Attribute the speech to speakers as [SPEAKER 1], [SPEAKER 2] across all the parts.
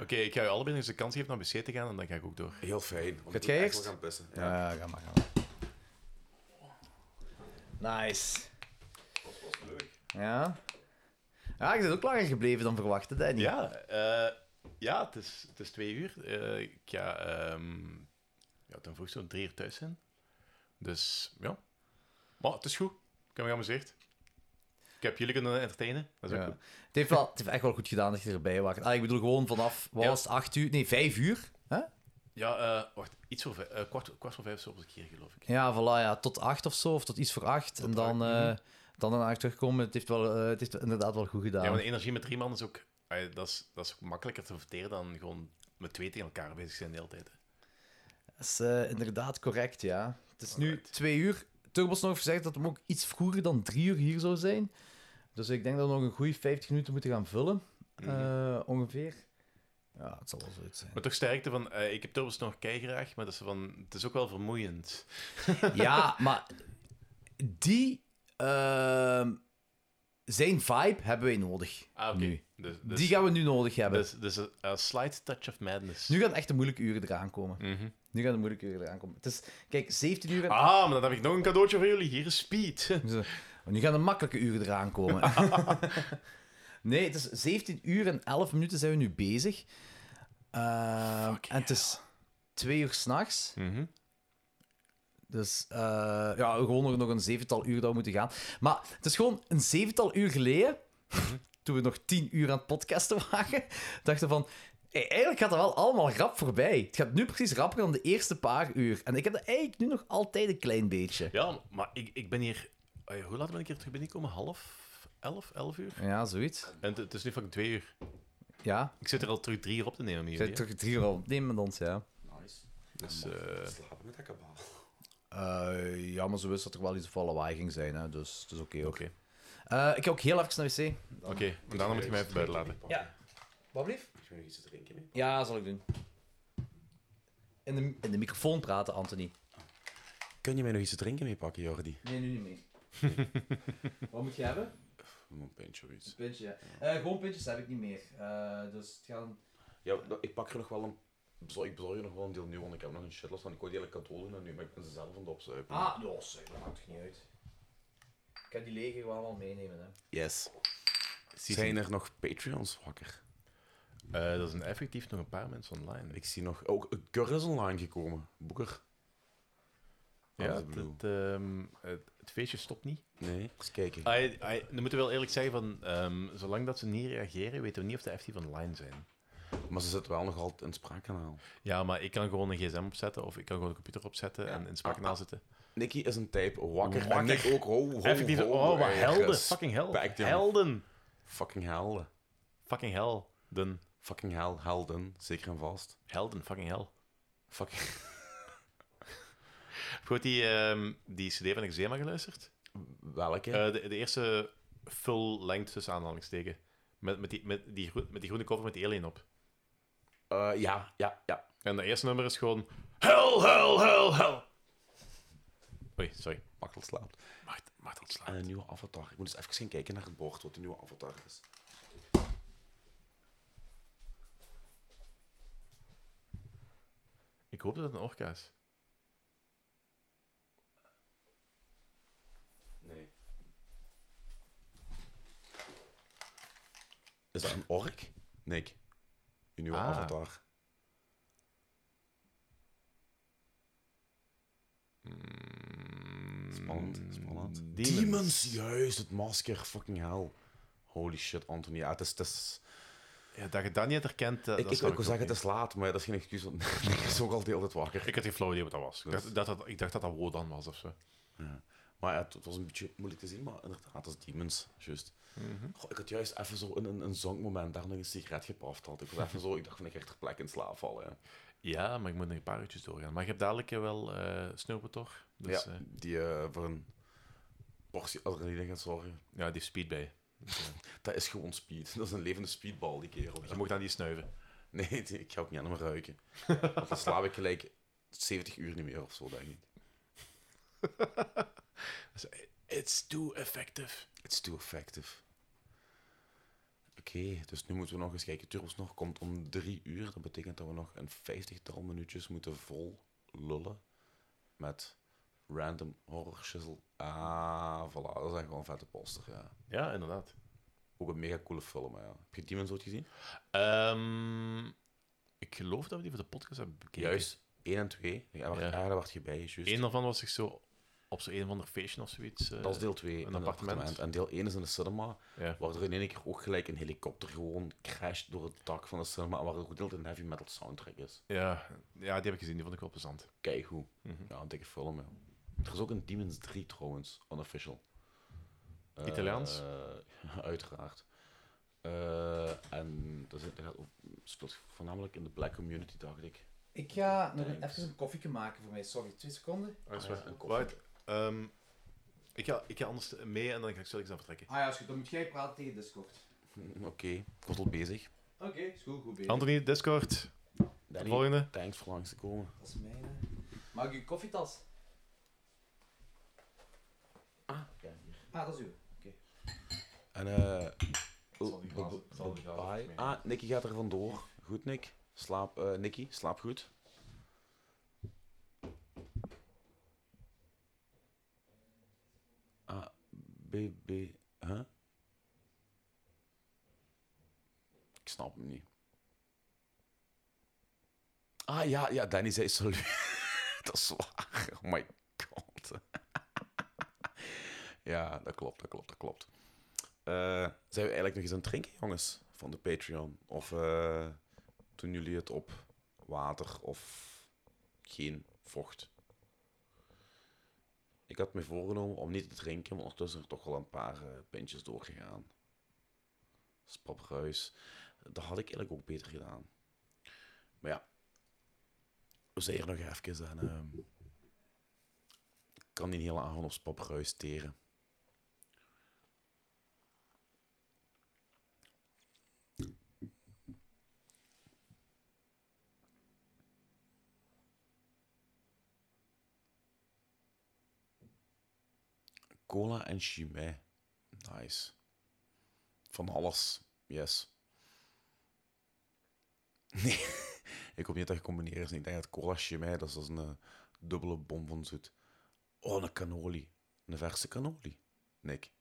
[SPEAKER 1] Oké, ik ga je allebei eens de kans geven om wc te gaan en dan ga ik ook door.
[SPEAKER 2] Heel fijn.
[SPEAKER 3] Gaat
[SPEAKER 2] Want
[SPEAKER 3] jij
[SPEAKER 2] jij echt
[SPEAKER 3] eerst?
[SPEAKER 2] wel gaan pissen. Ja.
[SPEAKER 3] Ja, ga maar, ga maar. Nice. Ja. Ja, je bent ook langer gebleven dan verwacht, hè, Danny?
[SPEAKER 1] Ja, eh, ja het, is, het is twee uur. Eh, ik ga ehm, ja, ten vroegste om drie uur thuis zijn. Dus ja. Maar het is goed. Ik heb me geamuseerd. Ik heb jullie kunnen entertainen. Dat is
[SPEAKER 3] Ja.
[SPEAKER 1] ook goed.
[SPEAKER 3] Het, heeft wel, het heeft echt wel goed gedaan dat je erbij was. Ah, ik bedoel gewoon vanaf, wat
[SPEAKER 1] Ja.
[SPEAKER 3] was het, acht uur? Nee, vijf uur? hè?
[SPEAKER 1] Ja, eh, wacht. Iets voor vijf- eh, kwart, kwart voor vijf zo was ik hier, geloof ik.
[SPEAKER 3] Ja, voilà, ja, tot acht of zo, of tot iets voor acht. en dan,
[SPEAKER 1] acht, mhm.
[SPEAKER 3] eh, dan daarna terugkomen. Het heeft, wel, eh, het heeft inderdaad wel goed gedaan.
[SPEAKER 1] Ja, maar de energie met drie man is ook... ah, dat, is, dat is ook makkelijker te verteren dan gewoon met twee tegen elkaar bezig zijn de hele tijd. hè.
[SPEAKER 3] Dat is eh, inderdaad correct, ja. Het is nu
[SPEAKER 1] Alright.
[SPEAKER 3] twee uur. Turbos nog gezegd dat hem ook iets vroeger dan drie uur hier zou zijn. Dus ik denk dat we nog een goede 50 minuten moeten gaan vullen.
[SPEAKER 1] Mhm.
[SPEAKER 3] eh, ongeveer. Ja, het zal wel zoiets zijn.
[SPEAKER 1] Maar toch sterkte van... eh, ik heb turbos nog graag, maar dat is van, het is ook wel vermoeiend.
[SPEAKER 3] ja, maar die. ehm, zijn vibe hebben wij nodig.
[SPEAKER 1] Ah, oké.
[SPEAKER 3] Nu.
[SPEAKER 1] Dus, dus-
[SPEAKER 3] die gaan we nu nodig hebben.
[SPEAKER 1] Dus, dus een een slight touch of madness.
[SPEAKER 3] Nu gaan echt de moeilijke uren eraan komen.
[SPEAKER 1] Mhm.
[SPEAKER 3] Nu gaan de moeilijke uren eraan komen. Het is, kijk, 17 uur. en-
[SPEAKER 1] Ah, maar dan heb ik nog een cadeautje voor jullie. Hier is Speed.
[SPEAKER 3] Zo. Maar "Oh, Nu gaan de makkelijke uren eraan komen. nee, het is 17 uur en 11 minuten zijn we nu bezig. Ehm, en het is 2 uur s'nachts.
[SPEAKER 1] Mhm.
[SPEAKER 3] Dus eh, ja, gewoon nog, nog een zevental uur dat we moeten gaan. Maar het is gewoon een zevental uur geleden, toen we nog 10 uur aan het podcasten waren, dachten we van. hey, eigenlijk gaat dat wel allemaal rap voorbij. Het gaat nu precies rapper dan de eerste paar uur. En ik heb dat eigenlijk nu nog altijd een klein beetje.
[SPEAKER 1] Ja, maar ik, ik ben hier... eh, hoe laat ben ik hier terug binnengekomen? Half elf, elf uur?
[SPEAKER 3] Ja, zoiets.
[SPEAKER 1] En het- het is nu fucking twee uur.
[SPEAKER 3] Ja,
[SPEAKER 1] Ik zit er al terug drie uur op te nemen hier.
[SPEAKER 3] Zijn toch drie uur al nemen met ons, ja.
[SPEAKER 2] Nice.
[SPEAKER 1] Dus,
[SPEAKER 2] Ja, man,
[SPEAKER 1] eh,
[SPEAKER 2] Slapen met dat kabaal.
[SPEAKER 3] Eh, ja, maar ze wist dat er wel iets van lawaai ging zijn, hè, dus het is oké Eh,
[SPEAKER 1] Oké, oké.
[SPEAKER 3] ik ga ook heel even naar de wc.
[SPEAKER 1] En daarna moet je mij even buiten laten.
[SPEAKER 3] Ja. Wat blieft?
[SPEAKER 2] Ik wil nog iets te drinken mee.
[SPEAKER 3] Ja, zal ik doen. In de, in de microfoon praten, Anthony.
[SPEAKER 2] Kun je mij nog iets te drinken mee pakken, Jordi?
[SPEAKER 3] Nee, nu niet mee. Wat moet je hebben?
[SPEAKER 2] Een pintje of iets.
[SPEAKER 3] Een pintje, ja. Eh, gewoon pintjes heb ik niet meer. Eh, dus het gaan...
[SPEAKER 2] Ja, nou, ik pak er nog wel een... Zo, ik bezorg er nog wel een deel nieuw, want ik heb nog een shitless van. Ik wou die hele cadeau doen en nu, maar ik ben ze zelf aan het opzuipen.
[SPEAKER 3] Ah, ja, zeg, dat maakt toch niet uit. Ik ga die lege gewoon allemaal meenemen, hè.
[SPEAKER 2] Yes. Zijn er nog Patreons wakker?
[SPEAKER 1] Eh, er zijn effectief nog een paar mensen online.
[SPEAKER 2] Ik zie nog... Ook oh, Cur is online gekomen. Boeker.
[SPEAKER 1] ja,
[SPEAKER 2] Ah,
[SPEAKER 1] het,
[SPEAKER 2] bedoel.
[SPEAKER 1] het, ehm, het, het feestje stopt niet.
[SPEAKER 2] Nee, eens kijken.
[SPEAKER 1] Ai, ai, dan moeten we wel eerlijk zeggen, van, ehm, zolang dat ze niet reageren, weten we niet of de effectief online zijn.
[SPEAKER 2] Maar ze zitten wel nog altijd in het spraakkanaal.
[SPEAKER 1] Ja, maar ik kan gewoon een gsm opzetten of ik kan gewoon een computer opzetten en in het spraakkanaal
[SPEAKER 2] Ah,
[SPEAKER 1] zitten.
[SPEAKER 2] Nicky is een type wakker. En
[SPEAKER 1] Wakker.
[SPEAKER 2] ik ook. Ho, ho,
[SPEAKER 1] Effectief,
[SPEAKER 2] ho,
[SPEAKER 1] oh, maar
[SPEAKER 2] eh,
[SPEAKER 1] helden.
[SPEAKER 2] respect,
[SPEAKER 1] Fucking helden.
[SPEAKER 2] jongen.
[SPEAKER 1] Helden.
[SPEAKER 2] Fucking helden.
[SPEAKER 1] Fucking helden.
[SPEAKER 2] Fucking hel, helden. Zeker en vast.
[SPEAKER 1] Helden, fucking hel.
[SPEAKER 2] Fucking...
[SPEAKER 1] Heb je ooit die, ehm, die cd van Eczema geluisterd?
[SPEAKER 2] Welke?
[SPEAKER 1] Eh, de, de eerste full length tussen aanhalingsteken. Met, met, die, met, die groen- met die groene cover met die alien op.
[SPEAKER 2] Eh, ja, ja, ja.
[SPEAKER 1] En dat eerste nummer is gewoon... Hel, hel, hel, hel. Oei, sorry.
[SPEAKER 2] Machtel slaapt.
[SPEAKER 1] Maart, Maart ontslaan.
[SPEAKER 2] En een nieuwe avatar. Ik moet eens even gaan kijken naar het bord wat de nieuwe avatar is.
[SPEAKER 1] Ik hoop dat het een orka is.
[SPEAKER 2] Nee. Is dat een ork? Nick. Je nieuwe
[SPEAKER 1] Ah.
[SPEAKER 2] avatar. Spannend, spannend.
[SPEAKER 1] Hmm. Demons.
[SPEAKER 2] juist, het masker, fucking hell. Holy shit, Anthony. Ja, het is... Het is...
[SPEAKER 1] Ja, dat je dat niet herkent, dat,
[SPEAKER 2] ik,
[SPEAKER 1] dat
[SPEAKER 2] ik,
[SPEAKER 1] snap
[SPEAKER 2] wil
[SPEAKER 1] ook
[SPEAKER 2] zeggen, het
[SPEAKER 1] niet.
[SPEAKER 2] is laat, maar dat is geen excuus, want Nick is ook altijd altijd wakker.
[SPEAKER 1] Ik had geen flauw idee wat dat was. Ik
[SPEAKER 2] Dus-
[SPEAKER 1] dacht dat dat, ik dacht dat, dat Wodan was of zo.
[SPEAKER 2] Maar ja, het, het was een beetje moeilijk te zien, maar inderdaad, dat is Demons, juist. Goh, ik had juist even zo een, een, een zangmoment, daar nog een sigaret gepaft had. Ik was even zo, ik dacht van, ik ga echt ter plekke in slaap vallen. hè.
[SPEAKER 1] Ja, maar ik moet nog een paar uurtjes doorgaan. Maar je hebt dadelijk eh, wel eh Sneeuwbetor. Dus
[SPEAKER 2] ja,
[SPEAKER 1] ja.
[SPEAKER 2] die eh, voor een portie adrenaline gaat zorgen.
[SPEAKER 1] ja, die heeft speed bij.
[SPEAKER 2] Dat is gewoon speed. Dat is een levende speedbal, die kerel.
[SPEAKER 1] Je mocht aan die snuiven.
[SPEAKER 2] Nee, die- ik ga ook niet aan hem ruiken. Want dan slaap ik gelijk 70 uur niet meer of zo, denk ik.
[SPEAKER 1] It's too effective.
[SPEAKER 2] It's too effective. Ik dus nu moeten we nog eens kijken. Turbos nog komt om drie uur. Dat betekent dat we nog een vijftigtal minuutjes moeten vol lullen met random horror shizzle. Ah, voilà. Dat is echt wel een vette poster, ja.
[SPEAKER 1] Ja, inderdaad.
[SPEAKER 2] Ook een mega coole film, ja. Heb je Demons ooit gezien?
[SPEAKER 1] Ehm, ik geloof dat we die voor de podcast hebben bekeken.
[SPEAKER 2] Juist. 1 en 2. Ja, maar
[SPEAKER 1] Ja.
[SPEAKER 2] daar werd je bij, juist.
[SPEAKER 1] Eén daarvan was zich zo op zo'n een of ander feestje of zoiets. eh,
[SPEAKER 2] Dat is deel 2.
[SPEAKER 1] een appartement.
[SPEAKER 2] En deel 1 is in de cinema,
[SPEAKER 1] Ja.
[SPEAKER 2] waar er in één keer ook gelijk een helikopter gewoon crasht door het dak van de cinema, waar er gedeeld een heavy metal soundtrack is.
[SPEAKER 1] Ja, ja, die heb ik gezien. Die vond ik wel plezant.
[SPEAKER 2] Kijk hoe.
[SPEAKER 1] Mhm.
[SPEAKER 2] Ja, een dikke film, ja. Er is ook een Demons 3 trouwens, unofficial. Eh,
[SPEAKER 1] Italiaans?
[SPEAKER 2] eh, uiteraard. Eh, en dat is- dat gaat ook- speelt voornamelijk in de black community, dacht ik.
[SPEAKER 3] Ik ga nog
[SPEAKER 2] Thanks.
[SPEAKER 3] even een koffieke maken voor mij. Sorry, twee seconden.
[SPEAKER 1] Ah, is
[SPEAKER 2] Ah, ja,
[SPEAKER 1] waar.
[SPEAKER 2] een koffie.
[SPEAKER 1] Right. Ehm, ik, ga, ik ga anders mee en dan ga ik zo aan vertrekken.
[SPEAKER 3] Ah ja, is goed. Dan moet jij praten tegen Discord.
[SPEAKER 2] Oké, ik was al bezig.
[SPEAKER 3] Oké, is goed, goed bezig.
[SPEAKER 1] Anthony, Discord.
[SPEAKER 2] Danny,
[SPEAKER 1] Volgende.
[SPEAKER 2] thanks voor langs te komen.
[SPEAKER 3] Dat is mijn... eh. Mag ik uw koffietas? Ah, dat is uw.
[SPEAKER 2] En eh.
[SPEAKER 3] zal die glas-
[SPEAKER 2] bye-
[SPEAKER 3] zal die glas
[SPEAKER 2] bye.
[SPEAKER 3] mee.
[SPEAKER 2] Ah, Nicky gaat er vandoor. Goed, Nick. Slaap, eh Nicky, slaap goed. Ah, B, B, huh? Ik snap hem niet. Ah ja, ja, Danny zei salut. dat is waar. Oh my god. ja, dat klopt, dat klopt, dat klopt. Eh, zijn we eigenlijk nog eens aan het drinken, jongens, van de Patreon? Of eh, doen jullie het op water of geen vocht? Ik had me voorgenomen om niet te drinken, maar ondertussen er toch wel een paar eh, pintjes doorgegaan. Spapruis. Dat had ik eigenlijk ook beter gedaan. Maar ja, we zijn hier nog even en ehm, ik kan die hele avond op spapruis teren. Cola en chimay. Nice. Van alles. Yes. Nee, ik hoop niet dat je combineren is. Ik denk dat cola chimay, dat is als een eh, dubbele bom van zoet. Oh, een cannoli. Een verse cannoli. Nick.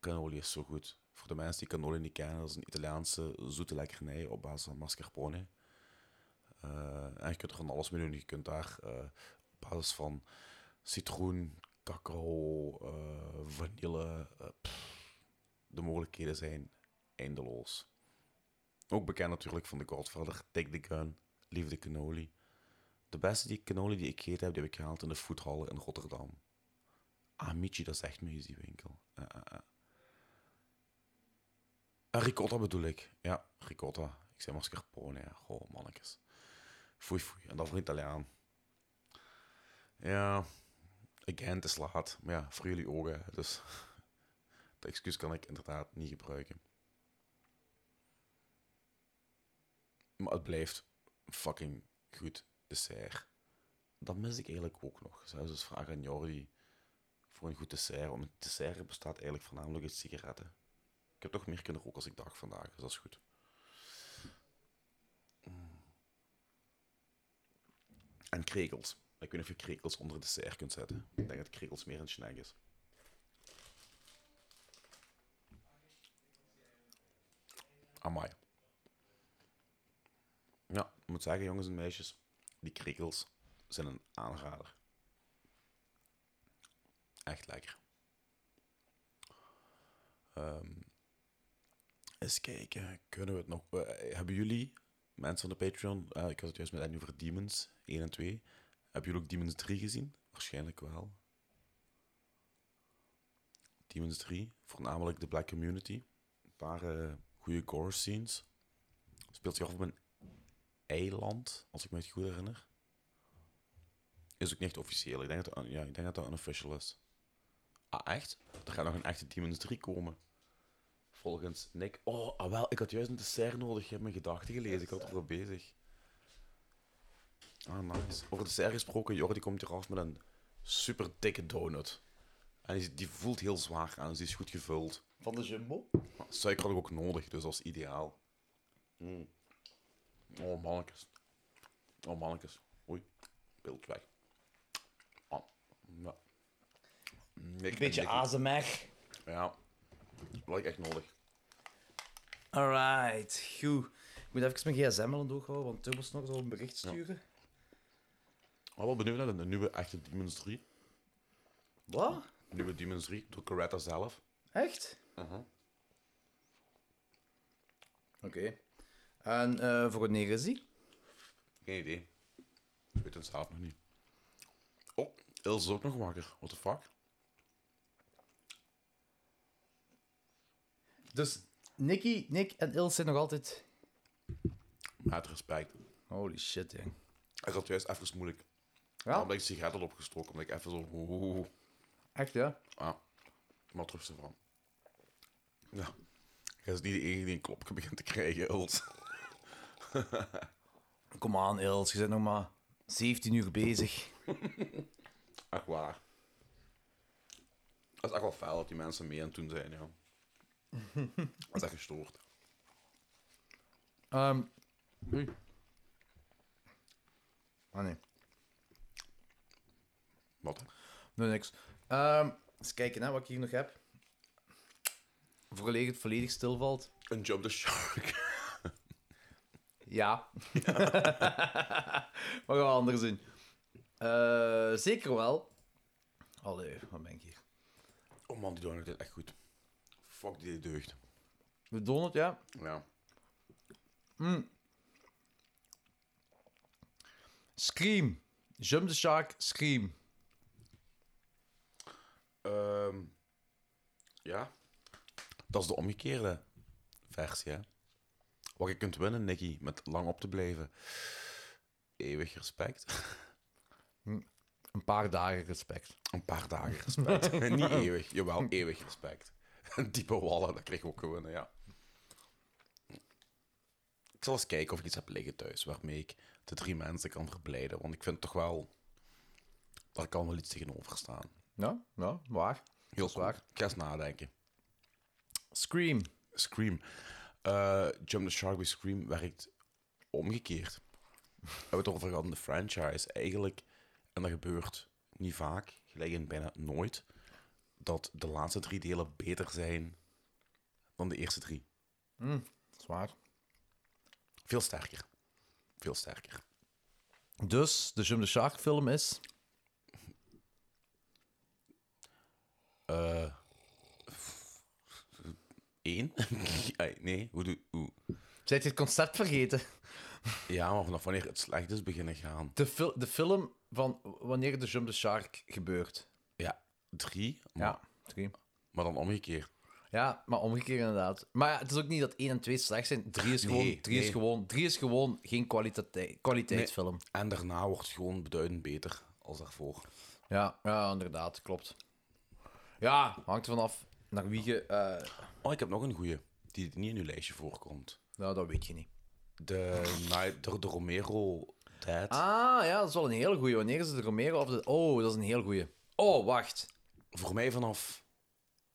[SPEAKER 2] Cannoli is zo goed. Voor de mensen die cannoli niet kennen, dat is een Italiaanse zoete lekkernij op basis van mascarpone. Eh, en je kunt er van alles mee doen. Je kunt daar eh, op basis van citroen, cacao, eh, vanille. eh, pff, de mogelijkheden zijn eindeloos. Ook bekend natuurlijk van de Godfather, Take the Gun, Liefde Cannoli. De beste die cannoli die ik gegeten heb, die heb ik gehaald in de foodhallen in Rotterdam. Amici, dat zegt me iets, die winkel. Eh, eh, eh. En ricotta bedoel ik. Ja, ricotta. Ik zei mascarpone, ja. Goh, mannetjes. Foei, foei. En dat voor een Italiaan. Ja, again, het is laat. Maar ja, voor jullie ogen. Dus dat excuus kan ik inderdaad niet gebruiken. Maar het blijft een fucking goed dessert. Dat mis ik eigenlijk ook nog. Zelfs eens vragen aan Jordi voor een goed dessert. Want het dessert bestaat eigenlijk voornamelijk uit sigaretten. Ik heb toch meer kunnen roken als ik dacht vandaag, dus dat is goed. Mm. En krekels. Ik weet niet of je krekels onder het dessert kunt zetten. Ik denk dat krekels meer een snack is. Amai. Ja, ik moet zeggen, jongens en meisjes, die krekels zijn een aanrader. Echt lekker. Ehm, eens kijken, kunnen we het nog... eh, hebben jullie, mensen van de Patreon, eh, ik had het juist met Annie over Demons 1 en 2, hebben jullie ook Demons 3 gezien? Waarschijnlijk wel. Demons 3, voornamelijk de Black Community. Een paar eh, goede gore scenes. Speelt zich af op een eiland, als ik me het goed herinner. Is ook niet echt officieel. Ik denk dat, ja, ik denk dat dat unofficial is. Ah, echt? Er gaat nog een echte Demons 3 komen. Volgens Nick. Oh, ah, wel, ik had juist een dessert nodig. Je hebt mijn gedachten gelezen. Ik had ervoor bezig. Ah, nice. Over dessert gesproken, Jordi komt hier af met een super dikke donut. En die, die voelt heel zwaar aan, dus die is goed gevuld.
[SPEAKER 3] Van de Jumbo.
[SPEAKER 2] Maar suiker had ik ook nodig, dus dat is ideaal. Mm. Oh, mannetjes. Oh, mannetjes. Oei, beeld weg. Ah, ja. Mm, Niks en
[SPEAKER 3] Een beetje
[SPEAKER 2] niks.
[SPEAKER 3] ASMR.
[SPEAKER 2] Ja, dat had ik echt nodig.
[SPEAKER 3] Alright, goed. Ik moet even mijn gsm al doorhouden, want Turbosnor zal een bericht sturen.
[SPEAKER 2] Maar wel benieuwd naar de nieuwe echte Demons 3.
[SPEAKER 3] Wat?
[SPEAKER 2] Nieuwe Demons 3 door Coretta zelf.
[SPEAKER 3] Echt? Oké. En eh, voor wanneer is die?
[SPEAKER 2] Geen idee. Ik weet het zelf nog niet. Oh, Ilse is ook nog wakker. What the fuck?
[SPEAKER 3] Dus Nicky, Nick en Ilse zijn nog altijd...
[SPEAKER 2] Met respect.
[SPEAKER 3] Holy shit, jong.
[SPEAKER 2] Ik had juist even moeilijk. Ja?
[SPEAKER 3] Ja,
[SPEAKER 2] Omdat ik een sigaret had opgestoken. Omdat ik even zo... oeh,
[SPEAKER 3] echt, ja.
[SPEAKER 2] Ah, maar terug ze van. Ja. Jij is niet de enige die een klopje begint te krijgen, Ilse.
[SPEAKER 3] Kom aan, Ilse, je bent nog maar 17 uur bezig.
[SPEAKER 2] Echt waar. Dat is echt wel fel dat die mensen mee aan het doen zijn, ja. Dat is echt gestoord.
[SPEAKER 3] Ehm. Ah, nee.
[SPEAKER 2] Wat?
[SPEAKER 3] Nee, niks. Ehm, eens kijken hè, wat ik hier nog heb. Voorlegen het volledig stilvalt.
[SPEAKER 2] Een jump the shark.
[SPEAKER 3] Ja. maar gaan we anders doen. Eh, zeker wel. Allee, wat ben ik hier?
[SPEAKER 2] Oh man, die donut deed echt goed. Fuck, die deed deugd.
[SPEAKER 3] De donut, ja.
[SPEAKER 2] Ja.
[SPEAKER 3] Scream. Jump the Shark, Scream.
[SPEAKER 2] Ehm, ja. Dat is de omgekeerde versie, hè. Wat je kunt winnen, Nicky, met lang op te blijven. Eeuwig respect.
[SPEAKER 3] Een paar dagen respect.
[SPEAKER 2] Een paar dagen respect. Niet eeuwig, jawel, eeuwig respect. Een diepe wallen, dat kreeg ik ook gewonnen, ja. Ik zal eens kijken of ik iets heb liggen thuis waarmee ik de drie mensen kan verblijden. Want ik vind toch wel... Daar kan wel iets tegenover staan.
[SPEAKER 3] Ja, ja, waar.
[SPEAKER 2] Heel
[SPEAKER 3] zwaar.
[SPEAKER 2] zwaar. Ik ga eens nadenken.
[SPEAKER 3] Scream.
[SPEAKER 2] Scream. Eh, Jump the Shark bij Scream werkt omgekeerd. We hebben het over gehad in de franchise. Eigenlijk, en dat gebeurt niet vaak, gelijk in bijna nooit, dat de laatste drie delen beter zijn dan de eerste drie.
[SPEAKER 3] Zwaar.
[SPEAKER 2] Veel sterker. Veel sterker.
[SPEAKER 3] Dus, de Jump the Shark film is...
[SPEAKER 2] Eh Eén? Ai, nee, hoe doe... Hoe?
[SPEAKER 3] Zijt je het concept vergeten?
[SPEAKER 2] Ja, maar vanaf wanneer het slecht is beginnen gaan.
[SPEAKER 3] De, fil- de film van wanneer de Jump the Shark gebeurt.
[SPEAKER 2] Ja, drie, maar,
[SPEAKER 3] Ja, drie.
[SPEAKER 2] maar dan omgekeerd.
[SPEAKER 3] Ja, maar omgekeerd inderdaad. Maar ja, het is ook niet dat 1 en 2 slecht zijn. 3 is, gewoon-
[SPEAKER 2] Nee,
[SPEAKER 3] drie is,
[SPEAKER 2] nee.
[SPEAKER 3] gewoon- drie is gewoon geen kwaliteit, kwaliteitsfilm.
[SPEAKER 2] En daarna wordt het gewoon beduidend beter als daarvoor.
[SPEAKER 3] Ja, ja, inderdaad, klopt. Ja, hangt er vanaf naar wie je. eh,
[SPEAKER 2] Oh, ik heb nog een goeie, die niet in uw lijstje voorkomt.
[SPEAKER 3] nou, dat weet je niet.
[SPEAKER 2] De, Night- de, de Romero Dead.
[SPEAKER 3] Ah, ja, dat is wel een heel goeie. Wanneer is het de Romero of de. Oh, dat is een heel goeie. Oh, wacht.
[SPEAKER 2] Voor mij vanaf...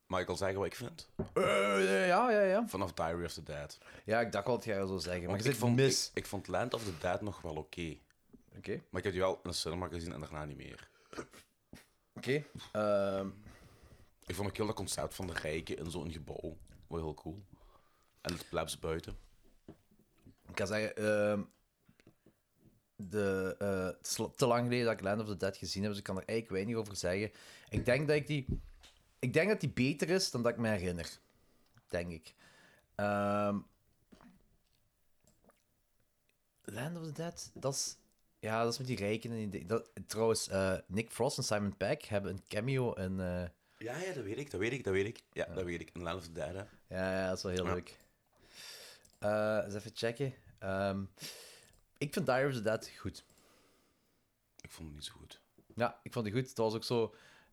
[SPEAKER 2] Mag ik al zeggen wat ik vind?
[SPEAKER 3] Eh, ja, ja, ja.
[SPEAKER 2] Vanaf Diary of the Dead.
[SPEAKER 3] Ja, ik dacht al dat jij dat zou zeggen, maar
[SPEAKER 2] Want
[SPEAKER 3] je
[SPEAKER 2] Oh, ik
[SPEAKER 3] zit
[SPEAKER 2] vond,
[SPEAKER 3] mis.
[SPEAKER 2] Ik, ik vond Land of the Dead nog wel oké.
[SPEAKER 3] Oké.
[SPEAKER 2] Maar ik heb die wel in de cinema gezien en daarna niet meer.
[SPEAKER 3] Oké. Ehm,
[SPEAKER 2] Ik vond ook heel dat concept van de rijken in zo'n gebouw wel heel cool. En het plebs buiten.
[SPEAKER 3] ik kan zeggen. ehm, de, eh, het is te lang geleden dat ik Land of the Dead gezien heb, dus ik kan er eigenlijk weinig over zeggen. Ik denk dat ik die. Ik denk dat die beter is dan dat ik me herinner. Denk ik. Ehm, Land of the Dead, dat is. Ja, dat is met die rijken. en die di- dat, trouwens, eh, Nick Frost en Simon Pegg hebben een cameo in. eh,
[SPEAKER 2] Ja, ja, dat weet ik, dat weet ik, dat weet ik. Ja, dat weet ik. En Land of the Dead, hè.
[SPEAKER 3] ja, ja, dat is wel heel
[SPEAKER 2] Ja.
[SPEAKER 3] leuk. Eh, eens even checken. Ehm, ik vind Dire of the Dead goed.
[SPEAKER 2] Ik vond het niet zo goed.
[SPEAKER 3] Ja, ik vond die goed. Het was ook zo...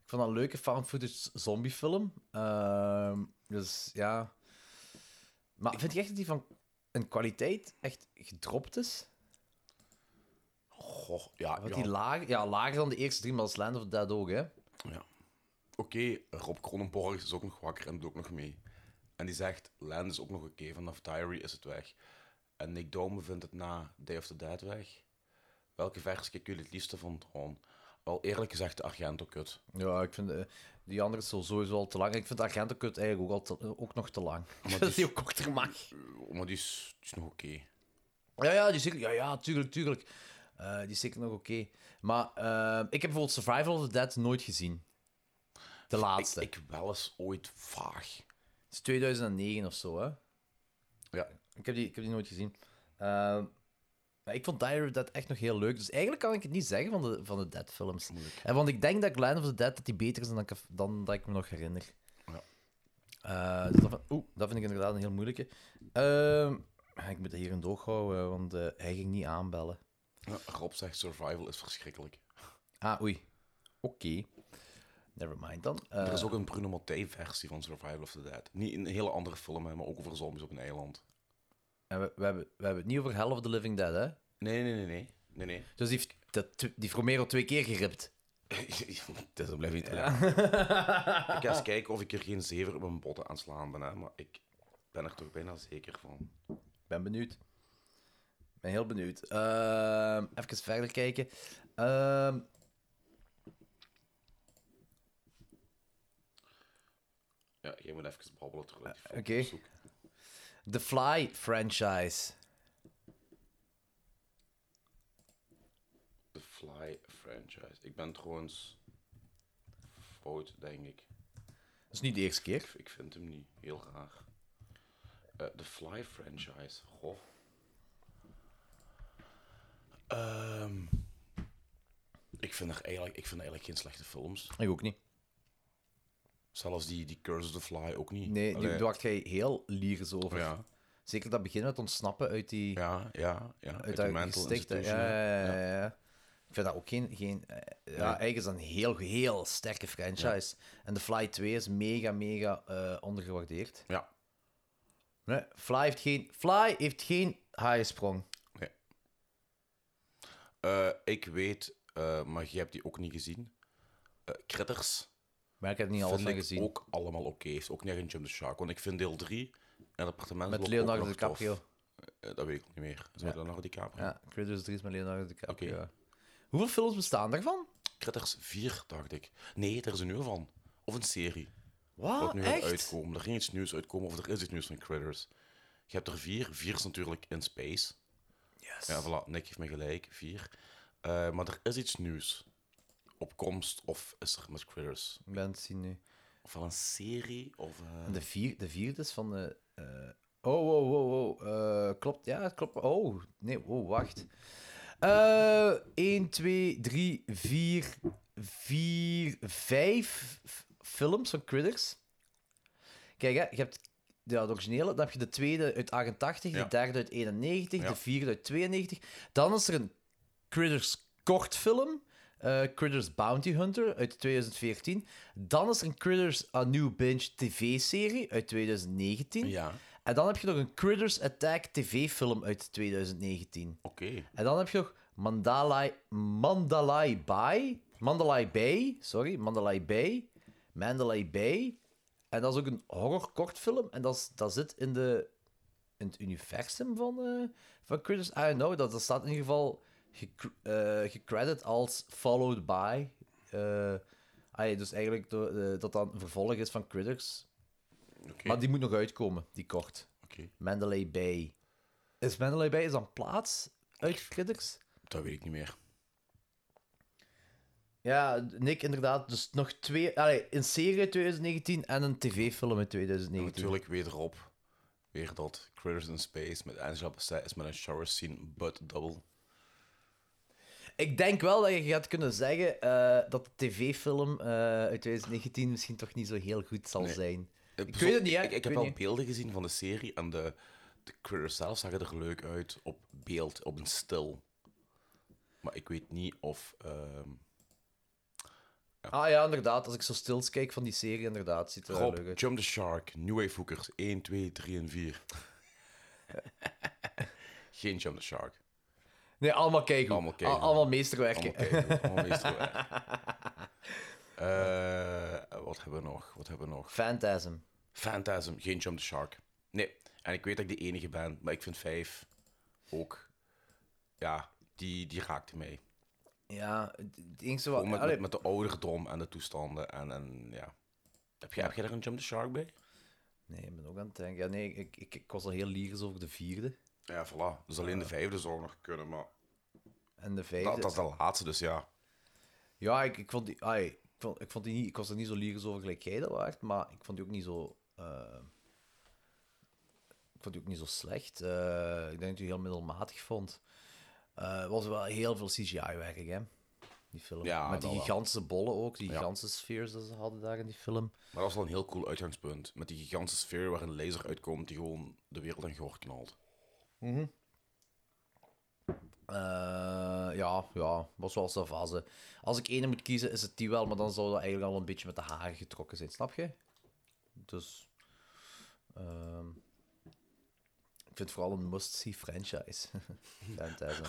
[SPEAKER 3] Ik vond dat een leuke found footage zombiefilm. Ehm, dus ja... Maar vind je echt dat die van een kwaliteit echt gedropt is?
[SPEAKER 2] Goh, ja.
[SPEAKER 3] Want
[SPEAKER 2] ja.
[SPEAKER 3] die lager, ja, lager dan de eerste drie, maar dat is Land of the Dead ook, hè?
[SPEAKER 2] Ja. Oké, Rob Kronenborg is ook nog wakker en doet ook nog mee. En die zegt, Land is ook nog oké, vanaf Diary is het weg. En Nick Dome vindt het na Day of the Dead weg. Welke versie kijken jullie het liefste van Tron? Wel eerlijk gezegd, de Argento kut.
[SPEAKER 3] Ja, ik vind eh, die andere is al sowieso al te lang. Ik vind Argento-kut eigenlijk ook, al te- eh, ook nog te lang.
[SPEAKER 2] het
[SPEAKER 3] dat
[SPEAKER 2] is-
[SPEAKER 3] die ook korter mag.
[SPEAKER 2] Eh, Maar die is, die is nog oké.
[SPEAKER 3] Ja, ja, die is zeker, ja, ja, tuurlijk, tuurlijk. Eh, die is zeker nog oké. Maar eh, ik heb bijvoorbeeld Survival of the Dead nooit gezien. De
[SPEAKER 2] Ik,
[SPEAKER 3] laatste.
[SPEAKER 2] ik wel eens ooit vaag.
[SPEAKER 3] Het is 2009 of zo, hè?
[SPEAKER 2] Ja.
[SPEAKER 3] Ik heb die, ik heb die nooit gezien. Ehm, maar ik vond Diary of the Dead echt nog heel leuk. Dus eigenlijk kan ik het niet zeggen van de, van de Dead-films.
[SPEAKER 2] Moeilijk.
[SPEAKER 3] En want ik denk dat ik Land of the Dead dat die beter is dan, ik, dan dat ik me nog herinner.
[SPEAKER 2] Ja.
[SPEAKER 3] Eh, dus dat, vind, oeh, dat vind ik inderdaad een heel moeilijke. Ehm, ik moet hier een doog houden, want eh, hij ging niet aanbellen.
[SPEAKER 2] Ja, Rob zegt, survival is verschrikkelijk.
[SPEAKER 3] Ah, oei. Oké. Never mind dan. Eh,
[SPEAKER 2] er is ook een Bruno Mattei-versie van Survival of the Dead. Niet een hele andere film, hè, maar ook over zombies op een eiland.
[SPEAKER 3] en we, we, hebben, we hebben het niet over Hell of the Living Dead, hè?
[SPEAKER 2] Nee, nee, nee, nee. Nee, nee.
[SPEAKER 3] Dus die heeft, dat, die heeft Romero twee keer geript.
[SPEAKER 2] Dat blijft niet alleen. Ik ga eens kijken of ik er geen zever op mijn botten aan het slaan ben, hè, maar ik ben er toch bijna zeker van.
[SPEAKER 3] Ik ben benieuwd. Ik ben heel benieuwd. Ehm, even verder kijken. Ehm,
[SPEAKER 2] Ja, jij moet even babbelen terwijl ik die
[SPEAKER 3] Eh,
[SPEAKER 2] film
[SPEAKER 3] oké.
[SPEAKER 2] opzoek.
[SPEAKER 3] The Fly franchise.
[SPEAKER 2] The Fly franchise. Ik ben trouwens fout, denk ik.
[SPEAKER 3] Dat is niet de eerste keer.
[SPEAKER 2] Ik, ik vind hem niet. Heel raar. Eh, The Fly franchise. Goh. Ehm, ik, vind er eigenlijk, ik vind er eigenlijk geen slechte films.
[SPEAKER 3] Ik ook niet.
[SPEAKER 2] Zelfs die, die Curse of the Fly ook niet.
[SPEAKER 3] Nee,
[SPEAKER 2] Allee,
[SPEAKER 3] nu dacht jij heel lyrisch over.
[SPEAKER 2] Ja,
[SPEAKER 3] Zeker dat begin met ontsnappen uit die...
[SPEAKER 2] ja, ja. ja.
[SPEAKER 3] uit
[SPEAKER 2] Uit de
[SPEAKER 3] dat
[SPEAKER 2] mental
[SPEAKER 3] gesticht. hè.
[SPEAKER 2] institution.
[SPEAKER 3] Ja, ja, ja, ja, ja. Ik vind dat ook geen... geen eh, ja, eigenlijk is dat een heel, heel sterke franchise. En The Fly 2 is mega, mega eh, ondergewaardeerd.
[SPEAKER 2] Ja,
[SPEAKER 3] Nee, Fly heeft geen... Fly heeft geen haaiensprong.
[SPEAKER 2] Eh, ik weet, eh, maar jij hebt die ook niet gezien. Eh Critters
[SPEAKER 3] Maar ik heb niet alles
[SPEAKER 2] vind
[SPEAKER 3] van
[SPEAKER 2] ik
[SPEAKER 3] gezien.
[SPEAKER 2] ook allemaal oké. Is ook niet echt een Jump the Shark. Want ik vind deel 3 en het appartement
[SPEAKER 3] Met
[SPEAKER 2] loopt
[SPEAKER 3] Leonardo
[SPEAKER 2] ook nog tof.
[SPEAKER 3] DiCaprio.
[SPEAKER 2] Eh, dat weet ik niet meer. Is
[SPEAKER 3] Ja.
[SPEAKER 2] met Leonardo DiCaprio?
[SPEAKER 3] Ja, Critters 3 is met Leonardo DiCaprio.
[SPEAKER 2] Oké.
[SPEAKER 3] ja. Hoeveel films bestaan daarvan?
[SPEAKER 2] Critters 4, dacht ik. Nee, er is een nieuwe van. Of een serie.
[SPEAKER 3] Wat?
[SPEAKER 2] Wat nu gaat
[SPEAKER 3] Oh, Echt?
[SPEAKER 2] uitkomen. Er ging iets nieuws uitkomen of er is iets nieuws van Critters. Je hebt er vier. Vier is natuurlijk in space.
[SPEAKER 3] Yes.
[SPEAKER 2] Ja, voilà. Nick heeft me gelijk. Vier. Eh, maar er is iets nieuws. Op komst of is er met Critters.
[SPEAKER 3] Ik ben het zien nu.
[SPEAKER 2] Of wel een serie of... eh,
[SPEAKER 3] En de, vier, de vierde is van de... eh, oh, wow, wow, wow. eh, klopt, ja, het klopt. Oh, nee, wow, wacht. Eh 1, 2, 3, 4, 4, 5 films van Critters. Kijk, hè, je hebt ja, de originele, dan heb je de tweede uit 88,
[SPEAKER 2] Ja.
[SPEAKER 3] de derde uit 91,
[SPEAKER 2] Ja.
[SPEAKER 3] de vierde uit 92. Dan is er een Critters kortfilm, eh Critters Bounty Hunter uit 2014. Dan is er een Critters A New Binge TV-serie uit 2019.
[SPEAKER 2] Ja,
[SPEAKER 3] En dan heb je nog een Critters Attack TV-film uit 2019.
[SPEAKER 2] oké.
[SPEAKER 3] En dan heb je nog Mandalay, Mandalay Bay. Mandalay Bay, sorry, Mandalay Bay. Mandalay Bay. En dat is ook een horrorkortfilm. En dat, is, dat zit in, de, in het universum van, eh van Critters. I don't know, dat, dat staat in ieder geval gecr- eh, gecredit als Followed By. Eh, ah ja, dus eigenlijk door, eh, dat dan een vervolg is van Critters.
[SPEAKER 2] Oké.
[SPEAKER 3] Maar die moet nog uitkomen, die kort.
[SPEAKER 2] Oké.
[SPEAKER 3] Mandalay Bay. Is Mandalay Bay is dan plaats uit Critters?
[SPEAKER 2] Dat weet ik niet meer.
[SPEAKER 3] Ja, Nick, inderdaad. Dus nog twee... Allee, een serie uit 2019 en een tv-film uit 2019.
[SPEAKER 2] Natuurlijk wederop. Weer dat Critters in Space met Angela Bassett is met een shower scene, but double.
[SPEAKER 3] Ik denk wel dat je gaat kunnen zeggen eh, dat de tv-film eh, uit 2019 misschien toch niet zo heel goed zal
[SPEAKER 2] Nee.
[SPEAKER 3] zijn.
[SPEAKER 2] Eh,
[SPEAKER 3] Ik
[SPEAKER 2] perso-
[SPEAKER 3] weet het niet, hè.
[SPEAKER 2] Ik, ik
[SPEAKER 3] Ik
[SPEAKER 2] heb
[SPEAKER 3] weet
[SPEAKER 2] wel
[SPEAKER 3] niet.
[SPEAKER 2] beelden gezien van de serie en de, de Critters zelf zagen er leuk uit op beeld, op een stil. Maar ik weet niet of... ehm,
[SPEAKER 3] Ah ja, inderdaad. Als ik zo stils kijk van die serie, inderdaad, ziet het er wel leuk
[SPEAKER 2] Rob,
[SPEAKER 3] uit.
[SPEAKER 2] Jump the Shark, New Wave Hookers, 1, 2, 3 en 4. Geen Jump the Shark.
[SPEAKER 3] Nee, allemaal kijken.
[SPEAKER 2] Allemaal
[SPEAKER 3] Allemaal,
[SPEAKER 2] keigoed.
[SPEAKER 3] allemaal meesterwerken.
[SPEAKER 2] Allemaal kijken, allemaal meesterwerk. Eh, wat hebben we nog? Wat hebben we nog?
[SPEAKER 3] Fantasm.
[SPEAKER 2] Phantasm, geen Jump the Shark. Nee, en ik weet dat ik de enige ben, maar ik vind vijf ook. Ja, die, die raakte mij.
[SPEAKER 3] Ja, het het enige wat...
[SPEAKER 2] Ook met,
[SPEAKER 3] allee,
[SPEAKER 2] met, met de ouderdom en de toestanden. En, en ja. Heb jij, heb jij daar een Jump the Shark bij?
[SPEAKER 3] Nee, ik ben ook aan het denken. Ja, nee, ik, ik, ik was al heel lyrisch over de vierde.
[SPEAKER 2] Ja, voilà. Dus alleen de vijfde zou nog kunnen, maar
[SPEAKER 3] En de vijfde...
[SPEAKER 2] dat, dat is de laatste, dus ja.
[SPEAKER 3] Ja, ik, ik vond die... ai, ik, vond, ik, vond die niet, ik was er niet zo lyrisch over gelijk jij dat waard, maar ik vond die ook niet zo... eh, ik vond die ook niet zo slecht. Eh, ik denk dat ik die heel middelmatig vond. Eh, Er was wel heel veel CGI-werk, hè? Die film.
[SPEAKER 2] Ja,
[SPEAKER 3] Met
[SPEAKER 2] dat
[SPEAKER 3] die
[SPEAKER 2] wel.
[SPEAKER 3] gigantische bollen ook, die
[SPEAKER 2] Ja.
[SPEAKER 3] gigantische sfeers dat ze hadden daar in die film.
[SPEAKER 2] Maar dat is wel een heel cool uitgangspunt. Met die gigantische sfeer waar een laser uitkomt die gewoon de wereld aan gehoord knalt.
[SPEAKER 3] Eh, ja, ja, was wel savase. Als ik ene moet kiezen, is het die wel, maar dan zou dat eigenlijk al een beetje met de haren getrokken zijn, snap je? Dus. ehm, ik vind het vooral een must-see franchise. Fantasm.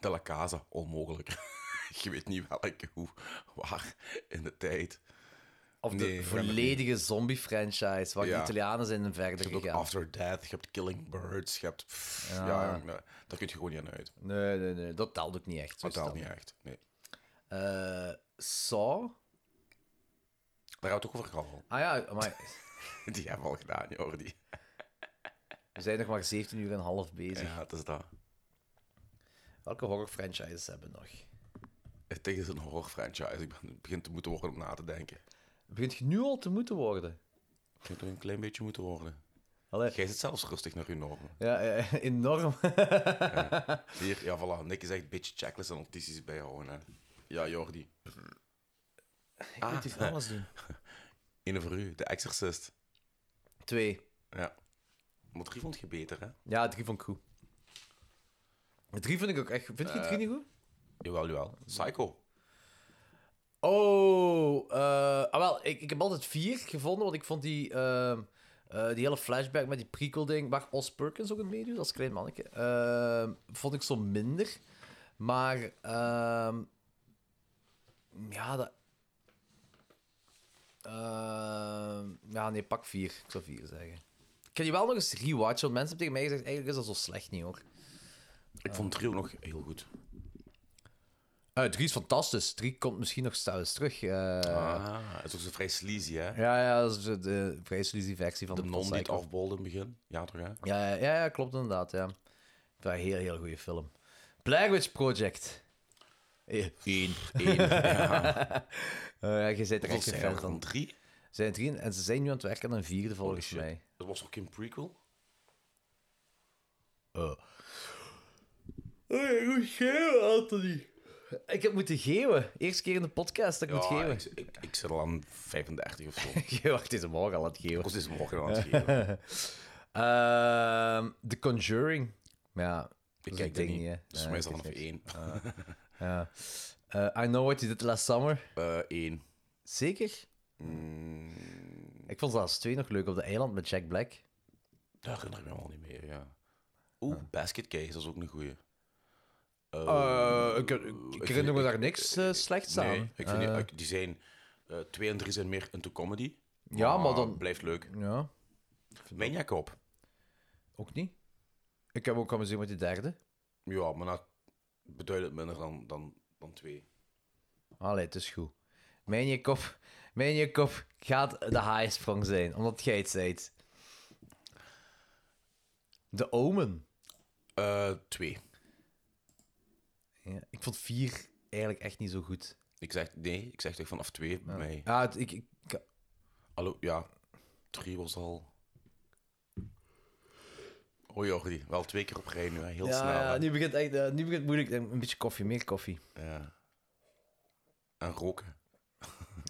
[SPEAKER 2] De La Casa, onmogelijk. je weet niet welke, hoe, waar, in de tijd.
[SPEAKER 3] Of
[SPEAKER 2] Nee,
[SPEAKER 3] de
[SPEAKER 2] ik ben er
[SPEAKER 3] volledige zombie-franchise, waar
[SPEAKER 2] Ja.
[SPEAKER 3] de Italianen zijn en verder
[SPEAKER 2] Je hebt ook
[SPEAKER 3] gegaan.
[SPEAKER 2] After Death, je hebt Killing Birds, je hebt... pff,
[SPEAKER 3] Ja.
[SPEAKER 2] ja. ja, nee, daar kun je gewoon niet aan uit.
[SPEAKER 3] Nee, nee, nee, dat telt ook niet echt. zo
[SPEAKER 2] Dat telt
[SPEAKER 3] snel.
[SPEAKER 2] niet echt, nee.
[SPEAKER 3] Eh, Saw?
[SPEAKER 2] Daar gaat het ook over gehad.
[SPEAKER 3] Ah ja, maar
[SPEAKER 2] Die hebben we al gedaan, Jordi.
[SPEAKER 3] we zijn nog maar 17 uur en een half bezig.
[SPEAKER 2] Ja, het is dat.
[SPEAKER 3] Welke horror-franchises hebben we nog?
[SPEAKER 2] Het is een horror franchise. Ik ben- het begint te moeten worden om na te denken.
[SPEAKER 3] Begint je nu al te moeten worden?
[SPEAKER 2] Het begint toch een klein beetje moeten worden.
[SPEAKER 3] Allee.
[SPEAKER 2] Jij zit zelfs rustig naar je normen.
[SPEAKER 3] Ja, eh, enorm.
[SPEAKER 2] Hier, ja, voilà. Nick is echt een beetje checklist en notities bijhouden. Hè. Ja, Jordi.
[SPEAKER 3] Ik moet hier alles doen.
[SPEAKER 2] Ene voor u, de Exorcist.
[SPEAKER 3] Twee.
[SPEAKER 2] Ja. Maar drie vond je beter, hè?
[SPEAKER 3] Ja, drie vond ik goed. De Drie vind ik ook echt... Vind je drie niet goed?
[SPEAKER 2] Jawel, jawel. Psycho.
[SPEAKER 3] Oh, eh, ah wel, ik, ik heb altijd vier gevonden, want ik vond die, ehm, eh, die hele flashback met die prequel-ding, waar Os Perkins ook in meedoet, als klein manneke, ehm, vond ik zo minder. Maar, ehm, ja, dat... Ehm, ja, nee, pak vier. Ik zou vier zeggen. Ik kan die wel nog eens rewatchen, want mensen hebben tegen mij gezegd, eigenlijk is dat zo slecht niet, hoor.
[SPEAKER 2] Ik vond drie ook nog heel goed.
[SPEAKER 3] Eh drie is fantastisch. Drie komt misschien nog eens terug. eh.
[SPEAKER 2] ah, het is ook zo vrij sleazy, hè?
[SPEAKER 3] Ja, ja, dat is de, de vrij sleazy versie van
[SPEAKER 2] De
[SPEAKER 3] de
[SPEAKER 2] non die het
[SPEAKER 3] Psycho.
[SPEAKER 2] afbolde in het begin. Ja, toch, hè?
[SPEAKER 3] Ja, ja, ja, ja, klopt inderdaad. Ja. Ik vind dat een heel, heel goede film. Blair Witch Project. Eén.
[SPEAKER 2] Eén.
[SPEAKER 3] ja, eh, je bent
[SPEAKER 2] Hoeveel
[SPEAKER 3] er echt een
[SPEAKER 2] zijn er
[SPEAKER 3] fan
[SPEAKER 2] dan?
[SPEAKER 3] van.
[SPEAKER 2] Drie?
[SPEAKER 3] Er Zijn er drie en ze zijn nu aan het werken aan een vierde volgens
[SPEAKER 2] shit.
[SPEAKER 3] mij.
[SPEAKER 2] Dat was ook geen prequel?
[SPEAKER 3] Eh. Hoe geeuwen, Anthony? Ik heb moeten geeuwen. Eerste keer in de podcast dat ik moet geeuwen.
[SPEAKER 2] ik, ik, ik zit al aan 35 of zo. Ik
[SPEAKER 3] Ik wacht deze morgen al aan het geeuwen.
[SPEAKER 2] was deze morgen aan het geven.
[SPEAKER 3] Ehm, The Conjuring. Ja,
[SPEAKER 2] Ik
[SPEAKER 3] dat
[SPEAKER 2] kijk dat
[SPEAKER 3] ding
[SPEAKER 2] niet.
[SPEAKER 3] hè.
[SPEAKER 2] Dus
[SPEAKER 3] Ja,
[SPEAKER 2] voor mij is
[SPEAKER 3] ik
[SPEAKER 2] dat vanaf
[SPEAKER 3] weet niks.
[SPEAKER 2] één.
[SPEAKER 3] Ja. Eh, I Know What You Did Last Summer.
[SPEAKER 2] Eh, één. Mm.
[SPEAKER 3] Zeker? Ik vond zelfs twee nog leuk op de eiland met Jack Black.
[SPEAKER 2] Daar herinner ik me al niet meer, ja. Oeh, Basket Case, dat is ook een goeie.
[SPEAKER 3] Eh,
[SPEAKER 2] Eh,
[SPEAKER 3] ik,
[SPEAKER 2] ik
[SPEAKER 3] herinner
[SPEAKER 2] vind-
[SPEAKER 3] me
[SPEAKER 2] ik-
[SPEAKER 3] daar niks eh, slechts aan. Eh,
[SPEAKER 2] Nee, ik vind die, ik- die zijn... eh, twee en drie zijn meer into comedy.
[SPEAKER 3] Ja,
[SPEAKER 2] Ah,
[SPEAKER 3] maar dan-
[SPEAKER 2] Blijft leuk.
[SPEAKER 3] Ja,
[SPEAKER 2] Maniac op.
[SPEAKER 3] ook niet. Ik heb ook al gezien met die derde.
[SPEAKER 2] Ja, maar
[SPEAKER 3] nou
[SPEAKER 2] dat beduidend minder dan, dan, dan twee.
[SPEAKER 3] Allee, het is goed. Mijn kop, mijn kop gaat de haaisprong zijn, omdat jij het zei. De Omen.
[SPEAKER 2] Eh, twee.
[SPEAKER 3] Ja, ik vond vier eigenlijk echt niet zo goed.
[SPEAKER 2] Ik zeg, nee, ik zeg toch vanaf twee bij mij.
[SPEAKER 3] Ja, het- ik, ik, ik-
[SPEAKER 2] Hallo, ja. Drie was al... Oh Jordi, wel twee keer op rij nu, hè. heel
[SPEAKER 3] ja,
[SPEAKER 2] snel. hè.
[SPEAKER 3] ja, nu begint echt, eh, nu begint het moeilijk. Een beetje koffie, meer koffie.
[SPEAKER 2] Ja. En roken.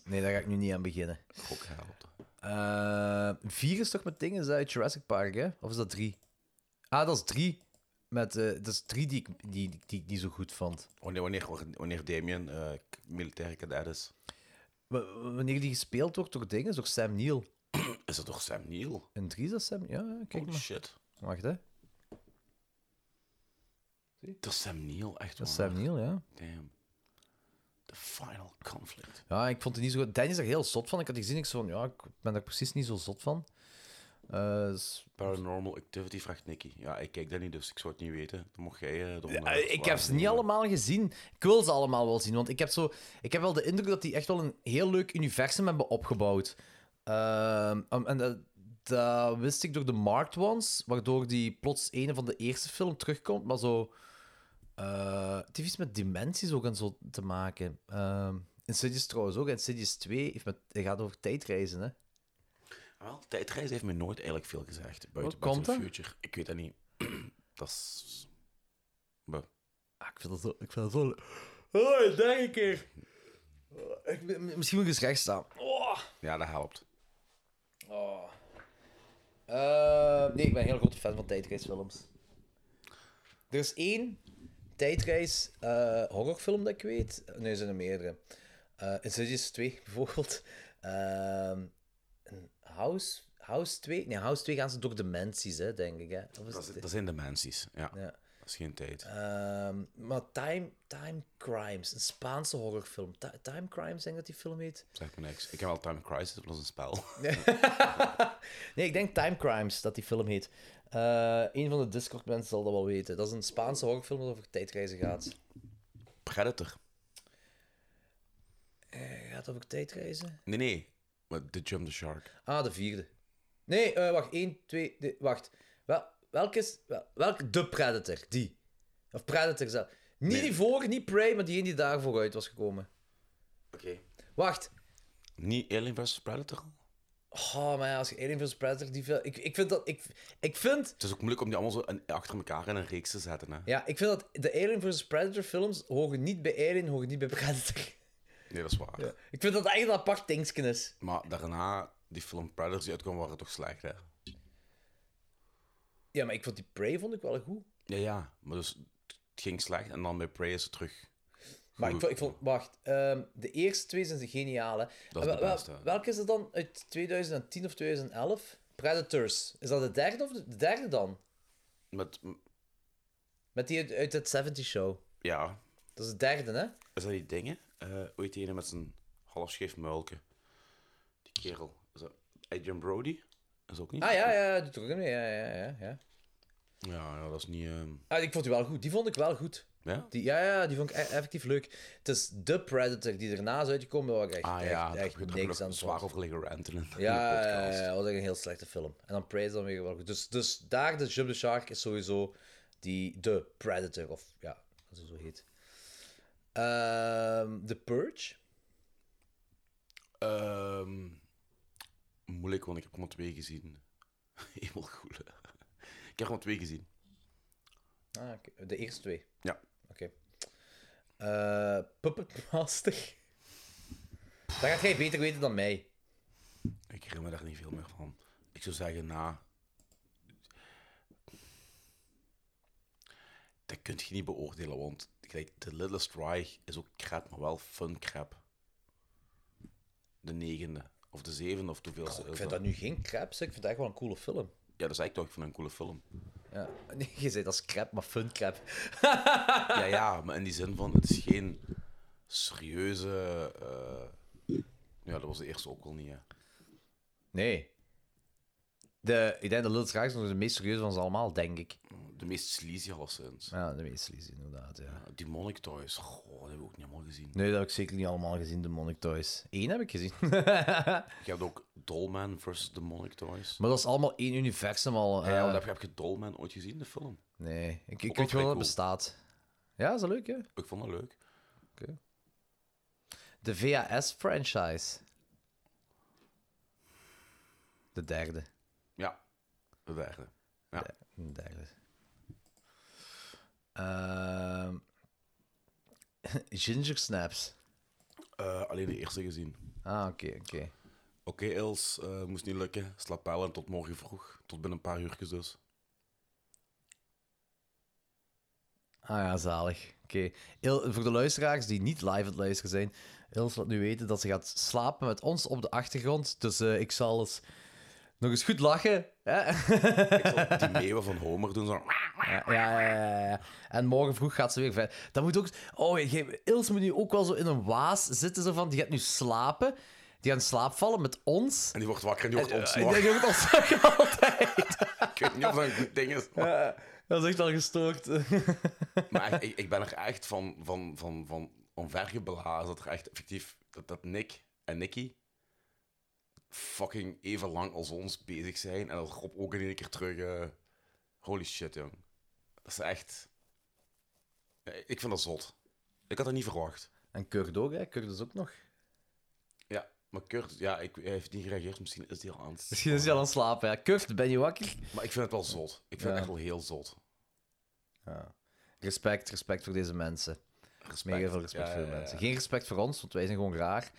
[SPEAKER 3] Nee, daar ga ik nu niet aan beginnen.
[SPEAKER 2] Roken helpt.
[SPEAKER 3] Eh, vier is toch met dingen uit Jurassic Park, hè? Of is dat drie? Ah, dat is drie. Met, eh, dat is drie die ik, die, die, die ik niet zo goed vond.
[SPEAKER 2] Wanneer, wanneer, wanneer Damien eh, k- militaire cadet is,
[SPEAKER 3] W- w- wanneer die gespeeld wordt door dingen, door Sam Neill.
[SPEAKER 2] is dat toch Sam Neill?
[SPEAKER 3] En drie is dat Sam Ja, ja, kijk
[SPEAKER 2] Holy
[SPEAKER 3] maar.
[SPEAKER 2] shit.
[SPEAKER 3] Wacht, hè.
[SPEAKER 2] Dat is Sam Neill, echt
[SPEAKER 3] Dat
[SPEAKER 2] waar.
[SPEAKER 3] is Sam Neill, ja.
[SPEAKER 2] Damn. The final conflict.
[SPEAKER 3] Ja, ik vond het niet zo goed. Dan is er heel zot van. Ik had die gezien, ik zo van, ja, ik ben daar precies niet zo zot van. Eh, s-
[SPEAKER 2] Paranormal Activity vraagt Nicky. Ja, ik kijk dat niet, dus ik zou het niet weten. Dan mocht jij eh, eronder
[SPEAKER 3] eh, ik heb ze niet allemaal gezien. Ik wil ze allemaal wel zien, want ik heb, zo, ik heb wel de indruk dat die echt wel een heel leuk universum hebben opgebouwd. Ehm, um, en dat, dat wist ik door de Marked Ones, waardoor die plots een van de eerste film terugkomt, maar zo... eh, het heeft iets met dimensies ook en zo te maken. Ehm Insidious trouwens ook. Insidious 2 heeft met, het gaat over tijdreizen, hè.
[SPEAKER 2] Wel, tijdreis heeft me nooit eigenlijk veel gezegd. Buiten
[SPEAKER 3] Hoe
[SPEAKER 2] Back
[SPEAKER 3] komt
[SPEAKER 2] to the
[SPEAKER 3] dat?
[SPEAKER 2] Future. Ik weet dat niet. dat is... Bah.
[SPEAKER 3] Ah, ik vind dat zo... Ik vind dat zo... Oh, denk ik keer. Oh, ik- misschien moet ik eens recht staan. Oh.
[SPEAKER 2] Ja, dat helpt.
[SPEAKER 3] Oh. Eh, nee, ik ben een heel grote fan van tijdreisfilms. Er is één tijdreis eh, horrorfilm dat ik weet. Nee, er zijn er meerdere. Eh Insidious 2 bijvoorbeeld. Ehm, een House, House 2? Nee, House 2 gaan ze door dimensies, hè, denk ik. Hè? Of is
[SPEAKER 2] Dat, is-
[SPEAKER 3] het-
[SPEAKER 2] dat zijn dimensies. Ja,
[SPEAKER 3] Ja.
[SPEAKER 2] dat is geen tijd.
[SPEAKER 3] Ehm, maar Time, Time Crimes, een Spaanse horrorfilm. Ti- Time Crimes, denk ik dat die film heet.
[SPEAKER 2] Zeg me niks. Ik heb wel Time Crisis, dat was een spel.
[SPEAKER 3] nee, ik denk Time Crimes dat die film heet. Eh een van de Discord-mensen zal dat wel weten. Dat is een Spaanse horrorfilm dat over tijdreizen gaat.
[SPEAKER 2] Predator.
[SPEAKER 3] Eh, gaat het over tijdreizen?
[SPEAKER 2] Nee, nee. Maar The Jump the Shark.
[SPEAKER 3] Ah, de vierde. Nee, eh, wacht. Eén, twee... de- wacht. Wel, welke is... Wel, welke? De Predator. Die. Of Predator zelf. Niet
[SPEAKER 2] Nee.
[SPEAKER 3] die vorige, niet Prey, maar die één die daarvoor uit was gekomen.
[SPEAKER 2] Oké.
[SPEAKER 3] Wacht.
[SPEAKER 2] Niet Alien vs. Predator?
[SPEAKER 3] Oh, maar ja, als je Alien vs. Predator... Die film, ik, ik vind dat... Ik, ik vind...
[SPEAKER 2] Het is ook moeilijk om die allemaal zo in- achter elkaar in een reeks te zetten. Hè?
[SPEAKER 3] Ja, ik vind dat de Alien vs. Predator films horen niet bij Alien, horen niet bij Predator.
[SPEAKER 2] Nee, dat is waar.
[SPEAKER 3] Ik vind dat eigenlijk een apart dingetje is.
[SPEAKER 2] Maar daarna, die film Predators die uitkwam, waren toch slecht, hè?
[SPEAKER 3] Ja, maar ik vond die Prey vond ik wel goed.
[SPEAKER 2] Ja, ja. Maar dus, het ging slecht en dan bij Prey is het terug.
[SPEAKER 3] Maar ik
[SPEAKER 2] goed.
[SPEAKER 3] vond, ik vond wacht, ehm, de eerste twee zijn ze geniaal. Hè.
[SPEAKER 2] Dat is de
[SPEAKER 3] Wel- wel-
[SPEAKER 2] beste.
[SPEAKER 3] welke is dat dan uit 2010 of 2011? Predators. Is dat de derde of de, de derde dan?
[SPEAKER 2] Met,
[SPEAKER 3] Met die uit, uit het 70 show.
[SPEAKER 2] ja,
[SPEAKER 3] Dat is de derde, hè?
[SPEAKER 2] is dat die dingen? Eh hoe heet die ene met zijn halfscheef muilke? Die kerel. Is dat Adrian Brody? Is dat ook niet?
[SPEAKER 3] Ah ja, ja, doet er ook in mee. Ja, ja, ja, ja.
[SPEAKER 2] Ja, ja, dat is niet... ehm,
[SPEAKER 3] Ah, ik vond die wel goed. Die vond ik wel goed.
[SPEAKER 2] Ja?
[SPEAKER 3] Die, ja, ja, die vond ik e- effectief leuk. Het is de Predator die erna is uitgekomen, waar ik echt,
[SPEAKER 2] Ah
[SPEAKER 3] echt,
[SPEAKER 2] ja,
[SPEAKER 3] echt
[SPEAKER 2] daar heb ik- daar heb ik
[SPEAKER 3] niks
[SPEAKER 2] nog
[SPEAKER 3] aan vond.
[SPEAKER 2] zwaar over liggen ranten in de
[SPEAKER 3] Ja, ja,
[SPEAKER 2] podcast.
[SPEAKER 3] ja, dat was echt een heel slechte film. En dan Prey is dan weer wel goed. Dus, dus daar, de Jump the Shark is sowieso die, de Predator, of ja, als het zo heet. Ehm the Purge?
[SPEAKER 2] Ehm, moeilijk, want ik heb er maar twee gezien. Helemaal goed. hè. Ik heb er maar twee gezien.
[SPEAKER 3] Ah, oké. de eerste twee.
[SPEAKER 2] Ja.
[SPEAKER 3] Oké. Eh, Puppet Master? Dat gaat jij beter weten dan mij.
[SPEAKER 2] Ik herinner me daar niet veel meer van. Ik zou zeggen, na... Dat kun je niet beoordelen, want gelijk, The Littlest Rye is ook crap, maar wel fun crap. De negende, of de zevende, of hoeveelste
[SPEAKER 3] Goh, ik
[SPEAKER 2] is
[SPEAKER 3] vind
[SPEAKER 2] Oh, dat?
[SPEAKER 3] dat nu geen crap, zeg. Ik vind dat echt wel een coole film.
[SPEAKER 2] Ja, dat zei ik toch, ik vind het een coole film.
[SPEAKER 3] Ja. Nee, je zei dat is crap, maar fun crap.
[SPEAKER 2] Ja, ja, maar in die zin van, het is geen serieuze... eh, Ja, dat was de eerste ook al niet, hè.
[SPEAKER 3] Nee. De, ik denk dat Little Dragon is nog de meest serieuze van ze allemaal, denk ik.
[SPEAKER 2] De meest sleazy alleszins.
[SPEAKER 3] Ja, de meest sleazy, inderdaad, ja.
[SPEAKER 2] Die Monarch Toys, goh, dat heb ik ook niet allemaal gezien.
[SPEAKER 3] Nee, dat heb ik zeker niet allemaal gezien, de Monarch Toys. Eén heb ik gezien.
[SPEAKER 2] Je hebt ook Dollman versus The Monarch Toys.
[SPEAKER 3] maar dat is allemaal één universum al. eh.
[SPEAKER 2] ja, want heb, je- heb je Dollman ooit gezien, de film?
[SPEAKER 3] Nee, ik, ik
[SPEAKER 2] Ook
[SPEAKER 3] weet
[SPEAKER 2] wel
[SPEAKER 3] gewoon dat het
[SPEAKER 2] cool.
[SPEAKER 3] bestaat. Ja, is dat leuk, hè?
[SPEAKER 2] Ik vond dat leuk.
[SPEAKER 3] De VHS-franchise. De derde.
[SPEAKER 2] Ja, de derde. Ja.
[SPEAKER 3] De derde. Ehm, Ginger Snaps.
[SPEAKER 2] Eh, alleen de eerste gezien.
[SPEAKER 3] Ah, oké, oké.
[SPEAKER 2] Oké, Els, eh, moest niet lukken. Slaap wel en tot morgen vroeg. Tot binnen een paar uurtjes dus.
[SPEAKER 3] Ah ja, zalig. Oké. Il- Voor de luisteraars die niet live aan het luisteren zijn, Ilse laat nu weten dat ze gaat slapen met ons op de achtergrond. Dus eh, ik zal eens Nog eens goed lachen. Hè?
[SPEAKER 2] Ik zal die meeuwen van Homer doen. Zo.
[SPEAKER 3] Ja, ja, ja, ja, ja. En morgen vroeg gaat ze weer verder. Dat moet ook... Oh, je- Ilse moet nu ook wel zo in een waas zitten. Zo van, die gaat nu slapen. Die gaat in slaap vallen met ons.
[SPEAKER 2] En die wordt wakker en die wordt
[SPEAKER 3] Ik
[SPEAKER 2] ontslagen.
[SPEAKER 3] denk ook ontslagen altijd.
[SPEAKER 2] Ik weet niet of dat een goed ding is. maar-
[SPEAKER 3] Dat is echt al gestoord.
[SPEAKER 2] Maar echt, ik, ik ben er echt van, van, van, van omvergeblazen. Dat er echt effectief... Dat, dat Nick en Nicky fucking even lang als ons bezig zijn. En dat Rob ook in één keer terug... eh, holy shit, jong. Dat is echt... Ja, Ik vind dat zot. Ik had dat niet verwacht.
[SPEAKER 3] En Kurt ook, hè? Kurt is ook nog.
[SPEAKER 2] Ja, maar Kurt... Ja, ik, hij heeft niet gereageerd. Misschien is hij al aan het...
[SPEAKER 3] Misschien is hij al aan het slapen, ja. Kurt, ben je wakker?
[SPEAKER 2] Maar ik vind het wel zot. Ik vind
[SPEAKER 3] Ja.
[SPEAKER 2] het echt wel heel zot.
[SPEAKER 3] Respect, respect voor deze mensen.
[SPEAKER 2] Respect.
[SPEAKER 3] Mega veel respect
[SPEAKER 2] Ja,
[SPEAKER 3] voor de
[SPEAKER 2] ja, ja.
[SPEAKER 3] mensen. Geen respect voor ons, want wij zijn gewoon raar.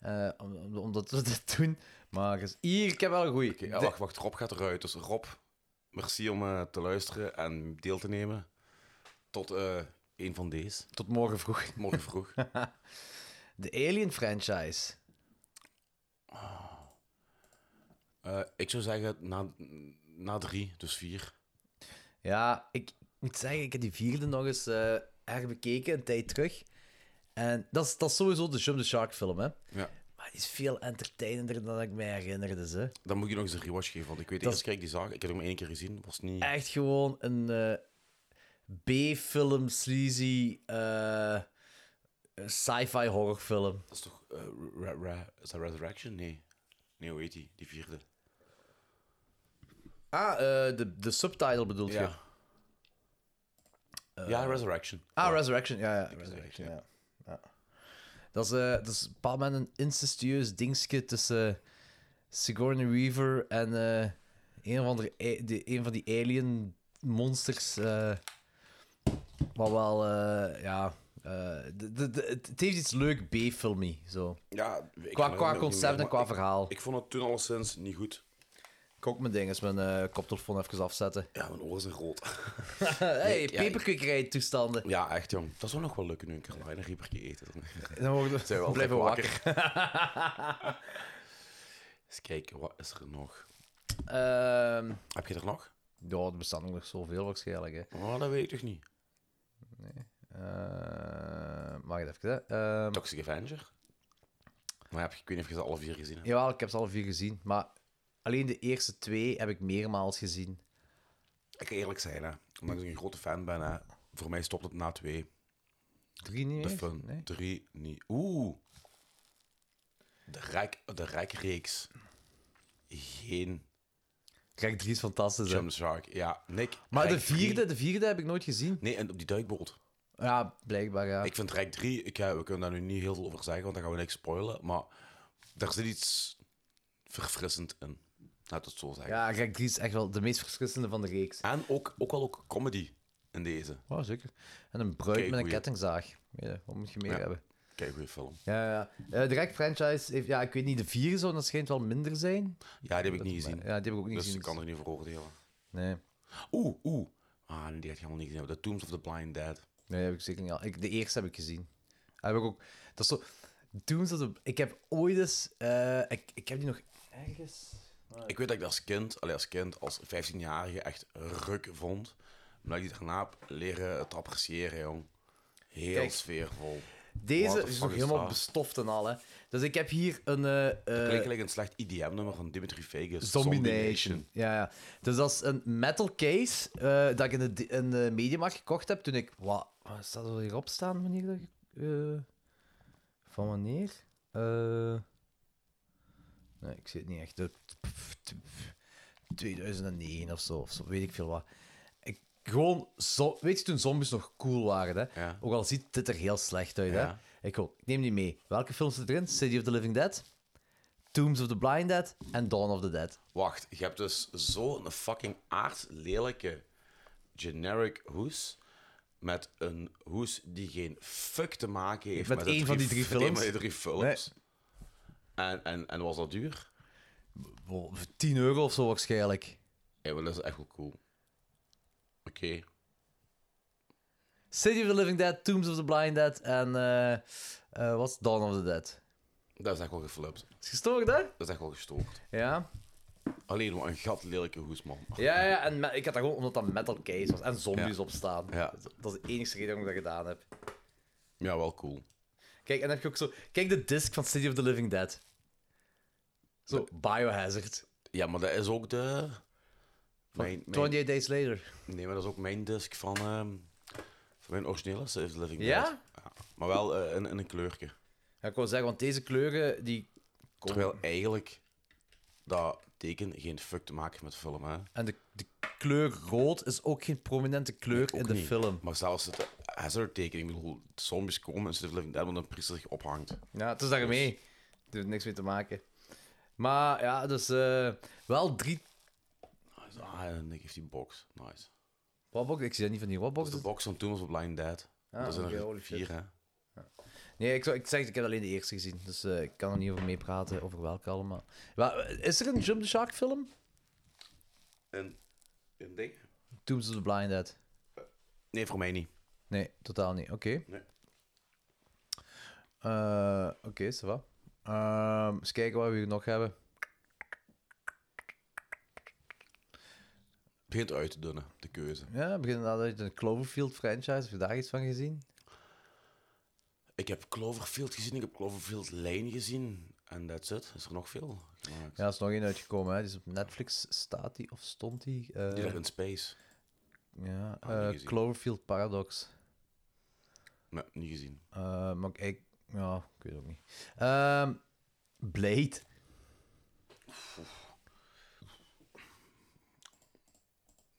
[SPEAKER 3] eh, om- om- omdat we dit doen. Maar eens- hier, ik heb wel een goeie.
[SPEAKER 2] Oké, ja, wacht, wacht. Rob gaat eruit. Dus Rob, merci om eh, te luisteren en deel te nemen. Tot eh een van deze.
[SPEAKER 3] Tot morgen vroeg.
[SPEAKER 2] Morgen vroeg.
[SPEAKER 3] De Alien franchise.
[SPEAKER 2] Eh, ik zou zeggen na, na drie, dus vier.
[SPEAKER 3] Ja, ik moet zeggen, ik heb die vierde nog eens eh, herbekeken, een tijd terug. En dat is, dat is sowieso de Jump the Shark film, hè.
[SPEAKER 2] Ja.
[SPEAKER 3] Maar die is veel entertainender dan ik me herinnerde, ze.
[SPEAKER 2] Dan moet je nog eens een rewatch geven. Want ik weet, de
[SPEAKER 3] Dat
[SPEAKER 2] eerste keer dat ik die zag, ik heb hem maar één keer gezien. Was niet...
[SPEAKER 3] Echt gewoon een eh, B-film, sleazy, eh, sci-fi horrorfilm.
[SPEAKER 2] Dat is toch... eh, Re- Re- is dat Resurrection? Nee. Nee, hoe heet die? Die vierde.
[SPEAKER 3] Ah, eh, de, de subtitle bedoelt je?
[SPEAKER 2] Ja. Eh, ja, Resurrection.
[SPEAKER 3] Ah,
[SPEAKER 2] Ja.
[SPEAKER 3] Resurrection. Ja, ja. Resurrection, ja. Ja. Dat, is, eh, dat is op een bepaald moment een incestueus dingetje tussen Sigourney Weaver en eh, een, of andere, a- die- een van die alien monsters. eh, wat wel, eh, ja... eh, de, de, de- het het heeft iets leuk B-filmy, zo.
[SPEAKER 2] Ja, ik
[SPEAKER 3] Qua,
[SPEAKER 2] herinner het
[SPEAKER 3] qua
[SPEAKER 2] niet
[SPEAKER 3] concept
[SPEAKER 2] meer,
[SPEAKER 3] en qua
[SPEAKER 2] maar ik-
[SPEAKER 3] verhaal. Ik,
[SPEAKER 2] Ik vond het toen alleszins niet goed.
[SPEAKER 3] ook mijn ding is mijn eh, koptelefoon even afzetten.
[SPEAKER 2] Ja, mijn oren zijn rood.
[SPEAKER 3] hey,
[SPEAKER 2] ja, ik-
[SPEAKER 3] peperkikkerij toestanden.
[SPEAKER 2] Ja, echt jong. Dat zou nog wel lukken nu. Ik kan bijna riepertje eten.
[SPEAKER 3] Dan worden we
[SPEAKER 2] Zijn we altijd
[SPEAKER 3] blijven wakker.
[SPEAKER 2] Eens kijken, wat is er nog?
[SPEAKER 3] Ehm,
[SPEAKER 2] Heb je er nog?
[SPEAKER 3] ja, er bestaan ook nog zoveel waarschijnlijk. Hè.
[SPEAKER 2] Oh, dat weet ik toch niet.
[SPEAKER 3] Eh, mag ik even, hè? Ehm,
[SPEAKER 2] Toxic Avenger? Maar heb je, ik weet niet of je ze alle vier gezien hebt.
[SPEAKER 3] jawel, ik heb ze alle vier gezien, maar alleen de eerste twee heb ik meermaals gezien.
[SPEAKER 2] Ik kan eerlijk zijn, hè. Ondanks dat ik een grote fan ben, hè. Voor mij stopt het na twee.
[SPEAKER 3] Drie niet
[SPEAKER 2] De
[SPEAKER 3] meer?
[SPEAKER 2] fun.
[SPEAKER 3] Nee.
[SPEAKER 2] Drie, niet. Oeh. De rek, de rekreeks. Geen
[SPEAKER 3] Kijk, drie is fantastisch, hè?
[SPEAKER 2] Jump Shark. Ja, Nick.
[SPEAKER 3] Maar
[SPEAKER 2] Rek
[SPEAKER 3] de vierde,
[SPEAKER 2] drie-
[SPEAKER 3] de vierde heb ik nooit gezien.
[SPEAKER 2] Nee, en op die duikboot.
[SPEAKER 3] Ja, blijkbaar, ja.
[SPEAKER 2] Ik vind Rek 3, ik, ja, we kunnen daar nu niet heel veel over zeggen, want dan gaan we niks spoilen. Maar daar zit iets verfrissend in. Laat het zo zeggen.
[SPEAKER 3] Ja, kijk, drie is echt wel de meest verschrissende van de reeks.
[SPEAKER 2] En ook, ook wel ook comedy in deze.
[SPEAKER 3] Oh, zeker. En een bruid
[SPEAKER 2] Kijk,
[SPEAKER 3] met een
[SPEAKER 2] goeie.
[SPEAKER 3] kettingzaag. Ja, wat moet je meer
[SPEAKER 2] Ja.
[SPEAKER 3] hebben?
[SPEAKER 2] Kijk, goede film.
[SPEAKER 3] Ja, ja. Eh, de Rec franchise heeft, ja, ik weet niet, de vier zou dat schijnt wel minder zijn.
[SPEAKER 2] Ja, die heb ik niet gezien.
[SPEAKER 3] Ja, die heb ik ook niet
[SPEAKER 2] dus
[SPEAKER 3] gezien.
[SPEAKER 2] ik kan er niet voor oordelen.
[SPEAKER 3] Nee.
[SPEAKER 2] Oeh, oeh. Ah, nee, die had je helemaal niet gezien. hebben. The Tombs of the Blind Dead.
[SPEAKER 3] Nee, heb ik zeker niet. al. Ik, de eerste heb ik gezien. Heb ik ook. Dat is zo. Toen zat op- Ik heb ooit eens. eh, ik, ik heb die nog ergens.
[SPEAKER 2] Ik weet dat ik dat als kind, allee, als kind, als 15-jarige echt ruk vond. Maar dat ik die daarna heb leren te appreciëren, jong. Heel
[SPEAKER 3] Kijk.
[SPEAKER 2] sfeervol. What
[SPEAKER 3] Deze
[SPEAKER 2] the
[SPEAKER 3] is
[SPEAKER 2] fuck
[SPEAKER 3] nog
[SPEAKER 2] is
[SPEAKER 3] helemaal
[SPEAKER 2] dat?
[SPEAKER 3] bestoft en al. Hè. Dus ik heb hier een. eh, eh,
[SPEAKER 2] Klinkt like een slecht IDM-nummer van Dimitri Vegas.
[SPEAKER 3] Zombie Nation. Ja, ja. Dus dat is een metal case eh, dat ik in de, di- in de mediamarkt gekocht heb toen ik... Wat, wat is dat er hierop staan, wanneer dat ik... eh, van wanneer? Eh, nee, ik zie het niet echt. De- 2009 of zo, of zo, weet ik veel wat. Ik, gewoon, zo, weet je toen zombies nog cool waren, hè?
[SPEAKER 2] Ja.
[SPEAKER 3] Ook al ziet dit er heel slecht uit,
[SPEAKER 2] Ja.
[SPEAKER 3] hè? Ik, gewoon, ik neem die mee. Welke films zitten erin? City of the Living Dead, Tombs of the Blind Dead en Dawn of the Dead.
[SPEAKER 2] Wacht, je hebt dus zo'n fucking aardlelijke generic hoes. Met een hoes die geen fuck te maken heeft
[SPEAKER 3] Met
[SPEAKER 2] de
[SPEAKER 3] één van die drie
[SPEAKER 2] met één
[SPEAKER 3] films?
[SPEAKER 2] van die drie films. En, en, en was dat duur?
[SPEAKER 3] Wow, 10 euro of zo waarschijnlijk.
[SPEAKER 2] Ja, maar dat is echt wel cool. Oké.
[SPEAKER 3] City of the Living Dead, Tombs of the Blind Dead en eh eh, wat is Dawn of the Dead.
[SPEAKER 2] Dat is echt wel geflipt.
[SPEAKER 3] Is gestoord, hè?
[SPEAKER 2] Dat is echt wel gestookt.
[SPEAKER 3] Ja.
[SPEAKER 2] Alleen maar een gat lelijke hoes, man.
[SPEAKER 3] Ja, ja, en me- ik had dat gewoon omdat dat Metal Case was en zombies opstaan.
[SPEAKER 2] Ja.
[SPEAKER 3] Dat- Dat is de enige reden waarom ik dat gedaan heb.
[SPEAKER 2] Ja, wel cool.
[SPEAKER 3] Kijk, en dan heb je ook zo... Kijk de disc van City of the Living Dead. Zo, Biohazard.
[SPEAKER 2] Ja, maar dat is ook de... Mijn, mijn-
[SPEAKER 3] 28 Days Later.
[SPEAKER 2] Nee, maar dat is ook mijn disc van, ehm, van mijn originele Save the Living Dead.
[SPEAKER 3] Ja?
[SPEAKER 2] Maar wel eh, in, in een kleurtje.
[SPEAKER 3] Ja, ik wou zeggen, want deze kleuren, die... komen-
[SPEAKER 2] Terwijl eigenlijk dat teken geen fuck te maken heeft met de film, hè.
[SPEAKER 3] En de, de kleur rood is ook geen prominente kleur
[SPEAKER 2] Ook
[SPEAKER 3] in de
[SPEAKER 2] niet.
[SPEAKER 3] film.
[SPEAKER 2] Maar zelfs het Hazard-teken, ik bedoel, zombies komen en Save the Living Dead, omdat een priester zich ophangt.
[SPEAKER 3] Ja, het is daarmee.
[SPEAKER 2] Dus-
[SPEAKER 3] Het heeft niks mee te maken. Maar ja, dus eh, wel drie...
[SPEAKER 2] Nice. Ah, en Nick heeft die box. Nice.
[SPEAKER 3] Wat Ik zie dat niet van die Watbox.
[SPEAKER 2] Dat is de box van toen was op Blind Dead.
[SPEAKER 3] Ah,
[SPEAKER 2] dat zijn
[SPEAKER 3] oké,
[SPEAKER 2] er
[SPEAKER 3] holy
[SPEAKER 2] vier,
[SPEAKER 3] shit.
[SPEAKER 2] hè.
[SPEAKER 3] Nee, ik, zou- ik zeg, ik heb alleen de eerste gezien, dus eh, ik kan er niet over meepraten, over welke allemaal. Wel, is er een Jump the Shark film?
[SPEAKER 2] En een ding?
[SPEAKER 3] Tombs of the Blind Dead.
[SPEAKER 2] Nee, voor mij niet.
[SPEAKER 3] Nee, totaal niet. Oké.
[SPEAKER 2] Nee.
[SPEAKER 3] Eh, Oké, ça va. Ehm, eens kijken wat we hier nog hebben.
[SPEAKER 2] Het begint uit te dunnen, de keuze.
[SPEAKER 3] Ja, we beginnen inderdaad uit de Cloverfield franchise. Heb je daar iets van gezien?
[SPEAKER 2] Ik heb Cloverfield gezien, ik heb Cloverfield Lane gezien. En that's it. Is er nog veel gemaakt?
[SPEAKER 3] Ja, er is nog één uitgekomen. Hè. Die is op Netflix. Staat die of stond die? Eh,
[SPEAKER 2] Die lag in Space.
[SPEAKER 3] ja,
[SPEAKER 2] Ah, niet
[SPEAKER 3] eh,
[SPEAKER 2] gezien.
[SPEAKER 3] Cloverfield Paradox.
[SPEAKER 2] Nee, niet gezien.
[SPEAKER 3] Eh, maar ik... Ja, ik weet het ook niet. Ehm, Blade.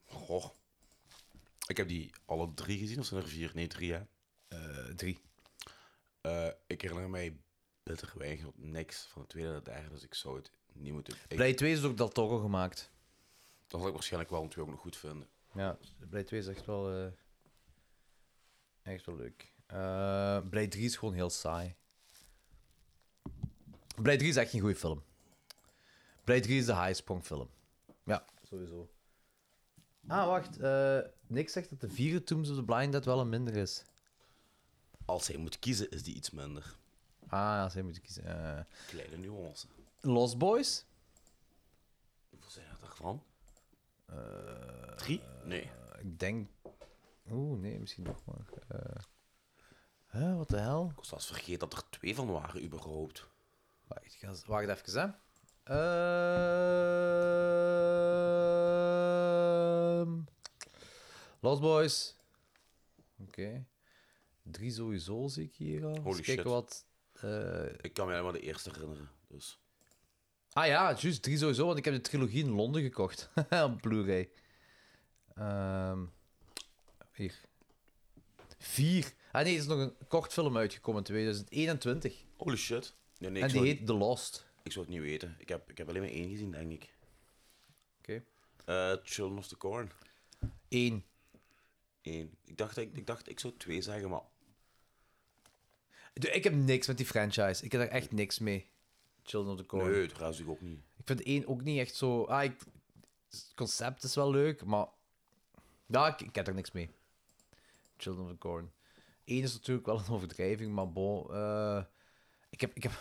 [SPEAKER 2] Goh. Ik heb die alle drie gezien, of zijn er vier? Nee, drie, hè.
[SPEAKER 3] Eh, drie.
[SPEAKER 2] Eh, ik herinner mij bitter weinig op niks van de tweede en de derde, dus ik zou het niet moeten... Ik,
[SPEAKER 3] Blade 2 is door Del Toro gemaakt.
[SPEAKER 2] dat zal ik waarschijnlijk wel een twee ook nog goed vinden.
[SPEAKER 3] Ja, Blade 2 is echt wel... eh, echt wel leuk. Eh Blade 3 is gewoon heel saai. Blade 3 is echt geen goede film. Blade 3 is de highsprong film. Ja, sowieso. Ah, wacht. eh, Nick zegt dat de vierde Tombs of the Blind Dead wel een minder is.
[SPEAKER 2] Als hij moet kiezen, is die iets minder.
[SPEAKER 3] Ah, ja, zij moeten kiezen. Eh,
[SPEAKER 2] Kleine nuance.
[SPEAKER 3] Lost Boys?
[SPEAKER 2] Hoeveel zijn er daarvan? drie? Nee.
[SPEAKER 3] Eh, ik denk... Oeh, nee, misschien nog maar. Eh, hè, wat de hel?
[SPEAKER 2] Ik was zelfs vergeten dat er twee van waren, überhaupt.
[SPEAKER 3] Wacht, ik ga- wacht even, hè. Ehm, Lost Boys. Oké. Drie sowieso zie ik hier al.
[SPEAKER 2] Holy
[SPEAKER 3] Eens kijken
[SPEAKER 2] shit.
[SPEAKER 3] wat... eh,
[SPEAKER 2] Ik kan me alleen maar de eerste herinneren, dus...
[SPEAKER 3] Ah ja, juist. Drie sowieso, want ik heb de trilogie in Londen gekocht. Op Blu-ray. Ehm, hier. Vier. Ah nee, er is nog een kort film uitgekomen in 2021.
[SPEAKER 2] Holy shit. Nee, nee, ik,
[SPEAKER 3] en die
[SPEAKER 2] zou,
[SPEAKER 3] heet The Lost.
[SPEAKER 2] ik zou het niet weten. Ik heb, ik heb alleen maar één gezien, denk ik.
[SPEAKER 3] Oké.
[SPEAKER 2] Eh Children of the Corn.
[SPEAKER 3] Eén.
[SPEAKER 2] Eén. Ik dacht, ik, ik dacht, ik zou twee zeggen, maar...
[SPEAKER 3] Dude, Ik heb niks met die franchise. Ik heb daar echt niks mee. Children of the Corn.
[SPEAKER 2] Nee, dat raas ik ook niet.
[SPEAKER 3] Ik vind één ook niet echt zo... Ah, ik... Het concept is wel leuk, maar... Ja, ik, ik heb daar niks mee. Children of the Corn. Eén is natuurlijk wel een overdrijving, maar bon... eh, ik heb... Ik heb, ja,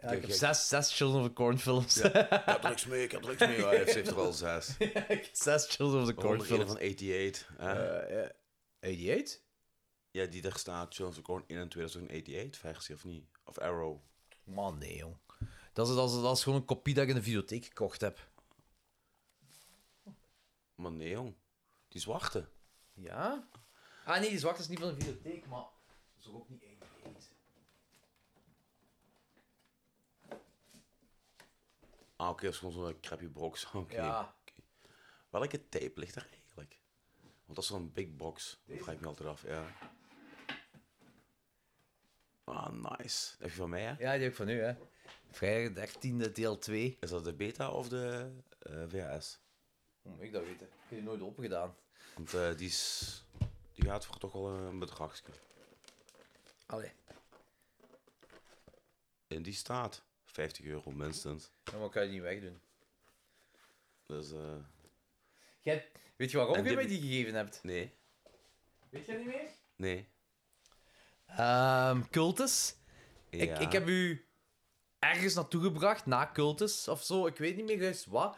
[SPEAKER 2] Ja,
[SPEAKER 3] ik heb
[SPEAKER 2] gek.
[SPEAKER 3] zes, zes Children of the Corn films.
[SPEAKER 2] Ik heb er niks mee, ik heb er niks mee. Ja, hij heeft er al zes.
[SPEAKER 3] Ik heb zes Children of the Corn
[SPEAKER 2] Corn van
[SPEAKER 3] films.
[SPEAKER 2] 88. hè?
[SPEAKER 3] Eh, eh, 88?
[SPEAKER 2] Ja, die daar staat, Children of the Corn 1 en 2, dat is ook een 88 versie, of niet? Of Arrow.
[SPEAKER 3] Man, nee, jong. Dat is, dat, is, dat is gewoon een kopie dat ik in de videotheek gekocht heb.
[SPEAKER 2] Maar nee, jong. Die zwarte.
[SPEAKER 3] Ja? Ah nee, die zwarte is niet van de videotheek, maar... Dat is toch ook niet 88?
[SPEAKER 2] Ah, oké, dat is gewoon zo'n crappy box. Oké.
[SPEAKER 3] Ja.
[SPEAKER 2] Oké. Welke tape ligt er eigenlijk? Want dat is zo'n big box. Dat vraag ik me altijd af, ja. Ah, nice. Heb je van mij, hè?
[SPEAKER 3] Ja, die heb ik van nu, hè. Vrijdag 13e, deel 2.
[SPEAKER 2] Is dat de beta of de eh VHS?
[SPEAKER 3] Moet ik dat weten? Ik heb die nooit open gedaan.
[SPEAKER 2] Want eh, die, is, die gaat voor toch wel een bedragje.
[SPEAKER 3] Allee.
[SPEAKER 2] En die staat 50 euro minstens.
[SPEAKER 3] Ja, maar ik kan je niet wegdoen.
[SPEAKER 2] Dus, eh,
[SPEAKER 3] Jij... Weet je waarom
[SPEAKER 2] En
[SPEAKER 3] je
[SPEAKER 2] die-
[SPEAKER 3] mij die gegeven hebt?
[SPEAKER 2] nee.
[SPEAKER 3] Weet je niet meer?
[SPEAKER 2] Nee.
[SPEAKER 3] Ehm Cultus. Ik,
[SPEAKER 2] Ja.
[SPEAKER 3] ik heb u ergens naartoe gebracht, na cultus of zo. Ik weet niet meer juist wat.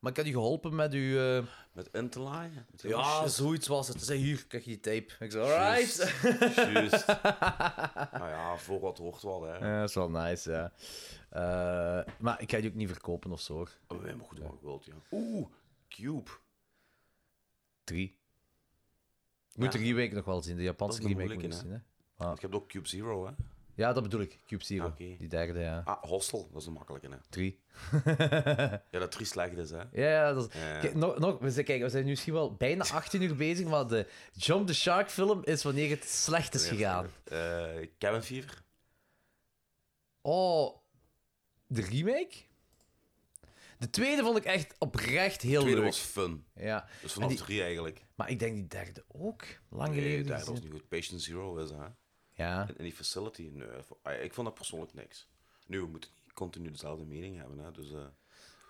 [SPEAKER 3] Maar ik had u geholpen met uw... eh,
[SPEAKER 2] Met in te laaien. Met heel
[SPEAKER 3] ja,
[SPEAKER 2] shit.
[SPEAKER 3] zoiets was het. Ze zei, hier, krijg je die tape. Ik zei, alright.
[SPEAKER 2] Juist. nou ja, voor wat hoort wel, hè.
[SPEAKER 3] Ja, dat is wel nice, ja. Eh, maar ik ga die ook niet verkopen of zo, hoor.
[SPEAKER 2] Oh, wij mogen doen wat je wilt, ja. Oeh, Cube.
[SPEAKER 3] Drie. Ik moet
[SPEAKER 2] Ja.
[SPEAKER 3] drie weken nog wel zien. De Japanse
[SPEAKER 2] Dat is een
[SPEAKER 3] remake moet ik
[SPEAKER 2] moeilijke,
[SPEAKER 3] zien, hè.
[SPEAKER 2] Want je hebt ook Cube Zero, hè.
[SPEAKER 3] Ja, dat bedoel ik. Cube Zero.
[SPEAKER 2] Oké.
[SPEAKER 3] Die derde, ja.
[SPEAKER 2] Ah, Hostel, dat is een makkelijke, hè.
[SPEAKER 3] Drie.
[SPEAKER 2] Ja, dat drie slecht is, hè. Eh,
[SPEAKER 3] Ja, ja, dat is...
[SPEAKER 2] Ja.
[SPEAKER 3] Kijk, nog, nog, we zijn, kijk, we zijn nu misschien wel bijna 18 uur bezig, maar de Jump the Shark film is wanneer het slecht is gegaan.
[SPEAKER 2] Eh, Cabin Fever.
[SPEAKER 3] Oh, de remake? De tweede vond ik echt oprecht heel
[SPEAKER 2] Tweede
[SPEAKER 3] leuk.
[SPEAKER 2] was fun.
[SPEAKER 3] Ja,
[SPEAKER 2] Dus vanaf
[SPEAKER 3] En die-
[SPEAKER 2] drie eigenlijk.
[SPEAKER 3] maar ik denk die derde ook. Lang
[SPEAKER 2] Nee,
[SPEAKER 3] geleden.
[SPEAKER 2] daar was
[SPEAKER 3] gezien.
[SPEAKER 2] niet goed. Patient Zero is, hè.
[SPEAKER 3] Ja.
[SPEAKER 2] En, en die facility, nee, v- ah, ik vond dat persoonlijk niks. Nu, we moeten niet continu dezelfde mening hebben, hè. Dus, eh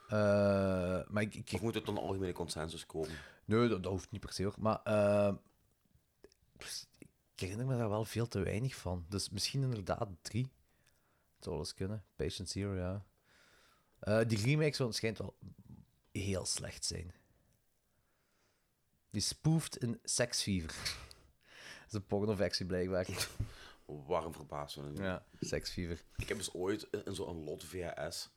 [SPEAKER 3] Eh, maar ik, ik,
[SPEAKER 2] of moet het tot een algemene consensus komen?
[SPEAKER 3] Nee, dat, dat hoeft niet per se hoor. Maar eh, ik herinner me daar wel veel te weinig van. Dus misschien inderdaad drie. Het zou wel eens kunnen. Patient Zero, ja. Eh, die remakes wel- schijnt wel heel slecht zijn. Die spoeft in Sex Fever. Dat is een pornofactie blijkbaar.
[SPEAKER 2] Waarom verbaasd we het niet?
[SPEAKER 3] Ja, Sex Fever.
[SPEAKER 2] Ik heb dus ooit in, in zo'n lot VHS,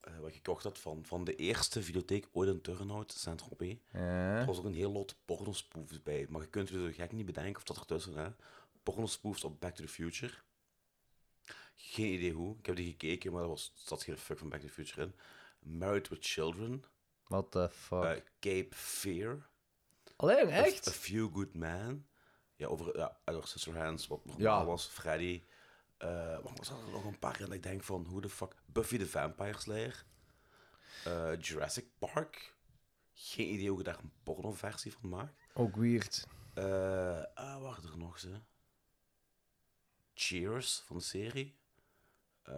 [SPEAKER 2] eh, wat ik gekocht had van, van de eerste videotheek ooit in Turnhout, Saint-Tropez.
[SPEAKER 3] Ja.
[SPEAKER 2] Er was ook een heel lot pornospoefs bij. Maar je kunt je zo gek niet bedenken of dat ertussen, hè. Pornospoefs op Back to the Future. Geen idee hoe. Ik heb die gekeken, maar er was, zat geen fuck van Back to the Future in. Married with Children.
[SPEAKER 3] What the fuck.
[SPEAKER 2] eh, Cape Fear.
[SPEAKER 3] Allee,
[SPEAKER 2] A-
[SPEAKER 3] echt?
[SPEAKER 2] A Few Good Men. Ja, over ja, Edward Scissorhands, wat normaal
[SPEAKER 3] Ja.
[SPEAKER 2] was. Freddy. Eh maar er zaten er nog een paar in dat ik denk van, hoe de fuck... Buffy the Vampire Slayer. Eh, Jurassic Park. Geen idee hoe je daar een pornoversie van maakt.
[SPEAKER 3] Ook weird.
[SPEAKER 2] Eh ah, wacht, er nog ze. Cheers van de serie. Eh,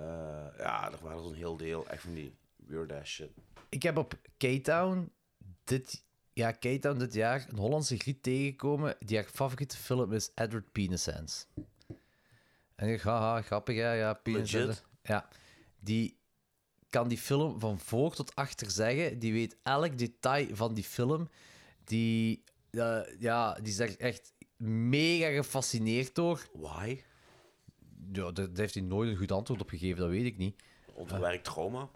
[SPEAKER 2] ja, er waren zo'n heel deel echt van die weird ass shit.
[SPEAKER 3] Ik heb op K-Town dit, ja, K-Town dit jaar een Hollandse griet tegengekomen die haar favoriete film is Edward Penis Hands. En ik dacht, haha, grappig hè, ja, Penis
[SPEAKER 2] Legit?
[SPEAKER 3] Hands. Ja, die kan die film van voor tot achter zeggen. Die weet elk detail van die film. Die, eh, ja, die is daar echt mega gefascineerd door.
[SPEAKER 2] Why?
[SPEAKER 3] Ja, daar daar heeft hij nooit een goed antwoord op gegeven, dat weet ik niet.
[SPEAKER 2] Onverwerkt trauma?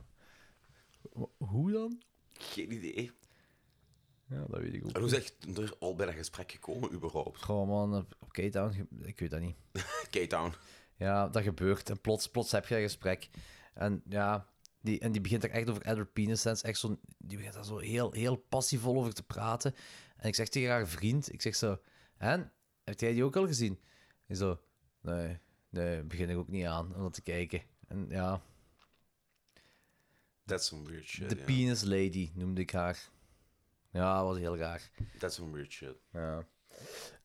[SPEAKER 3] Hoe dan?
[SPEAKER 2] Geen idee.
[SPEAKER 3] Ja, dat weet ik ook
[SPEAKER 2] En hoe zeg je er al bij dat gesprek gekomen, überhaupt?
[SPEAKER 3] Gewoon man, op, op K-Town, ge- ik weet dat niet.
[SPEAKER 2] K-Town.
[SPEAKER 3] Ja, dat gebeurt. En plots, plots heb je een gesprek. En ja, die, en die begint er echt over Edward Penisens. Echt zo, die begint daar zo heel, heel passievol over te praten. En ik zeg tegen haar vriend, ik zeg zo... En, heb jij die ook al gezien? En zo... Nee, nee, begin ik ook niet aan om dat te kijken. En ja,
[SPEAKER 2] That's some weird shit,
[SPEAKER 3] de
[SPEAKER 2] ja.
[SPEAKER 3] penis lady noemde ik haar. Ja, was heel raar.
[SPEAKER 2] That's some weird shit.
[SPEAKER 3] Ja.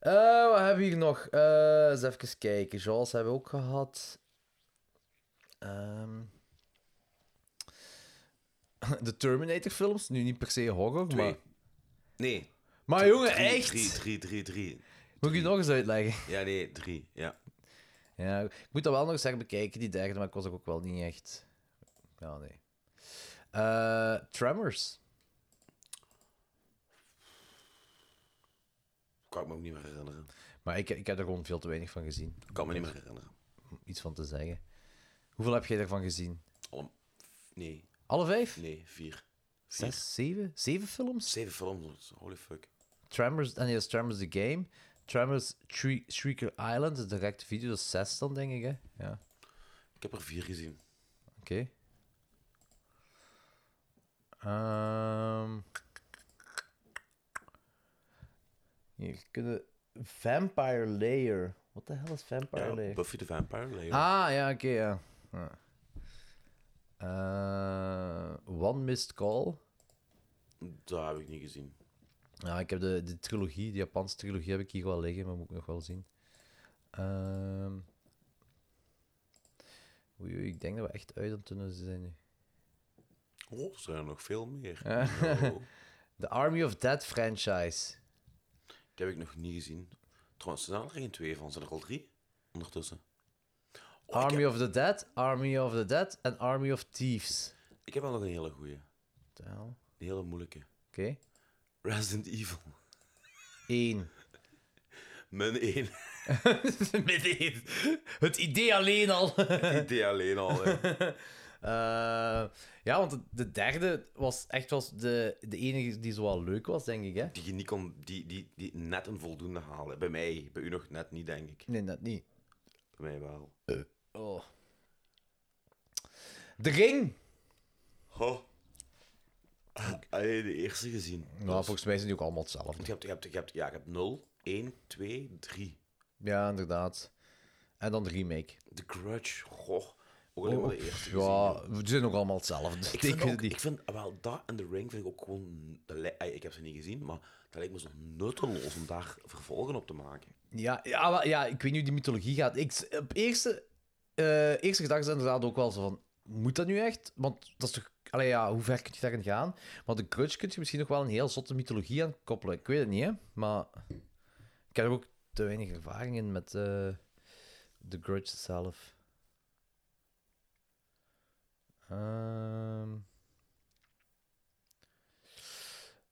[SPEAKER 3] Eh, wat hebben we hier nog? Eh, eens even kijken. Jaws hebben we ook gehad. Ehm. de Terminator films, nu niet per se horror,
[SPEAKER 2] Twee.
[SPEAKER 3] maar...
[SPEAKER 2] Nee.
[SPEAKER 3] Maar jongen,
[SPEAKER 2] drie,
[SPEAKER 3] echt!
[SPEAKER 2] Drie, drie, drie, drie.
[SPEAKER 3] Moet ik je nog eens uitleggen?
[SPEAKER 2] Ja, nee, drie. Ja.
[SPEAKER 3] Ja, ik moet dat wel nog eens echt bekijken, die derde, maar ik was er ook wel niet echt... Ja, nee. Eh, Tremors.
[SPEAKER 2] Kan ik me ook niet meer herinneren.
[SPEAKER 3] Maar ik, ik heb er gewoon veel te weinig van gezien,
[SPEAKER 2] Kan me niet meer herinneren.
[SPEAKER 3] om iets van te zeggen. Hoeveel heb jij ervan gezien?
[SPEAKER 2] Alle... Nee,
[SPEAKER 3] Alle vijf?
[SPEAKER 2] nee, vier. Vier.
[SPEAKER 3] Zes? Zeven? Zeven films?
[SPEAKER 2] Zeven films, holy fuck.
[SPEAKER 3] Tremors, en die is Tremors the Game. Tremors Shrie- Shrieker Island, de directe video, dat is zes dan, denk ik, hè? Ja,
[SPEAKER 2] Ik heb er vier gezien.
[SPEAKER 3] oké. Ehm Hier kunnen... Vampire Layer. Wat de hel is Vampire
[SPEAKER 2] Ja,
[SPEAKER 3] Layer?
[SPEAKER 2] Buffy the Vampire Slayer.
[SPEAKER 3] Ah, ja, oké, ja. ja. Eh, One Missed Call.
[SPEAKER 2] Dat heb ik niet gezien.
[SPEAKER 3] Ja, ik heb de, de trilogie, de Japanse trilogie, heb ik hier wel liggen, maar moet ik nog wel zien. Ehm Oei, oei, ik denk dat we echt uit aan het tunnel zijn nu.
[SPEAKER 2] Oh, er zijn er nog veel meer.
[SPEAKER 3] Eh.
[SPEAKER 2] Nou,
[SPEAKER 3] The Army of Dead franchise.
[SPEAKER 2] die heb ik nog niet gezien. Trouwens, er zijn er geen twee van, zijn er al drie ondertussen.
[SPEAKER 3] Army of the Dead, Army of the Dead en Army of Thieves.
[SPEAKER 2] Ik heb wel nog een hele goeie.
[SPEAKER 3] What the hell?
[SPEAKER 2] Een hele moeilijke.
[SPEAKER 3] Oké.
[SPEAKER 2] Resident Evil.
[SPEAKER 3] Eén.
[SPEAKER 2] Mijn één
[SPEAKER 3] Meteen. Het idee alleen al.
[SPEAKER 2] idee alleen al. hè.
[SPEAKER 3] Eh, ja, want de, de derde was echt was de, de enige die zo wel leuk was, denk ik. Hè?
[SPEAKER 2] Die, je niet kon, die, die, die net een voldoende halen. Bij mij, bij u nog net niet, denk ik.
[SPEAKER 3] Nee, dat niet.
[SPEAKER 2] Bij mij wel.
[SPEAKER 3] Oh. De Ring.
[SPEAKER 2] Ho. Allee, de eerste gezien.
[SPEAKER 3] Nou, volgens mij zijn die ook allemaal hetzelfde.
[SPEAKER 2] Je hebt, je hebt, je hebt, ja, je hebt 0, 1, 2, 3.
[SPEAKER 3] Ja, inderdaad. En dan de remake.
[SPEAKER 2] The Grudge. Goh. Ook alleen maar de eerste gezien.
[SPEAKER 3] Oh, ja,
[SPEAKER 2] joh.
[SPEAKER 3] ze zijn nog allemaal hetzelfde.
[SPEAKER 2] Ik
[SPEAKER 3] weet
[SPEAKER 2] vind, ook,
[SPEAKER 3] het niet.
[SPEAKER 2] ik vind wel dat en The Ring vind ik ook gewoon. dat lij- ey, Ik heb ze niet gezien, maar dat lijkt me zo nutteloos om daar vervolgen op te maken.
[SPEAKER 3] Ja, ja, maar, ja, ik weet niet hoe die mythologie gaat. Ik, op eerste, eh eerste gedachte is inderdaad ook wel zo van... Moet dat nu echt? Want dat is toch... Allee, ja, hoe ver kun je daarin gaan? Want de Grudge kun je misschien nog wel een heel zotte mythologie aan koppelen. Ik weet het niet, hè. Maar ik heb er ook te weinig ervaring in met eh, de Grudge zelf. Ehm.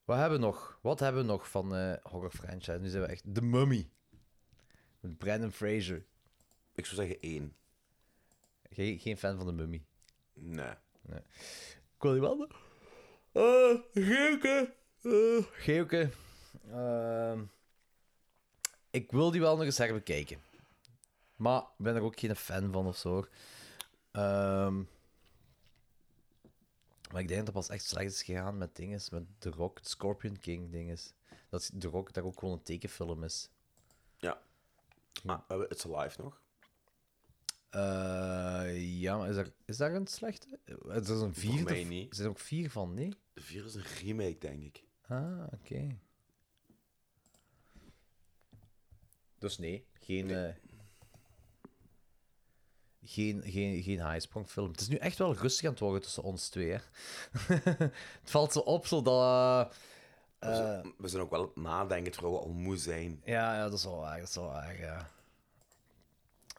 [SPEAKER 3] Wat hebben we nog? Wat hebben we nog van eh, horror franchise? Nu zijn we echt... The Mummy. Met Brandon Fraser.
[SPEAKER 2] Ik zou zeggen 1.
[SPEAKER 3] Geen, geen fan van de mummy.
[SPEAKER 2] Nee.
[SPEAKER 3] Ik wil die wel doen. Eh, Geuke. Eh, Geuke. Ehm, ik wil die wel nog eens herbekijken. Maar ik ben er ook geen fan van of zo. hoor. Ehm, maar ik denk dat pas echt slecht is gegaan met dingen. Met The Rock, het Scorpion King dinges. Dat The Rock daar ook gewoon een tekenfilm is.
[SPEAKER 2] Ah, we hebben It's Alive nog.
[SPEAKER 3] Eh, ja, maar is daar, is daar een slechte? Er is een vierde.
[SPEAKER 2] mij niet.
[SPEAKER 3] Er zijn ook vier van, nee?
[SPEAKER 2] De 4 is een remake, denk ik.
[SPEAKER 3] Ah, oké. Dus nee, geen, eh, geen, geen, geen haaisprongfilm. Het is nu echt wel rustig aan het worden tussen ons twee. Hè? het valt zo op zo dat. eh,
[SPEAKER 2] We zijn- we zijn ook wel aan het nadenken terwijl we al moe zijn.
[SPEAKER 3] ja, ja, dat is wel waar. Dat is wel waar ja.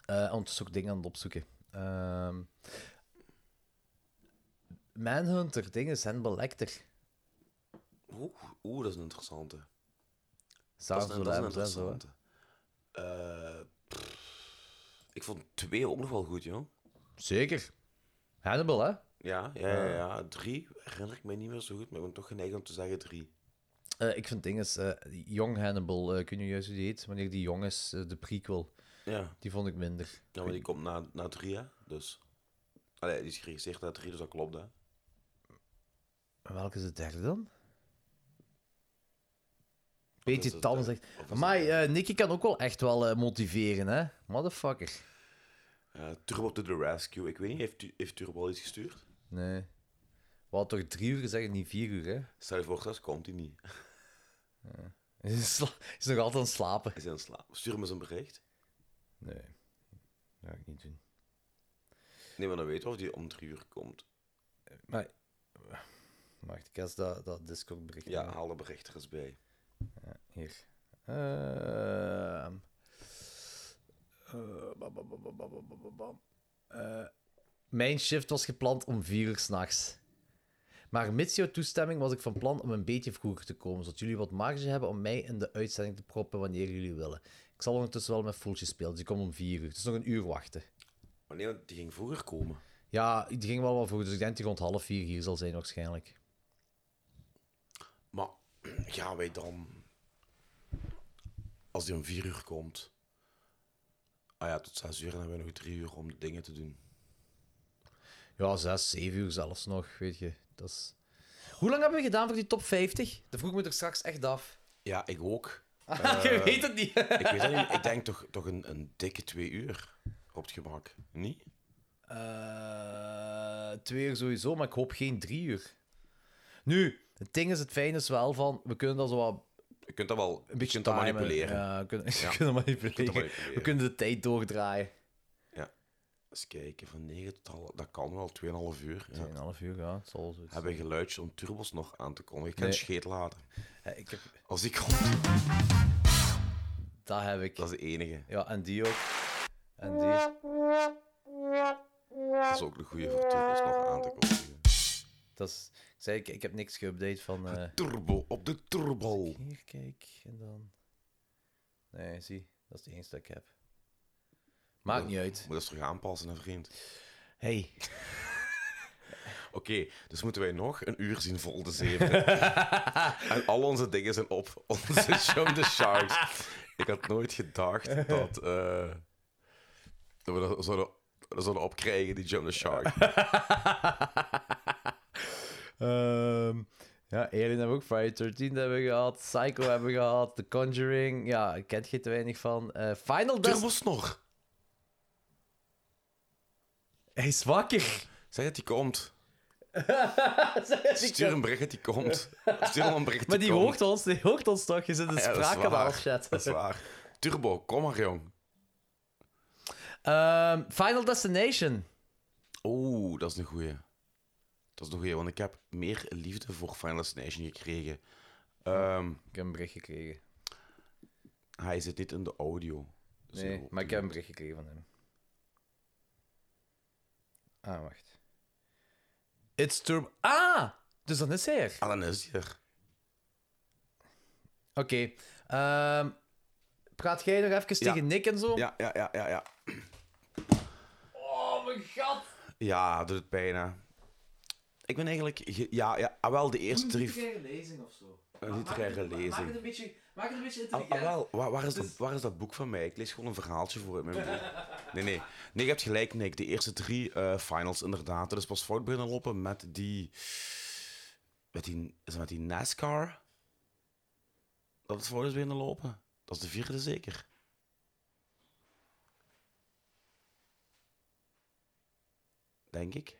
[SPEAKER 3] Eh ondertussen ook dingen aan het opzoeken. Ehm Manhunter, dingen is Hannibal Lecter.
[SPEAKER 2] Oeh, oeh, dat is een interessante.
[SPEAKER 3] Sarah
[SPEAKER 2] dat is een, dat is een
[SPEAKER 3] Zulams en zo. hè.
[SPEAKER 2] interessante. Eh, pff, ik vond 2 ook nog wel goed, joh.
[SPEAKER 3] Zeker. Hannibal, hè?
[SPEAKER 2] Ja, ja, ja, ja. 3 herinner ik mij niet meer zo goed, maar ik ben toch geneigd om te zeggen 3.
[SPEAKER 3] Eh, ik vind dinges, eh Young Hannibal, kun ik weet niet juist hoe die heet, wanneer die jong is, eh, de prequel,
[SPEAKER 2] Ja.
[SPEAKER 3] die vond ik minder.
[SPEAKER 2] Ja, maar die komt na, na drie, hè? Dus. Allee, die is geregistreerd na drie, dus dat klopt, hè?
[SPEAKER 3] En welke is de derde dan? Beetje
[SPEAKER 2] is het,
[SPEAKER 3] tanden
[SPEAKER 2] eh,
[SPEAKER 3] zegt.
[SPEAKER 2] of is het,
[SPEAKER 3] Maar Nicky kan ook wel echt wel eh, motiveren, hè? Motherfucker.
[SPEAKER 2] Eh, Turbo to the rescue. Ik weet niet, heeft, Tu- heeft Turbo al iets gestuurd?
[SPEAKER 3] Nee. We hadden toch drie uur gezegd, niet vier uur, hè?
[SPEAKER 2] Stel je voor, straks komt hij niet.
[SPEAKER 3] Hij is sla- hij is nog altijd aan het slapen.
[SPEAKER 2] Hij is in het slaap. Stuur hem eens een bericht.
[SPEAKER 3] Nee. Dat ga ik niet doen.
[SPEAKER 2] Nee, maar dan weten we of die om drie uur komt.
[SPEAKER 3] Maar. Wacht, ik eens dat, dat Discord bericht.
[SPEAKER 2] Ja, haal de bericht er eens bij.
[SPEAKER 3] Hier. Ehm. Eh, bam, bam, bam, bam, bam, bam, bam, bam, bam. Eh, mijn shift was gepland om vier uur s'nachts. Maar mits jouw toestemming was ik van plan om een beetje vroeger te komen, zodat jullie wat marge hebben om mij in de uitzending te proppen wanneer jullie willen. Ik zal ondertussen wel met Fultje spelen, dus ik kom om vier uur. Dus nog een uur wachten.
[SPEAKER 2] Maar nee, want die ging vroeger komen.
[SPEAKER 3] Ja, die ging wel wel vroeg, dus ik denk dat die rond half vier hier zal zijn waarschijnlijk.
[SPEAKER 2] Maar gaan wij dan. Als die om vier uur komt. Ah ja, tot zes uur en dan hebben we nog drie uur om dingen te doen.
[SPEAKER 3] Ja, zes, zeven uur zelfs nog, weet je. Dat is... Hoe lang hebben we gedaan voor die top 50? Dat vroeg me er straks echt af.
[SPEAKER 2] Ja, ik ook. Eh.
[SPEAKER 3] Je weet het niet.
[SPEAKER 2] Ik weet dat niet. Ik denk toch, toch een, een dikke twee uur op het gemak. Niet?
[SPEAKER 3] Eh, twee uur sowieso, maar ik hoop geen drie uur. Nu, het ding is, het fijn is wel van, we kunnen dat zo wat
[SPEAKER 2] Je kunt dat wel
[SPEAKER 3] een beetje
[SPEAKER 2] je kunt dat
[SPEAKER 3] timen.
[SPEAKER 2] manipuleren.
[SPEAKER 3] Ja, we kunnen, we
[SPEAKER 2] Ja.
[SPEAKER 3] kunnen manipuleren.
[SPEAKER 2] manipuleren.
[SPEAKER 3] We kunnen de tijd doordraaien.
[SPEAKER 2] Eens kijken, van 9 tot half, dat kan wel, 2,5 uur. Ja.
[SPEAKER 3] Tweeënhalf uur, ja, het zal wel zoiets
[SPEAKER 2] Hebben we geluidjes om turbos nog aan te kondigen? Ik kan
[SPEAKER 3] Nee.
[SPEAKER 2] scheet laten.
[SPEAKER 3] zijn. Eh, Ik heb,
[SPEAKER 2] Als die komt,
[SPEAKER 3] dat heb ik.
[SPEAKER 2] dat is de enige.
[SPEAKER 3] Ja, en die ook. En die.
[SPEAKER 2] Dat is ook een goede voor turbo's nog aan te kondigen.
[SPEAKER 3] Dat is, ik zei, ik, ik heb niks geüpdate van... eh,
[SPEAKER 2] Turbo op de turbo.
[SPEAKER 3] Hier, kijk, en dan... Nee, zie, dat is de enige dat ik heb. Maakt niet uit.
[SPEAKER 2] Moet dat eens terug aanpassen, hè, vriend.
[SPEAKER 3] Hey.
[SPEAKER 2] Oké, dus moeten wij nog een uur zien vol de zeven. en al onze dingen zijn op. Onze Jump the Sharks. Ik had nooit gedacht dat, eh, dat we dat zouden, dat zouden opkrijgen, die Jump the Shark.
[SPEAKER 3] Ehm, ja, Alien hebben we ook, Friday 13 hebben we gehad, Psycho hebben we gehad, The Conjuring, ja, ik ken er te weinig van. Eh, Final Destination...
[SPEAKER 2] Turbosnor.
[SPEAKER 3] Hij is wakker!
[SPEAKER 2] Zeg dat die komt. Stuur een bericht dat die komt. Stuur hem een bericht
[SPEAKER 3] Maar die
[SPEAKER 2] komt.
[SPEAKER 3] hoort ons, die hoort ons toch, je zit in de
[SPEAKER 2] Ah Ja, dat is
[SPEAKER 3] spraakkanaal,
[SPEAKER 2] waar.
[SPEAKER 3] chat.
[SPEAKER 2] Dat is waar. Turbo, kom maar, jong.
[SPEAKER 3] Ehm, Final Destination.
[SPEAKER 2] Oeh, dat is een goeie. Dat is een goeie, want ik heb meer liefde voor Final Destination gekregen. Ehm,
[SPEAKER 3] Ik heb een bericht gekregen.
[SPEAKER 2] hij zit niet in de audio. Dus
[SPEAKER 3] Nee,
[SPEAKER 2] hoop
[SPEAKER 3] maar ik
[SPEAKER 2] niet.
[SPEAKER 3] heb een bericht gekregen van hem. Ah, wacht. It's Turbo... Ah! Dus dan is hij er.
[SPEAKER 2] Ah, dan is hij er.
[SPEAKER 3] Oké. ehm, praat jij nog even
[SPEAKER 2] Ja.
[SPEAKER 3] tegen Nick en zo?
[SPEAKER 2] Ja, ja, ja, ja, ja.
[SPEAKER 3] Oh, mijn god!
[SPEAKER 2] Ja, dat doet het pijn, hè. Ik ben eigenlijk... ge- Ja, ja, ah, wel, de eerste drie...
[SPEAKER 3] lezing of zo.
[SPEAKER 2] Een literaire lezing.
[SPEAKER 3] een beetje, maak het een beetje
[SPEAKER 2] Ah, ah, wel, waar, waar, is dat, waar is dat boek van mij? Ik lees gewoon een verhaaltje voor in mijn boek. Nee, nee. Nee, je hebt gelijk, Nick. De eerste drie eh, finals, inderdaad. Er is pas fout beginnen lopen met die... Met die is het met die NASCAR? Dat het fout is beginnen lopen? Dat is de vierde zeker. Denk ik.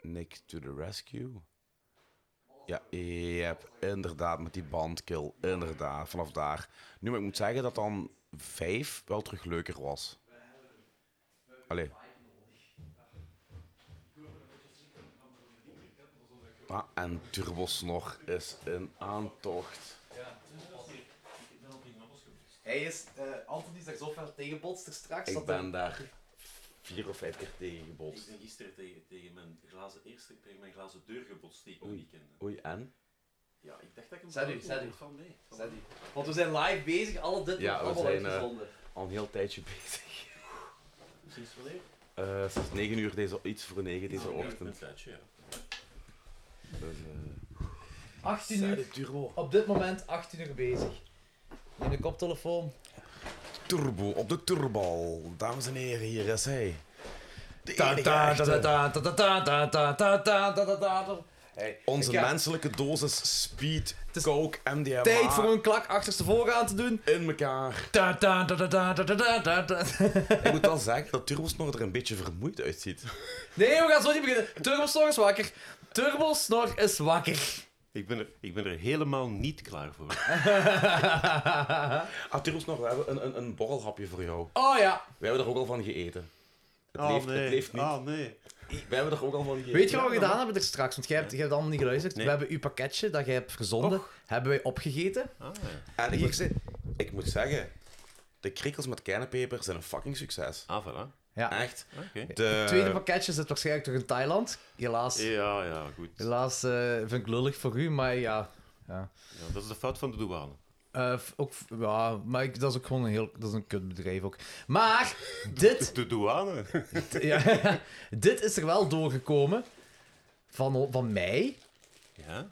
[SPEAKER 2] Nick to the rescue. Ja, yep, inderdaad, met die bandkill. Inderdaad, vanaf daar. Nu, maar ik moet zeggen dat dan 5 wel terug leuker was. Allee. Ah, en Turbosnor is in aantocht.
[SPEAKER 3] Hij is... eh Anthony is daar zo fel tegenbotst er straks.
[SPEAKER 2] Ik
[SPEAKER 3] dat
[SPEAKER 2] ben daar vier of vijf keer tegen gebotst.
[SPEAKER 4] ben gisteren tegen, tegen mijn glazen eerste tegen mijn glazen deur gebotst die ik nog niet kende.
[SPEAKER 2] Oei, en?
[SPEAKER 4] Ja, ik dacht dat ik hem
[SPEAKER 3] Zet u,
[SPEAKER 4] vond,
[SPEAKER 3] zet
[SPEAKER 4] maar
[SPEAKER 3] u.
[SPEAKER 4] van nee.
[SPEAKER 3] hij- Zet die. Want we zijn live bezig, alle dit
[SPEAKER 2] Ja,
[SPEAKER 3] wordt
[SPEAKER 2] we
[SPEAKER 3] allemaal
[SPEAKER 2] zijn, eh,
[SPEAKER 3] uitgezonden.
[SPEAKER 2] Al een heel tijdje bezig.
[SPEAKER 4] Sinds wanneer?
[SPEAKER 2] Eh sinds 9 uur deze, iets voor 9 deze
[SPEAKER 4] Ja,
[SPEAKER 2] ochtend.
[SPEAKER 4] Een tijdje, ja.
[SPEAKER 2] Dus, eh,
[SPEAKER 3] 18 uur. Op dit moment 18 uur bezig. Neem de koptelefoon.
[SPEAKER 2] Turbo op de turbal. Dames en heren, hier is hij. De
[SPEAKER 3] Ta
[SPEAKER 2] enige
[SPEAKER 3] ta
[SPEAKER 2] echte.
[SPEAKER 3] ta ta ta ta ta ta ta ta ta ta ta ta. Hey,
[SPEAKER 2] Onze
[SPEAKER 3] ik ga-
[SPEAKER 2] menselijke dosis speed,
[SPEAKER 3] is
[SPEAKER 2] coke, MDMA
[SPEAKER 3] Tijd voor een klak achterstevoren aan te doen.
[SPEAKER 2] in elkaar.
[SPEAKER 3] Ta ta ta ta ta ta ta ta ta.
[SPEAKER 2] Ik moet wel zeggen dat Turbosnor er een beetje vermoeid uitziet.
[SPEAKER 3] Nee, we gaan zo niet beginnen. Turbosnor is wakker. Turbosnor is wakker.
[SPEAKER 4] Ik ben, er, ik ben er helemaal niet klaar voor.
[SPEAKER 2] Ah, Turbosnor, we hebben een, een, een borrelhapje voor jou.
[SPEAKER 3] Oh ja.
[SPEAKER 2] We hebben er ook al van geëten. Het, leeft, het leeft niet.
[SPEAKER 4] Ah, nee.
[SPEAKER 2] We hebben er ook al van gegeten.
[SPEAKER 3] Ah, Weet je wat we gedaan hebben er straks? Want jij hebt, jij hebt allemaal niet geluisterd.
[SPEAKER 4] Nee.
[SPEAKER 3] We hebben uw pakketje dat jij hebt verzonden, hebben wij opgegeten.
[SPEAKER 4] Ah, ja.
[SPEAKER 2] En ik,
[SPEAKER 3] Hier
[SPEAKER 2] moet,
[SPEAKER 3] zit...
[SPEAKER 2] ik moet zeggen, de krikkels met kernpeper zijn een fucking succes.
[SPEAKER 4] Ah, voilà.
[SPEAKER 3] Ja.
[SPEAKER 2] Echt.
[SPEAKER 4] Oké.
[SPEAKER 2] De...
[SPEAKER 3] Het tweede pakketje zit waarschijnlijk toch in Thailand. Helaas.
[SPEAKER 4] Ja, ja, goed.
[SPEAKER 3] Helaas eh, vind ik lullig voor u, maar ja.
[SPEAKER 4] Ja, dat is de fout van de douane.
[SPEAKER 3] Eh, f- ook, f- ja, maar ik, dat is ook gewoon een heel... Dat is een kutbedrijf ook. Maar dit,
[SPEAKER 4] De douane?
[SPEAKER 3] ja, dit is er wel doorgekomen. Van, van mij.
[SPEAKER 4] Ja.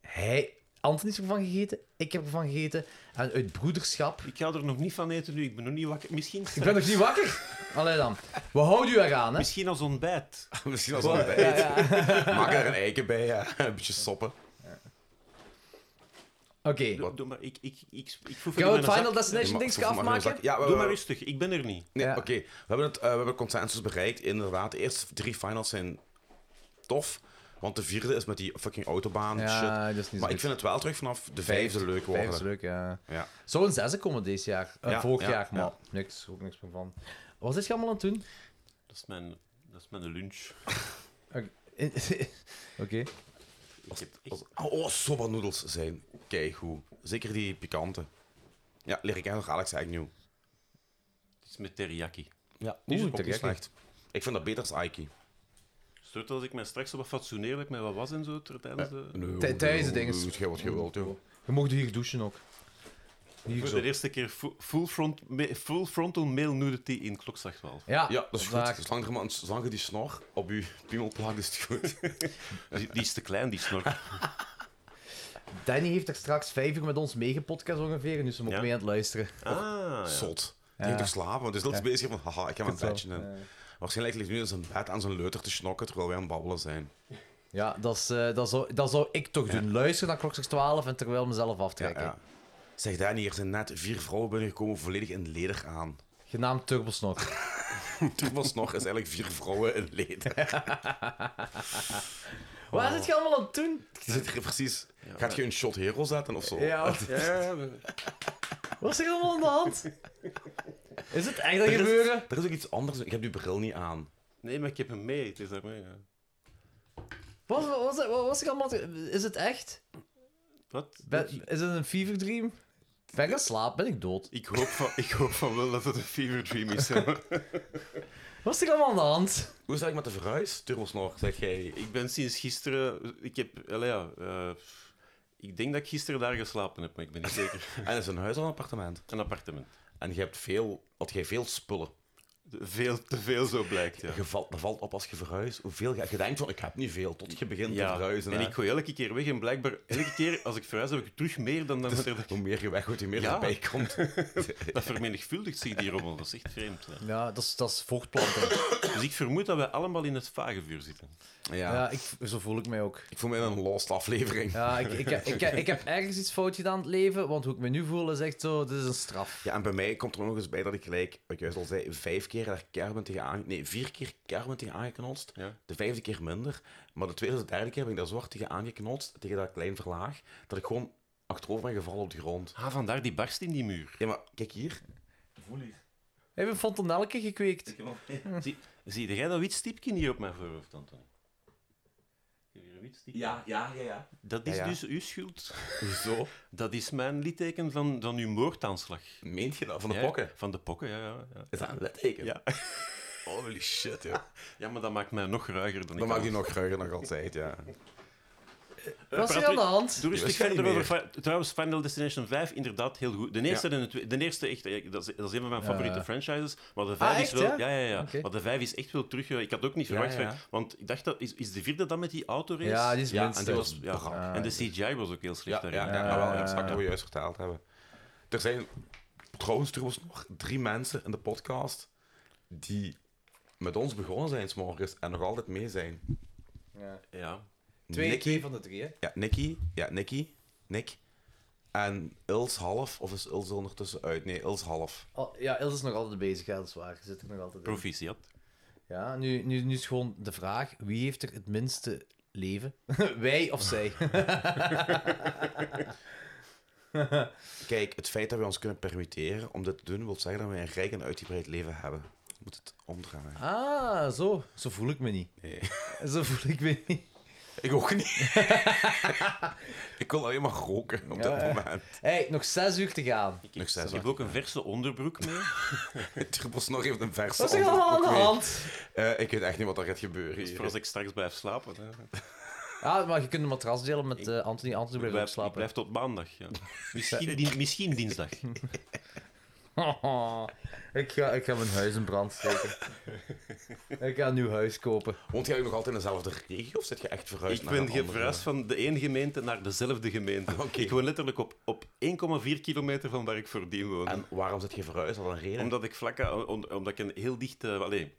[SPEAKER 3] Hij... Anthony is ervan gegeten, ik heb ervan gegeten. En uit broederschap...
[SPEAKER 4] Ik ga er nog niet van eten nu. Ik ben nog niet wakker. Misschien,
[SPEAKER 3] Ik ben nog niet wakker. Allee dan. We houden u eraan, hè.
[SPEAKER 4] misschien als ontbijt.
[SPEAKER 2] Misschien als een
[SPEAKER 3] Ja,
[SPEAKER 2] bijt.
[SPEAKER 3] ja.
[SPEAKER 2] Maak er een eiken bij, ja. een beetje soppen.
[SPEAKER 3] Oké.
[SPEAKER 4] Doe, doe maar. Ik, ik, ik, ik voel
[SPEAKER 3] Gaan we het Final
[SPEAKER 2] Je
[SPEAKER 3] Destination
[SPEAKER 2] mag-
[SPEAKER 3] ding
[SPEAKER 2] soms mag je een
[SPEAKER 3] afmaken?
[SPEAKER 2] zak- Ja, we,
[SPEAKER 4] Doe
[SPEAKER 2] we-
[SPEAKER 4] maar rustig. Ik ben er niet.
[SPEAKER 2] Nee,
[SPEAKER 3] Ja.
[SPEAKER 2] oké. We hebben het, eh, we hebben consensus bereikt. Inderdaad, de eerste drie finals zijn tof. Want de vierde is met die fucking autobaan. shit.
[SPEAKER 3] dat is niet
[SPEAKER 2] Maar ik vind het wel terug vanaf de vijfde leuk worden.
[SPEAKER 3] Vijf is leuk, ja.
[SPEAKER 2] Ja.
[SPEAKER 3] Zou een zesde komen deze jaar. Eh,
[SPEAKER 2] Ja,
[SPEAKER 3] vorig
[SPEAKER 2] ja,
[SPEAKER 3] jaar, maar
[SPEAKER 2] ja.
[SPEAKER 3] niks, ook niks meer van. Wat is je allemaal aan het doen?
[SPEAKER 4] Dat is mijn, dat is mijn lunch.
[SPEAKER 3] Oké. Oké.
[SPEAKER 4] Ik heb echt
[SPEAKER 2] Als- Oh, soba noedels zijn keigoed. Zeker die pikante. Ja, leer ik eigenlijk Alex eigenlijk nieuw.
[SPEAKER 4] Het is met teriyaki.
[SPEAKER 2] Ja, die is
[SPEAKER 3] Oeh,
[SPEAKER 2] ook niet
[SPEAKER 3] te gek.
[SPEAKER 2] slecht. Ik vind dat beter als Aiki.
[SPEAKER 4] Stoort als ik mij straks zo wat fatsoeneerlijk met wat was en zo ter- tijdens de...
[SPEAKER 3] Tij- tijdens de dinges.
[SPEAKER 2] Doe jij wat je wilt, joh.
[SPEAKER 3] Je mocht hier douchen ook. Hier
[SPEAKER 4] Voor
[SPEAKER 3] zo.
[SPEAKER 4] de eerste keer fu- full, front, me- full frontal male nudity in klokslag 12.
[SPEAKER 3] Ja,
[SPEAKER 2] Ja, dat is goed.
[SPEAKER 3] waar.
[SPEAKER 2] Zolang, er maar, zolang je die snor op je piemel plakt, is het goed.
[SPEAKER 4] Die, die is te klein, die snor.
[SPEAKER 3] Danny heeft er straks vijf uur met ons meegepodcast ongeveer, dus ze mogen
[SPEAKER 4] Ja.
[SPEAKER 3] mee aan het luisteren.
[SPEAKER 4] Ah, ja.
[SPEAKER 2] Zot. Die heeft toch slapen, want hij is altijd bezig van, haha, ik heb een
[SPEAKER 3] het wel.
[SPEAKER 2] bedje in. Waarschijnlijk ligt hij nu in zijn bed aan zijn leuter te snokken, terwijl wij aan het babbelen zijn.
[SPEAKER 3] Ja, dat, is, eh, dat, zou, dat zou ik toch doen. Luisteren naar klokslag 12 en terwijl mezelf
[SPEAKER 2] Ja,
[SPEAKER 3] aftrekken.
[SPEAKER 2] ja. Zeg Danny, er zijn net vier vrouwen binnengekomen, volledig in leder aan.
[SPEAKER 3] Genaamd Turbosnor.
[SPEAKER 2] Turbos nog is eigenlijk vier vrouwen in leder.
[SPEAKER 3] Waar zit je allemaal aan het doen?
[SPEAKER 2] Je zit er precies... Gaat je een shot hero zetten of zo?
[SPEAKER 3] Ja. Wat is er allemaal aan de hand? Is het echt dat gebeuren?
[SPEAKER 2] Er is ook iets anders. Ik heb die bril niet aan.
[SPEAKER 4] Nee, maar ik heb hem mee. Het is daarmee, ja.
[SPEAKER 3] Wat, wat, wat, wat was er allemaal aan Is het echt?
[SPEAKER 4] Wat?
[SPEAKER 3] Ben- is het een fever dream? Ben ik aan het slaap? Ben ik dood?
[SPEAKER 4] Ik hoop, van, ik hoop van wel dat het een fever dream is. hè.
[SPEAKER 3] Wat is er allemaal aan de hand?
[SPEAKER 2] Hoe is het eigenlijk met de verhuis, Turbosnor? Zeg jij...
[SPEAKER 4] ik ben sinds gisteren... Ik heb... allee, ja, eh, ik denk dat ik gisteren daar geslapen heb, maar ik ben niet zeker.
[SPEAKER 2] En is het een huis of een appartement?
[SPEAKER 4] Een appartement.
[SPEAKER 2] En je hebt veel... Had jij veel spullen?
[SPEAKER 4] De- Veel te veel, zo blijkt, ja.
[SPEAKER 2] Je valt, dat valt op als je verhuist. Hoeveel je, je denkt van, ik heb niet veel, tot je begint te verhuizen.
[SPEAKER 4] en
[SPEAKER 2] hè.
[SPEAKER 4] ik gooi elke keer weg en blijkbaar... Elke keer als ik verhuis heb ik terug meer dan dat er...
[SPEAKER 2] Hoe meer je weggooit, hoe meer
[SPEAKER 4] Ja.
[SPEAKER 2] erbij komt.
[SPEAKER 4] Dat vermenigvuldigt zich die rommel. Dat is echt vreemd. hè.
[SPEAKER 3] Ja, dat is, dat is voortplanting.
[SPEAKER 4] Dus ik vermoed dat wij allemaal in het vage vuur zitten.
[SPEAKER 2] Ja.
[SPEAKER 3] Ja, ik, zo voel ik mij ook.
[SPEAKER 2] Ik voel me in een lost aflevering. Ja.
[SPEAKER 3] Ja, ik, ik, ik, ik, ik heb ergens iets fout gedaan in het leven, want hoe ik me nu voel is echt zo, dit is een straf.
[SPEAKER 2] en bij mij komt er nog eens bij dat ik gelijk, wat ik juist al zei, vijf keer daar keihard ben tegen aange... Nee, vier keer keihard ben tegen aangeknotst.
[SPEAKER 4] Ja.
[SPEAKER 2] De vijfde keer minder. Maar de tweede of de derde keer ben ik daar zwart tegen aangeknotst, tegen dat klein verlaag, dat ik gewoon achterover ben gevallen op de grond.
[SPEAKER 4] Ah, vandaar die barst in die muur.
[SPEAKER 2] Ja, maar kijk hier.
[SPEAKER 4] Voel hier.
[SPEAKER 3] We hebben een fontanelke gekweekt.
[SPEAKER 4] Zie, zie jij dat wit stipje hier op mijn voorhoofd, Anton? Heb je hier een wit stipje?
[SPEAKER 2] ja, ja, ja.
[SPEAKER 4] Dat is
[SPEAKER 2] Ja, ja.
[SPEAKER 4] dus uw schuld.
[SPEAKER 2] Hoezo?
[SPEAKER 4] Dat is mijn litteken van, van uw moordaanslag.
[SPEAKER 2] Meent je dat? Van de
[SPEAKER 4] Ja,
[SPEAKER 2] pokken?
[SPEAKER 4] Van de pokken, ja. ja, ja.
[SPEAKER 2] Is dat een litteken?
[SPEAKER 4] Ja.
[SPEAKER 2] Holy shit, ja.
[SPEAKER 4] ja, maar dat maakt mij nog ruiger dan ik
[SPEAKER 2] Dan maakt
[SPEAKER 4] al-
[SPEAKER 2] hij nog ruiger nog altijd, ja.
[SPEAKER 3] Wat is er
[SPEAKER 4] praat
[SPEAKER 3] aan de
[SPEAKER 4] u-
[SPEAKER 3] hand?
[SPEAKER 2] Die
[SPEAKER 4] Doe rustig
[SPEAKER 2] was jij
[SPEAKER 4] verder
[SPEAKER 2] niet
[SPEAKER 4] over. Fi- Trouwens, Final Destination 5, inderdaad heel goed. De eerste en de tweede. De eerste echt, eh, dat is, dat is een van mijn favoriete
[SPEAKER 3] ja.
[SPEAKER 4] franchises. Maar de vijf
[SPEAKER 3] Ah,
[SPEAKER 4] is
[SPEAKER 3] echt,
[SPEAKER 4] wel.
[SPEAKER 3] ja?
[SPEAKER 4] Ja, ja, ja.
[SPEAKER 3] Oké.
[SPEAKER 4] Maar de vijf is echt wel terug. eh, Ik had ook niet
[SPEAKER 2] Ja,
[SPEAKER 4] verwacht.
[SPEAKER 2] ja.
[SPEAKER 4] Want ik dacht dat. Is, is de vierde dan met die autorace?
[SPEAKER 3] Ja, die is
[SPEAKER 2] Ja,
[SPEAKER 3] minst.
[SPEAKER 2] en die
[SPEAKER 3] hè.
[SPEAKER 2] was-
[SPEAKER 4] Ja.
[SPEAKER 2] brak.
[SPEAKER 3] Ah,
[SPEAKER 4] en de CGI was ook heel
[SPEAKER 2] Ja,
[SPEAKER 4] slecht
[SPEAKER 2] ja,
[SPEAKER 4] daarin.
[SPEAKER 2] ja,
[SPEAKER 3] Ja,
[SPEAKER 2] wel
[SPEAKER 3] ja,
[SPEAKER 2] exact
[SPEAKER 3] ja.
[SPEAKER 2] wat we juist verteld hebben. Er zijn trouwens trouwens nog drie mensen in de podcast die met ons begonnen zijn 's morgens en nog altijd mee zijn.
[SPEAKER 4] Ja.
[SPEAKER 3] Twee,
[SPEAKER 2] Nicky,
[SPEAKER 3] twee van de drie, hè?
[SPEAKER 2] ja, Nicky, ja, Nicky, Nick en Ils half, of is Ils er ondertussen uit? Nee, Ils half.
[SPEAKER 3] Oh, ja, Ilse is nog altijd bezig, ja, dat is waar. Ze Zit er nog altijd in.
[SPEAKER 4] Proficiat.
[SPEAKER 3] Ja, nu, nu, nu is gewoon de vraag, wie heeft er het minste leven? Wij of zij?
[SPEAKER 2] Kijk, het feit dat we ons kunnen permitteren om dit te doen, wil zeggen dat we een rijk en uitgebreid leven hebben. Je moet het omdraaien.
[SPEAKER 3] Ah, zo. Zo voel ik me niet.
[SPEAKER 2] Nee.
[SPEAKER 3] Zo voel ik me niet.
[SPEAKER 2] Ik ook niet. ik wil alleen maar roken op
[SPEAKER 3] Ja,
[SPEAKER 2] dit
[SPEAKER 3] ja.
[SPEAKER 2] moment.
[SPEAKER 3] Hé, hey, nog zes uur te gaan.
[SPEAKER 4] Ik,
[SPEAKER 2] Nog
[SPEAKER 4] heb-
[SPEAKER 2] zes
[SPEAKER 4] ik heb
[SPEAKER 2] uur.
[SPEAKER 4] ook een verse onderbroek mee.
[SPEAKER 2] Turbosnor heeft een verse
[SPEAKER 3] Wat is er
[SPEAKER 2] onder-
[SPEAKER 3] allemaal aan de
[SPEAKER 2] ook weer.
[SPEAKER 3] hand?
[SPEAKER 2] Eh, ik weet echt niet wat er gaat gebeuren
[SPEAKER 4] Dus
[SPEAKER 2] hier.
[SPEAKER 4] voor als ik straks blijf slapen. Hè.
[SPEAKER 3] Ja, maar je kunt een matras delen met eh, Anthony. Anthony blijft ook
[SPEAKER 4] Ik blijf, ik
[SPEAKER 3] slapen.
[SPEAKER 4] blijf tot maandag. Ja. Misschien, dien- misschien dinsdag.
[SPEAKER 3] ik, ga, ik ga mijn huis in brand steken. ik ga een nieuw huis kopen.
[SPEAKER 2] Woont jij ook nog altijd in dezelfde regio of zit je echt verhuisd
[SPEAKER 4] Ik
[SPEAKER 2] naar
[SPEAKER 4] ben
[SPEAKER 2] een andere?
[SPEAKER 4] verhuisd van de ene gemeente naar dezelfde gemeente.
[SPEAKER 2] Oké.
[SPEAKER 4] Ik woon letterlijk op, op 1,4 kilometer van waar ik voordien woonde.
[SPEAKER 2] En waarom zit je verhuisd? Had dat een reden?
[SPEAKER 4] Omdat ik vlak aan- on- omdat ik een heel dicht... eh, allee,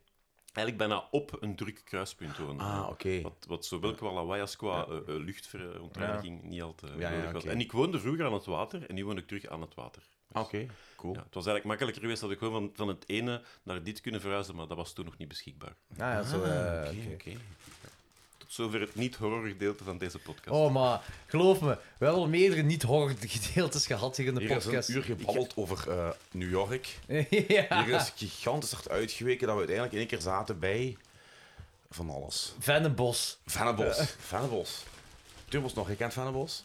[SPEAKER 4] eigenlijk bijna op een druk kruispunt woonde.
[SPEAKER 2] Ah, oké.
[SPEAKER 4] Wat, wat zowel qua lawaai als qua eh, eh, luchtverontreiniging niet al te
[SPEAKER 2] ja,
[SPEAKER 4] nodig was.
[SPEAKER 2] oké.
[SPEAKER 4] En ik woonde vroeger aan het water en nu woon ik terug aan het water.
[SPEAKER 2] Ah, Oké, cool.
[SPEAKER 4] Ja, het was eigenlijk makkelijker geweest dat ik gewoon van, van het ene naar dit kunnen verhuizen, maar dat was toen nog niet beschikbaar.
[SPEAKER 3] Ah, ja, zo, eh,
[SPEAKER 2] Oké,
[SPEAKER 3] oké.
[SPEAKER 2] oké.
[SPEAKER 4] Tot zover het niet-horror gedeelte van deze podcast.
[SPEAKER 3] Oh, maar geloof me, we hebben al meerdere niet-horror gedeeltes gehad hier in de
[SPEAKER 2] Hier is
[SPEAKER 3] podcast.
[SPEAKER 2] een uur gebabbeld over eh, New York.
[SPEAKER 3] ja.
[SPEAKER 2] Hier is gigantisch hard uitgeweken dat we uiteindelijk in één keer zaten bij... Van alles.
[SPEAKER 3] Vennebos.
[SPEAKER 2] Vennebos. Vennebos. Turbos nog, je kent Vennebos?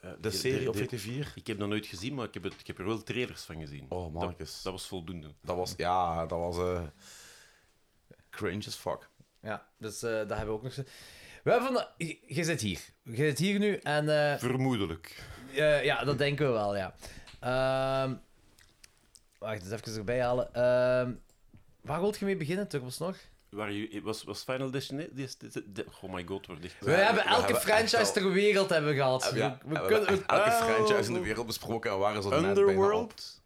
[SPEAKER 1] Eh,
[SPEAKER 2] De serie op VT4?
[SPEAKER 4] Ik heb dat nooit gezien, maar ik heb, het, ik heb er wel trailers van gezien.
[SPEAKER 2] Oh,
[SPEAKER 4] dat,
[SPEAKER 2] mannetjes.
[SPEAKER 4] dat was voldoende.
[SPEAKER 2] Dat was, ja, dat was... eh, cringe as fuck.
[SPEAKER 3] Ja, dus eh dat hebben we ook nog. We hebben van de... J- Jij zit hier. Jij zit hier nu en... eh,
[SPEAKER 4] Vermoedelijk.
[SPEAKER 3] eh, ja, dat denken we wel, ja. Ehm, wacht, eens even erbij halen. Ehm, waar wilt je mee beginnen, Turbos nog?
[SPEAKER 4] Waar je, was, was Final Destination... Des- des- des- Oh my god, wordt echt...
[SPEAKER 3] We hebben elke
[SPEAKER 2] hebben echt
[SPEAKER 3] franchise
[SPEAKER 2] al-
[SPEAKER 3] ter wereld hebben we gehad.
[SPEAKER 2] Ja,
[SPEAKER 3] we, we
[SPEAKER 2] hebben
[SPEAKER 3] kunnen... Ah,
[SPEAKER 2] echt elke
[SPEAKER 4] Oh.
[SPEAKER 2] franchise in de wereld besproken en waren ze net bijna op.
[SPEAKER 4] Underworld?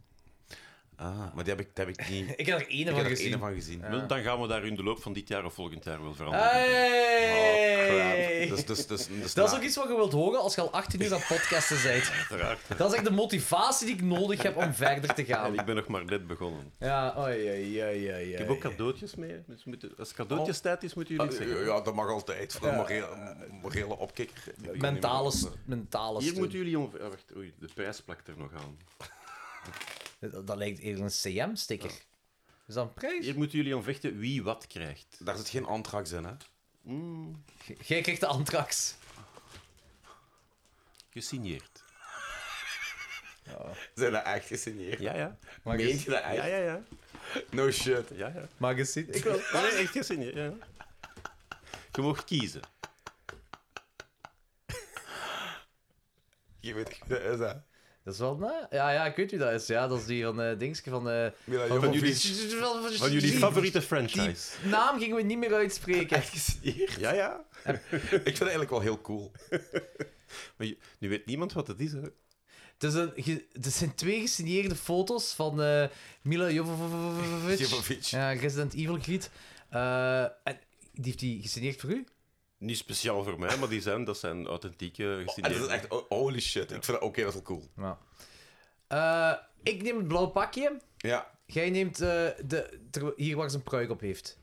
[SPEAKER 2] Ah, maar die heb ik, die heb ik niet... ik
[SPEAKER 3] Ik heb er één
[SPEAKER 2] heb
[SPEAKER 3] van
[SPEAKER 2] er
[SPEAKER 3] gezien.
[SPEAKER 2] één van gezien. Ah,
[SPEAKER 4] Maar Dan gaan we daar in de loop van dit jaar of volgend jaar wel veranderen.
[SPEAKER 3] Hey!
[SPEAKER 2] Oh, crap. Dus, dus, dus, dus
[SPEAKER 3] Dat is
[SPEAKER 2] na-
[SPEAKER 3] ook iets wat je wilt horen als je al 18 uur aan het podcasten bent. Dat is echt de motivatie die ik nodig heb om verder te
[SPEAKER 4] En
[SPEAKER 3] gaan.
[SPEAKER 4] ik ben nog maar net begonnen.
[SPEAKER 3] Ja, oei, oei, oei, oei,
[SPEAKER 4] Ik
[SPEAKER 3] oei.
[SPEAKER 4] heb ook cadeautjes mee. Dus moeten- als cadeautjes tijd is, moeten
[SPEAKER 2] Ah,
[SPEAKER 4] jullie het zeggen.
[SPEAKER 2] Ja, dat mag altijd. Voor een morele, morele opkikker. Ik weet
[SPEAKER 3] Mentale,
[SPEAKER 2] niet meer
[SPEAKER 3] st- mentale
[SPEAKER 4] Hier
[SPEAKER 3] steun.
[SPEAKER 4] moeten jullie om... ah, wacht, oei, de prijs plakt er nog aan.
[SPEAKER 3] Dat, dat lijkt eerder een CM-sticker. Is dat een prijs?
[SPEAKER 4] Hier moeten jullie om vechten wie wat krijgt.
[SPEAKER 2] wat- Daar zit geen antrax in, hè?
[SPEAKER 4] Mm,
[SPEAKER 3] G- Jij krijgt de antrax.
[SPEAKER 4] gesigneerd.
[SPEAKER 2] Zijn dat echt gesigneerd?
[SPEAKER 4] Ja, ja.
[SPEAKER 3] Mag ik
[SPEAKER 2] Meent
[SPEAKER 3] eens-
[SPEAKER 2] je dat echt?
[SPEAKER 4] Ja, ja, ja.
[SPEAKER 2] No shit.
[SPEAKER 4] ja, ja.
[SPEAKER 3] Mag ik eens zien? Ik wil...
[SPEAKER 4] Nee, echt gesigneerd. Ja. Je mag kiezen.
[SPEAKER 2] Je weet echt wie dat is, hè?
[SPEAKER 3] Dat is wel... na- Ja, ja, ik weet wie dat is. Ja, dat is die van eh Dingske van... eh,
[SPEAKER 2] Mila
[SPEAKER 4] Van
[SPEAKER 2] Jovovich.
[SPEAKER 4] jullie- Van jullie
[SPEAKER 3] Die
[SPEAKER 4] favoriete franchise.
[SPEAKER 3] naam gingen we niet meer uitspreken.
[SPEAKER 2] gesigneerd?
[SPEAKER 4] Ja, ja.
[SPEAKER 2] Ik vind het eigenlijk wel heel cool.
[SPEAKER 4] Maar je- nu weet niemand wat het is, hè.
[SPEAKER 3] Het, is een, Dus ge- het zijn twee gesigneerde foto's van eh, Mila Jovovich.
[SPEAKER 2] Jovovich.
[SPEAKER 3] Ja, Resident Evil Griet. Eh, en die heeft die gesigneerd voor u?
[SPEAKER 4] Niet speciaal voor mij, maar die zijn, Ah, dat zijn authentieke
[SPEAKER 2] En dat is
[SPEAKER 4] gesigneerde.
[SPEAKER 2] echt... oh, Holy shit. Ik vind dat ook heel erg cool.
[SPEAKER 3] Ja. Eh, ik neem het blauw pakje.
[SPEAKER 2] Ja.
[SPEAKER 3] Jij neemt eh, de, ter- hier waar ze een pruik op heeft.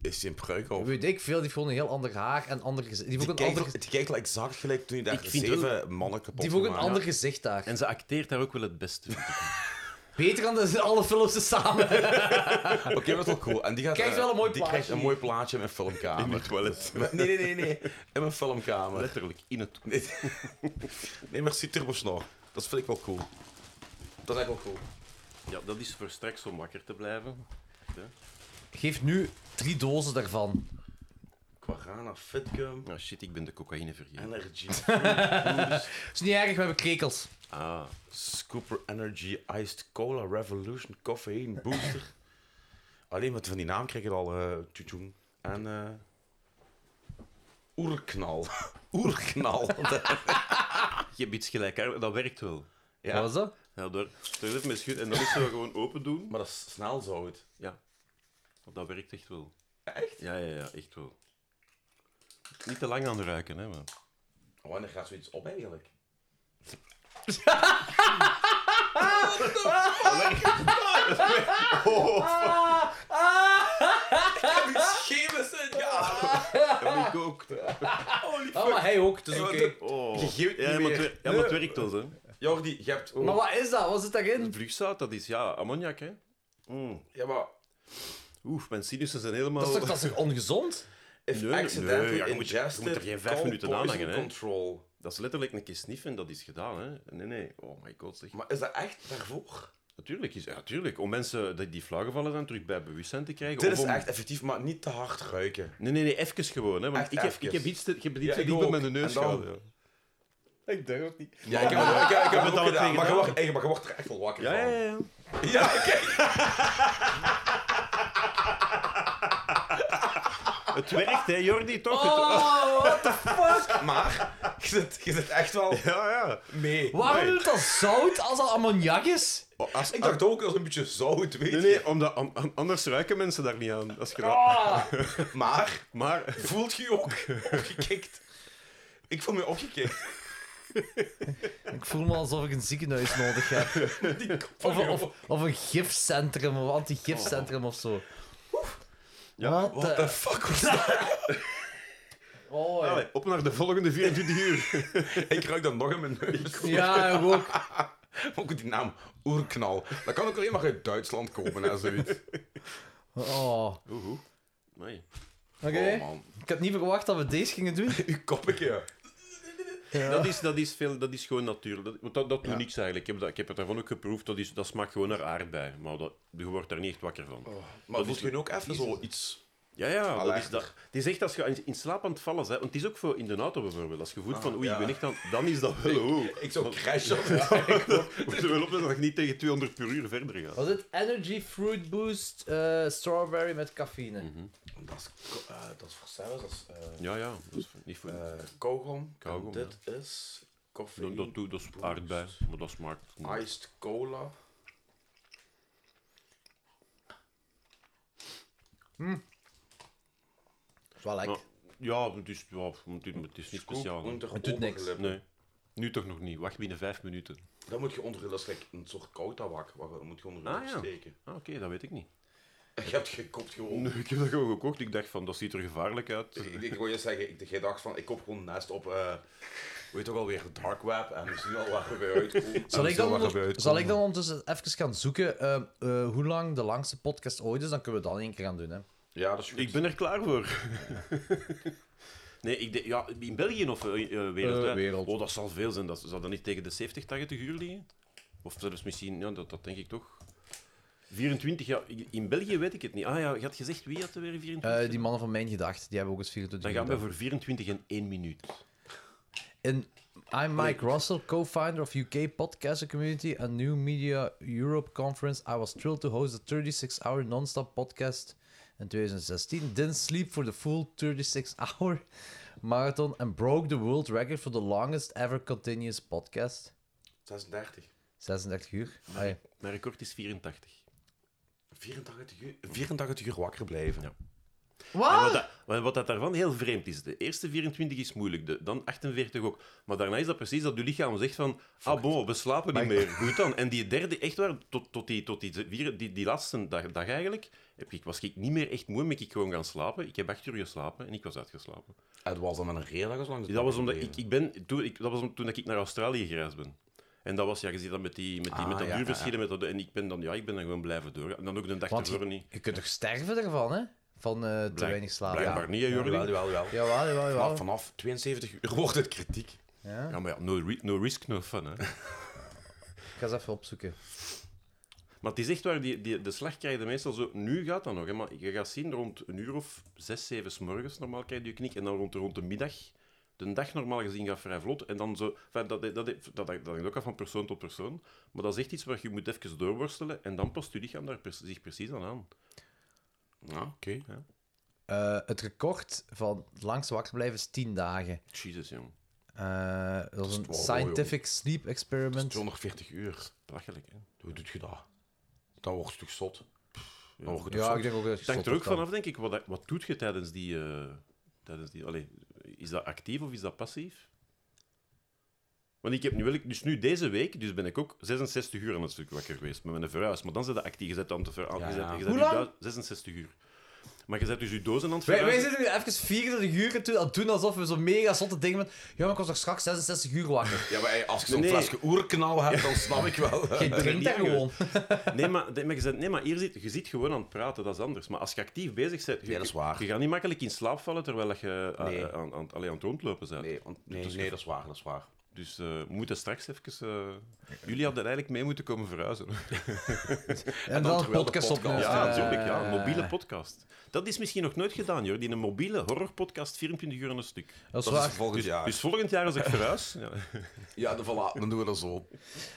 [SPEAKER 2] Is hij een pruik op?
[SPEAKER 3] Weet ik veel, die heeft gewoon een heel ander haar en ander gezicht. Die heeft
[SPEAKER 2] Die
[SPEAKER 3] ook een
[SPEAKER 2] kijkt,
[SPEAKER 3] ander,
[SPEAKER 2] die kijkt like exact gelijk toen je daar
[SPEAKER 4] Ik vind
[SPEAKER 2] zeven mannen kapot
[SPEAKER 3] die heeft ook een
[SPEAKER 2] gemaakt.
[SPEAKER 3] ander gezicht daar.
[SPEAKER 4] En ze acteert daar ook wel het beste. vind ik.
[SPEAKER 3] Beter dan de, alle films te samen.
[SPEAKER 2] Oké, dat is wel cool. En die gaat...
[SPEAKER 3] Krijgt
[SPEAKER 2] eh,
[SPEAKER 3] wel een mooi
[SPEAKER 2] die
[SPEAKER 3] plaatje.
[SPEAKER 2] krijgt een mooi plaatje in mijn filmkamer.
[SPEAKER 4] In het toilet.
[SPEAKER 2] Nee, nee, nee, nee. In mijn filmkamer.
[SPEAKER 4] Letterlijk, in het
[SPEAKER 2] Nee, nee maar zie Turbosnor. Dat vind ik wel cool. Dat is echt wel cool.
[SPEAKER 4] Ja, dat is voor straks om wakker te blijven.
[SPEAKER 3] Geef nu drie dozen daarvan.
[SPEAKER 2] Quarana, Fitcum,
[SPEAKER 4] Nou shit, ik ben de cocaïne vergeten.
[SPEAKER 2] Energy,
[SPEAKER 3] Is niet erg, we hebben krekels.
[SPEAKER 4] Ah,
[SPEAKER 2] Scooper Energy, Iced Cola, Revolution, Caffeine, Booster. Alleen met van die naam krijg je het al eh tjoetjoen. En eh Oerknal. Oerknal.
[SPEAKER 4] je hebt iets gelijk, hè? dat werkt wel.
[SPEAKER 2] ja,
[SPEAKER 3] Wat was dat?
[SPEAKER 4] Ja, door terug even met schud en dan is zo gewoon open doen.
[SPEAKER 2] maar dat is snel zout.
[SPEAKER 4] Ja, Want dat werkt echt wel.
[SPEAKER 2] Echt?
[SPEAKER 4] Ja, ja, ja, echt wel. Niet te lang aan het ruiken, hè, man.
[SPEAKER 2] Wanneer Oh, gaat zoiets op eigenlijk? Die chemisch in
[SPEAKER 4] Ja, ik ook.
[SPEAKER 3] Oh, maar hij ook, dus
[SPEAKER 2] Ja,
[SPEAKER 3] oké.
[SPEAKER 2] dat-
[SPEAKER 4] Oh.
[SPEAKER 2] Je geeft
[SPEAKER 4] ja,
[SPEAKER 2] niet
[SPEAKER 4] maar Oh. het,
[SPEAKER 2] meer.
[SPEAKER 4] wer- ja, maar het werkt wel, hè.
[SPEAKER 2] Jordi, je hebt...
[SPEAKER 3] Maar wat is dat? Wat zit daarin?
[SPEAKER 4] Vliegzout, dat is, ja, ammoniak, hè. Mm.
[SPEAKER 2] Ja, maar...
[SPEAKER 4] Oef, mijn sinussen zijn
[SPEAKER 3] Dat is
[SPEAKER 4] helemaal...
[SPEAKER 3] toch, dat is toch ongezond?
[SPEAKER 2] If
[SPEAKER 4] Nee,
[SPEAKER 2] accidentally
[SPEAKER 4] nee, ja, je moet- je
[SPEAKER 2] ingested,
[SPEAKER 4] moet er geen vijf
[SPEAKER 2] call
[SPEAKER 4] minuten aan
[SPEAKER 2] poison
[SPEAKER 4] hangen, hè.
[SPEAKER 2] control.
[SPEAKER 4] Dat is letterlijk een keer sniffen en dat is gedaan, hè. Nee, nee. Oh my god, zeg.
[SPEAKER 2] Maar is dat echt daarvoor?
[SPEAKER 4] Natuurlijk, is, ja, natuurlijk. Om mensen die, die flauw gevallen zijn terug bij bewustzijn te krijgen.
[SPEAKER 2] Dit
[SPEAKER 4] of
[SPEAKER 2] is
[SPEAKER 4] om-
[SPEAKER 2] echt effectief, maar niet te hard ruiken.
[SPEAKER 4] Nee, nee, nee, even gewoon. Hè, want
[SPEAKER 2] Echt
[SPEAKER 4] ik, heb,
[SPEAKER 2] even.
[SPEAKER 4] ik heb iets te, ik heb iets
[SPEAKER 2] Ja,
[SPEAKER 4] te
[SPEAKER 2] ik
[SPEAKER 4] diep
[SPEAKER 2] ook.
[SPEAKER 4] op mijn neus
[SPEAKER 2] En dan-
[SPEAKER 4] gehouden. ja. Ik denk ook niet.
[SPEAKER 2] Ja, ik heb het, ik, heb- ik heb het
[SPEAKER 4] dat
[SPEAKER 2] ook
[SPEAKER 4] meteen
[SPEAKER 2] gedaan, maar je,
[SPEAKER 4] gedaan.
[SPEAKER 2] wordt, hey, maar je wordt er echt wel wakker
[SPEAKER 4] Ja, ja,
[SPEAKER 2] van.
[SPEAKER 4] ja. ja.
[SPEAKER 2] Ja, kijk.
[SPEAKER 4] Het werkt, hè, Jordi, toch? Het-
[SPEAKER 3] Oh, what the fuck?
[SPEAKER 2] Maar, je zit, je zit echt wel
[SPEAKER 4] Ja, ja.
[SPEAKER 2] mee.
[SPEAKER 3] Waarom doet dat zout als dat ammoniak is?
[SPEAKER 2] Ik dacht ook, dat is een beetje zout, weet je.
[SPEAKER 4] Nee, nee, omdat, am- am- anders ruiken mensen daar niet aan. Als je dat...
[SPEAKER 3] Ah.
[SPEAKER 2] Maar,
[SPEAKER 4] Maar
[SPEAKER 2] voelt je je ook opgekikt? Ik voel me opgekikt.
[SPEAKER 3] Ik voel me alsof ik een ziekenhuis nodig heb.
[SPEAKER 2] Die kop van
[SPEAKER 3] Of,
[SPEAKER 2] jou.
[SPEAKER 3] of, of een gifcentrum, of antigifcentrum of zo.
[SPEAKER 4] ja.
[SPEAKER 3] Wat
[SPEAKER 2] Oh, What the fuck was dat?
[SPEAKER 3] Oh, ja.
[SPEAKER 4] Allee, op naar de volgende 24 uur.
[SPEAKER 2] Ik ruik dat nog in mijn neus.
[SPEAKER 3] ja, ik ook.
[SPEAKER 2] Ook die naam Oerknal. Dat kan ook alleen maar uit Duitsland komen, hè, zoiets.
[SPEAKER 3] Oh. Oké,
[SPEAKER 4] Oeh, oeh. Amai.
[SPEAKER 2] Oh, man.
[SPEAKER 3] ik had niet verwacht dat we deze gingen doen.
[SPEAKER 2] Uw koppetje.
[SPEAKER 4] Dat, is, dat, is veel, dat is gewoon natuurlijk. Dat, want dat, dat doet
[SPEAKER 2] Ja.
[SPEAKER 4] niks eigenlijk. Ik heb, dat, ik heb het daarvan ook geproefd. Dat, is, dat smaakt gewoon naar aardbei. Maar dat, je wordt daar niet echt wakker van.
[SPEAKER 2] Maar
[SPEAKER 4] is
[SPEAKER 2] voelt je ook even zo iets...
[SPEAKER 4] Ja, ja. Dat is,
[SPEAKER 2] Allergisch.
[SPEAKER 4] dat, het is echt als je in- in slaap aan het vallen bent. Want het is ook voor in de auto bijvoorbeeld. Als je voelt van oei,
[SPEAKER 2] ja.
[SPEAKER 4] ik ben echt aan... Dan is dat wel hoog.
[SPEAKER 2] Ik zou crashen.
[SPEAKER 4] Moet je wel opletten dat je niet tegen 200 per uur verder gaat.
[SPEAKER 3] Was het Energy Fruit Boost eh, Strawberry met cafeïne?
[SPEAKER 2] Mhm. Dat is, ko- eh, dat is voor cijfers, dat is eh
[SPEAKER 4] Ja, ja. Dat is niet voor...
[SPEAKER 2] eh, kauwgom.
[SPEAKER 4] Kauwgom,
[SPEAKER 2] Dit is koffie,
[SPEAKER 4] dat, dat, doe- dat is aardbei. Maar dat smaakt...
[SPEAKER 2] iced cola.
[SPEAKER 3] Is wel lekker.
[SPEAKER 4] Maar- Ja, het is, ja, het is, het is niet speciaal. hè.
[SPEAKER 2] Onder
[SPEAKER 3] Het doet niks.
[SPEAKER 2] onderlip.
[SPEAKER 4] Nee. Nu toch nog niet. Wacht binnen vijf minuten.
[SPEAKER 2] Dat moet je onder, dat is like een soort koud tabak, waar dat moet je onder je
[SPEAKER 4] Ah,
[SPEAKER 2] lip
[SPEAKER 4] ja.
[SPEAKER 2] steken.
[SPEAKER 4] Ah, oké, dat weet ik niet.
[SPEAKER 2] Je hebt gekopt gewoon.
[SPEAKER 4] Nee, ik heb dat gewoon gekocht. Ik dacht van, dat ziet er gevaarlijk uit.
[SPEAKER 2] Ik, ik wil je zeggen, ik, jij dacht van, ik koop gewoon nest op, eh weet ook alweer, dark web, en we zien al waar we bij uitkomen.
[SPEAKER 3] Zal ik,
[SPEAKER 4] zo
[SPEAKER 3] dan
[SPEAKER 4] waar
[SPEAKER 3] onder-
[SPEAKER 4] we uitkomen.
[SPEAKER 3] zal ik dan ondertussen even gaan zoeken eh, eh, hoe lang de langste podcast ooit is? Dan kunnen we dat in één keer gaan doen. Hè.
[SPEAKER 2] Ja, dat is goed.
[SPEAKER 4] Ik ben er klaar voor. nee, ik denk- ja, in België of eh, eh, wereldwijd?
[SPEAKER 3] Eh, wereld.
[SPEAKER 4] Oh, dat zal veel zijn. Dat zal dan niet tegen de 70, 80 uur liggen? Of zelfs misschien, ja, dat, dat denk ik toch. 24, ja, ik- in België weet ik het niet. Ah ja, je had gezegd, wie had er weer 24?
[SPEAKER 3] Eh, die mannen van Mijn Gedacht, die hebben ook eens 24
[SPEAKER 4] dan gaan we
[SPEAKER 3] minuten.
[SPEAKER 4] voor 24 en 1 minuut.
[SPEAKER 3] In I'm Mike Russell, co-founder of UK Podcaster Community and New Media Europe Conference. I was thrilled to host a 36-hour non-stop podcast in 2016. Didn't sleep for the full 36-hour marathon and broke the world record for the longest ever continuous podcast.
[SPEAKER 2] 36.
[SPEAKER 3] 36 uur. Ai.
[SPEAKER 4] Mijn record is 84.
[SPEAKER 2] 84 uur, 84 uur wakker blijven.
[SPEAKER 4] Ja. En wat,
[SPEAKER 3] Wat?
[SPEAKER 4] dat, wat- wat dat daarvan heel vreemd is, de eerste 24 is moeilijk, de, dan 48 ook. Maar daarna is dat precies dat je lichaam zegt van, ah bon, we slapen niet meer, goed dan. En die derde, echt waar, tot, tot, die, tot die, vier- die, die laatste dag, dag eigenlijk, heb ik, was ik niet meer echt moe, ben ik gewoon gaan slapen. Ik heb acht uur geslapen en ik was uitgeslapen.
[SPEAKER 2] Het was dan een redelijk lang.
[SPEAKER 4] Dus dat was omdat ik, ik ben, toen, ik, dat was om- toen ik naar Australië gereisd ben. En dat was, ja, je ziet dat met, die, met, die,
[SPEAKER 2] Ah,
[SPEAKER 4] met dat
[SPEAKER 2] ja, ja,
[SPEAKER 4] duurverschillen. Met dat, en ik ben, dan, ja, ik ben dan gewoon blijven door. En dan ook de dag
[SPEAKER 3] Want
[SPEAKER 4] ervoor niet.
[SPEAKER 3] je, je kunt toch sterven ervan, hè? Van eh, te
[SPEAKER 4] Blijk-
[SPEAKER 3] weinig slaap.
[SPEAKER 4] Blijkbaar niet, hè, Jordi.
[SPEAKER 2] Jawel, jawel, jawel.
[SPEAKER 3] Jawel, jawel,
[SPEAKER 2] Vanaf,
[SPEAKER 3] jawel.
[SPEAKER 2] vanaf 72 uur wordt het kritiek.
[SPEAKER 3] Ja.
[SPEAKER 4] Ja, maar ja, no, ri- no risk, no fun, hè.
[SPEAKER 3] Ik ga eens even opzoeken.
[SPEAKER 4] Maar het is echt waar, die, die, de slag krijg je meestal zo... Nu gaat dat nog, hè, maar je gaat zien, rond een uur of zes, zeven 's morgens normaal krijg je je knik. En dan rond, rond de middag, de dag normaal gezien gaat vrij vlot. En dan zo... enfin, dat, dat, dat, dat, dat hangt ook af van persoon tot persoon. Maar dat is echt iets waar je moet even doorworstelen. En dan past je lichaam daar pre- zich precies aan aan.
[SPEAKER 2] Ja, oké.
[SPEAKER 3] Eh, het record van het langst wakker blijven is 10 dagen.
[SPEAKER 4] Jezus, jong.
[SPEAKER 3] Eh, dat is
[SPEAKER 2] is
[SPEAKER 3] een
[SPEAKER 2] wel mooi,
[SPEAKER 3] scientific sleep
[SPEAKER 2] Dat is
[SPEAKER 3] experiment.
[SPEAKER 2] 240 uur.
[SPEAKER 4] Belachelijk, hè.
[SPEAKER 2] Hoe doet je dat? Dan word je toch zot? Dan word je toch
[SPEAKER 3] Ja,
[SPEAKER 2] zot?
[SPEAKER 3] ik denk ook dat je
[SPEAKER 4] Het hangt er
[SPEAKER 3] zot
[SPEAKER 4] ook
[SPEAKER 3] kan.
[SPEAKER 4] vanaf, denk ik. Wat, dat- wat doet je tijdens die... eh, tijdens die allee, is dat actief of is dat passief? Want ik heb nu wel... Dus nu deze week dus ben ik ook 66 uur aan het stuk wakker geweest met mijn verhuis. Maar dan zit dat actief. Je zet aan te ver...
[SPEAKER 2] Ja,
[SPEAKER 4] je
[SPEAKER 2] ja.
[SPEAKER 4] zet- je zet
[SPEAKER 3] Hoe
[SPEAKER 4] je
[SPEAKER 3] lang?
[SPEAKER 4] du- 66 uur. Maar je zet dus je dozen aan het
[SPEAKER 3] Wij, wij
[SPEAKER 4] verhuizen.
[SPEAKER 3] zitten nu even 24 uur toe, aan het doen alsof we zo'n mega zotte dingen met... Ja, maar ik was toch straks 66 uur wakker.
[SPEAKER 2] Ja, maar hey, als je zo'n
[SPEAKER 4] Nee.
[SPEAKER 2] flesje oerknal hebt, dan snap ik wel.
[SPEAKER 3] Je
[SPEAKER 4] ben
[SPEAKER 3] drinkt
[SPEAKER 4] niet
[SPEAKER 3] daar gewoon.
[SPEAKER 4] Nee, maar, nee, maar, je zet- nee, maar hier zit, je zit gewoon aan het praten. Dat is anders. Maar als je actief bezig bent... Je,
[SPEAKER 2] Nee, dat is waar.
[SPEAKER 4] Je gaat niet makkelijk in slaap vallen terwijl dat je eh,
[SPEAKER 2] Nee.
[SPEAKER 4] aan, aan, allee, aan het rondlopen bent.
[SPEAKER 2] Nee, want, nee,
[SPEAKER 4] Dus-
[SPEAKER 2] nee, dat is waar, dat is waar.
[SPEAKER 4] Dus eh, we moeten straks even... eh, jullie hadden eigenlijk mee moeten komen verhuizen.
[SPEAKER 3] En, dan een
[SPEAKER 2] terwijl de
[SPEAKER 3] podcast
[SPEAKER 2] podcast-
[SPEAKER 3] opnemen.
[SPEAKER 4] Ja,
[SPEAKER 3] Eh,
[SPEAKER 4] natuurlijk. Ja, een mobiele podcast. Dat is misschien nog nooit gedaan, joh. Die een mobiele horrorpodcast, 24 uur aan een stuk.
[SPEAKER 3] Dat is
[SPEAKER 2] Dat
[SPEAKER 3] waar.
[SPEAKER 2] is volgend
[SPEAKER 4] Dus,
[SPEAKER 2] jaar.
[SPEAKER 4] dus volgend jaar als ik verhuis... Ja.
[SPEAKER 2] Ja, dan, voilà, dan doen we dat zo.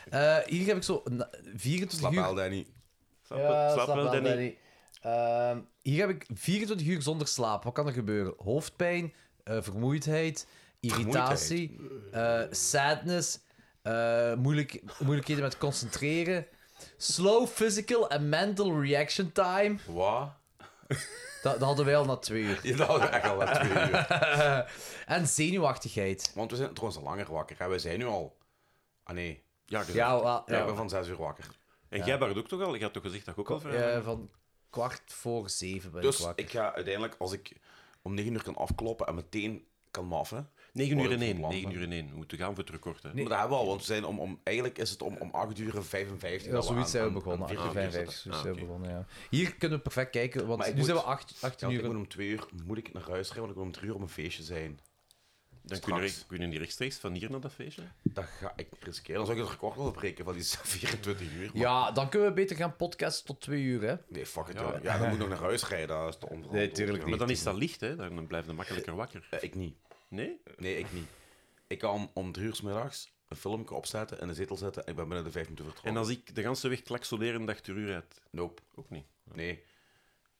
[SPEAKER 3] Eh, hier heb ik zo na- 24
[SPEAKER 2] Slaap
[SPEAKER 3] uur...
[SPEAKER 2] wel, Danny.
[SPEAKER 4] Slaap, wel- slaap wel, Danny.
[SPEAKER 3] Ehm, hier heb ik 24 uur zonder slaap. Wat kan er gebeuren? Hoofdpijn, eh, vermoeidheid, irritatie, eh, sadness, eh, moeilijk, moeilijkheden met concentreren. Slow physical and mental reaction time.
[SPEAKER 2] Wat?
[SPEAKER 3] Dat, dat hadden wij al na twee uur.
[SPEAKER 2] Ja, dat hadden we echt al wel twee uur.
[SPEAKER 3] En zenuwachtigheid.
[SPEAKER 2] Want we zijn trouwens al langer wakker. Hè? We zijn nu al... Ah nee,
[SPEAKER 4] Ja, je-
[SPEAKER 3] Ja, wel,
[SPEAKER 2] ik
[SPEAKER 3] ja.
[SPEAKER 2] ben van zes uur wakker.
[SPEAKER 4] En jij Bart, ook toch al? Je had toch gezegd dat ik ook al verhuis
[SPEAKER 3] Eh, van kwart voor zeven ben ik
[SPEAKER 2] Dus
[SPEAKER 3] wakker.
[SPEAKER 2] ik ga uiteindelijk, als ik om negen uur kan afkloppen en meteen kan maffen...
[SPEAKER 4] 9 uur
[SPEAKER 2] Word
[SPEAKER 4] en
[SPEAKER 2] ik
[SPEAKER 4] 1.
[SPEAKER 2] van plan,
[SPEAKER 4] 9
[SPEAKER 2] hè.
[SPEAKER 4] uur en 1. We moeten gaan voor het record, hè.
[SPEAKER 3] Nee.
[SPEAKER 2] Maar dat hebben we al, want we zijn om, om, eigenlijk is het om, om 8 uur en 55.
[SPEAKER 3] Ja, zoiets zijn we
[SPEAKER 2] aan- aan-
[SPEAKER 3] begonnen.
[SPEAKER 2] aan
[SPEAKER 3] 8
[SPEAKER 2] vier
[SPEAKER 3] uur
[SPEAKER 2] uur zitten.
[SPEAKER 3] 55. zoiets
[SPEAKER 4] Ah,
[SPEAKER 3] zijn we
[SPEAKER 4] oké.
[SPEAKER 3] begonnen, ja. Hier kunnen we perfect kijken, want
[SPEAKER 2] Maar
[SPEAKER 3] nu
[SPEAKER 2] ik moet-
[SPEAKER 3] zijn we 8
[SPEAKER 2] Ja, want ik
[SPEAKER 3] uur.
[SPEAKER 2] moet om 2 uur moet ik naar huis rijden, want ik wil om 3 uur op een feestje zijn.
[SPEAKER 4] Dan
[SPEAKER 2] Straks.
[SPEAKER 4] kunnen, re- kunnen die rechtstreeks van hier naar dat feestje.
[SPEAKER 2] Dat ga ik riskeren. Dan zou ik het record wel breken van die 24 uur. maar-
[SPEAKER 3] Ja, dan kunnen we beter gaan podcasten tot twee uur, hè.
[SPEAKER 2] Nee, fuck it.
[SPEAKER 1] Ja.
[SPEAKER 2] Ja, ja dan moet ik nog naar huis rijden. Dat is te onverantwoord.
[SPEAKER 3] Nee, tuurlijk
[SPEAKER 2] Ja.
[SPEAKER 3] niet.
[SPEAKER 4] Maar dan is dat licht, hè? Dan blijf je makkelijker wakker.
[SPEAKER 2] Eh, ik niet.
[SPEAKER 4] Nee?
[SPEAKER 2] Nee, ik niet. Ik kan om, om drie uur 's middags een filmpje opzetten en een zetel zetten en ik ben binnen de vijf minuten
[SPEAKER 4] En
[SPEAKER 2] vertrokken.
[SPEAKER 4] als ik de ganse weg klaksoneren dat ik ter uur uit?
[SPEAKER 2] Nope.
[SPEAKER 4] Ook niet.
[SPEAKER 2] Nee.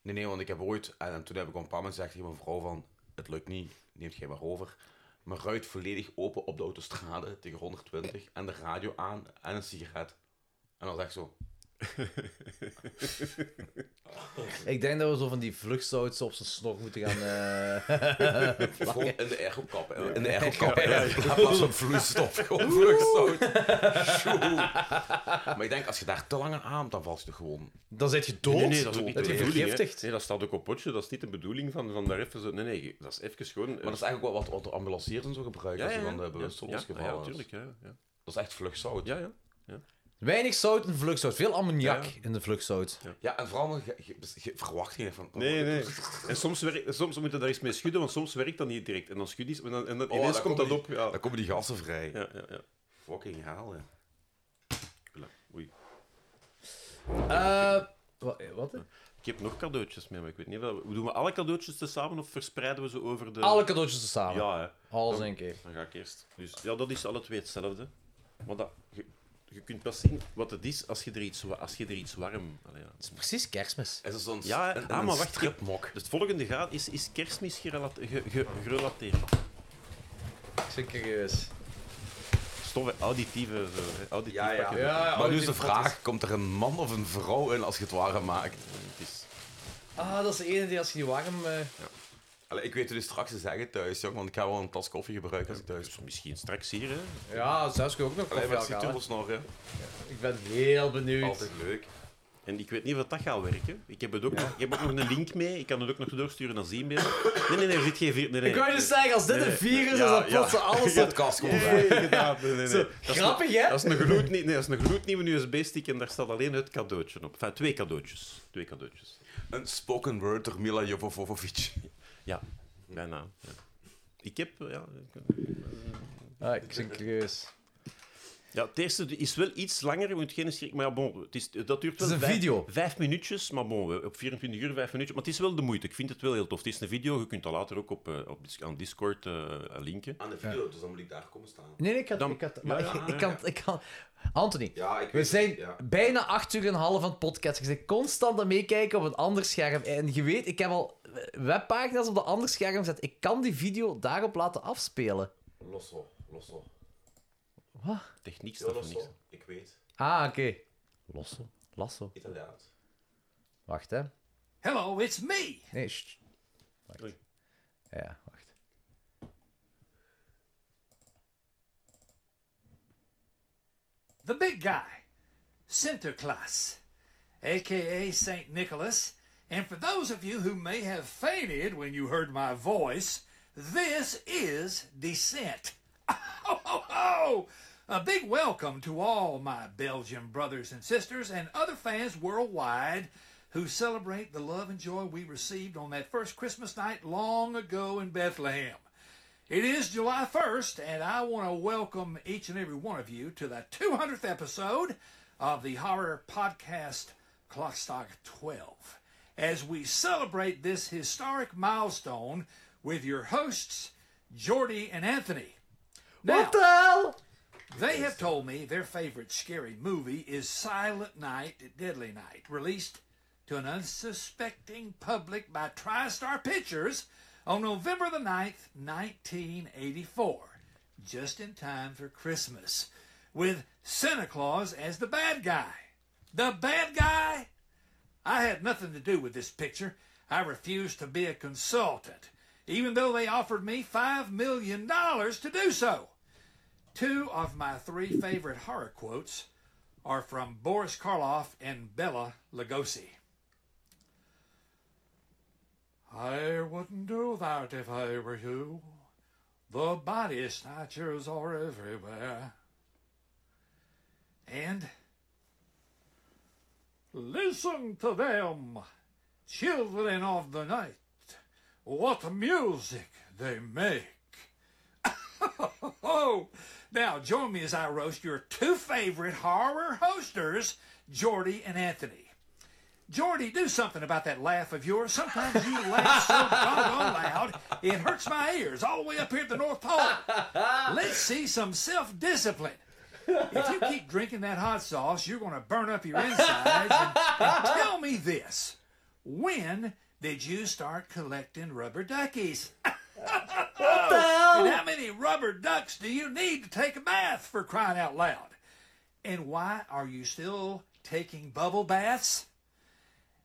[SPEAKER 2] Nee, nee, want ik heb ooit... En, en toen heb ik op een paar mensen gezegd tegen mijn vrouw van... Het lukt niet, neemt jij maar over. Mijn ruit volledig open op de autostrade tegen 120 en de radio aan en een sigaret. En dan zeg ik zo...
[SPEAKER 3] Ik denk dat we zo van die vluchtsouts op zijn snor moeten gaan... eh,
[SPEAKER 2] Gewoon in de airco kappen. In de airco kappen. Ja, In plaats van vloeistof. Gewoon vloeistof. Tjoe. Maar ik denk, als je daar te lang aan haamt, dan valt je toch gewoon...
[SPEAKER 3] dan zit je dood.
[SPEAKER 4] Nee, nee, dat is ook niet
[SPEAKER 3] Dat
[SPEAKER 4] de
[SPEAKER 3] je
[SPEAKER 4] bedoeling, hè.
[SPEAKER 3] vergiftigd.
[SPEAKER 4] Nee, dat staat ook op potje. Dat is niet de bedoeling van, van daar even zo... Nee, nee, dat is even gewoon... eh,
[SPEAKER 2] Maar dat is eigenlijk wel wat, wat de ambulanciers en zo gebruiken als je van de bewust
[SPEAKER 4] ja,
[SPEAKER 2] losgevallen
[SPEAKER 4] Ja,
[SPEAKER 2] is.
[SPEAKER 4] natuurlijk, ja. Ja,
[SPEAKER 2] Dat is echt vluchtzout.
[SPEAKER 4] ja. ja.
[SPEAKER 3] Weinig zout in vluchtzout. Veel ammoniak
[SPEAKER 4] Ja, ja.
[SPEAKER 3] in de vluchtzout.
[SPEAKER 2] Ja, en vooral, je, je, je verwacht geen van...
[SPEAKER 4] Nee, nee. En soms, werkt- soms moet je daar eens mee schudden, want soms werkt dat niet direct. En dan schud je... En, dan, en dan,
[SPEAKER 2] Oh,
[SPEAKER 4] ineens
[SPEAKER 2] daar
[SPEAKER 4] komt dat
[SPEAKER 2] komen
[SPEAKER 4] op. Ja.
[SPEAKER 2] Dan komen die gassen vrij.
[SPEAKER 4] Ja, ja, ja.
[SPEAKER 2] Fucking halen.
[SPEAKER 4] Oela, Oei.
[SPEAKER 3] Eh, wa- wat? hè?
[SPEAKER 2] Eh.
[SPEAKER 4] Ik heb nog cadeautjes mee, maar ik weet niet... of- Doen we alle cadeautjes tezamen of verspreiden we ze over de...
[SPEAKER 3] Alle cadeautjes tezamen.
[SPEAKER 4] Ja, hè.
[SPEAKER 3] Alles in één keer.
[SPEAKER 4] Dan ga ik eerst. Dus, ja, dat is alle twee hetzelfde. Maar dat, je, je kunt pas zien wat het is als je er iets, wa- als je er iets warm... Allee, ja.
[SPEAKER 3] Het is precies kerstmis.
[SPEAKER 2] Is er zo'n
[SPEAKER 4] Ja,
[SPEAKER 2] een,
[SPEAKER 4] ah,
[SPEAKER 2] een
[SPEAKER 4] maar wacht, je-
[SPEAKER 2] stripmok?
[SPEAKER 4] Dus het volgende gaat is, is kerstmis gerelate- ge- ge- gerelateerd.
[SPEAKER 3] Ik ben curieus.
[SPEAKER 4] Stof, auditieve... Zo, hè, auditief
[SPEAKER 2] Ja, ja.
[SPEAKER 4] pakket.
[SPEAKER 3] Ja,
[SPEAKER 2] Maar nu is de vraag, komt er een man of een vrouw in als je het ware maakt?
[SPEAKER 4] Het is,
[SPEAKER 3] Ah, dat is de ene die als je die warm... eh,
[SPEAKER 2] Allee, ik weet het dus straks te zeggen thuis, jong, want ik ga wel een tas koffie gebruiken als ik thuis
[SPEAKER 4] dus misschien straks hier, hè.
[SPEAKER 3] Ja, zelfs kun je ook nog
[SPEAKER 2] Allee,
[SPEAKER 3] koffie
[SPEAKER 2] met die
[SPEAKER 3] aan gaan, hè.
[SPEAKER 2] turbosnor, hè.
[SPEAKER 3] Ik ben heel benieuwd.
[SPEAKER 2] Altijd leuk.
[SPEAKER 4] En ik weet niet of dat gaat werken. Ik heb, het ook nog, ik heb ook nog een link mee. Ik kan het ook nog doorsturen naar Zienbeeld. Nee, nee, nee, er zit geen vier... Nee, nee.
[SPEAKER 3] Ik wou dus zeggen, als dit
[SPEAKER 4] Nee,
[SPEAKER 3] een virus is,
[SPEAKER 4] ja,
[SPEAKER 3] dan
[SPEAKER 4] ja.
[SPEAKER 3] plots alles op.
[SPEAKER 2] Podcast gewoon
[SPEAKER 4] Nee,
[SPEAKER 2] bij.
[SPEAKER 4] inderdaad, nee, nee, nee.
[SPEAKER 3] Zo,
[SPEAKER 4] Dat is
[SPEAKER 3] Grappig, hè?
[SPEAKER 4] Dat is een gloednie- nee, dat is een gloednieuwe USB-stick en daar staat alleen het cadeautje op. Enfin, twee cadeautjes. Twee cadeautjes.
[SPEAKER 2] Een spoken word door Mila Jovovovic.
[SPEAKER 4] Ja, bijna. Ja. Ik heb... eh, Ja, ik-
[SPEAKER 3] Ah, ik ben curieus.
[SPEAKER 4] ja, het eerste is wel iets langer, je moet geen schrik... Maar ja, bon, het is, dat duurt wel
[SPEAKER 3] is een
[SPEAKER 4] vijf,
[SPEAKER 3] video.
[SPEAKER 4] vijf minuutjes, maar bon, we- op 24 uur vijf minuutjes. Maar het is wel de moeite, ik vind het wel heel tof. Het is een video, je kunt dat later ook op, eh, op, dis- aan Discord eh, linken.
[SPEAKER 2] Aan de video, dus dan moet ik daar komen staan.
[SPEAKER 3] Nee, nee, ik had...
[SPEAKER 4] Dan-
[SPEAKER 3] ik had maar
[SPEAKER 4] ja,
[SPEAKER 3] ik,
[SPEAKER 4] ja,
[SPEAKER 3] ik kan, ik kan... Anthony,
[SPEAKER 2] Ja, ik
[SPEAKER 3] we
[SPEAKER 2] weet
[SPEAKER 3] zijn
[SPEAKER 2] het, ja.
[SPEAKER 3] bijna acht uur en een half aan het podcast. Ik zit constant aan meekijken op een ander scherm. En je weet, ik heb al webpagina's op de ander scherm gezet. Ik kan die video daarop laten afspelen.
[SPEAKER 2] Losso, losso.
[SPEAKER 4] Techniek
[SPEAKER 2] Heel
[SPEAKER 4] staat voor niks.
[SPEAKER 2] losso, ik weet.
[SPEAKER 3] Ah, oké. Losso. Lasso.
[SPEAKER 2] Italiaans.
[SPEAKER 3] Wacht, hè.
[SPEAKER 5] Hello, it's me.
[SPEAKER 3] Nee, sst. Wacht.
[SPEAKER 4] Oei.
[SPEAKER 3] Ja, wacht.
[SPEAKER 5] the big guy, Sinterklaas, aka St. Nicholas. And for those of you who may have fainted when you heard my voice, this is Descent. Ho, ho, ho! A big welcome to all my Belgian brothers and sisters and other fans worldwide who celebrate the love and joy we received on that first Christmas night long ago in Bethlehem. It is July 1st, and I want to welcome each and every one of you to the 200th episode of the horror podcast Clockstock 12 as we celebrate this historic milestone with your hosts, Jordy and Anthony. Now,
[SPEAKER 3] What the hell?
[SPEAKER 5] they have told me their favorite scary movie is Silent Night, Deadly Night, released to an unsuspecting public by TriStar Pictures on November the 9th, 1984, just in time for Christmas, with Santa Claus as the bad guy. The bad guy? I had nothing to do with this picture. I refused to be a consultant, even though they offered me $5 million to do so. Two of my three favorite horror quotes are from Boris Karloff and Bella Lugosi. I wouldn't do that if I were you. The body snatchers are everywhere. And listen to them, children of the night. What music they make. Oh, now join me as I roast your two favorite horror hosters, Jordy and Anthony. Jordy, do something about that laugh of yours. Sometimes you laugh so doggone loud, it hurts my ears all the way up here at the North Pole. Let's see some self discipline. If you keep drinking that hot sauce, you're going to burn up your insides. And, and tell me this when did you start collecting rubber duckies? And how many rubber ducks do you need to take a bath for crying out loud? And why are you still taking bubble baths?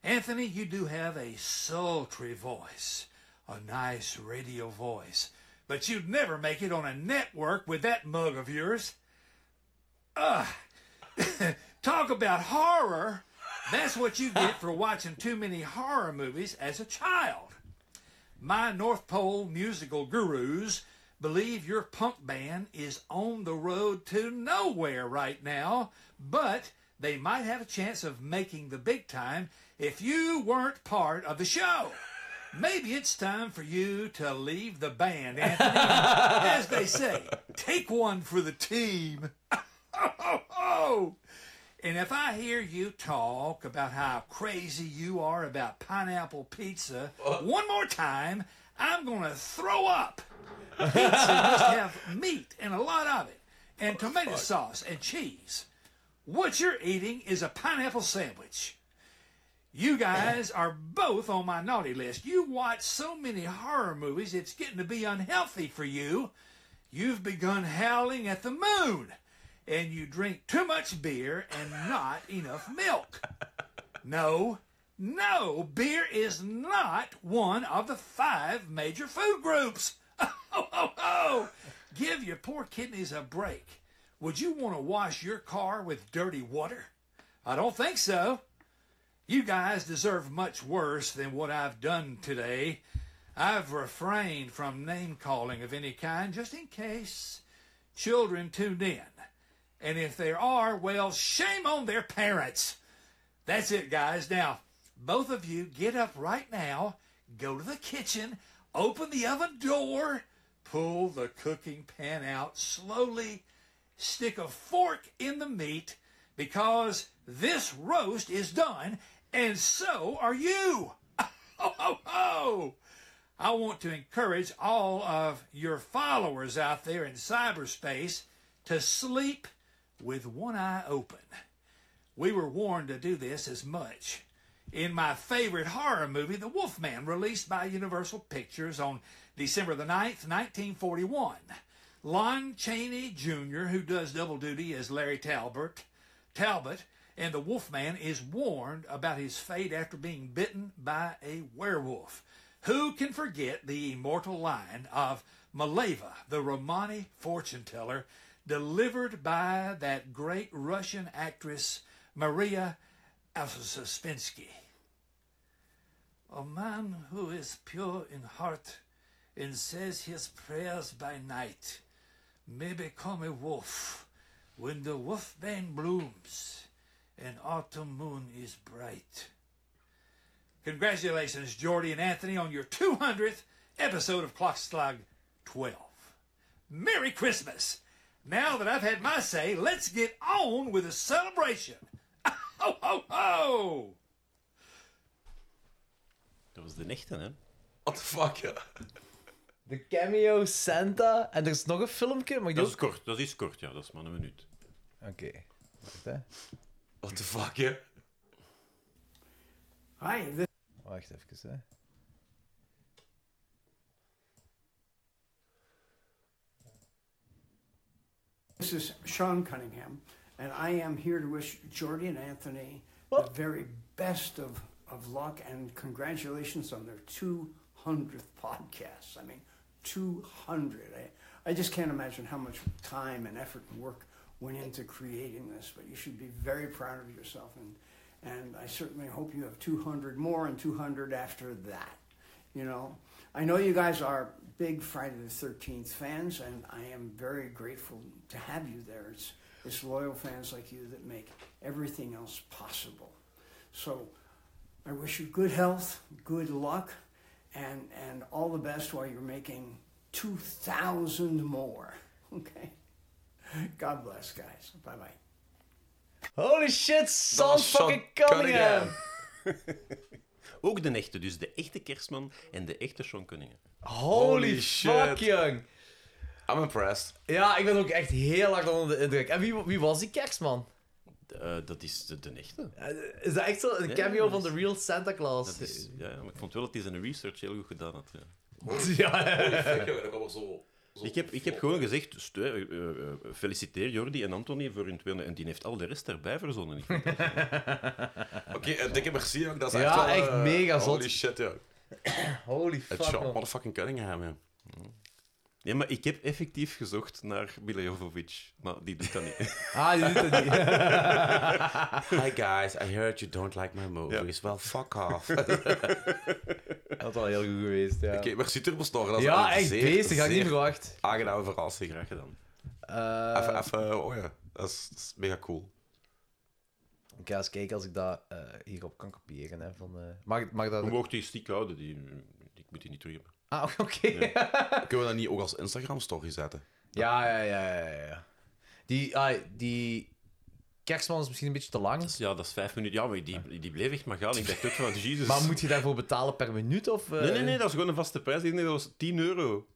[SPEAKER 5] Anthony, you do have a sultry voice, a nice radio voice, but you'd never make it on a network with that mug of yours. Ugh. Talk about horror. That's what you get for watching too many horror movies as a child. My North Pole musical gurus believe your punk band is on the road to nowhere right now, but they might have a chance of making the big time if you weren't part of the show. Maybe it's time for you to leave the band, Anthony. As they say, take one for the team. Oh! And if I hear you talk about how crazy you are about pineapple pizza one more time, I'm going to throw up. Pizza must have meat and a lot of it, and tomato sauce and cheese. What you're eating is a pineapple sandwich. You guys are both on my naughty list. You watch so many horror movies, it's getting to be unhealthy for you. You've begun howling at the moon and you drink too much beer and not enough milk. No, no, beer is not one of the five major food groups. Oh, oh, oh. Give your poor kidneys a break. Would you want to wash your car with dirty water? I don't think so. You guys deserve much worse than what I've done today. I've refrained from name calling of any kind just in case children tuned in. And if there are, well, shame on their parents. That's it, guys. Now, both of you get up right now, go to the kitchen, open the oven door, pull the cooking pan out slowly, stick a fork in the meat because this roast is done, and so are you. Ho, ho, ho! I want to encourage all of your followers out there in cyberspace to sleep with one eye open. We were warned to do this as much. In my favorite horror movie, The Wolfman, released by Universal Pictures on December the 9th, 1941, Lon Chaney Jr., who does double duty as Larry Talbot, Talbot, and the Wolfman is warned about his fate after being bitten by a werewolf. Who can forget the immortal line of Maleva, the Romani fortune teller, delivered by that great Russian actress Maria Alsaspinsky? A man who is pure in heart and says his prayers by night may become a wolf when the wolfbane blooms and autumn moon is bright. Congratulations, Jordy and Anthony, on your 200th episode of Clock Slug 12. Merry Christmas! Now that I've had my say, let's get on with the celebration. Ho, ho, ho!
[SPEAKER 4] Dat was de echte, hè?
[SPEAKER 2] What the fuck, ja.
[SPEAKER 3] De cameo Santa. En er is nog een filmpje, maar ik
[SPEAKER 4] Dat
[SPEAKER 3] doe...
[SPEAKER 4] is kort, dat is kort, ja. Dat is maar een minuut.
[SPEAKER 3] Oké. Wacht, hè.
[SPEAKER 2] What the fuck, ja.
[SPEAKER 6] Hi, this
[SPEAKER 3] Wacht even, hè.
[SPEAKER 6] this is Sean Cunningham, and I am here to wish Jordy and Anthony the very best of, of luck and congratulations on their 200th podcast. I mean, 200. I, I just can't imagine how much time and effort and work went into creating this, but you should be very proud of yourself. And, and I certainly hope you have 200 more and 200 after that. You know, I know you guys are big Friday the 13th fans, and I am very grateful to have you there. It's, it's loyal fans like you that make everything else possible. So I wish you good health, good luck, and, and all the best while you're making 2,000 more. Okay? God bless, guys. Bye bye.
[SPEAKER 3] Holy shit, Sean
[SPEAKER 2] was Sean
[SPEAKER 3] fucking Cunningham.
[SPEAKER 2] Cunningham.
[SPEAKER 4] Ook de echte, dus de echte kerstman en de echte Sean Cunningham.
[SPEAKER 3] Holy
[SPEAKER 2] Holy
[SPEAKER 3] fuck,
[SPEAKER 2] shit.
[SPEAKER 3] jong.
[SPEAKER 2] I'm impressed.
[SPEAKER 3] Ja, ik ben ook echt heel hard onder de indruk. En wie, wie was die kerstman?
[SPEAKER 4] Eh, dat is de, de echte.
[SPEAKER 3] Eh, Is dat echt zo een
[SPEAKER 4] Ja,
[SPEAKER 3] cameo
[SPEAKER 4] dat
[SPEAKER 3] van
[SPEAKER 4] is-
[SPEAKER 3] de real Santa Claus?
[SPEAKER 4] Dat is, ja, maar ik vond wel dat hij zijn research heel goed gedaan had. Ja.
[SPEAKER 3] Ja.
[SPEAKER 2] dat was zo...
[SPEAKER 4] Dus Ik heb, ik heb gewoon gezegd, stu- eh, eh, eh, feliciteer Jordi en Anthony voor hun tweede. En die heeft al de rest erbij verzonnen. Ik vind dat-
[SPEAKER 2] Oké, eh, dikke merci ook. Dat is
[SPEAKER 3] Ja,
[SPEAKER 2] echt, wel,
[SPEAKER 3] echt
[SPEAKER 2] eh,
[SPEAKER 3] mega
[SPEAKER 2] Holy
[SPEAKER 3] zot.
[SPEAKER 2] shit, ja.
[SPEAKER 3] Holy
[SPEAKER 2] Het
[SPEAKER 3] fuck,
[SPEAKER 2] Sean
[SPEAKER 3] man.
[SPEAKER 2] motherfucking Cunningham, ja.
[SPEAKER 4] Nee, maar ik heb effectief gezocht naar Mila Jovovich. Maar die doet dat niet.
[SPEAKER 3] Ah, die doet het niet.
[SPEAKER 2] Hi guys, I heard you don't like my movies. Well, fuck off. Oké,
[SPEAKER 3] Dat was wel heel goed geweest, ja.
[SPEAKER 2] merci Turbostar. Dat is
[SPEAKER 3] Ja,
[SPEAKER 2] een
[SPEAKER 3] echt
[SPEAKER 2] zeer,
[SPEAKER 3] beestig, had ik niet
[SPEAKER 2] zeer
[SPEAKER 3] verwacht.
[SPEAKER 2] Aangename verrassing.
[SPEAKER 4] Graag gedaan.
[SPEAKER 3] Eh,
[SPEAKER 2] Even, even, oh ja. Dat is, dat is mega cool.
[SPEAKER 3] ik ga eens kijken als ik dat eh, hierop kan kopiëren. Hè, van, eh, mag, ik- mag ik dat...
[SPEAKER 4] Hoe mocht die stiek houden? Die, ik moet die niet terug hebben.
[SPEAKER 3] Ah, oké.
[SPEAKER 2] Kunnen we dat niet ook als Instagram-story zetten?
[SPEAKER 3] Ja, ja, ja, ja, ja, ja. Die, ah, die kerstman is misschien een beetje te lang.
[SPEAKER 4] Ja, dat is vijf minuten. Ja, maar die, die bleef echt maar gaan. Ik dacht ook van, Jesus.
[SPEAKER 3] Maar moet je daarvoor betalen per minuut? Of, eh?
[SPEAKER 4] Nee, nee, nee, dat is gewoon een vaste prijs. Ik denk dat was 10 euro.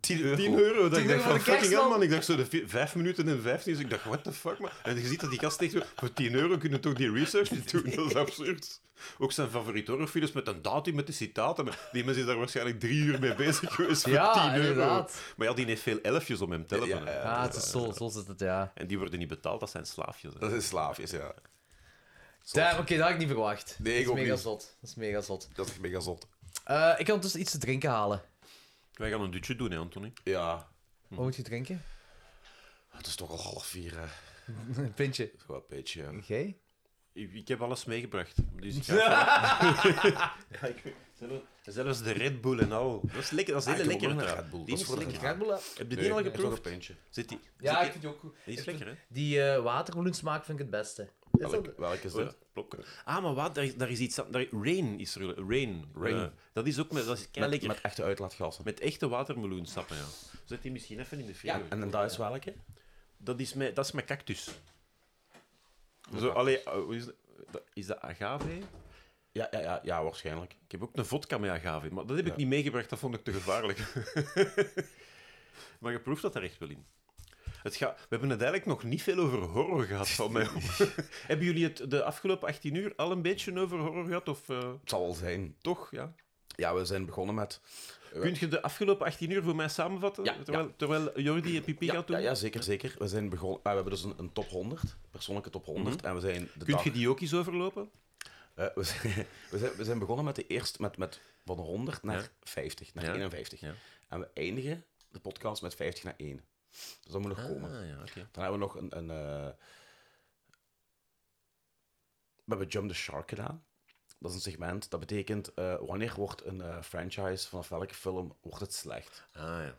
[SPEAKER 2] 10 euro.
[SPEAKER 4] 10 euro. Dat
[SPEAKER 3] 10
[SPEAKER 4] ik
[SPEAKER 3] euro
[SPEAKER 4] dacht
[SPEAKER 3] voor
[SPEAKER 4] van,
[SPEAKER 3] de
[SPEAKER 4] fucking
[SPEAKER 3] kerstman.
[SPEAKER 4] hell, man. Ik dacht zo de vi- 5 minuten en 15. Dus ik dacht, what the fuck, man. En je ziet dat die gast echt zo, voor 10 euro kunnen we toch die research niet doen. Dat is absurd. Ook zijn favoriete horrorfilms met een datum, met de citaten. Maar Die mensen is daar waarschijnlijk drie uur mee bezig geweest voor
[SPEAKER 3] Ja,
[SPEAKER 4] 10 euro.
[SPEAKER 3] inderdaad.
[SPEAKER 4] Maar ja, die heeft veel elfjes om hem te helpen.
[SPEAKER 2] Ja, ja,
[SPEAKER 4] hè.
[SPEAKER 3] Ah, het is zo, zo zit het, ja.
[SPEAKER 4] En die worden niet betaald, dat zijn slaafjes. hè.
[SPEAKER 2] Dat is slaafjes, ja.
[SPEAKER 3] Daar- Oké, dat had ik niet verwacht.
[SPEAKER 2] Nee, ik
[SPEAKER 3] dat is
[SPEAKER 2] ook
[SPEAKER 3] mega
[SPEAKER 2] niet.
[SPEAKER 3] zot. Dat is mega zot.
[SPEAKER 2] Dat is mega zot.
[SPEAKER 3] Eh, ik kan dus iets te drinken halen.
[SPEAKER 4] Wij gaan een dutje doen, hè, Anthony.
[SPEAKER 2] Ja.
[SPEAKER 3] Wat moet je drinken?
[SPEAKER 2] Het is toch al half vier, hè. Het
[SPEAKER 3] Een pintje.
[SPEAKER 2] is wel een beetje... ja.
[SPEAKER 3] Oké.
[SPEAKER 4] Ik, ik heb alles meegebracht. Dus ik ga- Ja, ik- zelfs- Zelfs de Red Bull en al. Dat is lekker, dat is
[SPEAKER 2] Ah,
[SPEAKER 4] hele
[SPEAKER 2] ik wil
[SPEAKER 4] lekkere
[SPEAKER 2] ook een
[SPEAKER 4] trui.
[SPEAKER 2] Red Bull.
[SPEAKER 4] Die
[SPEAKER 2] Dat
[SPEAKER 4] is
[SPEAKER 2] is voor de
[SPEAKER 4] lekker.
[SPEAKER 2] trui.
[SPEAKER 4] Heb je die
[SPEAKER 2] Nee,
[SPEAKER 4] al
[SPEAKER 2] ik wil
[SPEAKER 4] geproefd?
[SPEAKER 2] een pintje.
[SPEAKER 4] Zit die?
[SPEAKER 3] Ja,
[SPEAKER 4] zit
[SPEAKER 3] ik vind die ook goed.
[SPEAKER 4] Die is lekker, hè?
[SPEAKER 3] Die eh, watermeloensmaak vind ik het beste. Is dat-
[SPEAKER 2] Welk, welk is
[SPEAKER 4] Oh, ja,
[SPEAKER 2] dat?
[SPEAKER 4] plop. Ah, maar wat? Daar, daar is iets... aan- Daar, rain is er... Rain.
[SPEAKER 2] Rain.
[SPEAKER 4] Eh, dat is ook... Met, dat is
[SPEAKER 2] Met,
[SPEAKER 4] lekker.
[SPEAKER 2] met
[SPEAKER 4] Met,
[SPEAKER 2] echte uitlaatgassen.
[SPEAKER 4] echte watermeloensappen, ja. Zet die misschien even in de frigo.
[SPEAKER 2] En, en dat is welke?
[SPEAKER 4] Dat is mijn, dat is mijn cactus. Zo, allee, eh, hoe is, dat? Dat- is dat agave?
[SPEAKER 2] Ja, ja, ja, ja, waarschijnlijk.
[SPEAKER 4] Ik heb ook een vodka met agave, maar dat heb ik
[SPEAKER 2] Ja.
[SPEAKER 4] niet meegebracht, dat vond ik te gevaarlijk. maar je proeft dat er echt wel in. Het ga, we hebben het eigenlijk nog niet veel over horror gehad van mij. hebben jullie het de afgelopen 18 uur al een beetje over horror gehad? Of eh,
[SPEAKER 2] Het zal wel zijn.
[SPEAKER 4] toch, ja?
[SPEAKER 2] Ja, we zijn begonnen met...
[SPEAKER 4] Kun je de afgelopen 18 uur voor mij samenvatten?
[SPEAKER 2] Ja,
[SPEAKER 4] terwijl, terwijl Jordi en Pipi
[SPEAKER 2] Ja,
[SPEAKER 4] gaat doen?
[SPEAKER 2] ja, ja, zeker, zeker. We, zijn begonnen, ah, we hebben dus een, een top 100, persoonlijke top 100. En we zijn de
[SPEAKER 4] Mhm. Kun
[SPEAKER 2] dag...
[SPEAKER 4] je die ook eens overlopen?
[SPEAKER 2] eh, we, zijn, we, zijn, we zijn begonnen met de eerste, met, met van 100 naar
[SPEAKER 4] Ja.
[SPEAKER 2] 50, naar
[SPEAKER 4] Ja.
[SPEAKER 2] 51.
[SPEAKER 4] Ja.
[SPEAKER 2] En we eindigen de podcast met 50 naar 1. Dus dat moet nog komen.
[SPEAKER 4] Ah, ja, oké.
[SPEAKER 2] Dan hebben we nog een... een eh, We hebben Jump the Shark gedaan. Dat is een segment. Dat betekent, eh, wanneer wordt een eh, franchise, vanaf welke film, wordt het slecht?
[SPEAKER 4] Ah, ja.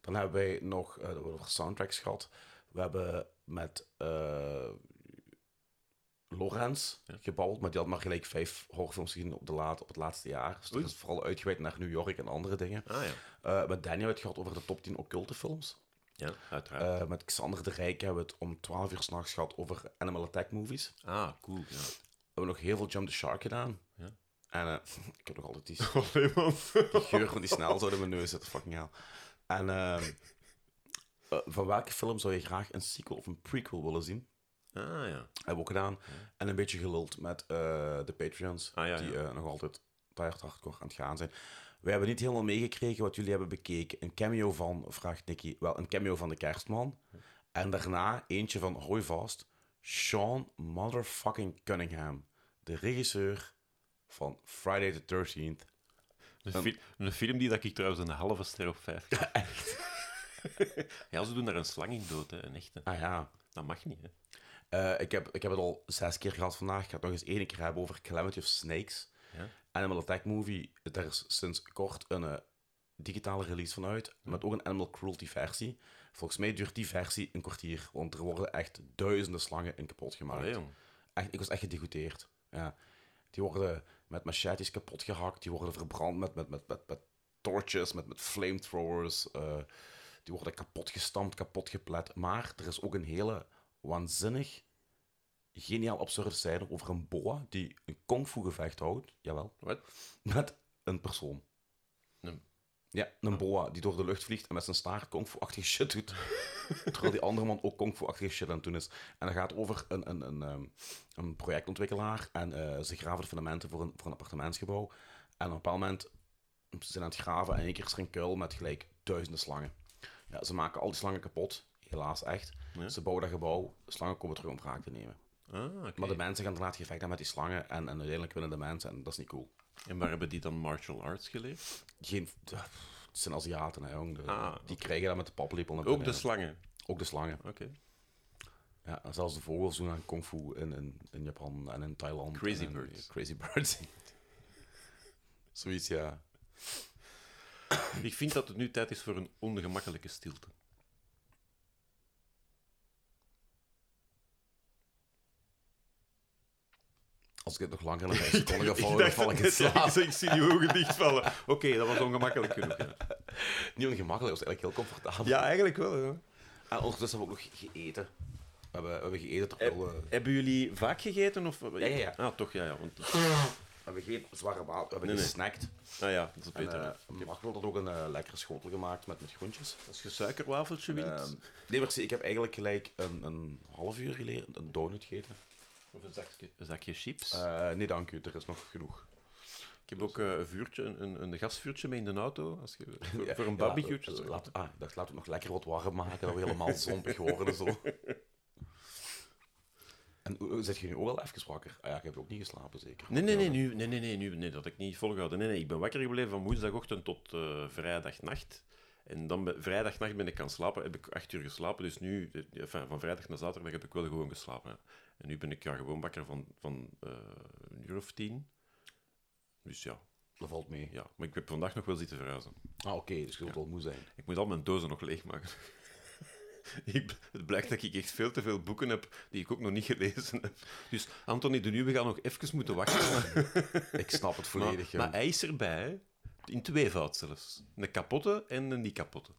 [SPEAKER 2] Dan hebben wij nog, eh we hebben over soundtracks gehad. We hebben met eh Lorenz gebabbeld, maar die had maar gelijk vijf horrorfilms gezien op, de laat, op het laatste jaar. Dus dat
[SPEAKER 4] Oei.
[SPEAKER 2] is vooral uitgeweid naar New York en andere dingen.
[SPEAKER 4] Ah, ja.
[SPEAKER 2] Eh, met Daniel hebben we het gehad over de top 10 occulte films.
[SPEAKER 4] Ja, uiteraard.
[SPEAKER 2] Eh, met Xander de Rijk hebben we het om 12 uur s'nachts gehad over Animal Attack movies. We
[SPEAKER 4] ah, cool. Ja.
[SPEAKER 2] hebben nog heel veel Jump the Shark gedaan.
[SPEAKER 4] Ja.
[SPEAKER 2] En eh, ik heb nog altijd die
[SPEAKER 4] Allee, man.
[SPEAKER 2] Die geur van die snelzout in mijn neus zit, fucking hell. En ehm, eh, van welke film zou je graag een sequel of een prequel willen zien?
[SPEAKER 4] Ah, ja.
[SPEAKER 2] Hebben we ook gedaan. En een beetje geluld met eh, de Patreons,
[SPEAKER 4] Ah, ja,
[SPEAKER 2] die
[SPEAKER 4] ja.
[SPEAKER 2] eh, nog altijd keihard hardcore aan het gaan zijn. We hebben niet helemaal meegekregen wat jullie hebben bekeken. Een cameo van, vraagt Nicky, wel, een cameo van de kerstman. En daarna eentje van, hoi vast, Sean motherfucking Cunningham. De regisseur van Friday the 13th.
[SPEAKER 4] Een, fi- een film die dat ik trouwens een halve ster op vijf geef. ja, ze doen daar een slang in dood, hè. een echte.
[SPEAKER 2] Ah ja,
[SPEAKER 4] Dat mag niet, hè.
[SPEAKER 2] Eh, ik, heb, ik heb het al zes keer gehad vandaag. Ik ga het nog eens één keer hebben over Calamity of Snakes.
[SPEAKER 4] Ja.
[SPEAKER 2] Animal Attack Movie. Daar is sinds kort een eh, digitale release van uit. Met ook een Animal Cruelty versie. Volgens mij duurt die versie een kwartier. Want er worden echt duizenden slangen in kapot gemaakt.
[SPEAKER 4] Allee, jong.
[SPEAKER 2] Echt, ik was echt gedegoûteerd. Ja. Die worden met machetes kapot gehakt. Die worden verbrand met, met, met, met, met torches, met, met flamethrowers. eh, die worden kapot gestampt, kapot geplet. Maar er is ook een hele waanzinnig, geniaal absurde scène over een boa die een kung fu gevecht houdt. Jawel.
[SPEAKER 4] Wat?
[SPEAKER 2] Met een persoon.
[SPEAKER 4] Een- Ah.
[SPEAKER 2] Ja, een boa die door de lucht vliegt en met zijn staart kung fu-achtige shit doet. Terwijl die andere man ook kung fu-achtige shit aan het doen is. En dat gaat over een, een, een, ehm, een projectontwikkelaar en eh, ze graven de fundamenten voor een, voor een appartementsgebouw. En op een bepaald moment ze zijn aan het graven en in één keer is er een kuil met gelijk duizenden slangen. Ja, ze maken al die slangen kapot, helaas echt. Ze bouwen dat gebouw, slangen komen terug om wraak te nemen.
[SPEAKER 4] Ah, oké.
[SPEAKER 2] Maar de mensen gaan daarna het gevecht aan met die slangen en, en uiteindelijk winnen de mensen en dat is niet cool.
[SPEAKER 4] En waar hebben die dan martial arts geleerd?
[SPEAKER 2] Geen, ja, pff, het zijn Aziaten, hè, jong. De-
[SPEAKER 4] Ah,
[SPEAKER 2] die krijgen dat met de paplepel. naar
[SPEAKER 4] Ook de
[SPEAKER 2] binnen.
[SPEAKER 4] slangen.
[SPEAKER 2] Ook de slangen.
[SPEAKER 4] Oké.
[SPEAKER 2] Ja, en zelfs de vogels doen aan kung fu in, in, in Japan en in Thailand.
[SPEAKER 4] Crazy
[SPEAKER 2] en in-
[SPEAKER 4] birds.
[SPEAKER 2] Crazy birds. Zoiets, ja.
[SPEAKER 4] Ik vind dat het nu tijd is voor een ongemakkelijke stilte.
[SPEAKER 2] Als ik het nog langer dan 5 seconden ga
[SPEAKER 4] Ik
[SPEAKER 2] volgen, dan
[SPEAKER 4] dacht
[SPEAKER 2] val ik in
[SPEAKER 4] net, ja,
[SPEAKER 2] slaap.
[SPEAKER 4] ik zeg, ik zie die ogen dichtvallen. Oké, dat was ongemakkelijk genoeg. ja.
[SPEAKER 2] Niet ongemakkelijk, dat was eigenlijk heel comfortabel.
[SPEAKER 4] eigenlijk wel. ja.
[SPEAKER 2] En ondertussen hebben we ook nog gegeten. We hebben, we hebben gegeten toch
[SPEAKER 4] Heb-
[SPEAKER 2] wel... eh,
[SPEAKER 4] Hebben jullie vaak gegeten? Of... Ja,
[SPEAKER 2] ja, ja.
[SPEAKER 4] Ah, toch, ja, ja. Want...
[SPEAKER 2] we hebben geen zware water, we hebben
[SPEAKER 4] Nee, nee.
[SPEAKER 2] gesnackt.
[SPEAKER 4] Ah ja, dat is
[SPEAKER 2] En,
[SPEAKER 4] beter.
[SPEAKER 2] eh, Marco had ook een eh, lekkere schotel gemaakt met, met groentjes.
[SPEAKER 4] Als je suikerwafeltje wilt.
[SPEAKER 2] Ehm, nee, maar zie, ik heb eigenlijk gelijk een, een half uur geleden een donut gegeten.
[SPEAKER 4] Of een zakje, Ah, een zakje chips.
[SPEAKER 2] Eh, nee, dank u, er is nog genoeg.
[SPEAKER 4] ik heb ook eh, een, vuurtje, een, een, een gasvuurtje mee in de auto. Als je, voor, voor een
[SPEAKER 2] Ja,
[SPEAKER 4] barbecue.
[SPEAKER 2] eh, laat, ah, ik dacht, laten we het nog lekker wat warm maken, dat we helemaal zompig worden en zo. En hoe- hoe- zit je nu ook al even wakker? Ah ja, ik heb ook niet geslapen, zeker.
[SPEAKER 4] Nee, nee, nee, nu, nee, nee, nee, nu, nee, dat had ik niet volgehouden. Nee, nee, ik ben wakker gebleven van woensdagochtend tot eh, vrijdagnacht. En dan ben- vrijdagnacht ben ik gaan slapen, heb ik acht uur geslapen. Dus nu, eh, enfin, van vrijdag naar zaterdag heb ik wel gewoon geslapen. hè. En nu ben ik ja, gewoon wakker van, van eh, een uur of tien. Dus ja,
[SPEAKER 2] Dat valt mee.
[SPEAKER 4] ja, maar ik heb vandaag nog wel zitten verhuizen.
[SPEAKER 2] Ah, oké, dus je wilt wel moe zijn.
[SPEAKER 4] Ik moet al mijn dozen nog leegmaken. Ik, bl- het blijkt dat ik echt veel te veel boeken heb die ik ook nog niet gelezen heb. Dus Anthony de Nieuwe gaat nog even moeten wachten. Maar,
[SPEAKER 2] Ik snap het volledig,
[SPEAKER 4] maar,
[SPEAKER 2] joh.
[SPEAKER 4] hij is erbij, hè. in tweevoud zelfs. Een kapotte en een niet kapotte.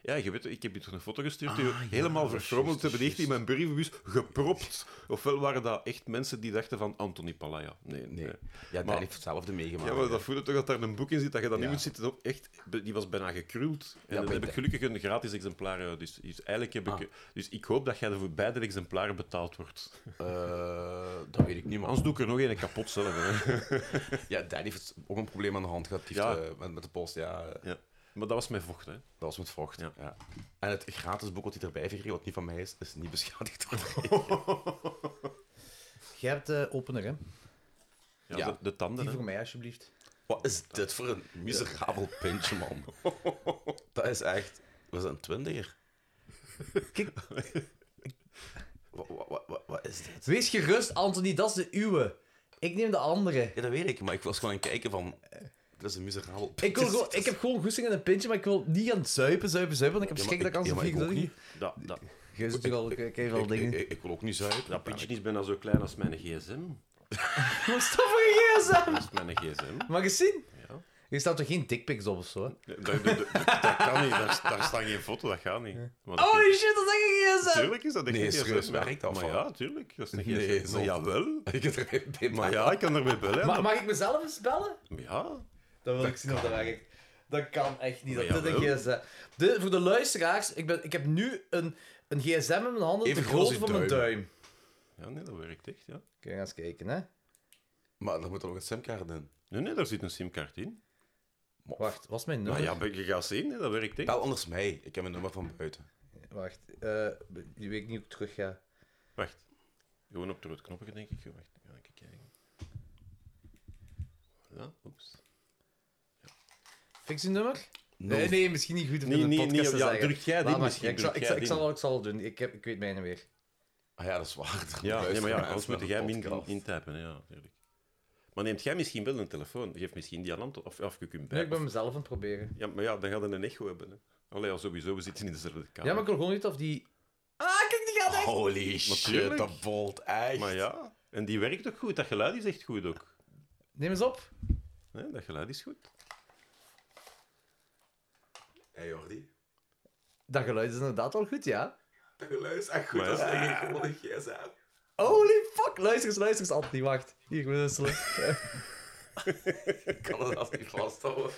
[SPEAKER 4] Ja, je weet, ik heb je toch een foto gestuurd die we helemaal verfrommeld hebben, die echt in mijn brievenbus gepropt. Ofwel waren dat echt mensen die dachten van Anthony Palaya. Nee, nee.
[SPEAKER 2] Nee. Ja,
[SPEAKER 4] eh, Maar-
[SPEAKER 2] daar heeft hetzelfde meegemaakt.
[SPEAKER 4] Ja,
[SPEAKER 2] hè.
[SPEAKER 4] maar dat voelde toch dat daar een boek in zit dat je dan
[SPEAKER 2] Ja.
[SPEAKER 4] niet moet zitten. Op. Echt, be- die was bijna gekruld. En
[SPEAKER 2] Ja,
[SPEAKER 4] dan
[SPEAKER 2] maar
[SPEAKER 4] heb
[SPEAKER 2] ik
[SPEAKER 4] ik gelukkig een gratis exemplaar. eh, Dus, dus eigenlijk heb ik... Dus ik hoop dat jij er voor beide exemplaren betaald wordt.
[SPEAKER 2] Eh, dat weet ik niet, man.
[SPEAKER 4] Anders doe ik er nog een kapot zelf. Hè.
[SPEAKER 2] Ja, Danny heeft ook een probleem aan de hand gehad die
[SPEAKER 4] Ja.
[SPEAKER 2] heeft, eh, met, met de post. Ja, eh,
[SPEAKER 4] Ja. Maar dat was mijn vocht, hè.
[SPEAKER 2] dat was met vocht.
[SPEAKER 4] Ja.
[SPEAKER 2] Ja. En het gratis boek wat hij erbij heeft gekregen, wat niet van mij is, is niet beschadigd.
[SPEAKER 3] Jij hebt de opener, hè?
[SPEAKER 4] Ja,
[SPEAKER 2] Ja.
[SPEAKER 4] De, de tanden,
[SPEAKER 3] Die
[SPEAKER 4] hè.
[SPEAKER 3] voor mij, alsjeblieft.
[SPEAKER 2] wat is dit voor een miserabel pintje, man? dat is echt... Was dat een twintiger?
[SPEAKER 3] Kijk.
[SPEAKER 2] Wat, wat, wat, is dit?
[SPEAKER 3] Wees gerust, Anthony, dat is de uwe. Ik neem de andere.
[SPEAKER 2] Ja, dat weet ik, maar ik was gewoon aan het kijken van... eh, Dat is een miserabel pintje.
[SPEAKER 3] Ik, wil gewoon, ik heb gewoon goesting in een pintje, maar ik wil niet gaan zuipen, zuipen, zuipen. Want ik heb schrik dat ik
[SPEAKER 2] ja,
[SPEAKER 3] aan
[SPEAKER 2] maar ik
[SPEAKER 3] zo'n
[SPEAKER 2] ook
[SPEAKER 3] vlieg
[SPEAKER 2] niet.
[SPEAKER 4] Dat, dat,
[SPEAKER 3] Jij zit hier al, ik heb al
[SPEAKER 2] Ik, ik,
[SPEAKER 3] dingen.
[SPEAKER 2] ik, ik wil ook niet zuipen.
[SPEAKER 4] dat pintje is bijna zo klein als mijn gsm.
[SPEAKER 3] Wat is dat voor een gsm?
[SPEAKER 4] Dat is mijn gsm.
[SPEAKER 3] Mag ik zien?
[SPEAKER 4] Ja.
[SPEAKER 3] Je staat toch geen dickpics op of zo? hè?
[SPEAKER 4] Dat, dat- dat- dat kan niet. Daar, daar staat geen foto, dat gaat niet. Maar dat-
[SPEAKER 3] Holy shit, dat is echt een gsm!
[SPEAKER 4] Tuurlijk is dat echt
[SPEAKER 2] Nee,
[SPEAKER 4] een
[SPEAKER 2] serieus,
[SPEAKER 4] gsm.
[SPEAKER 2] werkt dat
[SPEAKER 4] Maar
[SPEAKER 2] van?
[SPEAKER 4] ja, tuurlijk. Dat is een
[SPEAKER 2] Nee,
[SPEAKER 4] gsm.
[SPEAKER 2] zot.
[SPEAKER 4] maar jawel.
[SPEAKER 2] Ik heb er geen pin,
[SPEAKER 4] Maar ja, ik kan ermee bellen.
[SPEAKER 3] Ma- mag ik mezelf eens bellen?
[SPEAKER 4] Ja,
[SPEAKER 3] Dan wil ik zien of dat werkt. Dat kan echt niet, dat
[SPEAKER 4] Maar
[SPEAKER 3] dit een
[SPEAKER 4] jawel.
[SPEAKER 3] gsm... De, voor de luisteraars, ik, ben, ik heb nu een, een gsm in mijn handen,
[SPEAKER 2] Even
[SPEAKER 3] te
[SPEAKER 2] groot als
[SPEAKER 3] groot
[SPEAKER 2] uw
[SPEAKER 3] voor mijn
[SPEAKER 2] duim.
[SPEAKER 3] duim.
[SPEAKER 4] Ja, nee, dat werkt echt, ja.
[SPEAKER 3] Kun je eens kijken, hè?
[SPEAKER 2] Maar dan moet er nog een simkaart in.
[SPEAKER 4] Nee, nee, daar zit een simkaart in.
[SPEAKER 3] Wacht, was mijn
[SPEAKER 4] Nou
[SPEAKER 3] nummer?
[SPEAKER 4] ja, maar je gaat zien, hè, dat werkt echt.
[SPEAKER 2] Bel anders mij. Ik heb een nummer van buiten.
[SPEAKER 3] Wacht, eh, die weet ik niet hoe ik terug ga.
[SPEAKER 4] Wacht. Gewoon op de rood knopje, denk ik. Wacht, dan ga ik kijken. Voilà, oeps.
[SPEAKER 3] Fix je nummer? Nee, nee, misschien niet goed om
[SPEAKER 4] Nee,
[SPEAKER 3] in de
[SPEAKER 4] nee,
[SPEAKER 3] podcast
[SPEAKER 4] nee,
[SPEAKER 3] te
[SPEAKER 4] ja,
[SPEAKER 3] zeggen.
[SPEAKER 4] druk jij
[SPEAKER 3] Laat
[SPEAKER 4] dit
[SPEAKER 3] maar,
[SPEAKER 4] misschien,
[SPEAKER 3] Ik zal,
[SPEAKER 4] druk
[SPEAKER 3] ik, zal,
[SPEAKER 4] jij
[SPEAKER 3] ik, zal,
[SPEAKER 4] dit.
[SPEAKER 3] ik zal het doen, ik, heb, ik weet mijn weer.
[SPEAKER 2] Ah ja, dat is waar.
[SPEAKER 4] Ja, nee, maar ja, anders
[SPEAKER 2] als
[SPEAKER 4] moet jij minder intypen, hè, ja, natuurlijk. Maar neemt jij misschien wel een telefoon? Geef misschien die aan Anton, of, of je kunt
[SPEAKER 3] Nee,
[SPEAKER 4] bij.
[SPEAKER 3] ik ben mezelf aan het proberen.
[SPEAKER 4] Ja, maar ja, dan gaat het een echo hebben, hè. Allee, ja, sowieso, we zitten in dezelfde kamer.
[SPEAKER 3] Ja, maar ik wil gewoon niet of die... Ah, kijk, die gaat echt!
[SPEAKER 2] Holy
[SPEAKER 4] tuurlijk.
[SPEAKER 2] shit, dat volt echt.
[SPEAKER 4] Maar ja, en die werkt ook goed. Dat geluid is echt goed ook.
[SPEAKER 3] Neem eens op.
[SPEAKER 4] Nee, dat geluid is goed.
[SPEAKER 2] Hey Jordi,
[SPEAKER 3] Dat geluid is inderdaad wel goed, ja.
[SPEAKER 2] dat geluid is echt goed.
[SPEAKER 4] Maar ja.
[SPEAKER 2] Dat is denk ik gewoon een gsm.
[SPEAKER 3] Holy fuck! Luister eens, luister eens, Anthony, wacht. Hier, ik ben een slok.
[SPEAKER 2] Ik kan dat als niet vasthouden.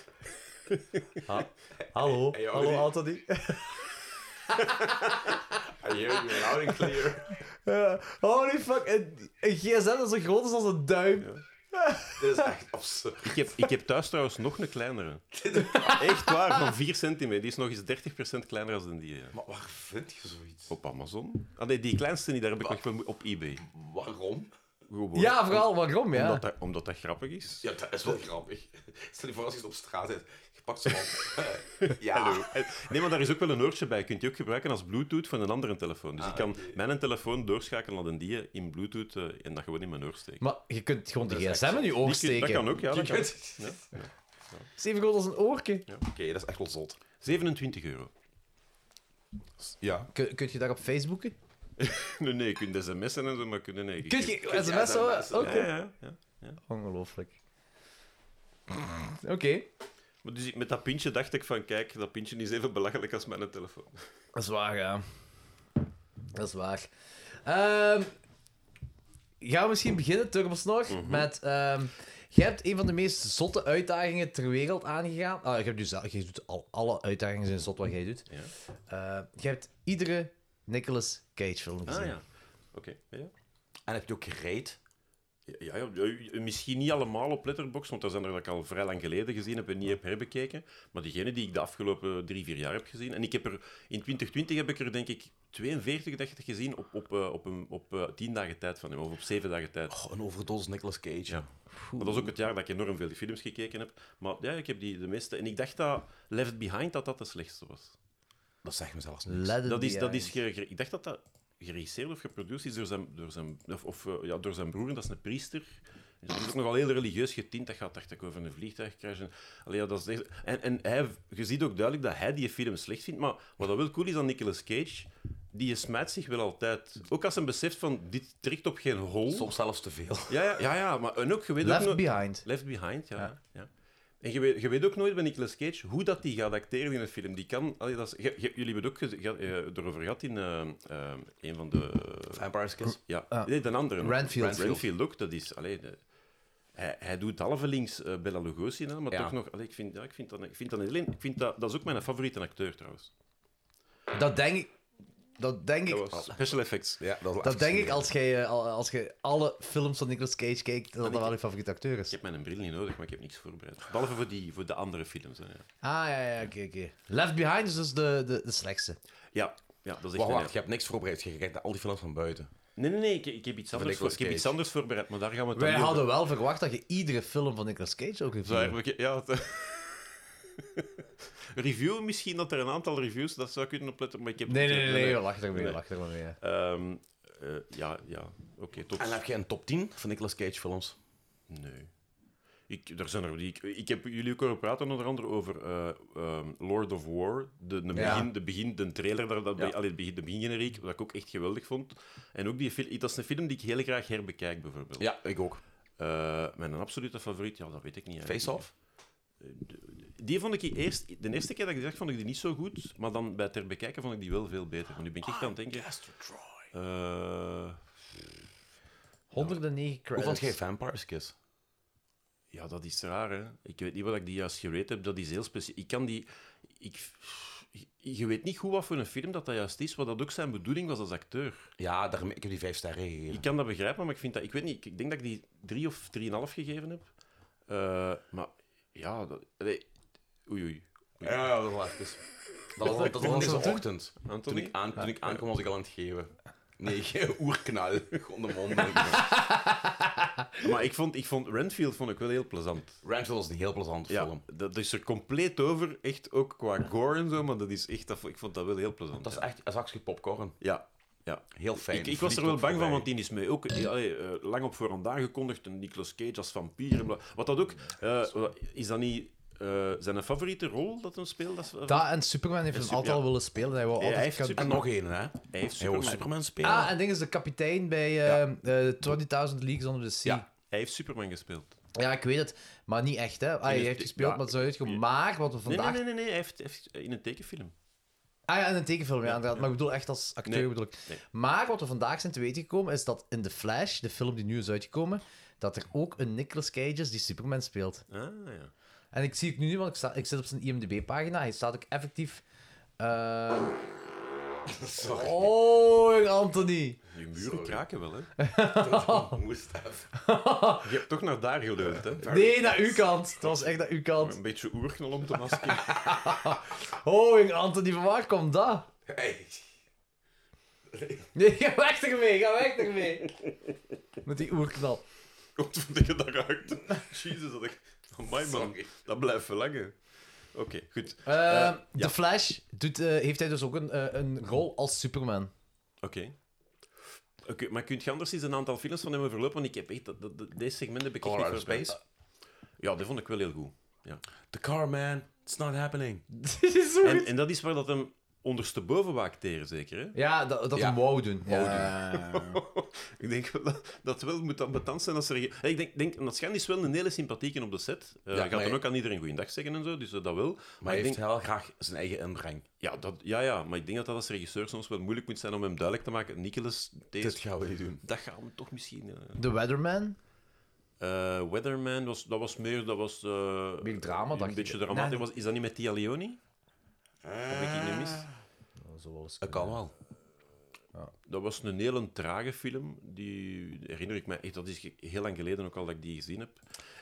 [SPEAKER 3] Ha- Hallo,
[SPEAKER 2] Hey, hey,
[SPEAKER 3] hallo
[SPEAKER 2] Anthony.
[SPEAKER 3] Anthony.
[SPEAKER 2] I hear you loud and clear.
[SPEAKER 3] Eh, holy fuck, een, een gsm dat zo groot is als een duim.
[SPEAKER 2] Dit is echt absurd.
[SPEAKER 4] Ik heb, ik heb thuis trouwens nog een kleinere. Echt waar, van 4 centimeter. Die is nog eens 30% kleiner dan die. ja.
[SPEAKER 2] Maar waar vind je zoiets?
[SPEAKER 4] Op Amazon? Ah nee, die kleinste niet, daar heb ik nog wel op eBay.
[SPEAKER 2] Waarom?
[SPEAKER 4] Gewoon.
[SPEAKER 3] Ja, vooral waarom, ja.
[SPEAKER 4] Omdat dat, omdat dat grappig is.
[SPEAKER 2] Ja, dat is wel grappig. Stel je voor als je op straat zit, je pakt zo'n hand. Eh, ja.
[SPEAKER 4] Hallo. En- Nee, maar daar is ook wel een oortje bij. Kunt je ook gebruiken als Bluetooth van een andere telefoon.
[SPEAKER 3] Ah,
[SPEAKER 4] Dus ik kan mijn telefoon doorschakelen naar een die in Bluetooth eh, en dat gewoon in mijn oor steken.
[SPEAKER 3] Maar je kunt gewoon de
[SPEAKER 2] Dat is
[SPEAKER 3] gsm in je
[SPEAKER 4] Die
[SPEAKER 3] oor
[SPEAKER 4] kun- dat kan
[SPEAKER 3] steken.
[SPEAKER 4] ook, ja. Dat
[SPEAKER 2] Je
[SPEAKER 4] kan.
[SPEAKER 2] kunt-
[SPEAKER 4] ook.
[SPEAKER 2] Oké,
[SPEAKER 3] Het is even groot als een oorke.
[SPEAKER 2] dat is echt wel zot.
[SPEAKER 4] 27 euro.
[SPEAKER 2] Ja.
[SPEAKER 3] Kun, kun je daar op Facebooken?
[SPEAKER 4] Nee, nee, je kunt sms'en en zo, maar kunnen nee.
[SPEAKER 3] Kun je
[SPEAKER 2] je
[SPEAKER 3] sms
[SPEAKER 2] SMS,
[SPEAKER 3] zo? Oké.
[SPEAKER 4] Ja, ja, ja.
[SPEAKER 3] Ongelooflijk. Oké.
[SPEAKER 4] Maar dus ik- met dat pintje dacht ik van, kijk, dat pintje is even belachelijk als mijn telefoon.
[SPEAKER 3] Dat is waar, ja. Dat is waar. Ehm, gaan we misschien beginnen, Turbosnor,
[SPEAKER 4] Mhm.
[SPEAKER 3] met... ehm jij hebt een van de meest zotte uitdagingen ter wereld aangegaan. Ah, je, hebt dus, je doet al, alle uitdagingen zijn zot wat jij doet.
[SPEAKER 4] Ja.
[SPEAKER 3] Eh, je hebt iedere Nicolas Cage
[SPEAKER 4] Ah,
[SPEAKER 3] film gezien.
[SPEAKER 4] Oké, ja.
[SPEAKER 2] En heb je ook gereed?
[SPEAKER 4] Ja, ja, ja, misschien niet allemaal op Letterboxd, want dat zijn er dat ik al vrij lang geleden gezien heb en niet heb herbekeken. Maar diegene die ik de afgelopen drie, vier jaar heb gezien. En ik heb er in 2020 heb ik er denk ik 42 dacht ik, gezien op, op, eh, op, een, op eh, 10 dagen tijd van hem, of op 7 dagen tijd.
[SPEAKER 2] Oh, een overdosis Nicolas Cage.
[SPEAKER 4] Ja. Maar dat is ook het jaar dat ik enorm veel films gekeken heb. Maar ja, ik heb die de meeste. En ik dacht dat Left Behind dat dat de slechtste was.
[SPEAKER 2] Dat zegt me zelfs niet.
[SPEAKER 3] Let it
[SPEAKER 4] Dat is, dat
[SPEAKER 3] behind.
[SPEAKER 4] is ge- ge- ik dacht dat dat geregisseerd of geproduceerd is door zijn, door zijn, of, of, eh, ja, door zijn broer, dat is een priester. Dus dat is ook nogal heel religieus getint. Dat gaat, dacht ik, over een vliegtuigcrash. En, allee, ja, dat is echt- en, en hij, je ziet ook duidelijk dat hij die film slecht vindt. Maar wat dat wel cool is aan Nicolas Cage, die smijt zich wel altijd. Ook als hij beseft van, dit trekt op geen hol.
[SPEAKER 2] Soms zelfs te veel.
[SPEAKER 4] Ja, ja, ja, ja, maar en ook, je weet ook
[SPEAKER 3] Left
[SPEAKER 4] nooit-
[SPEAKER 3] Behind.
[SPEAKER 4] Left Behind, ja. ja. En je weet, je weet ook nooit bij Nicolas Cage hoe dat die gaat acteren in een film. Die kan, allee, dat is, je- je- jullie hebben het ook gez- ge- eh, erover gehad in eh, eh, een van de...
[SPEAKER 2] Vampire Skills.
[SPEAKER 4] ja,
[SPEAKER 3] Ah.
[SPEAKER 4] nee, de andere. nog.
[SPEAKER 3] Renfield.
[SPEAKER 4] Renfield ook, dat is... Allee, de- hij, hij doet halve links eh, Bela Lugosi na, maar
[SPEAKER 2] Ja.
[SPEAKER 4] toch nog... Allee, ik, vind, ja, ik vind dat... Ik vind dat, niet alleen, ik vind dat, dat is ook mijn favoriete acteur, trouwens.
[SPEAKER 3] Dat denk ik... Dat denk ik...
[SPEAKER 4] Dat was special effects.
[SPEAKER 2] Ja, dat, is
[SPEAKER 3] Dat
[SPEAKER 2] echt
[SPEAKER 3] denk ik
[SPEAKER 2] zo.
[SPEAKER 3] als jij eh, al- als jij alle films van Nicolas Cage kijkt, dat dat wel je favoriete acteur
[SPEAKER 4] Ik
[SPEAKER 3] is.
[SPEAKER 4] heb mijn bril niet nodig, maar ik heb niks voorbereid. Behalve voor, die, voor de andere films. hè, ja.
[SPEAKER 3] Ah, ja, ja, oké, oké. Left Behind is dus de, de, de slechtste.
[SPEAKER 4] Ja, ja, dat is echt
[SPEAKER 2] Wacht,
[SPEAKER 4] een-
[SPEAKER 2] wacht, je hebt niks voorbereid. Je kijkt naar al die films van buiten.
[SPEAKER 4] Nee, nee, nee, ik, ik, heb, iets anders voor,
[SPEAKER 2] Nicolas
[SPEAKER 4] ik heb iets
[SPEAKER 2] Cage.
[SPEAKER 4] anders voorbereid, maar daar gaan we het
[SPEAKER 3] Wij
[SPEAKER 4] dan niet
[SPEAKER 3] hadden
[SPEAKER 4] over-
[SPEAKER 3] wel verwacht dat je iedere film van Nicolas Cage ook
[SPEAKER 4] Zou
[SPEAKER 3] reviewen.
[SPEAKER 4] eigenlijk- Ja, het- Review misschien, dat er een aantal reviews, dat zou kunnen opletten, maar ik heb...
[SPEAKER 3] Nee, nee, nee, nee,
[SPEAKER 4] eh,
[SPEAKER 3] lach er maar mee,
[SPEAKER 4] Nee.
[SPEAKER 3] lach er maar mee. ja.
[SPEAKER 4] ehm, eh, ja, ja, oké, tot...
[SPEAKER 2] En heb je een top 10 van Nicolas Cage films?
[SPEAKER 4] Nee. Ik, er zijn er die, ik, ik heb jullie ook horen praten, onder andere over eh, ehm, Lord of War. De,
[SPEAKER 3] Ja.
[SPEAKER 4] de, begin, de, begin, de trailer, daar, dat,
[SPEAKER 2] Ja.
[SPEAKER 4] allee, het begin, de begingeneriek, wat ik ook echt geweldig vond. En ook die film, dat is een film die ik heel graag herbekijk, bijvoorbeeld.
[SPEAKER 2] Ja, ik ook.
[SPEAKER 4] Eh, mijn absolute favoriet, ja, dat weet ik niet. eigenlijk.
[SPEAKER 2] Face Off?
[SPEAKER 4] Die vond ik eerst, de eerste keer dat ik die zag, vond ik die niet zo goed. Maar dan bij het herbekijken vond ik die wel veel beter. Maar nu ben ik echt aan het denken.
[SPEAKER 2] Castor Troy.
[SPEAKER 4] eh,
[SPEAKER 3] 109
[SPEAKER 2] Hoe
[SPEAKER 3] credits.
[SPEAKER 2] vond jij Vampire Skills?
[SPEAKER 4] ja, dat is raar, hè. Ik weet niet wat ik die juist gerate heb. Dat is heel speciaal. Ik kan die... Ik, je weet niet goed wat voor een film dat, dat juist is, wat dat ook zijn bedoeling was als acteur.
[SPEAKER 2] Ja, daarmee, ik heb die vijf sterren gegeven.
[SPEAKER 4] Ik kan dat begrijpen, maar ik vind dat... Ik weet niet, ik denk dat ik die drie of drieënhalf gegeven heb. Eh, maar ja, dat... Nee. Oei, oei.
[SPEAKER 2] Ja, ja, dat was even. Dat was, dat was al
[SPEAKER 3] was
[SPEAKER 2] deze
[SPEAKER 3] dat toen?
[SPEAKER 2] ochtend. Toen
[SPEAKER 4] Anthony?
[SPEAKER 2] ik, aan, toen ik aankwam, was ik al aan het geven. Nee, oerknal. Gewoon de mond.
[SPEAKER 4] Maar ik vond, ik vond Renfield vond ik wel heel plezant.
[SPEAKER 2] Rancho was een heel plezante
[SPEAKER 4] Ja,
[SPEAKER 2] film.
[SPEAKER 4] dat is er compleet over. Echt ook qua gore en zo, maar dat is echt, dat, ik vond dat wel heel plezant.
[SPEAKER 2] Dat is echt een zakje popcorn.
[SPEAKER 4] Ja, ja.
[SPEAKER 2] Heel fijn.
[SPEAKER 4] Ik, ik was er
[SPEAKER 2] Vliegt
[SPEAKER 4] wel
[SPEAKER 2] ook
[SPEAKER 4] bang van,
[SPEAKER 2] voorbij.
[SPEAKER 4] want die is mee ook eh, allee, eh, lang op voorhand aangekondigd. Een Nicolas Cage als vampier. en bla- Wat dat ook, eh, wat- is dat niet eh, zijn favoriete rol dat hem speelt? Dat is,
[SPEAKER 3] Dat en Superman heeft
[SPEAKER 4] En
[SPEAKER 3] hem
[SPEAKER 4] Sup-
[SPEAKER 3] altijd
[SPEAKER 4] ja.
[SPEAKER 3] al willen spelen. Hij wou
[SPEAKER 4] Ja, hij
[SPEAKER 3] altijd
[SPEAKER 4] heeft
[SPEAKER 3] kan-
[SPEAKER 4] Superman.
[SPEAKER 2] En nog één, hè?
[SPEAKER 4] Hij heeft
[SPEAKER 2] Hij wou
[SPEAKER 4] Superman.
[SPEAKER 2] Superman Ah. spelen.
[SPEAKER 3] Ah, en ding is de kapitein bij eh eh 20.000 ehm, Leagues Under the Sea.
[SPEAKER 2] Ja.
[SPEAKER 4] Hij heeft Superman gespeeld.
[SPEAKER 3] Ja, ik weet het, maar niet echt, hè. Ah, je
[SPEAKER 4] het-
[SPEAKER 3] hebt gespeeld,
[SPEAKER 4] ja.
[SPEAKER 3] maar het is uitgekomen. Maar, wat we
[SPEAKER 4] Nee,
[SPEAKER 3] vandaag...
[SPEAKER 4] nee, nee, nee, nee, hij heeft, heeft eh, in een tekenfilm.
[SPEAKER 3] Ah ja, in een tekenfilm, ja, inderdaad. Maar ik bedoel echt als acteur,
[SPEAKER 4] Nee,
[SPEAKER 3] bedoel ik.
[SPEAKER 4] nee.
[SPEAKER 3] Maar wat we vandaag zijn te weten gekomen, is dat in The Flash, de film die nu is uitgekomen, dat er ook een Nicolas Cage is die Superman speelt.
[SPEAKER 4] Ah, ja.
[SPEAKER 3] En ik zie het nu niet, want ik, sta, ik zit op zijn IMDb-pagina. Hij staat ook effectief... eh, Oh, Anthony.
[SPEAKER 4] Die muren kraken wel, hè.
[SPEAKER 2] Moest af.
[SPEAKER 4] Je hebt toch naar daar geleund, hè.
[SPEAKER 3] Nee, naar uw kant. Het was echt naar uw kant.
[SPEAKER 4] Een beetje oerknal om te maskeren.
[SPEAKER 3] Oh, Anthony, van waar komt dat?
[SPEAKER 2] Hey.
[SPEAKER 3] Nee, ga weg ermee, ga weg ermee. Met die oerknal.
[SPEAKER 4] Komt vond ik het daaruit. Jezus, dat ik... Amai, man. Dat blijft verlangen. Oké, goed.
[SPEAKER 3] Eh,
[SPEAKER 4] ja.
[SPEAKER 3] The Flash doet, eh, heeft hij dus ook een, eh, een rol als Superman.
[SPEAKER 4] Oké. Oké, maar kunt je anders eens een aantal films van hem verlopen? Want ik heb echt... Dat, dat, dat- deze segmenten bekijk ik niet
[SPEAKER 2] Colorado
[SPEAKER 4] voorbij. Ja, dat vond ik wel heel goed. Ja.
[SPEAKER 2] The car, man. It's not happening.
[SPEAKER 3] Dit is zo
[SPEAKER 4] En, en dat is waar dat hem ondersteboven wou acteren, zeker, hè?
[SPEAKER 3] Ja, dat, dat hem wou doen. Eh, Ja.
[SPEAKER 4] ik denk wel dat, dat wel moet ambetant zijn als er... ge- Ik denk, denk dat Schan is wel een hele sympathieke op de set. Eh
[SPEAKER 2] Ja,
[SPEAKER 4] gaat
[SPEAKER 2] maar-
[SPEAKER 4] dan ook aan iedereen goeiedag zeggen en zo, dus eh, dat wel. Maar,
[SPEAKER 2] Maar hij
[SPEAKER 4] ik denk...
[SPEAKER 2] heeft heel graag zijn eigen inbreng.
[SPEAKER 4] Ja, dat, ja, ja, maar ik denk dat dat als regisseur soms wel moeilijk moet zijn om hem duidelijk te maken. Nicholas, deze...
[SPEAKER 2] Dit gaan we niet doen.
[SPEAKER 4] Dat gaan we toch misschien... eh.
[SPEAKER 3] The Weatherman.
[SPEAKER 4] Eh, Weatherman, was, dat was meer... Dat was, eh,
[SPEAKER 3] Meer drama, dacht
[SPEAKER 4] Een
[SPEAKER 3] ik.
[SPEAKER 4] beetje
[SPEAKER 3] Nee,
[SPEAKER 4] dramatisch.
[SPEAKER 3] nee.
[SPEAKER 4] Was, is dat niet met Tia Leoni? Heb ik die niet mis?
[SPEAKER 3] eh,
[SPEAKER 2] Dat kan wel.
[SPEAKER 4] Dat was een hele trage film. Die herinner ik me echt. Dat is heel lang geleden ook al dat ik die gezien heb.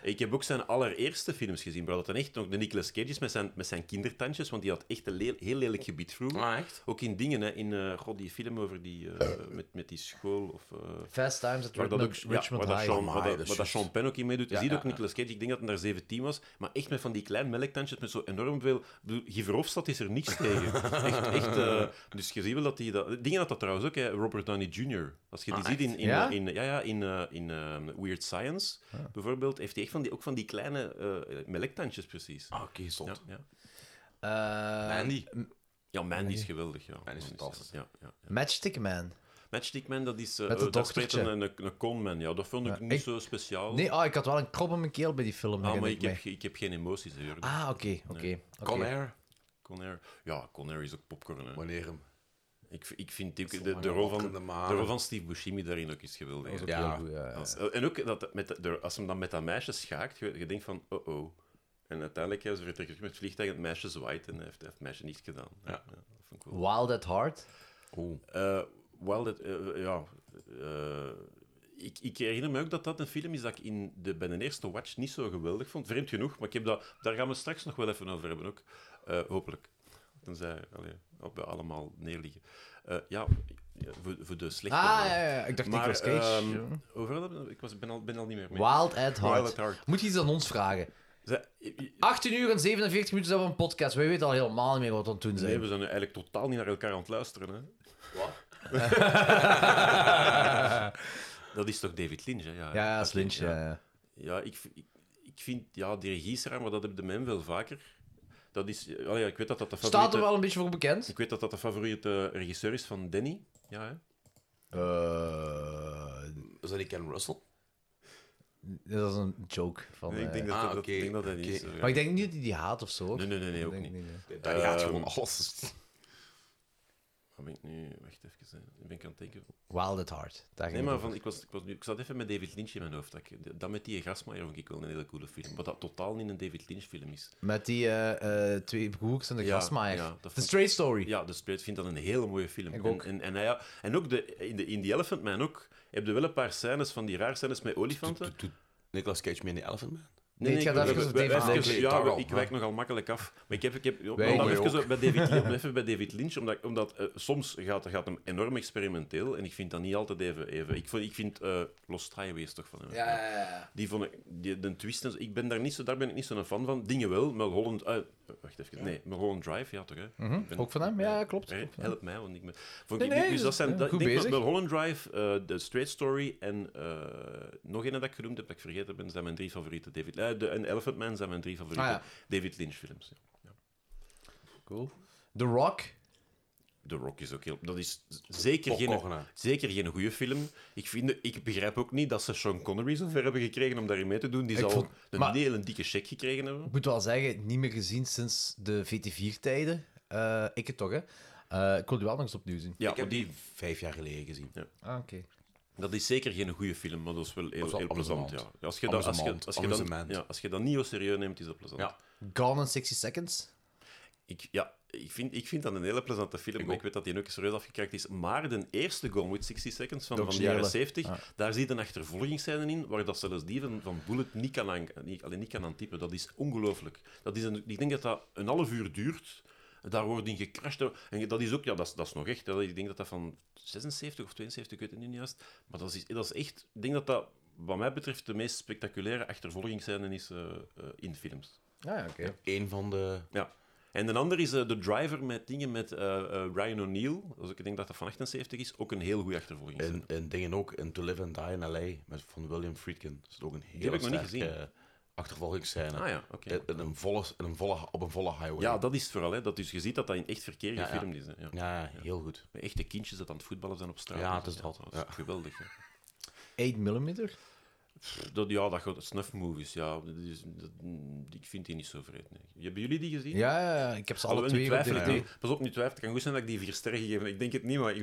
[SPEAKER 4] Ik heb ook zijn allereerste films gezien, waar dat dan echt nog de Nicolas Cage is met zijn, met zijn kindertandjes, want die had echt een leel- heel lelijk gebied vroeger.
[SPEAKER 2] Ah, echt?
[SPEAKER 4] Ook in dingen, hè, in eh, god, die film over die, eh, met, met die school. Of, eh,
[SPEAKER 3] Fast Times at
[SPEAKER 4] waar dat ook
[SPEAKER 3] Richmond,
[SPEAKER 4] ja,
[SPEAKER 3] Richmond
[SPEAKER 4] waar dat
[SPEAKER 3] High.
[SPEAKER 4] Sean, waar
[SPEAKER 2] Amai,
[SPEAKER 4] dat,
[SPEAKER 2] dat is
[SPEAKER 4] waar dat
[SPEAKER 2] juist.
[SPEAKER 4] Sean Penn ook in meedoet. je ziet
[SPEAKER 2] ja,
[SPEAKER 4] ook
[SPEAKER 2] ja.
[SPEAKER 4] Nicolas Cage, ik denk dat hij daar 17 was, maar echt met van die klein melktandjes met zo enorm veel... ik bedoel, Giverovstad is er niks tegen. echt, echt, eh, dus je ziet wel dat hij dat... Dingen had dat trouwens ook, hè, Robert Downey Jr. Als je die ziet in, in,
[SPEAKER 3] Ja?
[SPEAKER 4] eh, in, ja, ja, in, eh, in eh, Weird Science, bijvoorbeeld, heeft hij echt van die, ook van die kleine eh melktandjes precies.
[SPEAKER 2] Ah, oké, zot.
[SPEAKER 4] Ja, ja.
[SPEAKER 3] Eh,
[SPEAKER 2] Andy.
[SPEAKER 4] ja, Mandy is geweldig. Ja.
[SPEAKER 2] Mandy is fantastisch.
[SPEAKER 4] Ja, ja.
[SPEAKER 3] Matchstick Man.
[SPEAKER 4] Matchstick Man, dat is... eh,
[SPEAKER 3] Met dat
[SPEAKER 4] eh, dat spreekt
[SPEAKER 3] dochtertje.
[SPEAKER 4] een, een, een conman, ja. Dat vond ik
[SPEAKER 3] Ja,
[SPEAKER 4] niet
[SPEAKER 3] ik-
[SPEAKER 4] zo speciaal.
[SPEAKER 3] Nee, ah, ik had wel een krop in mijn keel bij die film.
[SPEAKER 4] Oh. Ah, maar
[SPEAKER 3] herinner
[SPEAKER 4] ik heb,
[SPEAKER 3] mij.
[SPEAKER 4] ge- ik heb geen emoties, Jurgen.
[SPEAKER 3] Ah, oké, oké.
[SPEAKER 2] Con
[SPEAKER 3] oké.
[SPEAKER 2] Air.
[SPEAKER 4] Conair. Ja, Conair is ook popcorn. Hè.
[SPEAKER 2] Wanneer hem.
[SPEAKER 4] Ik, v- ik vind ook de,
[SPEAKER 2] Zolang
[SPEAKER 4] de,
[SPEAKER 2] wat
[SPEAKER 4] rol van,
[SPEAKER 2] in de
[SPEAKER 4] de
[SPEAKER 2] manen.
[SPEAKER 4] rol van Steve Buscemi daarin ook is geweldig. hè.
[SPEAKER 2] Ja.
[SPEAKER 3] Heel eh, goed, ja, ja.
[SPEAKER 4] Als- eh, en ook dat, met, de- de- als hem dan met dat meisje schaakt, je, je denkt van, oh-oh. En uiteindelijk ja, ze vertrekken terug met het vliegtuig en het meisje zwaait en hij heeft, heeft het meisje niets gedaan. Ja. ja, dat vond ik wel.
[SPEAKER 3] Wild at Heart.
[SPEAKER 4] Eh, wel, dat, eh, ja... eh, ik, ik herinner me ook dat dat een film is dat ik in de, bij de eerste watch niet zo geweldig vond. Vreemd genoeg, maar ik heb dat, daar gaan we straks nog wel even over hebben ook. Eh, hopelijk. Tenzij allee, op we allemaal neerliggen. Eh, ja, ja, voor, voor de slechte...
[SPEAKER 3] Ah, ja, ja, ja, ik dacht
[SPEAKER 4] Maar,
[SPEAKER 3] Nicolas Cage.
[SPEAKER 4] ehm,
[SPEAKER 3] ja.
[SPEAKER 4] overal hebben we- ik was, ben, al, ben al niet meer mee.
[SPEAKER 3] Wild at Heart.
[SPEAKER 4] at Heart.
[SPEAKER 3] Moet je iets aan ons vragen?
[SPEAKER 4] Zij- i- i-
[SPEAKER 3] 18 uur en 47 minuten zijn we een podcast. Wij weten al helemaal niet meer wat we aan het doen zijn.
[SPEAKER 4] Nee, we zijn eigenlijk totaal niet naar elkaar aan het luisteren. Hè. dat is toch David Lynch, hè? Ja,
[SPEAKER 3] Ja, ja,
[SPEAKER 4] dat
[SPEAKER 3] is Lynch. Ja. ja.
[SPEAKER 4] Ja, ik, v- ik, ik vind, ja, die regie is raar, maar dat heb de men wel vaker. Dat is, eh, allee, ik weet dat dat de favoriete...
[SPEAKER 3] Staat er wel een beetje voor bekend?
[SPEAKER 4] Ik weet dat dat de favoriete regisseur is van Danny. Ja, hè?
[SPEAKER 2] Eh, Is dat die Ken Russell?
[SPEAKER 3] Dat is een joke. Van,
[SPEAKER 4] Nee, ik
[SPEAKER 3] eh,
[SPEAKER 4] denk dat,
[SPEAKER 2] ah,
[SPEAKER 4] dat- dat,
[SPEAKER 2] oké,
[SPEAKER 4] ik denk dat hij niet
[SPEAKER 2] oké.
[SPEAKER 4] is. eh,
[SPEAKER 3] Maar ik denk niet dat hij die haat of zo. hoor.
[SPEAKER 4] Nee, nee, nee, nee,
[SPEAKER 3] Ik
[SPEAKER 4] ook
[SPEAKER 3] denk
[SPEAKER 4] niet.
[SPEAKER 3] hè.
[SPEAKER 2] Daar gaat gewoon alles.
[SPEAKER 4] Wat ben ik nu... Wacht even, hè. ik ben ik aan het denken.
[SPEAKER 3] Wild at Heart. Daar
[SPEAKER 4] Nee,
[SPEAKER 3] ging
[SPEAKER 4] maar
[SPEAKER 3] het
[SPEAKER 4] van, ik, was, ik, was nu, ik zat even met David Lynch in mijn hoofd. Dat, ik- dat met die grasmaaier vond ik wel een hele coole film. Wat dat totaal niet een David Lynch film is.
[SPEAKER 3] over. Met die eh, eh, twee broers en de
[SPEAKER 4] Ja,
[SPEAKER 3] grasmaaier.
[SPEAKER 4] ja, dat
[SPEAKER 3] The
[SPEAKER 4] vond ik-
[SPEAKER 3] Straight Story.
[SPEAKER 4] Ja, dus ik vind dat een hele mooie
[SPEAKER 3] Ik
[SPEAKER 4] film. en,
[SPEAKER 3] ook.
[SPEAKER 4] En, en, hij- en ook de, in, de, in The Elephant Man ook, heb je wel een paar scènes van die raar scènes met olifanten.
[SPEAKER 2] Doet Nicolas Cage mee in die Elephant Man?
[SPEAKER 3] Nee, het gaat
[SPEAKER 4] ik-
[SPEAKER 3] even
[SPEAKER 4] we-
[SPEAKER 3] op
[SPEAKER 4] we-
[SPEAKER 3] David
[SPEAKER 4] we-
[SPEAKER 3] Lynch.
[SPEAKER 4] even-
[SPEAKER 2] Daar
[SPEAKER 4] Ja,
[SPEAKER 2] al,
[SPEAKER 4] ik
[SPEAKER 2] hè.
[SPEAKER 4] wijk nogal makkelijk af. Maar ik heb, ik heb om
[SPEAKER 3] Wij
[SPEAKER 4] dan
[SPEAKER 3] ook.
[SPEAKER 4] even, zo bij David, Lynch- om even bij David Lynch, omdat, omdat eh, soms gaat, gaat hem enorm experimenteel en ik vind dat niet altijd even... even. Ik, vond- ik vind eh Lost Highways toch van hem. Die vond ik, die, de twist en zo, ik ben daar, niet zo, daar ben ik niet zo'n fan van. Dingen wel, Mulholland... eh, wacht even, nee, Mulholland Drive, ja toch hè? Ik ben-
[SPEAKER 3] Mhm, Ook van hem? Ja, klopt.
[SPEAKER 4] Hey,
[SPEAKER 3] klopt.
[SPEAKER 4] help mij, want ik ben... Voor
[SPEAKER 3] Nee,
[SPEAKER 4] ik-
[SPEAKER 3] nee,
[SPEAKER 4] dus
[SPEAKER 3] dus-
[SPEAKER 4] dat zijn...
[SPEAKER 3] ja,
[SPEAKER 4] dat, ik
[SPEAKER 3] goed
[SPEAKER 4] denk dat
[SPEAKER 3] bezig.
[SPEAKER 4] Mulholland Drive, eh, The Straight Story en eh, nog een dat ik genoemd heb, dat ik vergeten ben, zijn mijn drie favoriete David... eh, de, en Elephant Man zijn mijn drie favoriete
[SPEAKER 3] Ah, ja.
[SPEAKER 4] David Lynch films.
[SPEAKER 3] Cool. The Rock.
[SPEAKER 4] The Rock is ook heel... Dat is z- zeker geen,
[SPEAKER 2] Popcorn, hè.
[SPEAKER 4] zeker geen goede film. Ik, vind, ik begrijp ook niet dat ze Sean Connery zo ver hebben gekregen om daarin mee te doen. Die
[SPEAKER 3] Ik
[SPEAKER 4] zal
[SPEAKER 3] vond-
[SPEAKER 4] een
[SPEAKER 3] maar-
[SPEAKER 4] hele dikke check gekregen hebben.
[SPEAKER 3] Ik moet wel zeggen, niet meer gezien sinds de VT4-tijden. Eh, ik het toch, hè? Eh, ik wil die wel nog eens opnieuw zien.
[SPEAKER 4] Ja,
[SPEAKER 2] ik heb
[SPEAKER 4] maar die,
[SPEAKER 2] die vijf jaar geleden gezien.
[SPEAKER 3] Ah, oké.
[SPEAKER 4] dat is zeker geen goede film, maar dat is wel
[SPEAKER 2] is
[SPEAKER 4] heel,
[SPEAKER 2] wel
[SPEAKER 4] heel plezant. Ja.
[SPEAKER 2] amusement.
[SPEAKER 4] Als, je dat, als, je,
[SPEAKER 2] Amusement.
[SPEAKER 4] als, je dan,
[SPEAKER 2] Amusement.
[SPEAKER 4] ja, als je dat niet zo serieus neemt, is dat plezant.
[SPEAKER 2] Ja.
[SPEAKER 3] Gone in 60 Seconds.
[SPEAKER 4] Ik, ja, ik vind, ik vind dat een hele plezante film. maar Ik,
[SPEAKER 2] ook.
[SPEAKER 4] weet dat die ook serieus afgekraakt is. Maar de eerste Gone with 60 Seconds van,
[SPEAKER 3] De
[SPEAKER 4] van de jaren
[SPEAKER 3] originele.
[SPEAKER 4] 70, daar zit een achtervolgingsscène in waar dat zelfs die van, van Bullet niet kan, aan, niet, allee, niet kan aan typen. Dat is ongelooflijk. Dat is een, ik denk dat dat een half uur duurt. Daar wordt in gecrashed. En dat is ook, ja, dat is, dat is nog echt. hè. Ik denk dat dat van 76 of 72, ik weet het niet juist. Maar dat is, dat is echt, ik denk dat dat, wat mij betreft, de meest spectaculaire achtervolgingsscène is eh, eh, in films.
[SPEAKER 3] Ah, ja, oké.
[SPEAKER 2] Eén van de...
[SPEAKER 4] Ja. En een ander is eh, de driver met dingen met eh, eh, Ryan O'Neill. Dus ik denk dat dat van 78 is. Ook een heel goede achtervolging.
[SPEAKER 2] En, en dingen ook, in To Live and Die in L.A. Met, van William Friedkin. Dat is ook een
[SPEAKER 4] heb
[SPEAKER 2] hele
[SPEAKER 4] ik nog niet
[SPEAKER 2] sterke eh, achtervolgingsscène.
[SPEAKER 4] Ah ja, oké.
[SPEAKER 2] In- in een volle, in een volle, op een volle highway.
[SPEAKER 4] Ja, dat is het vooral. Hè. Dat, dus je ziet dat dat in echt verkeer
[SPEAKER 2] Ja, ja.
[SPEAKER 4] gefilmd is. Hè. Ja.
[SPEAKER 2] Ja, ja, heel goed.
[SPEAKER 4] Met Echte kindjes dat aan het voetballen zijn op straat.
[SPEAKER 2] Ja,
[SPEAKER 4] en zo.
[SPEAKER 2] dat is dat.
[SPEAKER 4] Dat is
[SPEAKER 2] Ja.
[SPEAKER 4] geweldig. Hè.
[SPEAKER 3] 8 mm.
[SPEAKER 4] Dat, ja, dat gaat snuffmovies. Ja, dat is, dat- mm, ik vind die niet zo vreemd. Nee. Hebben jullie die gezien?
[SPEAKER 3] Ja, ja, ja, ik heb ze alle
[SPEAKER 4] Alhoewel, nu
[SPEAKER 3] twee op
[SPEAKER 4] twijfel ik
[SPEAKER 3] DVD.
[SPEAKER 4] nu. Pas op, nu twijfel. Het kan goed zijn dat ik die vier sterren gegeven heb. Ik denk het niet, maar ik,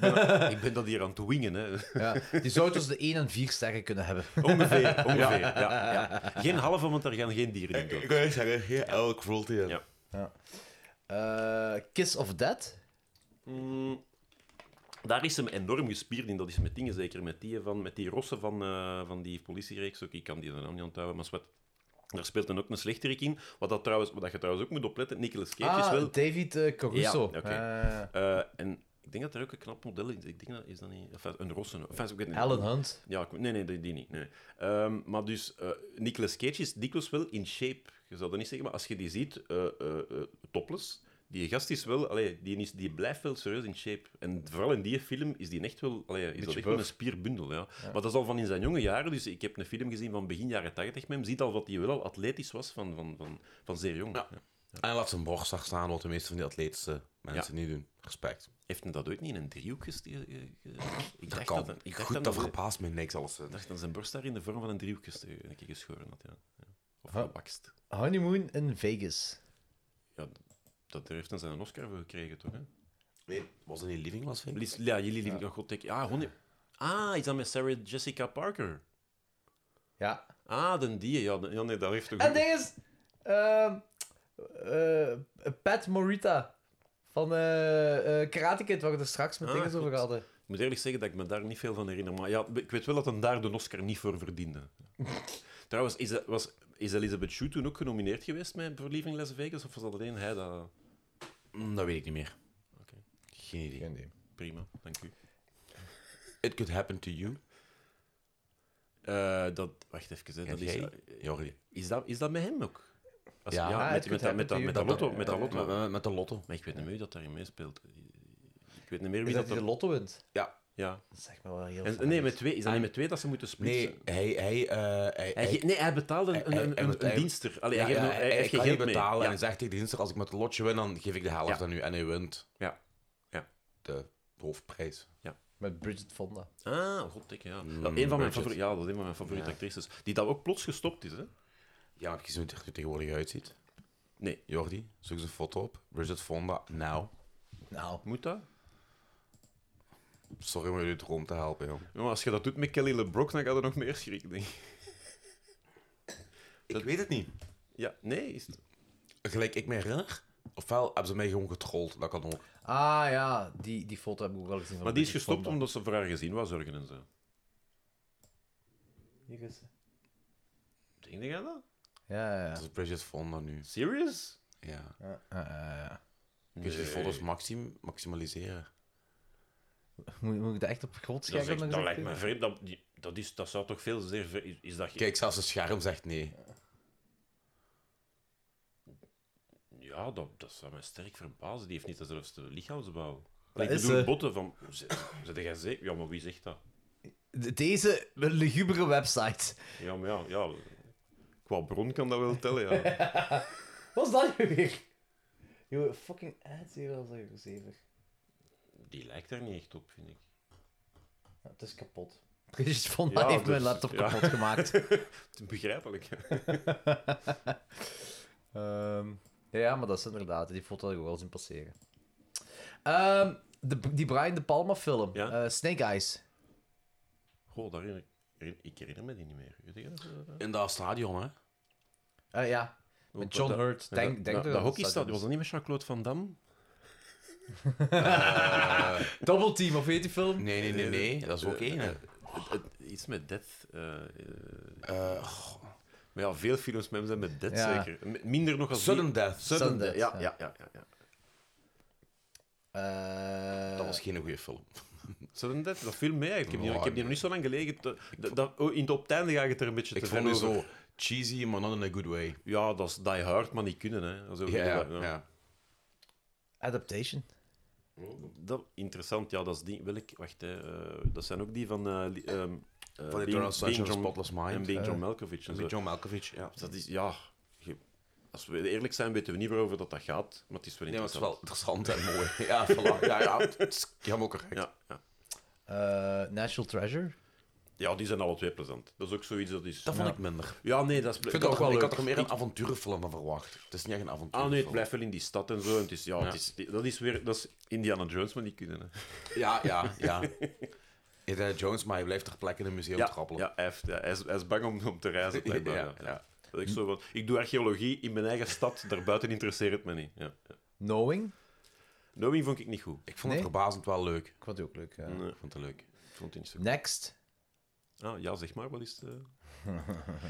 [SPEAKER 4] ben, ik ben dat hier aan het wingen. Hè.
[SPEAKER 3] Ja, die zou tussen de 1 en 4 sterren kunnen hebben.
[SPEAKER 4] Ongeveer, ongeveer. Ja. Ja, Geen halve, want daar gaan geen dieren in dood.
[SPEAKER 2] kan echt zeggen, heel elk cruelty.
[SPEAKER 4] Ja.
[SPEAKER 3] Eh, Kiss of Death.
[SPEAKER 4] Mm, daar is hem enorm gespierd in. Dat is met dingen, zeker met die, van, met die rossen van, eh, van die politiereeks. Ook, ik kan die naam niet onthouden, maar zwart. Daar speelt dan ook een slechterik in. Wat, dat trouwens, wat dat je trouwens ook moet opletten, Nicolas Cage is
[SPEAKER 3] ah,
[SPEAKER 4] wel...
[SPEAKER 3] David eh, Caruso.
[SPEAKER 4] Ja, oké.
[SPEAKER 3] Eh,
[SPEAKER 4] eh, en ik denk dat er ook een knap model in is. Ik denk dat is dat niet... Enfin, een rossen. Enfin, ik weet het niet.
[SPEAKER 3] Alan Hunt.
[SPEAKER 4] Ja, ik- nee, nee, die, die niet. Nee. nee. Ehm, maar dus, eh Nicolas Cage is dikwijls wel in shape. Je zou dat niet zeggen, maar als je die ziet, eh, eh, eh, topless, die gast is wel, allee, die, is, die blijft wel serieus in shape. En vooral in die film is die echt wel, allee, is dat echt wel een spierbundel. Ja. Maar dat is al van in zijn jonge jaren, dus ik heb een film gezien van begin jaren 80 met hem, ziet al wat hij wel al atletisch was van, van, van, van zeer jong. Ja.
[SPEAKER 2] En laat zijn borst daar staan, wat de meeste van die atletische mensen niet doen. Respect.
[SPEAKER 4] Heeft hij dat ooit niet in een driehoek gestegen? Ik
[SPEAKER 2] Dat
[SPEAKER 4] dacht
[SPEAKER 2] kan.
[SPEAKER 4] dat- ik dacht
[SPEAKER 2] goed,
[SPEAKER 4] dat
[SPEAKER 2] dat
[SPEAKER 4] dat-
[SPEAKER 2] verbaast me niks. Alles. eh.
[SPEAKER 4] ik dacht dat zijn borst daar in de vorm van een driehoek gestegen, een keer geschoren had. Ja. Ja. Of
[SPEAKER 3] Huh?
[SPEAKER 4] gewakst.
[SPEAKER 3] Honeymoon in Vegas.
[SPEAKER 4] Ja, dat heeft dan zijn een Oscar voor gekregen, toch? Hè?
[SPEAKER 2] Nee, was het niet Living Las Vegas?
[SPEAKER 4] Lies- Ja, jullie liepen ja. God, ik, ah, honey. Ah, is dat met Sarah Jessica Parker?
[SPEAKER 3] Ja.
[SPEAKER 4] Ah, den die. Ja, de- ja nee, dat heeft toch...
[SPEAKER 3] En ding is... ehm, eh, Pat Morita. Van eh, eh, Karate Kid, waar we er straks met
[SPEAKER 4] Ah,
[SPEAKER 3] dingen over
[SPEAKER 4] goed.
[SPEAKER 3] hadden.
[SPEAKER 4] Ik moet eerlijk zeggen dat ik me daar niet veel van herinner. Maar ja, ik weet wel dat hem daar de Oscar niet voor verdiende. Trouwens, is, dat, was, is Elizabeth Shue toen ook genomineerd geweest met, voor Leaving Las Vegas? Of was dat alleen hij dat...
[SPEAKER 2] Mm, Dat weet ik niet meer.
[SPEAKER 4] Oké.
[SPEAKER 2] Geen idee.
[SPEAKER 4] Prima, dank u.
[SPEAKER 2] It could happen to you.
[SPEAKER 4] Eh, dat, wacht even, hè,
[SPEAKER 2] En
[SPEAKER 4] dat is,
[SPEAKER 2] jij, Jordi.
[SPEAKER 4] is, dat, is dat met hem ook? Als-
[SPEAKER 2] Ja.
[SPEAKER 3] Ah, het
[SPEAKER 4] met,
[SPEAKER 3] could
[SPEAKER 4] met, dat- met, dat-
[SPEAKER 3] happen
[SPEAKER 4] met
[SPEAKER 3] to
[SPEAKER 4] dat
[SPEAKER 3] you.
[SPEAKER 4] lotto. Met
[SPEAKER 3] Ja,
[SPEAKER 4] dat lotto.
[SPEAKER 2] Met, met de lotto.
[SPEAKER 4] Maar ik weet niet meer wie dat daarin meespeelt. Ik weet niet meer
[SPEAKER 3] Is
[SPEAKER 4] wie
[SPEAKER 3] dat
[SPEAKER 4] dat...
[SPEAKER 3] hij de
[SPEAKER 4] dat-
[SPEAKER 3] lotto wint?
[SPEAKER 4] Ja.
[SPEAKER 3] Dat zegt me wel heel veel.
[SPEAKER 4] En, nee, met twee, is dat
[SPEAKER 2] Ah.
[SPEAKER 4] niet met twee dat ze moeten splitsen?
[SPEAKER 2] Nee, hij... hij, eh hij,
[SPEAKER 4] Hij,
[SPEAKER 2] hij-
[SPEAKER 4] ge- nee, hij betaalde
[SPEAKER 2] Hij-
[SPEAKER 4] een,
[SPEAKER 2] hij-
[SPEAKER 4] een,
[SPEAKER 2] hij
[SPEAKER 4] een-
[SPEAKER 2] betaalt-
[SPEAKER 4] een dienster. Allee,
[SPEAKER 2] ja,
[SPEAKER 4] hij, geeft
[SPEAKER 2] ja,
[SPEAKER 4] nog- hij heeft geen
[SPEAKER 2] kan
[SPEAKER 4] geld
[SPEAKER 2] niet
[SPEAKER 4] mee.
[SPEAKER 2] betalen. En
[SPEAKER 4] Ja.
[SPEAKER 2] hij zegt tegen de dienster, als ik met het lotje win, dan geef ik de helft
[SPEAKER 4] Ja.
[SPEAKER 2] aan u. En hij wint.
[SPEAKER 4] Ja. Ja.
[SPEAKER 2] De hoofdprijs.
[SPEAKER 3] Met Bridget Fonda.
[SPEAKER 4] Ah, goddikke, ja.
[SPEAKER 2] Mm,
[SPEAKER 4] Dat, een van mijn
[SPEAKER 2] budget.
[SPEAKER 4] favoriete, ja. Dat is een van mijn favoriete
[SPEAKER 2] Ja.
[SPEAKER 4] actrices. Die dat ook plots gestopt is, hè.
[SPEAKER 2] Ja, want je ziet hoe het er tegenwoordig uitziet.
[SPEAKER 4] Nee.
[SPEAKER 2] Jordi, zoek eens een foto op. Bridget Fonda, now.
[SPEAKER 3] Nou,
[SPEAKER 4] Moet dat?
[SPEAKER 2] Sorry om jullie droom te helpen, joh.
[SPEAKER 4] Ja, maar als je dat doet met Kelly LeBrock, dan gaat er nog meer schrik, denk ik.
[SPEAKER 2] Ik weet het niet.
[SPEAKER 4] Ja, nee, is het...
[SPEAKER 2] Gelijk, ik me herinner. Ofwel hebben ze mij gewoon getrold, dat kan ook.
[SPEAKER 3] ah ja, die, die foto heb ik ook wel gezien. Van
[SPEAKER 4] Maar die is
[SPEAKER 3] Bridget
[SPEAKER 4] gestopt
[SPEAKER 3] Fonda.
[SPEAKER 4] omdat ze voor haar gezin was zorgen en zo.
[SPEAKER 3] Hier is ze.
[SPEAKER 4] Denk je dat?
[SPEAKER 3] Ja, ja, ja.
[SPEAKER 2] Dat is Bridget Fonda nu.
[SPEAKER 4] Serious?
[SPEAKER 2] Ja.
[SPEAKER 3] Ja, ja, ja, ja.
[SPEAKER 2] Kun je die
[SPEAKER 4] Nee.
[SPEAKER 2] foto's maxim maximaliseren?
[SPEAKER 3] Moet, moet ik dat echt op groot
[SPEAKER 4] Dat, is
[SPEAKER 3] scherm nog
[SPEAKER 4] echt- dat
[SPEAKER 3] eens
[SPEAKER 4] lijkt
[SPEAKER 3] doen?
[SPEAKER 4] me vreemd. Dat, die- dat, is, dat zou toch veel zeer... ver- Is, is dat...
[SPEAKER 2] Kijk, zelfs het scherm zegt nee.
[SPEAKER 4] Ja, dat, dat zou mij sterk verbazen. Die heeft niet dezelfde lichaamsbouw. Allee,
[SPEAKER 3] Dat is,
[SPEAKER 4] ik bedoel,
[SPEAKER 3] eh,
[SPEAKER 4] botten van... Zet jij zeker? Ja, maar wie zegt dat?
[SPEAKER 3] De- Deze lugubere website.
[SPEAKER 4] Ja, maar ja, ja... Qua bron kan dat wel tellen, ja.
[SPEAKER 3] Wat is dat nu weer? Jongen, fucking ads hier al zeker.
[SPEAKER 4] Die lijkt daar niet echt op, vind ik.
[SPEAKER 3] Ja, het is kapot. Brigitte van
[SPEAKER 4] Ja,
[SPEAKER 3] heeft mijn
[SPEAKER 4] dus-
[SPEAKER 3] laptop
[SPEAKER 4] ja.
[SPEAKER 3] kapot gemaakt.
[SPEAKER 4] Begrijpelijk.
[SPEAKER 3] Ehm, ja, ja, maar dat is inderdaad. Die foto had ik ook wel zien passeren. Ehm, de, die Brian De Palma film.
[SPEAKER 4] Ja.
[SPEAKER 3] eh, Snake Eyes.
[SPEAKER 4] Goh, daar herinner ik, ik herinner me die niet meer. Weet je dat?
[SPEAKER 2] In dat stadion, hè?
[SPEAKER 3] Eh, ja. Met John
[SPEAKER 4] Oh, Dat-
[SPEAKER 3] Hurt.
[SPEAKER 4] dat-
[SPEAKER 3] Denk,
[SPEAKER 4] dat-
[SPEAKER 3] denk
[SPEAKER 4] dat,
[SPEAKER 3] er
[SPEAKER 4] dat
[SPEAKER 3] wel
[SPEAKER 4] hockeystadion, was dat niet met Jean-Claude Van Damme?
[SPEAKER 3] Double Team, of weet die film?
[SPEAKER 2] Nee, nee, nee, nee. Dat is ook
[SPEAKER 4] Eh,
[SPEAKER 2] één, hè.
[SPEAKER 4] Het- het- Iets met Death. eh, eh,
[SPEAKER 2] Eh, goh.
[SPEAKER 4] maar ja, veel films met hem zijn met Death
[SPEAKER 3] Ja.
[SPEAKER 4] zeker. M- Minder nog als
[SPEAKER 2] Sudden
[SPEAKER 4] die-
[SPEAKER 2] Death.
[SPEAKER 4] Sudden,
[SPEAKER 3] Sudden
[SPEAKER 4] Death.
[SPEAKER 3] Death,
[SPEAKER 4] Ja,
[SPEAKER 3] ja.
[SPEAKER 4] ja, ja, ja, ja.
[SPEAKER 3] Eh,
[SPEAKER 2] dat was geen goede film.
[SPEAKER 4] Sudden Death, dat viel mee. eigenlijk. Ik heb, die,
[SPEAKER 2] Ja,
[SPEAKER 4] ik heb die nog niet zo lang gelegen. te- dat- dat- oh, in het op het einde ga ik het er een beetje
[SPEAKER 2] Ik
[SPEAKER 4] te
[SPEAKER 2] vond
[SPEAKER 4] ver
[SPEAKER 2] het
[SPEAKER 4] over.
[SPEAKER 2] zo cheesy, maar not in a good way.
[SPEAKER 4] Ja, dat is die hard, maar niet kunnen. Hè. Zo
[SPEAKER 2] Ja, ja.
[SPEAKER 4] bedoel ik,
[SPEAKER 2] ja.
[SPEAKER 3] Adaptation.
[SPEAKER 4] Dat, interessant, ja, dat is die. Welk, wacht, hè, eh, dat zijn ook die van. eh, li- ehm, eh,
[SPEAKER 2] Van
[SPEAKER 4] Being-
[SPEAKER 2] Eternal Sunshine
[SPEAKER 4] Being
[SPEAKER 2] of the
[SPEAKER 4] John-
[SPEAKER 2] Spotless
[SPEAKER 4] En
[SPEAKER 2] Mind.
[SPEAKER 4] Being John
[SPEAKER 3] Eh,
[SPEAKER 4] Malkovich. En zo. Dus
[SPEAKER 2] Met John Malkovich, ja.
[SPEAKER 4] Dat is, ja. je- als we eerlijk zijn, weten we niet waarover dat, dat gaat, maar het is wel
[SPEAKER 2] Nee, maar het is
[SPEAKER 4] interessant.
[SPEAKER 2] wel interessant en mooi. Ja, voilà. Ja, ja. Het is helemaal correct.
[SPEAKER 4] Ja, ja.
[SPEAKER 3] Eh, National Treasure.
[SPEAKER 4] ja, die zijn alle twee plezant. Dat is ook zoiets dat is.
[SPEAKER 2] Dat vond ik minder. Ik,
[SPEAKER 4] Ja, nee, dat is.
[SPEAKER 2] vind
[SPEAKER 4] dat
[SPEAKER 2] het ook
[SPEAKER 4] is-
[SPEAKER 2] wel
[SPEAKER 4] ik
[SPEAKER 2] leuk.
[SPEAKER 4] had
[SPEAKER 2] Ik had er meer een avonturenfilm dan verwacht. Het is niet echt een avontuur.
[SPEAKER 4] Ah nee, het blijft wel in die stad en zo. En het is, ja,
[SPEAKER 2] Ja.
[SPEAKER 4] Het is, dat is weer dat is Indiana Jones, maar niet kunnen. Hè.
[SPEAKER 2] Ja, ja, ja. Indiana Jones, maar hij blijft ter plekke in een museum trappelen.
[SPEAKER 4] ja, hij, heeft- ja, hij is, hij is bang om, om te reizen. blijkbaar,
[SPEAKER 2] Ja,
[SPEAKER 4] ja, ja.
[SPEAKER 2] ja.
[SPEAKER 4] Dat ik, zo van, ik doe archeologie in mijn eigen stad, daarbuiten interesseert het me niet. Ja.
[SPEAKER 3] Knowing.
[SPEAKER 4] Knowing vond ik niet goed.
[SPEAKER 2] Ik vond het
[SPEAKER 3] Nee?
[SPEAKER 2] verbazend wel leuk.
[SPEAKER 3] Ik vond die ook leuk. ja.
[SPEAKER 4] Nee.
[SPEAKER 2] Ik vond het leuk.
[SPEAKER 4] Ik vond het niet zo
[SPEAKER 3] Next.
[SPEAKER 4] Ah, ja, zeg maar, wat is het? eh?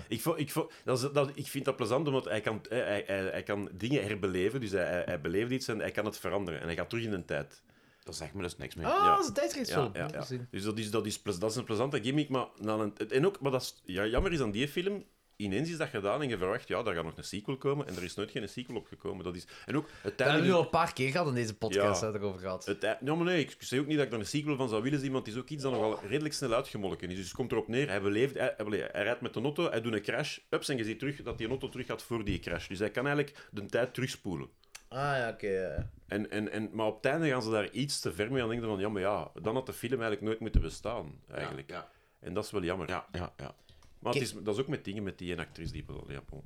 [SPEAKER 4] ik, vond, ik, vond, dat is- dat, ik vind dat plezant, omdat hij kan, eh, hij, hij, hij kan dingen herbeleven. Dus hij, hij, hij beleeft iets en hij kan het veranderen. En hij gaat terug in de tijd.
[SPEAKER 2] Dat zegt me dus niks meer.
[SPEAKER 3] Ah,
[SPEAKER 4] Ja.
[SPEAKER 3] dat is een tijdreisfilm.
[SPEAKER 4] Ja, ja, ja.
[SPEAKER 3] Gezien.
[SPEAKER 4] Dus dat is, dat, is, plez- dat is een plezante gimmick. Maar na een, en ook, wat dat is, ja, jammer is aan die film, ineens is dat gedaan en je verwacht, ja, daar gaat nog een sequel komen. En er is nooit geen sequel op gekomen. Dat is, en ook, het
[SPEAKER 3] Dat hebben we nu
[SPEAKER 4] einde-
[SPEAKER 3] al een paar keer gehad in deze podcast
[SPEAKER 4] Ja.
[SPEAKER 3] hè, erover gehad.
[SPEAKER 4] Het, ei- ja, maar nee, ik zeg ook niet dat ik daar een sequel van zou willen zien, want het is ook iets dat nogal redelijk snel uitgemolken is. Dus het komt erop neer, hij beleeft, hij, hij beleeft- hij rijdt met de auto, hij doet een crash, ups, en je ziet terug dat die auto terug gaat voor die crash. Dus hij kan eigenlijk de tijd terugspoelen.
[SPEAKER 3] Ah ja, oké. ja.
[SPEAKER 4] En, en, en, maar op het einde gaan ze daar iets te ver mee aan denken van, ja, maar ja, dan had de film eigenlijk nooit moeten bestaan, eigenlijk.
[SPEAKER 2] Ja,
[SPEAKER 4] En dat is wel jammer.
[SPEAKER 2] ja, ja. ja.
[SPEAKER 4] Maar het is, dat is ook met dingen met die ene actrice die wel ja, bon.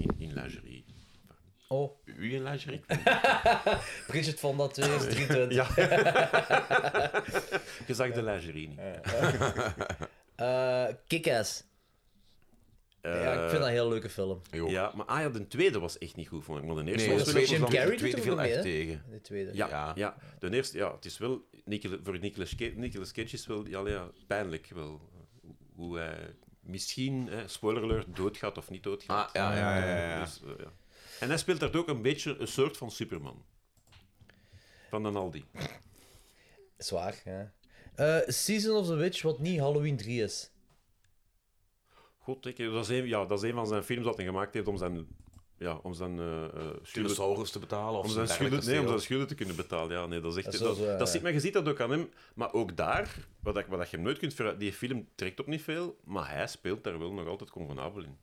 [SPEAKER 4] in, in lingerie.
[SPEAKER 3] Oh,
[SPEAKER 2] Wie een lingerie?
[SPEAKER 3] Bridget van dat 2023.
[SPEAKER 4] Ja. je zag de lingerie niet.
[SPEAKER 3] Eh, Kick-Ass. ja, ik
[SPEAKER 4] Eh,
[SPEAKER 3] vind dat een heel leuke film.
[SPEAKER 2] Jo.
[SPEAKER 4] Ja, maar ah ja, de tweede was echt niet goed voor me. Maar de eerste
[SPEAKER 2] Nee,
[SPEAKER 4] was
[SPEAKER 2] de
[SPEAKER 4] wel
[SPEAKER 2] tweede,
[SPEAKER 4] echt
[SPEAKER 3] Jim
[SPEAKER 2] was dan-
[SPEAKER 3] Carrey
[SPEAKER 2] de tweede
[SPEAKER 3] doet er
[SPEAKER 2] viel
[SPEAKER 3] ook
[SPEAKER 2] echt
[SPEAKER 3] mee,
[SPEAKER 2] tegen.
[SPEAKER 3] De tweede.
[SPEAKER 4] Ja,
[SPEAKER 2] Ja.
[SPEAKER 4] ja. de eerste, ja, het is wel, Nicola- voor Nicolas Cage, Nicolas Cage is wel ja, ja, pijnlijk wel, hoe- hoe hij misschien, hè, spoiler alert, doodgaat of niet doodgaat.
[SPEAKER 2] Ah, ja, ja, ja, ja, ja.
[SPEAKER 4] Dus, eh, ja. En hij speelt daar ook een beetje een soort van Superman. Van een Aldi.
[SPEAKER 3] Zwaar, ja. Eh, Season of the Witch, wat niet Halloween 3 is.
[SPEAKER 4] God, ik, dat, is een, ja, dat is een van zijn films dat hij gemaakt heeft om zijn, ja, om zijn eh, eh, schulden-
[SPEAKER 2] Dinosaurus te betalen of
[SPEAKER 4] Om
[SPEAKER 2] zo'n
[SPEAKER 4] zijn, schulden, nee, om
[SPEAKER 2] dergelijke
[SPEAKER 4] zijn schulden te kunnen betalen. Ja, nee, dat is echt,
[SPEAKER 3] Dat
[SPEAKER 4] dat
[SPEAKER 3] is wel zo,
[SPEAKER 4] dat
[SPEAKER 3] ja.
[SPEAKER 4] zit, maar je ziet dat ook aan hem. Maar ook daar, wat, ik, wat je hem nooit kunt ver- Die film trekt op niet veel, maar hij speelt daar wel nog altijd convenabel in.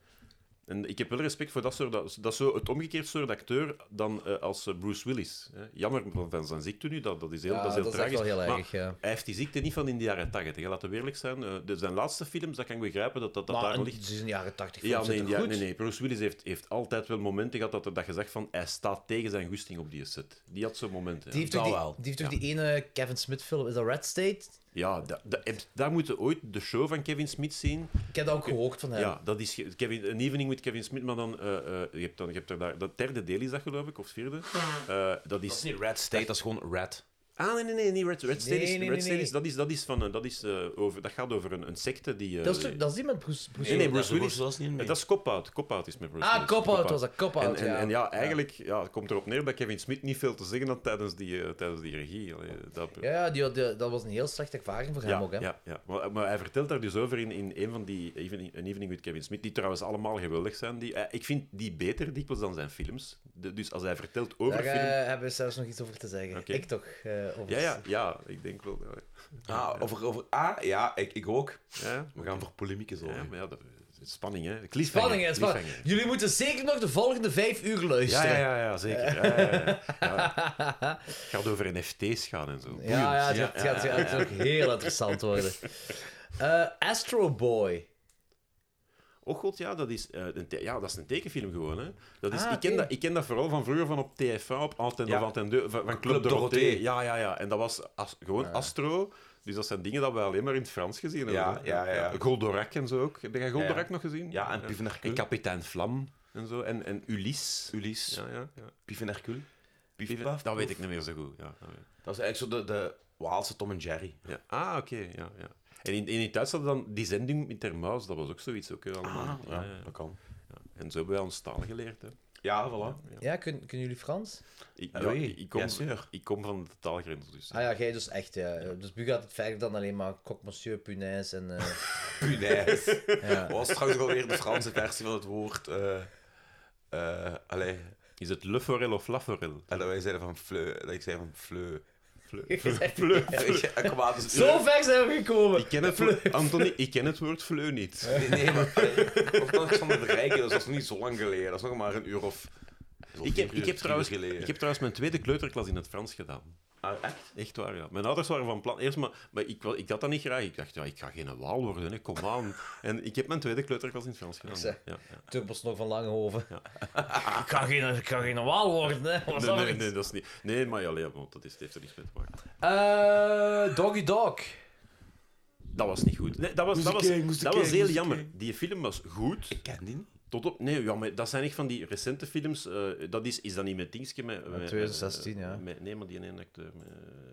[SPEAKER 4] En ik heb wel respect voor dat soort... Dat, dat is zo het omgekeerd soort acteur dan eh, als eh, Bruce Willis. Hè. Jammer van, van zijn ziekte nu, dat, dat is heel,
[SPEAKER 3] Ja,
[SPEAKER 4] dat is heel
[SPEAKER 3] dat is echt
[SPEAKER 4] tragisch.
[SPEAKER 3] wel heel
[SPEAKER 4] maar
[SPEAKER 3] erg, ja.
[SPEAKER 4] Hij heeft die ziekte niet van in de jaren tachtig. Laten we eerlijk zijn. eh, de- zijn laatste films, dat kan ik begrijpen, dat dat, dat
[SPEAKER 3] maar
[SPEAKER 4] daar
[SPEAKER 3] een,
[SPEAKER 4] ligt.
[SPEAKER 3] het is een jaren 80 film.
[SPEAKER 4] Ja,
[SPEAKER 3] zit
[SPEAKER 4] nee,
[SPEAKER 3] er
[SPEAKER 4] ja,
[SPEAKER 3] goed.
[SPEAKER 4] nee, nee. Bruce Willis heeft, heeft altijd wel momenten gehad dat, er- dat je zegt van hij staat tegen zijn goesting op die set. Die had zo'n momenten.
[SPEAKER 3] Die
[SPEAKER 4] Ja,
[SPEAKER 3] heeft toch die,
[SPEAKER 2] Dat wel,
[SPEAKER 3] die, heeft toch die ene Kevin Smith film, is dat Red State?
[SPEAKER 4] ja da- da- heb- daar moeten we ooit de show van Kevin Smith zien.
[SPEAKER 3] Ik heb dat ook gehoord van
[SPEAKER 4] Ja,
[SPEAKER 3] hem.
[SPEAKER 4] dat is ge- Kevin, An Evening with Kevin Smith, maar dan, eh, eh, je hebt dan, je hebt er daar, dat derde deel is dat geloof ik, of het vierde. Eh, dat is...
[SPEAKER 2] Niet Red State, dat is gewoon Red.
[SPEAKER 4] Ah, nee, nee, nee, niet Red, Red State,
[SPEAKER 3] Nee,
[SPEAKER 4] is,
[SPEAKER 3] nee,
[SPEAKER 4] Red
[SPEAKER 3] nee,
[SPEAKER 4] State
[SPEAKER 3] nee.
[SPEAKER 4] is, dat is, dat is van, een- dat is, eh, over, dat gaat over een, een secte die... eh,
[SPEAKER 3] dat, is toch, dat is die met Bruce, Bruce
[SPEAKER 4] Nee, nee,
[SPEAKER 2] Bruce
[SPEAKER 4] Bruce Willis.
[SPEAKER 2] Willis was niet in mee.
[SPEAKER 4] Dat is Cop-Out. Cop-Out is met Bruce
[SPEAKER 3] Ah,
[SPEAKER 4] Willis.
[SPEAKER 3] Cop-Out was dat, Cop-Out,
[SPEAKER 4] en, en,
[SPEAKER 3] ja.
[SPEAKER 4] En ja, eigenlijk ja, het komt erop neer dat Kevin Smith niet veel te zeggen had tijdens die, eh, tijdens die regie. Allee, dat,
[SPEAKER 3] Ja, ja, die, had- die- dat was een heel slechte ervaring voor hem
[SPEAKER 4] ja,
[SPEAKER 3] ook, hè.
[SPEAKER 4] ja, ja. Maar, maar hij vertelt daar dus over in, in een van die evening, An Evening with Kevin Smith, die trouwens allemaal geweldig zijn. Die, eh, ik vind die beter dikwijls dan zijn films. De- dus als hij vertelt over
[SPEAKER 3] Daar eh,
[SPEAKER 4] film...
[SPEAKER 3] hebben we zelfs nog iets over te zeggen.
[SPEAKER 4] Oké.
[SPEAKER 3] Ik toch. eh, over
[SPEAKER 4] Ja, ja, ja, ik denk wel. ja.
[SPEAKER 2] Ah, over, over, ah ja, ik, ik ook.
[SPEAKER 4] Ja,
[SPEAKER 2] We gaan voor polemieken zorgen.
[SPEAKER 4] ja, maar ja, dat, Spanning, hè? Cliffhanger.
[SPEAKER 3] Spanning, hè, spanning.
[SPEAKER 4] cliffhanger.
[SPEAKER 3] Jullie moeten zeker nog de volgende vijf uur
[SPEAKER 4] Ja,
[SPEAKER 3] luisteren.
[SPEAKER 4] ja, ja, ja, zeker. Ja, ja, ja. Ja. Het gaat over NFT's gaan en zo. Boeiend.
[SPEAKER 3] Ja, ja, het gaat, het gaat- het gaat ook heel interessant worden. Eh, Astro Boy.
[SPEAKER 4] Oh god, ja, dat is, eh, een, te- ja, dat is een tekenfilm gewoon. Hè. Dat is,
[SPEAKER 3] Ah,
[SPEAKER 4] ik, ken
[SPEAKER 3] oké.
[SPEAKER 4] dat, ik ken dat vooral van vroeger van op TF1, op Antenne
[SPEAKER 2] Ja.
[SPEAKER 4] of Antenne 2, van, van Club,
[SPEAKER 2] Club
[SPEAKER 4] Dorothée.
[SPEAKER 2] Dorothée.
[SPEAKER 4] Ja, ja, ja. En dat was as- gewoon Astro. Dus dat zijn dingen dat we alleen maar in het Frans gezien hebben.
[SPEAKER 2] Ja,
[SPEAKER 4] hè.
[SPEAKER 2] ja, ja.
[SPEAKER 4] Goldorak en zo ook. Heb jij Goldorak
[SPEAKER 2] Ja, ja.
[SPEAKER 4] nog gezien?
[SPEAKER 2] Ja, en Pief en Hercule.
[SPEAKER 4] En Kapitein Vlam en zo. En, en Ulysse.
[SPEAKER 2] Ulysse,
[SPEAKER 4] Ja, ja, ja.
[SPEAKER 2] Pief en Hercule. Pief, Pief,
[SPEAKER 4] dat weet ik niet meer zo goed. Ja, dat weet ik.
[SPEAKER 2] Dat is eigenlijk zo de, de Waalse Tom en Jerry.
[SPEAKER 4] Ja. Ah, oké. Ja, ja. En in, in het Duits hadden dan die zending met Termaus, dat was ook zoiets. Ook, hè, allemaal.
[SPEAKER 2] Ah, ja,
[SPEAKER 4] Ah, Ja, ja.
[SPEAKER 2] dat kan.
[SPEAKER 4] En zo hebben wij ons taal geleerd. Hè.
[SPEAKER 2] Ja, voilà.
[SPEAKER 3] Ja, kun- kunnen jullie Frans?
[SPEAKER 4] Ik,
[SPEAKER 2] Ah,
[SPEAKER 4] ja,
[SPEAKER 2] oui,
[SPEAKER 4] ik, ik kom,
[SPEAKER 2] bien sûr.
[SPEAKER 4] ik kom van de taalgrens, dus.
[SPEAKER 3] Ah ja, jij dus echt, ja. Dus nu gaat het verder dan alleen maar kok, monsieur, punaise en... eh,
[SPEAKER 2] Punaise.
[SPEAKER 3] ja.
[SPEAKER 2] Wat was trouwens alweer de Franse versie van het woord? eh eh allee,
[SPEAKER 4] Is het Le Forel of La Forel?
[SPEAKER 2] en dat wij zeiden van fleu, dat ik zei van fleu.
[SPEAKER 4] Fleu.
[SPEAKER 2] Ik kwam dus
[SPEAKER 3] Zo ver zijn we gekomen.
[SPEAKER 4] Ik ken het woord, Anthony, ik ken het woord fleu niet.
[SPEAKER 2] Nee, nee, maar allee, of dat is van het Rijken, dus dat is nog niet zo lang geleden. Dat is nog maar een uur of... of
[SPEAKER 4] Ik
[SPEAKER 2] vier
[SPEAKER 4] heb,
[SPEAKER 2] uur,
[SPEAKER 4] ik,
[SPEAKER 2] drie
[SPEAKER 4] heb
[SPEAKER 2] uur
[SPEAKER 4] trouwens,
[SPEAKER 2] geleden.
[SPEAKER 4] ik heb trouwens mijn tweede kleuterklas in het Frans gedaan.
[SPEAKER 2] Ah, echt?
[SPEAKER 4] Echt waar, ja. Mijn ouders waren van plan. Eerst maar, maar ik, wa- ik had dat niet graag. Ik dacht, ja, ik ga geen waal worden, hè. kom aan. En ik heb mijn tweede kleuterklas in het Frans gedaan.
[SPEAKER 3] zeg.
[SPEAKER 4] Ja, ja.
[SPEAKER 3] Turbos nog van Langehoven. Ik kan geen, ik kan geen normaal worden, hè. Wat
[SPEAKER 4] Nee,
[SPEAKER 3] is
[SPEAKER 4] nee,
[SPEAKER 3] dat?
[SPEAKER 4] nee, dat is niet... Nee, maar ja, nee, want dat is, het heeft er niets mee te maken.
[SPEAKER 3] Eh, Doggy Dog.
[SPEAKER 4] Dat was niet goed. Nee, dat was,
[SPEAKER 2] Moest
[SPEAKER 4] dat
[SPEAKER 2] ik
[SPEAKER 4] was,
[SPEAKER 2] kijken, moest ik
[SPEAKER 4] dat was
[SPEAKER 2] kijken,
[SPEAKER 4] heel
[SPEAKER 2] moest ik
[SPEAKER 4] jammer.
[SPEAKER 2] kijken.
[SPEAKER 4] Die film was goed.
[SPEAKER 2] Ik ken die niet.
[SPEAKER 4] Tot op... Nee, ja, maar dat zijn echt van die recente films. eh, dat is, is dat niet met Dingske? Met, met,
[SPEAKER 3] 2016, ja.
[SPEAKER 4] met- nee, maar die ene acteur. met-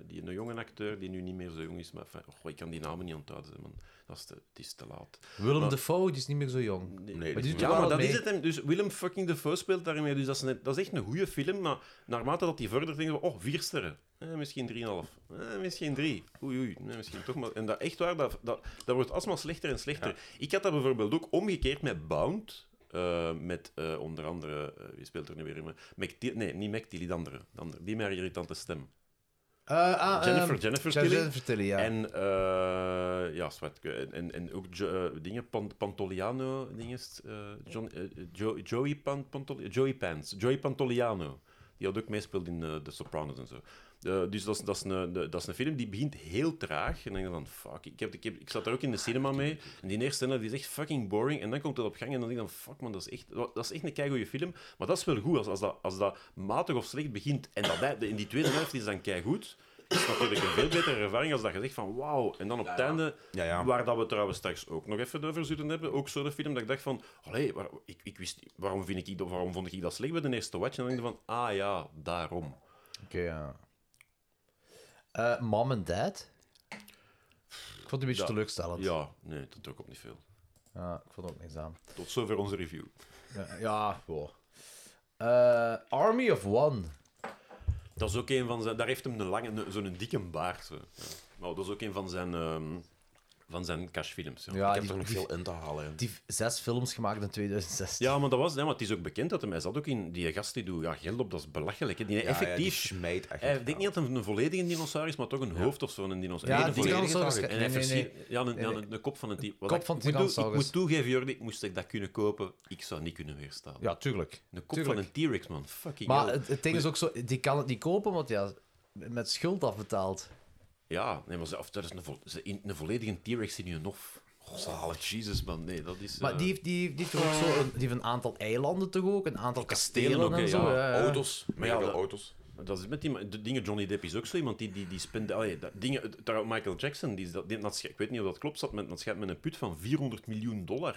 [SPEAKER 4] die een jonge acteur die nu niet meer zo jong is. Maar enfin, goh, ik kan die namen niet onthouden. hè, Man. Dat is te, het is te laat.
[SPEAKER 3] Willem
[SPEAKER 4] Maar-
[SPEAKER 3] Dafoe, die is niet meer zo jong.
[SPEAKER 4] Nee,
[SPEAKER 2] die
[SPEAKER 4] maar
[SPEAKER 2] doet
[SPEAKER 3] er
[SPEAKER 4] ja,
[SPEAKER 3] wel
[SPEAKER 4] maar dat
[SPEAKER 3] mee.
[SPEAKER 4] is het. hem. Dus Willem fucking Dafoe speelt daarmee. Dus dat is, een- dat is echt een goede film. Maar naarmate dat hij verder denkt, oh, vier sterren. Eh, misschien 3,5. Eh, misschien 3. Oei, oei. Nee, misschien toch maar. En dat echt waar, dat, dat, dat wordt alsmaar slechter en slechter. Ik had dat bijvoorbeeld ook omgekeerd met Bound. Eh, met eh, onder andere, eh, wie speelt er nu weer in? me? Mac Ti- nee, niet Mac Tilly, de andere. De andere. Die met haar irritante stem.
[SPEAKER 3] Eh, ah, ehm,
[SPEAKER 4] Jennifer, Jennifer Tilly.
[SPEAKER 3] Jennifer Tilly, ja.
[SPEAKER 4] En, eh, ja, zwart, ik- en, en, en ook Jo- eh, dingen, Pan- Pantoliano, dingen, eh, John, eh, Jo- Joey, Pan, Pantoli- Joey Pants, Joey Pantoliano. Die had ook meespeeld in eh The Sopranos en zo. Eh, dus dat is, dat, is een, de- dat is een film die begint heel traag. En dan denk je van, fuck, ik, heb, ik, heb, ik zat daar ook in de cinema mee. En die eerste scène die is echt fucking boring. En dan komt het op gang en dan denk je van, fuck man, dat is echt, dat is echt een keigoede film. Maar dat is wel goed, als, als, dat, als dat matig of slecht begint. En dat, hij- in die tweede helft is dan keigoed. Dat is natuurlijk een veel betere ervaring als dat je zegt van wauw. En dan op het einde,
[SPEAKER 2] Ja, ja.
[SPEAKER 4] waar dat we trouwens straks ook nog even over zullen hebben, ook zo'n film dat ik dacht van, allee, waar- ik, ik wist, niet- waarom, vind ik, dat- waarom vond ik dat slecht bij de eerste watch? En dan denk ik van, ah ja, daarom.
[SPEAKER 3] Oké, ja. Eh, Mom and Dad. Ik vond het een beetje
[SPEAKER 4] Ja.
[SPEAKER 3] teleurstellend. Ja.
[SPEAKER 4] Ja, nee, dat trok op niet veel.
[SPEAKER 3] ik vond het ook niks aan.
[SPEAKER 4] Tot zover onze review.
[SPEAKER 3] Ja, ja wow. Eh, Army of One.
[SPEAKER 4] Dat is ook een van zijn, daar heeft hem een lange, een- zo'n dikke baard. zo. Ja. Maar dat is ook een van zijn, ehm, van zijn cashfilms. Ja.
[SPEAKER 3] Ja,
[SPEAKER 2] ik heb
[SPEAKER 3] die,
[SPEAKER 2] er nog
[SPEAKER 3] die-
[SPEAKER 2] veel in te halen. hè.
[SPEAKER 3] die zes films gemaakt in 2016.
[SPEAKER 4] Ja, maar dat was, nee, maar het is ook bekend dat hem, hij zat ook in die gast die doet, ja, geld op, dat is belachelijk. Hè. Die
[SPEAKER 2] Ja, ja, die
[SPEAKER 4] effectief
[SPEAKER 2] smijt echt.
[SPEAKER 4] Hij- Eh, Ik denk niet dat het een volledige dinosaurus is, maar toch een hoofd of zo, een dinosaurus.
[SPEAKER 3] Ja,
[SPEAKER 4] Nee,
[SPEAKER 3] een
[SPEAKER 4] een volledige
[SPEAKER 3] dinosaurus.
[SPEAKER 4] taak. En
[SPEAKER 3] Nee,
[SPEAKER 4] hij
[SPEAKER 3] nee,
[SPEAKER 4] verschiet... Ja, een, ja,
[SPEAKER 3] Nee,
[SPEAKER 4] een, een kop van een type. Wat
[SPEAKER 3] Kop
[SPEAKER 4] ik-
[SPEAKER 3] van
[SPEAKER 4] ik moet, doen- ik
[SPEAKER 3] Tyrannosaurus.
[SPEAKER 4] moet toegeven, Jordi, moest ik dat kunnen kopen, ik zou niet kunnen weerstaan.
[SPEAKER 3] Ja, tuurlijk.
[SPEAKER 4] Een kop
[SPEAKER 3] tuurlijk.
[SPEAKER 4] van een T-Rex, man. Fucking
[SPEAKER 3] Maar
[SPEAKER 4] hell.
[SPEAKER 3] het, het ding is ook zo, die kan het niet kopen, want ja, met schuld afbetaald.
[SPEAKER 4] Ja, nee, maar ze- of, dat is een, vo- ze- in- een volledige T-Rex in je hof. Oh, Zalig, Jesus, man. Nee, dat is...
[SPEAKER 3] Maar
[SPEAKER 4] eh,
[SPEAKER 3] die heeft, die, heeft- die heeft toch ook zo een, die heeft een aantal eilanden toch ook, een aantal kastelen,
[SPEAKER 4] Kastelen ook,
[SPEAKER 3] en
[SPEAKER 4] hè,
[SPEAKER 3] zo. eh,
[SPEAKER 4] ja. Oh.
[SPEAKER 3] Ja, ja.
[SPEAKER 2] Auto's, maar ja,
[SPEAKER 4] ja,
[SPEAKER 2] veel
[SPEAKER 4] dat-
[SPEAKER 2] auto's.
[SPEAKER 4] Dat is met die ma- de dingen. Johnny Depp is ook zo iemand die, die, die spende. allee, dat, dingen, trouw- Michael Jackson, die, is dat, die, dat, sch- ik weet niet of dat klopt, zat met, dat schijnt met een put van 400 miljoen dollar.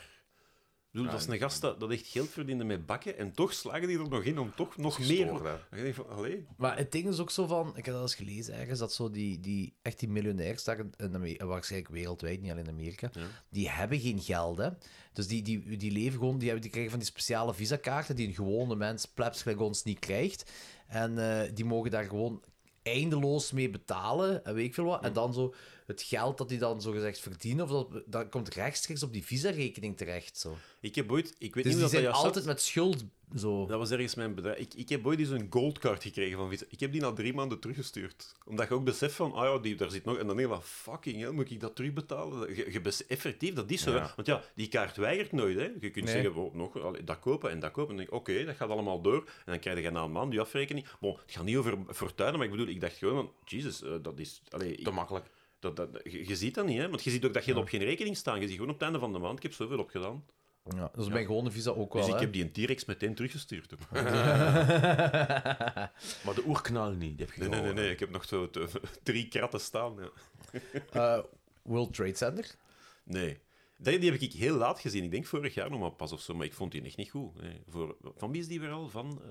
[SPEAKER 4] Ik bedoel, dat is een gast dat, dat echt geld verdiende met bakken en toch slagen die er nog in om toch nog meer.
[SPEAKER 2] gestoord, hè.
[SPEAKER 4] Dan denk je van, allee.
[SPEAKER 3] Maar het ding is ook zo van, ik heb dat eens gelezen ergens, dat zo die, die echt die miljonairs, daar in- in Ame- waarschijnlijk wereldwijd, niet alleen in Amerika, die hebben geen geld, hè. Dus die, die, die leven gewoon, die, hebben, die krijgen van die speciale visakaarten die een gewone mens, plebs gelijk ons, niet krijgt. En eh, die mogen daar gewoon eindeloos mee betalen, en weet ik veel wat. En dan zo het geld dat die dan zogezegd verdienen, of dat, dat komt rechtstreeks op die visa-rekening terecht. Zo.
[SPEAKER 4] Ik heb ooit... Ik weet
[SPEAKER 3] Dus die
[SPEAKER 4] niet of dat
[SPEAKER 3] zijn
[SPEAKER 4] juist zat.
[SPEAKER 3] altijd met schuld zo.
[SPEAKER 4] Dat was ergens mijn bedrijf. Ik, ik heb ooit eens een goldcard gekregen van Visa. Ik heb die na drie maanden teruggestuurd. Omdat je ook beseft van, ah ja, die, daar zit nog... En dan denk je van, fucking hell, moet ik dat terugbetalen? Je, je bes- effectief, dat is zo. hè. Want ja, die kaart weigert nooit. Hè. Je kunt
[SPEAKER 3] Nee.
[SPEAKER 4] zeggen, oh, nog, allee, dat kopen en dat kopen. En dan denk ik, oké, dat gaat allemaal door. En dan krijg je na een maand die afrekening. Bon, het gaat niet over fortuinen, maar ik bedoel, ik dacht gewoon van, Jesus, eh, dat is... Allee, ik-
[SPEAKER 2] Te makkelijk.
[SPEAKER 4] dat, dat, je, je ziet dat niet, hè. Want je ziet ook dat je op geen rekening staan. Je ziet gewoon op het einde van de maand, ik heb zoveel opgedaan.
[SPEAKER 3] Ja, dat is bij gewone visa ook wel.
[SPEAKER 4] Dus ik
[SPEAKER 3] hè.
[SPEAKER 4] heb die een T-Rex meteen teruggestuurd. ook.
[SPEAKER 2] Maar de oerknal niet. Die heb je
[SPEAKER 4] Nee, nee, nee,
[SPEAKER 2] gehouden.
[SPEAKER 4] nee, ik heb nog zo te- drie kratten staan. ja.
[SPEAKER 3] Eh, World Trade Center.
[SPEAKER 4] Nee. Die, die heb ik heel laat gezien. Ik denk vorig jaar nog maar pas of zo, maar ik vond die echt niet goed. Nee. Voor, van wie is die weer al? Van eh,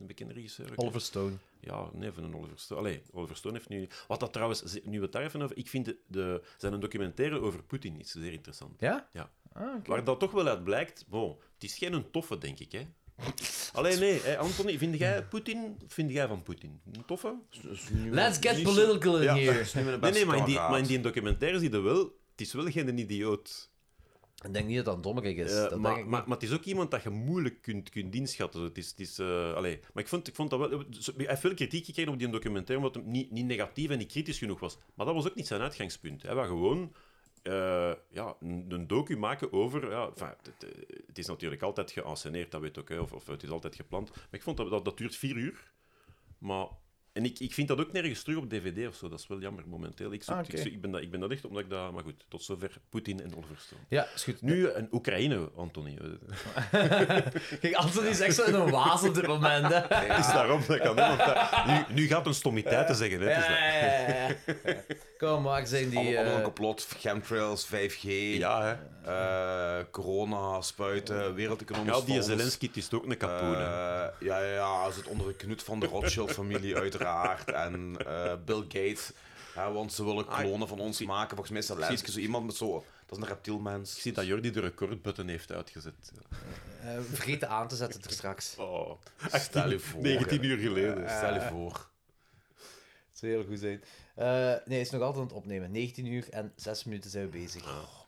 [SPEAKER 4] een bekende regisseur? ook, hè?
[SPEAKER 3] Oliver Stone.
[SPEAKER 4] Ja, nee, van een Oliver Stone. Allee, Oliver Stone heeft nu... Wat dat trouwens, nu we het daar even over... Ik vind de, de, zijn een documentaire over Poetin is zeer interessant.
[SPEAKER 3] Ja?
[SPEAKER 4] Ja.
[SPEAKER 3] Ah, oké.
[SPEAKER 4] Waar dat toch wel uit blijkt, bon, het is geen een toffe, denk ik, hè. Allee, nee, hè, Anthony, vind jij Poetin... Vind jij van Poetin? Een toffe?
[SPEAKER 3] Let's get political in
[SPEAKER 4] Ja.
[SPEAKER 3] here.
[SPEAKER 4] Nee, nee, maar in, die, maar in die documentaire zie je wel... Het is wel geen idioot.
[SPEAKER 3] Ik denk niet dat dat dommerig is.
[SPEAKER 4] Eh,
[SPEAKER 3] dat denk
[SPEAKER 4] maar,
[SPEAKER 3] ik
[SPEAKER 4] maar, maar het is ook iemand dat je moeilijk kunt, kunt inschatten. Het is, het is, eh, allee. Maar ik vond, ik vond dat wel... zo- Hij heeft veel kritiek gekregen op die documentaire, omdat het niet, niet negatief en niet kritisch genoeg was. Maar dat was ook niet zijn uitgangspunt. Hij was gewoon eh, ja, een, een docu maken over... Ja, enfin, het, eh, het is natuurlijk altijd geanceneerd, dat weet ik ook, hè, of, of het is altijd gepland. Maar ik vond dat dat, dat duurt vier uur. Maar... En ik, ik vind dat ook nergens terug op DVD of zo. Dat is wel jammer momenteel. Ik, zoek,
[SPEAKER 3] Ah, oké.
[SPEAKER 4] ik, zoek- ik, ben, dat, ik ben dat echt omdat ik dat. Maar goed, tot zover Poetin en Oliver Stone.
[SPEAKER 3] Ja, is goed.
[SPEAKER 4] Nu een Oekraïne, Anthony.
[SPEAKER 3] Kijk, Anthony is echt zo in een waas op dit moment. Hè. Ja,
[SPEAKER 4] Het is daarom dat ik aan iemand dat- nu, nu gaat een stommiteit te zeggen. Hè. Het is dat-
[SPEAKER 3] ja, ja, ja. Kom maar, zijn die...
[SPEAKER 2] Allemaal allemaal
[SPEAKER 3] eh,
[SPEAKER 2] een complot, chemtrails, 5G,
[SPEAKER 4] Ja, hè.
[SPEAKER 2] eh, corona, spuiten, wereldeconomisch
[SPEAKER 4] ja, die
[SPEAKER 2] fonds.
[SPEAKER 4] Zelensky het is ook een kapoen. hè.
[SPEAKER 2] Eh, ja, ja, ja, zit onder de knut van de Rothschild-familie uiteraard. En eh, Bill Gates. hè, want ze
[SPEAKER 4] Ah,
[SPEAKER 2] willen klonen van ons maken. Volgens mij is dat Zelensky zo iemand met zo... Dat is een reptielmens.
[SPEAKER 4] Ik zie dat Jordi de recordbutton heeft uitgezet.
[SPEAKER 3] eh, vergeten aan te zetten er straks.
[SPEAKER 4] Oh,
[SPEAKER 2] Stel je voor. Eh,
[SPEAKER 4] 19 uur geleden.
[SPEAKER 2] Stel je voor.
[SPEAKER 3] Het zou heel goed zijn. Eh, nee, het is nog altijd aan het opnemen. 19 uur en 6 minuten zijn we bezig.
[SPEAKER 4] Oh,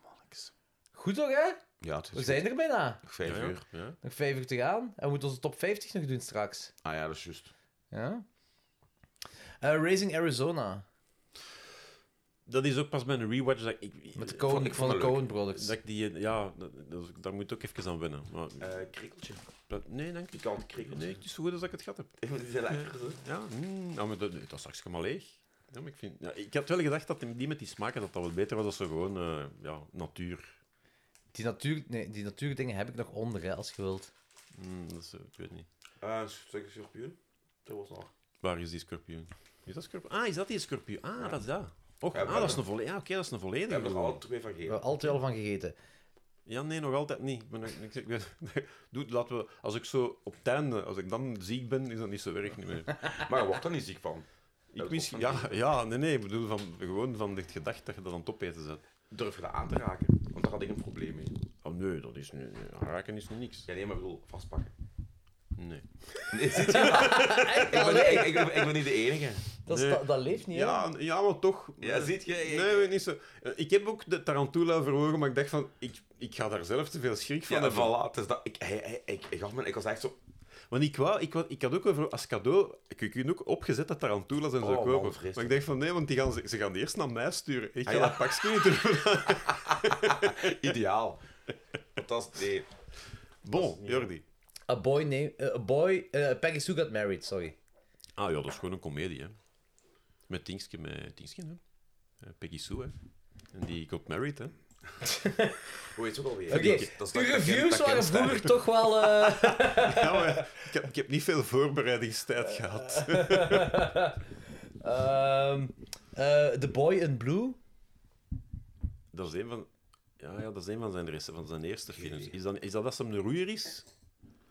[SPEAKER 3] Goed toch, hè?
[SPEAKER 2] Ja, het
[SPEAKER 3] We
[SPEAKER 2] is
[SPEAKER 3] zijn er bijna.
[SPEAKER 2] nog vijf
[SPEAKER 4] Ja, ja.
[SPEAKER 2] uur.
[SPEAKER 4] Ja.
[SPEAKER 3] Nog 5 uur te gaan. En we moeten onze top 50 nog doen straks.
[SPEAKER 2] Ah ja, dat is juist.
[SPEAKER 3] Ja. Eh, Raising Arizona.
[SPEAKER 4] Dat is ook pas bij een rewatch dat ik...
[SPEAKER 3] Met de
[SPEAKER 4] eh,
[SPEAKER 3] Coen,
[SPEAKER 2] ik vond
[SPEAKER 3] van de
[SPEAKER 2] het
[SPEAKER 3] Coen Brothers.
[SPEAKER 4] Dat ik die, eh, ja, dat, dat is- daar moet ik ook even aan wennen. Maar,
[SPEAKER 2] Eh krikkeltje.
[SPEAKER 4] dat- nee, dank je.
[SPEAKER 2] Pikant krikkeltje.
[SPEAKER 4] Nee, het is zo goed als dat ik het gat heb.
[SPEAKER 2] Die zijn lekker, zo.
[SPEAKER 4] Ja, mm, ja maar dat, dat straks helemaal leeg. Ja, maar ik, vind, ja, ik had wel gedacht dat die met die smaken dat dat wel beter was als ze gewoon eh, ja, natuur.
[SPEAKER 3] Die, natuur, nee, die natuurdingen heb ik nog onder, hè, als je wilt.
[SPEAKER 4] Mm, dat is, eh, ik weet niet.
[SPEAKER 2] Eh, stuk schorpioen. Dat was nog.
[SPEAKER 4] Waar is die scorpioen? Is dat scorpioen? Ah, is dat die scorpioen? Ah, dat is dat. Och,
[SPEAKER 2] Ja,
[SPEAKER 4] ah,
[SPEAKER 2] maar-
[SPEAKER 4] dat is een volledige. Ja, oké, dat is een
[SPEAKER 2] Ik heb
[SPEAKER 4] volledige.
[SPEAKER 2] er alle twee van
[SPEAKER 3] We
[SPEAKER 2] gegeten.
[SPEAKER 3] hebben altijd al van gegeten.
[SPEAKER 4] Ja, nee, nog altijd niet. Ik ben nog- ik- ik ben- Doe, laten we, als ik zo op het einde, als ik dan ziek ben, is dat niet zo erg niet meer.
[SPEAKER 2] Maar je wordt er niet ziek van.
[SPEAKER 4] Ik misschien, ja, ja, nee, nee, ik bedoel van, gewoon van het gedacht dat je dat aan het opeten zet.
[SPEAKER 2] Durf je dat aan te raken? Want daar had ik een probleem mee.
[SPEAKER 4] Oh nee, dat is nu, nee, raken is nu niks.
[SPEAKER 2] Ja, nee, maar ik bedoel, vastpakken.
[SPEAKER 4] Nee.
[SPEAKER 2] Nee, zit je ik, ben, ik, ik, ik ben niet de enige.
[SPEAKER 3] Dat, is-
[SPEAKER 4] Nee.
[SPEAKER 3] dat, dat leeft niet, hè?
[SPEAKER 4] Ja, n- ja, maar toch.
[SPEAKER 2] Ja, ziet je, ik-
[SPEAKER 4] Nee, weet niet zo. Eh, Ik heb ook de Tarantula verwogen, maar ik dacht van, ik, ik ga daar zelf te veel schrik van
[SPEAKER 2] Ja,
[SPEAKER 4] hebben.
[SPEAKER 2] voilà. Het is dat, ik, hij- hij- ik, ik, gaf me- ik was echt zo...
[SPEAKER 4] Want ik, wou, ik, wou- ik had ook wel voor- als cadeau, ik kunt ook opgezet dat Tarantulas en zo
[SPEAKER 2] Oh, man,
[SPEAKER 4] kopen.
[SPEAKER 2] vreselijk.
[SPEAKER 4] maar ik dacht van nee, want die gaan, ze ze gaan die eerst naar mij sturen. Ik ga
[SPEAKER 2] Ah, ja.
[SPEAKER 4] dat pakje niet terug.
[SPEAKER 2] Ideaal. Want dat is... Nee.
[SPEAKER 4] Bon, Jordi.
[SPEAKER 3] A boy name... eh, a boy... eh, Peggy Sue got married, sorry.
[SPEAKER 4] Ah ja, dat is gewoon een komedie, hè. Met Tinkske, met Tinkske, hè. Eh, Peggy Sue, hè. En die got married, hè.
[SPEAKER 2] Hoe heet het ook alweer?
[SPEAKER 3] Oké,
[SPEAKER 2] Dat- dat is dat
[SPEAKER 3] uw
[SPEAKER 2] bekend-
[SPEAKER 3] reviews
[SPEAKER 2] dat
[SPEAKER 3] waren
[SPEAKER 2] bekend-
[SPEAKER 3] vroeger toch wel... eh,
[SPEAKER 4] Ja, maar ja, ik, heb, ik heb niet veel voorbereidingstijd gehad.
[SPEAKER 3] ehm, eh, the Boy in Blue.
[SPEAKER 4] Dat is een van... Ja, ja, dat is een van zijn, rest- van zijn eerste films. Is dat, is dat als hem een roeier is?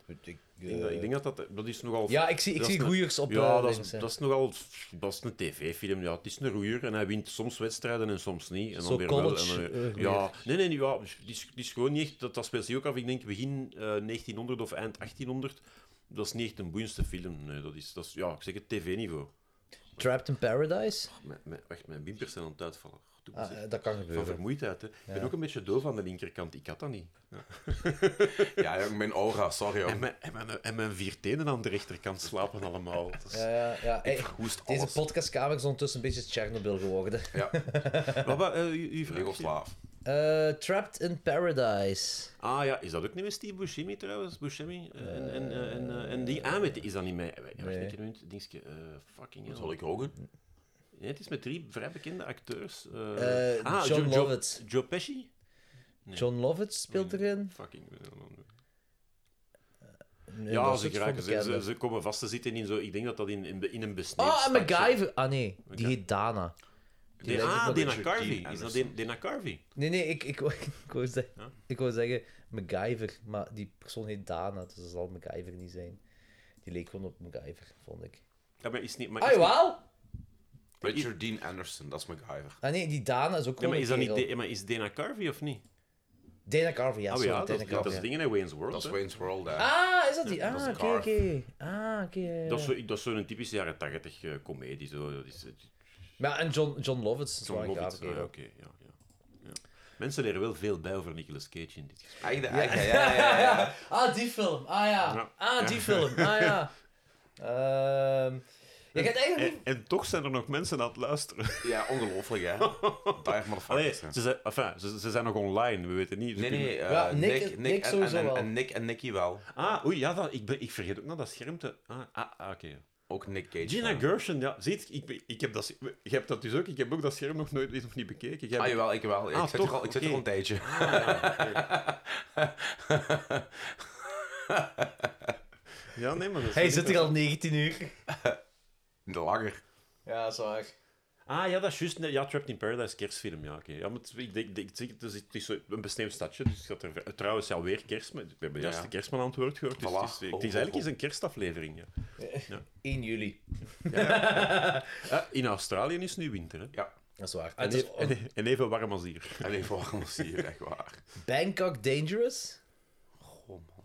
[SPEAKER 4] Ik denk dat, ik denk dat, dat dat is nogal...
[SPEAKER 3] eh, Ja, ik zie, ik
[SPEAKER 4] dat
[SPEAKER 3] zie
[SPEAKER 4] is een-
[SPEAKER 3] roeiers op...
[SPEAKER 4] Ja,
[SPEAKER 3] eh,
[SPEAKER 4] dat is,
[SPEAKER 3] links, hè.
[SPEAKER 4] dat is nogal... Dat is een tv-film, ja. Het is een roeier en hij wint soms wedstrijden en soms niet. En dan
[SPEAKER 3] Zo
[SPEAKER 4] weer
[SPEAKER 3] college,
[SPEAKER 4] wel. En dan
[SPEAKER 3] eh,
[SPEAKER 4] weer-
[SPEAKER 3] roeier.
[SPEAKER 4] ja, nee, nee, ja, het is, het is gewoon niet echt... Dat, dat speelt zich ook af, ik denk, begin eh, 1900 of eind 1800. Dat is niet echt een boeiendste film. Nee, dat is, dat is ja, ik zeg het, tv-niveau.
[SPEAKER 3] Trapped in Paradise?
[SPEAKER 4] Mijn, mijn, echt, mijn wimpers zijn aan het uitvallen. Goed, ik moet
[SPEAKER 3] Ah,
[SPEAKER 4] zeggen.
[SPEAKER 3] eh, dat kan
[SPEAKER 4] van
[SPEAKER 3] gebeuren.
[SPEAKER 4] vermoeidheid. Hè. Ik ben
[SPEAKER 3] Ja.
[SPEAKER 4] ook een beetje doof aan de linkerkant. Ik had dat niet.
[SPEAKER 2] Ja, jong, mijn aura, sorry.
[SPEAKER 4] En
[SPEAKER 2] Jong.
[SPEAKER 4] mijn, en, mijn, en mijn vier tenen aan de rechterkant slapen allemaal. Dat is-
[SPEAKER 3] Ja, ja, ja. Hey,
[SPEAKER 2] Hoest
[SPEAKER 3] deze
[SPEAKER 2] alles.
[SPEAKER 3] podcastkamer is ondertussen een beetje Chernobyl geworden.
[SPEAKER 2] Ja,
[SPEAKER 4] Maar, wat, eh, u- uw vraagje?
[SPEAKER 2] Joegoslaaf.
[SPEAKER 3] Eh, Trapped in Paradise.
[SPEAKER 4] Ah ja, is dat ook niet met Steve Buscemi trouwens? Buscemi? Eh, En, en, eh, en, eh, en die aan met is dat niet mij? Wacht
[SPEAKER 3] Nee.
[SPEAKER 4] een keer, een minuut, dingetje. eh, fucking hell.
[SPEAKER 2] Zal ik Hogan?
[SPEAKER 4] Nee, het is met drie vrij bekende acteurs. eh
[SPEAKER 3] Eh, John Lovitz.
[SPEAKER 4] Joe, Pesci? Nee.
[SPEAKER 3] John Lovitz speelt erin.
[SPEAKER 4] Fucking. eh, man.
[SPEAKER 3] Nee, dat
[SPEAKER 4] Ja,
[SPEAKER 3] is
[SPEAKER 4] ze
[SPEAKER 3] iets
[SPEAKER 4] geraken.
[SPEAKER 3] voor
[SPEAKER 4] Ze, ze,
[SPEAKER 3] bekenden.
[SPEAKER 4] ze komen vast te zitten in zo. Ik denk dat dat in, in, de- in een besneeuwd
[SPEAKER 3] Oh, en
[SPEAKER 4] stadje-
[SPEAKER 3] MacGyver. Ah nee, die
[SPEAKER 4] Oké.
[SPEAKER 3] heet Dana. Die
[SPEAKER 4] Nee,
[SPEAKER 3] lijkt ook
[SPEAKER 4] ah,
[SPEAKER 3] nog
[SPEAKER 4] Dana
[SPEAKER 3] een-
[SPEAKER 4] Carvey. Is dat Den- Dana Carvey?
[SPEAKER 3] Nee, nee, ik, ik, wou- ik, wou zeggen,
[SPEAKER 4] Ja?
[SPEAKER 3] ik wou zeggen MacGyver, maar die persoon heet Dana, dus dat zal MacGyver niet zijn. Die leek gewoon op MacGyver, vond ik.
[SPEAKER 4] Ja, maar is niet. Maar
[SPEAKER 3] Ah,
[SPEAKER 4] is, niet-
[SPEAKER 3] wel?
[SPEAKER 2] Richard Dean Anderson, dat is MacGyver.
[SPEAKER 3] Ah nee, die Dana is ook
[SPEAKER 4] Ja,
[SPEAKER 3] gewoon
[SPEAKER 4] maar is dat
[SPEAKER 3] een
[SPEAKER 4] niet.
[SPEAKER 3] kerel.
[SPEAKER 4] De- Maar is Dana Carvey of niet?
[SPEAKER 3] Dana Carvey, ja,
[SPEAKER 4] Ah
[SPEAKER 3] sorry,
[SPEAKER 4] ja, dat,
[SPEAKER 3] Dana
[SPEAKER 4] dat,
[SPEAKER 3] Carvey,
[SPEAKER 4] is
[SPEAKER 3] ja.
[SPEAKER 4] dingen in Wayne's World.
[SPEAKER 2] Dat is
[SPEAKER 4] hè.
[SPEAKER 2] Wayne's World, hè.
[SPEAKER 3] Ah, is dat die?
[SPEAKER 2] dat
[SPEAKER 3] Ah,
[SPEAKER 2] is
[SPEAKER 3] oké,
[SPEAKER 2] een
[SPEAKER 3] oké.
[SPEAKER 2] carve.
[SPEAKER 3] Ah, oké. ja, ja,
[SPEAKER 4] Dat is,
[SPEAKER 3] ja.
[SPEAKER 4] zo, dat is zo'n typische jaren 80 eh, komedie. Zo. Dat is, eh,
[SPEAKER 3] Maar en John, John Lovitz is
[SPEAKER 4] John
[SPEAKER 3] wel een
[SPEAKER 4] Lovitz.
[SPEAKER 3] gave
[SPEAKER 4] Ah,
[SPEAKER 3] kerel.
[SPEAKER 4] oké, ja, ja, ja. Mensen leren wel veel bij over Nicolas Cage in dit gesprek.
[SPEAKER 2] Einde, einde, ja, ja, ja.
[SPEAKER 3] Ah, die film. Ah ja.
[SPEAKER 4] Ja.
[SPEAKER 3] Ah, die film. Ah ja. Ehm je gaat eigenlijk
[SPEAKER 4] En,
[SPEAKER 3] niet...
[SPEAKER 4] en toch zijn er nog mensen aan het luisteren.
[SPEAKER 2] Ja, ongelooflijk, hè. Daar
[SPEAKER 4] Allee,
[SPEAKER 2] motherfuckers. hè.
[SPEAKER 4] ze, zijn, enfin, ze, ze zijn nog online, we weten niet. Ze
[SPEAKER 2] Nee,
[SPEAKER 4] kunnen-
[SPEAKER 2] nee, eh,
[SPEAKER 3] Ja, Nick-
[SPEAKER 2] Nick, Nick,
[SPEAKER 3] Nick
[SPEAKER 2] en,
[SPEAKER 3] sowieso
[SPEAKER 2] en, en,
[SPEAKER 3] wel.
[SPEAKER 2] en Nick en Nicky wel.
[SPEAKER 4] Ah, oei, ja, dat, ik, ben, ik vergeet ook nog dat scherm te... Ah, ah, ah, oké.
[SPEAKER 2] Ook Nick Cage.
[SPEAKER 4] Gina
[SPEAKER 2] wel.
[SPEAKER 4] Gershon, ja, ziet, ik, ik heb dat... Je hebt dat dus ook, ik heb ook dat scherm nog nooit nog niet bekeken. Jij
[SPEAKER 2] Ah,
[SPEAKER 4] bent-
[SPEAKER 2] jawel, ik wel.
[SPEAKER 4] Ah,
[SPEAKER 2] ik zit er
[SPEAKER 4] toch?
[SPEAKER 2] al, ik zit er al een
[SPEAKER 4] Oké.
[SPEAKER 2] tijdje.
[SPEAKER 4] ja, nee, maar dat is
[SPEAKER 3] Hij
[SPEAKER 4] wel
[SPEAKER 3] zit er al 19 uur.
[SPEAKER 2] Langer.
[SPEAKER 3] Ja, dat is waar.
[SPEAKER 4] Ah, ja, dat is juist. Ja, Trapped in Paradise, kerstfilm, ja, oké. Ja, maar het, ik denk, ik denk, het is, het is zo een besneeuwd stadje, dus het gaat er... Trouwens, ja, weer kerstman. We hebben juist
[SPEAKER 2] Ja.
[SPEAKER 4] de kerstman aan het woord gehoord, dus
[SPEAKER 2] Voilà.
[SPEAKER 4] het is, het is
[SPEAKER 2] Ho, ho,
[SPEAKER 4] eigenlijk
[SPEAKER 2] ho.
[SPEAKER 4] eens een kerstaflevering, ja.
[SPEAKER 3] 1 juli.
[SPEAKER 4] Ah, in Australië is nu winter, hè.
[SPEAKER 2] Ja.
[SPEAKER 3] Dat is waar. Ah,
[SPEAKER 4] En,
[SPEAKER 3] het is
[SPEAKER 4] even- en, e- en even warm als hier.
[SPEAKER 2] En even anders hier, echt waar.
[SPEAKER 3] Bangkok Dangerous.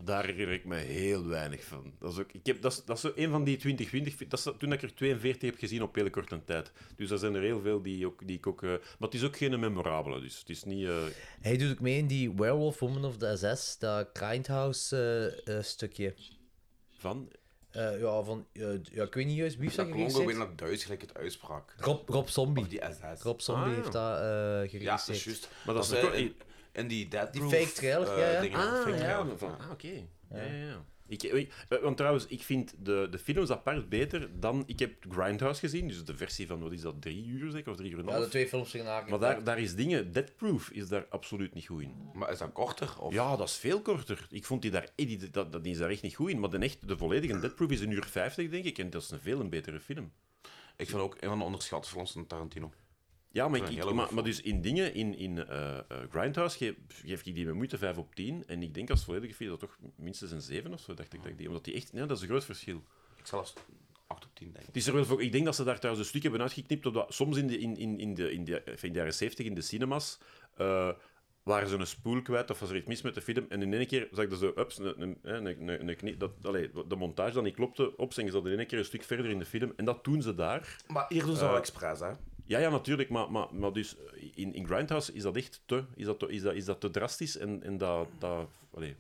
[SPEAKER 4] Daar herinner ik me heel weinig van. Dat is, ook, ik heb, dat is, dat is zo een van die 2020. Dat is dat- toen ik er 42 heb gezien op hele korte tijd. Dus dat zijn er heel veel die, ook, die ik ook. eh, maar het is ook geen memorabele, dus het is niet. eh,
[SPEAKER 3] Hij doet ook mee in die Werewolf Woman of the SS, dat Grindhouse eh, eh, stukje.
[SPEAKER 4] van.
[SPEAKER 3] Eh, ja, van, eh, ja, ik weet niet juist wie
[SPEAKER 2] Dat
[SPEAKER 3] dat
[SPEAKER 2] klonk ook weer
[SPEAKER 3] geregisseerd.
[SPEAKER 2] naar Duits, gelijk het uitsprak.
[SPEAKER 3] Rob, Rob Zombie.
[SPEAKER 2] Of die SS.
[SPEAKER 3] Rob Zombie
[SPEAKER 4] Ah, ja.
[SPEAKER 3] heeft dat eh
[SPEAKER 2] Ja, dat is
[SPEAKER 3] geregisseerd.
[SPEAKER 2] juist.
[SPEAKER 4] Maar dat is
[SPEAKER 2] eh,
[SPEAKER 4] ook-
[SPEAKER 2] in, in die Dead eh,
[SPEAKER 3] Die fake trailer, ja, ja.
[SPEAKER 4] Ah, ja, van, ah oké. Ja, ja, ja. Ik, ik- eh, want trouwens, ik vind de, de films apart beter dan. Ik heb Grindhouse gezien, dus de versie van wat is dat, drie uur zeker? Of drie uur en een
[SPEAKER 3] Ja, de
[SPEAKER 4] half?
[SPEAKER 3] twee films zijn aangepakt.
[SPEAKER 4] maar daar, daar is dingen. Deadproof is daar absoluut niet goed in.
[SPEAKER 2] Maar is dat korter? Of?
[SPEAKER 4] Ja, dat is veel korter. Ik vond die daar, eh, die, dat, dat die is daar echt niet goed in. Maar de, echt, de volledige Deadproof is een uur 50, denk ik. En dat is een veel een betere film.
[SPEAKER 2] Ik vind ook een van de onderschatte films van Tarantino.
[SPEAKER 4] Ja, maar,
[SPEAKER 2] Dat is een
[SPEAKER 4] ik, ik-
[SPEAKER 2] hele
[SPEAKER 4] maar,
[SPEAKER 2] goeie
[SPEAKER 4] maar dus in dingen, in, in eh, eh, Grindhouse, geef, geef ik die met moeite 5 op 10. En ik denk als volledige film dat toch minstens een 7 of zo, dacht ik. Dat ik die, omdat die echt, ja, dat is een groot verschil.
[SPEAKER 2] Ik zelfs 8 op 10, denk ik.
[SPEAKER 4] Het is er wel voor, ik denk dat ze daar trouwens een stuk hebben uitgeknipt. Omdat soms in de, in, in, in de, in de, in de jaren 70 in de cinemas eh, waren ze een spoel kwijt of was er iets mis met de film. En in één keer zag ik er zo ups, een, een, hè, een, een, een knie- dat, allee, de montage dan niet klopte. Op zijn ze dat in één keer een stuk verder in de film. En dat doen ze daar.
[SPEAKER 2] Maar hier doen ze wel expres, Eh, hè.
[SPEAKER 4] Ja, ja, natuurlijk, maar, maar, maar dus eh, in, in Grindhouse is dat echt te, is dat te, is dat, is dat te drastisch en, en dat, dat allee,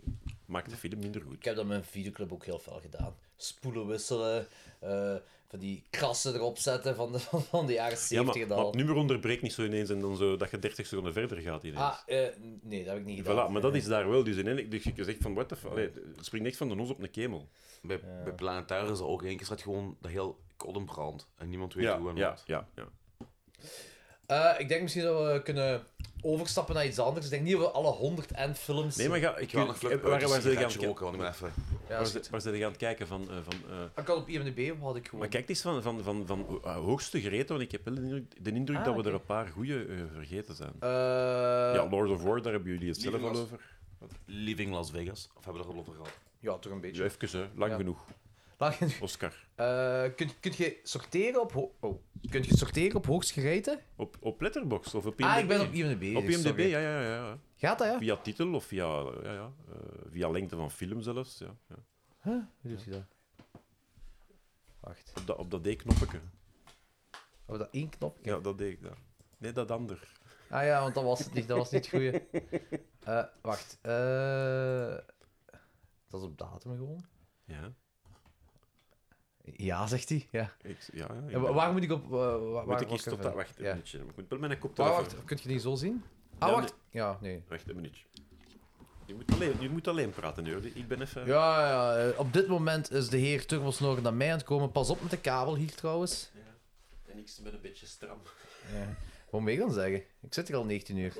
[SPEAKER 4] maakt de film minder goed.
[SPEAKER 3] Ik heb dat met mijn videoclub ook heel veel gedaan. Spoelen wisselen, eh, van die krassen erop zetten van de, van de jaren 70
[SPEAKER 4] Ja, maar,
[SPEAKER 3] en
[SPEAKER 4] maar
[SPEAKER 3] al.
[SPEAKER 4] het nummer onderbreekt niet zo ineens en dan zo, dat je 30 seconden verder gaat ineens.
[SPEAKER 3] Ah, eh, nee, dat heb ik niet gedaan.
[SPEAKER 4] Voilà, maar dat is daar wel. Dus in één dus je zegt van, what the fuck, allee, het springt echt van de nos op een kemel.
[SPEAKER 2] Bij, bij Planetaire is er ook één keer staat gewoon dat heel kolom brandt. En niemand weet hoe
[SPEAKER 4] Ja,
[SPEAKER 2] en
[SPEAKER 4] ja,
[SPEAKER 2] wat.
[SPEAKER 4] ja, ja.
[SPEAKER 3] Eh, ik denk misschien dat we kunnen overstappen naar iets anders. Ik denk niet dat we alle 100 films...
[SPEAKER 4] Nee, maar ga, ik,
[SPEAKER 2] Ik wil nog
[SPEAKER 4] eh,
[SPEAKER 2] vlug
[SPEAKER 4] waar, waar, zijn jullie
[SPEAKER 2] gaan
[SPEAKER 4] aan, het
[SPEAKER 2] roken, want ik ben even...
[SPEAKER 4] ki-
[SPEAKER 3] Ja,
[SPEAKER 4] waar
[SPEAKER 3] is
[SPEAKER 4] zijn-
[SPEAKER 3] goed.
[SPEAKER 4] waar zijn jullie aan het kijken van... eh, van eh,
[SPEAKER 3] ik had op IMDb had ik gewoon...
[SPEAKER 4] maar kijk, het is van, van, van, van eh, hoogste gereden, want ik heb wel de indruk, de indruk
[SPEAKER 3] Ah,
[SPEAKER 4] dat we
[SPEAKER 3] oké.
[SPEAKER 4] er een paar goede vergeten zijn.
[SPEAKER 3] Eh,
[SPEAKER 4] ja,
[SPEAKER 3] ja.
[SPEAKER 4] Lord of War, daar hebben jullie het
[SPEAKER 2] die
[SPEAKER 4] zelf al
[SPEAKER 2] was-
[SPEAKER 4] over.
[SPEAKER 2] Leaving Las Vegas. Of hebben we er al over gehad?
[SPEAKER 3] toch een beetje.
[SPEAKER 4] Ja, even, hè. lang
[SPEAKER 3] Ja.
[SPEAKER 4] genoeg.
[SPEAKER 3] Laat-
[SPEAKER 4] Oscar.
[SPEAKER 3] Eh, kunt, kunt je sorteren op... ho- oh. Kunt je sorteren op hoogst gereten?
[SPEAKER 4] Op, op Letterboxd of op IMDb?
[SPEAKER 3] Ah, ik ben op IMDb.
[SPEAKER 4] Op IMDb,
[SPEAKER 3] sorry.
[SPEAKER 4] ja, ja, ja, ja.
[SPEAKER 3] Gaat dat, ja?
[SPEAKER 4] Via titel of via, ja, ja, eh, via lengte van film zelfs. Ja, ja.
[SPEAKER 3] Hoe doet hij dat? Wacht.
[SPEAKER 4] Op dat, op dat D-knoppetje.
[SPEAKER 3] Of dat één knop?
[SPEAKER 4] Ja, dat deed ik dan. Nee, dat ander.
[SPEAKER 3] Ah ja, want dat was het niet. Dat was niet het goede. Eh, wacht. eh, dat is op datum gewoon.
[SPEAKER 4] Ja,
[SPEAKER 3] Ja, zegt hij. Ja.
[SPEAKER 4] ik, ja, ja, ik
[SPEAKER 3] En wa-
[SPEAKER 4] ben-
[SPEAKER 3] waar moet ik op... eh, wa- waar,
[SPEAKER 4] Moet
[SPEAKER 3] waar
[SPEAKER 4] ik eens
[SPEAKER 3] even-
[SPEAKER 4] tot dat... Wacht een
[SPEAKER 3] Ja.
[SPEAKER 4] minuutje. Ik moet wel mijn
[SPEAKER 3] Ah,
[SPEAKER 4] koptelefoon...
[SPEAKER 3] wacht, kun je die zo zien? Ah,
[SPEAKER 4] Ja,
[SPEAKER 3] wacht. Ja, nee.
[SPEAKER 4] Wacht een minuutje. Je moet alleen, je moet alleen praten, Jordi. Ik ben even...
[SPEAKER 3] Ja, ja, eh, op dit moment is de heer Turbosnoren naar mij aan het komen. Pas op met de kabel hier trouwens.
[SPEAKER 4] En ik ben een beetje stram.
[SPEAKER 3] Ja. Wat moet ik dan zeggen? Ik zit hier al 19 uur.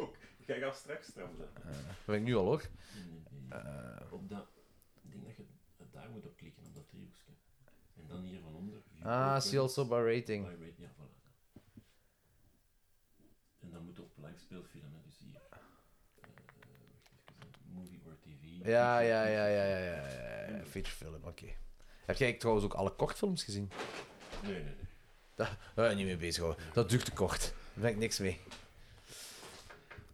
[SPEAKER 4] Jij gaat straks stram zijn.
[SPEAKER 3] Dat ben ik nu al hoor. Eh,
[SPEAKER 7] Op dat... Ik denk dat je het daar moet op klikken, op dat driehoekje. En dan hier van onder. view
[SPEAKER 3] Ah,
[SPEAKER 7] open,
[SPEAKER 3] see also by rating.
[SPEAKER 7] by rate, ja, voilà. En dan moet je op like speelfilmen, dus hier. Eh, wacht even, movie or TV.
[SPEAKER 3] Ja, ja, ja, ja, ja, ja. ja. Featurefilm, oké. Heb jij trouwens ook alle kortfilms gezien?
[SPEAKER 7] Nee, nee, nee.
[SPEAKER 3] Eh, niet mee bezig hoor. Dat duurt te kort. Daar ben ik niks mee.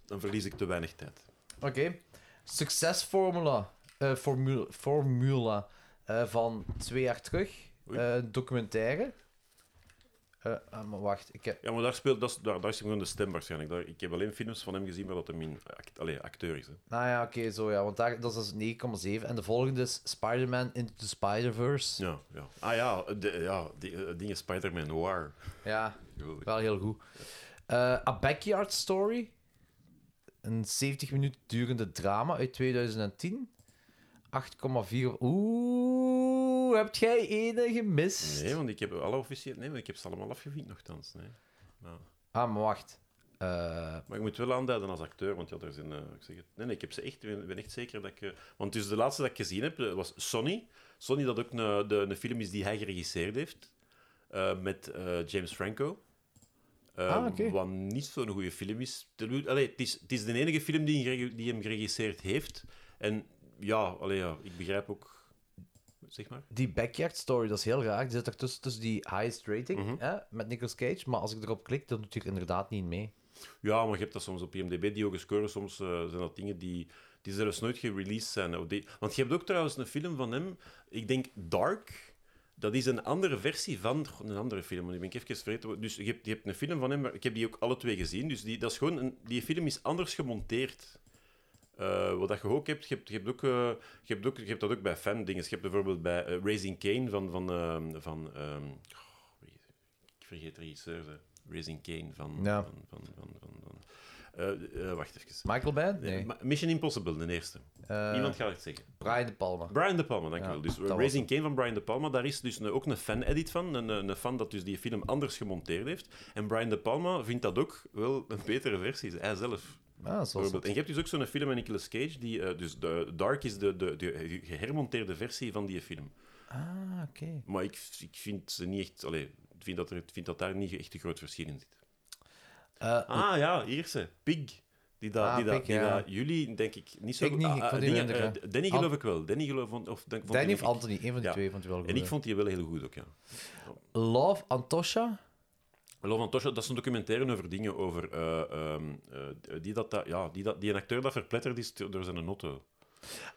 [SPEAKER 4] Dan verlies ik te weinig tijd.
[SPEAKER 3] Oké. Succesformula. eh formule, formula eh, van twee jaar terug.
[SPEAKER 4] Oei.
[SPEAKER 3] Eh, documentaire. Eh, ah, maar wacht, ik heb...
[SPEAKER 4] Ja, maar daar, speelt, dat is, daar, daar is hem gewoon de stem waarschijnlijk. Daar, ik heb alleen films van hem gezien waar dat hem in act, allee, acteur is. Hè.
[SPEAKER 3] Nou ja, oké, zo ja. Want daar, dat is dus 9,7. En de volgende is Spider-Man Into the Spider-Verse.
[SPEAKER 4] Ja, ja. Ah ja, de, ja die eh, dingen Spider-Man Noir.
[SPEAKER 3] ja.
[SPEAKER 4] Geweldig.
[SPEAKER 3] Wel heel goed. Eh, A Backyard Story. Een 70 minuten durende drama uit 2010. 8,4. Oeh, hebt jij ene gemist?
[SPEAKER 4] Nee, want ik heb alle officiële... Nee, want ik heb ze allemaal afgevinkt nogthans. Nee. Maar,
[SPEAKER 3] Ah, maar wacht. Eh,
[SPEAKER 4] maar ik moet wel aanduiden als acteur, want ja, daar zijn... eh, ik zeg het, nee, nee, ik heb ze echt... Ik ben- ben echt zeker dat ik... eh, want dus de laatste dat ik gezien heb, eh, was Sonny. Sonny, dat ook een, de, een film is die hij geregisseerd heeft. eh, met eh, James Franco. Eh,
[SPEAKER 3] Ah, oké.
[SPEAKER 4] Wat niet zo'n goede film is. Te- Allee, het is. Het is de enige film die, hem gereg- die hem geregisseerd heeft. En ja, allee, ja, ik begrijp ook... Zeg maar.
[SPEAKER 3] die Backyard Story, dat is heel raar. Die zit er tussen, tussen die highest rating
[SPEAKER 4] Mhm.
[SPEAKER 3] hè, met Nicolas Cage. Maar als ik erop klik, dan doet hij er inderdaad niet mee.
[SPEAKER 4] Ja, maar je hebt dat soms op IMDb, die hoge scores, soms eh, zijn dat dingen die, die zelfs nooit gereleased zijn. Of die- want je hebt ook trouwens een film van hem, ik denk Dark, dat is een andere versie van goh, een andere film, want ik ben even vergeten. wat- Dus je hebt, je hebt een film van hem, maar ik heb die ook alle twee gezien, dus die, dat is gewoon een, die film is anders gemonteerd. Eh, wat dat je ook hebt, je hebt, je hebt, ook, eh, je hebt, ook, je hebt dat ook bij fan-dingen. Je hebt bijvoorbeeld bij eh, Raising Kane van... van, ehm, van ehm, goh, wie- ik vergeet de regisseur, hè. Raising Kane van...
[SPEAKER 3] Ja.
[SPEAKER 4] van, van, van, van, van- eh, eh, wacht even.
[SPEAKER 3] Michael Band? Nee.
[SPEAKER 4] Ma- Mission Impossible, de eerste.
[SPEAKER 3] Eh,
[SPEAKER 4] Niemand gaat het zeggen.
[SPEAKER 3] Brian De Palma.
[SPEAKER 4] Brian De Palma, dankjewel.
[SPEAKER 3] Ja,
[SPEAKER 4] dus
[SPEAKER 3] dat was
[SPEAKER 4] Raising Kane van Brian De Palma, daar is dus een- ook een fan-edit van. Een, een een fan dat dus die film anders gemonteerd heeft. En Brian De Palma vindt dat ook wel een betere versie. Hij zelf.
[SPEAKER 3] Ah, zoals
[SPEAKER 4] Bijvoorbeeld. En je hebt dus ook zo'n film met Nicolas Cage, die, eh, dus de, Dark is de, de, de gehermonteerde versie van die film.
[SPEAKER 3] Ah, oké.
[SPEAKER 4] Maar ik, ik vind ze niet echt, allee, ik vind dat, er, ik vind dat daar niet echt een groot verschil in zit.
[SPEAKER 3] Eh,
[SPEAKER 4] Ah ja, hier ze, Pig. Die dat,
[SPEAKER 3] Ah,
[SPEAKER 4] die dat,
[SPEAKER 3] Pig,
[SPEAKER 4] die
[SPEAKER 3] ja.
[SPEAKER 4] dat- jullie, denk ik, niet zo
[SPEAKER 3] Ik niet, ik
[SPEAKER 4] Ah, ah,
[SPEAKER 3] vond die
[SPEAKER 4] dingen,
[SPEAKER 3] minder,
[SPEAKER 4] eh,
[SPEAKER 3] hè.
[SPEAKER 4] Danny
[SPEAKER 3] An-
[SPEAKER 4] geloof ik wel. Danny geloof ik... Of, dan- vond
[SPEAKER 3] Danny
[SPEAKER 4] die
[SPEAKER 3] of
[SPEAKER 4] nog-
[SPEAKER 3] Anthony, een van die
[SPEAKER 4] Ja.
[SPEAKER 3] twee vond je wel goed.
[SPEAKER 4] En ik vond die wel heel goed ook, ja.
[SPEAKER 3] Love, Antosha.
[SPEAKER 4] Love van Tosha, dat is een documentaire over dingen, over eh, ehm, eh, die, dat, dat- ja, die, dat, die een acteur dat verpletterd is door zijn auto.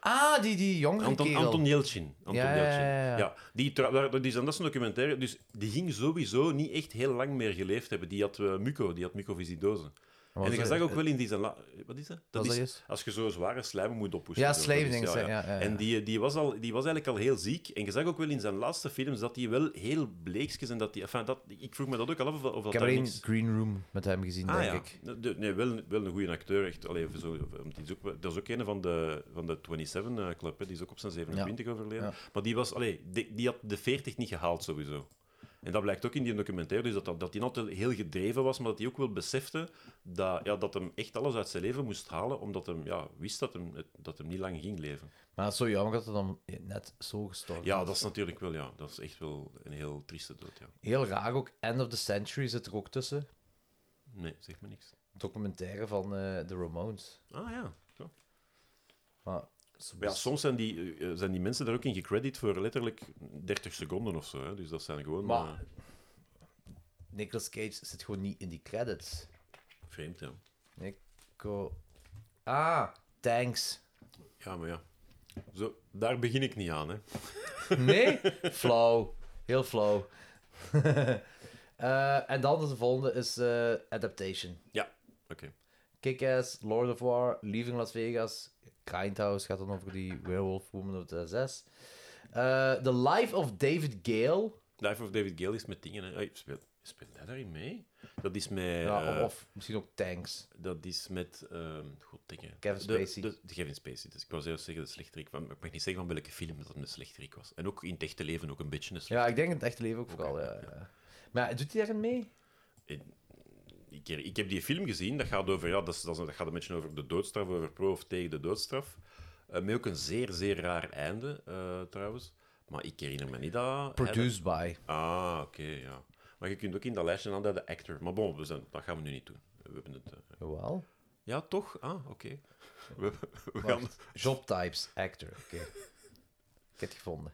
[SPEAKER 3] Ah, die, die jongere
[SPEAKER 4] Anton,
[SPEAKER 3] kerel.
[SPEAKER 4] Anton Jeltsin. Anton
[SPEAKER 3] Ja, ja, ja,
[SPEAKER 4] Jeltsin.
[SPEAKER 3] ja.
[SPEAKER 4] Ja, die, trouw- daar- dat is- en dat is een documentaire, dus die ging sowieso niet echt heel lang meer geleefd hebben. Die had eh, Muco, die had Muco Visidose. en je
[SPEAKER 3] dat-
[SPEAKER 4] zag ook wel in die zijn... la- Wat is dat?
[SPEAKER 3] Was
[SPEAKER 4] Dat is
[SPEAKER 3] dat eerst?
[SPEAKER 4] als je zo zware slijmen moet oppoetsen.
[SPEAKER 3] Ja,
[SPEAKER 4] zo, dat
[SPEAKER 3] slijmen,
[SPEAKER 4] is-
[SPEAKER 3] denk ik, ja, ja, ja.
[SPEAKER 4] En die, die, was al, die was eigenlijk al heel ziek. En je zag ook wel in zijn laatste films dat hij wel heel bleekjes en dat die... Enfin, dat, ik vroeg me dat ook al af of, of
[SPEAKER 3] Ik
[SPEAKER 4] dat
[SPEAKER 3] heb
[SPEAKER 4] daar
[SPEAKER 3] alleen
[SPEAKER 4] niks-
[SPEAKER 3] Green Room met hem gezien,
[SPEAKER 4] Ah,
[SPEAKER 3] denk
[SPEAKER 4] ja.
[SPEAKER 3] ik.
[SPEAKER 4] De- de- nee, wel, wel een goede acteur. Echt. Allee, even zo, want die is ook, wel- dat is ook een van de, van de 27 eh, Club. Hè. Die is ook op zijn 27 overleden.
[SPEAKER 3] Ja.
[SPEAKER 4] Maar die, was, allee, die, die had de 40 niet gehaald, sowieso. En dat blijkt ook in die documentaire. Dus dat- dat, dat hij altijd heel gedreven was, maar dat hij ook wel besefte dat, ja, dat hem echt alles uit zijn leven moest halen, omdat hij ja, wist dat hem, dat hem niet lang ging leven.
[SPEAKER 3] Maar het is zo jammer dat het dan net zo gestorven
[SPEAKER 4] Ja,
[SPEAKER 3] is.
[SPEAKER 4] dat is natuurlijk wel, ja, dat is echt wel een heel trieste dood. Ja.
[SPEAKER 3] Heel raar ook. End of the Century zit er ook tussen.
[SPEAKER 4] Nee, zeg maar niks.
[SPEAKER 3] Documentaire van eh The Ramones.
[SPEAKER 4] Ah ja, zo.
[SPEAKER 3] Maar,
[SPEAKER 4] Ja,
[SPEAKER 3] Dus-
[SPEAKER 4] soms zijn die, eh, zijn die mensen daar ook in gecredit voor letterlijk 30 seconden of zo. Hè? Dus dat zijn gewoon
[SPEAKER 3] Maar-
[SPEAKER 4] eh,
[SPEAKER 3] Nicolas Cage zit gewoon niet in die credits.
[SPEAKER 4] vreemd, ja.
[SPEAKER 3] Nico... Ah, thanks.
[SPEAKER 4] Ja, maar ja. Zo, daar begin ik niet aan, hè.
[SPEAKER 3] Nee? flauw. Heel flauw. Eh, en dan is de volgende is eh, Adaptation.
[SPEAKER 4] Ja, oké.
[SPEAKER 3] Kick-Ass, Lord of War, Leaving Las Vegas, Grindhouse gaat dan over die Werewolf Woman of the SS. Eh, The Life of David Gale.
[SPEAKER 4] Life of David Gale is met dingen. Hè. Ai, speelt, speelt hij daarin mee? Dat is met.
[SPEAKER 3] ja, of,
[SPEAKER 4] eh,
[SPEAKER 3] of misschien ook Tanks.
[SPEAKER 4] Dat is met. ehm, god, dingen.
[SPEAKER 3] Kevin
[SPEAKER 4] De-
[SPEAKER 3] Spacey.
[SPEAKER 4] De, de Kevin Spacey. Dus ik wou zelfs zeggen de slechterik. Van, maar ik mag niet zeggen van welke film dat een slechterik was. En ook in het echte leven ook een beetje een
[SPEAKER 3] Ja,
[SPEAKER 4] slechterik.
[SPEAKER 3] ik denk in het echte leven ook vooral. Ja, ja. Maar doet hij daarin mee?
[SPEAKER 4] Ik, ik heb die film gezien. Dat gaat, over, ja, dat, is- dat, is- dat gaat een beetje over de doodstraf, over pro of tegen de doodstraf. Eh, met ook een zeer, zeer raar einde, eh, trouwens. Maar ik herinner me niet dat...
[SPEAKER 3] Produced by.
[SPEAKER 4] Ah, oké, ja. Maar je kunt ook in dat lijstje aan de actor. Maar bon, we zijn, dat gaan we nu niet doen. We hebben het... eh,
[SPEAKER 3] Jawel.
[SPEAKER 4] ja, toch? Ah, oké. We, we gaan...
[SPEAKER 3] Wacht. Job types, actor. Oké. Ik heb het gevonden.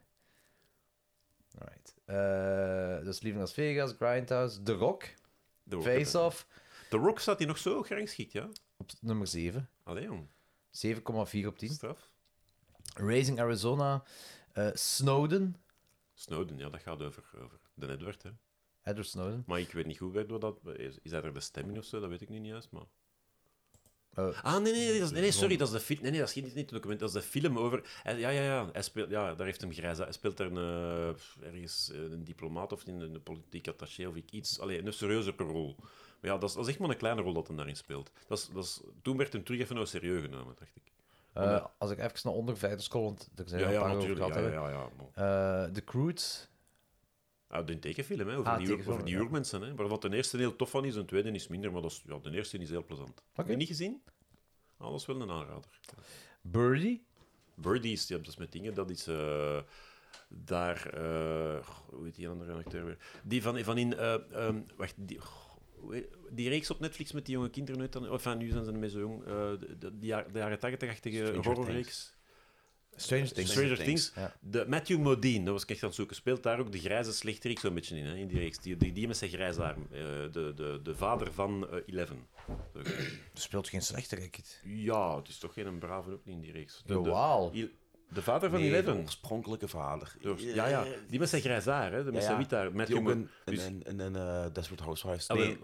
[SPEAKER 3] Alright. Eh, dus Leaving Las Vegas, Grindhouse, The Rock,
[SPEAKER 4] The Rock.
[SPEAKER 3] Face Off.
[SPEAKER 4] The Rock staat hier nog zo gerangschikt, ja?
[SPEAKER 3] Op nummer 7.
[SPEAKER 4] Allee, jong.
[SPEAKER 3] 7,4 op 10.
[SPEAKER 4] Straf.
[SPEAKER 3] Raising Arizona, eh, Snowden.
[SPEAKER 4] Snowden, ja, dat gaat over, over de Edward, hè.
[SPEAKER 3] Edward Snowden.
[SPEAKER 4] Maar ik weet niet goed waardoor dat... Is, is dat er de stem in of zo? Dat weet ik nu niet juist, maar...
[SPEAKER 3] Eh,
[SPEAKER 4] Ah, nee, nee, nee, dat is- nee, nee, sorry, dat is de film. Nee, nee, dat is niet, niet het document, dat is de film over... hij- ja, ja, ja, hij speelt, ja, daar heeft hem grijs. Hij speelt daar een, eh, ergens eh, een diplomaat of in een politiek attaché of ik iets. Allee, een serieuzere rol. Maar ja, dat is, dat is echt maar een kleine rol dat hij daarin speelt. Dat is, dat is, toen werd hem terug even nou serieus genomen, dacht ik.
[SPEAKER 3] eh, als ik even naar onder verder scroll, want er zijn
[SPEAKER 4] Oh, Ja,
[SPEAKER 3] er een paar
[SPEAKER 4] ja,
[SPEAKER 3] over
[SPEAKER 4] natuurlijk.
[SPEAKER 3] gehad.
[SPEAKER 4] Ja, ja,
[SPEAKER 3] hebben.
[SPEAKER 4] ja, ja, maar-
[SPEAKER 3] Eh, The Croods.
[SPEAKER 4] Ah, de tekenfilm, hè, over,
[SPEAKER 3] Ah,
[SPEAKER 4] die,
[SPEAKER 3] tekenfilm,
[SPEAKER 4] uur, over die
[SPEAKER 3] ja.
[SPEAKER 4] uurmensen. Hè, waarvan de eerste heel tof van is, en de tweede is minder. Maar dat is, ja, de eerste is heel plezant. Heb je niet gezien? Ah, dat is wel een aanrader.
[SPEAKER 3] Birdie.
[SPEAKER 4] Birdies, die hebben dus met dingen, dat is... eh, daar... eh, goh, hoe heet die andere acteur weer? Die van, van in... eh, ehm, wacht, die... goh, hoe heet- Die reeks op Netflix met die jonge kinderen uit, dan, enfin, nu zijn ze ermee zo jong, eh, de, de, die jaar- de jaren tachtig-achtige
[SPEAKER 2] Stranger
[SPEAKER 4] horrorreeks.
[SPEAKER 3] Stranger Things.
[SPEAKER 4] Stranger Things.
[SPEAKER 3] Ja.
[SPEAKER 4] De Matthew Modine, dat was ik echt aan het zoeken, speelt daar ook de grijze slechterik zo'n beetje in, hè, in die reeks. Die, die, die met zijn grijze arm. eh, de, de, de vader van eh, Eleven. Zo gezegd.
[SPEAKER 3] Er speelt geen slechte racket.
[SPEAKER 4] Ja, het is toch geen een brave ook niet in die reeks. De, de,
[SPEAKER 3] Jawel.
[SPEAKER 4] Il- de vader van
[SPEAKER 2] Nee, de
[SPEAKER 4] Eleven.
[SPEAKER 2] oorspronkelijke vader.
[SPEAKER 4] Door- Ja, ja. Die met zijn grijs haar, hè? De met
[SPEAKER 2] Eh, Ja,
[SPEAKER 4] zijn
[SPEAKER 2] ja.
[SPEAKER 4] wit haar. Met
[SPEAKER 2] Die ook
[SPEAKER 4] jongen.
[SPEAKER 2] een, en
[SPEAKER 4] Dus-
[SPEAKER 2] en, en, en eh, Desperate Housewives.
[SPEAKER 4] Ah, wel,
[SPEAKER 2] nee,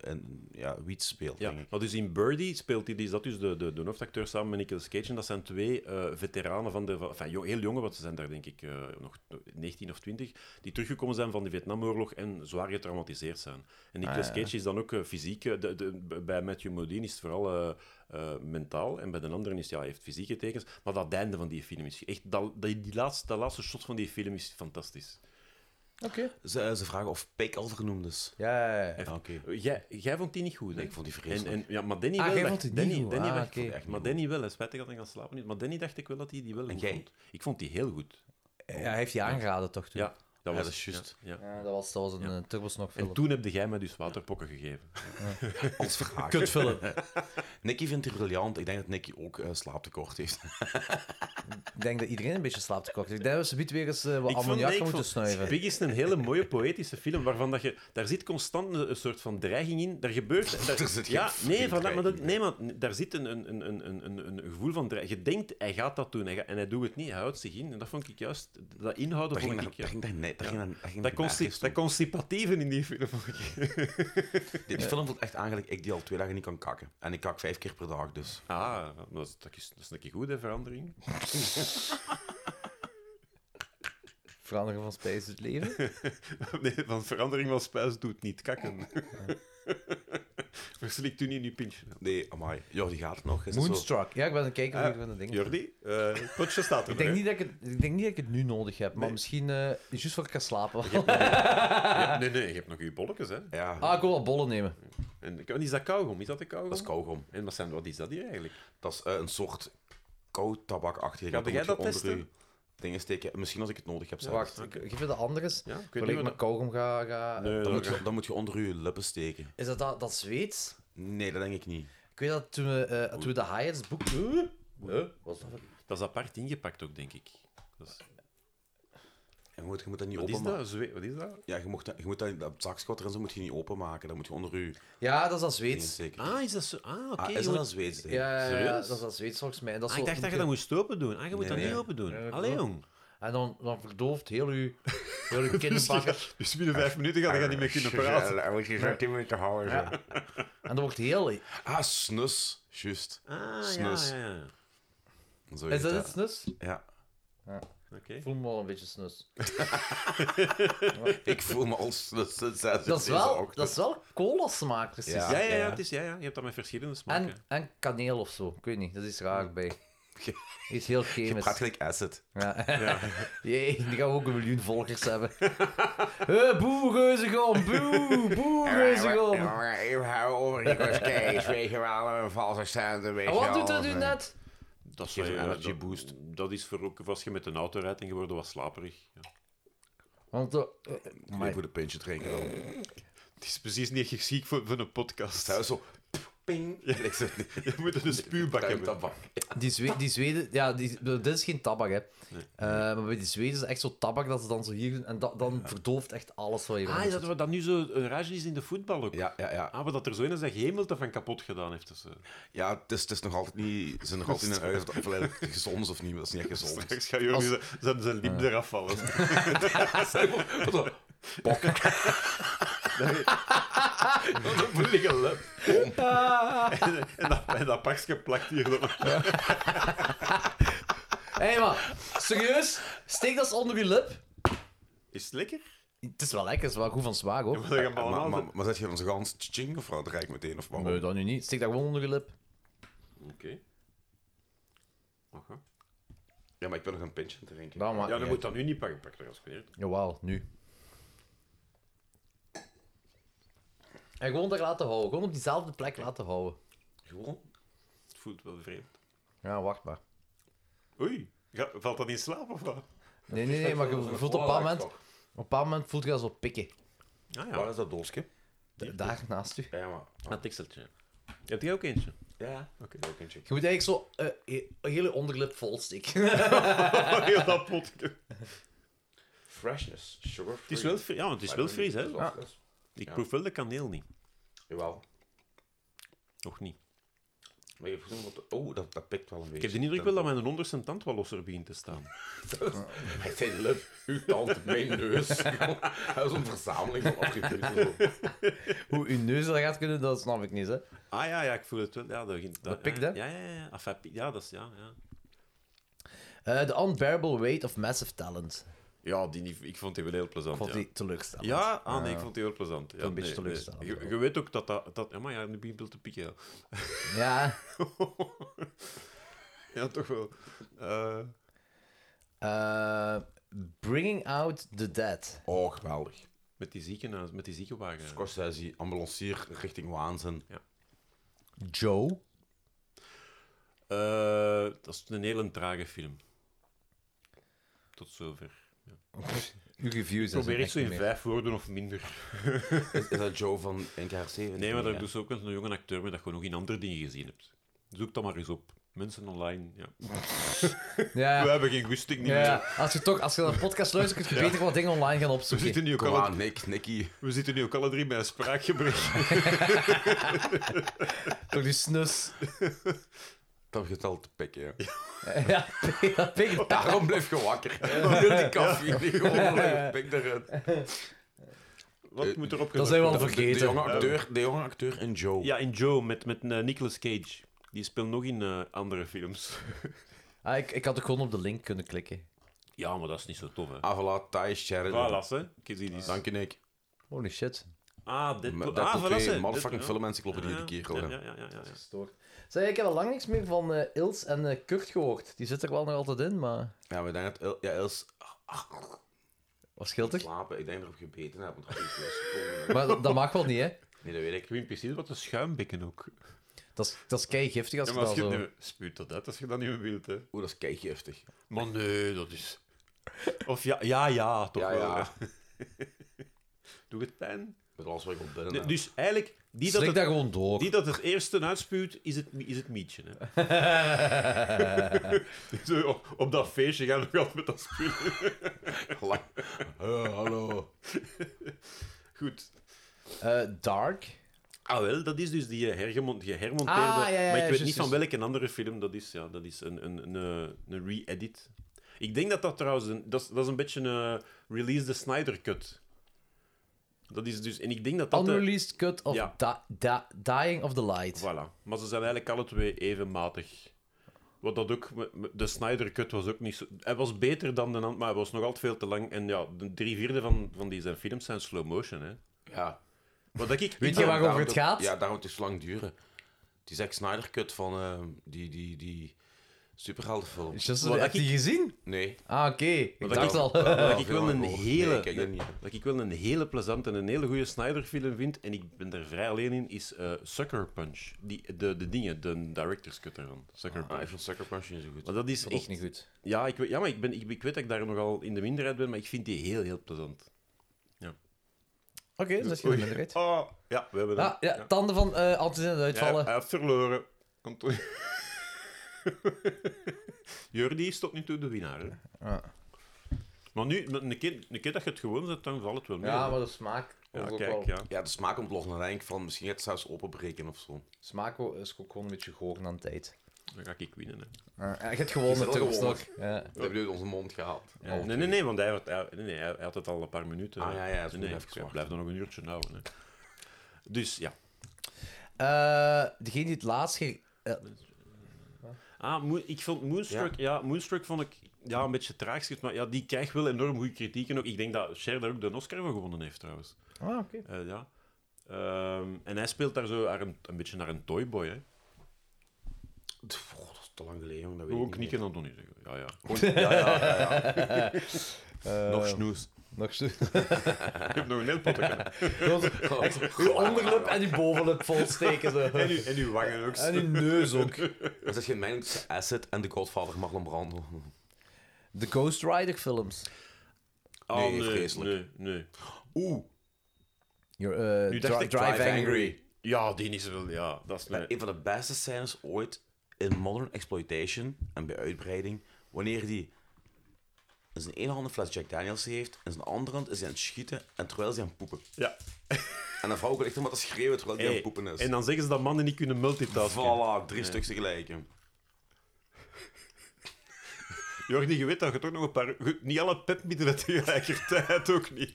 [SPEAKER 2] en ja, Wiet speelt,
[SPEAKER 4] ja.
[SPEAKER 2] denk ik.
[SPEAKER 4] Maar dus in Birdie speelt hij, die is dat dus de, de, de hoofdacteur samen met Nicolas Cage. En dat zijn twee eh, veteranen van de. van- Enfin, jo- heel jongen, want ze zijn daar denk ik eh, nog 19 of 20. Die teruggekomen zijn van de Vietnamoorlog en zwaar getraumatiseerd zijn. En Nicolas
[SPEAKER 2] Ah,
[SPEAKER 4] Cage is dan ook eh, fysiek. eh, de- de- bij Matthew Modine is het vooral. eh, eh, mentaal en bij de anderen is ja, hij heeft fysieke tekens, maar dat einde van die film is echt dat, dat, die laatste, dat laatste shot van die film is fantastisch.
[SPEAKER 3] Oké.
[SPEAKER 2] Ze, ze vragen of Pike al vernoemd is.
[SPEAKER 3] Ja, ja, ja.
[SPEAKER 2] Ah, oké.
[SPEAKER 4] Jij, jij vond die niet goed, hè?
[SPEAKER 2] Nee, ik vond die
[SPEAKER 4] En,
[SPEAKER 2] vreselijk.
[SPEAKER 4] en, ja, maar Danny
[SPEAKER 3] Ah,
[SPEAKER 4] wel.
[SPEAKER 3] jij
[SPEAKER 4] dacht-
[SPEAKER 3] vond die niet
[SPEAKER 4] Danny,
[SPEAKER 3] goed.
[SPEAKER 4] Danny
[SPEAKER 3] Ah,
[SPEAKER 4] dacht-
[SPEAKER 3] oké.
[SPEAKER 4] vond- Maar Danny wel, hè. spijtig dat hij gaan slapen niet. Maar Danny dacht ik wel dat hij die wel goed
[SPEAKER 2] jij?
[SPEAKER 4] vond. Ik vond die heel goed.
[SPEAKER 3] Ja, hij heeft je aangeraden toch toen?
[SPEAKER 4] Ja, dat was
[SPEAKER 2] dat is juist.
[SPEAKER 4] ja, ja.
[SPEAKER 3] Ja, dat was, dat was een
[SPEAKER 4] Ja.
[SPEAKER 3] ja. turbosnog
[SPEAKER 4] En
[SPEAKER 3] film.
[SPEAKER 4] toen heb jij mij dus waterpokken gegeven.
[SPEAKER 2] Als vraag.
[SPEAKER 3] Kutfilm.
[SPEAKER 2] Nicky vindt die briljant. Ik denk dat Nicky ook eh, slaaptekort heeft.
[SPEAKER 3] Ik denk dat iedereen een beetje slaaptekort heeft. Ik denk dat we zometeen weer eens eh, wat
[SPEAKER 4] Ik vond-
[SPEAKER 3] ammoniak
[SPEAKER 4] nee, ik
[SPEAKER 3] moeten
[SPEAKER 4] vond-
[SPEAKER 3] snuiven.
[SPEAKER 4] Big is een hele mooie poëtische film waarvan dat je... Daar zit constant een, een soort van dreiging in. Daar gebeurt... Daar,
[SPEAKER 2] Er zit geen
[SPEAKER 4] ja, nee,
[SPEAKER 2] fucking
[SPEAKER 4] vandaar, maar dat,
[SPEAKER 2] dreiging
[SPEAKER 4] nee, maar daar zit een, een, een, een, een- een, een gevoel van dreiging. Je denkt, hij gaat dat doen hij gaat- en hij doet het niet. Hij houdt zich in. En dat vond ik juist... Dat inhouden
[SPEAKER 2] Daar
[SPEAKER 4] vond
[SPEAKER 2] ging
[SPEAKER 4] ik...
[SPEAKER 2] daar-
[SPEAKER 4] ja.
[SPEAKER 2] daar ging daar net- daar
[SPEAKER 4] Ja.
[SPEAKER 2] ging daar- daar ging
[SPEAKER 4] Dat,
[SPEAKER 2] daar
[SPEAKER 4] consti-
[SPEAKER 2] nergens
[SPEAKER 4] dat
[SPEAKER 2] toe.
[SPEAKER 4] constipatieve in die film. vond ik.
[SPEAKER 2] Die die film voelt echt eigenlijk ik die al twee dagen niet kan kakken. En ik kak vijf keer per dag, dus...
[SPEAKER 4] Ah, dat is, dat is, dat is een keer goed, hè, verandering.
[SPEAKER 3] Veranderen van spijs het leven.
[SPEAKER 4] Nee, van verandering van spijs doet niet kakken. Verslikt u niet in uw pintje.
[SPEAKER 2] Nee, amai. Ja, die gaat nog. Is dat zo?
[SPEAKER 3] Moonstruck. Ja, ik ben een kijker
[SPEAKER 4] Ah,
[SPEAKER 3] van de dingen.
[SPEAKER 4] Jordi, eh, het potje staat er
[SPEAKER 3] Ik denk,
[SPEAKER 4] nog,
[SPEAKER 3] niet dat ik, het, ik denk niet dat ik het nu nodig heb, maar
[SPEAKER 4] Nee.
[SPEAKER 3] misschien eh, juist voor ik ga slapen.
[SPEAKER 4] hè. Je hebt- Nee, nee, je hebt nog uw bolletjes, hè.
[SPEAKER 2] Ja,
[SPEAKER 3] Ah, ik wil wat bollen nemen.
[SPEAKER 4] En, en is dat kauwgom? Is dat de kauwgom?
[SPEAKER 2] dat is kauwgom.
[SPEAKER 4] En wat, zijn, wat is dat hier eigenlijk?
[SPEAKER 2] Dat is eh, een soort koud tabakachtige.
[SPEAKER 4] Gaat
[SPEAKER 2] Dan
[SPEAKER 4] jij
[SPEAKER 2] moet je
[SPEAKER 4] dat
[SPEAKER 2] onder
[SPEAKER 4] testen?
[SPEAKER 2] je Dingen steken. Misschien als ik het nodig heb zelfs.
[SPEAKER 3] Wacht, ik- geef je de andere eens.
[SPEAKER 4] Ja, ik weet
[SPEAKER 3] Wil
[SPEAKER 4] niet
[SPEAKER 3] ik
[SPEAKER 4] wat
[SPEAKER 3] mijn
[SPEAKER 4] dat...
[SPEAKER 3] kauwgom ga... ga...
[SPEAKER 4] Nee,
[SPEAKER 2] Dan
[SPEAKER 4] dat-
[SPEAKER 2] moet, je, dan moet je onder je lippen steken.
[SPEAKER 3] Is dat dat, dat Zweeds?
[SPEAKER 2] Nee, dat denk ik niet.
[SPEAKER 3] Ik weet dat toen we, eh, toen we de Hyatt's boek... Huh? Huh? Wat is dat?
[SPEAKER 4] Eh, dat is apart ingepakt ook, denk ik. Dat is-
[SPEAKER 2] En je moet, je moet dat niet
[SPEAKER 4] Wat is
[SPEAKER 2] openmaken.
[SPEAKER 4] dat? Zwe- Wat is dat?
[SPEAKER 2] Ja, je, moet dat, je moet dat, dat zakschot erin zo moet je niet openmaken. Dat moet je onder je
[SPEAKER 3] Ja, dat is dat
[SPEAKER 2] dingen
[SPEAKER 3] Zweeds.
[SPEAKER 2] steken.
[SPEAKER 4] Ah, is dat zo? Ah, oké.
[SPEAKER 2] Ah,
[SPEAKER 4] je
[SPEAKER 2] is dat
[SPEAKER 4] moet-
[SPEAKER 2] een Zweeds ding?
[SPEAKER 3] Ja, ja, ja,
[SPEAKER 4] Serieus?
[SPEAKER 3] dat is dat Zweeds volgens mij. En dat is
[SPEAKER 4] Ah, ik
[SPEAKER 3] zo-
[SPEAKER 4] dacht dat je dat moest open doen. Ah, je moet
[SPEAKER 2] Nee,
[SPEAKER 4] dat
[SPEAKER 2] nee.
[SPEAKER 4] niet open doen.
[SPEAKER 3] Ja,
[SPEAKER 4] Allee,
[SPEAKER 3] klopt.
[SPEAKER 4] jong.
[SPEAKER 3] En dan, dan verdooft heel uw, heel uw kinderbakken.
[SPEAKER 8] Dus binnen vijf minuten ga je niet
[SPEAKER 4] Ah,
[SPEAKER 8] meer kunnen praten.
[SPEAKER 2] Dan moet je zo tien minuten houden. zo.
[SPEAKER 3] En dan wordt heel... Is
[SPEAKER 2] Ah, snus. Juist.
[SPEAKER 4] Ah, ja,
[SPEAKER 2] Snus.
[SPEAKER 4] ja, ja.
[SPEAKER 2] Zo
[SPEAKER 3] dat
[SPEAKER 2] heet
[SPEAKER 3] het, snus?
[SPEAKER 2] Ja.
[SPEAKER 4] Oké.
[SPEAKER 3] Ik voel me al een beetje snus.
[SPEAKER 2] Ik voel me al snus sinds
[SPEAKER 3] Dat is wel, dat is wel cola-smaak, precies.
[SPEAKER 2] Ja.
[SPEAKER 4] Ja, ja, ja, het is, ja, ja. Je hebt dat met verschillende smaken.
[SPEAKER 3] En, en kaneel of zo. Ik weet niet, dat is raar bij. Iets
[SPEAKER 2] Je
[SPEAKER 3] heel
[SPEAKER 2] praat
[SPEAKER 3] chemisch.
[SPEAKER 2] gelijk acid.
[SPEAKER 3] Ja. Jee, die gaan ook een miljoen volgers hebben. Hé, boe, reuzengram, boe, boe, reuzengram.
[SPEAKER 2] Ik hou over Nicolas Cage, weet je wel, een valse stand, weet
[SPEAKER 3] En wat doet dat nu net?
[SPEAKER 4] Dat is,
[SPEAKER 2] Geef een
[SPEAKER 4] eh,
[SPEAKER 2] energy
[SPEAKER 4] dat-
[SPEAKER 2] boost.
[SPEAKER 4] Dat is voor ook als je met een auto rijdt en je wordt wat slaperig. Ja.
[SPEAKER 3] Want eh, eh,
[SPEAKER 2] Ik moet een pintje drinken dan.
[SPEAKER 8] Het is precies niet echt ziek voor, voor een podcast.
[SPEAKER 2] Zou zo... Ping. Ik zeg niet.
[SPEAKER 8] Je moet een spuwbak
[SPEAKER 2] Ruimt
[SPEAKER 8] hebben.
[SPEAKER 2] dat van.
[SPEAKER 3] die, Zwe- die Zweden, ja, die, dit is geen tabak, hè. Eh, maar bij die Zweden is het echt zo tabak dat ze dan zo hier doen en dat, dan verdooft echt alles wat je
[SPEAKER 4] Ah,
[SPEAKER 3] bent.
[SPEAKER 4] is dat wat dat nu zo een rage is in de voetbal ook?
[SPEAKER 2] Ja, ja, ja.
[SPEAKER 4] Ah, maar dat er zo in is dat je Hamilton van kapot gedaan heeft. Dus, eh.
[SPEAKER 2] Ja, het is, het is nog altijd niet... Ze zijn nog altijd in een huis dat volledig gezond is of niet, maar dat is niet echt gezond.
[SPEAKER 8] Straks gaat Jordi zijn- zijn, zijn lip eraf vallen.
[SPEAKER 2] Ah.
[SPEAKER 8] en, en dat, en dat pakje plakt hier dan.
[SPEAKER 3] Hé, maar, serieus? Steek dat eens onder je lip.
[SPEAKER 4] Is het lekker?
[SPEAKER 3] Het is wel lekker, het is wel goed van zwaar, hoor.
[SPEAKER 8] Dan gaan we
[SPEAKER 2] Maar,
[SPEAKER 8] allemaal...
[SPEAKER 2] maar, maar zet je dan zo gans ching of wat? Rijk meteen of wat?
[SPEAKER 3] Nee, dat nu niet. Steek dat gewoon onder je lip.
[SPEAKER 4] Oké. Aha.
[SPEAKER 2] Ja, maar ik ben nog een pintje aan het drinken.
[SPEAKER 3] Dat maakt
[SPEAKER 4] Ja,
[SPEAKER 3] niet
[SPEAKER 4] dan
[SPEAKER 3] uit.
[SPEAKER 4] moet dat nu niet pakken, pak er alsjeblieft.
[SPEAKER 3] Jawel, nu. En gewoon daar laten houden. Gewoon op diezelfde plek laten houden.
[SPEAKER 4] Gewoon? Het voelt wel vreemd.
[SPEAKER 3] Ja, wacht maar.
[SPEAKER 8] Oei, ga- valt dat in slaap of wat?
[SPEAKER 3] Nee, nee, nee, maar je voelt op een bepaald moment... Op een bepaald moment voelt je dat zo pikken.
[SPEAKER 4] Ah ja,
[SPEAKER 2] Waar is dat doosje?
[SPEAKER 3] Da- Daar naast u.
[SPEAKER 2] Ja, maar...
[SPEAKER 4] dat tikseltje. Heb jij ook eentje?
[SPEAKER 2] Ja, oké. Ook een chick.
[SPEAKER 3] Je moet eigenlijk zo eh, he- hele onderlip volsteken.
[SPEAKER 8] Heel dat potje.
[SPEAKER 2] Freshness, sugar
[SPEAKER 4] Het is wel, fri- ja, want het is wel fris, hè? Ik
[SPEAKER 2] Ja.
[SPEAKER 4] proef wel de kaneel niet.
[SPEAKER 2] Jawel.
[SPEAKER 4] Nog niet.
[SPEAKER 2] Maar je voelt hem wat... Oh, dat, dat pikt wel een beetje.
[SPEAKER 4] Ik heb de indruk wel dat mijn onderste tand wel losser begint te staan.
[SPEAKER 2] Hij zei lip, uw tand, mijn neus. Dat is een verzameling van attributen.
[SPEAKER 3] Hoe uw neus dat gaat kunnen, dat snap ik niet, hè.
[SPEAKER 4] Ah ja, ja, ik voel het wel. Ja, dat, begint-
[SPEAKER 3] Dat pikt, hè?
[SPEAKER 4] Ja, ja, ja. ja. Enfin, pi- ja, dat is... Ja, ja.
[SPEAKER 3] Eh, The Unbearable Weight of Massive Talent.
[SPEAKER 4] ja die, ik vond die wel heel plezant,
[SPEAKER 3] Ik vond
[SPEAKER 4] ja.
[SPEAKER 3] die teleurstellend.
[SPEAKER 4] Ja, ah, nee, ik
[SPEAKER 3] Ja.
[SPEAKER 4] vond die heel plezant. Ja,
[SPEAKER 3] een beetje
[SPEAKER 4] nee,
[SPEAKER 3] teleurstellend,
[SPEAKER 4] nee. Je,
[SPEAKER 3] wel.
[SPEAKER 4] je weet ook dat dat... dat ja, maar ja, nu begint wel te pikken. Ja,
[SPEAKER 3] Ja.
[SPEAKER 8] Ja, toch wel. Eh,
[SPEAKER 3] Eh, bringing Out the Dead.
[SPEAKER 2] Oh, geweldig.
[SPEAKER 4] Met die ziekenhuis, met die ziekenwagen.
[SPEAKER 2] Scorsese, ambulancier richting waanzin.
[SPEAKER 3] Joe.
[SPEAKER 4] Eh, dat is een hele trage film. Tot zover.
[SPEAKER 3] Uw reviews.
[SPEAKER 4] Ik probeer
[SPEAKER 3] echt
[SPEAKER 4] echt zo
[SPEAKER 3] niet
[SPEAKER 4] in
[SPEAKER 3] meer.
[SPEAKER 4] vijf woorden of minder.
[SPEAKER 2] Is, is dat Joe van NKRC?
[SPEAKER 4] Nee, maar dat is dus ook een jonge acteur met dat je nog in andere dingen gezien hebt. Zoek dat maar eens op. Mensen online, ja.
[SPEAKER 3] Ja.
[SPEAKER 8] we hebben geen goesting niet
[SPEAKER 3] Ja,
[SPEAKER 8] meer.
[SPEAKER 3] ja. als je toch als je naar een podcast luistert, kun je beter wat dingen online gaan
[SPEAKER 8] We,
[SPEAKER 3] opzoeken.
[SPEAKER 8] zitten nu ook
[SPEAKER 2] Kom
[SPEAKER 8] alle,
[SPEAKER 2] aan, Nick, Nicky.
[SPEAKER 8] we zitten nu ook alle drie met een spraakgebrek.
[SPEAKER 3] Door die snus.
[SPEAKER 2] Dat begint al te pikken, hè.
[SPEAKER 3] ja, dat pik ik.
[SPEAKER 2] Daarom blijf je wakker. Wil die koffie niet gewoon blijven pik eruit.
[SPEAKER 8] Wat moet erop gezegd
[SPEAKER 3] Dat zijn we al
[SPEAKER 8] worden?
[SPEAKER 2] De, de,
[SPEAKER 3] vergeten.
[SPEAKER 2] jonge acteur, de jonge acteur in Joe.
[SPEAKER 4] Ja, in Joe, met, met eh, Nicolas Cage. Die speelt nog in eh, andere films.
[SPEAKER 3] Ah, ik, ik had ook gewoon op de link kunnen klikken.
[SPEAKER 4] Ja, maar dat is niet zo tof, hè.
[SPEAKER 2] Avala, Thijs, Sheridan.
[SPEAKER 4] Voilà, hè. Kijk, die is...
[SPEAKER 2] Ah, Dank je, Nick.
[SPEAKER 3] Holy shit.
[SPEAKER 4] Ah,
[SPEAKER 2] Dat
[SPEAKER 4] Deadpool. Ah,
[SPEAKER 2] ah,
[SPEAKER 4] voilà,
[SPEAKER 2] twee
[SPEAKER 4] hè.
[SPEAKER 2] motherfucking
[SPEAKER 4] Deadpool,
[SPEAKER 2] filmencyclopedie die kerel.
[SPEAKER 4] Ja,
[SPEAKER 2] hè.
[SPEAKER 4] ja, ja, ja, ja, ja.
[SPEAKER 3] Stoor. Zeg, ik heb al lang niks meer van eh, Ils en eh, Kurt gehoord. Die zitten er wel nog altijd in, maar...
[SPEAKER 2] Ja, we denken dat ja, Els
[SPEAKER 3] Wat scheelt er?
[SPEAKER 2] slapen. Ik denk erop gebeten hebben. want dat is
[SPEAKER 3] Maar dat, dat mag wel niet, hè.
[SPEAKER 2] Nee, dat weet ik.
[SPEAKER 4] Ik weet precies wat de schuimbekken ook.
[SPEAKER 3] Dat is, dat is keigiftig als
[SPEAKER 8] Ja,
[SPEAKER 3] je
[SPEAKER 8] maar als
[SPEAKER 3] dat
[SPEAKER 8] je
[SPEAKER 3] zo...
[SPEAKER 8] het nu spuut dat uit, als je dat niet meer wilt. Hè.
[SPEAKER 2] Oeh, dat is keigiftig.
[SPEAKER 4] Maar nee, dat is... Of ja, ja, ja, toch
[SPEAKER 2] Ja,
[SPEAKER 4] wel.
[SPEAKER 2] ja.
[SPEAKER 4] hè. Doe het pijn?
[SPEAKER 2] Met alles wat ik op binnen
[SPEAKER 4] Nee,
[SPEAKER 2] heb.
[SPEAKER 4] dus eigenlijk, die dat,
[SPEAKER 3] Slik dat
[SPEAKER 4] het,
[SPEAKER 3] gewoon door.
[SPEAKER 4] die dat het eerste uitspuwt, is het, is het mietje. Hè. Dus, eh,
[SPEAKER 8] Zo, op, op dat feestje gaan we nog altijd met dat spuut.
[SPEAKER 2] Lang. Eh, hallo.
[SPEAKER 8] Goed.
[SPEAKER 3] Eh, dark.
[SPEAKER 4] Ah wel, dat is dus die eh, hergemon- die hermonteerde...
[SPEAKER 3] Ah, ja, ja,
[SPEAKER 4] maar ik weet
[SPEAKER 3] juist,
[SPEAKER 4] niet van
[SPEAKER 3] juist.
[SPEAKER 4] welke andere film dat is. Ja, dat is een, een, een, eh, een re-edit. Ik denk dat dat trouwens... Een, dat, is, dat is een beetje een release the Snyder cut. Dat is dus... En ik denk dat dat... de-
[SPEAKER 9] Unreleased cut of
[SPEAKER 4] Ja.
[SPEAKER 9] Di- Di- Dying of the Light.
[SPEAKER 4] Voilà. Maar ze zijn eigenlijk alle twee even matig. Wat dat ook... me- me- De Snyder Cut was ook niet zo... Hij was beter dan de hand, maar hij was nog altijd veel te lang. En ja, de drie vierde van, van die zijn films zijn slow motion, hè.
[SPEAKER 2] Ja.
[SPEAKER 4] Wat dat ik...
[SPEAKER 9] Weet je
[SPEAKER 2] Ja,
[SPEAKER 9] waarover
[SPEAKER 2] daarom
[SPEAKER 9] het
[SPEAKER 2] dat-
[SPEAKER 9] gaat?
[SPEAKER 2] Ja, daarom het is lang duren. Die Zack Snyder cut van eh, die, die, die superheldenfilm.
[SPEAKER 9] Just,
[SPEAKER 4] Wat
[SPEAKER 9] heb je
[SPEAKER 4] ik-
[SPEAKER 9] die gezien?
[SPEAKER 2] Nee.
[SPEAKER 9] Ah, oké. Ik
[SPEAKER 4] Wat
[SPEAKER 9] dacht
[SPEAKER 4] ik-
[SPEAKER 9] al.
[SPEAKER 2] Daar- daar
[SPEAKER 4] ik
[SPEAKER 2] veel
[SPEAKER 4] wil
[SPEAKER 2] aan
[SPEAKER 4] een
[SPEAKER 2] gehoord.
[SPEAKER 4] hele-
[SPEAKER 2] Nee, ik kijk dat
[SPEAKER 9] Ah,
[SPEAKER 2] niet.
[SPEAKER 4] Dat ik wel een hele plezante en een hele goede Snyder-film vind, en ik ben daar vrij alleen in, is eh, Sucker Punch. Die, de, de dingen, de director's cut ervan. Sucker
[SPEAKER 2] Ah, ik
[SPEAKER 4] Punch.
[SPEAKER 2] vind Sucker Punch niet zo goed.
[SPEAKER 4] Maar dat is
[SPEAKER 9] Echt
[SPEAKER 4] echt...
[SPEAKER 9] niet goed.
[SPEAKER 4] Ja, ik weet, ja maar ik, ben, ik, ik weet dat ik daar nogal in de minderheid ben, maar ik vind die heel, heel plezant.
[SPEAKER 9] Oké, dat is geen minderheid.
[SPEAKER 4] Oh, ja, we hebben
[SPEAKER 9] Ah, ja, tanden van eh Antonin aan het uitvallen.
[SPEAKER 4] Hij heeft verloren. Anton- Jordi is tot nu toe de winnaar. Hè?
[SPEAKER 9] Ja.
[SPEAKER 4] Maar nu, met een keer, een keer dat je het gewoon zet, dan valt het wel mee.
[SPEAKER 9] Ja,
[SPEAKER 4] hè.
[SPEAKER 9] maar de smaak.
[SPEAKER 4] Ja,
[SPEAKER 9] wordt ook
[SPEAKER 4] kijk,
[SPEAKER 9] wel-
[SPEAKER 4] ja.
[SPEAKER 2] Ja, de smaak ontploft. En dan denk ik van, misschien gaat het zelfs openbreken of zo.
[SPEAKER 9] Smaak wo- is ook gewoon een beetje goor aan tijd.
[SPEAKER 4] Dan ga ik winnen. Hè.
[SPEAKER 9] Ja, ik heb gewonnen,
[SPEAKER 2] Gezellig
[SPEAKER 9] toch?
[SPEAKER 2] gewonnen.
[SPEAKER 9] nog. Ja.
[SPEAKER 2] Dat hebben we uit onze mond gehaald.
[SPEAKER 4] Ja, nee, nee, nee, want hij had, hij, nee, nee, hij hij had het al een paar minuten.
[SPEAKER 2] Ah, ja, ja, dat is
[SPEAKER 4] nee, nee,
[SPEAKER 2] even
[SPEAKER 4] ik
[SPEAKER 2] wachten.
[SPEAKER 4] blijf er nog een uurtje houden. Hè. Dus ja.
[SPEAKER 9] Eh, degene die het laatst... ge-
[SPEAKER 4] Ah, Moon- ik vond Moonstruck, ja. Moonstruck vond ik ja, een beetje traag, geschreven, maar ja, die krijgt wel enorm goede kritiek. En ook, ik denk dat Cher daar ook de Oscar voor gewonnen heeft trouwens.
[SPEAKER 9] Ah, oké.
[SPEAKER 4] Eh, ja. Ehm, en hij speelt daar zo haar een, een beetje naar een toyboy. Hè.
[SPEAKER 2] Pff, goh, dat is te lang geleden, maar dat weet
[SPEAKER 4] Gewoon
[SPEAKER 2] ik niet
[SPEAKER 4] knikken, Antonie. Zeggen. Ja, ja.
[SPEAKER 2] meer. Gewoon- Ja, ja, ja, ja. Nog snoes.
[SPEAKER 9] Nog zo.
[SPEAKER 4] Ik heb nog een heel potje.
[SPEAKER 9] Uw onderlip en uw bovenlip volsteken. Zo.
[SPEAKER 4] En, uw- en uw wangen ook.
[SPEAKER 9] En uw neus ook.
[SPEAKER 2] Dat is geen mening tussen Asset en The Godfather Marlon Brando.
[SPEAKER 9] De Ghost Rider films.
[SPEAKER 4] Ah,
[SPEAKER 2] Nee, vreselijk.
[SPEAKER 4] Nee, nee.
[SPEAKER 2] Oeh,
[SPEAKER 9] Your, eh,
[SPEAKER 4] Nu dacht
[SPEAKER 9] Dri-
[SPEAKER 4] ik
[SPEAKER 9] Drive
[SPEAKER 2] Drive
[SPEAKER 9] Angry.
[SPEAKER 2] Angry.
[SPEAKER 4] Ja, die is wel... Ja, dat is...
[SPEAKER 2] Met
[SPEAKER 4] mijn-
[SPEAKER 2] Een van de beste scènes ooit in Modern Exploitation en bij uitbreiding. Wanneer die in zijn ene hand een fles Jack Daniels heeft, in zijn andere hand is hij aan het schieten en terwijl hij aan het poepen.
[SPEAKER 4] Ja.
[SPEAKER 2] En dan vrouw ook echt om wat te schreeuwen terwijl hij aan
[SPEAKER 4] Hey,
[SPEAKER 2] het poepen is.
[SPEAKER 4] en dan zeggen ze dat mannen niet kunnen multitasken.
[SPEAKER 2] Voilà, drie stuks tegelijk. hè.
[SPEAKER 4] Jordi, je weet dat je toch nog een paar... je- Niet alle pepmiddelen tegelijkertijd, ook niet.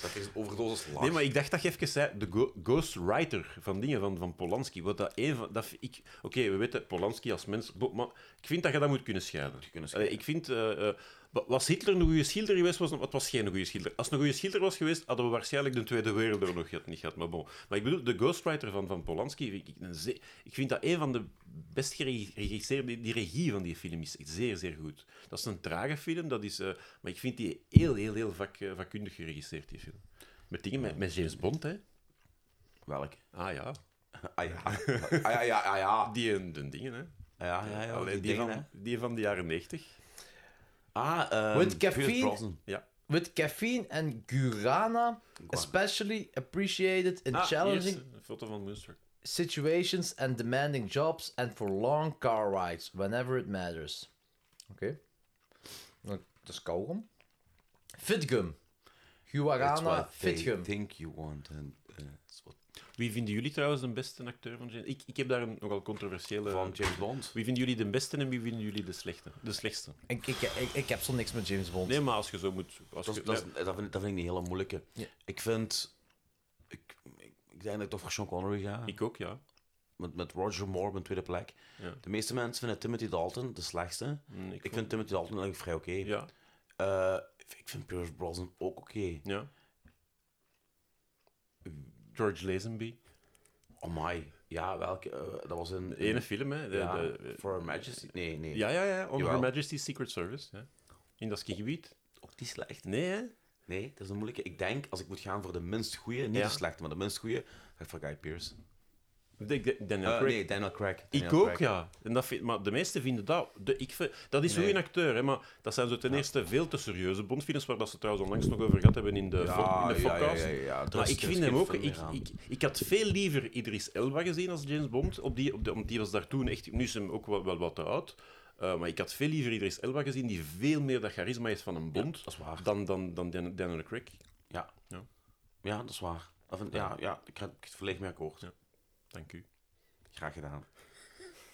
[SPEAKER 2] Dat is een overdosis laag.
[SPEAKER 4] Nee, maar ik dacht dat je even zei... De go- ghostwriter van dingen van, van Polanski. Wat dat een van... Dat vind ik... Oké, we weten Polanski als mens... bo- Maar ik vind dat je dat moet kunnen scheiden.
[SPEAKER 2] kunnen scheiden.
[SPEAKER 4] Allee, ik vind... eh, eh, wa- was Hitler een goede schilder geweest? Was, het was geen goede schilder. Als het een goede schilder was geweest, hadden we waarschijnlijk de Tweede Wereldoorlog gehad- niet gehad. Maar bon. Maar ik bedoel, de ghostwriter van, van Polanski vind ik een ze- Ik vind dat een van de best geregisseerde... Die, die regie van die film is zeer, zeer goed. Dat is een trage film, dat is... eh, maar ik vind die heel, heel, heel vak, eh, vakkundig geregisseerd, die film. Met dingen, met, met James Bond, hè.
[SPEAKER 2] Welk?
[SPEAKER 4] Ah ja.
[SPEAKER 2] Ah ja. Ah ja, ja, ah ja.
[SPEAKER 4] Die en de dingen, hè.
[SPEAKER 2] Ah ja, ja, ja.
[SPEAKER 4] Allee,
[SPEAKER 2] die
[SPEAKER 4] die,
[SPEAKER 2] dingen,
[SPEAKER 4] van, die van de jaren negentig.
[SPEAKER 2] hè. Ah, ehm,
[SPEAKER 9] With
[SPEAKER 2] Pierce
[SPEAKER 9] caffeine?
[SPEAKER 2] Brosnan.
[SPEAKER 9] With caffeine and guarana, especially appreciated in
[SPEAKER 4] Ah,
[SPEAKER 9] challenging
[SPEAKER 4] hier is een foto van Moonstruck.
[SPEAKER 9] situations and demanding jobs and for long car rides whenever it matters. Oké. Nou, Dat is kauwgom. Fitgum.
[SPEAKER 2] That's
[SPEAKER 9] Guarana
[SPEAKER 2] what they
[SPEAKER 9] Fitgum.
[SPEAKER 2] think you want. And, eh, that's what-
[SPEAKER 4] Wie vinden jullie trouwens de beste acteur van James... Ik, ik heb daar een nogal controversiële...
[SPEAKER 2] van James Bond.
[SPEAKER 4] Wie vinden jullie de beste en wie vinden jullie de slechte? De slechtste.
[SPEAKER 9] Ik, ik, ik, ik heb zo niks met James Bond.
[SPEAKER 4] Nee, maar als je zo moet... Als
[SPEAKER 2] Dat,
[SPEAKER 4] je-
[SPEAKER 2] is- dat, is- dat, vind, ik- dat vind ik een hele moeilijke.
[SPEAKER 9] Ja.
[SPEAKER 2] Ik vind... Ik, ik, ik denk dat ik toch voor Sean Connery ga.
[SPEAKER 4] Ik ook, ja.
[SPEAKER 2] Met, met Roger Moore op een tweede plek.
[SPEAKER 4] Ja.
[SPEAKER 2] De meeste mensen vinden Timothy Dalton de slechtste.
[SPEAKER 4] Mm,
[SPEAKER 2] Ik, vind Timothy Dalton eigenlijk vrij oké.
[SPEAKER 4] Ja,
[SPEAKER 2] Eh, ik vind Pierce Brosnan ook oké.
[SPEAKER 4] ja. George Lazenby.
[SPEAKER 2] Oh my. Ja, welke? eh, dat was een...
[SPEAKER 4] De ene film, hè. De,
[SPEAKER 2] ja,
[SPEAKER 4] de-
[SPEAKER 2] For Her Majesty. Nee, nee.
[SPEAKER 4] ja, ja, ja. On
[SPEAKER 2] Jawel.
[SPEAKER 4] Her Majesty's Secret Service. Hè. In dat skigebied.
[SPEAKER 2] Ook die slecht.
[SPEAKER 4] Nee, hè.
[SPEAKER 2] Nee, dat is een moeilijke. Ik denk, als ik moet gaan voor de minst goede, niet
[SPEAKER 4] Ja.
[SPEAKER 2] de slechte, maar de minst goede, ga ik voor Guy Pearce.
[SPEAKER 4] De- de- Daniel
[SPEAKER 2] Eh,
[SPEAKER 4] Craig.
[SPEAKER 2] nee, Daniel Craig.
[SPEAKER 4] Ik ook, ja. En dat vind- maar de meesten vinden dat... De, ik vind- dat is zo'n
[SPEAKER 2] Nee.
[SPEAKER 4] acteur, hè, maar dat zijn zo ten eerste veel te serieuze bondfilms, waar dat ze trouwens onlangs nog over gehad hebben in de, fo- in de Focus. Maar ik vind hem ook... Ik, ik, ik had veel liever Idris Elba gezien als James Bond, op die, op de, want die was daar toen echt... Nu is hem ook wel, wel wat te oud. eh, maar ik had veel liever Idris Elba gezien, die veel meer dat charisma heeft van een Bond,
[SPEAKER 2] Dat is waar.
[SPEAKER 4] dan, dan, dan Dan- Daniel Craig.
[SPEAKER 2] Ja.
[SPEAKER 4] Ja.
[SPEAKER 2] ja, dat is waar. Dat vind- ja, ja, ik ga ik ga het volledig mee akkoord.
[SPEAKER 4] Dank u.
[SPEAKER 2] Graag gedaan.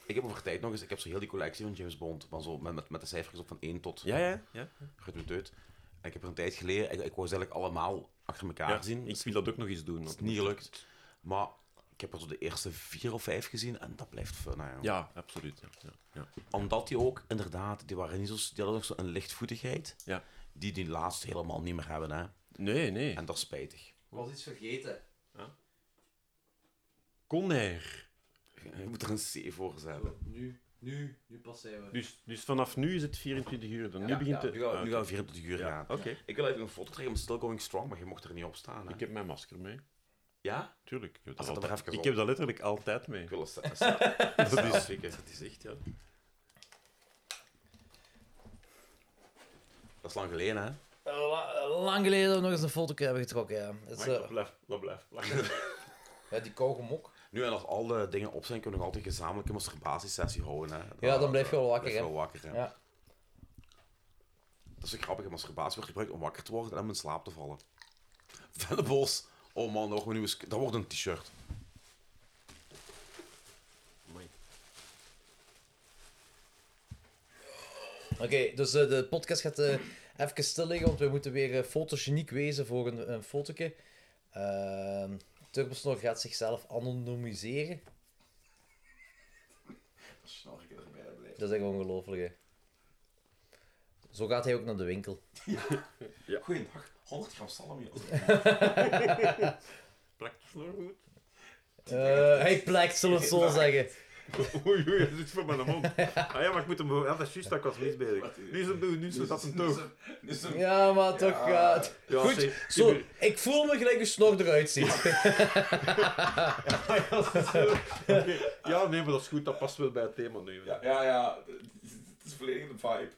[SPEAKER 2] Ik heb over tijd nog eens, ik heb zo heel die collectie van James Bond, maar zo met, met, met de cijfers op van 1 tot
[SPEAKER 4] Ja, ja, ja.
[SPEAKER 2] gedoeteerd. En ik heb er een tijd geleden, ik, ik wou ze eigenlijk allemaal achter elkaar
[SPEAKER 4] ja
[SPEAKER 2] zien.
[SPEAKER 4] ik wil dat ook nog eens doen.
[SPEAKER 2] Het is niet gelukt. Maar ik heb er zo de eerste vier of vijf gezien en dat blijft nou fun. Hè, jongen.
[SPEAKER 4] Ja, absoluut. Ja, ja, ja.
[SPEAKER 2] Omdat die ook, inderdaad, die, waren niet zo, die hadden nog zo'n lichtvoetigheid.
[SPEAKER 4] Ja.
[SPEAKER 2] Die die laatste helemaal niet meer hebben. Hè.
[SPEAKER 4] Nee, nee.
[SPEAKER 2] En dat is spijtig.
[SPEAKER 3] Ik was iets vergeten.
[SPEAKER 4] Conair.
[SPEAKER 2] Je moet er een C voor zetten.
[SPEAKER 3] Nu, nu, nu passeren we.
[SPEAKER 4] Dus, dus vanaf nu is het 24 uur. Dan. nu
[SPEAKER 3] Ja,
[SPEAKER 4] begint
[SPEAKER 3] ja,
[SPEAKER 4] het.
[SPEAKER 2] Nu gaan
[SPEAKER 4] Ah,
[SPEAKER 2] we, nu gaan we 24 uur
[SPEAKER 4] ja,
[SPEAKER 2] gaan.
[SPEAKER 4] Oké,
[SPEAKER 2] Ik wil even een foto trekken, maar still going strong, maar je mocht er niet op staan. Hè.
[SPEAKER 4] ik heb mijn masker mee.
[SPEAKER 2] Ja?
[SPEAKER 4] Tuurlijk. Ik heb,
[SPEAKER 2] Ah,
[SPEAKER 4] Ah, dat,
[SPEAKER 2] zet hem er
[SPEAKER 4] altijd-
[SPEAKER 2] even
[SPEAKER 4] ik
[SPEAKER 2] op.
[SPEAKER 4] heb dat letterlijk altijd mee.
[SPEAKER 2] Ik wil het Dat is zeker.
[SPEAKER 4] Dat is echt, ja.
[SPEAKER 2] Dat is lang geleden, hè?
[SPEAKER 3] Eh, La- Lang geleden dat we nog eens een foto hebben getrokken, ja. Het is,
[SPEAKER 4] Maar
[SPEAKER 3] eh,
[SPEAKER 4] dat blijft, dat blijft. plakken.
[SPEAKER 3] ja die kauwgomok.
[SPEAKER 2] Nu, en als al de dingen op zijn, kunnen we nog altijd gezamenlijk een masturbatiesessie houden. Hè?
[SPEAKER 3] Ja, dan blijf je wel wakker,
[SPEAKER 2] Blijf
[SPEAKER 3] hè?
[SPEAKER 2] wel wakker, hè?
[SPEAKER 3] Ja.
[SPEAKER 2] Dat is zo grappig. Masturbatie wordt gebruikt om wakker te worden en om in slaap te vallen. Vennebos. Oh man, dat wordt, nu eens- dat wordt een t-shirt.
[SPEAKER 3] Oké, dus eh, de podcast gaat eh, even stil liggen, want we moeten weer eh, fotogeniek wezen voor een, een fotootje. Ehm, Turbosnor gaat zichzelf anonimiseren. Dat is echt ongelooflijk, hè. Zo gaat hij ook naar de winkel.
[SPEAKER 2] Goeiedag. 100 gram salami.
[SPEAKER 4] Plakt de snor goed?
[SPEAKER 3] Eh, hij plakt, zullen we het zo zeggen.
[SPEAKER 4] Oei, oei, dat zit voor mijn mond. Ah ja, maar ik moet hem... Ja, dat is juist, dat ik was mis bezig. Nu is het nu is het dat een toog.
[SPEAKER 3] Ja, maar toch gaat...
[SPEAKER 4] Ja,
[SPEAKER 3] Goed,
[SPEAKER 4] zeg,
[SPEAKER 3] zo,
[SPEAKER 4] Tibur-
[SPEAKER 3] ik voel me gelijk een snor eruit ziet.
[SPEAKER 4] Oké. Ja, nee, maar dat is goed. Dat past wel bij het thema nu.
[SPEAKER 2] Ja, ja. Het is volledig een vibe.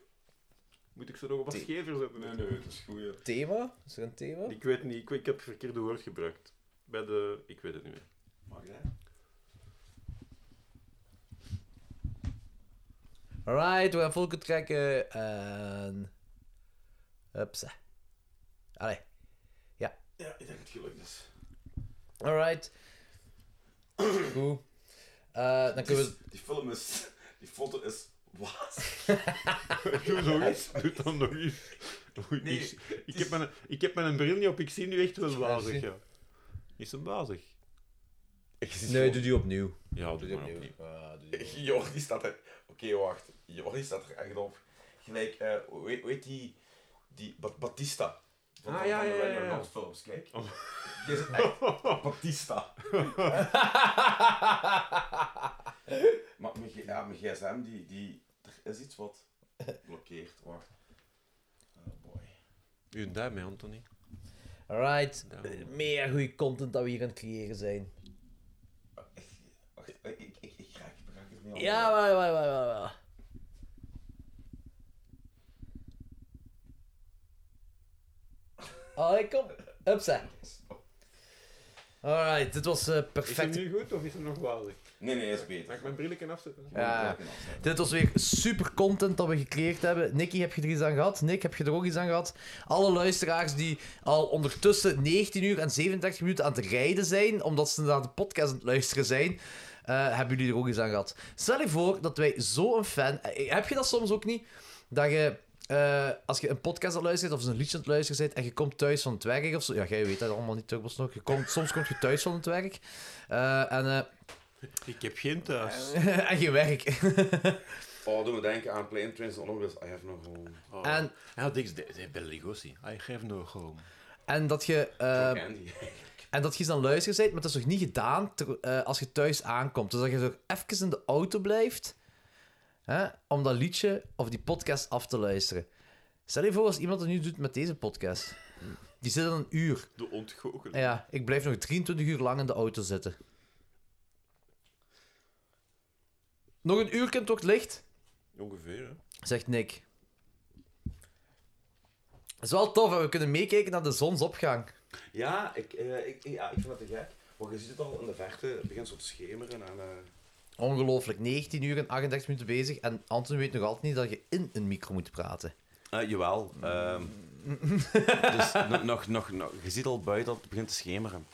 [SPEAKER 4] Moet ik ze nog op wat schever zetten?
[SPEAKER 2] nee, het is goed.
[SPEAKER 3] Thema? Is er een thema?
[SPEAKER 4] Ik weet niet. Ik, ik heb het verkeerde woord gebruikt. Bij de... Ik weet het niet meer.
[SPEAKER 2] Mag hè?
[SPEAKER 3] Alright, we gaan volken trekken en... Hupsa. Allee,
[SPEAKER 2] Ja, ik denk het gelukt is.
[SPEAKER 3] alright. Goed. Eh, dan kunnen we...
[SPEAKER 2] Dus Die film is... Die foto is... Wat?
[SPEAKER 4] Doe nog eens. Doe dan nog eens. Oei,
[SPEAKER 2] Nee,
[SPEAKER 4] ik, ik, heb mijn, ik heb mijn bril niet op. Ik zie nu echt wel wazig,
[SPEAKER 3] zie.
[SPEAKER 4] ja. Is hem wazig?
[SPEAKER 3] Nee, doe die opnieuw.
[SPEAKER 4] Ja, doe
[SPEAKER 3] Doe die
[SPEAKER 4] maar opnieuw.
[SPEAKER 3] opnieuw. Ah, doe die opnieuw.
[SPEAKER 2] Jordi staat er... Oké, wacht. Jordi staat er echt op. Gelijk, eh, hoe heet- hoe heet die... Die... Ba- Batista. Van,
[SPEAKER 4] Ah,
[SPEAKER 2] van-
[SPEAKER 4] ja,
[SPEAKER 2] van de
[SPEAKER 4] ja, ja,
[SPEAKER 2] Ryan
[SPEAKER 4] ja. Oh.
[SPEAKER 2] Reynolds films, kijk. Die is echt Batista. maar mijn, g- ja, mijn gsm, die, die... Er is iets wat blokkeert. Wacht. Oh boy.
[SPEAKER 4] Uw duim, hè, Anthony.
[SPEAKER 3] Alright.
[SPEAKER 4] Ja.
[SPEAKER 3] Eh, Meer goede content dat we hier aan het creëren zijn.
[SPEAKER 2] Echt, Wacht, ik, ik, ik, ik raak, ik raak het niet
[SPEAKER 3] Ja, maar, maar, maar, maar, maar. Allee, kom. Hupsa. Alright, dit was eh,
[SPEAKER 4] Is hem
[SPEAKER 3] perfect.
[SPEAKER 4] nu goed of is hem nog wazig?
[SPEAKER 2] Nee, nee, is
[SPEAKER 4] Mag ik
[SPEAKER 2] beter.
[SPEAKER 4] mijn brilletje afzetten?
[SPEAKER 3] Ja. Dit was weer super content dat we gecreëerd hebben. Nicky, heb je er iets aan gehad? Nick, heb je er ook iets aan gehad? Alle luisteraars die al ondertussen 19 uur en 37 minuten aan het rijden zijn, omdat ze naar de podcast aan het luisteren zijn, eh, hebben jullie er ook iets aan gehad. Stel je voor dat wij zo'n fan... eh, Heb je dat soms ook niet? Dat je... eh, als je een podcast aan het luisteren bent of een liedje aan het luisteren bent en je komt thuis van het werk of zo... Ja, jij weet dat allemaal niet, Turbos nog. Je komt, soms kom je thuis van het werk eh, en, eh,
[SPEAKER 4] Ik heb geen thuis.
[SPEAKER 3] en je werk.
[SPEAKER 2] Oh, doe me denken aan Plane Trains and Automobiles. Ah, I have no home.
[SPEAKER 4] Oh.
[SPEAKER 3] En-
[SPEAKER 4] Ja, dit is de, de Belligosi. nou I have no home.
[SPEAKER 3] en dat je... eh,
[SPEAKER 2] Ook Andy.
[SPEAKER 3] En dat je eens aan het luisteren bent, maar dat is nog niet gedaan ter- eh, als je thuis aankomt. Dus dat je zo even in de auto blijft hè, om dat liedje of die podcast af te luisteren. Stel je voor als iemand dat nu doet met deze podcast. Die zit aan een uur.
[SPEAKER 4] De ontgoocheling.
[SPEAKER 3] Ja, ik blijf nog 23 uur lang in de auto zitten. Nog een uur kent toch het licht?
[SPEAKER 4] Ongeveer, hè?
[SPEAKER 3] Zegt Nick. Dat is wel tof, hè, we kunnen meekijken naar de zonsopgang.
[SPEAKER 2] Ja, ik, eh, ik, ik- ja, ik vind dat te gek. Want je ziet het al in de verte, het begint zo te schemeren. En, eh,
[SPEAKER 3] Ongelooflijk, 19 uur en 38 minuten bezig en Anton weet nog altijd niet dat je in een micro moet praten.
[SPEAKER 2] Eh, jawel. ehm. dus nog, nog, nog, nog- je ziet al buiten dat het begint te schemeren.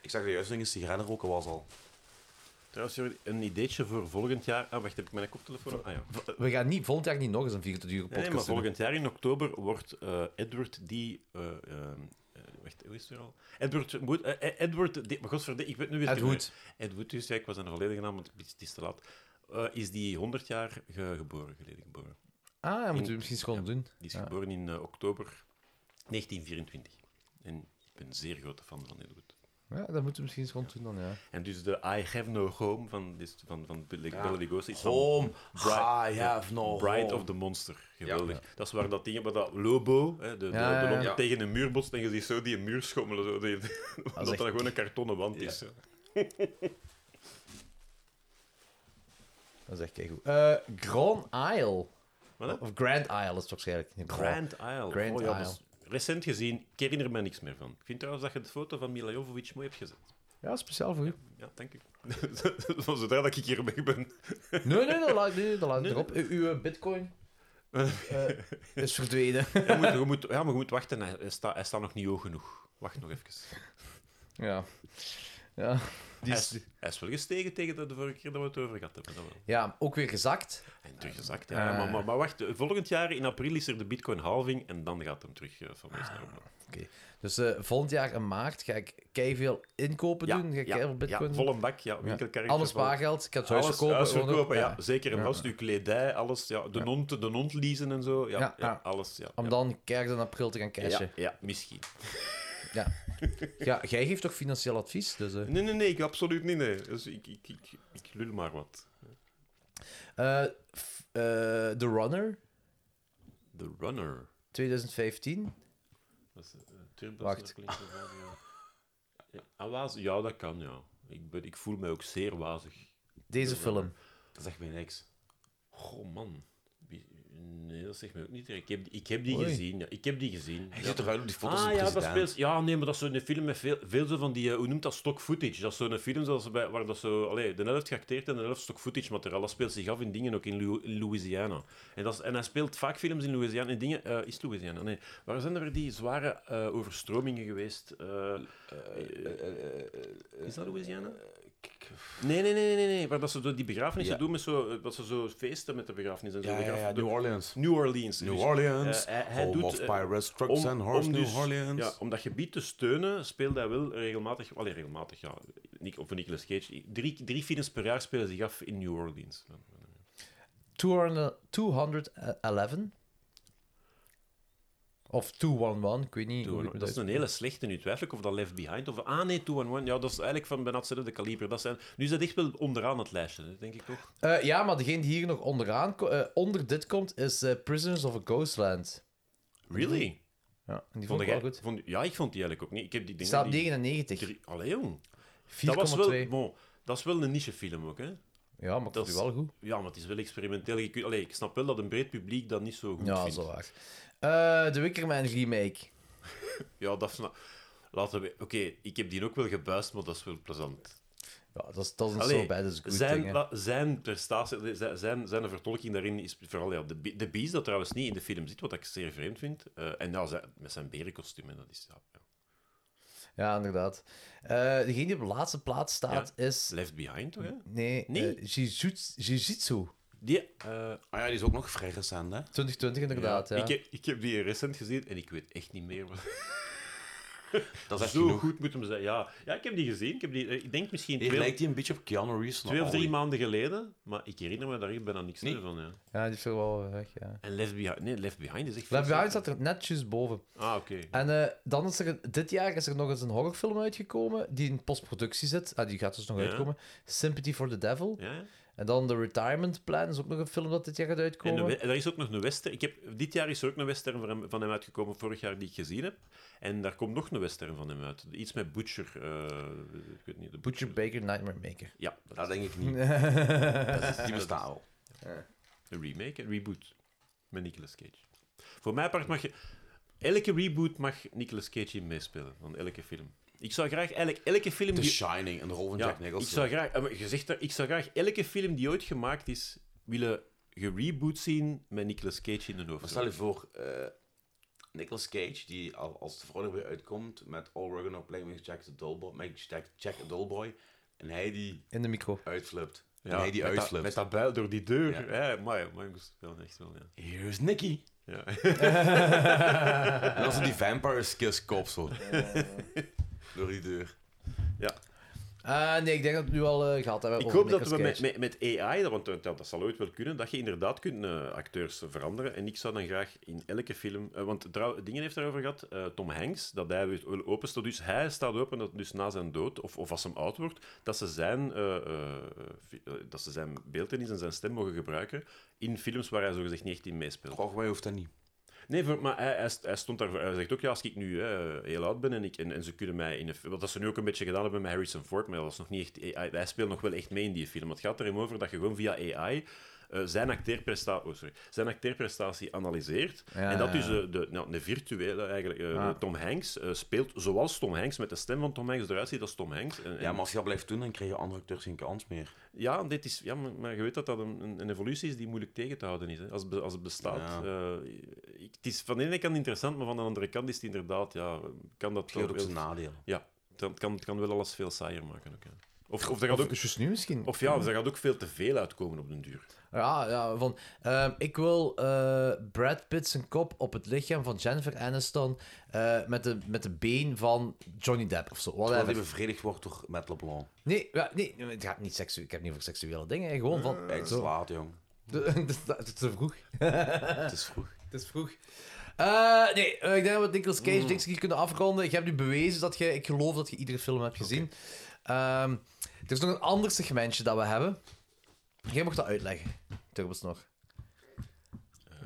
[SPEAKER 2] Ik zag er juist nog een sigaret roken was al.
[SPEAKER 4] Trouwens, Jordi, een ideetje voor volgend jaar. Ah, wacht, heb ik mijn koptelefoon? Ah ja.
[SPEAKER 3] We gaan niet, volgend jaar niet nog eens een 24 uur
[SPEAKER 4] Nee,
[SPEAKER 3] podcast
[SPEAKER 4] nee, maar volgend jaar in oktober wordt eh, Edward die. eh, eh, eh, wacht, hoe is het weer al? Edward Wood. eh, eh, Edward. Die, maar godverdomme, ik weet nu weer.
[SPEAKER 3] Ed Wood.
[SPEAKER 4] Ed Wood, dus ja, ik was aan de volledige naam, want het is te laat. Eh, is die 100 jaar ge- geboren, geleden geboren.
[SPEAKER 3] Ah, dat moeten we misschien eens gewoon doen.
[SPEAKER 4] Die is
[SPEAKER 3] Ja.
[SPEAKER 4] geboren in eh, oktober 1924. En ik ben een zeer grote fan van Ed Wood.
[SPEAKER 3] Ja, dat moeten we misschien eens gewoon doen dan, ja.
[SPEAKER 4] En dus de I have no home van, dit- van, van Bela Bela Lugosi is van
[SPEAKER 2] Home,
[SPEAKER 4] Bright-
[SPEAKER 2] I have no
[SPEAKER 4] Bride
[SPEAKER 2] home.
[SPEAKER 4] of the Monster. Geweldig. Dat is waar dat ding, waar dat Lobo, hè, de, de,
[SPEAKER 3] Ja,
[SPEAKER 4] de
[SPEAKER 3] ja,
[SPEAKER 4] hond
[SPEAKER 3] ja.
[SPEAKER 4] tegen een muur botst en je ziet zo die muur schommelen. Zo, die, omdat
[SPEAKER 3] echt-
[SPEAKER 4] dat gewoon een kartonnen wand is. hè.
[SPEAKER 3] Dat is echt keigoed. Eh Grand Isle.
[SPEAKER 4] Wat, hè?
[SPEAKER 3] Of Grand Isle is het waarschijnlijk.
[SPEAKER 4] Grand Isle.
[SPEAKER 3] Grand
[SPEAKER 4] oh, ja, dat is
[SPEAKER 3] Isle.
[SPEAKER 4] recent gezien, ik herinner me niks meer van. Ik vind trouwens dat je de foto van Mila Jovovich mooi hebt gezet.
[SPEAKER 3] Ja, speciaal voor u.
[SPEAKER 4] Ja, dank u. Van zodra dat ik hier weg ben.
[SPEAKER 3] Nee, nee, dat laat, nee, dat laat ik erop. U- Uw bitcoin eh, is verdwenen.
[SPEAKER 4] Je moet, je moet, ja, maar je moet wachten. Hij, hij staat hij staat nog niet hoog genoeg. Wacht nog even.
[SPEAKER 3] Ja. Ja.
[SPEAKER 4] Hij is, hij is wel gestegen tegen de, de vorige keer dat we het over gehad hebben. dat wel.
[SPEAKER 3] ja, ook weer gezakt.
[SPEAKER 4] En teruggezakt, ja.
[SPEAKER 3] Ah.
[SPEAKER 4] maar, maar, maar wacht, volgend jaar in april is er de bitcoin-halving en dan gaat hem terug eh, van meest naar omhoog.
[SPEAKER 3] Dus eh, volgend jaar in maart ga ik veel inkopen doen. Ga ik keiveel bitcoin
[SPEAKER 4] ja,
[SPEAKER 3] doen.
[SPEAKER 4] vol een bak, ja, winkelkarretje.
[SPEAKER 3] Alles
[SPEAKER 4] vol-
[SPEAKER 3] spaargeld. Ik ga het huis
[SPEAKER 4] Alles
[SPEAKER 3] verkopen.
[SPEAKER 4] huis
[SPEAKER 3] gewoon ook.
[SPEAKER 4] verkopen, ja.
[SPEAKER 3] Ja.
[SPEAKER 4] Zeker en vast, uw kledij, alles. Ja, de, non de non leasen en zo, ja,
[SPEAKER 3] Ja,
[SPEAKER 4] ja,
[SPEAKER 3] ja.
[SPEAKER 4] alles. Ja,
[SPEAKER 3] Om
[SPEAKER 4] ja.
[SPEAKER 3] dan keihard in april te gaan cashen.
[SPEAKER 4] ja, ja, misschien.
[SPEAKER 3] Ja, jij geeft toch financieel advies? Dus, eh.
[SPEAKER 4] Nee, nee, nee, ik, absoluut niet, nee. Dus ik, ik, ik, ik lul maar wat.
[SPEAKER 3] Eh, f- eh, The Runner,
[SPEAKER 4] The Runner.
[SPEAKER 3] 2015.
[SPEAKER 4] Dat is, eh, Turbo
[SPEAKER 3] Wacht.
[SPEAKER 4] Circle is ervan, ja. Ja, ah, wazig. ja, dat kan, ja. Ik, ben, ik voel mij ook zeer wazig.
[SPEAKER 3] Deze
[SPEAKER 4] The
[SPEAKER 3] film.
[SPEAKER 2] Dat zegt mij niks.
[SPEAKER 4] Goh, man. Wie- Nee, dat zegt mij ook niet. direct. Ik heb, ik heb die
[SPEAKER 3] Oei.
[SPEAKER 4] gezien. Ja, ik heb die gezien.
[SPEAKER 2] Hij
[SPEAKER 4] Ja.
[SPEAKER 2] zit toch uit op die foto's
[SPEAKER 4] Ah
[SPEAKER 2] van de
[SPEAKER 4] ja, dat
[SPEAKER 2] president?
[SPEAKER 4] speelt. Ja, nee, maar dat is zo'n film met veel, veel zo van die. eh, Hoe noemt dat stock footage? Dat is zo'n film zoals bij, waar dat zo. Allee, de helft geacteerd en de helft stock footage materiaal. Dat speelt zich af in dingen ook in Lu- Louisiana. En, dat is, en hij speelt vaak films in Louisiana. En dingen. eh, is het Louisiana? Nee. Waar zijn er weer die zware eh, overstromingen geweest? Eh, is dat Louisiana? Nee, nee, nee, nee, nee. Waar dat ze zo die begrafenissen
[SPEAKER 2] Ja.
[SPEAKER 4] doen met zo, eh, dat ze zo feesten met de begrafenis en zo.
[SPEAKER 2] Ja, ja,
[SPEAKER 4] begraf-
[SPEAKER 2] ja,
[SPEAKER 4] de-
[SPEAKER 2] New Orleans.
[SPEAKER 4] New Orleans.
[SPEAKER 2] New
[SPEAKER 4] dus.
[SPEAKER 2] Orleans, Oh,
[SPEAKER 4] Eh, hij- hij
[SPEAKER 2] home
[SPEAKER 4] doet,
[SPEAKER 2] of
[SPEAKER 4] eh,
[SPEAKER 2] pirates, trucks and horse, New
[SPEAKER 4] dus-
[SPEAKER 2] Orleans.
[SPEAKER 4] Ja, om dat gebied te steunen, speelt hij wel regelmatig... Allee, regelmatig, ja. Nick, of Nicolas Cage. Drie, drie films per jaar spelen zich af in New Orleans.
[SPEAKER 3] 200 211. Of 211, ik weet niet.
[SPEAKER 4] Two
[SPEAKER 3] hoe-
[SPEAKER 4] on One. Dat is een hele slechte, nu twijfel ik of dat Left Behind of... Ah, nee, 211. Ja, dat is eigenlijk van bijna hetzelfde kaliber. Dat zijn, nu is dat echt wel onderaan het lijstje, hè, denk ik toch?
[SPEAKER 3] Eh, ja, maar degene die hier nog onderaan, ko- eh, onder dit komt, is eh, Prisoners of a Ghostland.
[SPEAKER 4] Really?
[SPEAKER 3] Ja, en die vond
[SPEAKER 4] Vond
[SPEAKER 3] ik
[SPEAKER 4] jij-
[SPEAKER 3] wel goed.
[SPEAKER 4] vond- ja, ik vond die eigenlijk ook niet. Ik heb die
[SPEAKER 3] Die
[SPEAKER 4] dingen...
[SPEAKER 3] staat op
[SPEAKER 4] die-
[SPEAKER 3] 99.
[SPEAKER 4] drie- Allee, jong. Dat was wel...
[SPEAKER 3] 4,2.
[SPEAKER 4] Bon, dat is wel een nichefilm ook, hè?
[SPEAKER 3] Ja, maar ik vond
[SPEAKER 4] dat
[SPEAKER 3] die
[SPEAKER 4] is-
[SPEAKER 3] wel goed.
[SPEAKER 4] Ja, maar het is wel experimenteel. Je kunt- allee, ik snap wel dat een breed publiek dat niet zo goed
[SPEAKER 3] Ja,
[SPEAKER 4] vindt.
[SPEAKER 3] zo waar. Eh de Wickerman remake.
[SPEAKER 4] Ja, dat snap Laten we... Oké, ik heb die ook wel gebuist, maar dat is wel plezant.
[SPEAKER 3] Ja, dat is, dat is een
[SPEAKER 4] Allee,
[SPEAKER 3] zo bij, dat is een goed
[SPEAKER 4] zijn,
[SPEAKER 3] ding, hè.
[SPEAKER 4] la- zijn prestatie, zijn, zijn, zijn vertolking daarin is vooral ja, de, bi- de beest dat trouwens niet in de film zit, wat ik zeer vreemd vind. Eh, en ja, zijn- met zijn berenkostuum, hè, dat is... Ja, ja.
[SPEAKER 3] Ja, inderdaad. Eh, degene die op de laatste plaats staat is...
[SPEAKER 4] Left Behind, toch? Hè?
[SPEAKER 3] Mm. Nee,
[SPEAKER 4] Nee.
[SPEAKER 3] eh, Jijutsu- Jijutsu.
[SPEAKER 4] Die, eh,
[SPEAKER 2] Ah ja, die is ook nog vrij recent, hè?
[SPEAKER 3] 2020 inderdaad, ja.
[SPEAKER 4] Ik, heb, ik heb die recent gezien en ik weet echt niet meer wat...
[SPEAKER 2] Dat is echt
[SPEAKER 4] Zo
[SPEAKER 2] genoeg.
[SPEAKER 4] goed moet hem zijn. Ja. ja, ik heb die gezien. Ik, heb die, eh, ik denk misschien
[SPEAKER 2] Hier
[SPEAKER 4] twee,
[SPEAKER 2] lijkt hij een beetje op Keanu Reeves.
[SPEAKER 4] twee of drie
[SPEAKER 2] maanden.
[SPEAKER 4] maanden geleden, maar ik herinner me daar echt bijna niks meer van. Ja.
[SPEAKER 3] Ja, die viel wel weg, ja.
[SPEAKER 4] En Left Behind... Nee, Left Behind is echt...
[SPEAKER 3] Left Behind
[SPEAKER 4] veel
[SPEAKER 3] staat er netjes boven.
[SPEAKER 4] slechter. Ah, oké.
[SPEAKER 3] En eh, dan is er een- dit jaar is er nog eens een horrorfilm uitgekomen die in postproductie zit. Ah, die gaat dus nog
[SPEAKER 4] Ja.
[SPEAKER 3] uitkomen. Sympathy for the Devil.
[SPEAKER 4] Ja, ja.
[SPEAKER 3] En dan The Retirement Plan is ook nog een film dat dit jaar gaat
[SPEAKER 4] En
[SPEAKER 3] uitkomen.
[SPEAKER 4] de we- er is ook nog een western. Ik heb, dit jaar is er ook een western van hem, van hem uitgekomen, vorig jaar die ik gezien heb. En daar komt nog een western van hem uit. Iets met Butcher. eh, ik weet niet. De
[SPEAKER 3] Butcher Baker, Nightmare Maker.
[SPEAKER 4] Ja, dat
[SPEAKER 2] Dat denk ik niet. Dat is- die bestaan wel.
[SPEAKER 4] is een remake, een reboot. Met Nicolas Cage. Voor mij part mag je... Elke reboot mag Nicolas Cage in meespelen, van elke film. Ik zou graag eigenlijk elke film
[SPEAKER 2] The
[SPEAKER 4] die...
[SPEAKER 2] Shining en de rol van
[SPEAKER 4] Ja,
[SPEAKER 2] Jack
[SPEAKER 4] ik
[SPEAKER 2] Nicholson.
[SPEAKER 4] zou graag... eh, maar Je zegt dat, ik zou graag elke film die ooit gemaakt is, willen gereboot zien met Nicolas Cage in de
[SPEAKER 2] Maar
[SPEAKER 4] hoofd.
[SPEAKER 2] stel je voor, eh Nicolas Cage, die al, als de vrouw weer uitkomt met All We're Gonna Play with Jack the Dollboy, met Jack, Jack the Dollboy, En hij die
[SPEAKER 3] in de micro.
[SPEAKER 2] uitflipt. en hij die
[SPEAKER 4] met dat-
[SPEAKER 2] uitflipt.
[SPEAKER 4] met dat buil door die deur.
[SPEAKER 2] Ja.
[SPEAKER 4] Ja, maar maar ik moest wel echt wel, ja.
[SPEAKER 2] Here's Nicky.
[SPEAKER 4] ja.
[SPEAKER 2] En dan zo die vampire skills kop zo. Door die deur.
[SPEAKER 3] Ah, nee, ik denk dat we het nu al eh, gehad hebben.
[SPEAKER 4] Ik
[SPEAKER 3] over
[SPEAKER 4] hoop dat
[SPEAKER 3] Nicolas
[SPEAKER 4] we met,
[SPEAKER 3] Cage.
[SPEAKER 4] met, met AI, dat- want dat, dat zal ooit wel kunnen, dat je inderdaad kunt eh, acteurs veranderen. En ik zou dan graag in elke film... eh, want trouw, Dingen heeft daarover gehad, eh, Tom Hanks, dat hij wil- wil openstaat. Dus hij staat open dat dus na zijn dood, of, of als hem oud wordt, dat ze zijn, eh, eh, fi- eh, dat ze zijn beeldenis en zijn stem mogen gebruiken in films waar hij zogezegd niet echt in meespeelt.
[SPEAKER 2] Och, mij hoeft dat niet.
[SPEAKER 4] Nee, voor- maar hij, hij st- hij stond daar. Hij zegt ook, ja, als ik nu hè, heel oud ben en, ik, en, en ze kunnen mij in een film... Wat dat ze nu ook een beetje gedaan hebben met Harrison Ford, maar dat was nog niet echt... AI, hij speelt nog wel echt mee in die film. Het gaat erin over dat je gewoon via AI... eh, zijn, acteerpresta oh, sorry, zijn acteerprestatie analyseert.
[SPEAKER 3] Ja,
[SPEAKER 4] en dat
[SPEAKER 3] ja, Ah.
[SPEAKER 4] dus eh, de, nou, de virtuele eigenlijk. eh, de Tom Hanks eh, speelt zoals Tom Hanks, met de stem van Tom Hanks eruit ziet als Tom Hanks. En-
[SPEAKER 2] Ja,
[SPEAKER 4] en-
[SPEAKER 2] maar als je dat blijft doen, dan krijgen andere acteurs geen kans meer.
[SPEAKER 4] ja, dit is, ja maar, maar je weet dat dat een, een, een evolutie is die moeilijk tegen te houden is. Hè? Als, het be- als het bestaat. eh, ik, het is van de ene kant interessant, maar van de andere kant is het inderdaad. Ja, kan dat
[SPEAKER 2] Dat heeft ook
[SPEAKER 4] wel-
[SPEAKER 2] zijn nadeel.
[SPEAKER 4] Ja, dat kan, het kan wel alles veel saaier maken. Ook, hè. Of, of, er gaat
[SPEAKER 3] Of
[SPEAKER 4] ook,
[SPEAKER 3] dus juist nu misschien.
[SPEAKER 4] of ja, of er gaat ook veel te veel uitkomen op den duur.
[SPEAKER 3] Ja, ja van, ehm, ik wil eh, Brad Pitt zijn kop op het lichaam van Jennifer Aniston eh, met, de, met de been van Johnny Depp of zo.
[SPEAKER 2] Terwijl die
[SPEAKER 3] Whatever.
[SPEAKER 2] bevredigd wordt door Matt LeBlanc.
[SPEAKER 3] Nee, ja, nee, nee, het gaat niet seksueel. Ik heb niet over seksuele dingen. hè. Gewoon van...
[SPEAKER 2] Kijk, het is
[SPEAKER 3] zo.
[SPEAKER 2] laat, jong.
[SPEAKER 3] Het is- Het is te vroeg.
[SPEAKER 2] Het is vroeg.
[SPEAKER 3] Het is vroeg. Eh, nee, eh, ik denk dat we Nicolas Cage dings hier kunnen afronden. Ik heb nu bewezen dat je... Ik geloof dat je iedere film hebt gezien. Ehm, er is nog een ander segmentje dat we hebben. Jij mocht dat uitleggen. Turbos nog.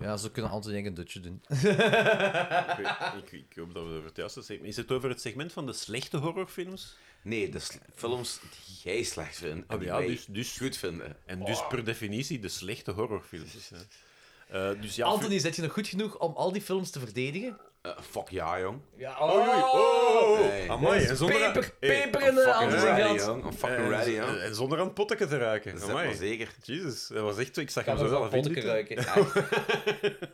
[SPEAKER 3] Ja, zo kunnen Anton en ik een dutje doen.
[SPEAKER 4] ik, weet- ik, ik hoop dat we over het juiste segment. Is het over het segment van de slechte horrorfilms?
[SPEAKER 2] Nee, de sle- films die jij slecht vindt. En
[SPEAKER 4] Ah,
[SPEAKER 2] die
[SPEAKER 4] ja,
[SPEAKER 2] wij
[SPEAKER 4] dus- dus-
[SPEAKER 2] goed vinden.
[SPEAKER 4] En dus per definitie de slechte horrorfilms. hè. Eh, dus ja,
[SPEAKER 3] Anthony, zit je nog goed genoeg om al die films te verdedigen?
[SPEAKER 2] Eh, fuck ja, jong.
[SPEAKER 3] Ja,
[SPEAKER 4] Oei, oei, oh, oh, oh.
[SPEAKER 2] Nee.
[SPEAKER 4] Amai, en zonder... Eh,
[SPEAKER 3] Peper,
[SPEAKER 4] Hey,
[SPEAKER 3] peper in de
[SPEAKER 2] I'm
[SPEAKER 3] Anton zijn
[SPEAKER 2] ready,
[SPEAKER 3] gat.
[SPEAKER 2] jong. I'm fucking ready,
[SPEAKER 4] en, eh,
[SPEAKER 2] jong.
[SPEAKER 4] en zonder aan het potteke te raken.
[SPEAKER 2] Zet maar
[SPEAKER 4] Amai.
[SPEAKER 2] zeker.
[SPEAKER 4] Jezus, dat was echt zo. Ik zag
[SPEAKER 3] Kan
[SPEAKER 4] hem zo
[SPEAKER 3] wel een
[SPEAKER 4] zelf in
[SPEAKER 3] vodka
[SPEAKER 4] zitten.
[SPEAKER 3] ruiken.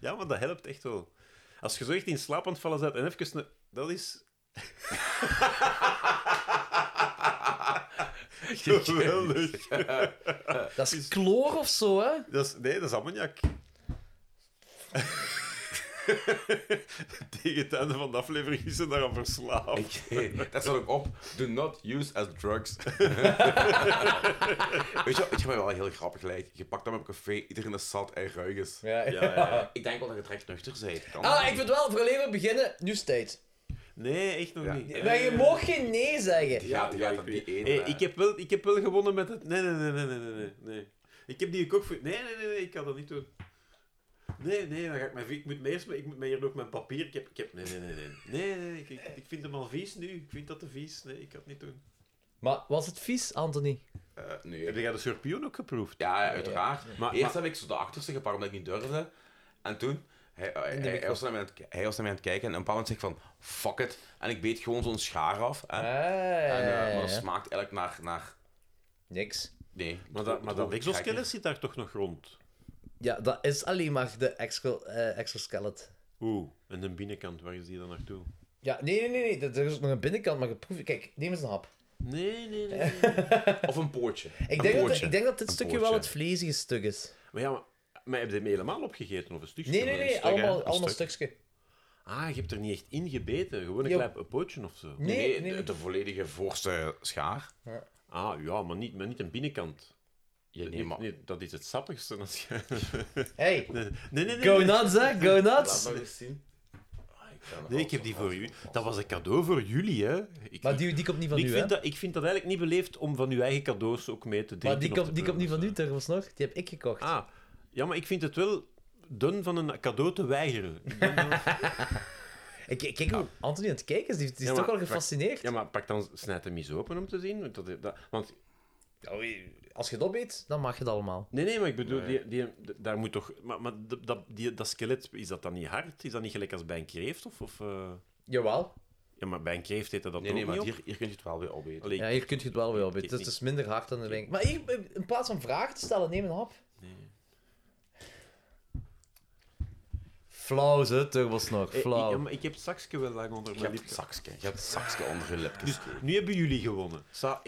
[SPEAKER 4] Ja, maar dat helpt echt wel. Als je zo echt in slaap aan het vallen bent en even... een- Dat is... Geweldig.
[SPEAKER 3] Dat is kloor of zo, hè?
[SPEAKER 4] Dat is, nee, dat is ammoniak. Tegen het einde van de aflevering is ze daaraan verslaafd.
[SPEAKER 2] Ik- dat staat ook op. Do not use as drugs. weet, je, weet je wat wel heel grappig lijkt? Je pakt hem op café, iedereen is zat en ruig is.
[SPEAKER 4] Ja, ja, ja.
[SPEAKER 2] Ik denk wel dat je terecht nuchter bent. Kan
[SPEAKER 3] Ah, ik vind wel, vooraleer we beginnen, nu is het tijd.
[SPEAKER 4] Nee, echt nog
[SPEAKER 2] Ja.
[SPEAKER 4] niet.
[SPEAKER 3] Maar je mag geen nee zeggen.
[SPEAKER 2] Ja, die eh.
[SPEAKER 4] Ja,
[SPEAKER 2] gaat
[SPEAKER 4] ik
[SPEAKER 2] dat niet
[SPEAKER 4] weet-
[SPEAKER 2] eten.
[SPEAKER 4] Hey, ik, heb wel, ik heb wel gewonnen met het... Nee, nee, nee, nee, nee, nee, nee, nee. Ik heb die gekookt voor... Nee, nee, nee, nee, ik kan dat niet doen. Nee, nee, dan ga ik mijn... Ik moet me eerst... Ik moet me hier nog mijn papier... Ik heb... Ik heb nee, nee, nee, nee. Nee, nee, ik, ik, ik vind hem al vies nu. Ik vind dat te vies. Nee, ik kan het niet doen.
[SPEAKER 3] Maar was het vies, Anthony?
[SPEAKER 2] Eh,
[SPEAKER 4] Heb
[SPEAKER 2] nee.
[SPEAKER 4] jij de surpioen ook geproefd?
[SPEAKER 2] Ja, ja, uiteraard.
[SPEAKER 4] Maar-
[SPEAKER 2] Maar, Eerst heb ik zo de achterste gepakt omdat ik niet durfde. En toen, hij, hij, hij, was naar mij aan het, hij was naar mij aan het kijken en op een bepaald moment zeg ik van, fuck it. En ik beet gewoon zo'n schaar af. Hè.
[SPEAKER 4] Ah,
[SPEAKER 3] Ah,
[SPEAKER 2] en, eh, maar dat smaakt eigenlijk naar, naar
[SPEAKER 3] Niks.
[SPEAKER 2] nee.
[SPEAKER 4] Maar dat, maar dat
[SPEAKER 2] droog- droog-
[SPEAKER 4] exoskelet zit daar toch nog rond?
[SPEAKER 3] Ja, dat is alleen maar de exo, eh, exoskelet.
[SPEAKER 4] Oeh. En de binnenkant, waar is die dan naartoe?
[SPEAKER 3] Ja, nee, nee, nee, nee. dat- Er is ook nog een binnenkant, maar geproefd. Kijk, neem eens een hap.
[SPEAKER 4] Nee, nee, nee.
[SPEAKER 2] Of een pootje.
[SPEAKER 3] Ik denk, dat,
[SPEAKER 2] pootje.
[SPEAKER 3] ik denk dat dit stukje wel
[SPEAKER 2] pootje.
[SPEAKER 3] het vleesige stuk is.
[SPEAKER 4] maar ja, maar... Maar heb je hem helemaal opgegeten of een stukje?
[SPEAKER 3] Nee, nee,
[SPEAKER 4] Een
[SPEAKER 3] nee.
[SPEAKER 4] stuk, hè?
[SPEAKER 3] Allemaal,
[SPEAKER 4] Een
[SPEAKER 3] allemaal
[SPEAKER 4] stuk.
[SPEAKER 3] stukje.
[SPEAKER 4] Ah, je hebt er niet echt in gebeten. Gewoon een
[SPEAKER 3] Ja.
[SPEAKER 4] klein pootje of zo.
[SPEAKER 3] Nee,
[SPEAKER 2] Nee,
[SPEAKER 3] nee,
[SPEAKER 2] de,
[SPEAKER 3] nee.
[SPEAKER 2] de volledige voorste schaar.
[SPEAKER 4] Ah, ja, maar niet, maar niet een binnenkant.
[SPEAKER 2] Ja, nee,
[SPEAKER 4] Niet-
[SPEAKER 2] maar...
[SPEAKER 4] niet- dat is het sappigste als je...
[SPEAKER 3] Hey,
[SPEAKER 4] Nee, nee, nee. nee,
[SPEAKER 3] go
[SPEAKER 4] nee.
[SPEAKER 3] nuts, hè? Go nuts.
[SPEAKER 2] eens zien.
[SPEAKER 4] Nee, ik heb die voor jullie. Dat was een cadeau voor jullie, hè. Ik,
[SPEAKER 3] Maar die, die komt niet van
[SPEAKER 4] ik,
[SPEAKER 3] u, hè?
[SPEAKER 4] vind dat, ik vind dat eigenlijk niet beleefd om van uw eigen cadeaus ook mee te drinken.
[SPEAKER 3] Maar die
[SPEAKER 4] of
[SPEAKER 3] komt,
[SPEAKER 4] te
[SPEAKER 3] die komt niet van
[SPEAKER 4] vullen.
[SPEAKER 3] u, Turbos nog. Die heb ik gekocht.
[SPEAKER 4] Ah, ja, maar ik vind het wel dun van een cadeau te weigeren.
[SPEAKER 3] Ik, ik kijk hoe Anthony aan het kijken is. Die, die is
[SPEAKER 4] Nou. Ja,
[SPEAKER 3] toch
[SPEAKER 4] maar-
[SPEAKER 3] al gefascineerd.
[SPEAKER 4] Ja, maar pak dan, snijd hem eens open om te zien. Want, dat, dat, want
[SPEAKER 3] Als je dat weet, dan mag je het allemaal.
[SPEAKER 4] nee, nee, maar ik bedoel, die, die, daar moet toch... Maar, maar dat, die, dat skelet, is dat dan niet hard? Is dat niet gelijk als bij een kreeft? Of, of, eh?
[SPEAKER 3] Jawel.
[SPEAKER 4] Ja, maar bij een kreeft heet dat
[SPEAKER 2] Nee,
[SPEAKER 4] ook
[SPEAKER 2] nee, maar
[SPEAKER 4] niet op?
[SPEAKER 2] hier, hier kun je het wel weer opeten.
[SPEAKER 4] Allee, eh,
[SPEAKER 3] Ja, hier kun je het wel weer op.
[SPEAKER 4] Ik-
[SPEAKER 3] Het
[SPEAKER 4] ik-
[SPEAKER 3] is dus minder hard dan de link. Maar hier, in plaats van vragen te stellen, neem een hap. Flauw, ze, Turbosnor.
[SPEAKER 4] Eh,
[SPEAKER 3] Flauw.
[SPEAKER 4] Ik, ik heb het zakje wel lang onder
[SPEAKER 2] Je
[SPEAKER 4] mijn
[SPEAKER 2] hebt
[SPEAKER 4] lip.
[SPEAKER 2] het zakske. Je hebt het zakske onder je lipjes.
[SPEAKER 4] Dus nu hebben jullie gewonnen. Sta 1-1.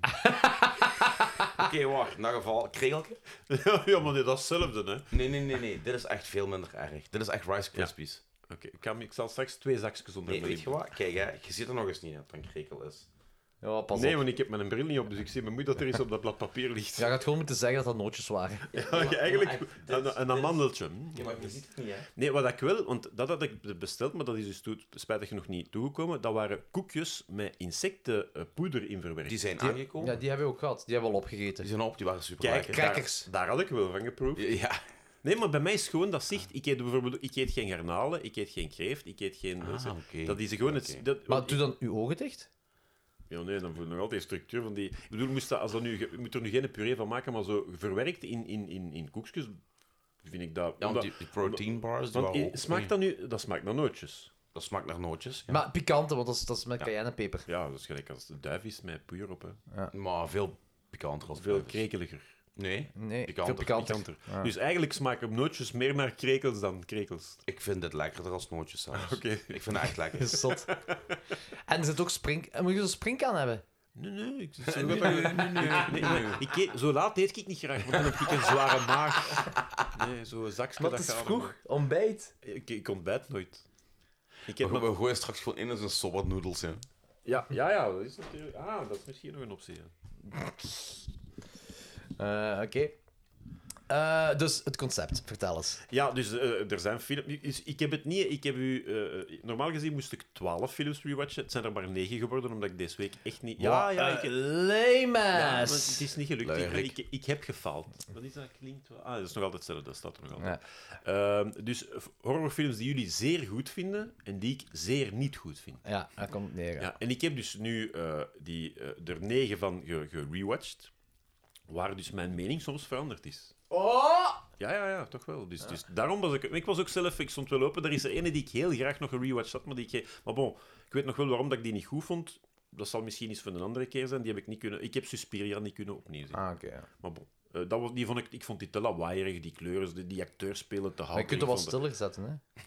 [SPEAKER 4] Ah.
[SPEAKER 2] Oké, wacht. In dat geval, kregelke?
[SPEAKER 4] ja, maar nee, dat is hetzelfde, hè.
[SPEAKER 2] Nee, nee, nee, nee. Dit is echt veel minder erg. Dit is echt Rice Krispies.
[SPEAKER 4] Oké, ik, kan- ik zal straks twee zakjes onder
[SPEAKER 2] Nee,
[SPEAKER 4] mijn
[SPEAKER 2] weet je
[SPEAKER 4] lip.
[SPEAKER 2] wat? Kijk, hè, je ziet er nog eens niet dat het een krekel is.
[SPEAKER 3] Ja, pas
[SPEAKER 4] Nee,
[SPEAKER 3] op.
[SPEAKER 4] want ik heb mijn bril niet op, dus ik zie mijn moeder dat er iets op dat blad papier ligt.
[SPEAKER 3] Ja, je had gewoon moeten zeggen dat dat nootjes waren.
[SPEAKER 4] Ja, eigenlijk
[SPEAKER 2] maar- dit-
[SPEAKER 4] een, een amandeltje.
[SPEAKER 2] Ja, maar je ziet het niet, hè.
[SPEAKER 4] Nee, wat ik wil, want dat had ik besteld, maar dat is dus toe- spijtig genoeg niet toegekomen. Dat waren koekjes met insectenpoeder in verwerkt.
[SPEAKER 2] Die zijn
[SPEAKER 4] Oh.
[SPEAKER 2] aangekomen.
[SPEAKER 3] Ja, die hebben we ook gehad. Die hebben we al opgegeten.
[SPEAKER 2] Die zijn op, die waren super
[SPEAKER 4] Kijk,
[SPEAKER 2] lekker.
[SPEAKER 4] daar-
[SPEAKER 3] Kijkers.
[SPEAKER 4] Daar, had ik wel van geproefd.
[SPEAKER 2] Ja.
[SPEAKER 4] Nee, maar bij mij is gewoon dat zicht. Ik eet bijvoorbeeld ik eet geen garnalen, ik eet geen kreeft, ik eet geen...
[SPEAKER 2] Ah, oké.
[SPEAKER 4] dus, Dat is gewoon
[SPEAKER 2] Oké.
[SPEAKER 4] het... Dat,
[SPEAKER 3] Maar doe dan uw ogen dicht.
[SPEAKER 4] Ja, nee, dan voel je nog altijd de structuur van die... Ik bedoel, moest dat, als dat nu, je moet er nu geen puree van maken, maar zo verwerkt in, in, in, in koekjes, vind ik dat...
[SPEAKER 2] Ja, want
[SPEAKER 4] omdat-
[SPEAKER 2] die, die protein bars, die
[SPEAKER 4] want
[SPEAKER 2] waren
[SPEAKER 4] i-
[SPEAKER 2] ook...
[SPEAKER 4] smaakt dat nu... Dat smaakt naar nootjes.
[SPEAKER 2] Dat smaakt naar nootjes. ja.
[SPEAKER 3] Maar pikante, want dat is, dat is met cayennepeper.
[SPEAKER 4] Ja, dat is gelijk als de duif is met puur op, hè.
[SPEAKER 2] Maar veel pikanter als
[SPEAKER 4] Veel
[SPEAKER 2] blijvers.
[SPEAKER 4] krekeliger.
[SPEAKER 2] Nee.
[SPEAKER 3] Nee,
[SPEAKER 2] Pikanter,
[SPEAKER 3] veel pikanter.
[SPEAKER 4] Kanter. Dus eigenlijk smaken nootjes meer naar krekels dan krekels.
[SPEAKER 2] Ik vind dit lekkerder als nootjes zelfs.
[SPEAKER 4] Oké.
[SPEAKER 2] Ik vind het echt lekker.
[SPEAKER 3] Dat is zot. en er zit ook spring... en Moet je zo'n springkaan hebben?
[SPEAKER 4] Nee, nee. Ik, zo, nee, nee, nee,
[SPEAKER 2] Ah,
[SPEAKER 4] maar ik eet- zo laat eet ik niet graag, want dan heb ik een zware maag. Nee, zo'n zakje...
[SPEAKER 3] Wat
[SPEAKER 4] dat
[SPEAKER 3] is
[SPEAKER 4] gaat
[SPEAKER 3] vroeg? Ontbijt?
[SPEAKER 4] allemaal- Ik, ik ontbijt nooit. Ik heb
[SPEAKER 2] We,
[SPEAKER 4] maar-
[SPEAKER 2] we gooien straks gewoon in als een sobat noedels, hè.
[SPEAKER 4] Ja, ja, ja, dat is natuurlijk... Ah, dat is misschien nog een optie, ja.
[SPEAKER 3] Eh, Oké. Eh, dus het concept, vertel eens.
[SPEAKER 4] Ja, dus eh, er zijn films. Is- Ik heb het niet. Ik heb u, eh, normaal gezien moest ik 12 films rewatchen. Het zijn er maar 9 geworden, omdat ik deze week echt niet. Ja, ja,
[SPEAKER 3] eh,
[SPEAKER 4] ik, ja,
[SPEAKER 3] Lame
[SPEAKER 4] maar
[SPEAKER 3] ass.
[SPEAKER 4] het is niet gelukt.
[SPEAKER 2] Luierik.
[SPEAKER 4] Ik, ik, ik heb gefaald. Wat is dat? Klinkt wel. Ah, dat is nog altijd hetzelfde. Dat staat er nog altijd.
[SPEAKER 3] Ja.
[SPEAKER 4] Ehm, dus eh, horrorfilms die jullie zeer goed vinden en die ik zeer niet goed vind.
[SPEAKER 3] Ja, daar komt het neer.
[SPEAKER 4] Ja, en ik heb dus nu eh, die, eh, er 9 van ge- gerewatcht, waar dus mijn mening soms veranderd is.
[SPEAKER 3] Oh!
[SPEAKER 4] Ja, ja, ja, toch wel. Dus, dus daarom was ik... Ik was ook zelf... Ik stond wel open. Er is er ene die ik heel graag nog een rewatch had, maar die ik... geen- Maar bon, ik weet nog wel waarom dat ik die niet goed vond. Dat zal misschien iets van een andere keer zijn. Die heb ik niet kunnen... Ik heb Suspiria niet kunnen opnieuw zien.
[SPEAKER 3] Ah, oké. ja.
[SPEAKER 4] Maar bon. eh, dat was, die vond ik, ik vond die te lawaaierig, die kleuren, die, die acteurs spelen te hard.
[SPEAKER 3] Maar je kunt
[SPEAKER 4] Ik
[SPEAKER 3] er wel
[SPEAKER 4] vond dat-
[SPEAKER 3] stiller zetten, hè.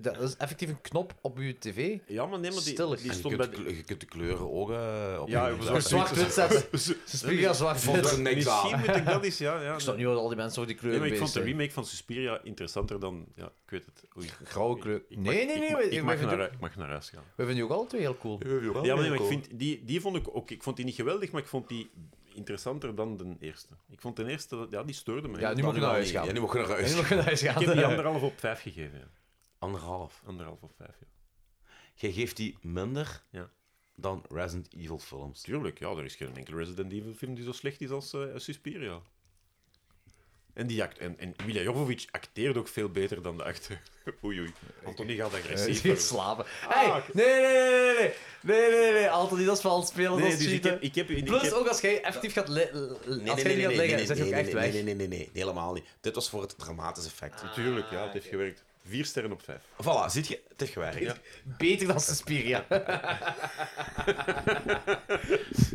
[SPEAKER 3] Dat is effectief een knop op je tv.
[SPEAKER 4] Ja, maar nee, maar die,
[SPEAKER 3] Stiller.
[SPEAKER 4] die
[SPEAKER 2] En je
[SPEAKER 4] stond
[SPEAKER 2] kunt,
[SPEAKER 4] bij...
[SPEAKER 2] de kle- je kunt de kleuren ook eh, op
[SPEAKER 4] Ja,
[SPEAKER 2] je-
[SPEAKER 4] ik was
[SPEAKER 2] Ja,
[SPEAKER 4] ook
[SPEAKER 3] Zwart-wit zetten. Ze spiegel
[SPEAKER 2] vond
[SPEAKER 3] zwart-wit.
[SPEAKER 2] er niks aan.
[SPEAKER 4] Misschien moet ik dat eens... Ja, ja,
[SPEAKER 3] Ik snap niet wat al die mensen over die
[SPEAKER 4] Nee,
[SPEAKER 3] kleuren
[SPEAKER 4] maar ik
[SPEAKER 3] bezig
[SPEAKER 4] vond de
[SPEAKER 3] zijn.
[SPEAKER 4] remake van Suspiria interessanter dan... Ja, ik weet het. Oei.
[SPEAKER 3] Grauwe kleur.
[SPEAKER 4] Ik mag-
[SPEAKER 3] nee, nee,
[SPEAKER 4] ik
[SPEAKER 3] nee.
[SPEAKER 4] mag-
[SPEAKER 3] we-
[SPEAKER 4] Ik, mag,
[SPEAKER 3] we, vinden,
[SPEAKER 4] naar, ik mag naar huis gaan.
[SPEAKER 3] we vinden die ook alle twee heel Oh, cool.
[SPEAKER 4] Ja, maar, nee, maar ik vind, die, die vond ik ook. Ik vond die niet geweldig, maar ik vond die interessanter dan de eerste. Ik vond de eerste, ja, die stoorde me.
[SPEAKER 3] Ja, nu
[SPEAKER 4] ik
[SPEAKER 3] mag je naar huis gaan.
[SPEAKER 2] Ja, nu mag je naar
[SPEAKER 3] Nu
[SPEAKER 2] huis.
[SPEAKER 3] mag je naar huis gaan.
[SPEAKER 4] heb die anderhalf op vijf gegeven. Ja.
[SPEAKER 2] Anderhalf.
[SPEAKER 4] Anderhalf op vijf, ja.
[SPEAKER 2] Jij geeft die minder
[SPEAKER 4] Ja.
[SPEAKER 2] dan Resident Evil films.
[SPEAKER 4] Tuurlijk, ja, er is geen enkele Resident Evil film die zo slecht is als eh, Suspiria. En, die act en, en Mila Jovovich acteert ook veel beter dan de acteur. Oei, oei. Anthony gaat agressief
[SPEAKER 3] Eh, Die gaat
[SPEAKER 4] worden.
[SPEAKER 3] slapen. Hey, nee, nee, nee, nee, nee. Nee, nee, nee. Altijd niet als we al spelen,
[SPEAKER 4] Nee,
[SPEAKER 3] dat is
[SPEAKER 4] dus ik
[SPEAKER 3] cheaten.
[SPEAKER 4] heb, ik heb, ik heb,
[SPEAKER 3] Plus, ook als jij effectief gaat, li-
[SPEAKER 2] Nee,
[SPEAKER 3] als
[SPEAKER 2] nee,
[SPEAKER 3] jij
[SPEAKER 2] nee,
[SPEAKER 3] niet
[SPEAKER 2] nee,
[SPEAKER 3] gaat
[SPEAKER 2] nee,
[SPEAKER 3] liggen,
[SPEAKER 2] nee,
[SPEAKER 3] zeg je ook
[SPEAKER 2] nee,
[SPEAKER 3] echt
[SPEAKER 2] nee,
[SPEAKER 3] weg.
[SPEAKER 2] Nee, nee, nee, nee, nee, helemaal niet. Dit was voor het dramatische effect.
[SPEAKER 4] Natuurlijk, ja, het
[SPEAKER 3] Ah,
[SPEAKER 4] heeft gewerkt. Vier sterren op vijf.
[SPEAKER 2] Voilà, ziet je, het heeft gewerkt.
[SPEAKER 3] Beter dan Suspiria.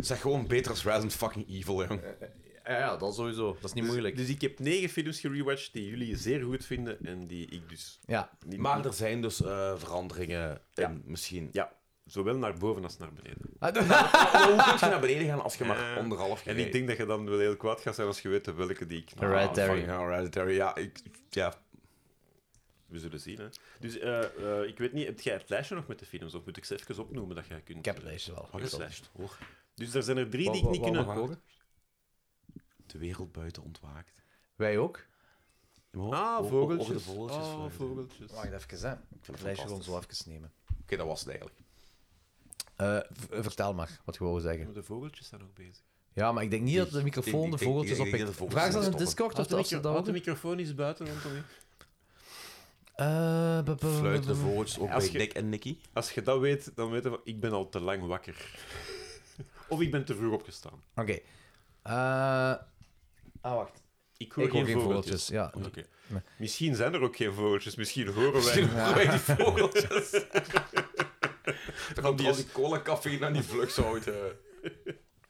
[SPEAKER 2] Zeg gewoon beter als Resident fucking Evil, jong.
[SPEAKER 3] Ja, ja, dat sowieso. Dat is niet moeilijk.
[SPEAKER 4] Dus ik heb negen films gerewatcht die jullie zeer goed vinden en die ik dus
[SPEAKER 3] Ja.
[SPEAKER 4] niet...
[SPEAKER 2] Maar er zijn dus eh, veranderingen in, misschien.
[SPEAKER 4] Ja, zowel naar boven als naar beneden.
[SPEAKER 3] Ah,
[SPEAKER 2] Maar Hoe kun je naar beneden gaan als je maar onderhalf Ah,
[SPEAKER 4] En ik denk dat je dan wel heel kwaad gaat zijn als je weet welke die ik...
[SPEAKER 3] Alright, Terry.
[SPEAKER 2] Hereditary, ja, ik, ja.
[SPEAKER 4] We zullen zien, hè. Dus eh, eh, ik weet niet, heb jij het lijstje nog met de films? Of moet ik ze even opnoemen dat jij kunt...
[SPEAKER 3] Ik heb het lijstje wel.
[SPEAKER 4] Oh, het lijstje. Dus er zijn er drie
[SPEAKER 3] Wat-
[SPEAKER 4] die ik
[SPEAKER 3] wat-
[SPEAKER 4] niet
[SPEAKER 3] wat mag
[SPEAKER 4] kunnen...
[SPEAKER 3] horen?
[SPEAKER 2] De wereld buiten ontwaakt.
[SPEAKER 3] Wij ook.
[SPEAKER 4] Ah,
[SPEAKER 2] Over de
[SPEAKER 4] vogeltjes.
[SPEAKER 2] vogeltjes.
[SPEAKER 4] Ah,
[SPEAKER 2] vliegen.
[SPEAKER 4] vogeltjes.
[SPEAKER 3] Wacht even, hè. Ik
[SPEAKER 2] het
[SPEAKER 3] het lijstje gewoon
[SPEAKER 2] fantastisch.
[SPEAKER 3] zo even nemen.
[SPEAKER 2] Oké, dat was het eigenlijk.
[SPEAKER 3] Eh, v- eh, vertel maar wat je wou zeggen.
[SPEAKER 4] Maar de vogeltjes zijn ook bezig.
[SPEAKER 3] Ja, maar ik denk niet dat de
[SPEAKER 2] ik-
[SPEAKER 3] microfoon
[SPEAKER 2] ik-
[SPEAKER 3] de
[SPEAKER 2] ik-
[SPEAKER 3] vogeltjes
[SPEAKER 2] ik- ik- ik
[SPEAKER 3] oppikt.
[SPEAKER 2] denk dat de vogeltjes
[SPEAKER 3] Vraag ze aan
[SPEAKER 2] moeten
[SPEAKER 3] de Discord of
[SPEAKER 4] Houd de,
[SPEAKER 3] dat ze
[SPEAKER 4] micro-
[SPEAKER 3] dat
[SPEAKER 4] houd de
[SPEAKER 3] ook...
[SPEAKER 4] microfoon eens buiten, Anthony.
[SPEAKER 3] Eh, bu- bu- bu-
[SPEAKER 2] Fluiten de
[SPEAKER 3] bu-
[SPEAKER 2] vogeltjes ook
[SPEAKER 4] Als
[SPEAKER 2] bij
[SPEAKER 4] je-
[SPEAKER 2] Dick en Nicky.
[SPEAKER 4] Als je dat weet, dan weten we... Ik ben al te lang wakker. of ik ben te vroeg opgestaan.
[SPEAKER 3] Oké. Eh, ah, wacht.
[SPEAKER 4] Ik hoor
[SPEAKER 3] Ik hoor
[SPEAKER 4] geen
[SPEAKER 3] geen
[SPEAKER 4] vogeltjes.
[SPEAKER 3] vogeltjes. Ja.
[SPEAKER 4] Oké. Misschien zijn er ook geen vogeltjes, misschien horen wij.
[SPEAKER 2] die vogeltjes. eh. Dan komt al die cola-cafeïne aan die vluchtzout.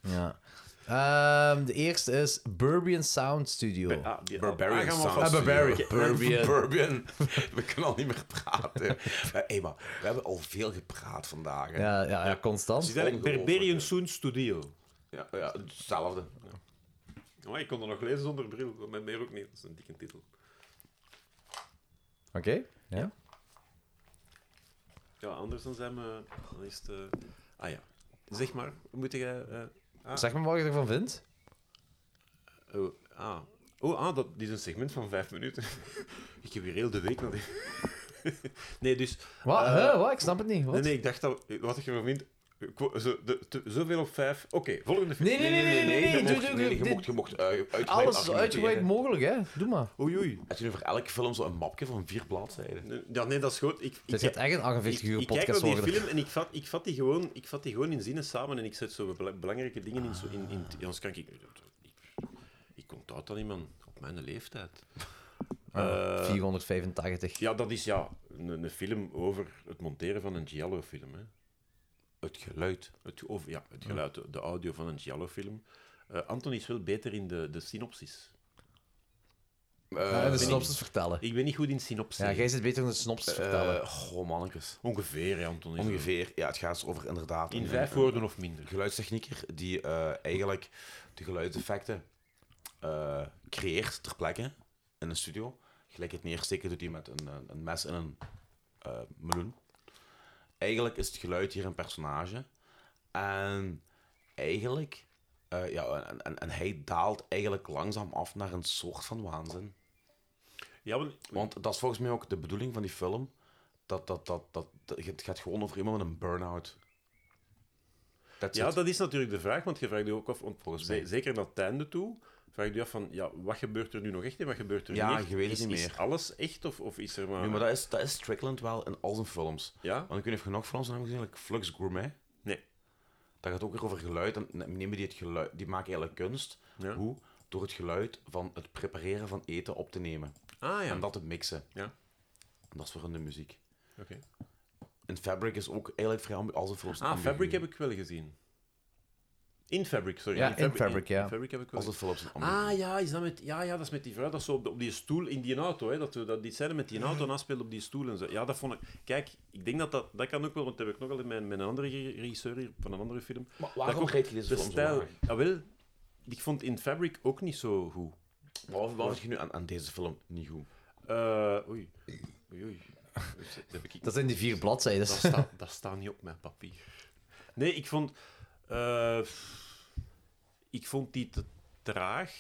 [SPEAKER 3] ja. Eh, Ehm, de eerste is Burbian Sound Studio.
[SPEAKER 4] Ah, die-
[SPEAKER 2] Barbarian
[SPEAKER 4] ah, gaan we
[SPEAKER 2] Sound
[SPEAKER 4] alvast-
[SPEAKER 2] Studio.
[SPEAKER 3] Barbarian. Burbian.
[SPEAKER 4] Oké,
[SPEAKER 2] Bourbon. We kunnen al niet meer praten. Eh, hey, maar we hebben al veel gepraat vandaag. Hè.
[SPEAKER 3] ja, ja, ja,
[SPEAKER 4] Het
[SPEAKER 3] constant.
[SPEAKER 4] is eigenlijk
[SPEAKER 2] Ongelooflijk,
[SPEAKER 4] Barbarian
[SPEAKER 2] hè.
[SPEAKER 4] Soon Studio.
[SPEAKER 2] Ja, ja, hetzelfde.
[SPEAKER 4] Oh, ik kon er nog lezen zonder bril, maar met meer ook niet. Dat is een dikke titel.
[SPEAKER 3] Oké. Ja.
[SPEAKER 4] Ja, anders dan zijn we... Dan is het, eh, Ah ja, zeg maar, moet jij... eh, Ah.
[SPEAKER 3] Zeg maar wat je ervan vindt.
[SPEAKER 4] Oh, ah. Oh, ah, dat die is een segment van vijf minuten. ik heb hier heel de week nog... nee, dus...
[SPEAKER 3] Wat?
[SPEAKER 4] Eh,
[SPEAKER 3] Huh? Wat? Ik snap het niet. Wat?
[SPEAKER 4] Nee, nee, ik dacht dat... Wat ik ervan vind... ik wou- Zo, de, te- zoveel op vijf... Oké, volgende film.
[SPEAKER 3] Nee, nee, nee, nee, nee, nee,
[SPEAKER 2] Je
[SPEAKER 3] doe-
[SPEAKER 2] mocht,
[SPEAKER 3] doe-
[SPEAKER 2] nee,
[SPEAKER 3] doe-
[SPEAKER 2] je mocht,
[SPEAKER 3] dit-
[SPEAKER 2] je mocht eh, uitgebreid
[SPEAKER 3] Alles is zo
[SPEAKER 2] argumenteren.
[SPEAKER 3] uitgebreid mogelijk, hè. Doe maar.
[SPEAKER 4] Oei, oei.
[SPEAKER 2] Heb je nu voor elke film zo'n mapje van vier bladzijden?
[SPEAKER 4] Nee, Ja, nee, dat is goed. Ik,
[SPEAKER 3] Dit
[SPEAKER 4] ik,
[SPEAKER 3] gaat
[SPEAKER 4] ik,
[SPEAKER 3] echt een 48 uur
[SPEAKER 4] ik kijk naar
[SPEAKER 3] podcast
[SPEAKER 4] die
[SPEAKER 3] worden.
[SPEAKER 4] film en ik vat, ik, vat die gewoon, ik vat die gewoon in zinnen samen en ik zet zo bela- belangrijke dingen in. Zo in, in anders kan ik... Ik, ik onthoud dat niet, man. Op mijn leeftijd.
[SPEAKER 3] Ah.
[SPEAKER 4] Eh,
[SPEAKER 3] 485.
[SPEAKER 4] Ja, dat is ja, een, een film over het monteren van een giallo-film. Hè.
[SPEAKER 2] Het geluid.
[SPEAKER 4] Het, of, ja, het geluid, de audio van een giallo-film. Eh, Anton is wel beter in de, de synopsis.
[SPEAKER 3] Ja, de
[SPEAKER 2] Eh,
[SPEAKER 3] synopsis vertellen.
[SPEAKER 4] Ik ben niet goed in synopsis.
[SPEAKER 3] Ja, jij zit beter in de synopsis vertellen.
[SPEAKER 2] eh, goh, mannetjes.
[SPEAKER 4] Ongeveer, hè, Anton. is
[SPEAKER 2] Ongeveer. Ja, het gaat dus over inderdaad...
[SPEAKER 4] wel- In
[SPEAKER 2] een-
[SPEAKER 4] vijf
[SPEAKER 2] een-
[SPEAKER 4] woorden of minder.
[SPEAKER 2] geluidstechnieker die eh, eigenlijk de geluidseffecten eh, creëert ter plekke in een studio. Gelijk het neersteken doet hij met een, een, een mes en een eh, meloen. Eigenlijk is het geluid hier een personage. En eigenlijk, eh, ja, en, en, en hij daalt eigenlijk langzaam af naar een soort van waanzin.
[SPEAKER 4] Ja, want,
[SPEAKER 2] Want dat is volgens mij ook de bedoeling van die film. Dat, dat, dat, dat, dat- het gaat gewoon over iemand met een burn-out. That's
[SPEAKER 4] ja,
[SPEAKER 2] it.
[SPEAKER 4] dat is natuurlijk de vraag, want je vraagt je ook af, want
[SPEAKER 2] Volgens
[SPEAKER 4] ze-
[SPEAKER 2] mij.
[SPEAKER 4] zeker naar het einde toe, vraag je je af van, ja, wat gebeurt er nu nog echt en wat gebeurt er
[SPEAKER 2] Ja,
[SPEAKER 4] niet echt?
[SPEAKER 2] je weet het
[SPEAKER 4] Is-
[SPEAKER 2] niet
[SPEAKER 4] Is
[SPEAKER 2] meer.
[SPEAKER 4] alles echt of, of is er maar...
[SPEAKER 2] Nu, maar dat is, dat is Strickland wel in al zijn films.
[SPEAKER 4] Ja?
[SPEAKER 2] Want ik weet niet of je nog films hebt gezien, like Flux Gourmet.
[SPEAKER 4] Nee.
[SPEAKER 2] Dat gaat ook weer over geluid. En nemen die, het geluid, die maken eigenlijk kunst.
[SPEAKER 4] Ja.
[SPEAKER 2] Hoe? Door het geluid van het prepareren van eten op te nemen.
[SPEAKER 4] Ah ja,
[SPEAKER 2] En dat te mixen.
[SPEAKER 4] Ja.
[SPEAKER 2] En dat is voor in de muziek.
[SPEAKER 4] oké.
[SPEAKER 2] En Fabric is ook eigenlijk vrij ambi- al zijn films.
[SPEAKER 4] Ah,
[SPEAKER 2] ambigu.
[SPEAKER 4] Fabric heb ik wel gezien. In Fabric, sorry.
[SPEAKER 3] Ja, in Fabric, ja.
[SPEAKER 4] In Fabric heb ik wel
[SPEAKER 2] Al zijn films zijn ambigu.
[SPEAKER 4] Ah ja, is dat met, ja, ja, dat is met die vrouw, dat ze op, de- op die stoel in die auto, hè, dat, we- dat die scène met die auto naspeelt op die stoel en zo. Ja, dat vond ik... Kijk, ik denk dat dat... Dat kan ook wel, want dat heb ik nogal in mijn, mijn andere re- regisseur hier, van een andere film.
[SPEAKER 2] Maar
[SPEAKER 4] dat
[SPEAKER 2] waarom
[SPEAKER 4] komt-
[SPEAKER 2] reed je deze
[SPEAKER 4] De
[SPEAKER 2] film
[SPEAKER 4] stijl...
[SPEAKER 2] zo laag?
[SPEAKER 4] Ja, wel, ik vond in Fabric ook niet zo goed.
[SPEAKER 2] Waarom waarom vind je nu aan, aan deze film niet goed?
[SPEAKER 4] Eh, oei. Oei, oei. Dat heb ik...
[SPEAKER 3] Dat zijn die vier bladzijden.
[SPEAKER 4] Dat staat, dat staat niet op mijn papier. Nee, ik vond... eh, ik vond die te traag.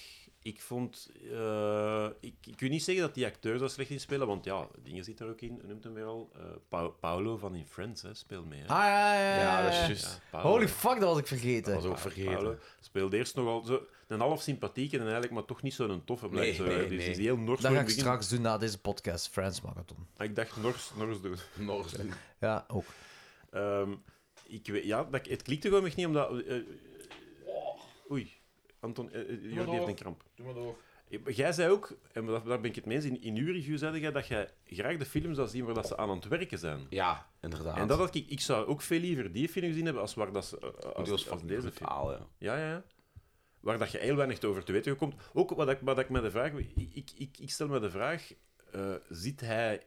[SPEAKER 4] Ik vond... eh, ik, ik wil niet zeggen dat die acteurs daar slecht in spelen, want ja, dingen zit er ook in, noemt hem weer al. Eh, Pa- Paolo van In Friends, hè, speelt mee. Hè.
[SPEAKER 3] Ah, ja, ja, ja,
[SPEAKER 2] Ja, dat
[SPEAKER 3] ja.
[SPEAKER 2] is
[SPEAKER 4] Ja,
[SPEAKER 2] juist.
[SPEAKER 4] Paolo.
[SPEAKER 3] Holy fuck, dat was ik vergeten.
[SPEAKER 2] Dat was ook
[SPEAKER 4] Paolo
[SPEAKER 2] vergeten.
[SPEAKER 4] speelde eerst nogal zo, een half sympathieke en eigenlijk maar toch niet zo'n toffe. Blijft,
[SPEAKER 2] Nee,
[SPEAKER 4] zo, hè.
[SPEAKER 2] nee,
[SPEAKER 4] dus
[SPEAKER 2] nee.
[SPEAKER 4] die is heel
[SPEAKER 3] Dat
[SPEAKER 4] nors. zo
[SPEAKER 3] ga
[SPEAKER 4] in
[SPEAKER 3] ik
[SPEAKER 4] het begin.
[SPEAKER 3] straks doen na deze podcast, Friends Marathon.
[SPEAKER 4] Ah, Ik dacht nors, nors doen.
[SPEAKER 2] Norris.
[SPEAKER 3] Ja, ook.
[SPEAKER 4] Ehm, ik weet, ja, dat, het klikte gewoon echt niet, omdat... eh, eh, oei, Anton, eh, eh, Jordi heeft een kramp. Doe maar door. Jij zei ook, en daar daar ben ik het mee eens, in, in uw review zei jij dat jij graag de films zou zien waar dat ze aan aan het werken zijn.
[SPEAKER 2] Ja, inderdaad.
[SPEAKER 4] En dat had ik, ik zou ook veel liever die film gezien hebben als waar dat ze... eh, eh,
[SPEAKER 2] Die
[SPEAKER 4] Als,
[SPEAKER 2] was
[SPEAKER 4] als,
[SPEAKER 2] fucking
[SPEAKER 4] deze film.
[SPEAKER 2] brutaal, ja.
[SPEAKER 4] Ja, ja, ja. Waar dat je heel weinig over te weten komt. Ook wat ik, wat ik me de vraag... Ik, ik, ik stel me de vraag... eh zit hij...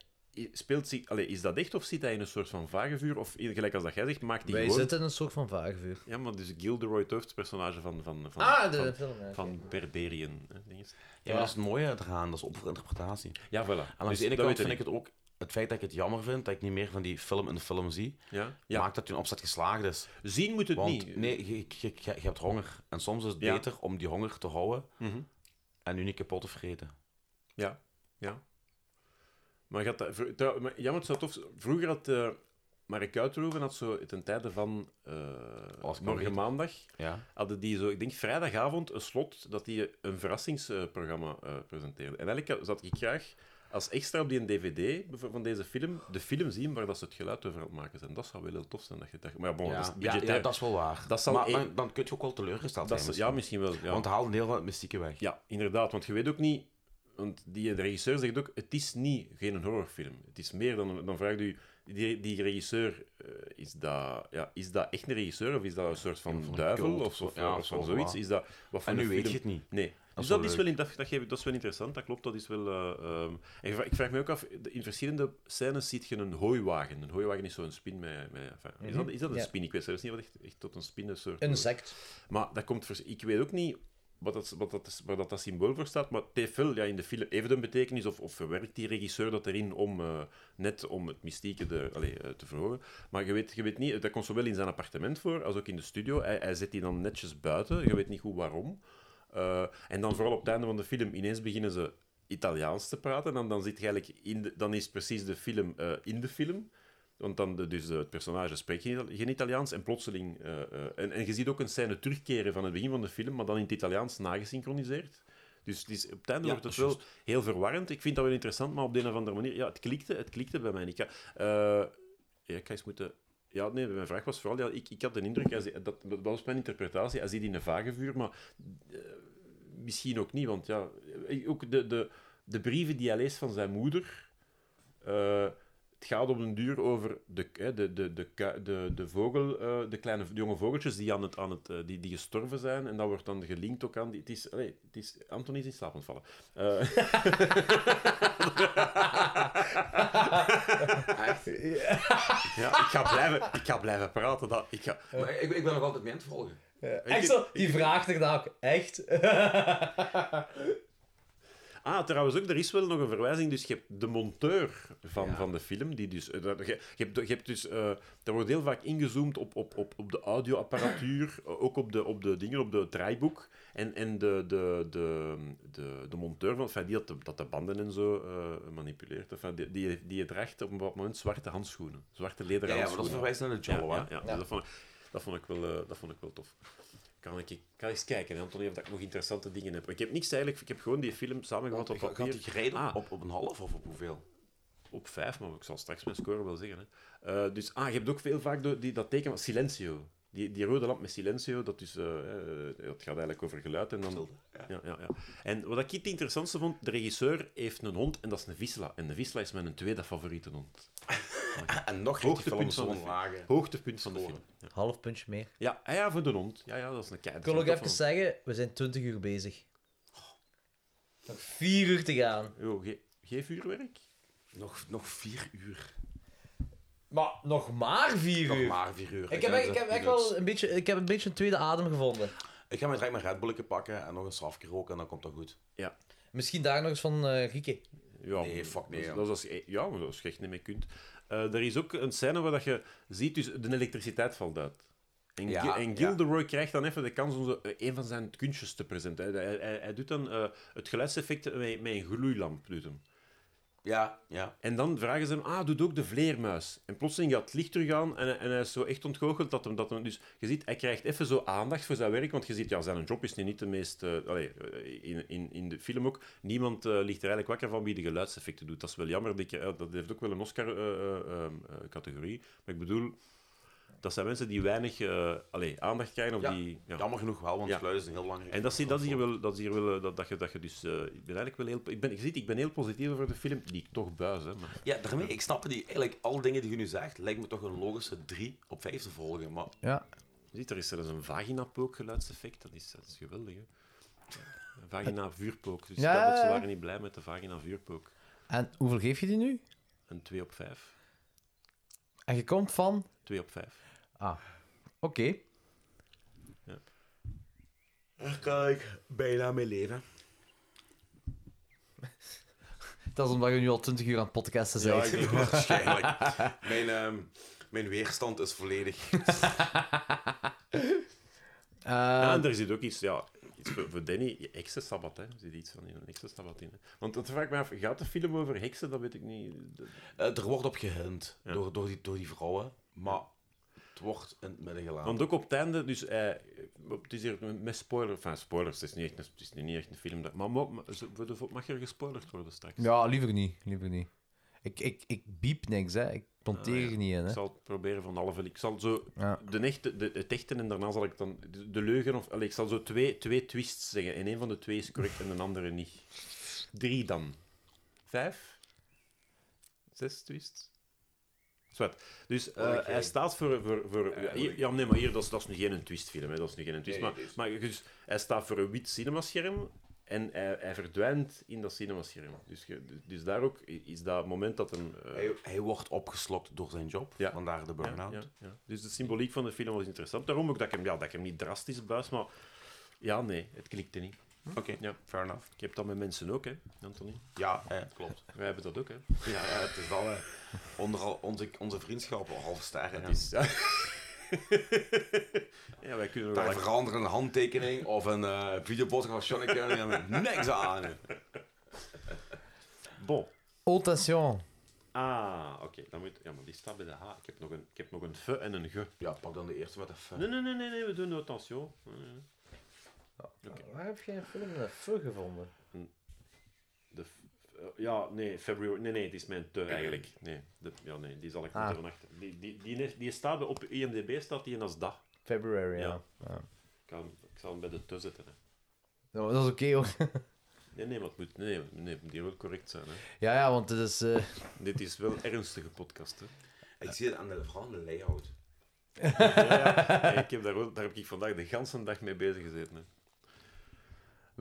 [SPEAKER 4] Speelt zich, allez, is dat echt of zit hij in een soort van vagevuur? Of eh, gelijk als dat jij zegt, maakt hij
[SPEAKER 3] Wij
[SPEAKER 4] gewoon...
[SPEAKER 3] zitten in een soort van vagevuur.
[SPEAKER 4] Ja, maar dus Gilderoy Toft, het personage van, van, van,
[SPEAKER 3] Ah, de
[SPEAKER 4] van,
[SPEAKER 3] film. ja.
[SPEAKER 4] van Berberian. hè, ding is.
[SPEAKER 2] Ja, maar dat is het mooie eraan. Dat is op voor interpretatie.
[SPEAKER 4] Ja, voilà. Dus
[SPEAKER 2] En aan de ene kant vind ik het ook... Het feit dat ik het jammer vind, dat ik niet meer van die film in de film zie,
[SPEAKER 4] Ja? Ja.
[SPEAKER 2] maakt dat je een opzet geslaagd is.
[SPEAKER 4] Zien moet het
[SPEAKER 2] Want
[SPEAKER 4] niet.
[SPEAKER 2] nee, je, je, je- je hebt honger. En soms is het
[SPEAKER 4] Ja.
[SPEAKER 2] beter om die honger te houden
[SPEAKER 4] Mhm.
[SPEAKER 2] en nu niet kapot te vreten.
[SPEAKER 4] Ja, ja. Maar gaat dat... vro- trouw- maar- Ja, maar het zou tof... Vroeger had eh Mark Uitroeven had zo ten tijde van eh,
[SPEAKER 2] Alles kan
[SPEAKER 4] morgen
[SPEAKER 2] beter.
[SPEAKER 4] maandag,
[SPEAKER 2] Ja.
[SPEAKER 4] hadden die zo, ik denk vrijdagavond, een slot dat die een verrassingsprogramma eh, presenteerde. En eigenlijk zat ik graag als extra op die een DVD bev- van deze film, de film zien waar dat ze het geluid over aan het maken zijn. Dat zou wel heel tof zijn, dat je dacht. Maar ja, bon, dat is
[SPEAKER 2] Ja, ja,
[SPEAKER 4] budgetair.
[SPEAKER 2] dat is wel waar.
[SPEAKER 4] Dat zal
[SPEAKER 2] maar
[SPEAKER 4] één-
[SPEAKER 2] dan, dan kun je ook wel teleurgesteld
[SPEAKER 4] Dat
[SPEAKER 2] zijn.
[SPEAKER 4] is- ja,
[SPEAKER 2] misschien.
[SPEAKER 4] misschien wel. Ja.
[SPEAKER 2] Want haal een deel van het mystieke weg.
[SPEAKER 4] ja, inderdaad. Want je weet ook niet... Want die, de regisseur zegt ook, het is niet geen horrorfilm. Het is meer dan... Dan vraagt u, die, die regisseur, eh, is, dat, ja, is dat echt een regisseur? Of is dat een soort van,
[SPEAKER 2] Een
[SPEAKER 4] duivel?
[SPEAKER 2] cult
[SPEAKER 4] Of, zo-
[SPEAKER 2] of-
[SPEAKER 4] ja,
[SPEAKER 2] of
[SPEAKER 4] of van
[SPEAKER 2] zo,
[SPEAKER 4] zoiets?
[SPEAKER 2] voilà.
[SPEAKER 4] Is dat, wat voor
[SPEAKER 2] En nu
[SPEAKER 4] een
[SPEAKER 2] weet
[SPEAKER 4] film?
[SPEAKER 2] je het niet.
[SPEAKER 4] Nee.
[SPEAKER 2] is
[SPEAKER 4] Dus
[SPEAKER 2] wel
[SPEAKER 4] dat is,
[SPEAKER 2] leuk.
[SPEAKER 4] wel in, dat, dat, geef ik- dat is wel interessant, dat klopt. Dat is wel, eh, ehm, en ik vraag- ik vraag me ook af, de- in verschillende scènes ziet je een hooiwagen. Een hooiwagen is zo'n spin met... met enfin, is, dat, is dat een
[SPEAKER 3] Ja.
[SPEAKER 4] spin? Ik weet zelfs niet wat echt, echt tot een spin een soort...
[SPEAKER 3] Een sect.
[SPEAKER 4] Maar dat komt vers- ik weet ook niet wat dat, wat dat, is- waar dat, dat symbool voor staat, maar het heeft wel ja, in de film even een betekenis of, of verwerkt die regisseur dat erin om eh, net om het mystieke de, allee, eh, te verhogen. Maar je weet, je weet niet, dat komt zowel in zijn appartement voor als ook in de studio. Hij, hij zet die dan netjes buiten, je weet niet goed waarom. Eh, en dan vooral op het einde van de film ineens beginnen ze Italiaans te praten. Dan, dan, zit je eigenlijk in de, dan is precies de film eh, in de film. Want dan, de- dus eh, het personage spreekt geen, Itali- geen Italiaans en plotseling... eh, eh, en, en je ziet ook een scène terugkeren van het begin van de film, maar dan in het Italiaans nagesynchroniseerd. Dus het is, op het einde
[SPEAKER 7] Ja,
[SPEAKER 4] wordt het wel heel verwarrend. Ik vind dat wel interessant, maar op de een of andere manier... Ja, het klikte, het klikte bij mij. Ik ga, eh, ja, ik ga eens moeten... Ja, nee, mijn vraag was vooral... Ja, ik, ik had de indruk, hij zei- dat, dat was mijn interpretatie, hij zit in een vage vuur, maar misschien ook niet, want ja, eh, ook de, de, de brieven die hij leest van zijn moeder. eh, het gaat op een duur over de, eh, de, de, de, ku- de, de vogel, eh, de kleine de jonge vogeltjes die, aan het, aan het, eh, die, die gestorven zijn. En dat wordt dan gelinkt ook aan. Die, het is, allee, het is, Anthony is in slaap ontvallen. Eh, ja, ik, ga blijven, ik ga blijven praten. Dat, ik ga,
[SPEAKER 10] Maar ik, ik ben nog altijd mee aan het volgen.
[SPEAKER 3] Echt zo, die vraagt er dan ook. Echt?
[SPEAKER 4] Ah, trouwens ook, er is wel nog een verwijzing. Dus je hebt de monteur van, van de film, die dus... eh, dat- je, je hebt, je hebt dus... eh er wordt heel vaak ingezoomd op, op, op, op de audioapparatuur, eh, ook op de, op de dingen, op de draaiboek. En, en de, de, de, de, de monteur, van, enfin, die dat de, dat de banden en zo eh, manipuleert, enfin, die, die, die draagt op een bepaald moment zwarte handschoenen. Zwarte
[SPEAKER 10] Ja,
[SPEAKER 4] lederen
[SPEAKER 10] ja, maar dat
[SPEAKER 4] handschoenen.
[SPEAKER 10] verwijst naar de Jawa.
[SPEAKER 4] Ja, ja, ja. Dus dat, vond ik, dat, vond ik wel, eh, dat vond ik wel tof. Kan ik, ik kan eens kijken, hè, Anthony, of dat ik nog interessante dingen heb. Ik heb niks eigenlijk, ik heb gewoon die film samengevat
[SPEAKER 2] Oh,
[SPEAKER 4] op
[SPEAKER 10] Gaat die
[SPEAKER 4] papier.
[SPEAKER 10] gereden
[SPEAKER 4] Ah.
[SPEAKER 10] op, op een half of op hoeveel?
[SPEAKER 4] Op vijf, maar ik zal straks mijn score wel zeggen. Hè. Eh, dus, ah, je hebt ook veel vaak de- die, dat teken van silencio. Die, die rode lamp met silencio, dat, is, eh, eh, dat gaat eigenlijk over geluid. En, dan, ja. Ja, ja, en wat ik het interessantste vond, de regisseur heeft een hond en dat is een Visla. En de Visla is mijn tweede favoriete hond.
[SPEAKER 10] En nog
[SPEAKER 4] Hoogtepunt van de
[SPEAKER 10] zo'n
[SPEAKER 4] film.
[SPEAKER 10] lagen.
[SPEAKER 4] Hoogtepunt van de film.
[SPEAKER 3] Half puntje meer.
[SPEAKER 4] Ja, ah ja, voor de hond. Ja, ja, dat is een kei.
[SPEAKER 3] Ik wil ook even zeggen, we zijn 20 uur bezig. Nog 4 uur te gaan.
[SPEAKER 4] Jo, ge- geen vuurwerk?
[SPEAKER 10] Nog, nog vier uur.
[SPEAKER 3] Maar nog maar 4
[SPEAKER 10] Nog
[SPEAKER 3] uur.
[SPEAKER 10] maar vier uur.
[SPEAKER 3] Ik heb, ik, heb echt wel
[SPEAKER 10] peanuts.
[SPEAKER 3] een beetje, ik heb een beetje een tweede adem gevonden.
[SPEAKER 2] Ik ga me direct mijn Red Bulletje pakken en nog een strafje roken en dan komt dat goed.
[SPEAKER 3] Misschien daar nog eens van eh Rieke.
[SPEAKER 4] Ja,
[SPEAKER 10] Nee, fuck nee,
[SPEAKER 4] Dat,
[SPEAKER 10] joh.
[SPEAKER 4] dat is als je- ja, maar dat is echt niet meer kunt. Eh, er is ook een scène waar dat je ziet, dus de elektriciteit valt uit. En,
[SPEAKER 10] Ja,
[SPEAKER 4] Gi-
[SPEAKER 10] ja.
[SPEAKER 4] en Gilderoy krijgt dan even de kans om zo, eh, een van zijn kunstjes te presenteren. Hij, hij, hij- hij doet dan eh, het geluidseffect met, met een gloeilamp. Doet hem.
[SPEAKER 10] Ja, ja.
[SPEAKER 4] En dan vragen ze hem, ah, doet ook de vleermuis. En plotseling gaat het licht terug aan en, hij- en hij is zo echt ontgoocheld dat hem dat... Hem, dus je ziet, hij krijgt even zo aandacht voor zijn werk, want je ziet, ja, zijn job is nu niet de meest... eh, allee, eh, in, in, in de film ook, niemand eh, ligt er eigenlijk wakker van wie de geluidseffecten doet. Dat is wel jammer, dat, je- eh, dat heeft ook wel een eh, Oscar-categorie. maar ik bedoel, dat zijn mensen die weinig eh, allee, aandacht krijgen of
[SPEAKER 10] Ja,
[SPEAKER 4] die... ja.
[SPEAKER 2] Jammer genoeg wel, want
[SPEAKER 4] Ja.
[SPEAKER 2] geluid is een heel belangrijk.
[SPEAKER 4] En dat is, hier- dat is hier wel, dat is hier wel eh, dat, dat, je, dat je dus... eh, ik ben eigenlijk wel heel... Ik ben, je ziet, ik ben heel positief over de film, die ik toch buis, hè. Maar,
[SPEAKER 10] Ja, daarmee, ik snap die. Eigenlijk, alle dingen die je nu zegt, lijkt me toch een logische 3 op 5 te volgen. Maar
[SPEAKER 4] Je ziet, er is zelfs een vagina-pook geluidseffect. Dat is, dat is geweldig, hè? Een vagina-vuurpook. Dus
[SPEAKER 3] Ja,
[SPEAKER 4] dat- dat,
[SPEAKER 3] ja,
[SPEAKER 4] ze
[SPEAKER 3] ja.
[SPEAKER 4] waren niet blij met de vagina-vuurpook.
[SPEAKER 3] En hoeveel geef je die nu?
[SPEAKER 4] Een 2 op 5.
[SPEAKER 3] En je komt van...
[SPEAKER 4] 2 op 5.
[SPEAKER 3] Oké.
[SPEAKER 2] Daar kan ik bijna mee leven.
[SPEAKER 3] Dat is omdat je nu al 20 uur aan het podcasten
[SPEAKER 2] Ja, ik
[SPEAKER 3] bent.
[SPEAKER 2] denk het waarschijnlijk. mijn, ehm, mijn weerstand is volledig.
[SPEAKER 3] Eh,
[SPEAKER 4] Ja, en er zit ook iets, ja, iets voor, voor Danny, je heksenstabbat, hè. Er zit iets van een heksenstabbat in. hè. Want dat vraag ik me af, gaat de film over heksen? Dat weet ik niet. Dat-
[SPEAKER 10] eh, er wordt op gehind door, door, die, door die vrouwen. Maar het wordt in het midden gelaten.
[SPEAKER 4] Want ook op het einde, dus hij- het is hier met spoilers, enfin spoilers, het is niet echt een, het is niet echt een film. Dat, maar mo- maar ze- voor de- mag er gespoilerd worden straks?
[SPEAKER 3] ja, liever niet. Liever niet. Ik, ik, ik biep niks, hè. Ik monteer
[SPEAKER 4] Ah, ja.
[SPEAKER 3] er niet in, hè.
[SPEAKER 4] Ik zal het proberen van halve. Ik zal zo
[SPEAKER 3] Ja.
[SPEAKER 4] de echte, de, het echte en daarna zal ik dan de, de leugen of. allee, ik zal zo twee, twee twists zeggen. En een van de twee is correct en de andere niet. Drie dan. Vijf. Zes twists. Zwart. Dus eh, hij staat voor... voor, voor ja, hier- ja, nee, maar hier, dat is, dat is nu geen een twistfilm. Hè. Dat is nu geen een twist. maar maar dus, hij staat voor een wit cinemascherm en hij, hij verdwijnt in dat cinemascherm. Dus, je- dus daar ook i- is dat moment dat hem... eh,
[SPEAKER 2] Hij, hij wordt opgeslokt door zijn job,
[SPEAKER 4] Ja.
[SPEAKER 2] vandaar de burn-out.
[SPEAKER 4] ja, ja. Dus de symboliek van de film was interessant. Daarom ook dat ik hem, ja, dat ik hem niet drastisch buis, maar ja, nee, het klikte niet.
[SPEAKER 2] Oké,
[SPEAKER 4] Ja.
[SPEAKER 2] fair enough.
[SPEAKER 4] Ik heb dat met mensen ook, hè, Anthony?
[SPEAKER 2] Ja, hè, klopt.
[SPEAKER 4] Wij hebben dat ook, hè?
[SPEAKER 2] Ja, ja, het is wel eh, onder al onze, onze vriendschap al halve sterren.
[SPEAKER 4] Het
[SPEAKER 2] Ja.
[SPEAKER 4] is... ja, wij kunnen
[SPEAKER 2] Daar
[SPEAKER 4] wel...
[SPEAKER 2] veranderen een handtekening of een eh videopodcast van Johnny Kern hebben niks aan.
[SPEAKER 4] Bon.
[SPEAKER 3] Attention.
[SPEAKER 4] Ah, oké. Dan moet... Ja, maar die staat bij de H. Ik heb nog een, ik heb nog een V en een G.
[SPEAKER 2] Ja, pak dan de eerste met een fun.
[SPEAKER 4] Nee, nee, nee, nee, nee, we doen de attention. Nee, nee, nee.
[SPEAKER 9] Waar heb jij een film met een fur gevonden?
[SPEAKER 4] De f- eh, ja, nee, February. Nee, nee, het is mijn te eigenlijk. Nee, de, ja, nee, die zal ik
[SPEAKER 9] Ah.
[SPEAKER 4] moeten vernachten. Die, die, die, ne- die staat bij- op IMDb staat die in als dag.
[SPEAKER 9] February, ja.
[SPEAKER 4] Ja. Ik, kan, ik zal hem bij de te zetten. Hè.
[SPEAKER 9] Ja, dat is oké hoor.
[SPEAKER 4] Nee, nee, maar het moet, nee, nee, die wil correct zijn. Hè.
[SPEAKER 9] Ja, ja, want het is. eh,
[SPEAKER 4] Dit is wel een ernstige podcast. Hè.
[SPEAKER 2] Ik zie het aan de vooral aan de layout.
[SPEAKER 4] Ja, ja. Nee, ik heb daar, wel- daar heb ik vandaag de ganse dag mee bezig gezeten. Hè.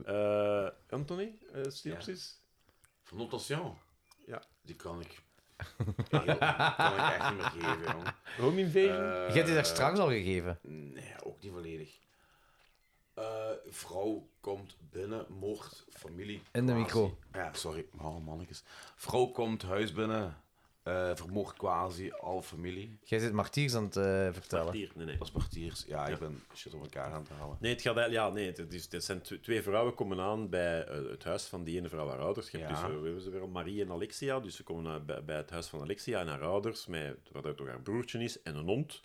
[SPEAKER 4] Eh, Anthony, eh synopsis?
[SPEAKER 2] Van notation.
[SPEAKER 4] Ja.
[SPEAKER 2] Die kan ik, heel- kan ik echt niet meer geven, jongen.
[SPEAKER 4] Home Invasion?
[SPEAKER 2] Eh,
[SPEAKER 9] Je hebt die daar straks al gegeven.
[SPEAKER 2] Nee, ook niet volledig. Eh, vrouw komt binnen, moord, familie.
[SPEAKER 9] In de
[SPEAKER 2] quasi.
[SPEAKER 9] micro.
[SPEAKER 2] Ja, sorry. Oh, mannetjes. Vrouw komt huis binnen, eh vermoord quasi, al familie.
[SPEAKER 9] Jij zit martiers aan het eh, vertellen.
[SPEAKER 4] Kwartier, nee, nee.
[SPEAKER 2] Als partiers. Ja, ik ben shit op elkaar aan te halen.
[SPEAKER 4] Nee, het gaat eigenlijk- ja, nee, het, het is, het zijn tw- twee vrouwen komen aan bij eh, het huis van die ene vrouw haar ouders. Je hebt
[SPEAKER 2] Ja.
[SPEAKER 4] dus, eh, we hebben ze weer al, Marie en Alexia. Dus ze komen aan bij, bij het huis van Alexia en haar ouders, met, wat ook nog haar broertje is, en een hond.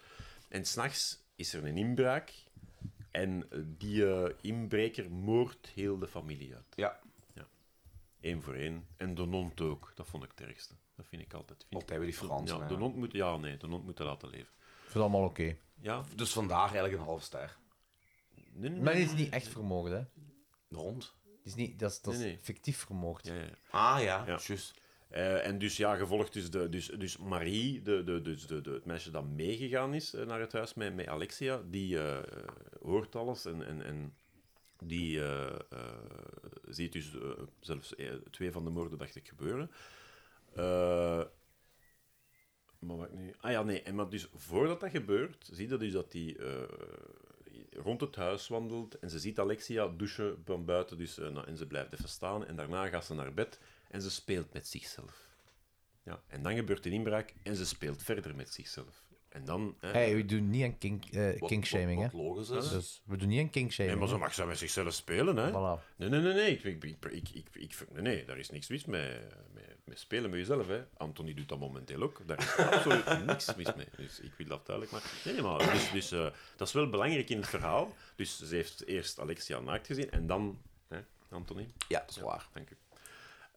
[SPEAKER 4] En s'nachts is er een inbraak. En eh, die eh, inbreker moordt heel de familie uit.
[SPEAKER 2] Ja.
[SPEAKER 4] Eén voor één. En de hond ook. Dat vond ik het ergste. Dat vind ik altijd... Vind ik-
[SPEAKER 2] Altijd weer die Fransen.
[SPEAKER 4] ja,
[SPEAKER 2] hè.
[SPEAKER 4] de hond moet... Ja, nee, de hond moet dat laten leven.
[SPEAKER 9] Ik vind het allemaal oké.
[SPEAKER 4] Ja.
[SPEAKER 2] Dus vandaag eigenlijk een half ster.
[SPEAKER 4] Nee, nee,
[SPEAKER 9] Maar
[SPEAKER 4] nee.
[SPEAKER 9] die is niet echt vermogen, hè?
[SPEAKER 2] De hond.
[SPEAKER 9] Die is niet, dat is, dat is
[SPEAKER 4] Nee, nee.
[SPEAKER 9] fictief vermoord.
[SPEAKER 4] Ja, ja, ja.
[SPEAKER 2] Ah ja,
[SPEAKER 4] Ja.
[SPEAKER 2] juist.
[SPEAKER 4] Eh, en dus ja, gevolgd is de, dus, dus Marie, de, de, dus de, de, het meisje dat meegegaan is eh, naar het huis met, met Alexia, die eh, hoort alles en, en, en die eh, eh, ziet dus eh, zelfs eh, twee van de moorden, dacht ik, gebeuren. Eh, maar wat ik nu... Ah ja, nee. En maar dus voordat dat gebeurt, zie je dus dat die eh, rond het huis wandelt en ze ziet Alexia douchen van buiten dus, eh, nou, en ze blijft even staan en daarna gaat ze naar bed en ze speelt met zichzelf. Ja, en dan gebeurt een inbraak en ze speelt verder met zichzelf. En dan... hè,
[SPEAKER 9] Hey, we doen niet aan kink, eh, kinkshaming, hè?
[SPEAKER 2] Wat logisch is.
[SPEAKER 9] Dus we doen niet aan
[SPEAKER 4] Nee,
[SPEAKER 9] kinkshaming.
[SPEAKER 4] maar ze mag zo met zichzelf spelen, hè?
[SPEAKER 9] Voilà.
[SPEAKER 4] Nee, nee, nee, nee. Ik, ik, ik, ik, ik, ik- nee, nee, daar is niks mis mee. Met, met spelen met jezelf, hè. Anthony doet dat momenteel ook. Daar is absoluut niks mis mee. Dus ik wil dat duidelijk maken. Nee, nee, maar dus, dus, eh, dat is wel belangrijk in het verhaal. Dus ze heeft eerst Alexia naakt gezien en dan... Hè, Anthony?
[SPEAKER 2] Ja, dat is waar.
[SPEAKER 4] Dank u.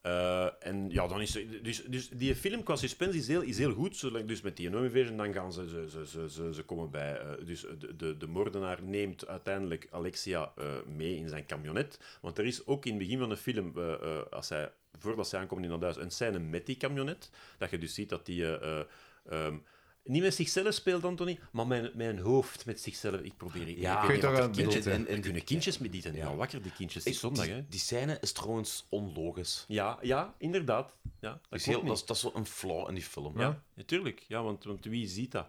[SPEAKER 4] Eh, en ja, dan is ze- dus, dus die film qua suspense is heel, is heel goed. Zolang, dus met die No Invasion, dan gaan ze, ze, ze, ze, ze, ze komen bij. eh, dus de, de, de moordenaar neemt uiteindelijk Alexia eh, mee in zijn camionet. Want er is ook in het begin van de film, eh, eh, als hij, voordat zij aankomt in dat huis, een scène met die camionet. Dat je dus ziet dat die. eh, eh, ehm, niet met zichzelf speelt, Anthony, maar mijn, mijn hoofd met zichzelf. Ik probeer... ik-
[SPEAKER 2] Ja,
[SPEAKER 4] ik
[SPEAKER 2] kun
[SPEAKER 4] weet
[SPEAKER 2] je
[SPEAKER 4] niet wat
[SPEAKER 9] toch
[SPEAKER 4] er
[SPEAKER 9] aan
[SPEAKER 4] kindjes-
[SPEAKER 2] bedoelt, hè?
[SPEAKER 4] er kunnen kindjes met die zijn ja. wakker, die kindjes. Het is zondag, hè.
[SPEAKER 2] die, die scène is trouwens onlogisch.
[SPEAKER 4] Ja, ja, inderdaad. Ja, dat
[SPEAKER 2] Dat is, heel,
[SPEAKER 4] klopt niet.
[SPEAKER 2] dat, is, dat is wel een flaw in die film.
[SPEAKER 4] Ja, natuurlijk. Ja, want, want wie ziet dat?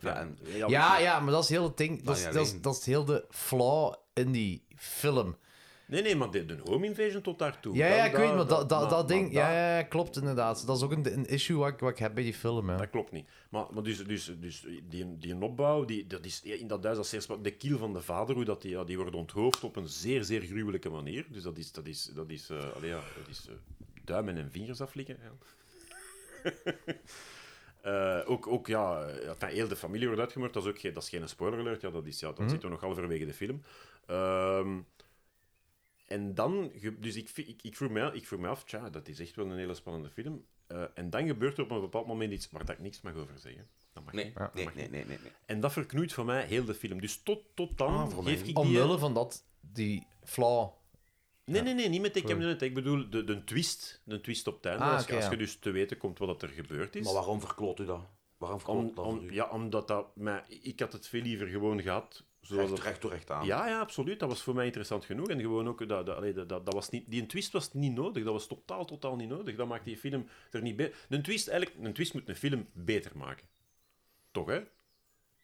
[SPEAKER 2] Ja, en-
[SPEAKER 9] Ja, ja, maar dat is heel het ding. Dat is,
[SPEAKER 2] ja,
[SPEAKER 9] dat is,
[SPEAKER 2] nee.
[SPEAKER 9] dat is heel de flaw in die film.
[SPEAKER 4] Nee, nee, maar de, de home invasion tot daartoe.
[SPEAKER 9] Ja,
[SPEAKER 4] Dan
[SPEAKER 9] ja, ik
[SPEAKER 4] daar-
[SPEAKER 9] weet maar dat, dat,
[SPEAKER 4] maar-
[SPEAKER 9] dat ding...
[SPEAKER 4] maar
[SPEAKER 9] Ja,
[SPEAKER 4] daar-
[SPEAKER 9] ja, ja, klopt inderdaad. Dat is ook een, een issue wat ik, wat ik heb bij die film, hè.
[SPEAKER 4] Dat klopt niet. Maar, maar dus, dus, dus die, die opbouw, die, dat is in dat Duits als eerste de kiel van de vader, hoe dat die, ja, die wordt onthoofd op een zeer, zeer gruwelijke manier. Dus dat is, dat is, dat is, eh, allee, ja, dat is eh, duimen en vingers aflikken. Ja. Eh, ook, ook, ja, eh, enfin, heel de familie wordt uitgemoord. Dat is, ook geen, dat is geen spoiler alert. Ja, dat is, ja, dan zitten we nog halverwege de film. Ehm, en dan, ge- dus ik, ik, ik, vroeg mij, ik vroeg mij af, tja, dat is echt wel een hele spannende film. Eh, en dan gebeurt er op een bepaald moment iets waar dat ik niks mag over zeggen. Dat mag
[SPEAKER 2] Nee,
[SPEAKER 4] niet.
[SPEAKER 2] nee, nee, nee, nee, nee.
[SPEAKER 4] En dat verknoeit voor
[SPEAKER 11] Ah,
[SPEAKER 4] mij heel de film. Dus tot, tot dan geef ik die...
[SPEAKER 9] Omwille van dat, die flaw
[SPEAKER 4] Nee, nee, nee, niet met ik heb net. Ik bedoel de, de twist. De twist op het einde.
[SPEAKER 11] Ah,
[SPEAKER 4] als, je-
[SPEAKER 11] oké,
[SPEAKER 4] als
[SPEAKER 11] ja.
[SPEAKER 4] je dus te weten komt wat er gebeurd is.
[SPEAKER 2] Maar waarom verkloot u dat? Waarom verkloot
[SPEAKER 4] Om-
[SPEAKER 2] dat
[SPEAKER 4] om-
[SPEAKER 2] u?
[SPEAKER 4] ja, omdat dat... Maar ik had het veel liever gewoon gehad... Zoals
[SPEAKER 2] recht,
[SPEAKER 4] dat-
[SPEAKER 2] recht door recht aan.
[SPEAKER 4] ja, ja, absoluut. Dat was voor mij interessant genoeg. En gewoon ook... Dat, dat, allee, dat, dat, dat was niet, die twist was niet nodig. Dat was totaal, totaal niet nodig. Dat maakt die film er niet bij. Een twist, eigenlijk, een twist moet een film beter maken. Toch, hè?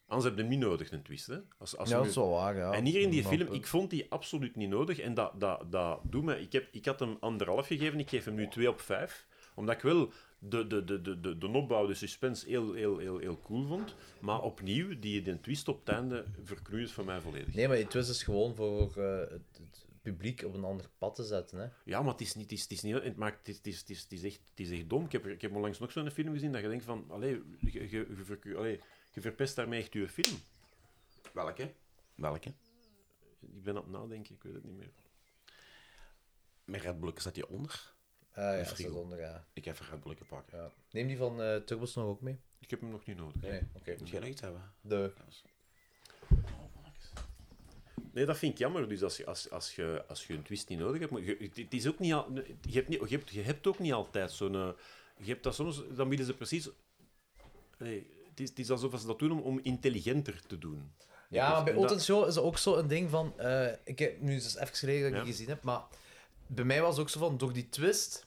[SPEAKER 4] Anders heb je hem niet nodig, een twist. Hè? Als, als
[SPEAKER 11] Ja,
[SPEAKER 4] je-
[SPEAKER 11] dat is wel waar, ja.
[SPEAKER 4] en hier in die
[SPEAKER 11] Maar-
[SPEAKER 4] film, ik vond die absoluut niet nodig. En dat, dat, dat doet me... Ik, heb, ik had hem anderhalf gegeven, ik geef hem nu twee op vijf. Omdat ik wel de, de, de, de, de, de opbouw, de suspense, heel, heel, heel, heel cool vond. Maar opnieuw, die, die twist op het einde verknoeit voor mij volledig.
[SPEAKER 3] Nee, maar het was dus gewoon voor eh, het, het publiek op een ander pad te zetten. Hè.
[SPEAKER 4] Ja, maar het is niet... Het is, het is niet het maakt, het is, het is, het is, het is echt, het is echt dom. Ik heb, er- ik heb onlangs nog zo'n film gezien dat je denkt van... Allee, je, je, je verk- allee, je verpest daarmee echt je film.
[SPEAKER 2] Welke? Welke?
[SPEAKER 4] Ik ben aan het nadenken, ik weet het niet meer.
[SPEAKER 2] Met Red Bull staat die onder.
[SPEAKER 3] Ah, ja, dat
[SPEAKER 2] Frigo.
[SPEAKER 3] is onder, ja.
[SPEAKER 2] Ik ga even Red Bull pakken.
[SPEAKER 3] ja. Neem die van eh Turbos nog ook mee?
[SPEAKER 4] Ik heb hem nog niet nodig.
[SPEAKER 3] Nee, oké.
[SPEAKER 2] Moet jij nog iets hebben?
[SPEAKER 3] De...
[SPEAKER 4] Nee, dat vind ik jammer. Dus als je, als, als je, als je een twist niet nodig hebt... Maar je, het- het is ook niet al, je, hebt niet, je, hebt, je hebt ook niet altijd zo'n... eh, Je hebt dat soms... Dan willen ze precies... Nee, het, is, het is alsof ze dat doen om, om intelligenter te doen.
[SPEAKER 3] Ja, maar bij
[SPEAKER 4] En dat-
[SPEAKER 3] Otten Show is dat ook zo een ding van... eh, ik heb nu is het even geleden dat ik
[SPEAKER 4] Ja.
[SPEAKER 3] die gezien heb, maar bij mij was het ook zo van, door die twist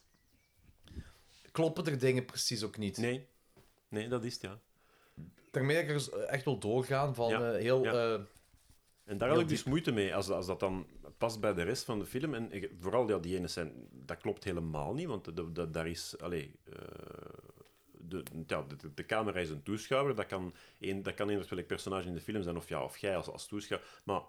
[SPEAKER 3] kloppen er dingen precies ook niet.
[SPEAKER 4] Nee. Nee, dat is het, ja.
[SPEAKER 3] Daarmee dat ik er dus echt wil doorgaan van
[SPEAKER 4] Ja,
[SPEAKER 3] eh, heel...
[SPEAKER 4] ja.
[SPEAKER 3] eh,
[SPEAKER 4] En daar had ik dus moeite mee, als, dat- als dat dan past bij de rest van de film. En ik- vooral ja, die ene scène, dat klopt helemaal niet, want dat- dat- daar is... Allee, eh, de, ja, de, de camera is een toeschouwer, dat kan, een, dat kan inderdaad welk personage in de film zijn, of, ja, of jij als, als toeschouwer. Maar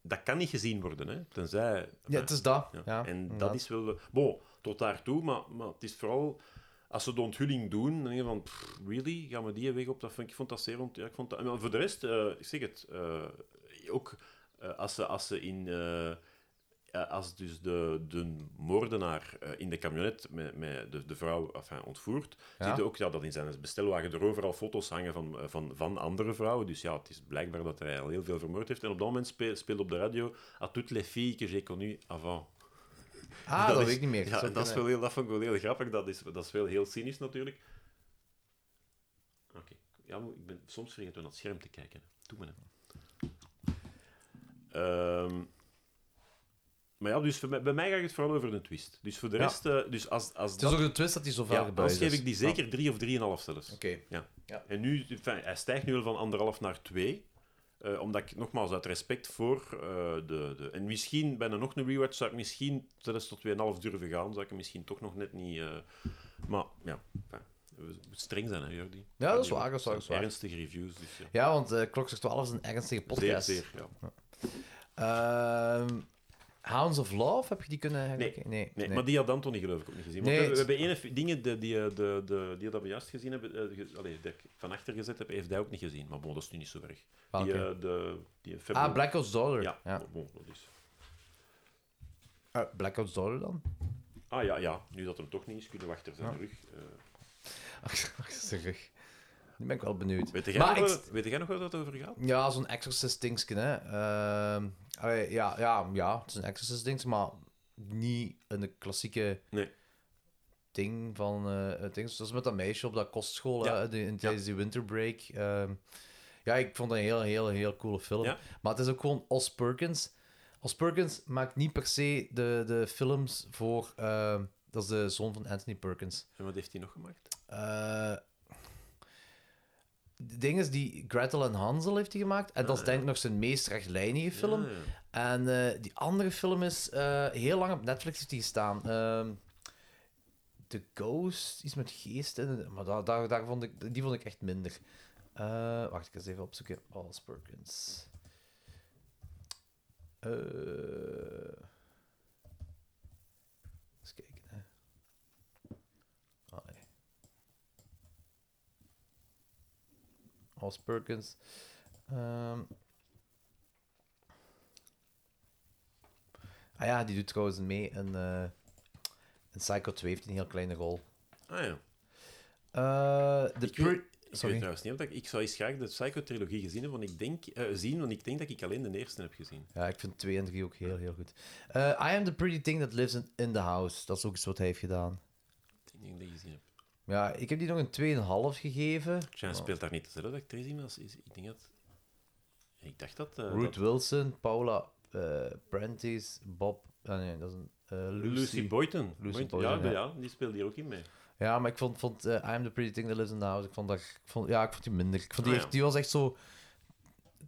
[SPEAKER 4] dat kan niet gezien worden, hè, tenzij...
[SPEAKER 3] ja, het is dat.
[SPEAKER 4] Ja.
[SPEAKER 3] Ja.
[SPEAKER 4] en
[SPEAKER 3] inderdaad.
[SPEAKER 4] dat is wel... de- Bon, tot daartoe, maar, maar het is vooral... Als ze de onthulling doen, dan denk je van... pff, really? Gaan we die weg op? Dat vond, ik vond dat zeer ont... Ja, ik vond dat... Maar voor de rest, eh, ik zeg het... eh, ook eh, als, ze, als ze in... eh, eh, als dus de, de moordenaar eh, in de camionet met, met de, de vrouw enfin, ontvoert,
[SPEAKER 3] Ja.
[SPEAKER 4] ziet hij ook ja, dat in zijn bestelwagen er overal foto's hangen van, eh, van, van andere vrouwen. Dus ja, het is blijkbaar dat hij al heel veel vermoord heeft. En op dat moment speel- speelt op de radio A toutes les filles que j'ai connues avant.
[SPEAKER 3] Ah, dat,
[SPEAKER 4] is-
[SPEAKER 3] weet ik niet meer.
[SPEAKER 4] Ja,
[SPEAKER 3] Zou
[SPEAKER 4] dat, is
[SPEAKER 3] kunnen.
[SPEAKER 4] wel heel, dat vond ik wel heel grappig. Dat is, dat is wel heel cynisch natuurlijk. Oké. Ja, maar ik ben soms vergeten om naar het scherm te kijken. Doe me nou. Ehm, maar ja, dus voor mij, bij mij gaat het vooral over een twist. Dus voor de
[SPEAKER 3] Ja.
[SPEAKER 4] rest, eh, dus als, als
[SPEAKER 3] Het is
[SPEAKER 4] dat,
[SPEAKER 3] ook de twist dat hij zo vaak
[SPEAKER 4] ja,
[SPEAKER 3] bij
[SPEAKER 4] dan
[SPEAKER 3] is.
[SPEAKER 4] geef ik die
[SPEAKER 3] Ja.
[SPEAKER 4] zeker drie of drieënhalf zelfs.
[SPEAKER 3] Oké.
[SPEAKER 4] En nu, enfin, hij stijgt nu wel van anderhalf naar twee. eh, omdat ik nogmaals uit respect voor eh, de, de. En misschien bij een nog een rewatch zou ik misschien zelfs tot 2,5 durven gaan. Zou ik hem misschien toch nog net niet. eh, maar ja, enfin, we moeten streng zijn, hè, Jordi?
[SPEAKER 3] Ja, dat is waar, dat is waar, dat is waar.
[SPEAKER 4] Ernstige reviews. Dus, ja.
[SPEAKER 3] Ja, want eh Klokslag 12 is een ernstige
[SPEAKER 4] Zeer,
[SPEAKER 3] podcast.
[SPEAKER 4] zeer. Ja.
[SPEAKER 3] Ehm, Hounds of Love, heb je die kunnen
[SPEAKER 4] Nee.
[SPEAKER 3] herkijken? Nee.
[SPEAKER 4] Nee, maar die had Anthony geloof ik ook niet gezien. Want
[SPEAKER 3] Nee,
[SPEAKER 4] we, we
[SPEAKER 3] het-
[SPEAKER 4] hebben ene fi- dingen die, die, eh, de, de, die dat we juist gezien hebben, eh, ge- allee, dat ik van achter gezet heb, heeft hij ook niet gezien. Maar bon, dat is nu niet zo erg.
[SPEAKER 3] Ah,
[SPEAKER 4] Die,
[SPEAKER 3] oké.
[SPEAKER 4] eh, de, die
[SPEAKER 3] Ah,
[SPEAKER 4] February-
[SPEAKER 3] Blackout's Daughter.
[SPEAKER 4] Ja,
[SPEAKER 3] Ja.
[SPEAKER 4] bon, dat is.
[SPEAKER 3] Eh, Blackout's Daughter dan?
[SPEAKER 4] Ah ja, ja, nu dat hem toch niet is, kunnen we achter zijn rug. eh.
[SPEAKER 3] Ach, ach, zijn rug. Nu ben ik wel benieuwd.
[SPEAKER 4] weet, jij
[SPEAKER 3] Maar
[SPEAKER 4] nog,
[SPEAKER 3] ik-
[SPEAKER 4] waar- weet jij nog waar dat over gaat?
[SPEAKER 3] Ja, zo'n exorcist-dingetje, hè. Ehm, allee, ja, ja, ja, het is een exorcist-dingetje, maar niet een klassieke
[SPEAKER 4] Nee.
[SPEAKER 3] ding van... eh het ding. Zoals met dat meisje op dat kostschool,
[SPEAKER 4] Ja.
[SPEAKER 3] hè, die- in tijdens die winterbreak. Ehm, ja, ik vond het een heel, heel, heel coole film.
[SPEAKER 4] Ja.
[SPEAKER 3] Maar het is ook gewoon Os Perkins. Os Perkins maakt niet per se de, de films voor... ehm, dat is de zoon van Anthony Perkins.
[SPEAKER 4] En wat heeft hij nog gemaakt?
[SPEAKER 3] Eh, de ding is, die Gretel en Hansel heeft hij gemaakt. En dat is denk ik nog zijn meest rechtlijnige film.
[SPEAKER 4] Ah, ja.
[SPEAKER 3] En eh, die andere film is eh, heel lang op Netflix heeft die gestaan. Ehm, The Ghost, iets met geest. In, maar daar, daar, daar vond ik, die vond ik echt minder. Eh, wacht, ik ga eens even opzoeken. Alice Perkins. Eh, eens kijken, hè. Ah, nee. Alice Perkins. Ehm, Ah ja, die doet trouwens mee in, eh in Psycho 2, heeft hij een heel kleine rol.
[SPEAKER 4] Ah ja.
[SPEAKER 3] Eh, de
[SPEAKER 4] Ik weet-
[SPEAKER 3] Pur-
[SPEAKER 4] Ik
[SPEAKER 3] Sorry.
[SPEAKER 4] weet trouwens niet, want ik, ik zou eens graag de Psycho-trilogie gezien hebben, want ik denk, eh, zien, want ik denk dat ik alleen de eerste heb gezien.
[SPEAKER 3] Ja, ik vind 2 en 3 ook heel, heel goed. Eh, I am the pretty thing that lives in, in the house. Dat is ook iets wat hij heeft gedaan.
[SPEAKER 4] Ik denk dat ik gezien heb.
[SPEAKER 3] Ja, ik heb die nog een 2,5 gegeven.
[SPEAKER 4] Tja, speelt daar niet dezelfde actrice in als... Is, ik denk dat... Ik dacht dat... eh,
[SPEAKER 3] Ruth
[SPEAKER 4] dat
[SPEAKER 3] Wilson, Paula eh Prentice, Bob... Ah nee, dat is een... eh, Lucy.
[SPEAKER 4] Lucy, Boyton.
[SPEAKER 3] Lucy
[SPEAKER 4] ja,
[SPEAKER 3] Boyton,
[SPEAKER 4] de-
[SPEAKER 3] ja.
[SPEAKER 4] ja, die speelt hier ook in mee.
[SPEAKER 3] Ja, maar ik vond, vond eh, I am the pretty thing that lives in the house. Ik vond, dat, ik vond, ja, ik vond die minder. Ik vond die,
[SPEAKER 4] Ah,
[SPEAKER 3] echt,
[SPEAKER 4] ja.
[SPEAKER 3] die was echt zo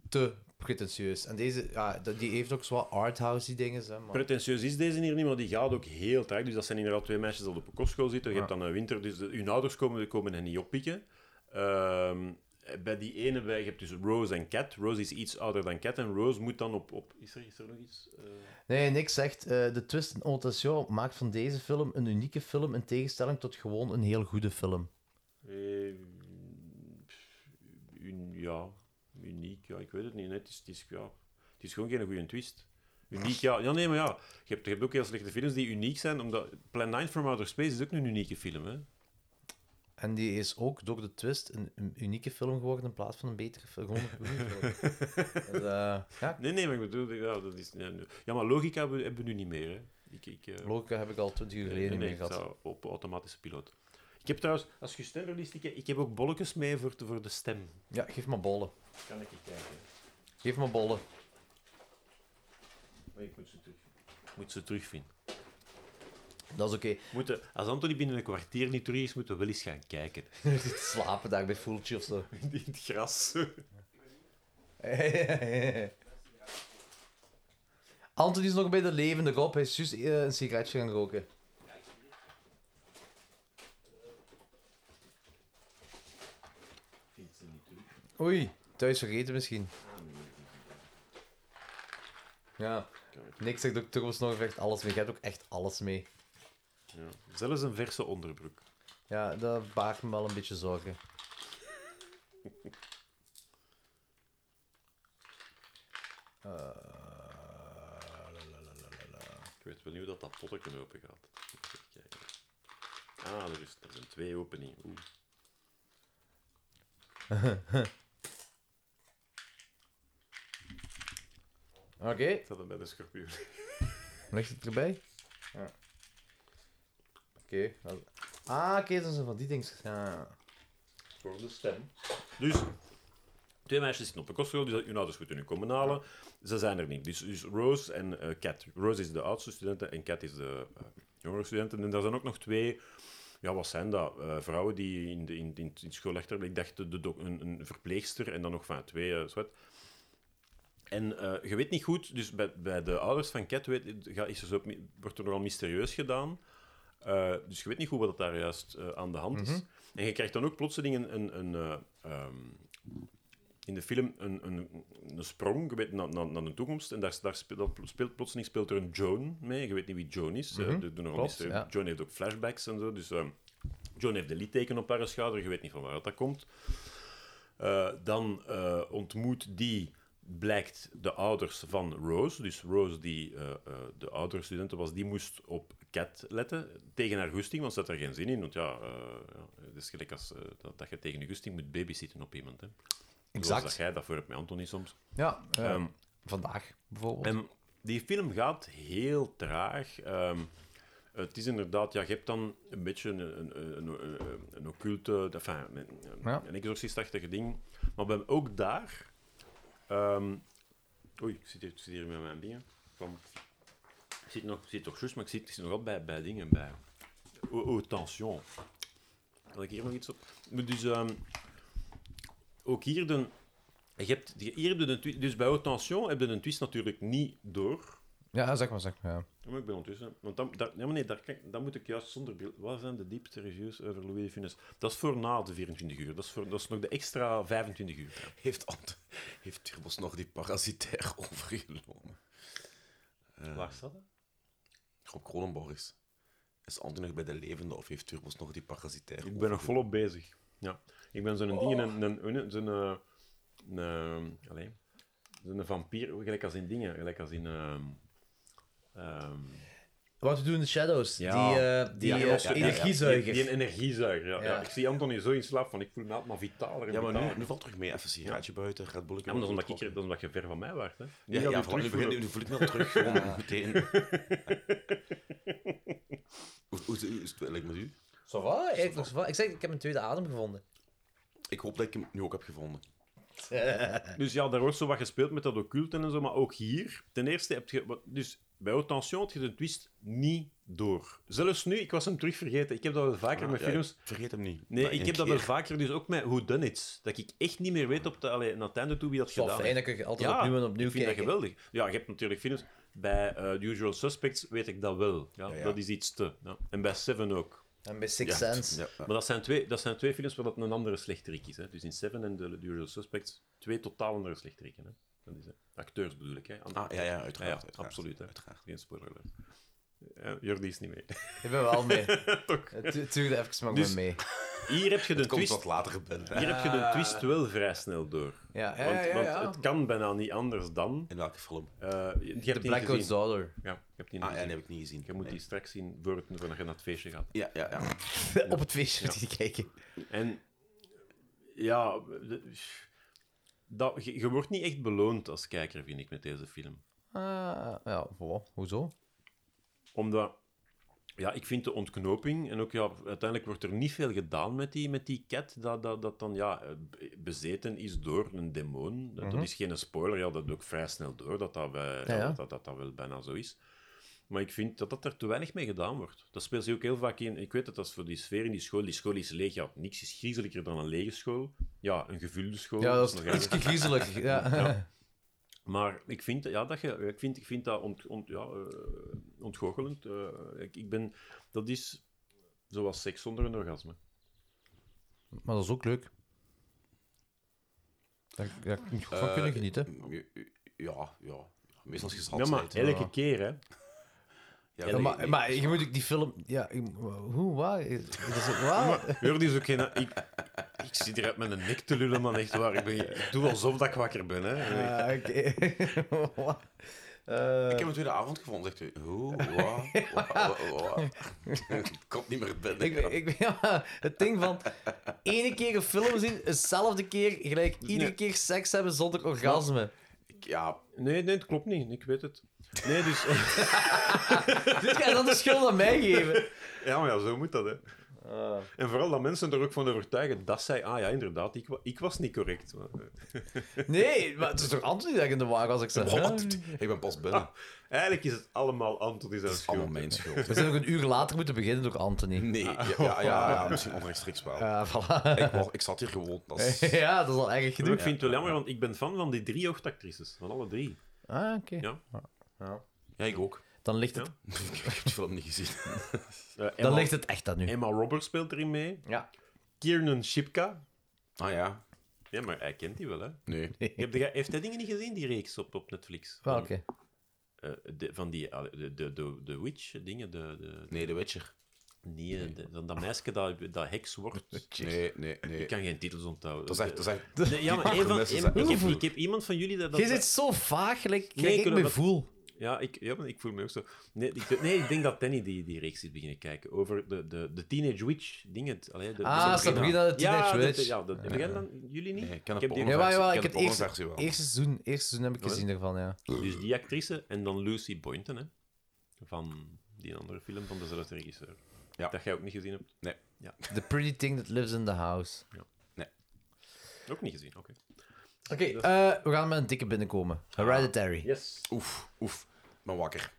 [SPEAKER 3] te pretentieus. En deze, ja, dat- die heeft ook zo wat arthouse dingen. Hè, maar...
[SPEAKER 4] Pretentieus is deze hier niet, maar die gaat ook heel traag. Dus dat zijn inderdaad twee meisjes dat op een kostschool zitten. Je hebt dan een winter, dus de- hun ouders komen, komen hen niet oppikken. Ehm, bij die ene, bij, je hebt dus Rose en Cat. Rose is iets ouder dan Cat en Rose moet dan op... op is, er, is er nog iets? Eh,
[SPEAKER 3] Nee, niks zegt. eh, de twist in Otation maakt van deze film een unieke film in tegenstelling tot gewoon een heel goede film.
[SPEAKER 4] eh, pff, un- ja, uniek. Ja, ik weet het niet. net. het, is, het, is, ja, het is gewoon geen goede twist. Uniek, ja. Ja, nee, maar ja. Je hebt, je hebt ook heel slechte films die uniek zijn, omdat... Plan 9 from Outer Space is ook een unieke film, hè.
[SPEAKER 3] En die is ook door de twist een, een unieke film geworden in plaats van een betere film. Gewoon een goede film. Dus, eh, ja,
[SPEAKER 4] Nee, nee, maar ik bedoel, ja, dat is... ja, nee. Ja, maar logica hebben we, hebben we nu niet meer, hè. Ik, ik, eh,
[SPEAKER 3] logica heb ik al twintig uur
[SPEAKER 4] nee,
[SPEAKER 3] geleden niet
[SPEAKER 4] nee,
[SPEAKER 3] meer
[SPEAKER 4] ik
[SPEAKER 3] gehad.
[SPEAKER 4] zou op automatische piloot. Ik heb trouwens, als je stemverliest, ik, ik heb ook bolletjes mee voor, de- voor de stem.
[SPEAKER 3] Ja, geef me bollen.
[SPEAKER 4] Kan ik kijken.
[SPEAKER 3] Geef me bollen.
[SPEAKER 4] Maar ik moet ze terug. Ik moet ze terugvinden.
[SPEAKER 3] Dat is oké.
[SPEAKER 4] Moeten, als Anthony binnen een kwartier niet terug is, moeten we wel eens gaan kijken.
[SPEAKER 3] Slapen daar bij Voeltje of zo.
[SPEAKER 4] In het gras.
[SPEAKER 3] Anthony is nog bij de levende Rob. Hij is juist eh, een sigaretje gaan roken. Oei, thuis vergeten misschien. Ja, niks zegt ook Turbos nog echt alles mee. Je hebt ook echt alles mee.
[SPEAKER 4] Ja. Zelfs een verse onderbroek.
[SPEAKER 3] Ja, dat baart me wel een beetje zorgen. Eh,
[SPEAKER 4] Ik weet wel niet hoe dat, dat potje open gaat. Even kijken. Ah, er, is, er zijn twee openingen. Oeh.
[SPEAKER 3] Oké,
[SPEAKER 4] Ik zat hem bij de schorpioen.
[SPEAKER 3] ligt het erbij? Ja. Oké. wel- Ah, oké, dat zijn van die dingen. Ja.
[SPEAKER 4] Voor de stem. Dus, twee meisjes zitten op een kostschool, dus hun ouders moeten hun komen halen. Ze zijn er niet. Dus, dus Rose en eh, Kat. Rose is de oudste student en Kat is de eh, jongere student. En daar zijn ook nog twee, ja, wat zijn dat? Eh, vrouwen die in de in, in, in school achter, ik dacht de, de dok- een, een verpleegster en dan nog van twee, eh zwart. En eh, je weet niet goed, dus bij, bij de ouders van Kat weet, ga- is er zo, wordt er nogal mysterieus gedaan. Eh, dus je weet niet goed wat daar juist eh, aan de hand is. En je krijgt dan ook plotseling een, een, een, eh, ehm, in de film een, een, een sprong je weet, naar, naar, naar de toekomst. En daar, daar speelt, dan speelt plotseling speelt er een Joan mee. Je weet niet wie Joan is. eh, de- de journalist, eh,
[SPEAKER 3] ja.
[SPEAKER 4] Joan heeft ook flashbacks en zo. Dus ehm, Joan heeft de litteken op haar schouder. Je weet niet van waar dat komt. Eh, dan eh, ontmoet die, blijkt, de ouders van Rose. Dus Rose, die eh, eh, de oudere studenten was, die moest op Cat letten. Tegen haar goesting, want ze had er geen zin in. Want ja, eh, ja het is gelijk als eh, dat, dat je tegen je goesting moet babysitten op iemand. Hè. Zoals
[SPEAKER 3] Exact.
[SPEAKER 4] dat jij dat voor hebt met Anthony soms.
[SPEAKER 3] Ja, eh,
[SPEAKER 4] Ehm,
[SPEAKER 3] vandaag bijvoorbeeld.
[SPEAKER 4] en die film gaat heel traag. Ehm, het is inderdaad, ja, je hebt dan een beetje een, een, een, een, een occulte, enfin, een, een,
[SPEAKER 3] Ja.
[SPEAKER 4] een exorcistachtige ding. Maar we hebben ook daar. ehm, oei, ik zit, hier, ik zit hier met mijn dingen. Kom. Ik zit, nog, ik zit toch juist, maar ik zit, ik zit nog altijd bij, bij dingen. Bij. Oh, oh, tension. Had ik hier nog iets op? Maar Dus ehm, ook hier de, je hebt, hier heb je een twist, dus bij haute tension heb je een twist natuurlijk niet door.
[SPEAKER 3] ja, zeg maar, zeg maar. Ja.
[SPEAKER 4] Ja, Maar ik ben ondertussen. Want dan, daar, ja, maar nee, daar, kan ik- dan moet ik juist zonder beeld. Wat zijn de diepste reviews over Louis de Funès? Dat is voor na de 24 uur. Dat is, voor, dat is nog de extra 25 uur.
[SPEAKER 2] Heeft, Ant heeft Turbos nog die parasitair overgenomen? Eh,
[SPEAKER 4] Waar staat dat?
[SPEAKER 2] Rob Kronenborg is. Is Anton nog bij de levende of heeft Turbos nog die parasitair
[SPEAKER 4] Ik ben nog
[SPEAKER 2] overgenomen?
[SPEAKER 4] volop bezig. Ja. Ik ben zo'n ding, een, een, een, zo'n, eh, een, eh, allee, zo'n vampier, gelijk als in dingen, gelijk als in... ehm, ehm,
[SPEAKER 3] Wat we doen in de Shadows.
[SPEAKER 4] Ja.
[SPEAKER 3] Die, eh, die
[SPEAKER 4] Ja,
[SPEAKER 3] eh,
[SPEAKER 4] was- ja, ja.
[SPEAKER 3] energiezuiger.
[SPEAKER 4] Die, die een energiezuiger, ja.
[SPEAKER 3] Ja.
[SPEAKER 4] ja. Ik zie Anton hier zo in slaap van, ik voel me altijd maar vitaler en
[SPEAKER 2] Ja, maar
[SPEAKER 4] vitaler.
[SPEAKER 2] nu, nu valt terug mee. Even een sigaretje buiten, Red Bull.
[SPEAKER 4] Ja, maar dat is omdat, ik, dat is omdat je ver van mij waart, hè. Nu
[SPEAKER 2] Ja, ja,
[SPEAKER 4] ga je
[SPEAKER 2] ja, voilà,
[SPEAKER 4] terug
[SPEAKER 2] nu,
[SPEAKER 4] voelen.
[SPEAKER 2] begin, nu voel ik me al terug. Gewoon meteen. Hoe- hoe- hoe is het eigenlijk met u?
[SPEAKER 3] Ça va, eigenlijk nog ça va. Ik zeg, ik heb mijn tweede adem gevonden.
[SPEAKER 2] Ik hoop dat ik hem nu ook heb gevonden.
[SPEAKER 4] Dus ja, daar wordt zo wat gespeeld met dat occult en zo, maar ook hier. Ten eerste heb je... wat- Dus bij haute tension had je de twist niet door. Zelfs nu, ik was hem terug vergeten. Ik heb dat wel vaker met
[SPEAKER 2] Ah, Ja,
[SPEAKER 4] films.
[SPEAKER 2] ik vergeet hem niet.
[SPEAKER 4] Nee,
[SPEAKER 2] Maar
[SPEAKER 4] ik
[SPEAKER 2] één
[SPEAKER 4] heb dat
[SPEAKER 2] keer.
[SPEAKER 4] wel vaker, dus ook met Who Done It. Dat ik echt niet meer weet op de, allee, naar het einde toe wie dat
[SPEAKER 3] Zo
[SPEAKER 4] gedaan
[SPEAKER 3] fijn,
[SPEAKER 4] heeft.
[SPEAKER 3] dan kun je altijd opnieuw en opnieuw
[SPEAKER 4] ik vind
[SPEAKER 3] kijken.
[SPEAKER 4] dat geweldig. Ja, je hebt natuurlijk films. Bij eh, The Usual Suspects weet ik dat wel. Ja, Dat is iets te. Ja. En bij Seven ook.
[SPEAKER 3] En bij Six Sense.
[SPEAKER 2] Ja, ja.
[SPEAKER 4] Maar dat zijn, twee, dat zijn twee films waar dat een andere slechterik is. Hè. Dus in Seven en The Usual Suspects, twee totaal andere slechterikken. Hè. Dat is, hè. Acteurs bedoel ik. Hè. Andere-
[SPEAKER 2] Ah, ja, ja, uiteraard.
[SPEAKER 4] Ja, ja,
[SPEAKER 2] uiteraard.
[SPEAKER 4] absoluut. Hè.
[SPEAKER 2] Uiteraard.
[SPEAKER 4] Geen spoiler alert. Ja, Jordi is niet mee.
[SPEAKER 3] Ik ben wel mee. Het du- het duurde even, maar ik ben mee.
[SPEAKER 4] Hier heb je de
[SPEAKER 2] Komt Ah.
[SPEAKER 4] twist.
[SPEAKER 2] wat later gebeld.
[SPEAKER 4] Hier heb je de twist wel vrij snel door.
[SPEAKER 3] Ja, ja,
[SPEAKER 4] Want,
[SPEAKER 3] ja, ja, ja.
[SPEAKER 4] want het kan bijna niet anders dan.
[SPEAKER 2] In welke film?
[SPEAKER 4] eh, je- je hebt
[SPEAKER 3] The
[SPEAKER 4] die niet
[SPEAKER 3] Blackout's
[SPEAKER 4] gezien.
[SPEAKER 3] Daughter.
[SPEAKER 4] Ja, ik heb die niet
[SPEAKER 2] Ah, ja,
[SPEAKER 4] gezien.
[SPEAKER 2] die heb ik niet gezien.
[SPEAKER 4] Je moet die straks zien voor het, voordat je naar het feestje gaat.
[SPEAKER 2] Ja, ja, ja.
[SPEAKER 3] Op het feestje moet je kijken.
[SPEAKER 4] En ja, de- dat, je, je wordt niet echt beloond als kijker, vind ik, met deze film.
[SPEAKER 3] Ah, ja, voilà. Hoezo?
[SPEAKER 4] Omdat, ja, ik vind de ontknoping en ook, ja, uiteindelijk wordt er niet veel gedaan met die, met die cat, dat, dat, dat dan, ja, eh, be- bezeten is door een demon. Dat, dat is geen spoiler, ja, dat doe ik vrij snel door, dat dat, bij-
[SPEAKER 3] Mhm. Ja, ja.
[SPEAKER 4] Dat, dat, dat dat wel bijna zo is. Maar ik vind dat dat er te weinig mee gedaan wordt. Dat speelt zich ook heel vaak in. Ik weet dat dat is voor die sfeer in die school. Die school is leeg. Ja, niks is griezeliger dan een lege school. Ja, een gevulde school.
[SPEAKER 3] Ja, dat
[SPEAKER 4] nog
[SPEAKER 3] is
[SPEAKER 4] erger.
[SPEAKER 3] iets griezelig. Ja.
[SPEAKER 4] Maar ik vind, ja, dat, je, ik vind, ik vind dat ont, ont, ja, eh, ontgoochelend. Eh, ik, ik ben, dat is zoals seks zonder een orgasme.
[SPEAKER 3] Maar dat is ook leuk. Daar daar kun je goed
[SPEAKER 2] Eh,
[SPEAKER 3] van kunnen genieten.
[SPEAKER 2] Ja, ja. Meestal is het
[SPEAKER 4] Ja, maar
[SPEAKER 2] altijd, hè.
[SPEAKER 4] elke keer, hè.
[SPEAKER 2] Ja,
[SPEAKER 3] maar,
[SPEAKER 2] nee,
[SPEAKER 3] maar je moet ook die film... Ja, ik- hoe, waar? Dat is ook waar.
[SPEAKER 4] Jordi is ook geen... Ik, ik zit hier uit mijn nek te lullen, man. Echt waar. Ik, ben, ik doe alsof dat ik wakker ben, hè.
[SPEAKER 3] Ah, Oké. Eh,
[SPEAKER 2] Ik heb hem tweede avond gevonden, zegt Oh, u. Hoe, wa, wa, wa, wa. Ik kom niet meer binnen.
[SPEAKER 3] ik, ben- ik, ben- ja, het ding van ene keer een film zien, dezelfde keer gelijk iedere keer seks hebben zonder orgasme.
[SPEAKER 2] Ja,
[SPEAKER 4] Nee, nee, het klopt niet. Ik weet het. Nee, dus...
[SPEAKER 3] Dus ga je dan de schuld aan mij geven?
[SPEAKER 4] Ja, maar ja, zo moet dat, hè. En vooral dat mensen er ook van overtuigen dat zij... Ah ja, inderdaad, ik, wa- ik was niet correct. Maar, eh.
[SPEAKER 3] Nee, maar het is toch Anthony dat ik in de war was? Ik zei,
[SPEAKER 2] wat? Ik ben pas binnen.
[SPEAKER 4] Ah, Eigenlijk is het allemaal Anthony zijn schuld.
[SPEAKER 2] Allemaal mijn schuld.
[SPEAKER 3] We zijn nog een uur later moeten beginnen door Anthony.
[SPEAKER 2] Nee,
[SPEAKER 4] Ah.
[SPEAKER 2] ja, ja, ja, ja, misschien onrechtstreeks wel.
[SPEAKER 3] Ja, voilà.
[SPEAKER 2] Ik, wou- ik zat hier gewoon. Dat is-
[SPEAKER 3] Ja, dat is al erg
[SPEAKER 4] Ik
[SPEAKER 3] genoeg.
[SPEAKER 4] vind het wel jammer, want ik ben fan van die drie hoofdactrices. Van alle drie.
[SPEAKER 3] Ah, oké.
[SPEAKER 4] Ja.
[SPEAKER 2] Ja, ik ook.
[SPEAKER 3] Dan ligt het,
[SPEAKER 2] Ik heb de film niet gezien.
[SPEAKER 4] Eh, Emma,
[SPEAKER 3] dan ligt het echt aan nu.
[SPEAKER 4] Emma Roberts speelt erin mee.
[SPEAKER 3] Ja.
[SPEAKER 4] Kiernan Shipka.
[SPEAKER 2] Ah ja,
[SPEAKER 4] Ja, maar hij kent die wel, hè.
[SPEAKER 2] nee.
[SPEAKER 4] Heb je- heeft hij dingen niet gezien, die reeks op, op Netflix? Van,
[SPEAKER 3] Welke?
[SPEAKER 4] eh, de, van die... eh, De, de, de, de witch-dingen, de... de
[SPEAKER 2] Nee, The Witcher.
[SPEAKER 4] nee, eh, de- van dat meisje dat, dat heks wordt.
[SPEAKER 2] Nee, nee, nee.
[SPEAKER 4] Ik kan geen titels onthouden. Eh,
[SPEAKER 2] Dat is echt, dat is echt...
[SPEAKER 4] Nee, ja, maar één van,
[SPEAKER 2] premise is
[SPEAKER 4] één- ik, heb,
[SPEAKER 2] echt-
[SPEAKER 4] ik heb iemand van jullie dat... dat
[SPEAKER 3] Je zit zo vaag, gelijk
[SPEAKER 4] Nee,
[SPEAKER 3] gelijk ik
[SPEAKER 4] kunnen
[SPEAKER 3] me
[SPEAKER 4] we-
[SPEAKER 3] voel.
[SPEAKER 4] Ja, ik, ja, maar ik voel me ook zo. Nee, ik, nee, ik denk dat Danny die, die reeks is beginnen kijken. Over de, de, de Teenage Witch dingen. Allee, de,
[SPEAKER 3] Ah, Sabrina de Teenage
[SPEAKER 4] ja,
[SPEAKER 3] Witch.
[SPEAKER 4] Dat, ja, dat, begrijp dan jullie niet?
[SPEAKER 2] Nee, ik ken
[SPEAKER 4] Ik
[SPEAKER 2] de
[SPEAKER 4] heb die-
[SPEAKER 2] porno-
[SPEAKER 3] Ja, maar,
[SPEAKER 2] versie-
[SPEAKER 3] jawel, ik
[SPEAKER 2] ik
[SPEAKER 3] heb
[SPEAKER 2] ken
[SPEAKER 3] het
[SPEAKER 2] de
[SPEAKER 3] eerste,
[SPEAKER 2] pornoversie wel.
[SPEAKER 3] eerste seizoen, eerste seizoen heb ik gezien ervan, ja.
[SPEAKER 4] Dus die actrice en dan Lucy Boynton, hè. Van die andere film van dezelfde regisseur.
[SPEAKER 2] Ja.
[SPEAKER 4] Dat jij ook niet gezien hebt.
[SPEAKER 2] Nee.
[SPEAKER 3] The Pretty Thing That Lives in the House.
[SPEAKER 4] Ook niet gezien, oké.
[SPEAKER 3] Oké, eh, we gaan met een dikke binnenkomen. Hereditary.
[SPEAKER 4] Yes.
[SPEAKER 2] Oef, oef. Ik ben wakker.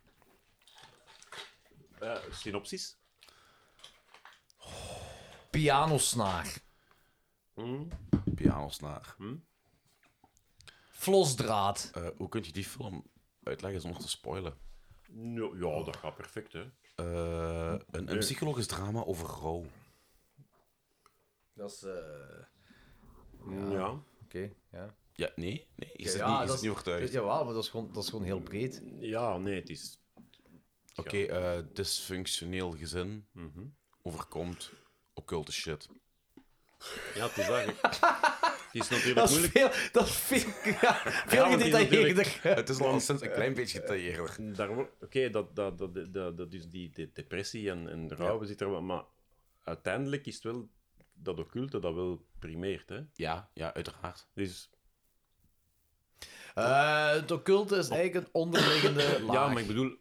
[SPEAKER 4] Eh, synopsis.
[SPEAKER 3] Pianosnaar.
[SPEAKER 2] Pianosnaar.
[SPEAKER 3] Flosdraad.
[SPEAKER 2] Hm? Eh, hoe kun je die film uitleggen zonder te spoilen?
[SPEAKER 4] Nou, ja, dat gaat perfect, hè.
[SPEAKER 2] Eh, een, een psychologisch drama over rouw.
[SPEAKER 3] Dat is... eh,
[SPEAKER 4] Ja.
[SPEAKER 3] Oké, ja.
[SPEAKER 2] Ja, nee, nee. Ik zit
[SPEAKER 3] ja,
[SPEAKER 2] niet,
[SPEAKER 3] dat
[SPEAKER 2] ik zit
[SPEAKER 3] is-
[SPEAKER 2] niet overtuigd.
[SPEAKER 3] Jawel, maar dat is gewoon, dat is gewoon heel breed.
[SPEAKER 4] Ja, nee, het is...
[SPEAKER 2] Oké, eh, Mhm. dysfunctioneel gezin overkomt occulte shit.
[SPEAKER 4] Ja, het is eigenlijk... Het is natuurlijk
[SPEAKER 3] Dat is
[SPEAKER 4] moeilijk.
[SPEAKER 3] veel, dat is veel, ja, veel
[SPEAKER 4] want die is
[SPEAKER 3] gedetailleerder.
[SPEAKER 2] Het is nonsens een klein beetje detailleerder.
[SPEAKER 4] Daar wordt- Oké, dat, dat, dat, dat, dat is die, die depressie en, en de rouw zit er wel... Maar uiteindelijk is het wel dat occulte dat wel primeert, hè.
[SPEAKER 2] Ja, ja, uiteraard.
[SPEAKER 4] Dus...
[SPEAKER 3] Eh, het occulte is eigenlijk een onderliggende laag.
[SPEAKER 4] Ja, maar ik bedoel,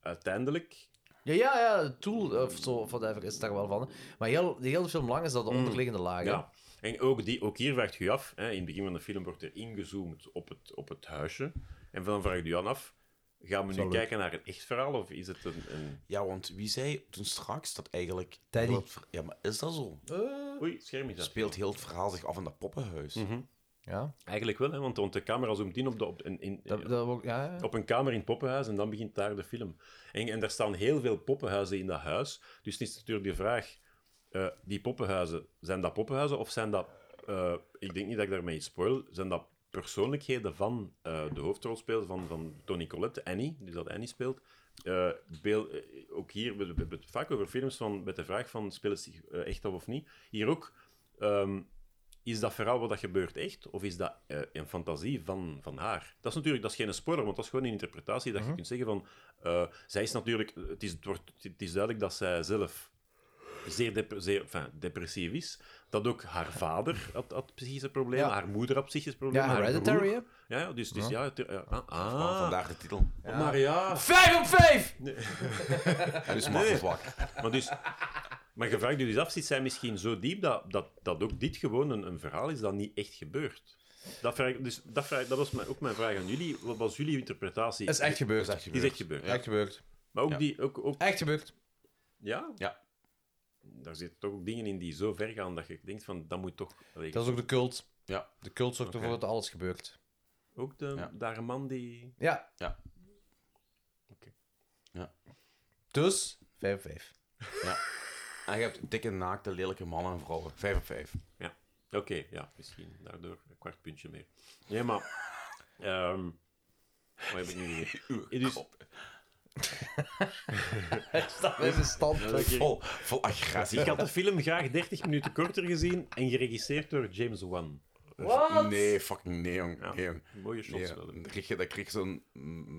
[SPEAKER 4] uiteindelijk...
[SPEAKER 3] Ja, ja, ja, het doel of zo, of whatever, is daar wel van. hè. Maar heel, de hele film lang is dat de onderliggende laag. hè.
[SPEAKER 4] Ja. En ook, die, ook hier vraagt u af, hè, in het begin van de film wordt er ingezoomd op het, op het huisje. En dan vraagt u aan af, gaan we nu kijken naar een echt verhaal of is het een... een...
[SPEAKER 2] Ja, want wie zei toen straks dat eigenlijk...
[SPEAKER 3] Teddy.
[SPEAKER 2] dat het ver- Ja, maar is dat zo?
[SPEAKER 4] Oei, scherm is Mhm. dat.
[SPEAKER 2] Speelt heel het verhaal zich af in dat poppenhuis?
[SPEAKER 3] Ja,
[SPEAKER 4] Eigenlijk wel, hè, want, want de camera zoomt in op, de, op, in, in-
[SPEAKER 3] dat, dat, wordt- ja, ja.
[SPEAKER 4] op een kamer in het poppenhuis en dan begint daar de film. En, en daar staan heel veel poppenhuizen in dat huis. Dus het is natuurlijk de vraag, eh, die poppenhuizen, zijn dat poppenhuizen of zijn dat... eh, ik denk niet dat ik daarmee iets spoil. Zijn dat persoonlijkheden van eh, de hoofdrolspeler van, van Tony Collette, Annie, dus dat Annie speelt? Eh, beel- eh, ook hier, we we hebben het vaak over films van, met de vraag van, spelen ze zich eh, echt af of niet? Hier ook... ehm, is dat verhaal wat dat gebeurt echt, of is dat eh, een fantasie van, van haar? Dat is natuurlijk dat is geen spoiler, want dat is gewoon een interpretatie
[SPEAKER 3] Mhm.
[SPEAKER 4] dat je kunt zeggen van... eh, zij is natuurlijk... Het is, het, wordt, het is duidelijk dat zij zelf zeer, dep- zeer enfin, depressief is. Dat ook haar vader had, had psychische problemen,
[SPEAKER 3] Ja.
[SPEAKER 4] haar moeder had psychische
[SPEAKER 3] ja
[SPEAKER 4] problemen, haar
[SPEAKER 3] Hereditary,
[SPEAKER 4] broer.
[SPEAKER 3] hè? Mhm.
[SPEAKER 4] Ja, ja, dus, dus ja... het- ja, ah, ah.
[SPEAKER 2] Ah, vandaar de titel.
[SPEAKER 4] Maar ja...
[SPEAKER 3] Vijf op vijf!
[SPEAKER 2] En dus maakt het wakker.
[SPEAKER 4] Maar, dus, maar je vraagt je dus af, zit zij misschien zo diep dat, dat, dat ook dit gewoon een, een verhaal is dat niet echt gebeurt? Dat, vraag, ik- dus dat, vraag, dat was mijn, ook mijn vraag aan jullie. Wat was jullie interpretatie?
[SPEAKER 3] Dat is echt gebeurd.
[SPEAKER 2] Dat is echt
[SPEAKER 4] Die
[SPEAKER 2] gebeurd.
[SPEAKER 4] is echt gebeurd.
[SPEAKER 3] Echt gebeurd.
[SPEAKER 4] Maar ook
[SPEAKER 2] Ja.
[SPEAKER 4] die... Ook, ook,
[SPEAKER 3] Echt gebeurd.
[SPEAKER 4] ja?
[SPEAKER 2] Ja.
[SPEAKER 4] Daar zitten toch ook dingen in die zo ver gaan dat je denkt van, dat moet toch... allee,
[SPEAKER 3] Dat is ook de cult.
[SPEAKER 2] Ja.
[SPEAKER 3] De cult zorgt ervoor dat alles gebeurt.
[SPEAKER 4] Ook de,
[SPEAKER 2] Ja.
[SPEAKER 4] daar een man die...
[SPEAKER 3] Ja.
[SPEAKER 2] Ja.
[SPEAKER 4] Oké.
[SPEAKER 2] Ja.
[SPEAKER 3] Dus, vijf op vijf.
[SPEAKER 2] En je hebt dikke, naakte, lelijke mannen en vrouwen. Vijf op vijf.
[SPEAKER 4] Oké, ja, misschien daardoor een kwart puntje meer. Nee, maar... ehm wat heb ik nu gezegd? Dus,
[SPEAKER 3] Dat is een stand.
[SPEAKER 4] dat ik hier-
[SPEAKER 2] Vol, Oh, vol agressie.
[SPEAKER 4] Ik had de film graag 30 minuten korter gezien en geregisseerd door James Wan.
[SPEAKER 2] Nee, fucking nee, jong.
[SPEAKER 4] Ja.
[SPEAKER 2] Nee, jong.
[SPEAKER 4] Mooie shots
[SPEAKER 2] Nee,
[SPEAKER 4] wel. hè.
[SPEAKER 2] dan krijg je, dan krijg je zo'n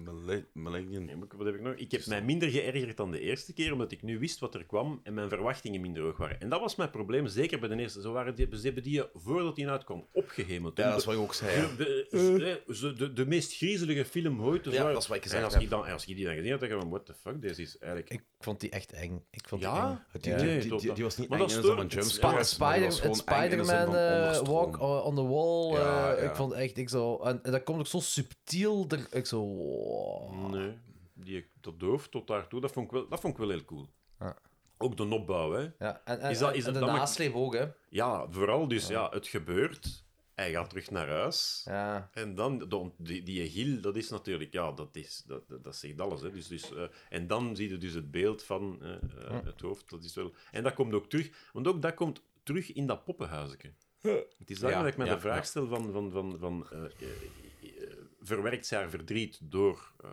[SPEAKER 2] mille- millennium.
[SPEAKER 4] Nee, maar wat heb ik nog? Ik heb mij minder geërgerd dan de eerste keer, omdat ik nu wist wat er kwam en mijn verwachtingen minder hoog waren. En dat was mijn probleem, zeker bij de eerste. Zo waren die, ze hebben die, eh, voordat die uitkwam, opgehemeld.
[SPEAKER 2] Ja, dat is wat ik ook zei. hè.
[SPEAKER 4] De,
[SPEAKER 3] Eh.
[SPEAKER 4] de, de, de, de meest griezelige film ooit. Dus
[SPEAKER 2] Ja,
[SPEAKER 4] waar-
[SPEAKER 2] dat is wat ik gezegd
[SPEAKER 4] en als
[SPEAKER 2] heb.
[SPEAKER 4] Ik dan, en als ik die dan gezien had, dan dacht ik van, what the fuck, deze is eigenlijk...
[SPEAKER 3] Ik vond die echt eng. Ik vond die
[SPEAKER 4] Ja?
[SPEAKER 3] eng.
[SPEAKER 2] Die,
[SPEAKER 4] Ja.
[SPEAKER 2] die,
[SPEAKER 4] Nee,
[SPEAKER 2] die,
[SPEAKER 4] tot
[SPEAKER 2] die,
[SPEAKER 4] dat-
[SPEAKER 2] die was niet
[SPEAKER 4] Maar
[SPEAKER 2] eng
[SPEAKER 4] dat
[SPEAKER 2] in de zin van
[SPEAKER 4] stoort- het
[SPEAKER 2] jumpscares,
[SPEAKER 4] spa-
[SPEAKER 2] maar
[SPEAKER 3] Spider,
[SPEAKER 2] dat was
[SPEAKER 3] Spider,
[SPEAKER 2] gewoon
[SPEAKER 3] het
[SPEAKER 2] eng in de zin
[SPEAKER 3] Spider-Man
[SPEAKER 2] van onderstroom.
[SPEAKER 3] eh, Walk eh, on the Wall. eh,
[SPEAKER 2] Ja, ja.
[SPEAKER 3] Ik vond echt, ik zo... En, en dat komt ook zo subtiel. Er, ik zo... wow.
[SPEAKER 4] Nee, eh, die, tot doof, tot daartoe, dat vond ik wel, dat vond ik wel heel cool.
[SPEAKER 3] Ja.
[SPEAKER 4] Ook de opbouw, hè.
[SPEAKER 3] Ja, en, en,
[SPEAKER 4] Is dat-
[SPEAKER 3] en
[SPEAKER 4] is dat-
[SPEAKER 3] de
[SPEAKER 4] dat mag-
[SPEAKER 3] nasleep ook, hè.
[SPEAKER 4] Ja, vooral dus, ja. het gebeurt. Hij gaat terug naar huis.
[SPEAKER 3] Ja.
[SPEAKER 4] En dan, de ont- die, die Egil, dat is natuurlijk, ja, dat, is, dat, dat, dat zegt alles. Hè. Dus, dus, eh, en dan zie je dus het beeld van eh, eh, het hoofd. Dat is wel, en dat komt ook terug, want ook dat komt terug in dat poppenhuisje. Het is daar
[SPEAKER 2] Ja,
[SPEAKER 4] dat ik me
[SPEAKER 2] ja,
[SPEAKER 4] de vraag
[SPEAKER 2] ja.
[SPEAKER 4] stel van, van, van, van eh, eh, eh, verwerkt zij haar verdriet door eh,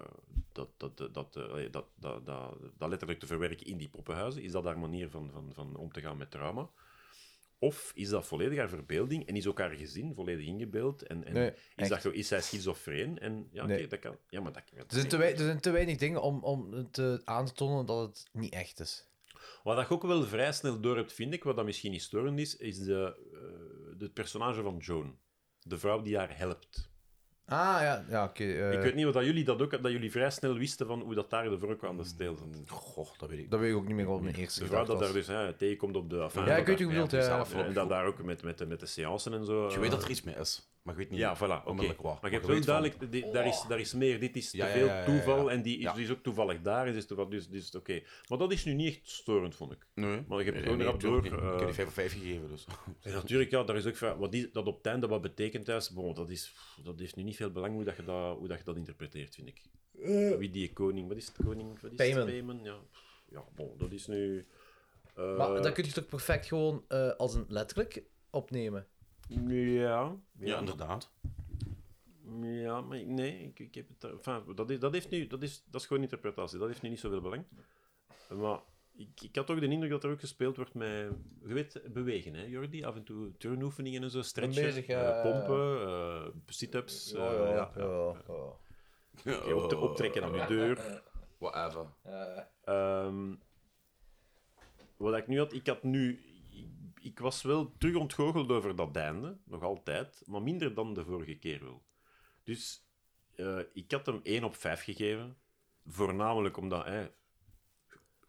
[SPEAKER 4] dat, dat, dat, dat, eh, allee, dat, dat, dat, dat letterlijk te verwerken in die poppenhuizen? Is dat haar manier van, van, van om te gaan met trauma? Of is dat volledig haar verbeelding en is ook haar gezin volledig ingebeeld? En, en
[SPEAKER 3] Nee,
[SPEAKER 4] is,
[SPEAKER 3] echt.
[SPEAKER 4] dat, zo- is zij schizofreen? En, ja, oké,
[SPEAKER 3] Nee.
[SPEAKER 4] dat kan. Ja, maar dat kan.
[SPEAKER 3] Er
[SPEAKER 2] Dus
[SPEAKER 3] zijn, te wei- er zijn te weinig dingen om, om te, aan te tonen dat het niet echt is.
[SPEAKER 4] Wat dat je ook wel vrij snel door hebt, vind ik, wat dat misschien niet storend is, is de, eh, het personage van Joan. De vrouw die haar helpt.
[SPEAKER 3] Ah, ja, ja oké. eh,
[SPEAKER 4] ik weet niet of dat jullie dat ook dat jullie vrij snel wisten van hoe dat daar de vork aan de steel zat.
[SPEAKER 2] Goh, dat weet Mm, ik.
[SPEAKER 3] dat weet ik ook niet meer wat mijn eerste
[SPEAKER 4] De vrouw
[SPEAKER 3] gedachte
[SPEAKER 4] dat daar
[SPEAKER 3] was.
[SPEAKER 4] dus hè, tegenkomt op de... Enfin,
[SPEAKER 3] Ja,
[SPEAKER 4] dat
[SPEAKER 3] ik weet
[SPEAKER 4] daar-
[SPEAKER 3] hoe je bedoelt,
[SPEAKER 2] die
[SPEAKER 3] ja.
[SPEAKER 2] zelf-
[SPEAKER 4] En dat daar ook met, met, de- met de seances en zo.
[SPEAKER 2] Je
[SPEAKER 4] eh,
[SPEAKER 2] weet dat er iets mee is, maar ik weet niet.
[SPEAKER 4] Ja, voilà. oké.
[SPEAKER 2] onmiddellijk waar.
[SPEAKER 4] Maar je hebt
[SPEAKER 2] weet
[SPEAKER 4] wel
[SPEAKER 2] van-
[SPEAKER 4] duidelijk, die- daar, is, daar is meer, dit is
[SPEAKER 2] Ja, ja,
[SPEAKER 4] te veel
[SPEAKER 2] ja, ja, ja.
[SPEAKER 4] toeval en die is,
[SPEAKER 2] Ja.
[SPEAKER 4] die is ook toevallig daar, en is toevallig, dus, dus oké. Maar dat is nu niet echt storend, vond ik.
[SPEAKER 2] Nee.
[SPEAKER 4] Maar je hebt
[SPEAKER 2] Nee,
[SPEAKER 4] gewoon
[SPEAKER 2] nee,
[SPEAKER 4] erop
[SPEAKER 2] tuurlijk
[SPEAKER 4] door,
[SPEAKER 2] niet.
[SPEAKER 4] eh,
[SPEAKER 2] Ik heb die 5 op 5 gegeven, dus.
[SPEAKER 4] En natuurlijk, ja, daar is ook vraag, wat is, dat op het einde wat betekent thuis, bon, dat, is, dat heeft nu niet veel belang hoe, dat je, dat, hoe dat je dat interpreteert, vind ik. Wie die koning, wat is het koning? Wat is het?
[SPEAKER 3] Payman.
[SPEAKER 4] Payman, ja. ja, bon, dat is nu... eh,
[SPEAKER 3] Maar dat kun je toch perfect gewoon eh, als een letterlijk opnemen?
[SPEAKER 4] Ja,
[SPEAKER 2] Ja,
[SPEAKER 4] ja,
[SPEAKER 2] inderdaad.
[SPEAKER 4] ja, maar ik- nee, ik, ik heb het... daar- Enfin, dat, is, dat, heeft nu, dat, is, dat is gewoon interpretatie, dat heeft nu niet zoveel belang. Maar Ik, ik had toch de indruk dat er ook gespeeld wordt met... Je weet, bewegen, hè, Jordi? Af en toe turnoefeningen en zo, stretchen,
[SPEAKER 3] Bezig,
[SPEAKER 4] eh,
[SPEAKER 3] ja.
[SPEAKER 4] pompen, eh sit-ups.
[SPEAKER 3] Ja,
[SPEAKER 4] eh,
[SPEAKER 3] ja,
[SPEAKER 4] ja.
[SPEAKER 3] ja, ja.
[SPEAKER 4] Oké, op optrekken aan je deur.
[SPEAKER 2] Whatever.
[SPEAKER 4] Ehm, wat ik nu had, ik had nu... Ik, ik was wel terug ontgoocheld over dat einde, nog altijd, maar minder dan de vorige keer wel. Dus eh, ik had hem 1 op 5 gegeven, voornamelijk omdat... hè,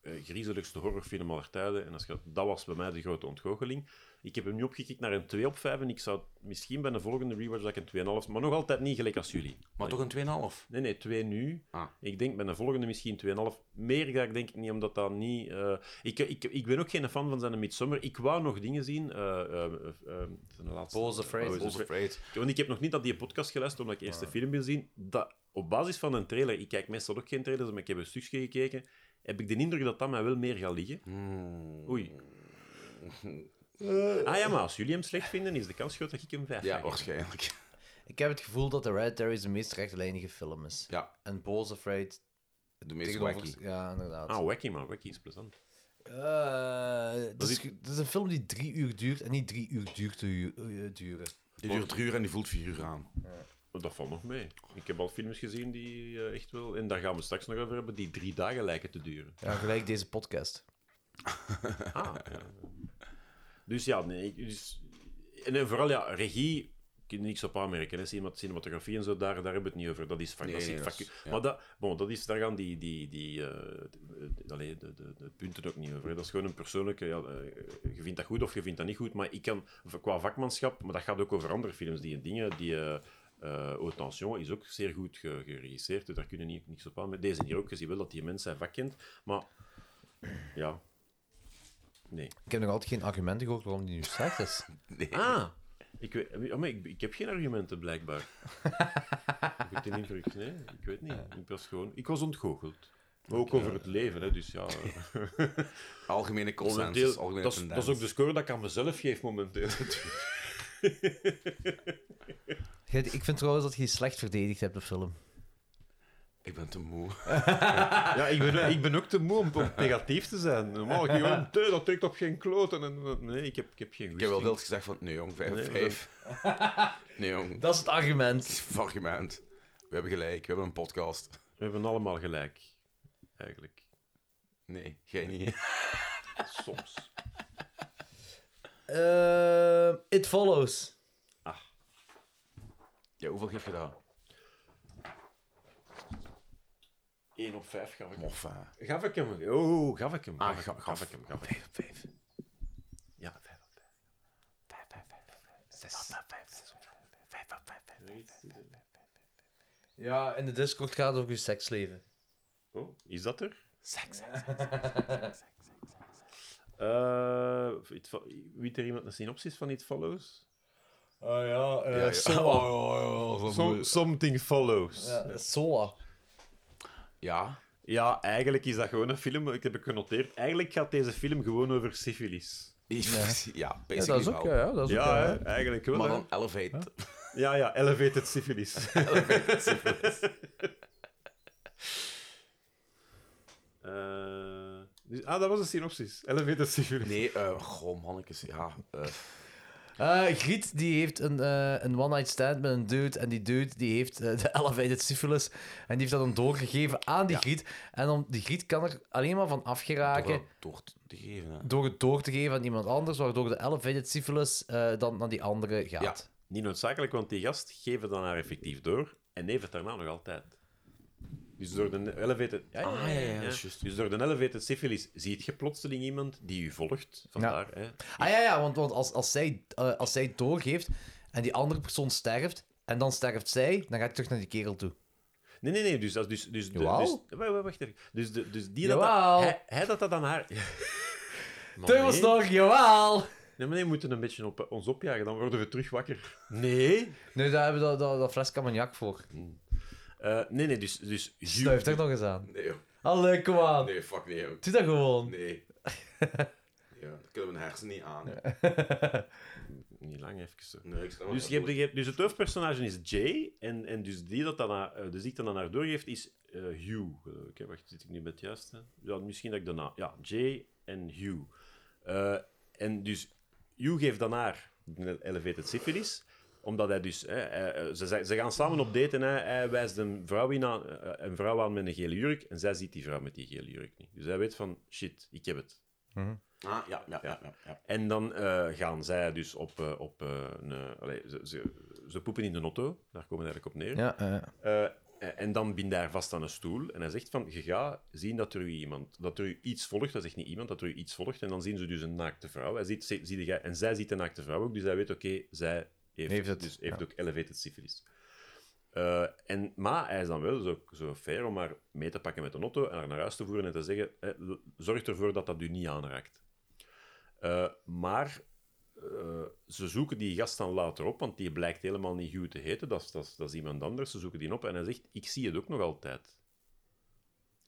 [SPEAKER 4] eh, griezeligste horrorfilm aller tijden. En als je, dat was bij mij de grote ontgoocheling. Ik heb hem nu opgekikt naar een 2 op 5 en ik zou misschien bij de volgende rewatch dat ik een 2,5... Maar nog altijd niet gelijk als jullie.
[SPEAKER 2] Maar toch een 2,5.
[SPEAKER 4] Nee, nee, twee nu.
[SPEAKER 2] Ah.
[SPEAKER 4] Ik denk bij de volgende misschien 2,5. Meer ga ik denk ik niet, omdat dat niet... eh, ik, ik, ik ben ook geen fan van zijn Midsummer. Ik wou nog dingen zien. eh eh, eh, eh, zijn laatste...
[SPEAKER 3] Boze Fraser.
[SPEAKER 4] Boze
[SPEAKER 2] Boze
[SPEAKER 4] Fra-
[SPEAKER 2] Afraid.
[SPEAKER 4] Want ik heb nog niet dat die podcast geluisterd, omdat ik eerst de
[SPEAKER 2] Ah.
[SPEAKER 4] film wil zien. Dat, op basis van een trailer... Ik kijk meestal ook geen trailers, maar ik heb een stukje gekeken. Heb ik de indruk dat dat mij wel meer gaat liggen.
[SPEAKER 2] Hmm.
[SPEAKER 4] Oei. Ah ja, maar als jullie hem slecht vinden, is de kans groot dat ik hem 5
[SPEAKER 2] Eh. Ja, waarschijnlijk.
[SPEAKER 3] Ik heb het gevoel dat Hereditary de meest rechtlijnige film is.
[SPEAKER 2] Ja.
[SPEAKER 3] En Bo's Afraid...
[SPEAKER 2] De meest
[SPEAKER 3] tegenover-
[SPEAKER 2] wacky.
[SPEAKER 3] Ja, inderdaad.
[SPEAKER 4] Ah, wacky, maar wacky is plezant.
[SPEAKER 3] Eh,
[SPEAKER 4] Dat
[SPEAKER 3] dat,
[SPEAKER 4] is-
[SPEAKER 3] is, dat is een film die drie uur duurt en niet drie uur duurt te hu- eh, duren.
[SPEAKER 2] Die duurt drie uur en die voelt vier uur aan.
[SPEAKER 4] Maar Dat valt nog mee. Ik heb al films gezien die eh, echt wel, en daar gaan we straks nog over hebben, die drie dagen lijken te duren.
[SPEAKER 3] Ja, gelijk deze podcast.
[SPEAKER 4] Ah, ja. Dus ja, nee. ik- Dus, en eh, vooral ja, regie, ik kan niks op aanmerken. Hè. Cinema- Cinematografie en zo, daar, daar hebben we het niet over. Dat is vaak.
[SPEAKER 2] Nee,
[SPEAKER 4] dat zit
[SPEAKER 2] nee, dat
[SPEAKER 4] vaak-
[SPEAKER 2] is- ja.
[SPEAKER 4] Maar dat, bon, dat is, daar gaan die, die, die eh, t- eh, allee, de, de, de punten ook niet over. hè. Dat is gewoon een persoonlijke. Ja, eh, je vindt dat goed of je vindt dat niet goed. Maar ik kan, v- qua vakmanschap, maar dat gaat ook over andere films die en dingen die. eh eh, Haute Tension is ook zeer goed ge- geregisseerd, dus daar kunnen niet, niks op aan. Met deze hier ook, je ziet wel dat die mens zijn vak kent, maar ja, nee.
[SPEAKER 3] Ik heb nog altijd geen argumenten gehoord waarom die nu slecht is.
[SPEAKER 4] Ah, ik, weet, oh, maar ik, ik heb geen argumenten blijkbaar. heb ik de indruk? Nee, ik weet niet. Ik was gewoon... Ik was ontgoocheld. Maar ook over het leven, hè, dus ja... eh,
[SPEAKER 2] Algemene
[SPEAKER 4] dat is een
[SPEAKER 2] consensus.
[SPEAKER 4] deel-
[SPEAKER 2] algemene
[SPEAKER 4] dat is- dat
[SPEAKER 2] tendens.
[SPEAKER 4] is ook de score dat ik aan mezelf geef momenteel.
[SPEAKER 3] Gij- Ik vind trouwens dat je je slecht verdedigd hebt, de film.
[SPEAKER 2] Ik ben te moe.
[SPEAKER 4] ja, ik ben, ik ben ook te moe om, om negatief te zijn. Normaal, gewoon, "Nee, dat trekt op geen kloten. En, en- nee, ik heb, ik heb geen
[SPEAKER 2] Ik heb wel
[SPEAKER 4] goesting.
[SPEAKER 2] deels gezegd van, nee jong, vijf,
[SPEAKER 4] Nee,
[SPEAKER 2] vijf. Nee jong,
[SPEAKER 3] Dat is het argument.
[SPEAKER 2] dat is een argument. We hebben gelijk, we hebben een podcast.
[SPEAKER 4] We hebben allemaal gelijk, eigenlijk.
[SPEAKER 2] Nee, jij niet.
[SPEAKER 4] Soms.
[SPEAKER 3] Eh, it Follows.
[SPEAKER 2] Ja, hoeveel geef je dat?
[SPEAKER 4] 1 op 5 gaf ik hem.
[SPEAKER 2] Moffa.
[SPEAKER 4] Gaf ik hem. Oh, gaf ik hem.
[SPEAKER 2] Ah,
[SPEAKER 4] ik hem.
[SPEAKER 2] gaf-
[SPEAKER 4] Gaf ik hem. Gaf ik hem. Ja, vijf op vijf.
[SPEAKER 3] Ja, in de Discord gaat het over je seksleven.
[SPEAKER 4] Oh, is dat er? Eh, it fo- Weet er iemand een synopsis van It Follows?
[SPEAKER 3] Ah ja, eh
[SPEAKER 4] oh. something Follows. Ja.
[SPEAKER 3] eh, Soa.
[SPEAKER 2] Ja,
[SPEAKER 4] eigenlijk is dat gewoon een film. Ik heb het genoteerd. Eigenlijk gaat deze film gewoon over syfilis.
[SPEAKER 2] ja, basically
[SPEAKER 3] Ja, dat is ook, eh,
[SPEAKER 2] wel.
[SPEAKER 3] ja, dat is ook,
[SPEAKER 4] Ja,
[SPEAKER 3] ja.
[SPEAKER 4] hè, eigenlijk wel.
[SPEAKER 2] Maar
[SPEAKER 4] eh, hè.
[SPEAKER 2] dan elevate.
[SPEAKER 4] Ja, ja, elevated syphilis. Eh, dus- ah, dat was een synopsis. Elevated syphilis.
[SPEAKER 2] Nee, eh goh, mannetjes, ja. eh,
[SPEAKER 3] Eh, Griet die heeft een, eh, een one-night stand met een dude. En die dude die heeft eh, de elevated syphilis. En die heeft dat dan doorgegeven aan die Griet. En om, die Griet kan er alleen maar van afgeraken
[SPEAKER 2] Door, door te geven, hè.
[SPEAKER 3] door het door te geven aan iemand anders. Waardoor de elevated syphilis eh, dan naar die andere gaat.
[SPEAKER 4] Niet noodzakelijk, want die gast geeft het dan haar effectief door en heeft het daarna nog altijd. Dus door de elevated... Ja,
[SPEAKER 2] Ah, ja, ja, dat is juist.
[SPEAKER 4] Dus door de elevated syphilis ziet je plotseling iemand die u volgt. Vandaar, hè.
[SPEAKER 3] Ah ja, ja want, want als, als, zij, eh, als zij doorgeeft en die andere persoon sterft. En dan sterft zij, dan ga ik terug naar die kerel toe.
[SPEAKER 4] Nee, nee, nee. Dus, dat- dus, dus, de- dus,
[SPEAKER 3] Jawel.
[SPEAKER 4] wa- wa- wacht even. Dus, de, dus die dat...
[SPEAKER 3] Jawel.
[SPEAKER 4] hij, hij dat dat aan haar... Maar
[SPEAKER 3] Teugels
[SPEAKER 4] nee.
[SPEAKER 3] nog, jawel!
[SPEAKER 4] Nee, maar nee, we moeten een beetje op, eh, ons opjagen, dan worden we terug wakker. Nee.
[SPEAKER 3] Nu, daar hebben we dat, dat, dat fles cognac voor.
[SPEAKER 4] Eh, nee, nee, dus... dus Hugh-
[SPEAKER 3] Snuif er nog eens aan.
[SPEAKER 2] Nee, joh.
[SPEAKER 3] Allee, kom aan.
[SPEAKER 2] nee, fuck nee, joh.
[SPEAKER 3] Doe dat gewoon.
[SPEAKER 2] Nee. Ja, dat kunnen we een hersen niet aan. hè.
[SPEAKER 4] Niet hangen even. zo.
[SPEAKER 10] Nee, ik snap
[SPEAKER 4] Dus, je hebt, de- je hebt- dus het hoofdpersonage is Jay, en, en dus die dat dan, haar- eh, de ziekte dan haar doorgeeft is eh, Hugh. geloof ik, hè. wacht, zit ik nu met het juiste? Ja, misschien dat ik daarna... Ja, Jay en Hugh. Eh, en dus Hugh geeft dan haar elevated syphilis, omdat hij dus... hè, hij- eh, ze, zijn- ze gaan samen op date en hij, hij wijst een vrouw, in aan, eh, een vrouw aan met een gele jurk en zij ziet die vrouw met die gele jurk niet. Dus hij weet van, shit, ik heb het.
[SPEAKER 10] Ah, ja, ja, ja. ja, ja.
[SPEAKER 4] En dan eh, gaan zij dus op, eh, op eh, een... allee, ze, ze, ze poepen in de auto, daar komen we eigenlijk op neer.
[SPEAKER 3] Ja, eh,
[SPEAKER 4] Eh, en dan bind daar vast aan een stoel. En hij zegt van, je gaat zien dat er u iemand... Dat er u iets volgt, dat zegt niet iemand, dat er u iets volgt. En dan zien ze dus een naakte vrouw. Hij ziet, zie, zie jij- en zij ziet een naakte vrouw ook, dus hij weet, oké, zij heeft,
[SPEAKER 3] Heeft het,
[SPEAKER 4] dus heeft ook elevated syphilis. Eh, en, maar hij is dan wel zo, zo fair om haar mee te pakken met een auto en haar naar huis te voeren en te zeggen, eh, l- zorg ervoor dat dat u niet aanraakt. Eh, maar eh, ze zoeken die gast dan later op, want die blijkt helemaal niet Hugh te heten. Dat is, dat, is, dat is iemand anders. Ze zoeken die op en hij zegt, ik zie het ook nog altijd.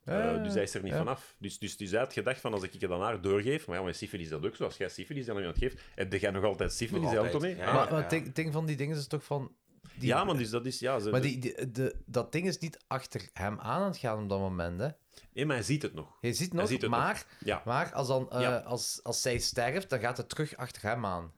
[SPEAKER 4] Eh,
[SPEAKER 3] Ah,
[SPEAKER 4] dus hij is er niet vanaf. Dus, dus, dus hij had gedacht van, als ik het aan haar doorgeef... Maar ja, maar syfilis is dat ook zo. Als jij syfilis aan iemand geeft, heb jij nog altijd syfilis,
[SPEAKER 10] Nog
[SPEAKER 4] hè,
[SPEAKER 10] altijd,
[SPEAKER 4] Anthony?
[SPEAKER 10] ja.
[SPEAKER 4] Ah.
[SPEAKER 3] Maar, maar het ding, het ding van die dingen is toch van... Die,
[SPEAKER 4] Ja, maar dus dat is... Ja, ze,
[SPEAKER 3] Maar die, die- de, dat ding is niet achter hem aan aan het gaan op dat moment, hè.
[SPEAKER 4] Nee, eh, maar hij ziet het nog.
[SPEAKER 3] Je ziet nog,
[SPEAKER 4] ziet het
[SPEAKER 3] maar,
[SPEAKER 4] Ja.
[SPEAKER 3] maar als, dan, eh,
[SPEAKER 4] Ja.
[SPEAKER 3] als, als zij sterft, dan gaat het terug achter hem aan.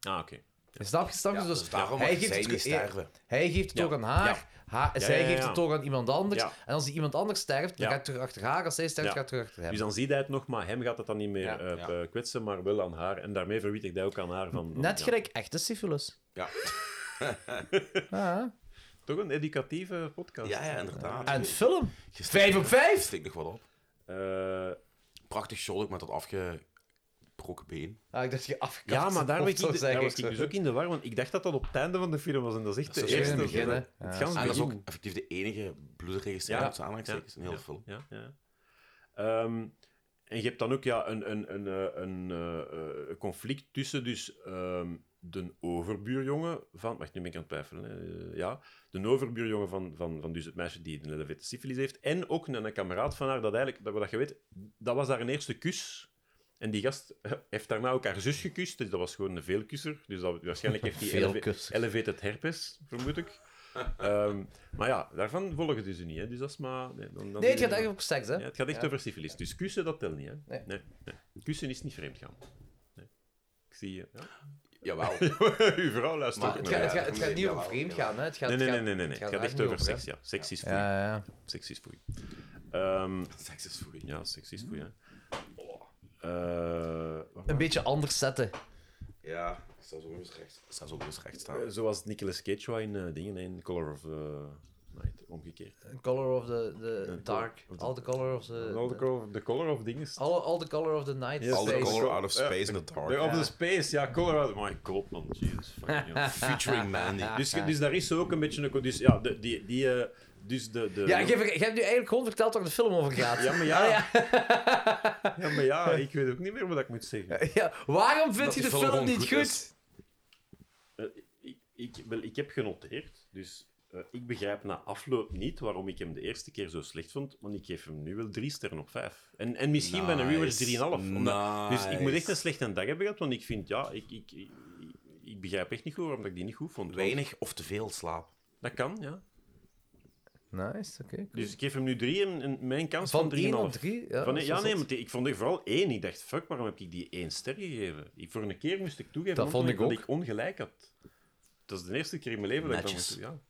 [SPEAKER 4] Ah, oké.
[SPEAKER 3] Snap je? Snap je?
[SPEAKER 10] Ja,
[SPEAKER 3] dus
[SPEAKER 10] dus daarom
[SPEAKER 3] hij
[SPEAKER 10] mag
[SPEAKER 3] geeft
[SPEAKER 10] zij
[SPEAKER 3] het
[SPEAKER 10] niet
[SPEAKER 3] terug-
[SPEAKER 10] sterven.
[SPEAKER 3] hij geeft het
[SPEAKER 4] Ja.
[SPEAKER 3] ook aan haar, ha- zij
[SPEAKER 4] ja, ja,
[SPEAKER 3] geeft
[SPEAKER 4] ja.
[SPEAKER 3] het ook aan iemand anders.
[SPEAKER 4] Ja.
[SPEAKER 3] En als die iemand anders sterft, dan
[SPEAKER 4] Ja.
[SPEAKER 3] gaat het terug achter haar. Als zij sterft,
[SPEAKER 4] Ja.
[SPEAKER 3] gaat het terug achter hem.
[SPEAKER 4] Dus dan ziet hij het nog, maar hem gaat het dan niet meer
[SPEAKER 10] Ja,
[SPEAKER 4] eh,
[SPEAKER 10] ja.
[SPEAKER 4] eh, kwetsen, maar wel aan haar. En daarmee verwittigt hij ook aan haar van... van-
[SPEAKER 3] Net
[SPEAKER 4] ja.
[SPEAKER 3] gelijk echte syfilis.
[SPEAKER 10] Ja,
[SPEAKER 3] Ah.
[SPEAKER 4] Toch een educatieve podcast.
[SPEAKER 10] ja, ja inderdaad.
[SPEAKER 3] En film.
[SPEAKER 10] Je steekt-
[SPEAKER 3] Vijf op vijf.
[SPEAKER 10] je steekt nog wat op.
[SPEAKER 4] Eh,
[SPEAKER 10] Prachtig shot ook met dat afgebroken been.
[SPEAKER 3] Ah, ik dacht je afgekapt.
[SPEAKER 4] ja, maar daar,
[SPEAKER 3] of
[SPEAKER 4] was ik,
[SPEAKER 3] zo
[SPEAKER 4] daar
[SPEAKER 3] zeg ik
[SPEAKER 4] was ik
[SPEAKER 3] zo.
[SPEAKER 4] dus ook in de war, want ik dacht dat dat op het einde van de film was. En dat is echt
[SPEAKER 10] Dat
[SPEAKER 4] de
[SPEAKER 10] is zo in
[SPEAKER 4] eerste.
[SPEAKER 10] het
[SPEAKER 3] begin, hè.
[SPEAKER 4] Het
[SPEAKER 3] Ja.
[SPEAKER 4] ganse
[SPEAKER 10] En dat is
[SPEAKER 4] begin.
[SPEAKER 10] ook effectief de enige bloedregistratie
[SPEAKER 4] Ja.
[SPEAKER 10] op zijn aanhalingstekens in heel de film.
[SPEAKER 4] Ja, ja. Ehm, en je hebt dan ook ja, een, een, een, eh, een eh, eh, conflict tussen dus, ehm, de overbuurjongen van... Wacht, nu ben ik aan het twijfelen. Hè. Eh, ja, de overbuurjongen van, van, van dus het meisje die een levette syfilis heeft. En ook een, een kameraad van haar, dat eigenlijk, dat, dat je weet, dat was haar eerste kus. En die gast eh, heeft daarna ook haar zus gekust, dus dat was gewoon een veelkusser. Dus dat, waarschijnlijk heeft die eleve-
[SPEAKER 3] Veelkusser.
[SPEAKER 4] elevated herpes, vermoed ik. Ehm, maar ja, daarvan volgen ze ze niet. Hè. Dus dat is maar... Nee, dan, dan
[SPEAKER 3] Nee, het gaat echt op seks, hè?
[SPEAKER 4] ja, het gaat echt over syfilis. Dus kussen, dat telt niet. Hè?
[SPEAKER 3] Nee.
[SPEAKER 4] Nee, nee. Kussen is niet vreemd gaan. Nee. Ik zie je.
[SPEAKER 10] Jawel.
[SPEAKER 4] Uw vrouw luistert
[SPEAKER 10] Maar
[SPEAKER 4] ook
[SPEAKER 10] het
[SPEAKER 3] Het,
[SPEAKER 4] naar
[SPEAKER 3] gaat, het,
[SPEAKER 4] mij.
[SPEAKER 3] gaat, het gaat niet
[SPEAKER 10] Ja,
[SPEAKER 3] over
[SPEAKER 10] wel,
[SPEAKER 3] vreemd
[SPEAKER 10] ja, wel.
[SPEAKER 3] gaan, hè? Het gaat,
[SPEAKER 4] Nee, nee,
[SPEAKER 3] het
[SPEAKER 4] nee,
[SPEAKER 3] gaat-
[SPEAKER 4] nee, nee. nee. Het gaat echt
[SPEAKER 3] niet
[SPEAKER 4] over seks.
[SPEAKER 3] hè.
[SPEAKER 4] Ja, seks is foei.
[SPEAKER 3] Ja, ja.
[SPEAKER 4] Seks is foei. Ehm,
[SPEAKER 10] Seks is voor
[SPEAKER 4] ja, seks is foei. Hè. Eh, wacht
[SPEAKER 3] Een
[SPEAKER 4] maar.
[SPEAKER 3] beetje anders zetten.
[SPEAKER 10] Ja, zelfs ook eens recht. Zelfs ook eens recht staan.
[SPEAKER 4] Eh, Zoals Nicolas Cage wou in eh, dingen, in Color of the Night, omgekeerd.
[SPEAKER 3] Color of the, the dark.
[SPEAKER 4] of the-
[SPEAKER 3] All the color of the...
[SPEAKER 4] All the color, the color of dingen. is-
[SPEAKER 3] All, all the color of the night.
[SPEAKER 4] Yes.
[SPEAKER 10] All the
[SPEAKER 3] Space.
[SPEAKER 10] color out of space in the
[SPEAKER 4] The-
[SPEAKER 10] dark.
[SPEAKER 4] Of the space, ja, color out. My god, man, Jesus. fucking hell.
[SPEAKER 10] Featuring Mandy.
[SPEAKER 4] Dus, dus daar is ook een beetje een... co- Dus ja, de, die... die eh, dus de, de,
[SPEAKER 3] Ja, je hebt, je hebt nu eigenlijk gewoon verteld waar de film over gaat.
[SPEAKER 4] Ja, maar ja.
[SPEAKER 10] Ah,
[SPEAKER 4] ja. maar ja, ik weet ook niet meer wat ik moet zeggen.
[SPEAKER 3] Ja, waarom vind je de
[SPEAKER 10] die
[SPEAKER 3] film,
[SPEAKER 10] film gewoon
[SPEAKER 3] niet
[SPEAKER 10] goed
[SPEAKER 3] goed?
[SPEAKER 10] is.
[SPEAKER 4] Eh, ik, ik, wel, ik heb genoteerd, dus eh, ik begrijp na afloop niet waarom ik hem de eerste keer zo slecht vond, want ik geef hem nu wel drie sterren op vijf. En, en misschien bij een
[SPEAKER 10] Nice.
[SPEAKER 4] rewatch 3,5. omdat- Dus ik moet echt
[SPEAKER 10] Nice.
[SPEAKER 4] een slechte dag hebben gehad, want ik vind, ja, ik, ik, ik, ik begrijp echt niet goed waarom ik die niet goed vond. want
[SPEAKER 10] Weinig of te veel slaap.
[SPEAKER 4] Dat kan, ja.
[SPEAKER 3] Nice, oké.
[SPEAKER 4] Dus ik geef hem nu drie en, en mijn kans
[SPEAKER 3] Van
[SPEAKER 4] van 3,5.
[SPEAKER 3] 1 op 3? Ja,
[SPEAKER 4] Van, nee,
[SPEAKER 3] zo
[SPEAKER 4] ja,
[SPEAKER 3] zat.
[SPEAKER 4] nee, maar die- ik vond er vooral één. Ik dacht, fuck, waarom heb ik die één ster gegeven? Ik, voor een keer moest ik toegeven
[SPEAKER 3] Dat vond ik
[SPEAKER 4] dat
[SPEAKER 3] ook.
[SPEAKER 4] ik ongelijk had. Dat is de eerste keer in mijn leven dat
[SPEAKER 10] Netjes.
[SPEAKER 4] ik dat moest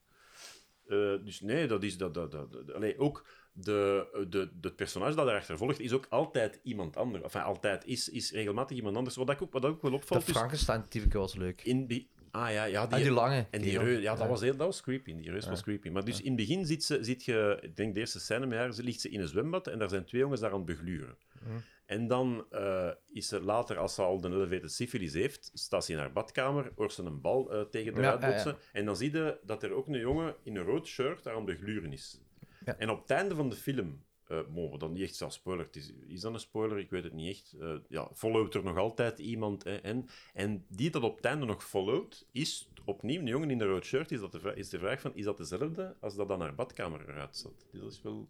[SPEAKER 4] ja. Eh, Dus nee, dat is... Dat, dat, dat, dat- allee, ook de, de, de, het personage dat erachter volgt is ook altijd iemand anders. Enfin, altijd is, is regelmatig iemand anders. Wat, ik ook, wat ook wel
[SPEAKER 3] Dat
[SPEAKER 4] opvalt, is...
[SPEAKER 3] Frankenstein-typeke was leuk.
[SPEAKER 4] In die, ah ja, ja
[SPEAKER 3] En die lange.
[SPEAKER 4] en die,
[SPEAKER 3] lang-
[SPEAKER 4] reus, ja, dat, was heel, dat was creepy. Die reus was creepy. Maar dus in het begin zit, ze, zit je, ik denk de eerste scène met haar, ze ligt ze in een zwembad en daar zijn twee jongens daar aan het begluren. En dan eh, is ze later, als ze al de elevated syfilis heeft, staat ze in haar badkamer, hoort ze een bal eh, tegen de
[SPEAKER 3] Ja,
[SPEAKER 4] ruit
[SPEAKER 3] ja, ja.
[SPEAKER 4] botsen. En dan zie je dat er ook een jongen in een rood shirt daar aan het begluren is.
[SPEAKER 3] Ja.
[SPEAKER 4] En op het einde van de film, eh mogen we dan niet echt zelf spoiler, het is, is dat een spoiler? Ik weet het niet echt. Eh, ja, followt er nog altijd iemand. hè, en, en die dat op het einde nog followt, is opnieuw een jongen in een rood shirt. Is, dat de, vra- is de vraag van, is dat dezelfde als dat aan haar badkamer eruit zat? Dus dat is wel...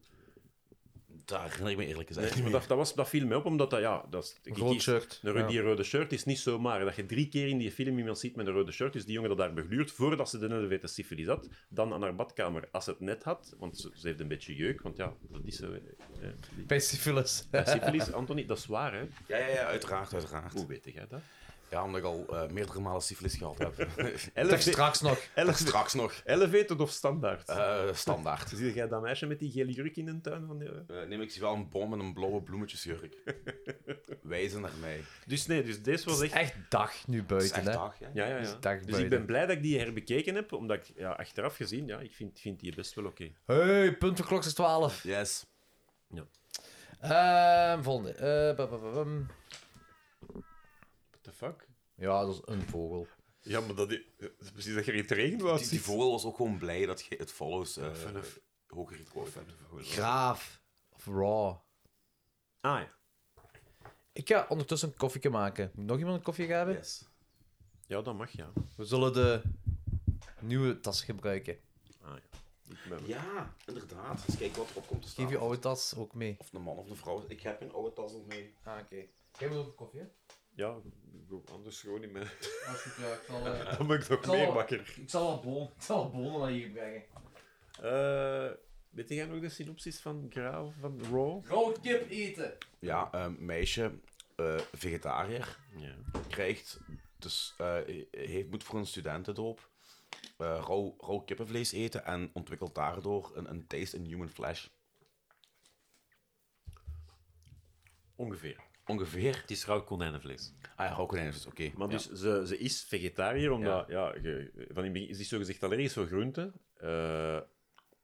[SPEAKER 2] daar herinner ik me eerlijk gezegd
[SPEAKER 4] Nee, maar dat, dat, was, dat viel mij op, omdat dat, ja, dat is, ik-
[SPEAKER 3] Rood
[SPEAKER 4] ik-
[SPEAKER 3] shirt.
[SPEAKER 4] een ro- die rode shirt is niet zomaar. Dat je drie keer in die film iemand ziet met een rode shirt, is die jongen dat daar begluurd, voordat ze de elevator syfilis had, dan aan haar badkamer, als ze het net had, want ze, ze heeft een beetje jeuk, want ja, dat is zo. eh, eh, die-
[SPEAKER 3] Bij syphilis.
[SPEAKER 4] Ja, syfilis, Anthony, dat is waar, hè?
[SPEAKER 2] Ja, ja, ja, uiteraard, uiteraard.
[SPEAKER 4] Hoe weet jij dat?
[SPEAKER 2] Ja, omdat ik al eh, meerdere malen syfilis gehad heb.
[SPEAKER 3] Zeg
[SPEAKER 4] Eleve-
[SPEAKER 3] straks nog.
[SPEAKER 4] eleve-
[SPEAKER 2] Straks nog.
[SPEAKER 4] Elevator of standaard?
[SPEAKER 2] Eh, standaard.
[SPEAKER 4] Ah. Zie jij dat meisje met die gele jurk in de tuin? Van die, eh?
[SPEAKER 2] Eh, neem ik zie wel een bom en een blauwe bloemetjesjurk. Wijzen naar mij.
[SPEAKER 4] Dus nee, dus deze was
[SPEAKER 3] Het is
[SPEAKER 4] echt...
[SPEAKER 3] echt dag nu
[SPEAKER 2] Dat is
[SPEAKER 3] buiten,
[SPEAKER 2] echt
[SPEAKER 3] hè.
[SPEAKER 2] dag, ja.
[SPEAKER 4] Ja, ja, ja.
[SPEAKER 3] dag
[SPEAKER 4] Dus ik
[SPEAKER 3] buiten.
[SPEAKER 4] ben blij dat ik die herbekeken heb, omdat ik ja, achteraf gezien, ja, ik vind, vind die best wel oké.
[SPEAKER 3] Hey, punt voor klok is 12.
[SPEAKER 2] Yes.
[SPEAKER 3] Ehm volgende. Eh, ba, ba, ba, bam.
[SPEAKER 4] What the fuck?
[SPEAKER 3] ja, dat is een vogel.
[SPEAKER 12] Ja, maar dat is, dat is precies dat je er in het regen was.
[SPEAKER 2] Die, die vogel was ook gewoon blij dat je het follows eh hoger gekocht hebt.
[SPEAKER 3] Graaf. Of raw.
[SPEAKER 4] Ah ja.
[SPEAKER 3] Ik ga ondertussen een koffieke maken. Moet nog iemand een koffie gaan hebben?
[SPEAKER 2] Yes.
[SPEAKER 4] Ja, dat mag, ja.
[SPEAKER 3] We zullen de nieuwe tas gebruiken.
[SPEAKER 4] Ik ben-
[SPEAKER 2] Ja, inderdaad. Eens kijken wat erop komt te staan.
[SPEAKER 3] Geef je oude tas ook mee.
[SPEAKER 2] Of een man of een vrouw. Ik heb een oude tas nog mee.
[SPEAKER 3] Ah, oké. Jij wil ook koffie, hè?
[SPEAKER 4] Ja, anders gewoon niet meer.
[SPEAKER 3] Ah, goed, ja. Ik zal, eh,
[SPEAKER 12] Dan ben ik nog
[SPEAKER 3] Zal-
[SPEAKER 12] meer wakker.
[SPEAKER 3] ik zal wel bonen, ik zal wel bonen naar hier brengen.
[SPEAKER 4] Eh, weet jij nog de synopsis van Graal, van Raw?
[SPEAKER 3] Rood kip eten.
[SPEAKER 2] Ja, een meisje, eh, vegetariër,
[SPEAKER 4] Ja.
[SPEAKER 2] krijgt, dus eh, heeft, moet voor een studentendoop eh rauw, rauw kippenvlees eten en ontwikkelt daardoor een, een taste in human flesh.
[SPEAKER 4] Ongeveer.
[SPEAKER 2] Ongeveer.
[SPEAKER 4] Het is rauw konijnenvlees.
[SPEAKER 2] Ah ja, rauw konijn is dus oké.
[SPEAKER 4] Maar dus ze, ze is vegetariër, omdat... Ja. ge- van in het begin is die zogezegd allergisch voor groenten. eh,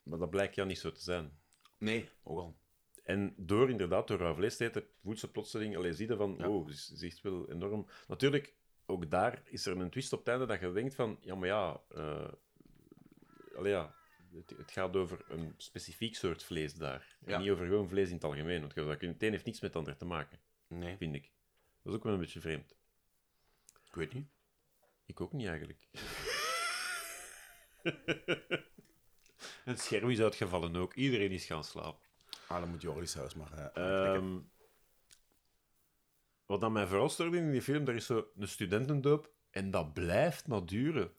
[SPEAKER 4] maar dat blijkt ja niet zo te zijn.
[SPEAKER 2] Nee, ook al.
[SPEAKER 4] En door inderdaad, door haar vlees te eten, voelt ze plotseling... Allee, zie je van, oh, ze is echt wel enorm... Natuurlijk, ook daar is er een twist op het einde dat je denkt van... Ja, maar ja... eh, allee, ja het, het gaat over een specifiek soort vlees daar. En
[SPEAKER 2] Ja.
[SPEAKER 4] niet over gewoon vlees in het algemeen. Want je- dat- het een heeft niks met het ander te maken,
[SPEAKER 2] Nee,
[SPEAKER 4] vind ik. Dat is ook wel een beetje vreemd.
[SPEAKER 2] ik weet niet.
[SPEAKER 4] Ik ook niet, eigenlijk. het scherm is uitgevallen ook. Iedereen is gaan slapen.
[SPEAKER 2] Ah, dan moet Joris zelfs maar... eh, aanklikken.
[SPEAKER 4] Ehm, wat aan mij vooral stoorde in die film, er is zo een studentendoop en dat blijft maar duren. Ik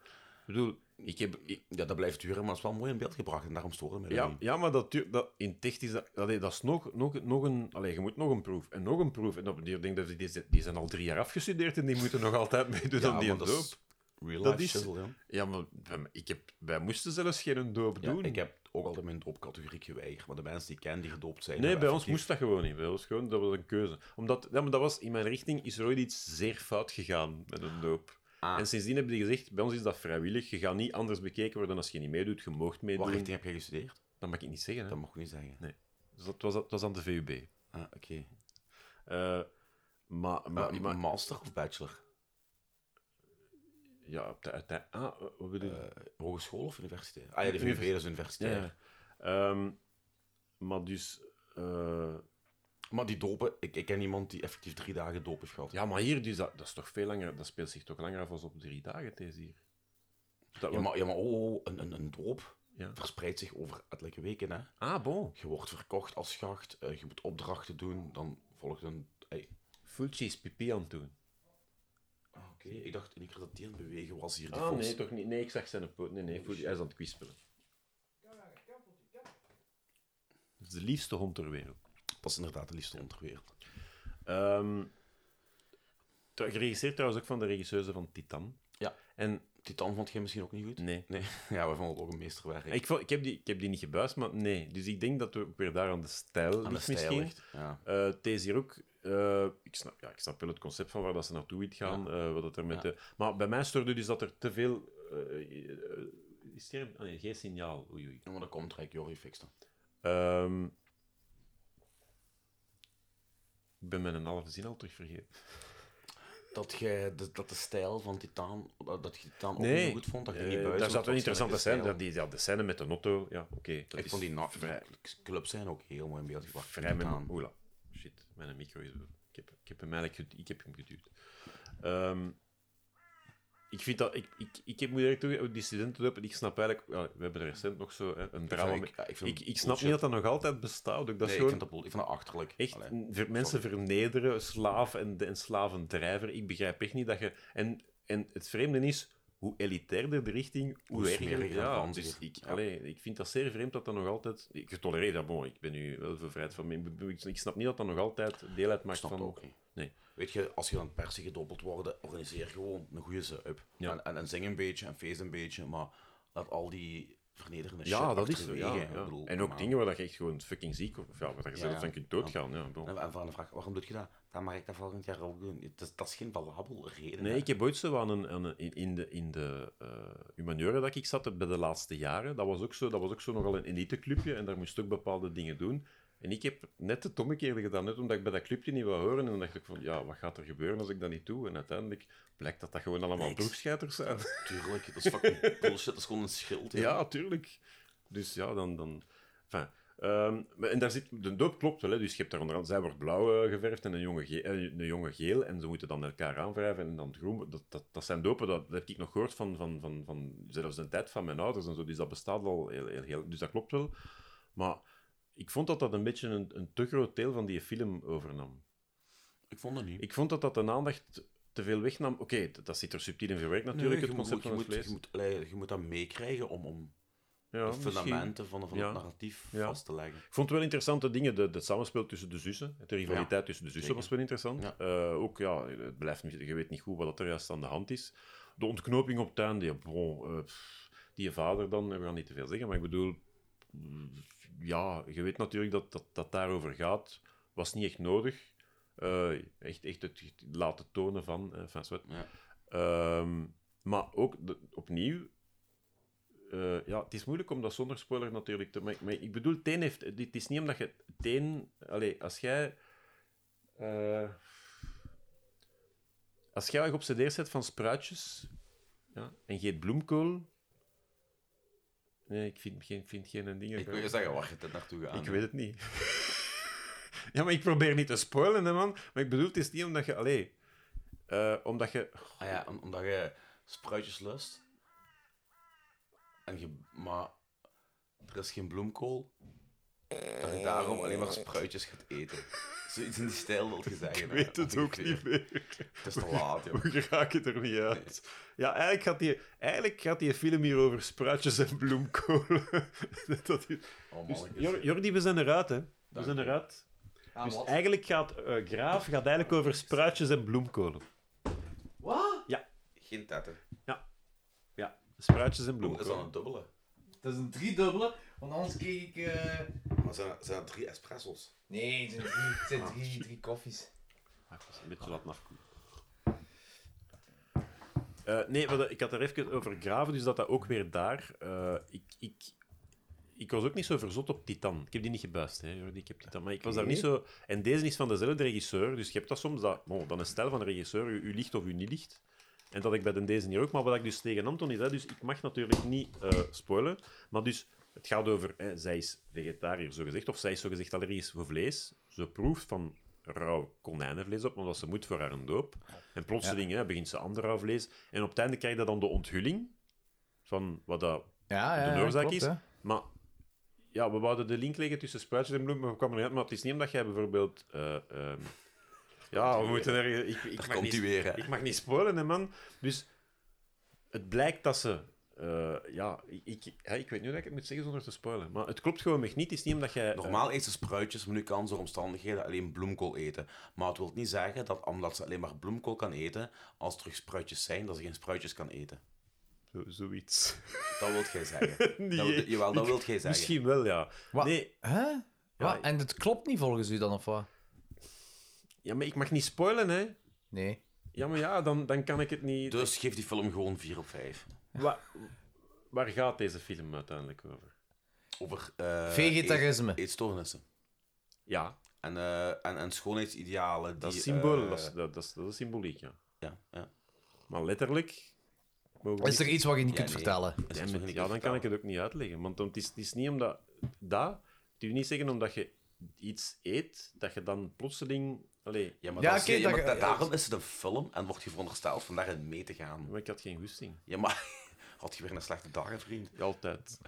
[SPEAKER 4] bedoel, ik heb... ik-
[SPEAKER 2] ja, dat blijft duren, maar dat is wel mooi in beeld gebracht en daarom storen mij dat
[SPEAKER 4] ja,
[SPEAKER 2] niet.
[SPEAKER 4] ja, maar dat, duurt- dat, in ticht is dat... Allee, dat is nog, nog, nog een... Allee, je moet nog een proef en nog een proef. En op een duur denk ik, dat die, die zijn al drie jaar afgestudeerd en die moeten nog altijd meedoen aan die
[SPEAKER 2] want
[SPEAKER 4] doop.
[SPEAKER 2] dat is Real
[SPEAKER 4] Dat
[SPEAKER 2] life
[SPEAKER 4] is-
[SPEAKER 2] shizzle, ja.
[SPEAKER 4] Ja, maar bij mij- ik heb, wij moesten zelfs geen doop
[SPEAKER 2] Ja,
[SPEAKER 4] doen.
[SPEAKER 2] ik heb ook altijd mijn doopcategorie geweigerd. Maar de mensen die ik ken, die gedoopt zijn...
[SPEAKER 4] Nee,
[SPEAKER 2] hebben
[SPEAKER 4] bij ons
[SPEAKER 2] effectief-
[SPEAKER 4] moest dat gewoon niet. Bij ons gewoon, dat was een keuze. Omdat, ja, maar dat was, in mijn richting is er ooit iets zeer fout gegaan met een doop.
[SPEAKER 2] Ah.
[SPEAKER 4] En sindsdien hebben die gezegd, bij ons is dat vrijwillig. Je gaat niet anders bekeken worden als je niet meedoet. Je moogt meedoen.
[SPEAKER 2] Wat richting heb jij gestudeerd?
[SPEAKER 4] Dat mag ik niet zeggen. Hè?
[SPEAKER 2] Dat mag ik niet zeggen.
[SPEAKER 4] Dus dat, was, dat was aan de VUB.
[SPEAKER 2] Ah, oké.
[SPEAKER 4] Eh, maar, maar,
[SPEAKER 2] maar,
[SPEAKER 4] maar-
[SPEAKER 2] master of bachelor?
[SPEAKER 4] ja, op de uiteinde... Ah, wat bedoel je?
[SPEAKER 2] Eh, hogeschool of universiteit? Ah ja, de VUB, dat is universiteit.
[SPEAKER 4] ja, ja. Ehm, maar dus... eh,
[SPEAKER 2] Maar die dopen... Ik, ik ken iemand die effectief drie dagen doop heeft gehad.
[SPEAKER 4] ja, maar hier, dus dat, dat is toch veel langer... Dat speelt zich toch langer af als op drie dagen, deze hier. Dat,
[SPEAKER 2] Ja, maar, ja, maar oh, oh, een, een, een doop
[SPEAKER 4] Ja.
[SPEAKER 2] verspreidt zich over etelijke weken, hè.
[SPEAKER 4] Ah, bon.
[SPEAKER 2] Je wordt verkocht als schacht, eh, je moet opdrachten doen, dan volgt een... Hey.
[SPEAKER 4] Fulci is pipi aan het doen.
[SPEAKER 2] Ah, Oké, ik dacht in ieder geval dat die aan het bewegen was hier, die
[SPEAKER 4] Ah,
[SPEAKER 2] vos.
[SPEAKER 4] nee, toch niet. Nee, ik zag zijn poot. Nee, nee, Fulci, hij is aan het kwispelen. Dat is de liefste hond ter wereld.
[SPEAKER 2] Dat is inderdaad de liefste onderwereld.
[SPEAKER 4] Ehm, trouw- geregisseerd trouwens ook van de regisseuse van Titan.
[SPEAKER 2] Ja.
[SPEAKER 4] En
[SPEAKER 2] Titan vond jij misschien ook niet goed?
[SPEAKER 4] nee.
[SPEAKER 2] Ja, we vonden het ook een meesterwerk.
[SPEAKER 4] Ik, vond- ik, heb die, ik heb die niet gebuist, maar nee. Dus ik denk dat we ook weer daar aan de stijl
[SPEAKER 2] Aan de
[SPEAKER 4] ligt
[SPEAKER 2] stijl
[SPEAKER 4] misschien.
[SPEAKER 2] ligt, Ja.
[SPEAKER 4] Eh, het is hier ook... eh, ik, snap, ja, ik snap wel het concept van waar dat ze naartoe wilt gaan. eh, wat dat er met de, maar bij mij stoorde dus dat er te veel... eh, eh, is er een- ah, nee, geen signaal? Oei, oei.
[SPEAKER 2] Ja, Maar dat komt Rijk Jorrie fix dan.
[SPEAKER 4] Ehm, ik ben mijn halve zin al terug vergeten.
[SPEAKER 2] Dat, je, dat, dat de stijl van Titan, dat, dat je Titan ook
[SPEAKER 4] Nee. Eh,
[SPEAKER 2] niet zo goed vond, dat je niet buiten
[SPEAKER 4] daar
[SPEAKER 2] want
[SPEAKER 4] zat
[SPEAKER 2] het
[SPEAKER 4] een
[SPEAKER 2] was
[SPEAKER 4] interessante
[SPEAKER 2] eigenlijk
[SPEAKER 4] scène.
[SPEAKER 2] de
[SPEAKER 4] Ja, die, ja, de scène met de auto. Ja, oké. dat
[SPEAKER 2] Ik
[SPEAKER 4] is
[SPEAKER 2] vond die na-
[SPEAKER 4] vrij,
[SPEAKER 2] die clubs zijn ook heel mooi in beeld gebracht.
[SPEAKER 4] vrij met
[SPEAKER 2] Titan.
[SPEAKER 4] Oula, shit. Mijn micro is... Ik heb, ik heb hem eigenlijk... ged- Ik heb hem geduwd. Ehm, Ik vind dat... Ik, ik, ik heb, moet eerlijk toegeven, die studentenhulp, ik snap eigenlijk... ja, we hebben er recent nog zo hè, een drama
[SPEAKER 2] vind-
[SPEAKER 4] mee.
[SPEAKER 2] ja,
[SPEAKER 4] Ik,
[SPEAKER 2] ik vind
[SPEAKER 4] ik,
[SPEAKER 2] het
[SPEAKER 4] snap niet
[SPEAKER 2] bullshit.
[SPEAKER 4] dat dat nog altijd bestaat. ook. Dat is
[SPEAKER 2] Nee, ik
[SPEAKER 4] gewoon-
[SPEAKER 2] vind dat, bull- ik vind dat achterlijk.
[SPEAKER 4] Echt
[SPEAKER 2] Allee.
[SPEAKER 4] n- ver- mensen vernederen, slaaf en, en slavendrijver. Ik begrijp echt niet dat je. En, en het vreemde is, hoe elitairder de richting, hoe,
[SPEAKER 2] Hoe
[SPEAKER 4] erger
[SPEAKER 2] smeriger en
[SPEAKER 4] ja,
[SPEAKER 2] ranziger.
[SPEAKER 4] dus ik,
[SPEAKER 2] Ja.
[SPEAKER 4] allee, ik vind dat zeer vreemd dat dat nog altijd. Ik tolereer dat, bon, ik ben nu wel bevrijd van. mijn bedoel, Ik, ik snap niet dat dat nog altijd deel
[SPEAKER 2] Ik
[SPEAKER 4] uitmaakt
[SPEAKER 2] snap
[SPEAKER 4] van.
[SPEAKER 2] het ook niet.
[SPEAKER 4] Nee.
[SPEAKER 2] Weet je, als je aan het persen gedoppeld wordt, organiseer gewoon een goede sub.
[SPEAKER 4] Ja.
[SPEAKER 2] En, en, en zing een beetje en feest een beetje, maar laat al die vernederende shit
[SPEAKER 4] Ja, dat is zo.
[SPEAKER 2] achterwege.
[SPEAKER 4] Ja,
[SPEAKER 2] Ik
[SPEAKER 4] ja.
[SPEAKER 2] bedoel,
[SPEAKER 4] En ook
[SPEAKER 2] maar-
[SPEAKER 4] dingen waar dat je echt gewoon fucking ziek of ja, waar dat je
[SPEAKER 2] Ja,
[SPEAKER 4] zelf van
[SPEAKER 2] ja.
[SPEAKER 4] kunt doodgaan. Ja, bon.
[SPEAKER 2] En, en van de vraag, waarom doe je dat? Dan mag ik dat volgend jaar ook doen. Het is- dat is geen valabel reden.
[SPEAKER 4] Nee,
[SPEAKER 2] hè.
[SPEAKER 4] ik heb ooit zo aan een, aan een- in, in de, in de eh humaniora dat ik zat, bij de laatste jaren, dat was ook zo, dat was ook zo nogal een eliteclubje en daar moest je ook bepaalde dingen doen. En ik heb net het omgekeerde gedaan, net omdat ik bij dat clubje niet wil horen. En dan dacht ik van, ja, wat gaat er gebeuren als ik dat niet doe? En uiteindelijk blijkt dat dat gewoon allemaal
[SPEAKER 2] Niks.
[SPEAKER 4] broekscheiders zijn.
[SPEAKER 2] Tuurlijk, dat is fucking bullshit, dat is gewoon een schild. hè.
[SPEAKER 4] Ja, tuurlijk. Dus ja, dan... dan... Enfin, ehm, maar- en daar zit, de doop klopt wel, hè. dus je hebt daar onderaan, zij wordt blauw eh, geverfd en een jonge, ge- eh, een jonge geel, en ze moeten dan elkaar aanwrijven en dan groen. Dat, dat, dat zijn dopen, dat, dat heb ik nog gehoord van, van, van, van zelfs de tijd van mijn ouders en zo, dus dat bestaat al heel, heel, heel dus dat klopt wel. Maar ik vond dat dat een beetje een, een te groot deel van die film overnam.
[SPEAKER 2] Ik vond dat niet.
[SPEAKER 4] Ik vond dat dat een aandacht te veel wegnam. Oké, dat, dat zit er subtiel in verwerkt natuurlijk,
[SPEAKER 2] Nee,
[SPEAKER 4] het
[SPEAKER 2] je
[SPEAKER 4] concept
[SPEAKER 2] moet,
[SPEAKER 4] van
[SPEAKER 2] je,
[SPEAKER 4] het
[SPEAKER 2] moet,
[SPEAKER 4] vlees.
[SPEAKER 2] je, moet, allee, je moet dat meekrijgen om, om
[SPEAKER 4] ja,
[SPEAKER 2] de fundamenten van, van
[SPEAKER 4] Ja.
[SPEAKER 2] het narratief
[SPEAKER 4] Ja.
[SPEAKER 2] vast te leggen.
[SPEAKER 4] Ik vond wel interessante dingen. De, het samenspel tussen de zussen. De rivaliteit tussen de zussen
[SPEAKER 2] zeker.
[SPEAKER 4] was wel interessant.
[SPEAKER 2] Ja.
[SPEAKER 4] Eh, ook, ja, het blijft niet, je weet niet goed wat dat er juist aan de hand is. De ontknoping op tuin, die, bon, eh, pff, die vader dan, eh, we gaan niet te veel zeggen, maar ik bedoel, mm, ja, je weet natuurlijk dat dat, dat daarover gaat. Was niet echt nodig. Eh, echt, echt het laten tonen van, eh, enfin, zwart.
[SPEAKER 2] Ja.
[SPEAKER 4] Ehm, maar ook de- opnieuw, eh, ja, het is moeilijk om dat zonder spoiler natuurlijk te maken. Maar ik bedoel, Teen heeft, het is niet omdat je Teen, allez, als jij. eh, als jij geobsedeerd bent van spruitjes ja, en je eet bloemkool. Nee, ik vind geen, vind geen dingen.
[SPEAKER 2] Ik wil je zeggen waar je dit naartoe gaat.
[SPEAKER 4] Ik weet het niet. ja, maar ik probeer niet te spoilen, hè, man. Maar ik bedoel, het is niet omdat je. Allee, eh, omdat je.
[SPEAKER 2] Ah ja, om- omdat je spruitjes lust. En je, maar er is geen bloemkool. Dat je daarom alleen maar spruitjes gaat eten. Zoiets in die stijl wil je zeggen. hè, ongeveer.
[SPEAKER 4] meer.
[SPEAKER 2] Het is te laat, joh.
[SPEAKER 4] We geraken er niet uit. Ja, eigenlijk gaat, die, eigenlijk gaat die film hier over spruitjes en bloemkolen. dat is...
[SPEAKER 2] Oh,
[SPEAKER 4] dus,
[SPEAKER 2] mannetjes.
[SPEAKER 4] Jor- Jordi, we zijn eruit, hè. We
[SPEAKER 2] Dank
[SPEAKER 4] zijn
[SPEAKER 2] je.
[SPEAKER 4] eruit.
[SPEAKER 3] Ah,
[SPEAKER 4] Dus
[SPEAKER 3] wat?
[SPEAKER 4] eigenlijk gaat eh, Graaf gaat eigenlijk over spruitjes en bloemkolen.
[SPEAKER 2] Geen tetten.
[SPEAKER 4] Ja, spruitjes en
[SPEAKER 2] Bloem is
[SPEAKER 4] bloemkolen.
[SPEAKER 2] dan een dubbele.
[SPEAKER 3] Dat is een driedubbele, want anders kreeg ik... eh,
[SPEAKER 2] Maar zijn dat, zijn dat drie espressos?
[SPEAKER 3] Nee, het zijn drie, het zijn drie, drie koffies.
[SPEAKER 4] Ah, ik was een beetje laat afkoelen. Eh, nee, maar dat- ik had er even over graven, dus dat dat ook weer daar. eh, ik, ik, ik was ook niet zo verzot op Titan. Ik heb die niet gebuist, hè, Jordi. Ik heb Titan, maar ik was daar niet zo... En deze is van dezelfde regisseur, dus je hebt dat soms, dat, bon, dan een stijl van de regisseur, u, u ligt of u niet ligt. En dat ik bij de deze hier ook, maar wat ik dus tegen Anton is, hè, dus ik mag natuurlijk niet eh, spoilen, maar dus het gaat over, hè, zij is vegetariër zogezegd, of zij is zogezegd allergisch voor vlees. Ze proeft van rauw konijnenvlees op, omdat ze moet voor haar een doop. En plotseling hè, begint ze ander rauw vlees. En op het einde krijg je dan de onthulling van wat dat
[SPEAKER 3] Ja,
[SPEAKER 4] de oorzaak
[SPEAKER 3] klopt,
[SPEAKER 4] is.
[SPEAKER 3] hè.
[SPEAKER 4] Maar ja, we wouden de link leggen tussen spruitjes en bloemen, maar we kwamen er niet uit. Maar het is niet omdat jij bijvoorbeeld... eh, ehm, ja, we moeten er... Ik, ik, mag
[SPEAKER 2] komt
[SPEAKER 4] niet,
[SPEAKER 2] die weer, hè.
[SPEAKER 4] ik mag niet spoilen, hè, man. Dus het blijkt dat ze... eh, ja, ik, ik, hè, ik weet nu dat ik het moet zeggen zonder te spoilen. Maar het klopt gewoon echt niet. Het is niet omdat jij... eh,
[SPEAKER 2] Normaal eet ze spruitjes, maar nu kan ze door omstandigheden alleen bloemkool eten. Maar het wil niet zeggen dat omdat ze alleen maar bloemkool kan eten, als er terug spruitjes zijn, dat ze geen spruitjes kan eten.
[SPEAKER 4] Eh, zo- zoiets.
[SPEAKER 2] Dat wilt jij zeggen.
[SPEAKER 4] Nee,
[SPEAKER 2] dat,
[SPEAKER 4] ik-
[SPEAKER 2] jawel, dat wilt jij zeggen.
[SPEAKER 4] Misschien wel, ja.
[SPEAKER 3] Wat?
[SPEAKER 4] Nee,
[SPEAKER 3] Hè? Wat?
[SPEAKER 4] ik-
[SPEAKER 3] En het klopt niet volgens u dan, of wat?
[SPEAKER 4] ja, maar ik mag niet spoilen, hè.
[SPEAKER 3] Nee.
[SPEAKER 4] Ja, maar ja, dan, dan kan ik het niet...
[SPEAKER 2] Dus geef die film gewoon 4 op 5.
[SPEAKER 4] Wa- waar gaat deze film uiteindelijk over?
[SPEAKER 2] Over eh,
[SPEAKER 3] Vegetarisme.
[SPEAKER 2] eet- eetstoornissen.
[SPEAKER 4] Ja,
[SPEAKER 2] En, eh, en, en schoonheidsidealen.
[SPEAKER 4] dat
[SPEAKER 2] die,
[SPEAKER 4] is symbool.
[SPEAKER 2] eh,
[SPEAKER 4] dat, is, dat, dat is, dat is symboliek, ja.
[SPEAKER 2] Ja, ja.
[SPEAKER 4] Maar letterlijk... mogen we
[SPEAKER 3] Is er
[SPEAKER 4] niet-
[SPEAKER 3] iets wat je niet
[SPEAKER 2] Ja,
[SPEAKER 3] kunt
[SPEAKER 2] nee.
[SPEAKER 3] vertellen?
[SPEAKER 2] Dat is
[SPEAKER 4] Ja,
[SPEAKER 2] nog
[SPEAKER 4] met-
[SPEAKER 2] niet
[SPEAKER 4] ja, dan kan
[SPEAKER 2] vertellen.
[SPEAKER 4] ik het ook niet uitleggen. Want het is, het is niet omdat... Dat... Het wil niet zeggen omdat je iets eet, dat je dan plotseling Allee,
[SPEAKER 2] Ja, maar,
[SPEAKER 3] Ja,
[SPEAKER 2] dat is-
[SPEAKER 3] oké,
[SPEAKER 2] ja,
[SPEAKER 3] dat
[SPEAKER 2] maar
[SPEAKER 3] je-
[SPEAKER 2] da- daarom is het een film en wordt je verondersteld om daarin mee te gaan.
[SPEAKER 4] maar ik had geen goesting.
[SPEAKER 2] Ja, maar had je weer een slechte dag, hè, vriend?
[SPEAKER 4] Altijd.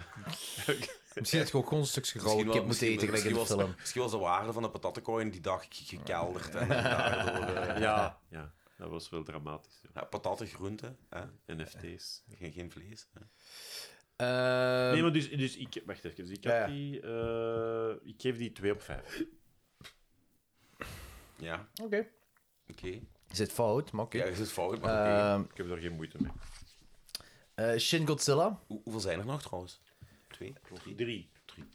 [SPEAKER 3] Misschien dat je ook gewoon een stukje rauwe
[SPEAKER 2] Misschien wel-
[SPEAKER 3] kip moet
[SPEAKER 2] misschien-
[SPEAKER 3] eten, gelijk in de
[SPEAKER 2] misschien was-
[SPEAKER 3] film.
[SPEAKER 2] Misschien was de waarde van de patatenkooi die dag ge- gekelderd. En daardoor, eh,
[SPEAKER 4] Ja, ja, dat was wel dramatisch. ja.
[SPEAKER 2] ja, patatten, groenten, hè?
[SPEAKER 4] NFT's.
[SPEAKER 2] Geen, geen vlees. hè. Ehm,
[SPEAKER 3] Eh,
[SPEAKER 4] nee, maar dus, dus ik... Wacht even. Dus ik, had
[SPEAKER 3] ja.
[SPEAKER 4] die, eh, ik geef die 2 op 5.
[SPEAKER 2] Ja,
[SPEAKER 3] Oké.
[SPEAKER 2] oké.
[SPEAKER 3] Is het fout? Maar oké.
[SPEAKER 2] Ja, je zit fout, maar oké.
[SPEAKER 3] Ehm,
[SPEAKER 4] Ik heb daar geen moeite mee.
[SPEAKER 3] eh, Shin Godzilla.
[SPEAKER 2] Hoe- hoeveel zijn er nog trouwens? Twee? Drie?
[SPEAKER 4] 3.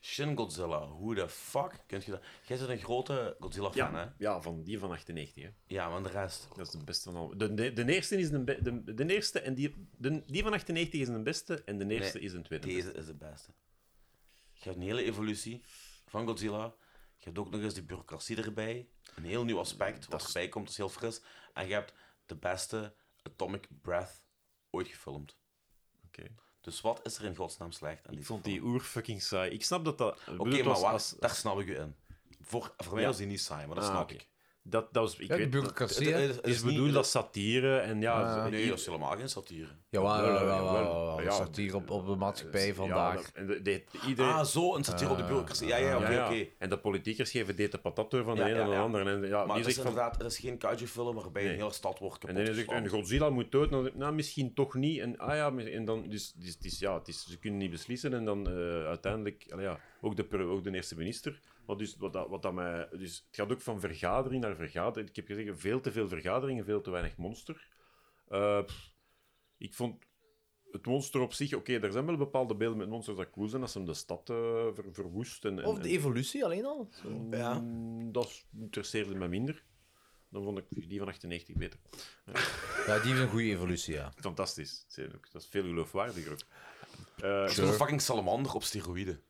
[SPEAKER 2] Shin Godzilla, hoe de fuck kunt je dat... Jij bent een grote Godzilla-fan, hè?
[SPEAKER 4] Ja, ja, van die van 98, hè.
[SPEAKER 2] Ja, maar de rest...
[SPEAKER 4] Dat is de beste van al. De, de, de eerste is de, be- de, de eerste en die, de, die van 98 is de beste en de eerste
[SPEAKER 2] Nee,
[SPEAKER 4] is de tweede.
[SPEAKER 2] Deze is de beste. Je hebt een hele evolutie van Godzilla. Je hebt ook nog eens die bureaucratie erbij. Een heel nieuw aspect wat erbij komt, dat is heel fris. En je hebt de beste Atomic Breath ooit gefilmd.
[SPEAKER 4] Oké.
[SPEAKER 2] Dus wat is er in godsnaam slecht aan
[SPEAKER 4] Ik
[SPEAKER 2] die
[SPEAKER 4] vond
[SPEAKER 2] film?
[SPEAKER 4] die oer fucking saai. Ik snap dat dat.
[SPEAKER 2] Oké, maar wacht, daar snap ik u in. Voor, voor mij
[SPEAKER 4] Ja.
[SPEAKER 2] was die niet saai, maar dat
[SPEAKER 4] Ah,
[SPEAKER 2] snap
[SPEAKER 4] oké.
[SPEAKER 2] ik.
[SPEAKER 4] Dat, dat was. Ik
[SPEAKER 3] Ja, de
[SPEAKER 4] weet het
[SPEAKER 3] bureaucratie,
[SPEAKER 2] Het-
[SPEAKER 3] hè?
[SPEAKER 2] het- het
[SPEAKER 4] is
[SPEAKER 2] niet-
[SPEAKER 4] bedoeld als satire en ja.
[SPEAKER 3] Ah,
[SPEAKER 4] zo-
[SPEAKER 2] Nee, dat is helemaal geen satire.
[SPEAKER 3] Jawel, jawel,
[SPEAKER 4] jawel,
[SPEAKER 3] jawel,
[SPEAKER 4] jawel.
[SPEAKER 3] jawel.
[SPEAKER 4] Ja, eh,
[SPEAKER 3] Dat staat hier op, op de maatschappij
[SPEAKER 4] ja,
[SPEAKER 3] vandaag.
[SPEAKER 4] dat- en de- de- iedereen.
[SPEAKER 2] Ah, zo, een satire op de bureaucratie. Ja, ja, oké,
[SPEAKER 4] ja, ja.
[SPEAKER 2] oké.
[SPEAKER 4] En de politiekers geven dit de patat door van de
[SPEAKER 2] Ja,
[SPEAKER 4] ene
[SPEAKER 2] ja,
[SPEAKER 4] naar de
[SPEAKER 2] ja.
[SPEAKER 4] andere. En, ja,
[SPEAKER 2] Maar
[SPEAKER 4] die
[SPEAKER 2] het is
[SPEAKER 4] zegt van,
[SPEAKER 2] inderdaad, het is geen kaiju-film waarbij een
[SPEAKER 4] Nee.
[SPEAKER 2] hele stad wordt
[SPEAKER 4] en
[SPEAKER 2] kapot
[SPEAKER 4] dan zegt een Godzilla moet dood. En dan, nou, misschien toch niet. En, ah ja, mis- en dan, dus, dus, dus ja, het is, ze kunnen niet beslissen. En dan eh, uiteindelijk, allee, ja, ook, de, pre- ook de eerste minister. Wat dus, wat, dat- wat dat mij, dus het gaat ook van vergadering naar vergadering. Ik heb gezegd, veel te veel vergaderingen, veel te weinig monster. Eh, pff, ik vond het monster op zich... Oké, er zijn wel bepaalde beelden met monsters dat cool zijn, als ze hem de stad eh, ver, verwoest. En, en-
[SPEAKER 3] Of de
[SPEAKER 4] en-
[SPEAKER 3] evolutie alleen al. Zo.
[SPEAKER 2] Ja.
[SPEAKER 4] Mm, Dat is- interesseerde me minder. Dan vond ik die van 98 beter.
[SPEAKER 3] Ja, die heeft een goede evolutie, ja.
[SPEAKER 4] Fantastisch. Zeer ook. Dat is veel geloofwaardiger ook. Eh,
[SPEAKER 2] Het is een fucking salamander op steroïden.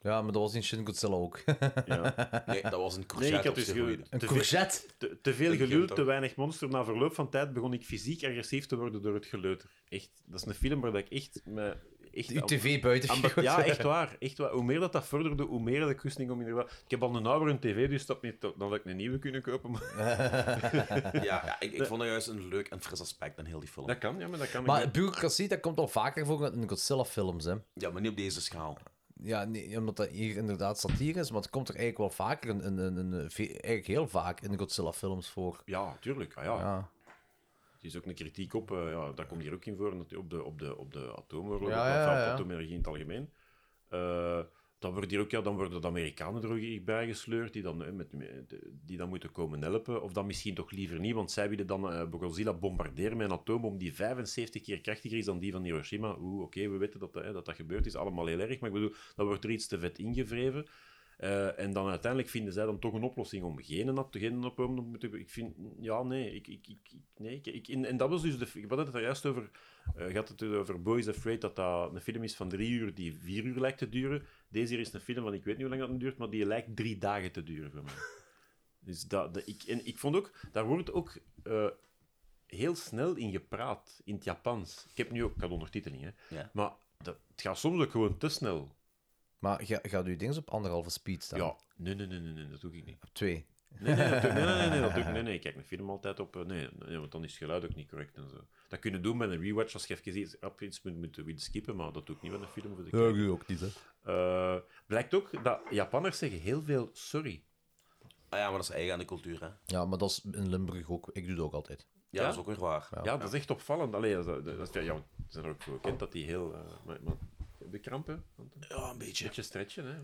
[SPEAKER 3] Ja, maar dat was in Shin Godzilla ook.
[SPEAKER 4] ja.
[SPEAKER 2] Nee, dat was een courgette
[SPEAKER 4] Nee, ik had
[SPEAKER 2] op
[SPEAKER 4] dus
[SPEAKER 2] steroïden.
[SPEAKER 4] ge-
[SPEAKER 3] Een
[SPEAKER 4] te, veel,
[SPEAKER 3] courgette.
[SPEAKER 4] te, te veel
[SPEAKER 2] Ik heb
[SPEAKER 4] gelul,
[SPEAKER 2] het
[SPEAKER 4] te
[SPEAKER 2] ook.
[SPEAKER 4] weinig monster. Na verloop van tijd begon ik fysiek agressief te worden door het geleuter. Echt, dat is een film waar dat ik echt... Me, echt
[SPEAKER 3] Uw tv buiten.
[SPEAKER 4] Ambe- ja, echt waar, echt waar. Hoe meer dat dat vorderde, hoe meer dat ik goesting om inderdaad... Ik heb al een oudere tv, dus dat niet dat ik een nieuwe kunnen kopen. Maar...
[SPEAKER 2] Ja, ja ik, ik vond dat juist een leuk en fris aspect aan heel die film.
[SPEAKER 4] Dat kan, ja, maar dat kan.
[SPEAKER 3] Maar bureaucratie, dat komt al vaker voor in Godzilla-films, hè.
[SPEAKER 2] Ja, maar niet op deze schaal.
[SPEAKER 3] Ja, nee, omdat dat hier inderdaad satire is, maar het komt er eigenlijk wel vaker, in, in, in, in- ve- eigenlijk heel vaak in Godzilla-films voor.
[SPEAKER 4] Ja, tuurlijk. Ah, ja.
[SPEAKER 3] Ja.
[SPEAKER 4] Het is ook een kritiek op, eh, ja, dat komt hier ook in voor, natu- op de, op de, op de atoomoorlog,
[SPEAKER 3] Ja,
[SPEAKER 4] op de
[SPEAKER 3] ja,
[SPEAKER 4] veld-
[SPEAKER 3] ja.
[SPEAKER 4] atoomenergie in het algemeen. Eh, dan, wordt hier ook, ja, dan worden de Amerikanen er ook hier bij gesleurd, die dan, eh, met, met- die dan moeten komen helpen. Of dan misschien toch liever niet, want zij willen dan eh, Godzilla bombarderen met een atoombom die 75 keer krachtiger is dan die van Hiroshima. Oeh, oké, we weten dat, dat, eh, dat dat gebeurd is, allemaal heel erg. Maar ik bedoel, dan wordt er iets te vet ingevreven. Eh, en dan uiteindelijk vinden zij dan toch een oplossing om geen nap te geen op om te Ik vind, ja, nee. Ik, ik, ik, ik- nee ik, ik- en, en dat was dus de. Ik had het er juist over. eh, je had het over Boys Afraid, dat dat een film is van drie uur die vier uur lijkt te duren. Deze hier is een film van ik weet niet hoe lang dat duurt, maar die lijkt drie dagen te duren voor mij. Dus dat, dat- ik, en ik vond ook, daar wordt ook eh, heel snel in gepraat, in het Japans. Ik heb nu ook, ik had ondertiteling, hè.
[SPEAKER 2] Ja.
[SPEAKER 4] Maar dat, het gaat soms ook gewoon te snel.
[SPEAKER 3] Maar ga, gaat uw ding eens op anderhalve speed staan?
[SPEAKER 4] Ja, nee, nee, nee, nee, nee, dat doe ik niet.
[SPEAKER 3] Op twee.
[SPEAKER 4] Nee, nee, dat doe- nee, nee, nee, dat doe ik- nee, nee, ik kijk mijn film altijd op. eh, Nee, nee, want dan is het geluid ook niet correct en zo. Dat kunnen doen met een rewatch als je even iets, op iets moet, moet willen skippen, maar dat doe ik niet met een film. Voor de kijker.
[SPEAKER 3] ook niet, hè.
[SPEAKER 4] Eh, blijkt ook dat Japanners zeggen heel veel sorry.
[SPEAKER 2] Ah ja, maar dat is eigen aan de cultuur, hè. Ja,
[SPEAKER 3] Ja, maar dat is in Limburg ook. Ik doe dat ook altijd.
[SPEAKER 2] dat is ook weer waar.
[SPEAKER 4] Ja, dat is echt opvallend. Allee, dat, dat, dat, ja, we zijn er ook voor bekend dat die heel... eh maar, maar, heb je krampen? Anton? Een
[SPEAKER 2] Ja, een beetje.
[SPEAKER 4] beetje stretchen, hè.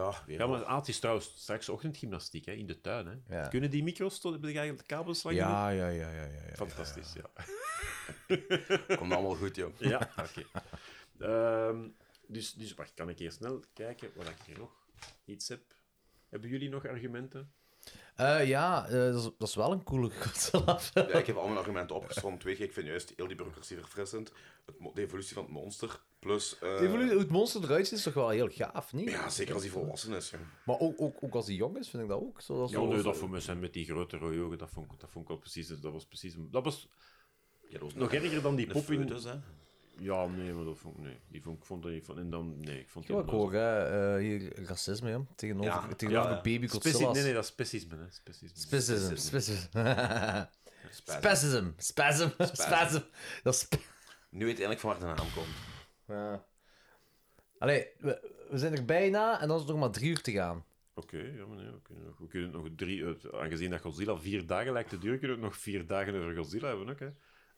[SPEAKER 2] Ja, weer wel.
[SPEAKER 4] Ja, maar ah, het is trouwens straks ochtendgymnastiek, hè, in de tuin, hè.
[SPEAKER 3] Ja.
[SPEAKER 4] Kunnen die micro's tot op de de kabels lang doen?
[SPEAKER 3] ja, ja, ja, ja. ja.
[SPEAKER 4] Fantastisch, ja.
[SPEAKER 2] Komt allemaal goed, joh.
[SPEAKER 4] Ja, Ah, oké. Ehm, dus, dus wacht, kan ik hier snel kijken wat ik hier nog iets heb? Hebben jullie nog argumenten? Ah,
[SPEAKER 3] Eh, ja, eh, dat, is, dat is wel een coole Godzilla film.
[SPEAKER 2] Ja, ik heb al mijn argumenten opgesomd. Twee keer, ik vind juist heel die bureaucratie verfrissend. Het mo- de evolutie van het monster, plus... eh,
[SPEAKER 3] Die evolutie- Hoe het monster eruit ziet is toch wel heel gaaf, niet?
[SPEAKER 2] Ja, zeker als hij volwassen is, joh.
[SPEAKER 3] Maar ook, ook, ook als die jong is, vind ik dat ook. Zo, dat is
[SPEAKER 4] Ja,
[SPEAKER 3] wel-
[SPEAKER 4] nee, dat voor mij zijn met die grote rode ogen, dat vond, ik- dat vond ik al precies... Dat was precies... een- Dat was
[SPEAKER 2] Ja, dat was
[SPEAKER 4] nog erger dan die
[SPEAKER 2] een
[SPEAKER 4] pop in...
[SPEAKER 2] foetus, hè.
[SPEAKER 4] Ja, nee, maar dat vond ik... Nee. Die vond, ik vond, ik vond, en dan, nee, ik vond
[SPEAKER 3] Ja, ik hoor hè, eh, hier racisme hè, tegenover,
[SPEAKER 4] Ja,
[SPEAKER 3] tegenover
[SPEAKER 4] ja,
[SPEAKER 3] de baby
[SPEAKER 4] Speci-
[SPEAKER 3] Godzilla's.
[SPEAKER 4] nee, nee, dat is specisme. Hè. Specisme.
[SPEAKER 3] Spasism. Spasism. Spasism. Spasm. Spasm. Dat is... sp-
[SPEAKER 2] Nu weet eindelijk van waar de naam komt.
[SPEAKER 3] Ja. Allee, we, we zijn er bijna en dan is het nog maar drie uur te gaan.
[SPEAKER 4] Oké, ja, maar nee, we kunnen, nog, we kunnen nog drie... uit- aangezien dat Godzilla vier dagen lijkt te duren, kunnen we het nog vier dagen over Godzilla hebben ook, hè.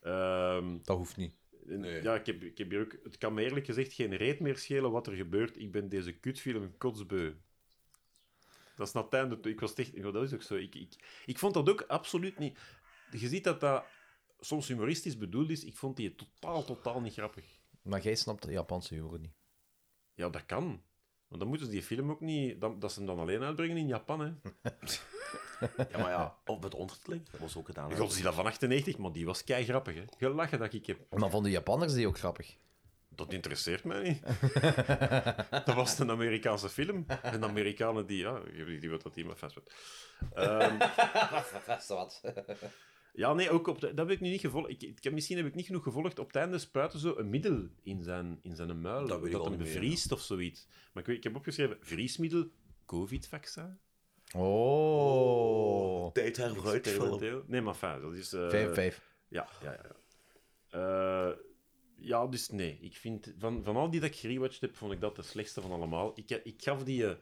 [SPEAKER 4] Ehm,
[SPEAKER 3] Dat hoeft niet.
[SPEAKER 4] en- Ja, ik heb, ik heb hier ook... Het kan me eerlijk gezegd geen reet meer schelen wat er gebeurt. Ik ben deze kutfilm kotsbeu. Dat is na het einde. Ik was echt... ja, Dat is ook zo. Ik, ik, ik vond dat ook absoluut niet... Je ziet dat dat soms humoristisch bedoeld is. Ik vond die totaal, totaal niet grappig.
[SPEAKER 3] Maar jij snapt de Japanse humor niet.
[SPEAKER 4] Ja, dat kan. Want dan moeten ze die film ook niet... Dat, dat ze hem dan alleen uitbrengen in Japan, hè.
[SPEAKER 2] Ja, maar ja, op het ondertiteling. Dat was ook gedaan. hè.
[SPEAKER 4] Godzilla van 98, maar die was kei grappig, hè. Gelachen dat ik heb.
[SPEAKER 3] Maar van de Japanners die ook grappig.
[SPEAKER 4] Dat interesseert mij niet. dat was een Amerikaanse film. En Amerikanen die, ja, ik weet niet wat dat iemand vast werd.
[SPEAKER 3] Vast wat.
[SPEAKER 4] Ehm, Ja, nee, ook op de- dat heb ik nu niet gevolgd. Ik, ik, heb- misschien heb ik niet genoeg gevolgd. Op het einde spruiten zo een middel in zijn, in zijn muil.
[SPEAKER 2] Dat
[SPEAKER 4] Dat,
[SPEAKER 2] weet ik al
[SPEAKER 4] hem
[SPEAKER 2] niet meer,
[SPEAKER 4] bevriest of zoiets. Maar ik, weet, ik heb opgeschreven, vriesmiddel, covid-vaccin.
[SPEAKER 3] Oh.
[SPEAKER 2] Tijd hervooruit film.
[SPEAKER 4] Experimenteel. Nee, maar fijn, dat is... eh,
[SPEAKER 3] Vijf, vijf.
[SPEAKER 4] Ja, ja, ja. ja. Eh, ja, dus nee. Ik vind, van, van al die dat ik gerewatcht heb, vond ik dat de slechtste van allemaal. Ik, ik gaf die eh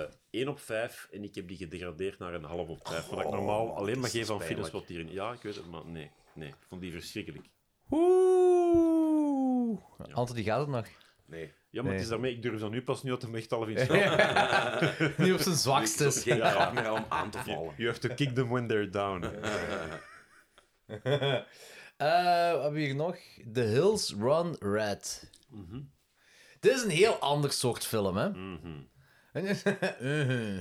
[SPEAKER 4] eh, 1 op 5 en ik heb die gedegradeerd naar een half op 5. wat ik normaal alleen maar geef aan films wat hierin... Ja, ik weet het, maar nee. Nee, ik vond die verschrikkelijk.
[SPEAKER 3] Oeh. Ante, die gaat het nog.
[SPEAKER 2] Nee.
[SPEAKER 4] Ja, maar
[SPEAKER 3] Nee.
[SPEAKER 4] het is daarmee... Ik durf dat nu pas nu uit hem echt half in slaap.
[SPEAKER 3] Niet op zijn zwakste.
[SPEAKER 2] Dus geen grap meer om aan te vallen.
[SPEAKER 4] You have to kick them when they're down.
[SPEAKER 3] Eh, wat hebben we hier nog? The Hills Run Red. Mhm. Dit is een heel ander soort film, hè? Mhm.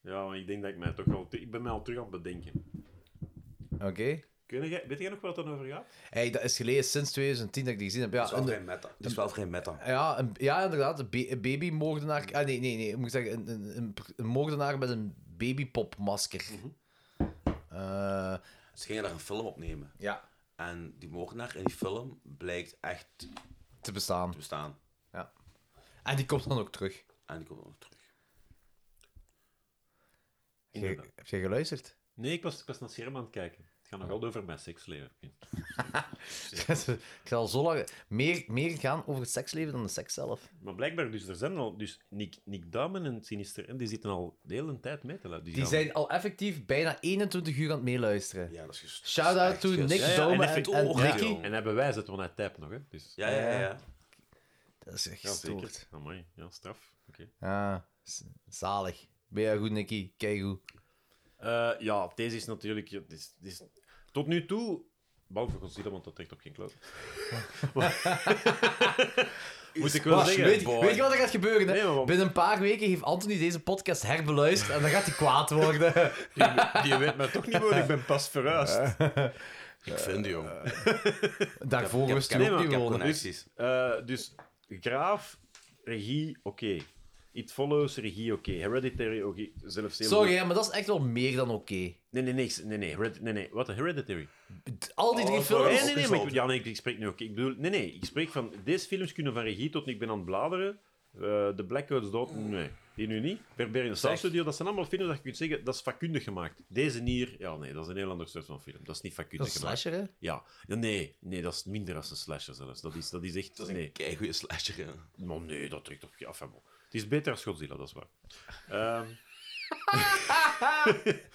[SPEAKER 4] Ja, maar ik denk dat ik mij toch wel... Ik ben mij al terug aan het bedenken.
[SPEAKER 3] Oké.
[SPEAKER 4] Kun jij- Weet jij nog waar het dan over gaat?
[SPEAKER 3] Hey, dat is geleden sinds 2010 dat ik die gezien heb. Ja,
[SPEAKER 2] Het is wel
[SPEAKER 3] een-
[SPEAKER 2] geen meta. Het is wel geen meta.
[SPEAKER 3] ja, een- ja inderdaad. Een, ba- een babymoordenaar. Ah, nee, nee, nee. ik Moet zeggen, een, een, een, een moordenaar met een babypopmasker. Eh,
[SPEAKER 2] Ze gingen daar een film opnemen.
[SPEAKER 3] ja,
[SPEAKER 2] En die moordenaar in die film blijkt echt te
[SPEAKER 3] te bestaan.
[SPEAKER 2] bestaan.
[SPEAKER 3] En die komt dan ook terug.
[SPEAKER 2] En die komt ook nog terug.
[SPEAKER 4] Inderdaad.
[SPEAKER 3] Heb jij geluisterd?
[SPEAKER 4] Nee, ik was, ik was naar het scherm aan het kijken. Het gaat nog altijd over mijn seksleven.
[SPEAKER 3] ik zal zo lang meer, meer gaan over het seksleven dan de seks zelf.
[SPEAKER 4] Maar blijkbaar, dus er zijn al... Dus Nick, Nick Duimen en Sinister M, die zitten al de hele tijd mee te luisteren.
[SPEAKER 3] Die zijn al effectief bijna 21 uur aan het meeluisteren.
[SPEAKER 2] Ja, dat is gest-
[SPEAKER 3] Shout
[SPEAKER 2] dat is
[SPEAKER 3] out
[SPEAKER 2] echt
[SPEAKER 3] to
[SPEAKER 2] gest-
[SPEAKER 3] Nick
[SPEAKER 2] Ja, ja,
[SPEAKER 4] en
[SPEAKER 3] Dome en,
[SPEAKER 4] effect-
[SPEAKER 3] en
[SPEAKER 2] oh,
[SPEAKER 4] Ja,
[SPEAKER 3] Ricky.
[SPEAKER 4] en hij bewijst het, want hij typt nog, hè. Dus,
[SPEAKER 2] Ja, ja, ja. ja.
[SPEAKER 3] Dat is echt
[SPEAKER 4] ja,
[SPEAKER 3] gestoord.
[SPEAKER 4] zeker. Amai, ja, straf. Oké.
[SPEAKER 3] Ja, z- zalig. Ben jij goed, Nicky? Kijk goed.
[SPEAKER 4] Eh, ja, deze is natuurlijk... ja, dit is, dit is, tot nu toe... Behalve Godzilla, want dat trekt op geen kloot. Moet ik wel
[SPEAKER 3] Maar
[SPEAKER 4] zeggen...
[SPEAKER 3] weet, weet je wat er gaat gebeuren? Hè?
[SPEAKER 4] Nee, maar wat-
[SPEAKER 3] Binnen een paar weken heeft Anthony deze podcast herbeluisterd en dan gaat hij kwaad worden.
[SPEAKER 4] Die, die weet mij toch niet, want ik ben pas verhuisd.
[SPEAKER 13] Ik vind die, jong.
[SPEAKER 3] Daarvoor
[SPEAKER 2] ik heb-
[SPEAKER 3] wist
[SPEAKER 2] ik
[SPEAKER 3] hij
[SPEAKER 2] heb-
[SPEAKER 3] ook
[SPEAKER 4] maar
[SPEAKER 3] niet
[SPEAKER 2] ik heb
[SPEAKER 3] wonen.
[SPEAKER 2] connecties.
[SPEAKER 4] Eh, dus Graaf, regie, oké. It Follows, regie, oké. Hereditary, oké. Zelfs heel
[SPEAKER 3] Sorry,
[SPEAKER 4] goed.
[SPEAKER 3] hè, maar dat is echt wel meer dan oké.
[SPEAKER 4] Nee, nee, nee. ik- Nee, nee. Hered- nee, nee. Wat? Hereditary?
[SPEAKER 3] Al
[SPEAKER 4] Oh,
[SPEAKER 3] die drie films...
[SPEAKER 4] nee, nee, nee. Maar ik, ja, nee, ik spreek nu ook. Ik bedoel... Nee, nee. Ik spreek van... Deze films kunnen van regie tot ik ben aan het bladeren. Eh de Blackouts dood. Nee. Die nu niet. Barbarian Sound Studio. Dat zijn allemaal films dat je kunt zeggen, dat is vakkundig gemaakt. Deze hier... Ja, nee. Dat is een heel ander soort van film. Dat is niet vakkundig
[SPEAKER 3] Dat is een
[SPEAKER 4] gemaakt.
[SPEAKER 3] slasher, hè?
[SPEAKER 4] Ja. ja. Nee. Nee, dat is minder als een slasher zelfs. Dat is, dat is echt...
[SPEAKER 2] Dat is
[SPEAKER 4] nee.
[SPEAKER 2] een keigoeie slasher, hè.
[SPEAKER 4] Maar nee, dat trekt op je af. hè, man. Het is beter als Godzilla, dat is waar. Ehm.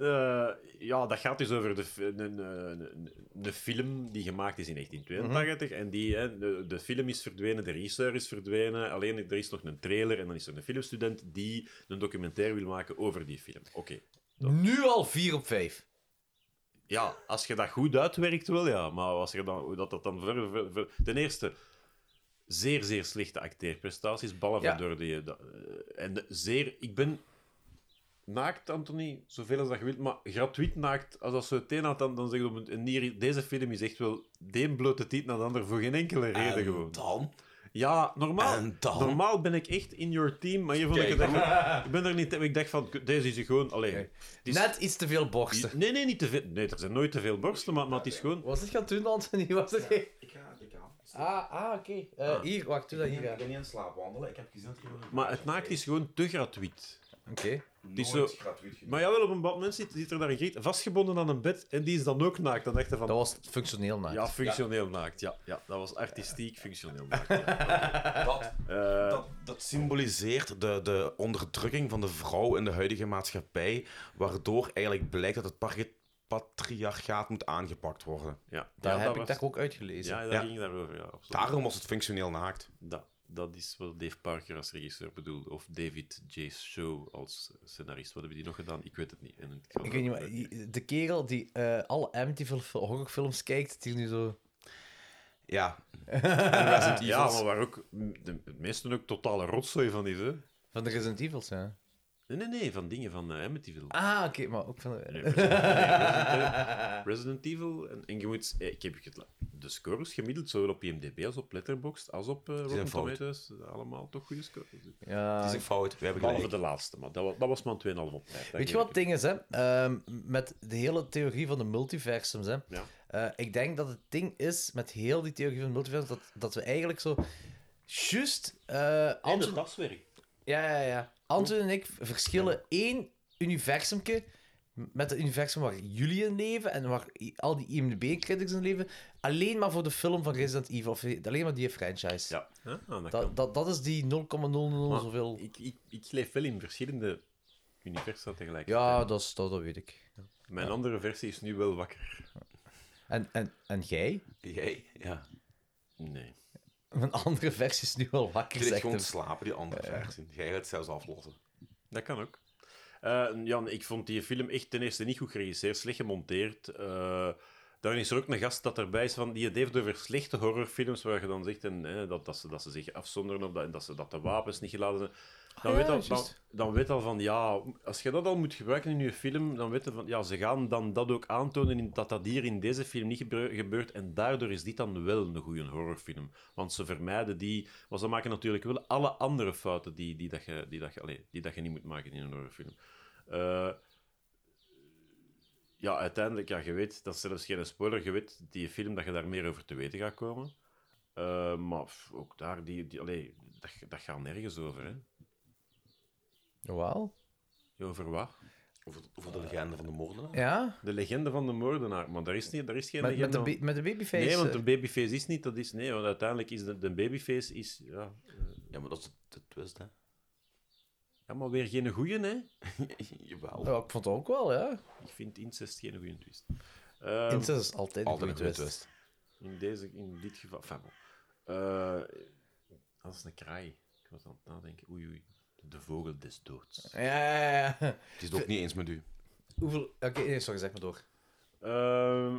[SPEAKER 4] Eh, ja, dat gaat dus over de, f- een, een, een, een film die gemaakt is in 1982. En die, hè, de, de film is verdwenen, de regisseur is verdwenen. Alleen er is nog een trailer en dan is er een filmstudent die een documentaire wil maken over die film. Oké.
[SPEAKER 3] Nu al vier op vijf.
[SPEAKER 4] Ja, als je dat goed uitwerkt, wel ja. Maar als je dan, hoe dat, dat dan ver, ver- ver- Ten eerste, zeer, zeer slechte acteerprestaties. Ballen
[SPEAKER 3] Ja.
[SPEAKER 4] van door die. dat, eh, en de- zeer. Ik ben naakt, Anthony, zoveel als dat je wilt. Maar gratuit naakt, als dat zo het een had, dan, dan zeg je op een. En hier, deze film is echt wel de een blote tiet naar de ander voor geen enkele reden
[SPEAKER 2] En
[SPEAKER 4] gewoon.
[SPEAKER 2] dan...
[SPEAKER 4] Ja, normaal,
[SPEAKER 2] En dan?
[SPEAKER 4] normaal ben ik echt in your team. Maar hier vond ik het echt. Ik ben er niet. Ik dacht van, deze is gewoon. Alleen. die is-
[SPEAKER 3] Net iets te veel borsten.
[SPEAKER 4] Nee, nee, niet te veel. Nee, er zijn nooit te veel borstelen, maar, maar het is gewoon.
[SPEAKER 3] Was dit gaan doen, Anthony? Was het...
[SPEAKER 14] Ik ga
[SPEAKER 3] Ah, ah oké. Eh,
[SPEAKER 4] Ah.
[SPEAKER 3] Hier, wacht, doe dat
[SPEAKER 2] Ik
[SPEAKER 3] hier.
[SPEAKER 2] ben
[SPEAKER 3] aan.
[SPEAKER 2] niet aan het slaapwandelen. Ik heb gezien dat je...
[SPEAKER 4] Maar het naakt is gewoon te gratuit.
[SPEAKER 3] Oké.
[SPEAKER 2] Nooit
[SPEAKER 4] is zo-
[SPEAKER 2] gratuit genoeg.
[SPEAKER 4] Maar jawel, op een badmens zit, zit er daar een griet vastgebonden aan een bed en die is dan ook naakt. Dan dacht je van...
[SPEAKER 3] Dat was functioneel naakt.
[SPEAKER 4] Ja, functioneel naakt. Ja, ja, dat was artistiek functioneel naakt. ja.
[SPEAKER 2] Dat,
[SPEAKER 4] Eh,
[SPEAKER 2] dat, dat symboliseert de, de onderdrukking van de vrouw in de huidige maatschappij, waardoor eigenlijk blijkt dat het parge- patriarchaat moet aangepakt worden.
[SPEAKER 4] ja,
[SPEAKER 3] Daar
[SPEAKER 4] ja,
[SPEAKER 3] heb
[SPEAKER 4] dat
[SPEAKER 3] ik daar
[SPEAKER 4] was-
[SPEAKER 3] ook uitgelezen.
[SPEAKER 4] Ja, daar
[SPEAKER 2] Ja.
[SPEAKER 4] ging daarover. Ja, absoluut.
[SPEAKER 2] Daarom was het functioneel naakt.
[SPEAKER 4] dat, dat is wat Dave Parker als regisseur bedoelt. Of David J. Show als scenarist. Wat hebben die nog gedaan? Ik weet het niet. En ik, ga
[SPEAKER 3] Ik weet niet, maar
[SPEAKER 4] daar-
[SPEAKER 3] die- de kerel die eh, alle MTV-horrorfilms kijkt, die nu zo...
[SPEAKER 2] Ja,
[SPEAKER 4] Ja, maar waar ook de, de meesten ook totale rotzooi van is, hè?
[SPEAKER 3] Van de Resident Evils, ja.
[SPEAKER 4] Nee, nee, nee, van dingen van eh, Amityville.
[SPEAKER 3] Ah, oké, maar ook van...
[SPEAKER 4] Nee, Resident, nee, Resident- Resident Evil. En, en je moet... eh, Ik heb het- de scores gemiddeld, zowel op IMDb als op Letterboxd, als op eh Rotten
[SPEAKER 2] fout.
[SPEAKER 4] Tomatoes. eh, Allemaal toch goede scores. Dus
[SPEAKER 3] Ja,
[SPEAKER 2] het is een fout. We hebben
[SPEAKER 4] Behalve
[SPEAKER 2] gelijk.
[SPEAKER 4] de laatste, maar dat was, dat was maar een 2,5 op tijd.
[SPEAKER 3] Weet je wat het ding is, hè? Ehm, met de hele theorie van de multiversums, hè?
[SPEAKER 4] Ja.
[SPEAKER 3] Eh, ik denk dat het ding is met heel die theorie van de multiversums, dat, dat we eigenlijk zo... Juist... eh
[SPEAKER 4] En
[SPEAKER 3] Anton,
[SPEAKER 4] het taswerk.
[SPEAKER 3] ja, ja, ja. Anton en ik verschillen één universumke met het universum waar jullie in leven en waar i- al die IMDb-critics in leven, alleen maar voor de film van Resident Evil, of eh, alleen maar die franchise.
[SPEAKER 4] Ja, hè? Ah, dat kan.
[SPEAKER 3] Dat, dat, dat is die 0,000
[SPEAKER 4] Maar
[SPEAKER 3] zoveel...
[SPEAKER 4] Ik, ik, ik leef wel in verschillende universa tegelijkertijd.
[SPEAKER 3] Ja, dat, is, dat, dat weet ik.
[SPEAKER 4] Mijn andere versie is nu wel wakker.
[SPEAKER 3] En, en, en jij?
[SPEAKER 2] Jij? Ja.
[SPEAKER 4] Nee.
[SPEAKER 3] Mijn andere versie is nu al wakker,
[SPEAKER 2] Je ligt
[SPEAKER 3] zegt
[SPEAKER 2] gewoon
[SPEAKER 3] hem.
[SPEAKER 2] te slapen, die andere versie. Jij gaat het zelfs aflossen.
[SPEAKER 4] Dat kan ook. Eh, Jan, ik vond die film echt ten eerste niet goed geregisseerd, slecht gemonteerd. Eh dan is er ook een gast dat erbij is van die het heeft over slechte horrorfilms, waar je dan zegt en, eh, dat, dat, ze, dat ze zich afzonderen of dat, en dat, ze, dat de wapens niet geladen zijn. Dan,
[SPEAKER 3] Ah, ja,
[SPEAKER 4] weet al, dan,
[SPEAKER 3] juist.
[SPEAKER 4] dan weet al van ja, als je dat al moet gebruiken in je film, dan weten van ja, ze gaan dan dat ook aantonen in, dat dat hier in deze film niet gebreu- gebeurt. En daardoor is dit dan wel een goede horrorfilm. Want ze vermijden die, maar ze maken natuurlijk wel alle andere fouten die, die, dat, je, die, dat, je, allee, die dat je niet moet maken in een horrorfilm. Eh, ja, uiteindelijk, ja, je weet, dat is zelfs geen spoiler, je weet die film dat je daar meer over te weten gaat komen. Eh, maar f- ook daar, die, die, allee, dat, dat gaat nergens over. Hè?
[SPEAKER 3] Wauw.
[SPEAKER 4] Over wat?
[SPEAKER 2] Over, over de legende van de moordenaar.
[SPEAKER 3] Ja,
[SPEAKER 4] De legende van de moordenaar, maar daar is, niet, daar is geen
[SPEAKER 3] met, met,
[SPEAKER 4] legende.
[SPEAKER 3] de,
[SPEAKER 4] van-
[SPEAKER 3] ba- met de babyface.
[SPEAKER 4] Nee, want
[SPEAKER 3] eh,
[SPEAKER 4] een babyface is niet, dat is... Nee, want uiteindelijk is de, de babyface... Is, ja.
[SPEAKER 2] Ja, maar dat is de twist, hè.
[SPEAKER 4] ja, maar weer geen goeie, hè?
[SPEAKER 2] Jawel.
[SPEAKER 3] ja, oh, ik vond het ook wel, ja.
[SPEAKER 4] Ik vind incest geen goede twist. Ehm,
[SPEAKER 3] Incest is altijd een
[SPEAKER 2] Altijd een
[SPEAKER 3] goede
[SPEAKER 2] goede
[SPEAKER 3] twist.
[SPEAKER 2] twist.
[SPEAKER 4] in, deze, in dit geval... Enfin, bon. Eh, dat is een kraai. Ik was aan het nadenken. Oei, oei. De vogel des doods.
[SPEAKER 3] Ja, ja, ja.
[SPEAKER 2] Het is het ook niet eens met u.
[SPEAKER 3] Hoeveel... Oké, nee, sorry, zeg maar door.
[SPEAKER 4] Ehm,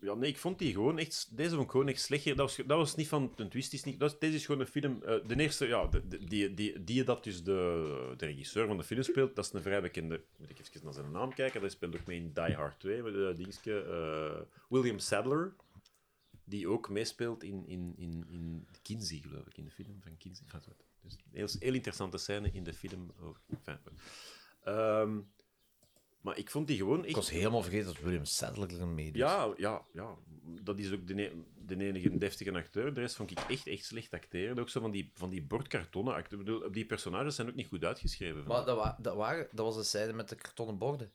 [SPEAKER 4] ja, nee, ik vond die gewoon echt... Deze vond ik gewoon echt slecht. Dat was, dat was niet van... Een twist is niet... Dat, is- deze is gewoon een film... eh, de eerste, ja, de- de- die, die, die dat dus de, de regisseur van de film speelt, dat is een vrij bekende... Moet ik even naar zijn naam kijken. Dat speelt ook mee in Die Hard 2, met dat dingetje. eh, William Sadler, die ook meespeelt in, in, in, in Kinsey, geloof ik. In de film van Kinsey. Enfin, zo. Dus een heel, heel interessante scène in de film. over- enfin, goed. Ehm, maar ik vond die gewoon
[SPEAKER 3] Ik
[SPEAKER 4] echt...
[SPEAKER 3] was helemaal vergeten dat William Sadler erin meedoet.
[SPEAKER 4] Ja, ja, ja. Dat is ook de, ne- de enige deftige acteur. De rest vond ik echt, echt slecht acteren. Ook zo van die, van die bordkartonnen acteurs. Ik bedoel, die personages zijn ook niet goed uitgeschreven.
[SPEAKER 3] Maar dat, wa dat, waren, dat was de scène met de kartonnen borden.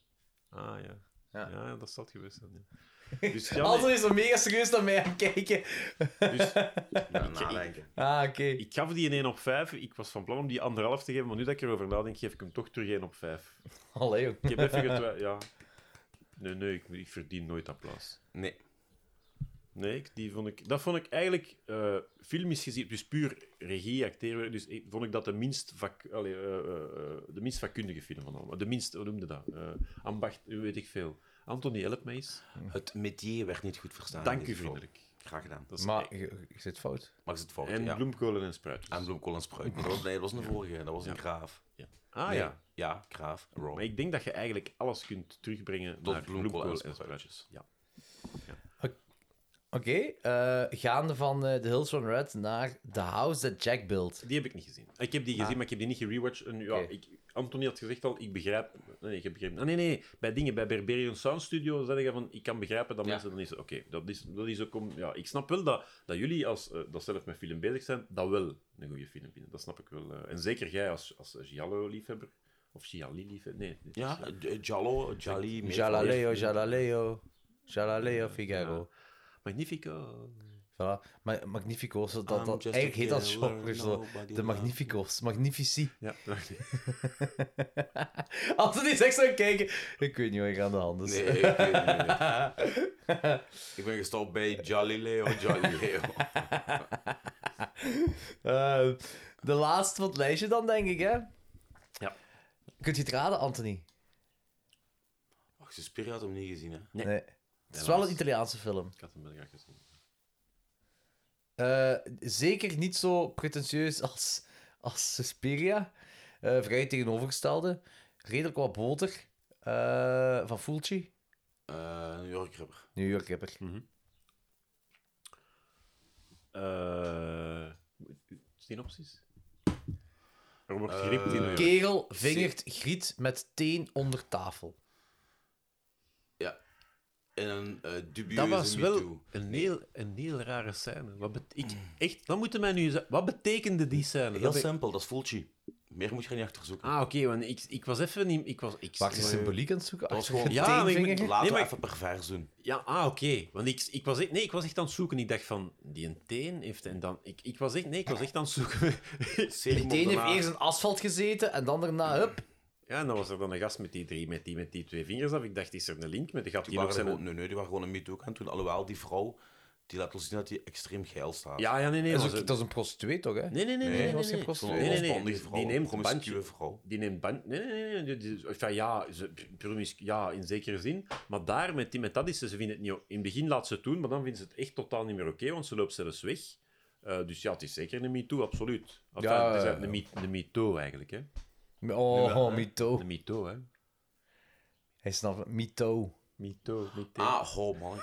[SPEAKER 4] Ah, ja.
[SPEAKER 3] Ja.
[SPEAKER 4] Ja, ja dat zat geweest. zijn, Ja. Dus, ja,
[SPEAKER 3] Anton
[SPEAKER 4] nee,
[SPEAKER 3] is er mega serieus naar mij aan het kijken.
[SPEAKER 4] dus
[SPEAKER 2] Ja, nadenken.
[SPEAKER 3] Ah, oké.
[SPEAKER 4] ik gaf die een 1 op 5. Ik was van plan om die anderhalf te geven, maar nu dat ik erover nadenk, geef ik hem toch terug 1 op 5.
[SPEAKER 3] Allee, joh.
[SPEAKER 4] Ik heb even getwijfeld. Ja. Nee, nee, ik, ik verdien nooit applaus.
[SPEAKER 2] Nee.
[SPEAKER 4] Nee, ik- die vond ik, dat vond ik eigenlijk eh filmisch gezien, dus puur regie, acteren, dus ik- vond ik dat de minst, vak, allee, eh, eh, eh, de minst vakkundige film van allemaal. De minst, hoe noemde dat? Eh, ambacht, weet ik veel. Anthony, help mij eens.
[SPEAKER 2] Het metier werd niet goed verstaan.
[SPEAKER 4] Dank
[SPEAKER 2] in
[SPEAKER 4] u
[SPEAKER 2] dit geval.
[SPEAKER 4] vriendelijk.
[SPEAKER 2] Graag gedaan.
[SPEAKER 4] Dat is echt-
[SPEAKER 3] Maar je, je zit fout.
[SPEAKER 2] Maar is het fout?
[SPEAKER 4] en
[SPEAKER 2] ja.
[SPEAKER 4] bloemkolen en spruitjes.
[SPEAKER 2] En bloemkool en spruit. Maar dat was- nee, dat was een vorige. Dat was een graaf.
[SPEAKER 4] Ja. Ah
[SPEAKER 2] Nee,
[SPEAKER 4] ja.
[SPEAKER 2] Ja, graaf. Raw.
[SPEAKER 4] Maar ik denk dat je eigenlijk alles kunt terugbrengen
[SPEAKER 2] Tot
[SPEAKER 4] naar
[SPEAKER 2] bloemkool
[SPEAKER 4] bloemkolen
[SPEAKER 2] en
[SPEAKER 4] en
[SPEAKER 2] spruitjes.
[SPEAKER 4] spruitjes. Ja.
[SPEAKER 3] Oké, eh, gaande van eh The Hills One Red naar The House That Jack Built.
[SPEAKER 4] Die heb ik niet gezien. Ik heb die gezien, maar ik heb die niet gerewatcht. En ja,
[SPEAKER 3] Oké.
[SPEAKER 4] ik, Anthony had gezegd al, ik begrijp... Nee, ik heb begrepen. Ah, nee, nee. Bij dingen, bij Barbarian Sound Studio, zei je van, ik kan begrijpen dat
[SPEAKER 3] Ja.
[SPEAKER 4] mensen dan is... Oké, dat, is, dat is ook om... Ja, ik snap wel dat, dat jullie, als eh, dat zelf met film bezig zijn, dat wel een goede film vinden. Dat snap ik wel. eh. en zeker jij als, als Giallo-liefhebber. Of Gialli-liefhebber. Nee. dit is-
[SPEAKER 10] Ja, eh, Giallo, Jali, meer van die-
[SPEAKER 3] Jalaleo, Jalaleo. Jalaleo Figaro.
[SPEAKER 4] Magnifico.
[SPEAKER 3] Voilà. Ma magnifico's, dat,
[SPEAKER 10] I'm
[SPEAKER 3] dat,
[SPEAKER 10] just a
[SPEAKER 3] eigenlijk heet dat
[SPEAKER 10] killer,
[SPEAKER 3] genre zo.
[SPEAKER 10] nobody
[SPEAKER 3] De
[SPEAKER 10] loves
[SPEAKER 3] magnifico's, magnifici.
[SPEAKER 4] Ja,
[SPEAKER 3] Anthony is echt zo aan het kijken. Ik weet niet wat ik aan de hand is.
[SPEAKER 10] Nee, ik weet het niet. Ik ben gestopt bij Galileo, Galileo.
[SPEAKER 3] Eh, de laatste van het lijstje dan, denk ik, hè?
[SPEAKER 4] Ja.
[SPEAKER 3] Kunt je het raden, Anthony?
[SPEAKER 10] Ach, Suspiria had hem niet gezien, hè.
[SPEAKER 4] Nee.
[SPEAKER 3] Het is wel een Italiaanse film.
[SPEAKER 4] Ik had hem wel graag gezien.
[SPEAKER 3] Eh, zeker niet zo pretentieus als, als Suspiria. Eh vrij tegenovergestelde. Redelijk wat boter. eh, van Fulci.
[SPEAKER 10] Eh, New York Rubber.
[SPEAKER 3] New York Ripper.
[SPEAKER 4] Eh, synopsis? Robert Griep in New York.
[SPEAKER 3] Kerel vingert Griet met teen onder tafel.
[SPEAKER 10] In een eh dubieuze
[SPEAKER 4] Dat was wel
[SPEAKER 10] MeToo. Mm.
[SPEAKER 4] een heel, een heel rare scène. Wat bet- ik, echt, dat moeten mij nu eens- Wat betekende die scène?
[SPEAKER 10] Heel
[SPEAKER 4] Dat ik-
[SPEAKER 10] simpel, dat is Fulci. Meer moet je er niet achter zoeken.
[SPEAKER 4] Ah, oké, want ik, ik was even niet... Ik was, ik,
[SPEAKER 3] Waar is symboliek aan het zoeken?
[SPEAKER 10] Dat was gewoon...
[SPEAKER 4] Ja, maar ik-
[SPEAKER 3] Teenvinger?
[SPEAKER 10] Laten
[SPEAKER 4] Ah. Nee,
[SPEAKER 10] we
[SPEAKER 4] maar-
[SPEAKER 10] even pervers doen.
[SPEAKER 4] Ja, ah, oké. Want ik, ik, was echt, nee, ik was echt aan het zoeken. Ik dacht van, die een teen heeft... En dan, ik, ik was echt... Nee, ik was echt aan het zoeken.
[SPEAKER 3] Die teen heeft eerst in asfalt gezeten en dan daarna, hup.
[SPEAKER 4] ja, en dan was er dan een gast met die drie, met die, met die twee vingers af. Ik dacht, is er een link met de gat
[SPEAKER 10] Die
[SPEAKER 4] die nog
[SPEAKER 10] waren
[SPEAKER 4] zijn...
[SPEAKER 10] gewoon, nee, nee, die waren gewoon een MeToo aan toen. Alhoewel, die vrouw, die laat ons zien dat die extreem geil staat.
[SPEAKER 4] Ja, ja, nee, nee.
[SPEAKER 3] Dat is,
[SPEAKER 4] was
[SPEAKER 3] ook-
[SPEAKER 4] een-
[SPEAKER 3] dat is een prostituee, toch, hè?
[SPEAKER 4] Nee, nee, nee.
[SPEAKER 10] Nee,
[SPEAKER 4] nee, nee,
[SPEAKER 10] dat
[SPEAKER 3] was
[SPEAKER 4] nee,
[SPEAKER 3] geen
[SPEAKER 10] Zo'n
[SPEAKER 4] nee.
[SPEAKER 3] prostituee.
[SPEAKER 4] Nee, nee, nee.
[SPEAKER 10] losbandige
[SPEAKER 4] Die-
[SPEAKER 10] vrouw,
[SPEAKER 4] Die neemt een
[SPEAKER 10] promiscue
[SPEAKER 4] bandje.
[SPEAKER 10] vrouw.
[SPEAKER 4] Die neemt band. Nee, nee, nee. nee. dit is- Enfin, ja, ze, promis, ja, in zekere zin. Maar daar met die met dat is ze, ze vindt het niet. In het begin laat ze het doen, maar dan vindt ze het echt totaal niet meer oké, want ze loopt zelfs weg. Eh, dus ja, het is zeker een MeToo, absoluut. Enfin,
[SPEAKER 3] Ja,
[SPEAKER 4] het is
[SPEAKER 3] ja,
[SPEAKER 4] een me- een MeToo eigenlijk. Hè.
[SPEAKER 3] Oh,
[SPEAKER 4] Jawel, hè.
[SPEAKER 3] Mito.
[SPEAKER 4] Een MeToo, hè?
[SPEAKER 3] Hij snapt het. Mito.
[SPEAKER 4] MeToo, MeToo.
[SPEAKER 10] Ah, oh man.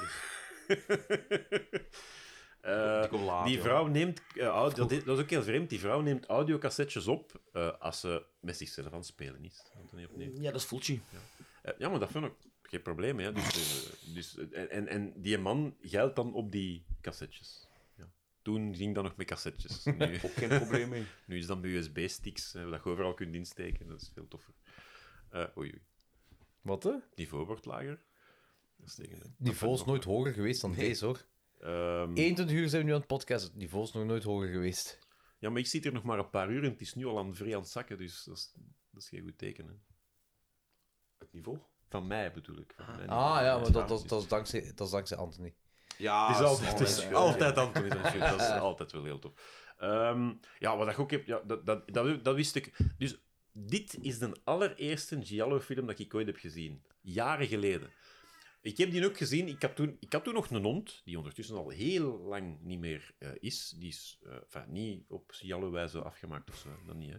[SPEAKER 4] Eh,
[SPEAKER 10] die komt later,
[SPEAKER 4] die
[SPEAKER 10] hoor.
[SPEAKER 4] vrouw neemt. eh, audio- dat, is, dat is ook heel vreemd. Die vrouw neemt audiocassettes op eh, als ze met zichzelf aan het spelen is. Anthony, opnieuw.
[SPEAKER 10] Ja, dat is Fulci.
[SPEAKER 4] Eh, ja, maar dat vind ik geen probleem. Hè. Dus, eh, dus, eh, en- en, en die man geldt dan op die cassetjes. Ja. Toen ging dat nog met cassetjes. Nu,
[SPEAKER 10] Ook geen probleem mee.
[SPEAKER 4] nu is dat met USB-sticks, eh, dat je overal kunt insteken. Dat is veel toffer. Eh oei, oei.
[SPEAKER 3] Wat, hè?
[SPEAKER 4] Niveau wordt lager. Dat is tegen, hè.
[SPEAKER 3] Niveau is nooit hoger geweest dan deze, hoor.
[SPEAKER 4] Ehm,
[SPEAKER 3] 21 uur zijn we nu aan het podcast. Het niveau is nog nooit hoger geweest.
[SPEAKER 4] ja, maar ik zit hier nog maar een paar uur en het is nu al aan het vrij aan het zakken, dus dat is, dat is geen goed teken. Hè.
[SPEAKER 10] Het niveau?
[SPEAKER 4] Van mij bedoel ik. Van mij, niet van
[SPEAKER 3] Ah ja,
[SPEAKER 4] mijn dus-
[SPEAKER 3] maar dat, dat,
[SPEAKER 4] staartjes.
[SPEAKER 3] dat, is, dankzij, dat is dankzij Anthony.
[SPEAKER 10] Ja,
[SPEAKER 4] Het is altijd,
[SPEAKER 10] Ah, dat
[SPEAKER 4] het is
[SPEAKER 10] wel-
[SPEAKER 4] altijd Anthony van Schut. Dat is altijd wel heel tof. Ehm, ja, wat ik ook heb... Ja, dat, dat, dat, dat wist ik... Dus dit is de allereerste Giallo-film dat ik ooit heb gezien. Jaren geleden. Ik heb die ook gezien. Ik had toen, ik had toen nog een hond, die ondertussen al heel lang niet meer eh, is. Die is eh, enfin, niet op Giallo-wijze afgemaakt of zo. Dat niet, hè.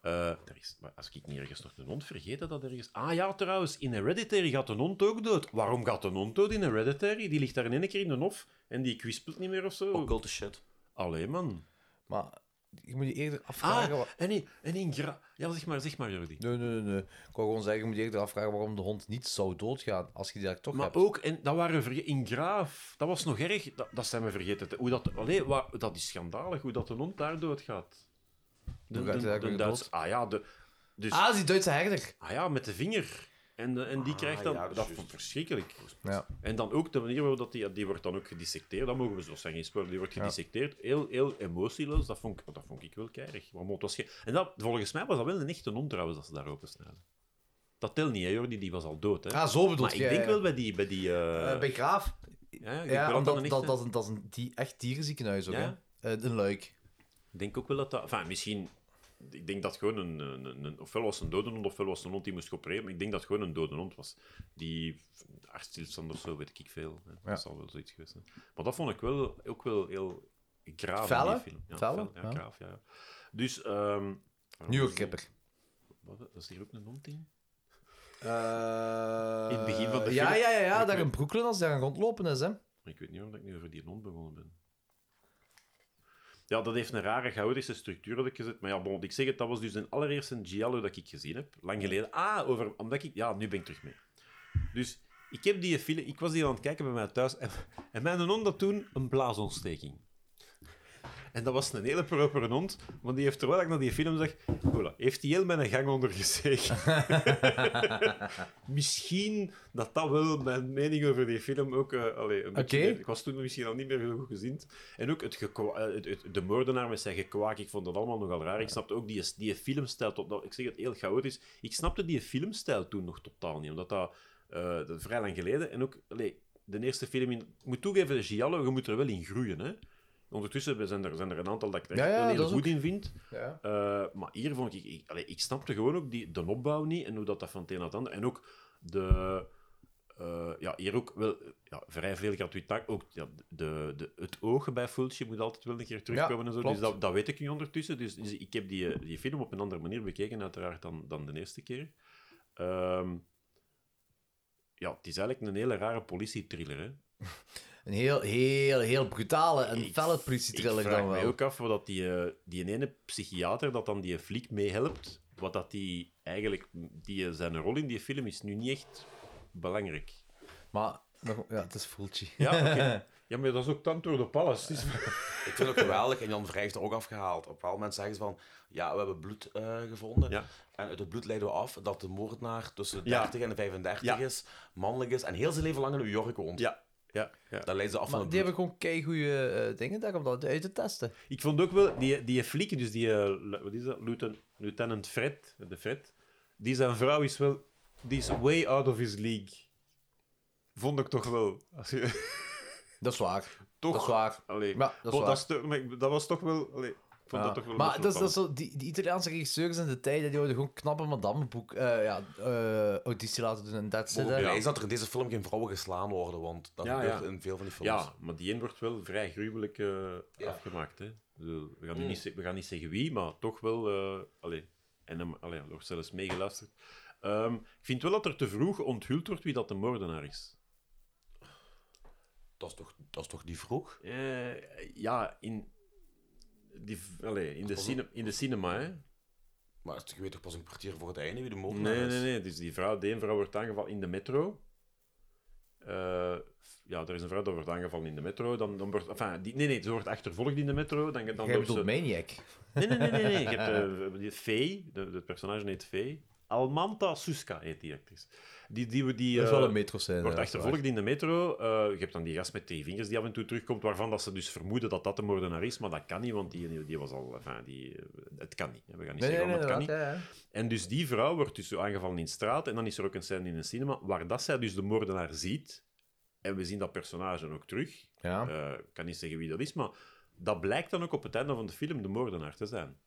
[SPEAKER 4] Eh, daar is, maar als ik niet ergens nog een hond vergeet, dat dat ergens... Ah ja, trouwens, in Hereditary gaat een hond ook dood. Waarom gaat een hond dood in Hereditary? Die ligt daar in één keer in de hof en die kwispelt niet meer of zo.
[SPEAKER 2] Oh,
[SPEAKER 10] Occulte shit.
[SPEAKER 4] Allee, man.
[SPEAKER 3] Maar je moet je eerder afvragen...
[SPEAKER 4] Ah,
[SPEAKER 3] wa-
[SPEAKER 4] en in, en in Gra... Ja, zeg maar, zeg maar, Jordi.
[SPEAKER 3] Nee, nee, nee, nee. Ik wou gewoon zeggen, je moet je eerder afvragen waarom de hond niet zou doodgaan als je die daar toch
[SPEAKER 4] Maar
[SPEAKER 3] hebt.
[SPEAKER 4] ook, en dat waren verge- in Graaf, dat was nog erg, dat, dat zijn we vergeten. te- Hoe dat, allee, wa- dat is schandalig, hoe dat een hond daar doodgaat. De,
[SPEAKER 3] Hoe gaat
[SPEAKER 4] de,
[SPEAKER 3] hij daar
[SPEAKER 4] de
[SPEAKER 3] weer
[SPEAKER 4] Duits-
[SPEAKER 3] dood?
[SPEAKER 4] ah ja, de, dus,
[SPEAKER 3] Ah, dat is die Duitse herder.
[SPEAKER 4] ah ja, met de vinger. En, de-
[SPEAKER 3] Ah,
[SPEAKER 4] en die krijgt dan,
[SPEAKER 10] ja, dat is
[SPEAKER 4] dat
[SPEAKER 10] juist.
[SPEAKER 4] vond ik verschrikkelijk.
[SPEAKER 3] Ja.
[SPEAKER 4] En dan ook de manier waarop dat die, die wordt dan ook gedissecteerd, dat mogen we zo zeggen, geen spoiler, die wordt gedissecteerd, heel, heel emotieloos, dat vond ik, dat vond ik wel keirig. Maar het was ge- en dat, volgens mij was dat wel een echte hond trouwens, dat ze daar opensnijden. Dat telt niet, hè, Jordi, die was al dood. Hè.
[SPEAKER 3] Ah, zo bedoel
[SPEAKER 4] Maar ik denk wel bij die... Bij die eh,
[SPEAKER 3] bij Graaf.
[SPEAKER 4] ja, ik
[SPEAKER 3] Ja,
[SPEAKER 4] wil
[SPEAKER 3] omdat
[SPEAKER 4] dan eh,
[SPEAKER 3] dat,
[SPEAKER 4] echt,
[SPEAKER 3] dat, is
[SPEAKER 4] hè.
[SPEAKER 3] een- dat is een die, echt dierenziekenhuis ook,
[SPEAKER 4] Ja.
[SPEAKER 3] hè. Eh, een luik.
[SPEAKER 4] Ik denk ook wel dat dat... Enfin, misschien... Ik denk dat gewoon een, een, een- een- Ofwel was het een dode hond, ofwel was het een hond die moest geopereerd. Maar ik denk dat het gewoon een dode hond was. Die artstilstand of zo, weet ik veel. hè.
[SPEAKER 3] Ja.
[SPEAKER 4] Dat zal wel zoiets geweest zijn. Maar dat vond ik wel, ook wel heel... Graaf
[SPEAKER 3] Felle?
[SPEAKER 4] die film. Ja,
[SPEAKER 3] Felle,
[SPEAKER 4] fel, ja,
[SPEAKER 3] ja.
[SPEAKER 4] graaf, ja. ja. Dus... ehm
[SPEAKER 3] New York Ripper.
[SPEAKER 4] Wat, was hier ook een hond in?
[SPEAKER 3] Eh,
[SPEAKER 4] In het begin van de
[SPEAKER 3] Ja,
[SPEAKER 4] film?
[SPEAKER 3] Eh, ja, ja, ja
[SPEAKER 4] Oké.
[SPEAKER 3] daar in Brooklyn als daar aan rondlopen is, hè.
[SPEAKER 4] Ja, Ik weet niet waarom ik nu over die hond begonnen ben. Ja, dat heeft een rare chaotische structuur dat ik gezet. Maar ja, bon, ik zeg het, dat was dus de allereerste Giallo dat ik gezien heb. Lang geleden. Ah, over, omdat ik... Ja, nu ben ik terug mee. Dus ik heb die film... Ik was die aan het kijken bij mij thuis. En, en mijn hond had toen een blaasontsteking. En dat was een hele propere hond. Want die heeft, terwijl ik naar die film zag... Voilà, heeft hij heel mijn gang ondergezegen. misschien dat dat wel mijn mening over die film ook... eh allee, een beetje-
[SPEAKER 3] Oké.
[SPEAKER 4] Ik was toen misschien al niet meer zo goed gezind. En ook het gekwa- eh, het, het- de moordenaar met zijn gekwaak, ik vond dat allemaal nogal raar. Ik snapte ook die, die filmstijl, tot, nou, ik zeg het heel chaotisch, ik snapte die filmstijl toen nog totaal niet, omdat dat, eh, dat is vrij lang geleden... En ook, allee, de eerste film... In, ik moet toegeven, de Giallo, je moet er wel in groeien, hè. Ondertussen zijn er, zijn er een aantal dat ik er echt
[SPEAKER 3] Ja, ja,
[SPEAKER 4] wel heel
[SPEAKER 3] dat is
[SPEAKER 4] goed in vind. Eh, maar hier vond ik... Ik, allee, ik snapte gewoon ook die, de opbouw niet en hoe dat, dat van het een naar het ander... En ook de... eh, ja, hier ook wel ja, vrij veel gratuit taak. Ook ja, de, de, het oog bij Fultje moet altijd wel een keer terugkomen en zo.
[SPEAKER 3] klopt.
[SPEAKER 4] Dus dat, dat weet ik nu ondertussen. Dus, dus ik heb die, die film op een andere manier bekeken, uiteraard, dan, dan de eerste keer. Ehm, ja, het is eigenlijk een hele rare politietriller, hè.
[SPEAKER 3] Een heel, heel, heel brutale en
[SPEAKER 4] Ik-
[SPEAKER 3] felle politietriller
[SPEAKER 4] Ik vraag
[SPEAKER 3] dan
[SPEAKER 4] mij
[SPEAKER 3] wel.
[SPEAKER 4] ook af wat dat die, eh, die ene psychiater dat dan die fliek meehelpt, wat dat die eigenlijk... Die, eh, zijn rol in die film is nu niet echt belangrijk.
[SPEAKER 3] Maar nog- ja, het is Fulci.
[SPEAKER 4] Ja, ja maar dat is ook Tantoor de Palace.
[SPEAKER 2] Ik vind het ook geweldig. En Jan Vrij heeft er ook afgehaald. Op een bepaald moment zeggen ze van... Ja, we hebben bloed eh, gevonden.
[SPEAKER 4] Ja.
[SPEAKER 2] En uit het bloed leiden we af dat de moordenaar tussen de
[SPEAKER 4] Ja.
[SPEAKER 2] 30 en de 35
[SPEAKER 4] Ja.
[SPEAKER 2] is. Mannelijk is. En heel zijn leven lang in New York woont.
[SPEAKER 4] Ja, ja, ja.
[SPEAKER 2] Dat leidt ze af van
[SPEAKER 3] Maar
[SPEAKER 2] het
[SPEAKER 3] die
[SPEAKER 2] bloed.
[SPEAKER 3] hebben gewoon keigoede eh dingen daar om dat uit te testen.
[SPEAKER 4] Ik vond ook wel, die, die fliek, dus die, eh, lu- wat is dat, Lieutenant, Lieutenant Fred, de Fred, die zijn vrouw is wel, die is way out of his league. Vond ik toch wel. Als je,
[SPEAKER 3] Dat is waar.
[SPEAKER 4] toch,
[SPEAKER 3] Dat is waar.
[SPEAKER 4] Allee,
[SPEAKER 3] Ja, dat is
[SPEAKER 4] bon,
[SPEAKER 3] waar.
[SPEAKER 4] steun- maar ik- dat was toch wel, allee, ik
[SPEAKER 3] Ja.
[SPEAKER 4] vond dat toch wel
[SPEAKER 3] maar
[SPEAKER 4] best
[SPEAKER 3] dat is, dat is
[SPEAKER 4] opvallend.
[SPEAKER 3] zo, die, die Italiaanse regisseurs in de tijd, die hadden gewoon knappe madameboek, eh ja, eh, auditie laten doen en dat
[SPEAKER 2] Mogen
[SPEAKER 3] zitten.
[SPEAKER 2] blij zijn dat er in deze film geen vrouwen geslaan worden, want dat
[SPEAKER 4] Ja,
[SPEAKER 2] gebeurt
[SPEAKER 4] ja.
[SPEAKER 2] in veel van die films.
[SPEAKER 4] Ja, maar die een wordt wel vrij gruwelijk eh, afgemaakt. Hè. Ik bedoel, We, gaan
[SPEAKER 3] Mm.
[SPEAKER 4] nu niet, ze- we gaan niet zeggen wie, maar toch wel. eh allee, en hem, allee, er wordt zelfs meegeluisterd. Ehm, ik vind wel dat er te vroeg onthuld wordt wie dat de moordenaar is.
[SPEAKER 2] Dat, is toch, dat is toch niet vroeg?
[SPEAKER 4] Eh, ja, in, die, v- allee, in, de cine, in de cinema, hè?
[SPEAKER 2] Maar het- je weet toch pas een kwartier voor het einde wie de moordenaar
[SPEAKER 4] Nee,
[SPEAKER 2] is?
[SPEAKER 4] nee, nee. Dus die vrouw, de een vrouw wordt aangevallen in de metro. Eh, ja, er is een vrouw die wordt aangevallen in de metro. Dan, dan wordt, enfin, die, nee, nee, ze wordt achtervolgd in de metro. Dan, dan
[SPEAKER 3] Jij
[SPEAKER 4] wordt ze,
[SPEAKER 3] bedoelt Maniac.
[SPEAKER 4] Nee, nee, nee, nee. nee. Je hebt eh, die Faye, de, de personage heet Faye. Almanta Suska heet die actrice. Die, die, die,
[SPEAKER 3] Dat is wel
[SPEAKER 4] eh,
[SPEAKER 3] een metro zijn.
[SPEAKER 4] Wordt achtervolgd in de metro. Eh, je hebt dan die gast met twee vingers die af en toe terugkomt, waarvan dat ze dus vermoeden dat dat de moordenaar is, maar dat kan niet, want die, die was al... Enfin, die, eh, het kan niet. hè. We gaan niet
[SPEAKER 3] Nee, nee,
[SPEAKER 4] zeggen
[SPEAKER 3] nee,
[SPEAKER 4] waarom het kan
[SPEAKER 3] inderdaad,
[SPEAKER 4] niet.
[SPEAKER 3] ja, ja.
[SPEAKER 4] En dus die vrouw wordt dus zo aangevallen in de straat. En dan is er ook een scène in een cinema waar dat zij dus de moordenaar ziet. En we zien dat personage ook terug.
[SPEAKER 3] Ja.
[SPEAKER 4] Eh, ik kan niet zeggen wie dat is, maar dat blijkt dan ook op het einde van de film de moordenaar te zijn.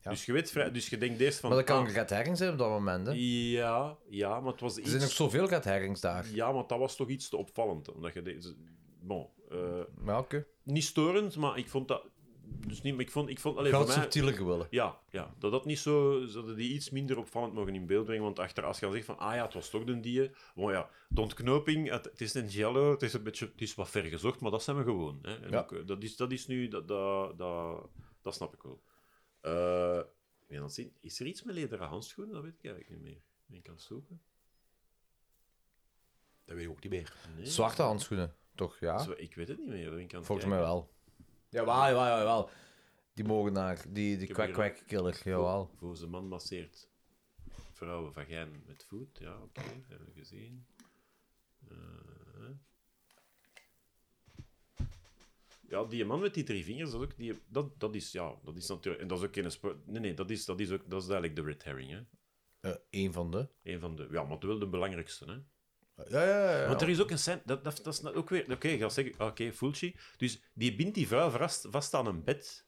[SPEAKER 3] Ja.
[SPEAKER 4] Dus je weet vrij... Dus je denkt eerst van...
[SPEAKER 3] Maar dat kan
[SPEAKER 4] ah,
[SPEAKER 3] ook Red Herring zijn op dat moment. Hè. Er
[SPEAKER 4] ja, ja, maar het was iets...
[SPEAKER 3] zijn ook zoveel Red Herrings daar.
[SPEAKER 4] Ja, maar dat was toch iets te opvallend. Omdat je... de- Bon, eh,
[SPEAKER 3] Ja, oké.
[SPEAKER 4] niet storend, maar ik vond dat... Dus niet, maar ik vond... Ik vond alleen
[SPEAKER 3] Ik had
[SPEAKER 4] voor
[SPEAKER 3] het
[SPEAKER 4] mij...
[SPEAKER 3] subtieler willen.
[SPEAKER 4] Ja, ja, dat dat niet zo... Ze hadden die iets minder opvallend mogen in beeld brengen. Want achter, als je dan zegt van... Ah ja, het was toch de die... Bon ja, de ontknoping... Het, het is een giallo, het is een beetje... Het is wat ver gezocht, maar dat zijn we gewoon. Hè. En
[SPEAKER 3] Ja.
[SPEAKER 4] ook, eh, dat, is, dat is nu... Dat, dat, dat, dat snap ik wel. Eh, ja, dan zien, is er iets met lederen handschoenen? Dat weet ik eigenlijk niet meer. Ik kan het zoeken.
[SPEAKER 2] Dat weet ik ook niet meer.
[SPEAKER 4] Nee.
[SPEAKER 3] Zwarte handschoenen, toch? Ja,
[SPEAKER 4] Zo, ik weet het niet meer. Ik kan het
[SPEAKER 3] volgens mij
[SPEAKER 4] kijken.
[SPEAKER 3] wel. Jawel, jawel, jawel. Die mogenaar, die, die
[SPEAKER 4] Ik heb hier-
[SPEAKER 3] kwek-kwek-killer, jawel.
[SPEAKER 4] Voor zijn man masseert vrouwen vagijn met voet. Ja, oké, dat hebben we gezien. Eh, ja, die man met die drie vingers, dat, ook, die, dat, dat is, ja, dat is natuurlijk... En dat is ook geen sport... Nee, nee, dat is, dat is, ook, dat is eigenlijk de red herring, hè.
[SPEAKER 3] Eén Eh, van de.
[SPEAKER 4] Een van de... Ja, maar wel de belangrijkste, hè.
[SPEAKER 3] Ja, ja, ja.
[SPEAKER 4] Want er is ook een scène... Dat, dat, dat is nou ook weer... Oké, ik ga zeggen... Oké, Fulci. Dus die bindt die vrouw vast, vast aan een bed.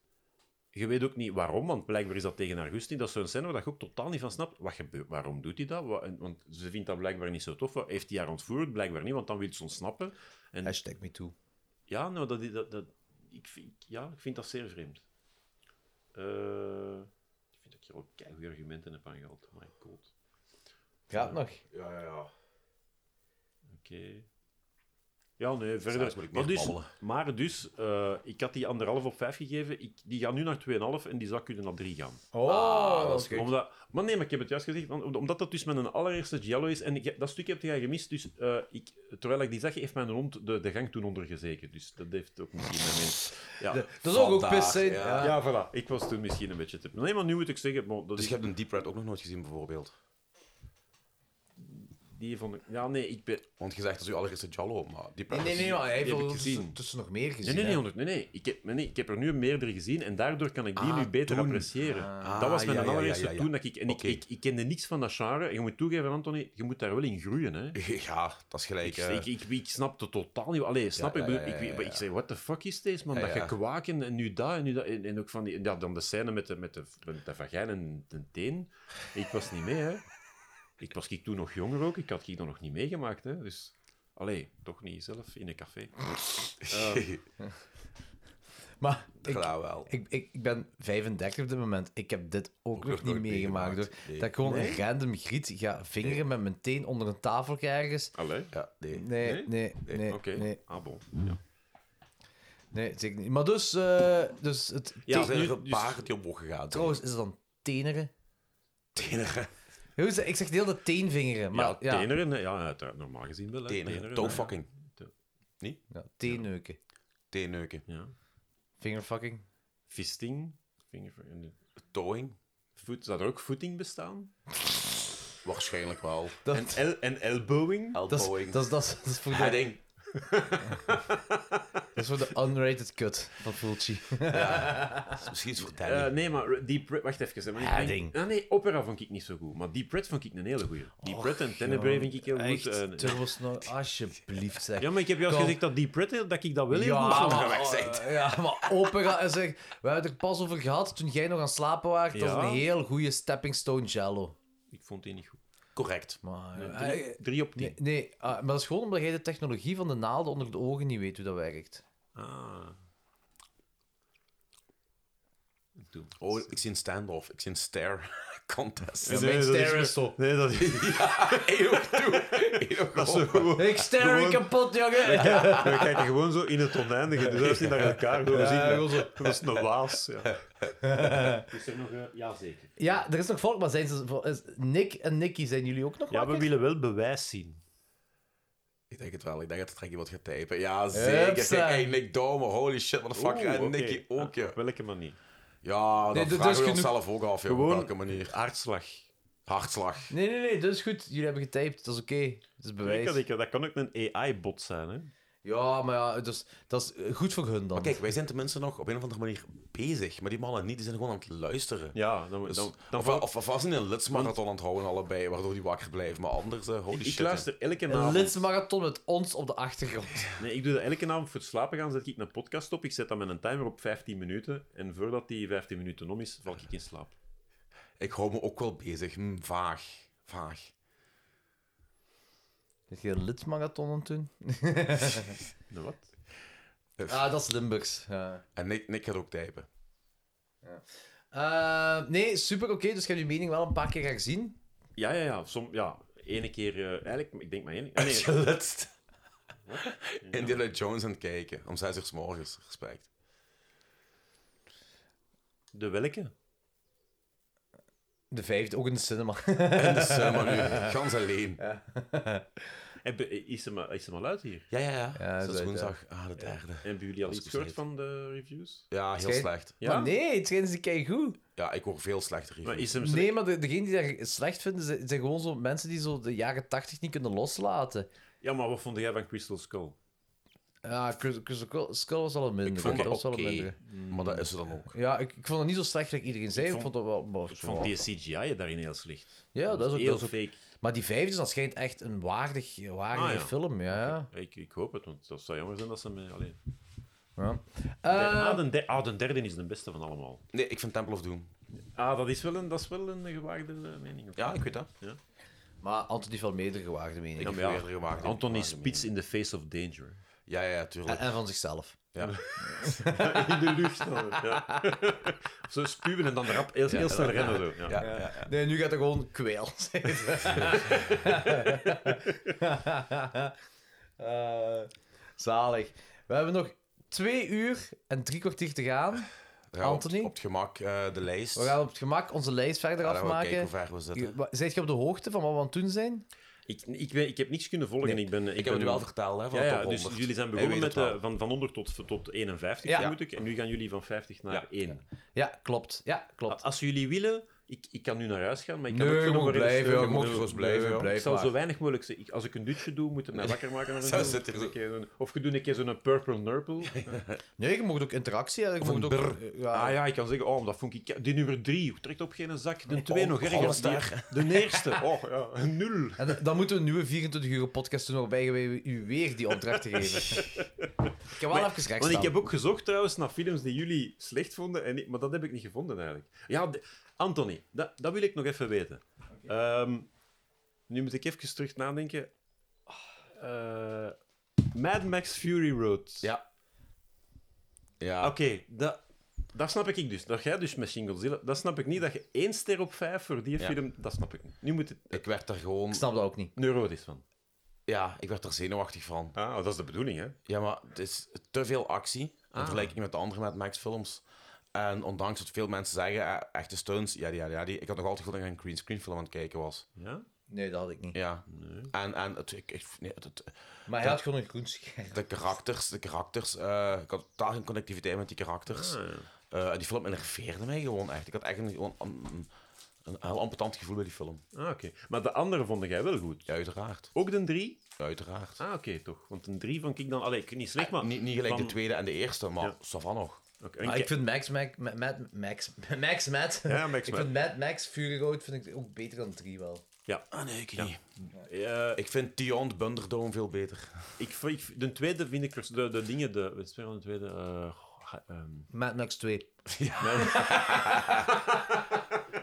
[SPEAKER 4] Je weet ook niet waarom, want blijkbaar is dat tegen haar gust niet. Dat is zo'n scène waar je ook totaal niet van snapt. Wat gebeurt? Waarom doet hij dat? Wa- en- want ze vindt dat blijkbaar niet zo tof. Wat- Heeft hij haar ontvoerd? Blijkbaar niet, want dan wil ze ontsnappen. En
[SPEAKER 3] Hashtag me toe.
[SPEAKER 4] ja, nou, dat, dat, dat, ik, vind, ja ik vind dat zeer vreemd. Eh, ik vind dat ik hier ook keigoede argumenten heb aangehaald. My god.
[SPEAKER 3] Gaat nog.
[SPEAKER 4] Oké. Ja, nee,
[SPEAKER 2] Straks
[SPEAKER 4] verder.
[SPEAKER 2] moet ik
[SPEAKER 4] Maar
[SPEAKER 2] meer
[SPEAKER 4] dus,
[SPEAKER 2] babbelen.
[SPEAKER 4] maar dus eh, ik had die anderhalf op vijf gegeven. Ik, die gaat nu naar 2,5 en die zou kunnen naar 3 gaan.
[SPEAKER 3] Oh, dat is goed.
[SPEAKER 4] Omdat, maar nee, maar ik heb het juist gezegd. want- Omdat dat dus mijn allereerste Giallo is. En ik, dat stuk heb jij gemist. Dus eh, ik, terwijl ik die zag, heeft mijn hond de, de gang toen ondergezeken. Dus dat heeft ook misschien mijn Ja.
[SPEAKER 3] Dat is ook ook
[SPEAKER 2] Vandaag,
[SPEAKER 3] pis zijn.
[SPEAKER 2] ja.
[SPEAKER 3] Ja.
[SPEAKER 4] ja, voilà. Ik was toen misschien een beetje te... Nee, maar nu moet ik zeggen... Maar dat
[SPEAKER 2] Dus
[SPEAKER 4] is,
[SPEAKER 2] je hebt een Deep Red ook nog nooit gezien, bijvoorbeeld.
[SPEAKER 4] die van de- Ja, nee, ik ben...
[SPEAKER 2] Want je zegt dat is je allereerste Jallo, maar Deep Red...
[SPEAKER 3] Nee, nee, nee, maar hij heeft
[SPEAKER 4] Die heb
[SPEAKER 3] wel
[SPEAKER 4] ik gezien.
[SPEAKER 3] tussen, tussen nog meer
[SPEAKER 4] Nee,
[SPEAKER 3] gezien.
[SPEAKER 4] nee, nee,
[SPEAKER 3] hè.
[SPEAKER 4] honderd. nee, nee. Ik, heb, nee, nee, ik heb er nu meerdere gezien en daardoor kan ik die
[SPEAKER 2] Ah,
[SPEAKER 4] nu beter
[SPEAKER 2] toen.
[SPEAKER 4] appreciëren. dat was
[SPEAKER 2] Ah,
[SPEAKER 4] mijn
[SPEAKER 2] ja, ja,
[SPEAKER 4] allereerste
[SPEAKER 2] ja, ja, ja.
[SPEAKER 4] toen. Dat ik, en
[SPEAKER 2] Oké.
[SPEAKER 4] ik, ik, ik kende niks van dat genre. En je moet toegeven, Anthony, je moet daar wel in groeien. Hè.
[SPEAKER 2] Ja, dat is gelijk...
[SPEAKER 4] Ik,
[SPEAKER 2] eh,
[SPEAKER 4] ik, ik, ik snap het totaal niet. Allee, snap
[SPEAKER 2] ja,
[SPEAKER 4] ik? bedoel,
[SPEAKER 2] ja, ja,
[SPEAKER 4] ik, weet-
[SPEAKER 2] ja,
[SPEAKER 4] maar
[SPEAKER 2] ja.
[SPEAKER 4] ik zei, what the fuck is deze, man?
[SPEAKER 2] Ja,
[SPEAKER 4] dat
[SPEAKER 2] ja.
[SPEAKER 4] je kwaken en nu dat en nu dat. En, en ook van die... Ja, dan de scène met de, met de, met de vagijn en de teen. Ik was niet mee, hè. Ik was kijk, toen nog jonger ook. Ik had die dan nog niet meegemaakt, hè. Dus, allee, toch niet zelf in een café.
[SPEAKER 3] Maar
[SPEAKER 2] dat
[SPEAKER 3] ik,
[SPEAKER 2] gaat Ehm, wel.
[SPEAKER 3] ik, ik, ik ben 35 op dit moment. Ik heb dit ook, nog niet
[SPEAKER 2] nooit
[SPEAKER 3] meegemaakt.
[SPEAKER 2] meegemaakt.
[SPEAKER 3] hoor.
[SPEAKER 2] Nee.
[SPEAKER 3] Dat ik gewoon een random griet ga vingeren met mijn teen onder een tafel ergens.
[SPEAKER 4] Allee?
[SPEAKER 2] Ja, nee.
[SPEAKER 3] Nee, nee,
[SPEAKER 4] Nee?
[SPEAKER 3] nee, nee, nee,
[SPEAKER 4] Oké.
[SPEAKER 3] nee,
[SPEAKER 4] Ah, bon. Ja.
[SPEAKER 3] zeker niet. Maar dus, eh, dus het,
[SPEAKER 2] Ja,
[SPEAKER 4] Ja,
[SPEAKER 2] er zijn
[SPEAKER 4] nu-
[SPEAKER 2] er een
[SPEAKER 4] dus-
[SPEAKER 2] paar die omhoog gegaan zijn.
[SPEAKER 3] trouwens, is het dan teneren?
[SPEAKER 2] Teneren.
[SPEAKER 3] Hoe is dat? Ik zeg de hele tijd teenvingeren, maar ja, ja,
[SPEAKER 4] teneren, hè. ja, uiteraard, normaal gezien wel. hè.
[SPEAKER 2] Teneren.
[SPEAKER 4] Teneren,
[SPEAKER 2] Toe
[SPEAKER 4] hè.
[SPEAKER 2] fucking.
[SPEAKER 3] teenneuken.
[SPEAKER 2] Teenneuken.
[SPEAKER 4] Ja.
[SPEAKER 3] Fingerfucking.
[SPEAKER 4] Fisting. Vinger, en de-
[SPEAKER 2] Towing.
[SPEAKER 4] voet, zou er ook voeting bestaan?
[SPEAKER 2] Waarschijnlijk wel.
[SPEAKER 3] Dat,
[SPEAKER 4] En, el, en elbowing?
[SPEAKER 3] dat, is, dat,
[SPEAKER 2] Elbowing.
[SPEAKER 3] is, dat, is, dat is voor de,
[SPEAKER 2] Heading.
[SPEAKER 3] dat is voor de unrated cut van Fulci.
[SPEAKER 2] Dat is misschien iets voor
[SPEAKER 4] Eh,
[SPEAKER 2] Danny.
[SPEAKER 4] nee, maar Deep Red... Wacht even. hè, Maar ik
[SPEAKER 3] Heading.
[SPEAKER 4] Ah, nee, Opera vond ik niet zo goed. Maar Deep Red vond ik een hele goeie. Deep Red en Tenebrae vind ik heel goed.
[SPEAKER 3] Echt,
[SPEAKER 4] en-
[SPEAKER 3] Turbosnor, alsjeblieft zeg.
[SPEAKER 4] ja, maar ik heb juist
[SPEAKER 3] Kom.
[SPEAKER 4] gezegd dat Deep Red, dat ik dat wel heel goed
[SPEAKER 3] Ja,
[SPEAKER 4] vond.
[SPEAKER 3] maar, eh, ja, maar opera is echt... We hebben het er pas over gehad toen jij nog aan het slapen was. Dat is
[SPEAKER 4] Ja.
[SPEAKER 3] een heel goede stepping stone jello.
[SPEAKER 4] Ik vond die niet goed.
[SPEAKER 2] Correct.
[SPEAKER 3] Maar, eh,
[SPEAKER 4] Drie, drie op
[SPEAKER 3] nee,
[SPEAKER 4] tien.
[SPEAKER 3] nee, ah, maar dat is gewoon omdat jij de technologie van de naalden onder de ogen niet weet hoe dat werkt.
[SPEAKER 4] Ah. Doe.
[SPEAKER 2] Oh, ik zie een standoff. Ik zie een stare contest.
[SPEAKER 3] Ja, mijn ster is top.
[SPEAKER 4] Nee, dat is...
[SPEAKER 2] dat is zo goed.
[SPEAKER 3] Ik ster je kapot, jongen!
[SPEAKER 4] We kijken gewoon zo in het oneindige, dus dat is niet naar elkaar. Gewoon zien, dat, dat is een waas. Ja.
[SPEAKER 7] Is er nog... eh, ja, zeker.
[SPEAKER 3] Ja, er is nog volk, maar zijn ze... vol- is- Nick en Nicky, zijn jullie ook nog wakker?
[SPEAKER 4] willen wel bewijs zien.
[SPEAKER 2] Ik denk het wel. Ik denk dat het trekje wat gaat typen. Ja, zeker.
[SPEAKER 3] Hupsa.
[SPEAKER 2] Kijk, hey, Nick Domer. Holy shit, wat de fuck. en Nicky ook,
[SPEAKER 4] ja.
[SPEAKER 2] ja.
[SPEAKER 4] Op Ah, welke manier?
[SPEAKER 2] Ja, dat
[SPEAKER 3] Nee, dit
[SPEAKER 2] vragen
[SPEAKER 3] is
[SPEAKER 2] we
[SPEAKER 3] genoeg.
[SPEAKER 2] onszelf ook af, joh.
[SPEAKER 4] Gewoon-
[SPEAKER 2] Op welke manier.
[SPEAKER 4] Aardslag.
[SPEAKER 2] Hartslag.
[SPEAKER 3] Nee, nee, nee, dat is goed. Jullie hebben getypt, dat is oké. Dat is
[SPEAKER 4] Ik
[SPEAKER 3] bewijs.
[SPEAKER 4] had- ik- dat kan ook een AI-bot zijn, hè?
[SPEAKER 3] Ja, maar ja, dus, dat is eh, goed voor hun dan.
[SPEAKER 2] Maar kijk, wij zijn tenminste nog op een of andere manier bezig. Maar die mannen niet, die zijn gewoon aan het luisteren.
[SPEAKER 4] Ja, dan...
[SPEAKER 2] Dus-
[SPEAKER 4] dan, dan
[SPEAKER 2] of, of, of was niet een lidsmarathon aan het houden allebei, waardoor die wakker blijven. Maar anders, eh, holy
[SPEAKER 4] ik
[SPEAKER 2] shit.
[SPEAKER 4] luister elke
[SPEAKER 3] een
[SPEAKER 4] avond.
[SPEAKER 3] lidsmarathon met ons op de achtergrond.
[SPEAKER 4] Nee, ik doe dat elke avond voor het slapen gaan. Zet ik een podcast op. Ik zet dan met een timer op 15 minuten. En voordat die 15 minuten om is, val ik in slaap.
[SPEAKER 2] hè. Ik hou me ook wel bezig. Hm, vaag. Vaag.
[SPEAKER 3] Is je een lidsmarathon aan het doen?
[SPEAKER 4] Nou, wat?
[SPEAKER 3] Ah, dat is Limburgs. Ja.
[SPEAKER 2] En Nick, Nick gaat ook typen.
[SPEAKER 3] Eh, nee, super oké. Dus je hebt je mening wel een paar keer gaan zien.
[SPEAKER 4] Ja, ja, ja. Som, ja. Ene keer... eh, eigenlijk, ik denk maar één... ah,
[SPEAKER 2] Als
[SPEAKER 4] nee.
[SPEAKER 2] je letst Indiana Jones aan het kijken. Om 6 uur s morgens. Respect.
[SPEAKER 4] De welke?
[SPEAKER 3] De vijfde, ook in de cinema.
[SPEAKER 2] En de cinema nu. Gans alleen. Ja,
[SPEAKER 4] Heb- Is hem, al- is hem al uit hier?
[SPEAKER 2] ja, ja.
[SPEAKER 3] Ja,
[SPEAKER 2] dat is
[SPEAKER 3] zo,
[SPEAKER 2] woensdag. Ah, de derde.
[SPEAKER 4] Hebben jullie al
[SPEAKER 2] Als
[SPEAKER 4] iets
[SPEAKER 2] ik het
[SPEAKER 4] gehoord van de reviews?
[SPEAKER 2] Ja, heel
[SPEAKER 3] Schijn-
[SPEAKER 2] slecht.
[SPEAKER 4] Ja?
[SPEAKER 3] Maar nee, het schijnt ze kei goed.
[SPEAKER 2] Ja, ik hoor veel slechte reviews.
[SPEAKER 4] Maar is hem
[SPEAKER 3] Nee, maar de, degenen die dat slecht vinden, zijn, zijn gewoon zo mensen die zo de jaren tachtig niet kunnen loslaten.
[SPEAKER 4] Ja, maar wat vond jij van Crystal Skull?
[SPEAKER 3] Ja, Crystal Crystal Skull was wel een minder.
[SPEAKER 2] Ik vond
[SPEAKER 3] dat
[SPEAKER 2] het
[SPEAKER 3] was
[SPEAKER 2] oké,
[SPEAKER 3] wel een minder.
[SPEAKER 2] maar dat is het dan ook.
[SPEAKER 3] Ja, ik, ik vond het niet zo slecht dat iedereen zei. Ik vond, het wel... maar-
[SPEAKER 4] Ik vond die CGI daarin heel slecht.
[SPEAKER 3] Ja, dat is ook...
[SPEAKER 4] heel
[SPEAKER 3] dat is ook-
[SPEAKER 4] fake.
[SPEAKER 3] Maar die vijfde, dat schijnt echt een waardig, waardige
[SPEAKER 4] Ah, ja.
[SPEAKER 3] film, ja.
[SPEAKER 4] Ik, ik hoop het, want dat zou jammer zijn dat ze me alleen.
[SPEAKER 3] ja.
[SPEAKER 4] ah,
[SPEAKER 3] Eh,
[SPEAKER 4] de, der- ah, de derde is de beste van allemaal.
[SPEAKER 2] Nee, ik vind Temple of Doom.
[SPEAKER 4] Ah, dat is wel een, dat is wel een gewaagde eh, mening.
[SPEAKER 2] Ja, ik weet dat.
[SPEAKER 3] maar Anthony van Meerdere gewaagde mening.
[SPEAKER 2] Ik heb
[SPEAKER 4] maar ja,
[SPEAKER 2] meerdere gemaakt.
[SPEAKER 4] Anthony Spits in the face of danger.
[SPEAKER 2] Ja, ja, tuurlijk.
[SPEAKER 3] En, en van zichzelf.
[SPEAKER 4] in de lucht. dan, ja. zo spuwen en dan rap heel, heel snel rennen. Zo. Ja.
[SPEAKER 2] Ja, ja, ja.
[SPEAKER 3] Nee, nu gaat er gewoon kweel zijn. Eh, Zalig. We hebben nog twee uur en drie kwartier te gaan.
[SPEAKER 2] Dan gaan we op-
[SPEAKER 3] Anthony?
[SPEAKER 2] Op, het gemak eh, de lijst.
[SPEAKER 3] We gaan op het gemak onze lijst verder
[SPEAKER 2] Dan gaan we kijken
[SPEAKER 3] afmaken.
[SPEAKER 2] hoe ver we zitten.
[SPEAKER 3] Je- wa- Zijt je op de hoogte van wat we aan het doen zijn?
[SPEAKER 4] Ik, ik, ben, ik heb niks kunnen volgen. Ik, ben, ik,
[SPEAKER 2] Ik
[SPEAKER 4] ben
[SPEAKER 2] heb het wel verteld, hè, van
[SPEAKER 4] Ja,
[SPEAKER 2] de
[SPEAKER 4] ja,
[SPEAKER 2] top 100.
[SPEAKER 4] dus jullie zijn
[SPEAKER 2] Hij
[SPEAKER 4] begonnen
[SPEAKER 2] weet
[SPEAKER 4] met
[SPEAKER 2] het
[SPEAKER 4] eh,
[SPEAKER 2] wel.
[SPEAKER 4] van, van 100 tot, tot 51,
[SPEAKER 3] Ja.
[SPEAKER 4] vermoed ik. En nu gaan jullie van 50 naar
[SPEAKER 2] Ja.
[SPEAKER 4] 1.
[SPEAKER 3] Ja, klopt. Ja,
[SPEAKER 2] Ah,
[SPEAKER 3] klopt.
[SPEAKER 4] Als jullie willen, ik, ik kan nu naar huis gaan, maar ik kan
[SPEAKER 3] Nee,
[SPEAKER 4] ook
[SPEAKER 3] je
[SPEAKER 4] gewoon
[SPEAKER 3] mag
[SPEAKER 4] nog
[SPEAKER 3] blijven.
[SPEAKER 4] even-
[SPEAKER 3] Je mag
[SPEAKER 4] Ik
[SPEAKER 2] gerust blijven, ja.
[SPEAKER 4] Ik
[SPEAKER 3] blijven.
[SPEAKER 4] zal zo
[SPEAKER 3] maar.
[SPEAKER 4] weinig mogelijk zijn. Ik- Als ik een dutje doe, moet het mij wakker maken. Of,
[SPEAKER 2] Zo zit er zo.
[SPEAKER 4] een keer een- of je doet een keer zo'n eh, purple nurple.
[SPEAKER 3] Nee, je mag ook interactie. Je
[SPEAKER 2] een
[SPEAKER 3] mag ook...
[SPEAKER 2] brr.
[SPEAKER 3] Ja.
[SPEAKER 4] Ah ja, ik kan zeggen, oh, dat vond ik... Die nummer 3 trekt op geen zak. De 2
[SPEAKER 2] Oh,
[SPEAKER 4] nog
[SPEAKER 2] alles
[SPEAKER 4] ergens.
[SPEAKER 2] daar.
[SPEAKER 4] Die- De eerste. Oh ja, een 0.
[SPEAKER 3] En dan moeten we een nieuwe 24 uur podcast doen waarbij we u weer die opdracht geven. ik heb wel even rechts
[SPEAKER 4] Want ik
[SPEAKER 3] staan.
[SPEAKER 4] heb ook gezocht trouwens naar films die jullie slecht vonden, en ik- maar dat heb ik niet gevonden eigenlijk. Ja, de- Anthony, dat, dat wil ik nog even weten. Ehm, nu moet ik even terug nadenken. Eh, Mad Max Fury Road.
[SPEAKER 2] Ja. Ja,
[SPEAKER 4] Oké, dat, dat snap ik dus. Dat jij dus met Shinglezilla, dat snap ik niet. Dat je één ster op vijf voor die
[SPEAKER 2] Ja.
[SPEAKER 4] film, dat snap ik niet. Nu moet het
[SPEAKER 2] ik werd er gewoon...
[SPEAKER 3] Ik snap dat ook niet.
[SPEAKER 4] neurotisch van.
[SPEAKER 2] Ja, ik werd er zenuwachtig van.
[SPEAKER 4] Ah, dat is de bedoeling, hè?
[SPEAKER 2] Ja, maar het is te veel actie in
[SPEAKER 3] Ah.
[SPEAKER 2] vergelijking met de andere Mad Max films. En ondanks dat veel mensen zeggen, eh, echte stunts, ja, ja, ja, die, ik had nog altijd goed dat ik een green screen film aan het kijken was.
[SPEAKER 4] Ja?
[SPEAKER 3] Nee, dat had ik niet.
[SPEAKER 2] Ja. En, en het, ik, ik, nee, het- het,
[SPEAKER 3] Maar hij had gewoon een groen scherm.
[SPEAKER 2] de karakters, de karakters, eh, ik had totaal geen connectiviteit met die karakters.
[SPEAKER 4] Ah, ja.
[SPEAKER 2] Eh, en die film enerveerde mij gewoon echt. Ik had echt een, gewoon een, een, een heel amputant gevoel bij die film.
[SPEAKER 4] Ah, oké. Maar de andere vond jij wel goed.
[SPEAKER 2] Ja, uiteraard.
[SPEAKER 4] Ook de drie?
[SPEAKER 2] Uiteraard.
[SPEAKER 4] Ah, oké, toch. Want een drie vond ik dan... Allee, ik- Ah, niet slecht, maar...
[SPEAKER 2] niet, niet gelijk
[SPEAKER 4] van-
[SPEAKER 2] de tweede en de eerste, maar
[SPEAKER 4] Ja.
[SPEAKER 2] ça va nog.
[SPEAKER 4] Oké, en
[SPEAKER 3] Maar ik
[SPEAKER 4] ke-
[SPEAKER 3] vind Max, Max, Max, Max, Max, Max,
[SPEAKER 4] Ja, Max
[SPEAKER 3] ik
[SPEAKER 4] Max.
[SPEAKER 3] vind Mad Max Fury Road vind ik ook beter dan 3 wel.
[SPEAKER 2] Ah nee, ik niet.
[SPEAKER 4] eh,
[SPEAKER 2] Ik vind Beyond Bunderdome veel beter.
[SPEAKER 4] ik, v- ik- de tweede vind ik... vers- De, de dingen... De, wat is het weer van de tweede... eh, goh, ehm,
[SPEAKER 3] Mad Max 2.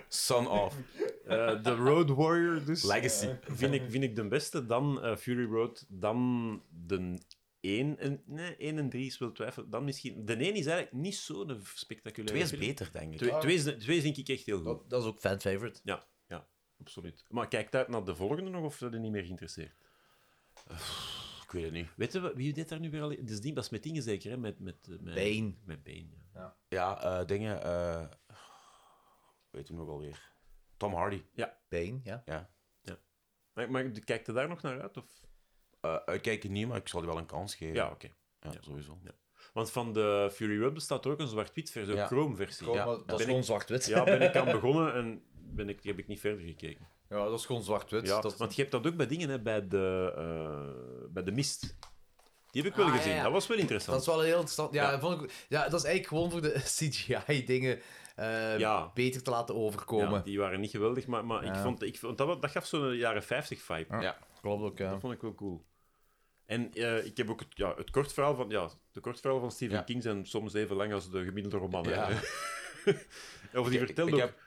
[SPEAKER 2] Son of
[SPEAKER 4] eh, de Road Warrior, dus.
[SPEAKER 2] Legacy.
[SPEAKER 4] Vind ik, vind ik de beste. Dan eh, Fury Road. Dan de 1. En, nee, 1 en 3 is wel twijfel. Dan misschien... De 1 is eigenlijk niet zo'n spectaculaire
[SPEAKER 2] Twee is
[SPEAKER 4] film.
[SPEAKER 2] beter, denk ik.
[SPEAKER 4] Twee, twee, is, de- twee vind ik echt heel goed.
[SPEAKER 3] Oh, Dat, dat is ook fan favorite.
[SPEAKER 4] Ja, ja. Absoluut. Maar kijkt uit naar de volgende nog, of zijn er niet meer geïnteresseerd?
[SPEAKER 2] Ik weet het niet.
[SPEAKER 4] Weten we, wie deed daar nu weer al... Dus die, dat is met dingen zeker, hè? Met, met, eh, met,
[SPEAKER 3] Bane.
[SPEAKER 4] Met Bane, ja.
[SPEAKER 2] Ja, eh, dingen... eh weet hem nog alweer. Tom Hardy.
[SPEAKER 3] Bane, ja.
[SPEAKER 2] Ja.
[SPEAKER 4] Maar, maar kijkt er daar nog naar uit? Of?
[SPEAKER 2] Eh uitkijken niet, maar ik zal die wel een kans geven.
[SPEAKER 4] Ja, oké.
[SPEAKER 2] Ja,
[SPEAKER 4] Ja.
[SPEAKER 2] sowieso.
[SPEAKER 4] Want van de Fury Road bestaat er ook een zwart-wit versie, een
[SPEAKER 2] Ja.
[SPEAKER 4] chrome versie.
[SPEAKER 3] Gewoon,
[SPEAKER 4] Ja.
[SPEAKER 2] Ja.
[SPEAKER 3] maar dat
[SPEAKER 4] Ben
[SPEAKER 3] is
[SPEAKER 4] ik-
[SPEAKER 3] gewoon zwart-wit.
[SPEAKER 4] Ja, ben ik aan begonnen en ben ik, heb ik niet verder gekeken.
[SPEAKER 3] Ja, dat is gewoon zwart-wit.
[SPEAKER 4] Ja,
[SPEAKER 3] dat is-
[SPEAKER 4] Want je hebt dat ook bij dingen, hè, bij, de, eh, bij de mist. Die heb ik wel
[SPEAKER 3] Ah, ja,
[SPEAKER 4] gezien.
[SPEAKER 3] ja.
[SPEAKER 4] Dat was wel
[SPEAKER 3] Dat
[SPEAKER 4] interessant.
[SPEAKER 3] is wel heel interessant. Ja,
[SPEAKER 4] Ja.
[SPEAKER 3] dat Vond ik, ja, dat is eigenlijk gewoon voor de CGI-dingen
[SPEAKER 4] Ja.
[SPEAKER 3] eh, beter te laten overkomen.
[SPEAKER 4] ja, die waren niet geweldig, maar, maar ik
[SPEAKER 3] Ja.
[SPEAKER 4] vond, ik vond dat, wel- dat gaf zo'n jaren 50 vibe.
[SPEAKER 3] Klopt ook, ja.
[SPEAKER 4] Dat vond ik wel cool. En eh, ik heb ook het, ja, het kort verhaal van... Ja, de kort verhaal van Stephen
[SPEAKER 2] Ja.
[SPEAKER 4] King zijn soms even lang als de gemiddelde roman. hè.
[SPEAKER 2] Ja.
[SPEAKER 4] of die
[SPEAKER 2] Ik-
[SPEAKER 4] vertelde
[SPEAKER 2] ik
[SPEAKER 4] ook...
[SPEAKER 2] heb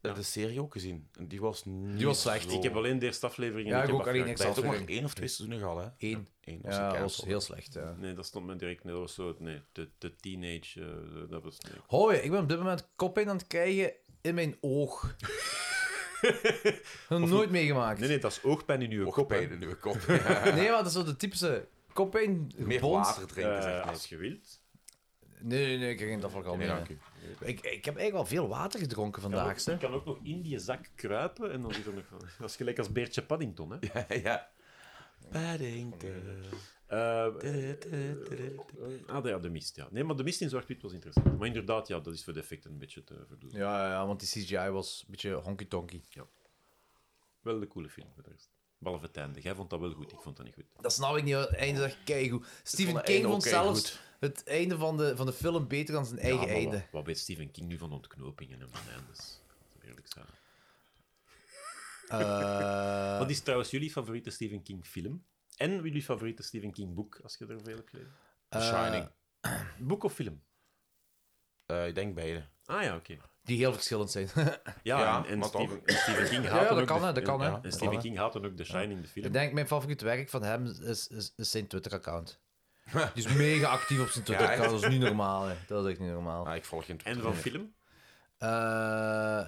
[SPEAKER 2] eh, de serie ook gezien. En Die was niet
[SPEAKER 3] Die was slecht.
[SPEAKER 2] zo-
[SPEAKER 4] Ik heb alleen de eerste aflevering en
[SPEAKER 3] Oh. Ja,
[SPEAKER 4] ik
[SPEAKER 3] ik
[SPEAKER 4] heb
[SPEAKER 3] ook alleen
[SPEAKER 4] afgehaakt.
[SPEAKER 2] Zij heeft ook maar
[SPEAKER 3] aflevering.
[SPEAKER 2] één of twee seizoenen gehad, hè?
[SPEAKER 3] Eén.
[SPEAKER 2] Eén. was
[SPEAKER 3] Ja, dat was
[SPEAKER 2] gecanceld.
[SPEAKER 3] heel slecht, ja.
[SPEAKER 4] Nee, dat stond me direct net als zo... Nee, de, de teenage... eh, dat was... nee.
[SPEAKER 3] Hoi, ik ben op dit moment koppijn aan het krijgen in mijn oog. Nog nooit meegemaakt.
[SPEAKER 4] Nee, nee, dat is oogpijn in uw
[SPEAKER 2] Ook
[SPEAKER 4] kop. hè.
[SPEAKER 2] pijn in uw kop. Ja.
[SPEAKER 3] Nee, maar dat is zo de typische koppijn.
[SPEAKER 2] Meer
[SPEAKER 3] bond.
[SPEAKER 2] water drinken,
[SPEAKER 4] Eh,
[SPEAKER 2] zegt hij.
[SPEAKER 4] als je wilt.
[SPEAKER 3] Nee, nee, nee, ik heb geen afvalkalm
[SPEAKER 2] Nee,
[SPEAKER 3] meer.
[SPEAKER 2] dank u.
[SPEAKER 3] Ik, ik heb eigenlijk wel veel water gedronken vandaag.
[SPEAKER 4] Je
[SPEAKER 3] hè.
[SPEAKER 4] kan ook nog in die zak kruipen en dan is er nog... Dat is gelijk als Beertje Paddington, hè.
[SPEAKER 2] ja. Paddington.
[SPEAKER 4] Eh,
[SPEAKER 2] Tududududu.
[SPEAKER 4] ah, de, ja, de mist, ja. Nee, maar de mist in zwart-wit was interessant. Maar inderdaad, ja, dat is voor de effecten een beetje te verdoezelen.
[SPEAKER 3] Ja, ja, ja, want die CGI was een beetje honky-tonky.
[SPEAKER 4] Wel een coole film, voor de rest. Behalve het einde. Jij vond dat wel goed, ik vond dat niet goed.
[SPEAKER 3] Dat snap ik niet. hoor. Het einde zegt keigoed. Stephen
[SPEAKER 2] het
[SPEAKER 3] King
[SPEAKER 2] einde
[SPEAKER 3] vond
[SPEAKER 2] ook keigoed.
[SPEAKER 3] zelfs het einde van de, van de film beter dan zijn eigen
[SPEAKER 4] Ja, maar
[SPEAKER 3] einde.
[SPEAKER 4] Wat, wat weet Stephen King nu van ontknopingen en van eindes? Dat is eerlijk zijn.
[SPEAKER 3] Eh,
[SPEAKER 4] Wat is trouwens jullie favoriete Stephen King film? En jullie favoriete Stephen King boek, als je er veel hebt gelezen?
[SPEAKER 2] The Shining.
[SPEAKER 4] Boek of film?
[SPEAKER 2] Eh, ik denk beide.
[SPEAKER 4] Ah ja, oké.
[SPEAKER 3] die heel verschillend zijn.
[SPEAKER 4] Ja,
[SPEAKER 2] Ja,
[SPEAKER 4] en, en
[SPEAKER 2] maar
[SPEAKER 4] Stephen,
[SPEAKER 2] toch.
[SPEAKER 4] en Stephen King
[SPEAKER 3] ja,
[SPEAKER 4] haat
[SPEAKER 3] dat
[SPEAKER 4] ook
[SPEAKER 3] kan,
[SPEAKER 4] de-
[SPEAKER 3] hè, dat kan, hè.
[SPEAKER 4] en-
[SPEAKER 3] Dat
[SPEAKER 4] En
[SPEAKER 3] kan,
[SPEAKER 4] Stephen
[SPEAKER 3] hè.
[SPEAKER 4] King haat dan ook The Shining, de film.
[SPEAKER 3] ik denk, mijn favoriet werk van hem is, is, is zijn Twitter-account. Die is mega actief op zijn Twitter-account. Dat is niet normaal. Hè. Dat is echt niet normaal.
[SPEAKER 2] Ah, ik volg geen
[SPEAKER 4] En van film?
[SPEAKER 3] Eh,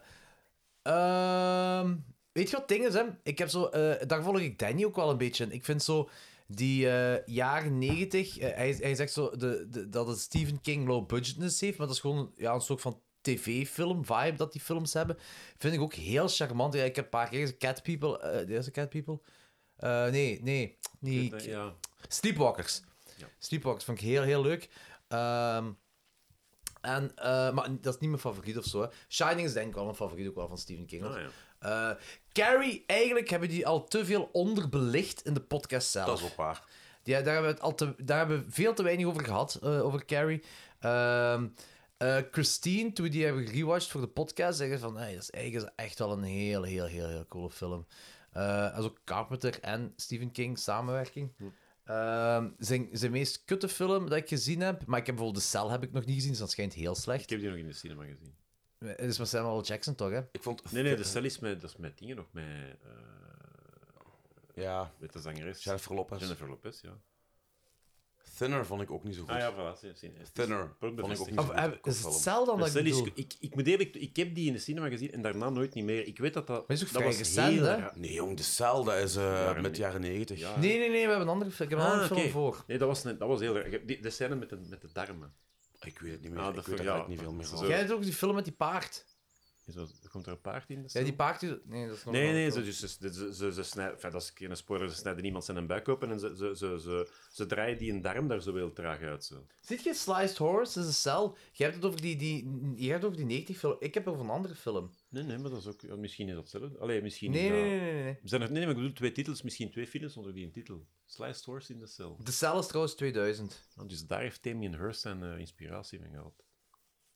[SPEAKER 3] ehm, weet je wat dingen, hè? Ik heb zo, eh, daar volg ik Danny ook wel een beetje in. Ik vind zo die eh, jaren 90, eh, hij, hij zegt zo de, de- dat het Stephen King low budgetness heeft, maar dat is gewoon een- ja, een soort van tv-film vibe dat die films hebben. Vind ik ook heel charmant. Ja, ik heb een paar keer gezien, Cat People. eh die is een Cat People? Eh, nee, nee. Niet,
[SPEAKER 4] eh, Ja.
[SPEAKER 3] Sleepwalkers.
[SPEAKER 4] Ja.
[SPEAKER 3] Sleepwalkers vond ik heel, heel leuk. Ehm, en, eh, maar dat is niet mijn favoriet of zo. Hè. Shining is denk ik wel mijn favoriet ook wel van Stephen King. hoor.
[SPEAKER 4] Ah, ja.
[SPEAKER 3] Eh, Carrie, eigenlijk hebben die al te veel onderbelicht in de podcast zelf.
[SPEAKER 10] Dat is ook waar.
[SPEAKER 3] Ja, daar hebben we, het al te, daar hebben we veel te weinig over gehad, eh, over Carrie. Ehm, eh, Christine, toen we die hebben gerewatcht voor de podcast, zeggen ze van, hey, dat is eigenlijk echt wel een heel, heel, heel, heel coole film. Eh also Carpenter en Stephen King, samenwerking. Ehm, zijn, zijn meest kutte film dat ik gezien heb, maar ik heb bijvoorbeeld De Cell heb ik nog niet gezien, dus dat schijnt heel
[SPEAKER 4] Ik
[SPEAKER 3] slecht. Eh,
[SPEAKER 4] heb die nog in de cinema gezien.
[SPEAKER 3] Het is met Samuel L. Jackson toch, hè?
[SPEAKER 10] Ik vond...
[SPEAKER 4] Nee, nee, de cel is met, dat is met dingen nog, met, eh,
[SPEAKER 2] Ja,
[SPEAKER 4] met de zangeres.
[SPEAKER 2] Jennifer Lopez.
[SPEAKER 4] Jennifer Lopez, ja.
[SPEAKER 2] Thinner vond ik ook niet zo goed.
[SPEAKER 4] Ah ja, voilà. zie- zie-
[SPEAKER 2] Thinner
[SPEAKER 4] Wordt
[SPEAKER 2] vond ik ook
[SPEAKER 4] bevestigd.
[SPEAKER 2] niet
[SPEAKER 3] Of,
[SPEAKER 2] zo goed.
[SPEAKER 3] eh,
[SPEAKER 2] ook
[SPEAKER 3] is het
[SPEAKER 2] film.
[SPEAKER 3] Cell dan
[SPEAKER 4] Ah, De
[SPEAKER 3] dat ik
[SPEAKER 4] cel is,
[SPEAKER 3] bedoel?
[SPEAKER 4] ik, ik moet eerlijk... Ik heb die in de cinema gezien en daarna nooit niet meer. Ik weet dat dat...
[SPEAKER 3] Maar is ook
[SPEAKER 4] dat
[SPEAKER 3] vrij recent, hè?
[SPEAKER 4] raar.
[SPEAKER 2] Nee, jong, de cel, dat is eh,
[SPEAKER 4] Jaren-
[SPEAKER 2] met de jaren negentig.
[SPEAKER 4] Ja.
[SPEAKER 3] Nee, nee, nee, we hebben een andere, ik heb een
[SPEAKER 4] Ah,
[SPEAKER 3] andere
[SPEAKER 4] oké.
[SPEAKER 3] film voor.
[SPEAKER 4] Nee, dat was, net- dat was heel raar. Ik heb die- De scène met de, met de darmen.
[SPEAKER 2] Ik weet het niet meer.
[SPEAKER 4] Ah, dat
[SPEAKER 2] ik
[SPEAKER 4] vind
[SPEAKER 2] weet
[SPEAKER 4] ik-
[SPEAKER 2] er
[SPEAKER 4] ja,
[SPEAKER 2] eigenlijk niet veel
[SPEAKER 4] dat
[SPEAKER 2] meer
[SPEAKER 4] is
[SPEAKER 2] van.
[SPEAKER 4] zo.
[SPEAKER 3] Jij hebt ook die film met die paard.
[SPEAKER 4] Zo, komt er een paard in? de
[SPEAKER 3] Ja,
[SPEAKER 4] cel?
[SPEAKER 3] die paard is... Nee, dat is nog
[SPEAKER 4] Nee,
[SPEAKER 3] wel-
[SPEAKER 4] nee, ze, dus, ze, ze, ze, ze snijden, enfin, dat is geen spoiler, ze snijden iemand zijn buik open en ze, ze, ze, ze, ze draaien die een darm daar zo heel traag uit. Zo.
[SPEAKER 3] Ziet je Sliced Horse? Dat is een cel. Je hebt het over die, die, je hebt het over die 90 film. Ik heb het over een andere film.
[SPEAKER 4] Nee, nee, maar dat is ook, ja, misschien is dat hetzelfde. Allee, misschien
[SPEAKER 3] Nee,
[SPEAKER 4] is dat-
[SPEAKER 3] nee, nee, nee. nee.
[SPEAKER 4] Zijn er, nee, maar ik bedoel twee titels, misschien twee films onder die een titel. Sliced Horse in the Cell.
[SPEAKER 3] De cel is trouwens 2000.
[SPEAKER 4] Ah, dus daar heeft Damien Hirst zijn eh, inspiratie van gehad.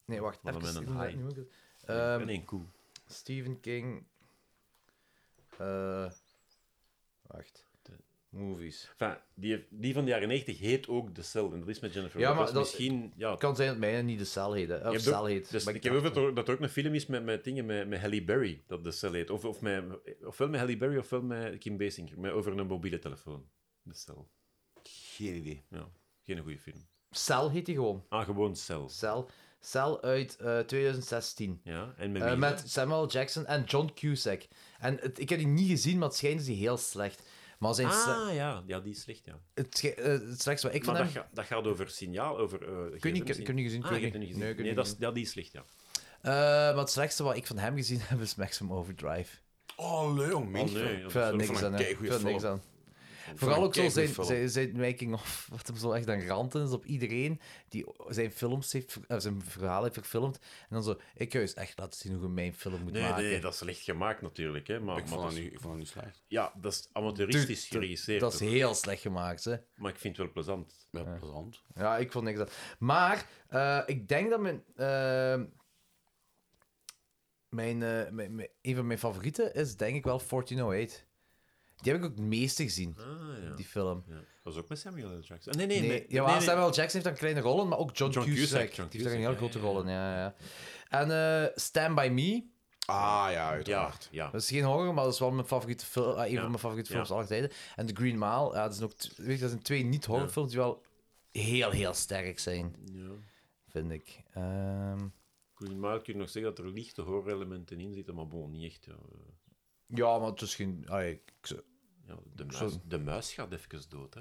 [SPEAKER 3] Nee, wacht.
[SPEAKER 4] Wat een
[SPEAKER 3] even,
[SPEAKER 4] man
[SPEAKER 3] ik moet-
[SPEAKER 4] high.
[SPEAKER 3] nu moet ik het-
[SPEAKER 4] Um,
[SPEAKER 3] Ehm,
[SPEAKER 4] en één koe.
[SPEAKER 3] Stephen King. Eh, wacht. Movies.
[SPEAKER 4] Enfin, die, die van de jaren 90 heet ook The Cell en dat is met Jennifer
[SPEAKER 3] Ja,
[SPEAKER 4] Lopez.
[SPEAKER 3] maar dat-
[SPEAKER 4] misschien, ja,
[SPEAKER 3] Het kan zijn dat mij niet de cel heet. hè. Of
[SPEAKER 4] Je hebt ook-
[SPEAKER 3] cel heet.
[SPEAKER 4] Dus
[SPEAKER 3] maar
[SPEAKER 4] ik heb ook dat er, dat er ook een film is met, met dingen met, met Halle Berry, dat de cel heet. Of, of met, ofwel met Halle Berry ofwel met Kim Basinger, met, over een mobiele telefoon. De cel.
[SPEAKER 2] Geen idee.
[SPEAKER 4] Ja, geen goede film.
[SPEAKER 3] Cel heet die gewoon.
[SPEAKER 4] Ah, gewoon cel.
[SPEAKER 3] Cel. Cel uit eh, 2016.
[SPEAKER 4] Ja, en met,
[SPEAKER 3] Eh,
[SPEAKER 4] wie?
[SPEAKER 3] met Samuel L. Jackson en John Cusack. En het- ik heb die niet gezien, maar het schijnt is die heel slecht. Maar zijn sle-
[SPEAKER 4] Ah, ja. ja, die is slecht, ja.
[SPEAKER 3] het, sche- eh, het slechtste wat ik van
[SPEAKER 4] Maar
[SPEAKER 3] hem...
[SPEAKER 4] dat, ga- dat gaat over signaal, over... eh
[SPEAKER 3] Ik weet niet, ik heb-
[SPEAKER 4] gsm-signaal.
[SPEAKER 3] ik heb niet gezien. ik
[SPEAKER 4] Ah,
[SPEAKER 3] weet
[SPEAKER 4] je hebt het niet gezien.
[SPEAKER 3] Nee,
[SPEAKER 4] Nee,
[SPEAKER 3] ik heb het
[SPEAKER 4] dat,
[SPEAKER 3] niet
[SPEAKER 4] is, ja, die is slecht, ja.
[SPEAKER 3] gezien. Eh, maar het slechtste wat ik van hem gezien heb, is Maximum Overdrive.
[SPEAKER 2] Oh, leuk, jong, meen
[SPEAKER 4] Oh,
[SPEAKER 2] je
[SPEAKER 4] nee,
[SPEAKER 2] wel?
[SPEAKER 4] dat
[SPEAKER 3] Ik vind
[SPEAKER 4] is
[SPEAKER 3] daar
[SPEAKER 4] wel-
[SPEAKER 3] niks
[SPEAKER 2] een
[SPEAKER 3] aan. hè. Ik
[SPEAKER 2] keigoeie
[SPEAKER 3] vind daar niks
[SPEAKER 2] film.
[SPEAKER 3] aan. Vooral ook zo
[SPEAKER 2] keigoeie film.
[SPEAKER 3] zijn, zijn, zijn making-of, wat hem zo echt aan ranten is op iedereen die zijn films heeft, ver- eh, zijn verhaal heeft verfilmd. En dan zo, ik juist echt laten zien hoe je mijn film moet
[SPEAKER 4] Nee,
[SPEAKER 3] maken.
[SPEAKER 4] nee, dat is slecht gemaakt natuurlijk, hè. Maar,
[SPEAKER 2] Ik
[SPEAKER 4] maar
[SPEAKER 2] vond
[SPEAKER 4] dat
[SPEAKER 2] dat
[SPEAKER 4] is-
[SPEAKER 2] niet- ik vond dat niet slecht.
[SPEAKER 4] Ja, dat is
[SPEAKER 3] Tuurlijk,
[SPEAKER 4] amateuristisch geregisseerd.
[SPEAKER 3] dat is
[SPEAKER 4] ook.
[SPEAKER 3] heel slecht gemaakt, hè.
[SPEAKER 4] Maar ik vind het wel plezant.
[SPEAKER 2] Ja, plezant.
[SPEAKER 3] Ja, ik vond niks aan. Maar eh, ik denk dat mijn, eh, mijn, eh, mijn, mijn- een van mijn favorieten is denk ik wel 1408. Die heb ik ook het meeste gezien,
[SPEAKER 4] Ah, ja.
[SPEAKER 3] die film.
[SPEAKER 4] Ja. Dat is ook met Samuel L. Jackson. Ah, Nee, nee,
[SPEAKER 3] Nee,
[SPEAKER 4] met-
[SPEAKER 3] ja,
[SPEAKER 4] nee, nee.
[SPEAKER 3] Samuel Jackson heeft dan kleine rollen, maar ook John,
[SPEAKER 4] John
[SPEAKER 3] Cusack.
[SPEAKER 4] Cusack, John
[SPEAKER 3] Die heeft daar
[SPEAKER 4] Cusack,
[SPEAKER 3] een heel
[SPEAKER 4] ja,
[SPEAKER 3] grote
[SPEAKER 4] ja,
[SPEAKER 3] rol in, ja, ja. En eh, Stand By Me,
[SPEAKER 2] Ah, ja,
[SPEAKER 4] Ja,
[SPEAKER 2] uiteraard.
[SPEAKER 4] ja.
[SPEAKER 3] dat is geen horror, maar dat is wel mijn favoriete film, eh, een
[SPEAKER 4] Ja,
[SPEAKER 3] van mijn favoriete films
[SPEAKER 4] ja.
[SPEAKER 3] aller tijden. En The Green Mile, ja, dat, zijn ook t- weet je, dat zijn twee niet-horrorfilms die wel heel, heel sterk zijn,
[SPEAKER 4] ja.
[SPEAKER 3] vind ik. Ehm,
[SPEAKER 4] Green Mile kun je nog zeggen dat er lichte horrorelementen in zitten, maar bon, niet echt. ja.
[SPEAKER 3] Ja, maar het is geen. ah, ik- ik zou-
[SPEAKER 4] Ja, de,
[SPEAKER 3] zou-
[SPEAKER 4] muis, de muis gaat even dood, hè.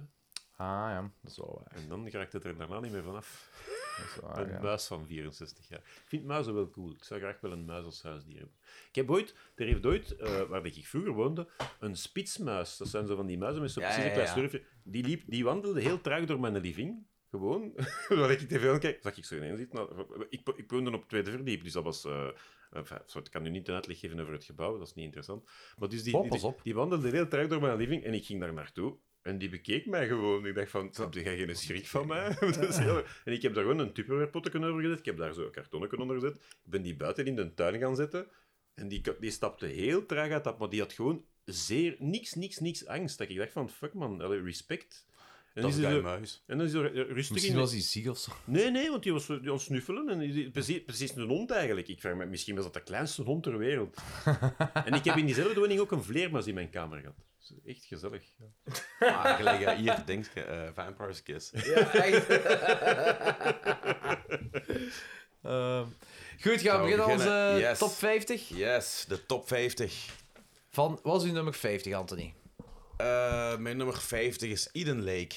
[SPEAKER 3] Ah ja, dat is wel waar.
[SPEAKER 4] En dan raakt het er daarna niet meer vanaf.
[SPEAKER 3] Dat is wel
[SPEAKER 4] een
[SPEAKER 3] waar Ah, ja.
[SPEAKER 4] muis van 64 jaar. Ik vind muizen wel cool. Ik zou graag wel een muis als huisdier hebben. Ik heb ooit, er heeft ooit, eh, waar ik vroeger woonde, een spitsmuis. Dat zijn zo van die muizen met zo'n
[SPEAKER 3] Ja,
[SPEAKER 4] precies een
[SPEAKER 3] ja,
[SPEAKER 4] klein
[SPEAKER 3] ja.
[SPEAKER 4] slurfje. Die, liep, die wandelde heel traag door mijn living. Gewoon, terwijl ik tv aan het kijken, zag ik zo ineens zitten. Nou, ik, ik woonde op het tweede verdiep, dus dat was... eh, enfin, sorry, ik kan nu niet een uitleg geven over het gebouw, dat is niet interessant. Maar dus die,
[SPEAKER 3] Oh, pas
[SPEAKER 4] die,
[SPEAKER 3] op.
[SPEAKER 4] die wandelde heel traag door mijn living en ik ging daar naartoe. En die bekeek mij gewoon. Ik dacht van, heb jij geen schrik van mij? Dat is heel- En ik heb daar gewoon een tupperwarepotje over gezet. Ik heb daar zo een kartonnetje onder gezet. Ik ben die buiten in de tuin gaan zetten. En die, die stapte heel traag uit dat, maar die had gewoon zeer niks, niks, niks angst. Dat ik dacht van, fuck man, allee, respect. En
[SPEAKER 2] Dat is
[SPEAKER 4] die
[SPEAKER 2] een
[SPEAKER 4] zo-
[SPEAKER 2] muis.
[SPEAKER 4] en dan is er eh, rustig
[SPEAKER 3] Misschien
[SPEAKER 4] in.
[SPEAKER 3] was hij ziek of zo.
[SPEAKER 4] Nee, nee, want die was eh, die aan het snuffelen. En die- precies, precies een hond eigenlijk. Ik vraag me, misschien was dat de kleinste hond ter wereld. en ik heb in diezelfde woning ook een vleermuis in mijn kamer gehad. Dus echt gezellig.
[SPEAKER 2] Maar gelijk, eh, hier, denk je, eh, Vampire's Kiss.
[SPEAKER 3] Ja, echt. Ehm, goed, gaan
[SPEAKER 2] we
[SPEAKER 3] we beginnen aan
[SPEAKER 2] beginnen?
[SPEAKER 3] onze
[SPEAKER 2] Yes.
[SPEAKER 3] top 50.
[SPEAKER 2] Yes, de top 50.
[SPEAKER 3] Van, wat is uw nummer 50, Anthony?
[SPEAKER 2] Eh, mijn nummer 50 is Eden Lake.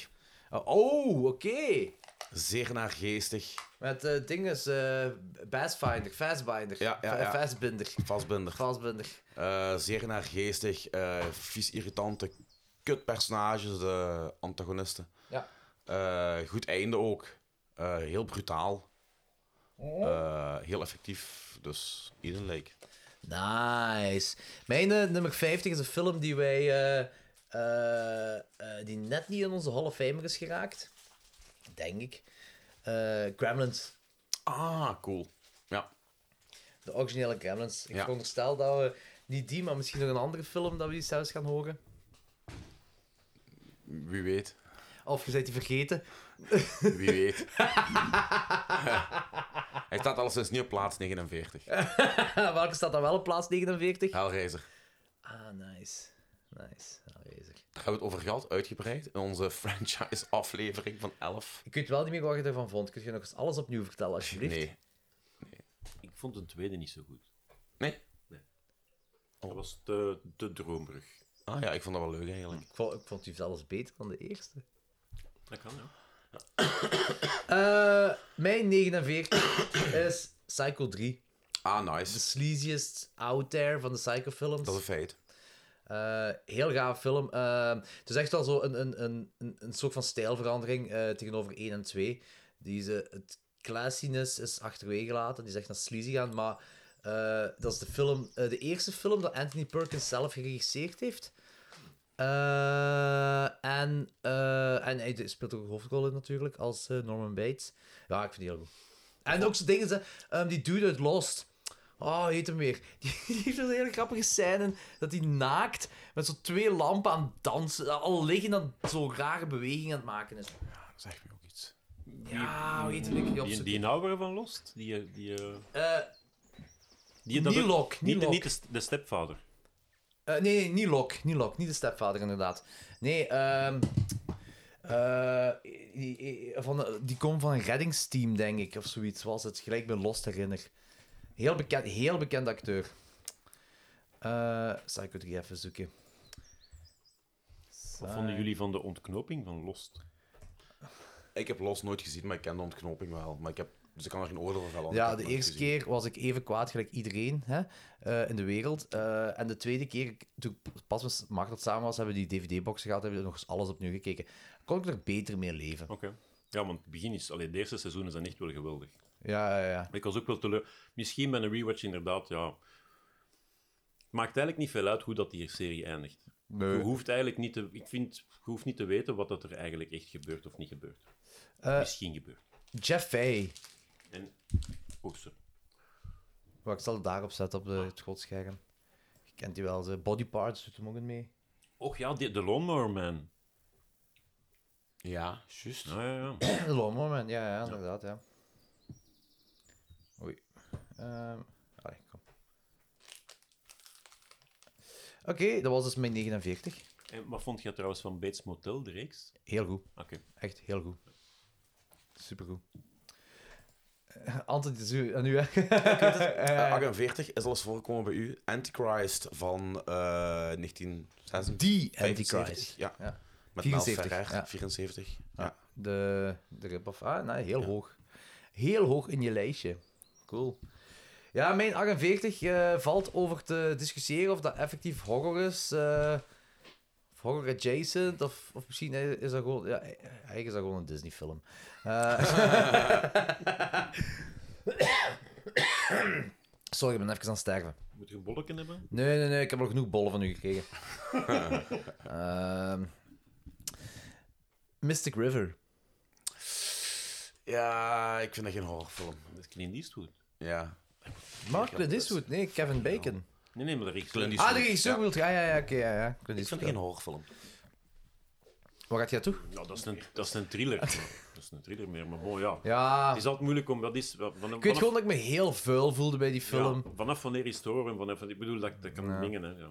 [SPEAKER 3] Oh, oké.
[SPEAKER 2] Zeer naargeestig.
[SPEAKER 3] Met eh dingen is eh Bassfinder, Fastbinder.
[SPEAKER 2] Ja, ja, ja.
[SPEAKER 3] Fa- Fastbinder.
[SPEAKER 2] Vastbinder.
[SPEAKER 3] Fastbinder.
[SPEAKER 2] Eh, zeer naargeestig, eh, vies irritante kutpersonages, de antagonisten.
[SPEAKER 3] Ja.
[SPEAKER 2] Eh, goed einde ook. Eh, heel brutaal. Eh, heel effectief. Dus Eden Lake.
[SPEAKER 3] Nice. Mijn eh, nummer 50 is een film die wij... eh, eh, eh, die net niet in onze Hall of Famer is geraakt. Denk ik. Eh Gremlins.
[SPEAKER 2] Ah, cool. Ja.
[SPEAKER 3] De originele Gremlins. Ik
[SPEAKER 2] Ja.
[SPEAKER 3] veronderstel dat we niet die, maar misschien nog een andere film dat we die zelfs gaan horen.
[SPEAKER 2] Wie weet.
[SPEAKER 3] Of je bent die vergeten.
[SPEAKER 2] Wie weet. Hij staat al sinds niet op plaats 49.
[SPEAKER 3] Welke staat dan wel op plaats 49?
[SPEAKER 2] Hellraiser.
[SPEAKER 3] Ah, nice. Nice. Aanwezig.
[SPEAKER 2] Daar hebben we het over gehad, uitgebreid, in onze franchise-aflevering van 11.
[SPEAKER 3] Ik weet wel niet meer wat je ervan vond. Kun je nog eens alles opnieuw vertellen, alsjeblieft?
[SPEAKER 2] Nee.
[SPEAKER 7] Ik vond een tweede niet zo goed.
[SPEAKER 2] Nee?
[SPEAKER 4] Dat was de, de droombrug.
[SPEAKER 2] Ah ja, ik vond dat wel leuk eigenlijk.
[SPEAKER 3] Ik vond, ik vond die zelfs beter dan de eerste.
[SPEAKER 7] Dat kan, ja.
[SPEAKER 3] Eh, mijn 49 is Psycho 3.
[SPEAKER 2] Ah,
[SPEAKER 3] De
[SPEAKER 2] nice.
[SPEAKER 3] sleaziest out there van de Psycho films.
[SPEAKER 2] Dat is een feit.
[SPEAKER 3] Eh, heel gaaf film. Eh, het is echt wel zo een, een, een, een, een soort van stijlverandering eh, tegenover 1 en 2. Die ze, het classiness is achterwege gelaten. Die is echt naar sleazy gaan. Maar eh, dat is de, film, eh, de eerste film dat Anthony Perkins zelf geregisseerd heeft. Eh, en, eh, en hij speelt ook een hoofdrol in natuurlijk, als eh, Norman Bates. Ja, ik vind die heel goed. En ook zo'n dingen, ze- ehm, die dude uit Lost. Oh, hoe heet hem weer. Die, die heeft een hele grappige scène dat hij naakt met zo'n twee lampen aan het dansen, al liggen dan zo'n rare beweging aan het maken is.
[SPEAKER 2] Dat zegt me ook iets.
[SPEAKER 3] Ja, hoe heet hem weer?
[SPEAKER 7] Die, die
[SPEAKER 4] nou
[SPEAKER 7] nauwere van Lost? Die, die, eh,
[SPEAKER 3] Eh,
[SPEAKER 7] die dat ook-
[SPEAKER 3] Nilok.
[SPEAKER 7] Niet,
[SPEAKER 3] Nilok.
[SPEAKER 7] niet de, st- de stepvader.
[SPEAKER 3] Eh, nee, nee, niet Lok. Niet Lok. Niet de stepvader, inderdaad. Nee, ehm... eh, die, die- van, de- die komt van een reddingsteam, denk ik, of zoiets was het. Gelijk bij Lost herinner. Heel bekend, heel bekend acteur. Eh Psycho 3 even zoeken.
[SPEAKER 7] Wat
[SPEAKER 3] Ah,
[SPEAKER 7] vonden jullie van de ontknoping van Lost?
[SPEAKER 2] Ik heb Los nooit gezien, maar ik ken de ontknoping wel. Maar ik heb, dus ik kan er geen oordeel over vellen.
[SPEAKER 3] Ja, de eerste keer was ik even kwaad gelijk iedereen hè, eh, in de wereld. Eh, en de tweede keer, toen ik pas met Margaret samen was, hebben we die DVD-boxen gehad, hebben we nog eens alles opnieuw gekeken. Kon ik er beter mee leven.
[SPEAKER 7] Oké. Ja, want het begin is... Allee, de eerste seizoenen zijn echt wel geweldig.
[SPEAKER 3] Ja, ja, ja.
[SPEAKER 7] Ik was ook wel teleur... Misschien bij een rewatch inderdaad, ja... Het maakt eigenlijk niet veel uit hoe dat die serie eindigt. Je hoeft eigenlijk niet te... Ik vind... Je hoeft niet te weten wat dat er eigenlijk echt gebeurt of niet gebeurt.
[SPEAKER 3] Eh,
[SPEAKER 7] Misschien gebeurt.
[SPEAKER 3] Jeff Fay.
[SPEAKER 7] En... Oh, sorry.
[SPEAKER 3] Wacht, ik zal het daarop zetten op de, het grootscherm. Je kent die wel, ze body parts doet hem ook in mee.
[SPEAKER 7] Och ja, die- de Lawnmower Man.
[SPEAKER 2] Ja, juist.
[SPEAKER 7] Ja, ja, ja.
[SPEAKER 3] De Lawnmower Man, ja, ja, inderdaad, ja. Oei. Ehm, allee, kom. Oké, dat was dus mijn 49.
[SPEAKER 7] En wat vond je trouwens van Bates Motel, de reeks?
[SPEAKER 3] Heel goed.
[SPEAKER 7] Oké.
[SPEAKER 3] Echt heel goed. Supergoed. Eh, Anton, het is u, aan u, hè?
[SPEAKER 2] Eh, 48 is al eens voorgekomen bij u. Antichrist van eh 1976.
[SPEAKER 3] Die Antichrist.
[SPEAKER 2] Ja.
[SPEAKER 3] Ja.
[SPEAKER 2] Met
[SPEAKER 3] 74,
[SPEAKER 2] 74,
[SPEAKER 3] ja.
[SPEAKER 2] 74. Ja.
[SPEAKER 3] Ja, de, de rip-off. Ah, nee, heel hoog. Heel hoog in je lijstje. Cool. Ja, mijn 48 eh, valt over te discussiëren of dat effectief horror is. eh, of horror adjacent. Of, of misschien is dat gewoon... Ja, eigenlijk is dat gewoon een Eh, Disney film. Sorry, ik ben even aan het sterven.
[SPEAKER 7] Moet je een bolletje hebben?
[SPEAKER 3] Nee, nee, nee, ik heb al genoeg bollen van u gekregen. Ehm, Mystic River.
[SPEAKER 2] ja, ik vind dat geen horrorfilm.
[SPEAKER 7] Dat is Clint Eastwood.
[SPEAKER 2] Ja.
[SPEAKER 3] Mark Clint Eastwood, nee, Kevin Bacon.
[SPEAKER 7] Nee, nee, maar de reeks.
[SPEAKER 2] Clint
[SPEAKER 3] Ah,
[SPEAKER 2] Eastwood.
[SPEAKER 3] de regisseur bedoelt... Ja, ja, ja, oké, ja, ja. Clint
[SPEAKER 2] Ik vind
[SPEAKER 3] Eastwood.
[SPEAKER 2] het geen horrorfilm.
[SPEAKER 3] Waar gaat hij toe?
[SPEAKER 7] Ja, Nou, dat is een, dat is een thriller. dat is een thriller meer, maar bon, ja.
[SPEAKER 3] Ja,
[SPEAKER 7] Het is altijd moeilijk om... Dat is, van,
[SPEAKER 3] Ah. ik weet gewoon dat ik me heel vuil voelde bij die
[SPEAKER 7] ja,
[SPEAKER 3] film.
[SPEAKER 7] vanaf wanneer is het horror en vanaf... Ik bedoel, dat, dat kan
[SPEAKER 3] Ja.
[SPEAKER 7] dingen, hè. Ja.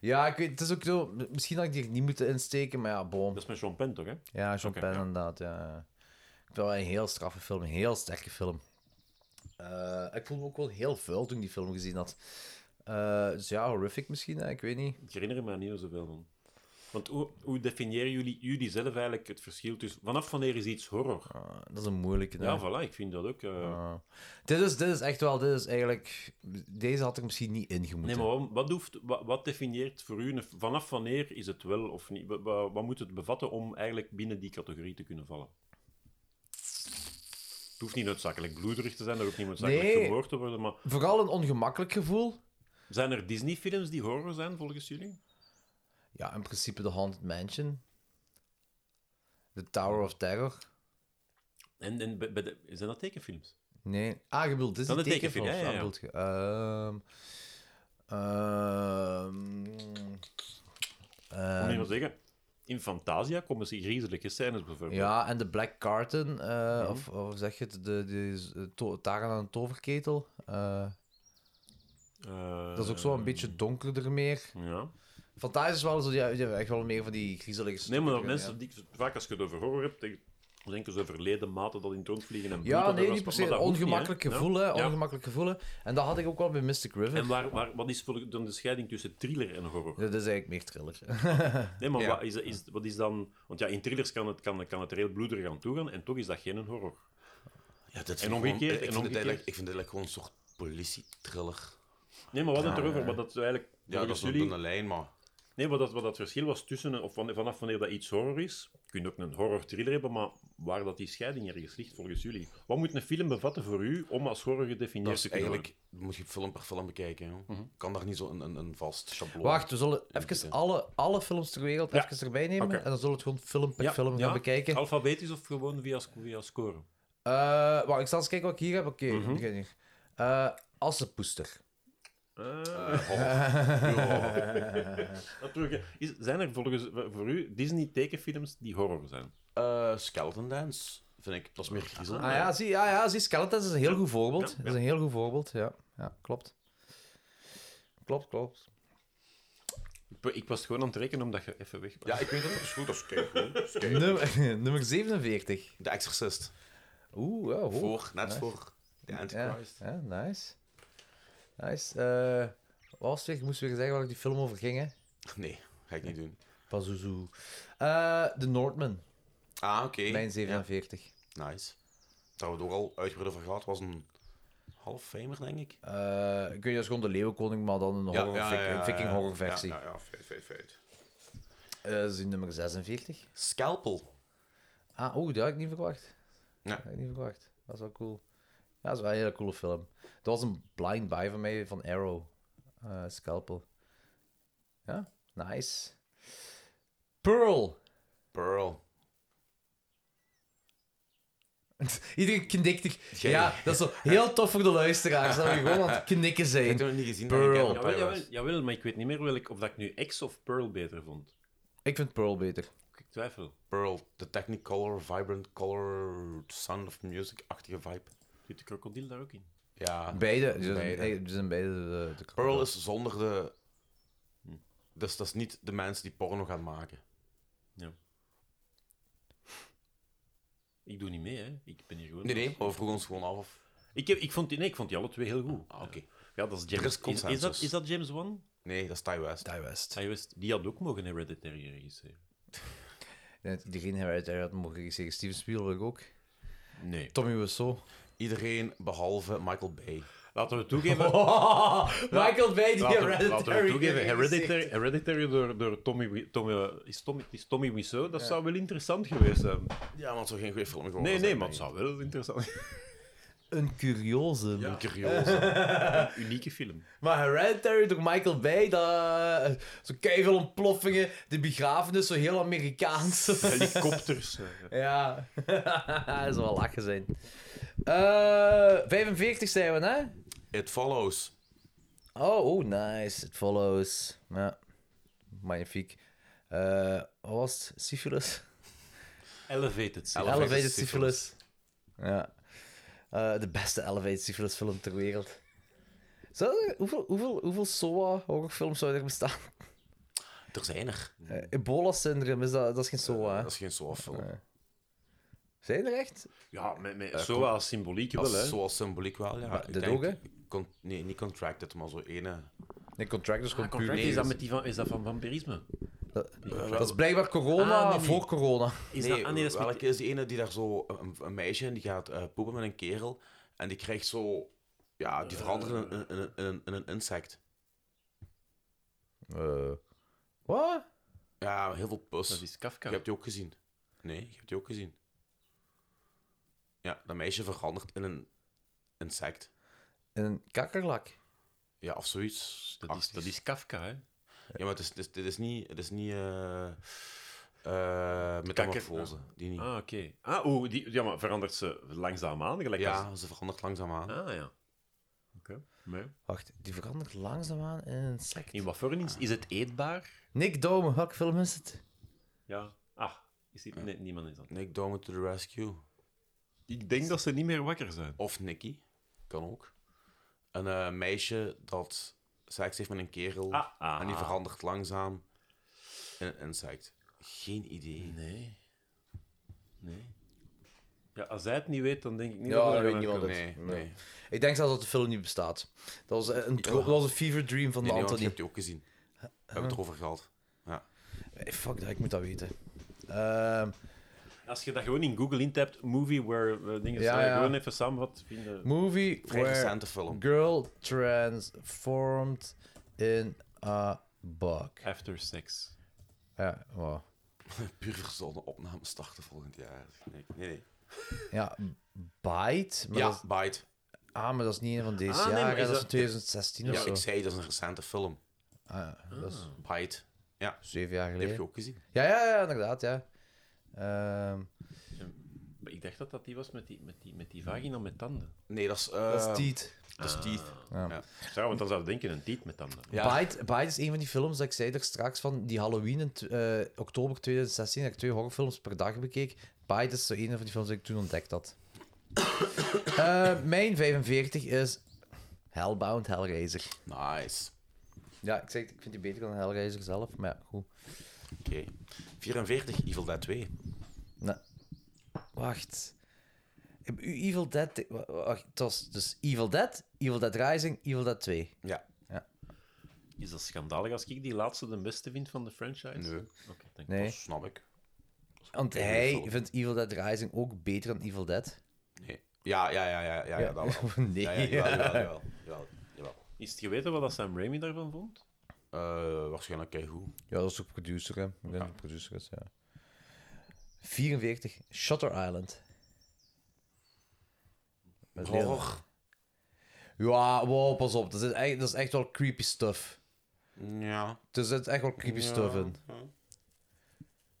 [SPEAKER 3] Ja, ik weet, het is ook zo... Misschien had ik die er niet moeten insteken, maar ja, boom.
[SPEAKER 7] Dat is met Sean Penn, toch, hè?
[SPEAKER 3] Ja, Sean
[SPEAKER 7] Oké,
[SPEAKER 3] Penn,
[SPEAKER 7] ja.
[SPEAKER 3] inderdaad. Ja. ja. Ik vind wel een heel straffe film, een heel sterke film. Eh, ik voelde me ook wel heel vuil toen ik die film gezien had. Eh, dus ja, horrific misschien, hè, ik weet niet.
[SPEAKER 7] Ik herinner me er niet meer zoveel van.
[SPEAKER 4] Want hoe, hoe definiëren jullie, jullie zelf eigenlijk het verschil tussen... Vanaf wanneer is iets horror?
[SPEAKER 3] Ah, dat is een moeilijke. hè.
[SPEAKER 4] Ja, voilà, ik vind dat ook... eh,
[SPEAKER 3] Ah. dit, is, dit is echt wel, dit is eigenlijk... Deze had ik misschien niet
[SPEAKER 4] Nee,
[SPEAKER 3] ingemoeten.
[SPEAKER 4] maar wat, wat, hoeft, wat, wat definieert voor u, een- vanaf wanneer is het wel of niet? Wa- wa- Wat, moet het bevatten om eigenlijk binnen die categorie te kunnen vallen? Het hoeft niet noodzakelijk bloederig te zijn, er hoeft niet noodzakelijk
[SPEAKER 3] Nee.
[SPEAKER 4] vermoord te worden, maar
[SPEAKER 3] Vooral een ongemakkelijk gevoel.
[SPEAKER 4] zijn er Disney-films die horror zijn, volgens jullie?
[SPEAKER 3] Ja, in principe de Haunted Mansion. The Tower of Terror.
[SPEAKER 4] En, en bij- bij de- zijn dat tekenfilms?
[SPEAKER 3] Nee. Ah, je bedoelt Disney
[SPEAKER 4] Dan de tekenfilm,
[SPEAKER 3] tekenfilms.
[SPEAKER 4] ja, ja, ja.
[SPEAKER 3] Dat bedoelt je. Ehm, ehm,
[SPEAKER 4] Om
[SPEAKER 3] ehm,
[SPEAKER 4] niet wat te zeggen, in Fantasia komen ze griezelige scènes
[SPEAKER 3] ehm,
[SPEAKER 4] bijvoorbeeld.
[SPEAKER 3] ja, en de Black Carton. eh,
[SPEAKER 4] Mhm.
[SPEAKER 3] of, of hoe zeg je het? De, de, to- Taran aan de toverketel. Eh,
[SPEAKER 4] Eh,
[SPEAKER 3] dat is ook zo een beetje donkerder meer.
[SPEAKER 4] Ja.
[SPEAKER 3] Fantasie is wel zo, ja, ja, echt wel meer van die griezelige
[SPEAKER 4] Nee, maar dat
[SPEAKER 3] stukken,
[SPEAKER 4] mensen,
[SPEAKER 3] ja.
[SPEAKER 4] die, vaak als je het over horror hebt, denk- denken ze verleden mate dat in het rond vliegen en bloed
[SPEAKER 3] Ja,
[SPEAKER 4] en
[SPEAKER 3] nee, niet
[SPEAKER 4] dat
[SPEAKER 3] per
[SPEAKER 4] was-
[SPEAKER 3] se.
[SPEAKER 4] maar dat hoeft niet, hè.
[SPEAKER 3] Ongemakkelijk
[SPEAKER 4] Ja.
[SPEAKER 3] gevoel, hè.
[SPEAKER 4] Ja.
[SPEAKER 3] Ongemakkelijk gevoel, hè. En dat had ik ook wel bij Mystic River.
[SPEAKER 4] En waar, waar, wat is volgens- dan de scheiding tussen thriller en horror?
[SPEAKER 3] Dat is eigenlijk meer thriller.
[SPEAKER 4] Nee, maar wat, is, is, wat is dan... Want ja, in thrillers kan het, kan, kan het er heel bloederig aan toe gaan, en toch is dat geen een horror.
[SPEAKER 2] Ja, dit is
[SPEAKER 4] En
[SPEAKER 2] gewoon-
[SPEAKER 4] omgekeerd,
[SPEAKER 2] ik,
[SPEAKER 4] en
[SPEAKER 2] vind het eigenlijk-
[SPEAKER 4] omgekeerd.
[SPEAKER 2] ik vind het eigenlijk gewoon een soort politietriller.
[SPEAKER 4] Nee, maar wat het erover, wat dat eigenlijk...
[SPEAKER 2] Ja, dat
[SPEAKER 4] volgens
[SPEAKER 2] is een
[SPEAKER 4] jullie-
[SPEAKER 2] dunne lijn, maar...
[SPEAKER 4] Nee, wat dat, wat dat verschil was tussen... een- Of van- vanaf wanneer dat iets horror is, kun je ook een horror-thriller hebben, maar waar dat die scheiding ergens ligt, volgens jullie. Wat moet een film bevatten voor u om als horror
[SPEAKER 2] Dat
[SPEAKER 4] gedefinieerd
[SPEAKER 2] is Mhm.
[SPEAKER 4] te kunnen worden?
[SPEAKER 2] eigenlijk... Moet je film per film bekijken, joh. Kan daar niet zo een, een, een vast schabloon...
[SPEAKER 3] Wacht, we zullen even alle, alle films ter wereld
[SPEAKER 4] Ja.
[SPEAKER 3] even erbij nemen.
[SPEAKER 4] Oké. Oh.
[SPEAKER 3] En dan zullen we het gewoon film per film gaan bekijken.
[SPEAKER 4] Alfabetisch of gewoon via, sc- via score?
[SPEAKER 3] Eh, wacht, ik zal eens kijken wat ik hier heb. Oké,
[SPEAKER 4] Mhm.
[SPEAKER 3] ik weet niet. Eh, Assenpoester.
[SPEAKER 2] eh,
[SPEAKER 4] Natuurlijk, is, zijn er volgens voor u Disney-tekenfilms die horror zijn?
[SPEAKER 2] Eh, skeleton Dance, vind ik. Dat is meer griezel.
[SPEAKER 3] Ah ja, zie, ja, ja, zie Skeletons is een heel goed voorbeeld. Dat is een heel goed voorbeeld, ja. Ja, klopt. Klopt, klopt.
[SPEAKER 4] Ik, ik was gewoon aan het rekenen omdat je even weg was.
[SPEAKER 2] Ja, ik weet dat. Dat is goed, dat is kijk
[SPEAKER 3] Nummer, nummer 47.
[SPEAKER 2] De Exorcist.
[SPEAKER 3] Oeh, ja, hoog.
[SPEAKER 2] Voor, net voor. De
[SPEAKER 3] Ja,
[SPEAKER 2] Antichrist.
[SPEAKER 3] ja, nice. Nice. Eh, wat was het weer? Ik moest weer zeggen waar die film over ging, hè.
[SPEAKER 2] Nee, ga ik niet doen.
[SPEAKER 3] Pazuzu. Eh The Northman,
[SPEAKER 2] Ah, oké.
[SPEAKER 3] mijn 47.
[SPEAKER 2] Ja, nice. Daar hebben we het ook al uitgebreid over gehad. was een half famer, denk ik.
[SPEAKER 3] Eh, ik weet dat is gewoon de Leeuwenkoning, maar dan een horror, vik- een viking horror versie.
[SPEAKER 2] Ja, ja, ja, feit, feit, feit.
[SPEAKER 3] Eh, dat is die nummer 46.
[SPEAKER 2] Scalpel.
[SPEAKER 3] Ah, oeh, dat had ik niet verwacht.
[SPEAKER 2] Ja.
[SPEAKER 3] Dat had ik niet verwacht. Dat is wel cool. Ja, dat is wel een hele coole film. Dat was een blind buy van mij, van Arrow. Eh, Scalpel. Ja, nice. Pearl.
[SPEAKER 2] Pearl.
[SPEAKER 3] Iedereen knikt. ik. Ja, dat is zo heel tof voor de luisteraars. Dat we gewoon aan het knikken
[SPEAKER 2] Ik heb
[SPEAKER 3] zijn.
[SPEAKER 2] het nog niet gezien.
[SPEAKER 3] Pearl.
[SPEAKER 2] denk ik, hè, op
[SPEAKER 4] Jawel,
[SPEAKER 2] iOS.
[SPEAKER 4] jawel, jawel, maar ik weet niet meer welk, of dat ik nu X of Pearl beter vond.
[SPEAKER 3] Ik vind Pearl beter.
[SPEAKER 4] Ik twijfel.
[SPEAKER 2] Pearl. De Technicolor, Vibrant Color, Sound of Music-achtige vibe.
[SPEAKER 4] Zit de krokodil daar ook in?
[SPEAKER 2] Ja.
[SPEAKER 3] Ah, Beide. Ze zijn
[SPEAKER 2] Beide.
[SPEAKER 3] nee, ze zijn beide de, de
[SPEAKER 2] Pearl is zonder de... Dus dat is niet de mensen die porno gaan maken.
[SPEAKER 4] Ik doe niet mee, hè. Ik ben hier gewoon...
[SPEAKER 2] Nee, nee. Maar we vroegen ons gewoon af of...
[SPEAKER 4] Ik, heb, ik, vond die, nee, ik vond die alle twee heel goed.
[SPEAKER 2] Ah, oké.
[SPEAKER 4] Ja, dat is
[SPEAKER 2] Er is
[SPEAKER 4] James... Is, is, dat,
[SPEAKER 2] consensus.
[SPEAKER 4] is dat James Wan?
[SPEAKER 2] Nee, dat is Ty West.
[SPEAKER 3] Die West.
[SPEAKER 4] Hij was, Ah, die had ook mogen Hereditary regisseren.
[SPEAKER 3] Net Iedereen heeft uit mogen ik zeggen. Steven Spielberg ook.
[SPEAKER 4] Nee.
[SPEAKER 3] Tommy Wiseau.
[SPEAKER 2] Iedereen behalve Michael Bay.
[SPEAKER 4] Laten we toegeven...
[SPEAKER 3] Michael Bay die
[SPEAKER 4] Laten we, laten we
[SPEAKER 3] Hereditary
[SPEAKER 4] toegeven,
[SPEAKER 3] heeft
[SPEAKER 4] Oh, Hereditary, Hereditary door, door Tommy, Wi- Tommy, eh, is Tommy, is Tommy Wiseau, dat zou wel interessant geweest zijn.
[SPEAKER 2] Ja, maar het zou geen goede film geworden
[SPEAKER 4] Nee,
[SPEAKER 2] zijn,
[SPEAKER 4] nee, maar het
[SPEAKER 2] denk
[SPEAKER 4] Oh, zou wel interessant
[SPEAKER 3] Een curioze.
[SPEAKER 2] ik. Een curioze.
[SPEAKER 4] eh, Unieke film.
[SPEAKER 3] Maar Hereditary door Michael Bay, dat... Zo keiveel ontploffingen, de begrafenis, zo heel Amerikaans.
[SPEAKER 4] Helikopters. eh.
[SPEAKER 3] Ja, dat zou wel lachen zijn. Eh, 45 zijn we, hè?
[SPEAKER 2] It Follows.
[SPEAKER 3] Oh, oh, nice. It follows. Ja, magnifiek. Eh wat was het? Syphilis?
[SPEAKER 4] Elevated.
[SPEAKER 2] Elevated
[SPEAKER 3] Elevated syphilis. Ja. Eh, de beste Elevated syphilis film ter wereld. Zou er- hoeveel, hoeveel, hoeveel SOA horrorfilms zou er bestaan?
[SPEAKER 2] Er zijn er.
[SPEAKER 3] Eh, Ebola-syndroom, is dat, dat is geen SOA, hè?
[SPEAKER 2] Dat is geen SOA-film.
[SPEAKER 3] Zijn er echt?
[SPEAKER 4] Ja, met, met, zo als symboliek wel,
[SPEAKER 2] dat is
[SPEAKER 4] hè.
[SPEAKER 2] zoals symboliek wel, ja.
[SPEAKER 3] Maar
[SPEAKER 2] Ik
[SPEAKER 3] dat
[SPEAKER 2] denk-
[SPEAKER 3] ook, hè?
[SPEAKER 2] con- nee, niet Contracted, maar zo ene...
[SPEAKER 3] Nee, Contractors komt
[SPEAKER 4] Ah, Contract, is, dat met die van, is dat van vampirisme?
[SPEAKER 3] Dat is blijkbaar corona
[SPEAKER 2] Ah, nee, nee.
[SPEAKER 3] voor corona.
[SPEAKER 4] Is
[SPEAKER 2] nee,
[SPEAKER 4] dat, ah, nee, dat is met-
[SPEAKER 2] welke is die ene die daar zo... Een, een meisje en die gaat eh, poepen met een kerel. En die krijgt zo... Ja, die veranderen in, in, in, in, in een insect.
[SPEAKER 3] Eh, wat?
[SPEAKER 2] Ja, heel veel pus.
[SPEAKER 15] Dat is Kafka.
[SPEAKER 2] Je hebt die ook gezien. Nee, je hebt die ook gezien. Ja, dat meisje verandert in een insect.
[SPEAKER 3] In een kakkerlak.
[SPEAKER 2] Ja, of zoiets.
[SPEAKER 15] Dat is,
[SPEAKER 4] dus-
[SPEAKER 15] dat is Kafka, hè?
[SPEAKER 2] Ja, maar het is, het is, dit is niet... Het is niet eh eh metamorfose. Die niet.
[SPEAKER 4] Ah, oké. Ah, oeh, die, ja, maar verandert ze langzaamaan? Gelijk
[SPEAKER 2] Ja, ze verandert langzaam aan.
[SPEAKER 4] als- Ah, ja. Oké. Nee.
[SPEAKER 3] Wacht, die verandert langzaamaan in een insect.
[SPEAKER 4] In wat voor een ins- Is het eetbaar?
[SPEAKER 3] Nick Dome, welke film is het?
[SPEAKER 4] Ja. Ah, is die... nee, niemand is dat.
[SPEAKER 2] Nick Dome to the rescue.
[SPEAKER 4] Ik denk dat ze niet meer wakker zijn.
[SPEAKER 2] Of Nicky. Kan ook. Een eh, meisje dat seks heeft met een kerel.
[SPEAKER 4] Ah, ah.
[SPEAKER 2] En die verandert langzaam in een insect. Geen idee.
[SPEAKER 4] Nee. Nee. Ja, als zij het niet weet, dan denk ik niet
[SPEAKER 3] Ja,
[SPEAKER 4] dat we
[SPEAKER 3] dat
[SPEAKER 4] er
[SPEAKER 3] weet
[SPEAKER 4] gaan
[SPEAKER 3] niemand.
[SPEAKER 4] uitkomen.
[SPEAKER 2] Nee, nee.
[SPEAKER 3] Nee.
[SPEAKER 2] nee.
[SPEAKER 3] Ik denk zelfs dat de film niet bestaat. Dat was eh, een, dro- dat was een fever dream van
[SPEAKER 2] nee, want je
[SPEAKER 3] Anthony.
[SPEAKER 2] hebt die ook gezien. We hebben het erover gehad.
[SPEAKER 3] Eh, fuck dat, ik moet dat weten. Ehm,
[SPEAKER 4] Als je dat gewoon in Google intypt, movie where eh, dingen
[SPEAKER 3] Ja,
[SPEAKER 4] staan,
[SPEAKER 3] ja.
[SPEAKER 4] gewoon even samenvat vinden.
[SPEAKER 3] movie
[SPEAKER 2] Vrij
[SPEAKER 3] where
[SPEAKER 2] recente film.
[SPEAKER 3] girl transformed in a bug.
[SPEAKER 4] After sex.
[SPEAKER 3] Ja, wow.
[SPEAKER 2] Puur verzonnen opname starten volgend jaar. Nee, nee. nee.
[SPEAKER 3] ja Bite. Maar
[SPEAKER 2] Ja,
[SPEAKER 3] dat,
[SPEAKER 2] Bite.
[SPEAKER 3] ah, maar dat is niet een van deze
[SPEAKER 4] Ah, nee, maar
[SPEAKER 3] jaren.
[SPEAKER 4] is
[SPEAKER 3] dat is
[SPEAKER 4] dat-
[SPEAKER 3] 2016
[SPEAKER 2] Ja,
[SPEAKER 3] of zo.
[SPEAKER 2] ik zei dat is een recente film.
[SPEAKER 3] Ah, dat is
[SPEAKER 2] Bite.
[SPEAKER 3] zeven jaar
[SPEAKER 2] Die Ah. heb je
[SPEAKER 3] geleden.
[SPEAKER 2] ook gezien.
[SPEAKER 3] Ja, ja, ja, inderdaad, ja. Ehm,
[SPEAKER 4] Maar ik dacht dat dat die was met die, met die, met die vagina met tanden.
[SPEAKER 2] Nee, dat is... eh,
[SPEAKER 3] dat is Teeth.
[SPEAKER 2] Dat is Teeth.
[SPEAKER 4] Zou, want dan zou je denken, een tiet met tanden.
[SPEAKER 2] Ja.
[SPEAKER 3] Bite, Bite is een van die films dat ik zei er straks van die Halloween in t- eh, oktober 2016 dat ik twee horrorfilms per dag bekeek. Bite is zo een van die films die ik toen ontdekt had. Eh, mijn 45 is Hellbound Hellraiser.
[SPEAKER 2] Nice.
[SPEAKER 3] Ja, ik, zeg, het, ik vind die beter dan Hellraiser zelf, maar ja, goed.
[SPEAKER 2] Oké. 44, Evil Dead 2.
[SPEAKER 3] Wacht. Heb u Evil Dead... te- wa- wa- Wacht, het was dus Evil Dead, Evil Dead Rising, Evil Dead 2.
[SPEAKER 4] Is dat schandalig als ik die laatste de beste vind van de franchise?
[SPEAKER 2] Nee.
[SPEAKER 4] Oké, dank je.
[SPEAKER 3] Nee,
[SPEAKER 2] Dat snap ik.
[SPEAKER 3] want
[SPEAKER 2] geen
[SPEAKER 3] hij
[SPEAKER 2] film.
[SPEAKER 3] vindt Evil Dead Rising ook beter dan Evil Dead.
[SPEAKER 2] Nee. Ja, ja, ja, ja, ja, ja, dat wel.
[SPEAKER 3] nee.
[SPEAKER 2] Ja, ja, jawel, jawel, jawel, jawel, jawel.
[SPEAKER 4] Is het geweten wat dat Sam Raimi daarvan vond?
[SPEAKER 2] Eh, waarschijnlijk keigoed.
[SPEAKER 3] Ja, dat is ook producer, hè. Ik denk dat het producer is, ja. 44, Shutter Island. Met
[SPEAKER 2] Horror.
[SPEAKER 3] Leonardo- Ja, wow, pas op. Dat is, echt, dat is echt wel creepy stuff.
[SPEAKER 2] Ja,
[SPEAKER 3] Er zit echt wel creepy stuff in.
[SPEAKER 2] ja.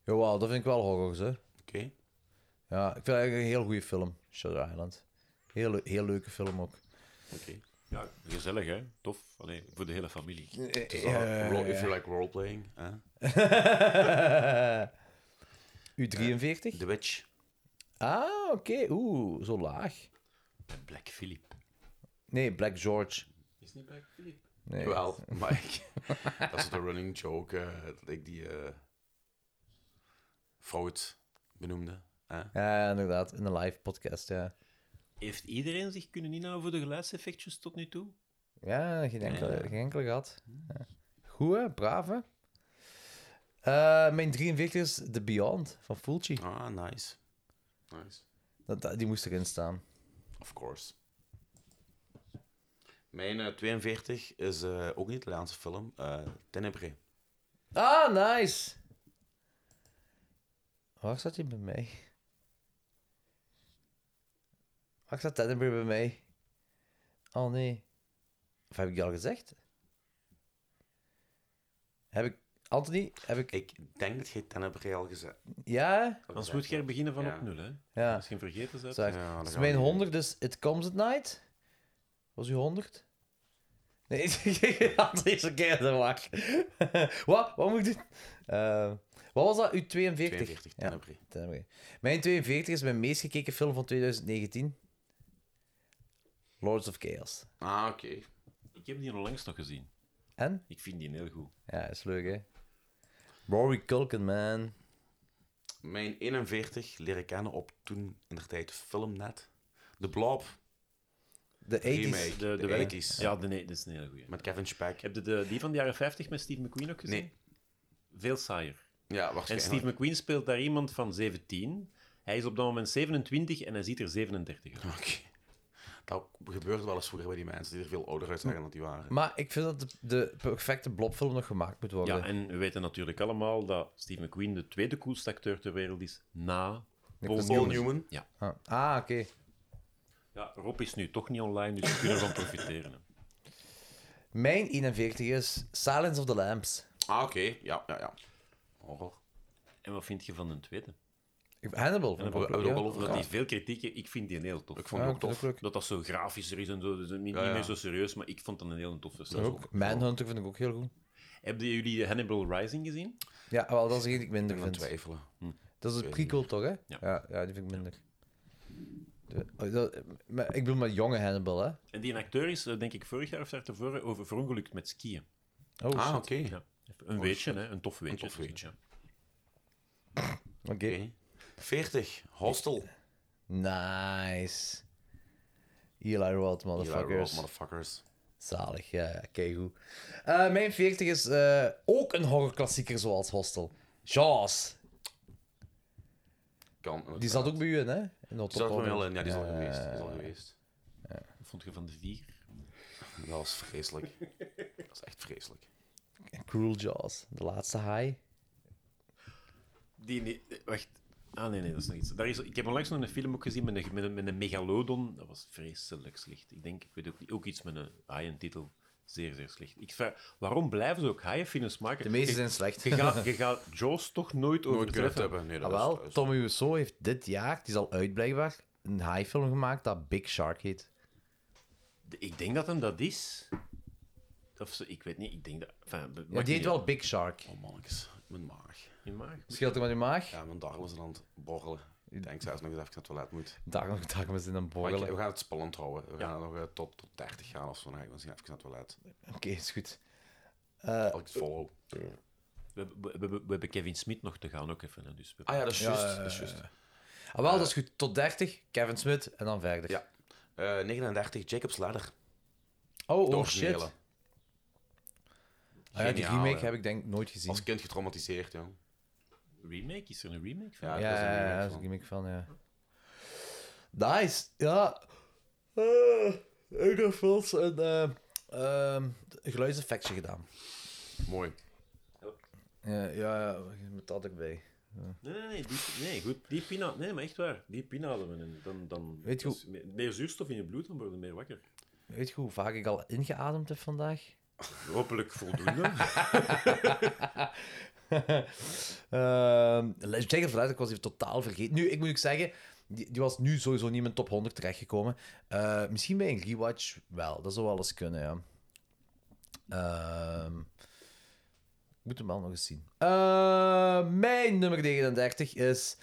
[SPEAKER 3] Ja, wauw, dat vind ik wel horror, hè.
[SPEAKER 2] oké.
[SPEAKER 3] Ja, ik vind het eigenlijk een heel goede film, Shutter Island. Heel, le- heel leuke film ook.
[SPEAKER 2] oké.
[SPEAKER 4] Ja, gezellig hè? Tof. Allee, voor de hele familie.
[SPEAKER 2] Ro- If you like roleplaying. hè?
[SPEAKER 3] U43?
[SPEAKER 2] The Witch.
[SPEAKER 3] Ah, oké. Oeh, zo laag.
[SPEAKER 4] Black Philip.
[SPEAKER 3] Nee, Black George.
[SPEAKER 4] Is niet Black Philip?
[SPEAKER 3] Nee.
[SPEAKER 2] Wel, Mike. dat is de running joke eh, dat ik die eh fout benoemde. hè?
[SPEAKER 3] Ja, inderdaad. In de live podcast, ja.
[SPEAKER 4] Heeft iedereen zich kunnen inhouden voor de geluidseffectjes tot nu toe?
[SPEAKER 3] Ja, geen enkele, geen enkele gehad. Ja. Goed, hè? Braaf, hè? Eh, mijn 43 is The Beyond van Fulci.
[SPEAKER 2] Ah, nice. Nice.
[SPEAKER 3] Dat, dat- die moest erin staan.
[SPEAKER 2] Of course. Mijn eh, 42 is eh, ook een Italiaanse film. eh Tenebre.
[SPEAKER 3] Ah, nice! Waar staat hij bij mij? Waar staat Teddenberg bij mij? Oh nee. Of heb ik die al gezegd? Heb ik. Anthony, heb ik.
[SPEAKER 2] Ik denk dat jij Tenebre al gezet
[SPEAKER 3] Ja?
[SPEAKER 4] Anders moet je er beginnen van
[SPEAKER 2] Ja.
[SPEAKER 4] op nul, hè?
[SPEAKER 3] Ja.
[SPEAKER 4] Misschien vergeten ze het.
[SPEAKER 3] Zeg.
[SPEAKER 2] Ja, dan
[SPEAKER 3] Het is
[SPEAKER 2] gaan we
[SPEAKER 3] mijn
[SPEAKER 2] niet.
[SPEAKER 3] 100, dus It Comes at Night. Was uw 100? Nee, ik had deze keer de wacht. Wat? Wat moet ik doen? Eh, wat was dat? Uw 42?
[SPEAKER 2] 42,
[SPEAKER 3] Ja.
[SPEAKER 2] Tenebre.
[SPEAKER 3] Tenebrae. Mijn 42 is mijn meest gekeken film van 2019. Lords of Chaos.
[SPEAKER 2] Ah, oké.
[SPEAKER 4] Ik heb die onlangs nog gezien.
[SPEAKER 3] En?
[SPEAKER 4] Ik vind die heel goed.
[SPEAKER 3] Ja, is leuk, hè? Rory Culkin, man.
[SPEAKER 2] Mijn 41 leren kennen op toen in de tijd Filmnet. De Blob
[SPEAKER 3] De 80s.
[SPEAKER 2] remake. De,
[SPEAKER 4] de
[SPEAKER 2] 80's.
[SPEAKER 4] Ja, de, nee, dat is een hele goede.
[SPEAKER 2] Met Kevin Speck.
[SPEAKER 4] Heb je de, die van de jaren 50 met Steve McQueen ook gezien?
[SPEAKER 2] Nee.
[SPEAKER 4] veel saaier.
[SPEAKER 2] Ja,
[SPEAKER 4] En
[SPEAKER 2] waarschijnlijk.
[SPEAKER 4] Steve McQueen speelt daar iemand van 17. Hij is op dat moment 27 en hij ziet er 37 uit.
[SPEAKER 2] Oké. Dat gebeurt wel eens vroeger bij die mensen die er veel ouder uitzagen dan die waren.
[SPEAKER 3] Maar ik vind dat de, de perfecte blobfilm nog gemaakt moet worden.
[SPEAKER 4] Ja, en we weten natuurlijk allemaal dat Steve McQueen de tweede coolste acteur ter wereld is na Paul
[SPEAKER 2] Paul
[SPEAKER 4] Newman.
[SPEAKER 2] Newman.
[SPEAKER 3] Ah, ah, oké.
[SPEAKER 4] Ja, Rob is nu toch niet online, dus we kunnen ervan profiteren. hè.
[SPEAKER 3] Mijn 41 is Silence of the Lambs.
[SPEAKER 2] Ah, oké. Ja, ja, ja. Horror.
[SPEAKER 4] En wat vind je van de tweede?
[SPEAKER 3] Ik- Hannibal.
[SPEAKER 4] En
[SPEAKER 3] vond ik ook, ja.
[SPEAKER 4] Omdat die veel kritiek heeft. Ik vind die een heel tof.
[SPEAKER 2] Ik vond
[SPEAKER 3] Ja,
[SPEAKER 2] die
[SPEAKER 3] ik
[SPEAKER 2] ook
[SPEAKER 3] vond
[SPEAKER 2] tof.
[SPEAKER 3] het ook leuk.
[SPEAKER 4] Dat dat zo grafischer is en zo, dus niet,
[SPEAKER 2] ja.
[SPEAKER 4] niet meer zo serieus, maar ik vond dat een heel toffe
[SPEAKER 3] Dat
[SPEAKER 4] film.
[SPEAKER 3] ook. Manhunter vind ik ook heel goed.
[SPEAKER 4] Hebben jullie Hannibal Rising gezien?
[SPEAKER 3] Ja, wel, dat is degene die ik minder
[SPEAKER 2] Ik ben
[SPEAKER 3] vind.
[SPEAKER 2] twijfelen.
[SPEAKER 3] Dat is een prequel, toch? Hè? Ja. ja, die vind ik minder. De- oh, dat- maar ik bedoel maar jonge Hannibal, hè?
[SPEAKER 4] En die acteur is, eh, denk ik, vorig jaar of daar tevoren over verongelukt met skiën.
[SPEAKER 3] Oh,
[SPEAKER 2] Ah, oké. Oh,
[SPEAKER 3] shit.
[SPEAKER 4] Ja. Een weetje, hè? een tof weetje. dus.
[SPEAKER 2] tof weetje.
[SPEAKER 3] Oké.
[SPEAKER 2] Oké. 40. Hostel.
[SPEAKER 3] Nice. Eli Roth,
[SPEAKER 2] Ja,
[SPEAKER 3] motherfuckers.
[SPEAKER 2] roll, motherfuckers.
[SPEAKER 3] Zalig, ja, ja, keigoed. Eh, mijn 40 is eh, ook een horrorklassieker zoals Hostel. Jaws.
[SPEAKER 2] Kan.
[SPEAKER 3] Die zat ook bij u in, hè? In Eh, de
[SPEAKER 2] Die zat er
[SPEAKER 3] top-
[SPEAKER 2] wel in. Ja, die is al geweest. Die is al geweest.
[SPEAKER 4] Wat vond je van de vier?
[SPEAKER 2] Dat was vreselijk. Dat was echt vreselijk.
[SPEAKER 3] Cruel Jaws, de laatste high.
[SPEAKER 4] Die, die- wacht. Ah, nee, nee, dat is nog iets. Daar is, ik heb onlangs nog een film ook gezien met een, met, een, met een megalodon. Dat was vreselijk slecht. Ik denk, ik weet ook niet, ook iets met een haaientitel. Zeer, zeer slecht. Ik vraag, waarom blijven ze ook haaienfilms maken?
[SPEAKER 3] De meeste
[SPEAKER 4] Je-
[SPEAKER 3] zijn slecht.
[SPEAKER 4] Je gaat, je gaat Jaws toch nooit
[SPEAKER 2] Nooit kunnen
[SPEAKER 4] overtreffen.
[SPEAKER 2] hebben. Nee, dat
[SPEAKER 3] Ah,
[SPEAKER 2] is-
[SPEAKER 3] wel,
[SPEAKER 2] dat is-
[SPEAKER 3] Tommy Wiseau heeft dit jaar, het is al uit blijkbaar, een haai-film gemaakt dat Big Shark heet.
[SPEAKER 4] Ik denk dat hem dat is. Of ze, ik weet niet, ik denk dat... Enfin,
[SPEAKER 3] Ja,
[SPEAKER 4] maakt
[SPEAKER 3] die heet
[SPEAKER 4] niet
[SPEAKER 3] wel Big Shark.
[SPEAKER 2] Oh, mannetjes. Mijn maag.
[SPEAKER 4] uit. Je maag.
[SPEAKER 3] Scheelt er met je maag?
[SPEAKER 2] Ja, mijn darmen zijn aan het borrelen. Ik denk zelfs nog eens even naar het toilet moet.
[SPEAKER 3] Daar nog dag we in een
[SPEAKER 2] Maar ik-
[SPEAKER 3] borrelen.
[SPEAKER 2] we
[SPEAKER 3] Oké,
[SPEAKER 2] gaan het spannend houden. We gaan nog eh, tot, tot 30 gaan of zo. Dan ga ik misschien even naar het toilet.
[SPEAKER 3] is goed. Eh.
[SPEAKER 2] Als ik het volhoud.
[SPEAKER 4] We, we- we- we- we hebben Kevin Smith nog te gaan ook even. hè, Dus we-
[SPEAKER 2] Ah ja, dat is
[SPEAKER 3] Ja,
[SPEAKER 2] juist.
[SPEAKER 3] ja,
[SPEAKER 2] dat is juist.
[SPEAKER 3] Ah, wel, dat is goed. Tot 30, Kevin Smith en dan
[SPEAKER 2] Eh.
[SPEAKER 3] verder.
[SPEAKER 2] Ja. Eh, 39, Jacob's Ladder.
[SPEAKER 3] Oh,
[SPEAKER 2] De
[SPEAKER 3] oh shit.
[SPEAKER 2] originele.
[SPEAKER 3] Ah ja, die
[SPEAKER 2] Geniaal,
[SPEAKER 3] remake
[SPEAKER 2] hè.
[SPEAKER 3] heb ik denk ik nooit gezien.
[SPEAKER 2] Als kind getraumatiseerd, jong.
[SPEAKER 4] Remake? Is er een remake van?
[SPEAKER 2] Ja,
[SPEAKER 3] Ja,
[SPEAKER 2] ik
[SPEAKER 3] ja,
[SPEAKER 2] was er
[SPEAKER 3] ja,
[SPEAKER 2] niet
[SPEAKER 3] ja,
[SPEAKER 2] meer
[SPEAKER 3] dat is een
[SPEAKER 2] van.
[SPEAKER 3] gimmick van, ja. Nice, ja. Eh, ik heb wel eens een eh, ehm, geluidseffectje gedaan.
[SPEAKER 2] Mooi.
[SPEAKER 3] Ja, ja, ja, met dat ook bij.
[SPEAKER 4] Nee, nee, nee, die, nee, goed. Die pina, nee, maar echt waar. Die pina hadden we. En dan, dan,
[SPEAKER 3] Weet je
[SPEAKER 4] dus me- meer zuurstof in je bloed, dan worden meer wakker.
[SPEAKER 3] Weet je hoe vaak ik al ingeademd heb vandaag?
[SPEAKER 4] Hopelijk voldoende.
[SPEAKER 3] Ehm, Let's Jack of Light, ik was even totaal vergeten. Nu, ik moet ook zeggen, die, die was nu sowieso niet in mijn top 100 terechtgekomen. Eh, misschien bij een rewatch wel, dat zou wel eens kunnen, ja. Ehm, ik moet hem wel nog eens zien. Eh, mijn nummer 39 is...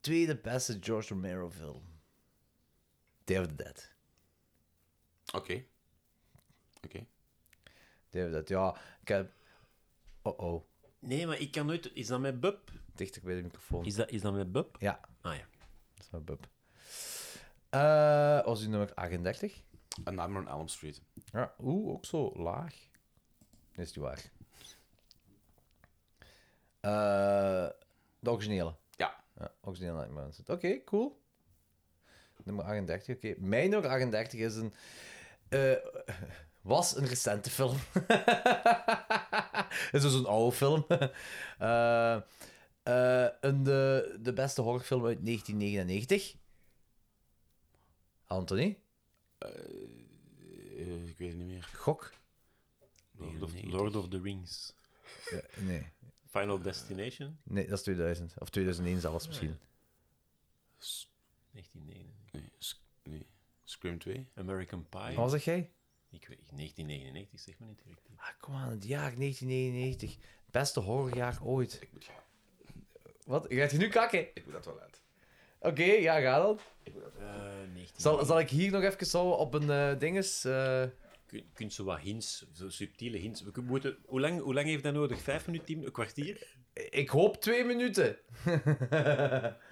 [SPEAKER 3] Tweede beste George Romero film. Day of the Dead.
[SPEAKER 2] Oké. Oké.
[SPEAKER 3] Day of the Dead, ja. Ik heb... Oh-oh,
[SPEAKER 4] nee, maar ik kan nooit... Is dat met Bub?
[SPEAKER 3] dichter bij de microfoon.
[SPEAKER 4] Is dat, is dat met Bub?
[SPEAKER 3] Ja.
[SPEAKER 4] Ah ja.
[SPEAKER 3] Dat is mijn bub. Eh, was die nummer 38?
[SPEAKER 2] A Nightmare on Elm Street.
[SPEAKER 3] Ja, oeh, ook zo laag. Is die waar? Eh, de originele.
[SPEAKER 2] Ja.
[SPEAKER 3] Ja, originele Nightmare on Elm Street. Oké, cool. Nummer 38, oké. Mijn nummer 38 is een... eh, was een recente film. Het is dus een oude film. Eh, eh, een, de, de beste horrorfilm uit 1999. Anthony?
[SPEAKER 2] Eh, ik weet het niet meer.
[SPEAKER 3] Gok?
[SPEAKER 4] Lord of, Lord of the Rings.
[SPEAKER 3] Nee.
[SPEAKER 4] Final Destination?
[SPEAKER 3] Nee, dat is 2000. Of 2001 zelfs misschien.
[SPEAKER 4] 1999.
[SPEAKER 2] Nee. Sc- nee. Scream 2.
[SPEAKER 4] American Pie?
[SPEAKER 3] Wat was dat jij?
[SPEAKER 4] Ik weet 1999, zeg maar niet direct.
[SPEAKER 3] Ah, kom aan, het jaar 1999. Beste horrorjaar ooit.
[SPEAKER 2] Ik moet, gaan.
[SPEAKER 3] Wat? Gaat je nu kakken?
[SPEAKER 2] ik moet dat wel uit.
[SPEAKER 3] Oké, ja, ga dan.
[SPEAKER 4] Eh, 19...
[SPEAKER 3] Zal, zal ik hier nog even zo op een eh dinges... eh,
[SPEAKER 4] Kun, kunt zo wat hints, zo subtiele hints... We kun- moeten, hoe, lang, hoe lang heeft dat nodig? Vijf minuten, tien, een kwartier?
[SPEAKER 3] ik hoop twee minuten.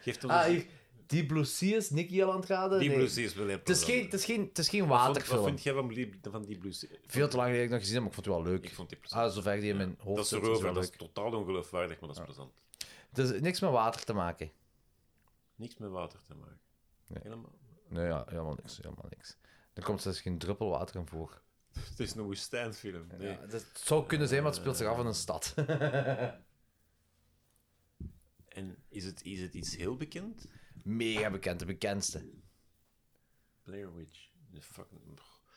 [SPEAKER 4] Geeft ons
[SPEAKER 3] Ah,
[SPEAKER 4] een-
[SPEAKER 3] hier. Die Blue Sea is Nicky al aan het raden?
[SPEAKER 4] Die
[SPEAKER 3] Nee.
[SPEAKER 4] Blue Seas wil
[SPEAKER 3] Het is geen, het is geen, het is geen waterfilm.
[SPEAKER 4] Wat vind jij van die, van die Blue Seas?
[SPEAKER 3] Veel te lang geleden dat ik nog gezien heb, maar ik vond het wel leuk.
[SPEAKER 4] Ik vond die plezant.
[SPEAKER 3] Ah, zover die in mijn hoofd
[SPEAKER 4] dat is
[SPEAKER 3] zit, wel
[SPEAKER 4] erover, dat is
[SPEAKER 3] leuk.
[SPEAKER 4] totaal ongeloofwaardig, maar dat is plezant.
[SPEAKER 3] Het is niks met water te maken.
[SPEAKER 4] Niks met water te maken.
[SPEAKER 3] Nee.
[SPEAKER 4] Helemaal.
[SPEAKER 3] Nee, ja, helemaal niks. Helemaal niks. Er komt zelfs geen druppel water in voor.
[SPEAKER 4] Het is een woestijnfilm. Nee.
[SPEAKER 3] Ja, dat zou kunnen zijn, maar het speelt zich af in een stad.
[SPEAKER 4] En is het, is het iets heel bekend?
[SPEAKER 3] Mega bekend, de bekendste.
[SPEAKER 4] Blair Witch. De fucking...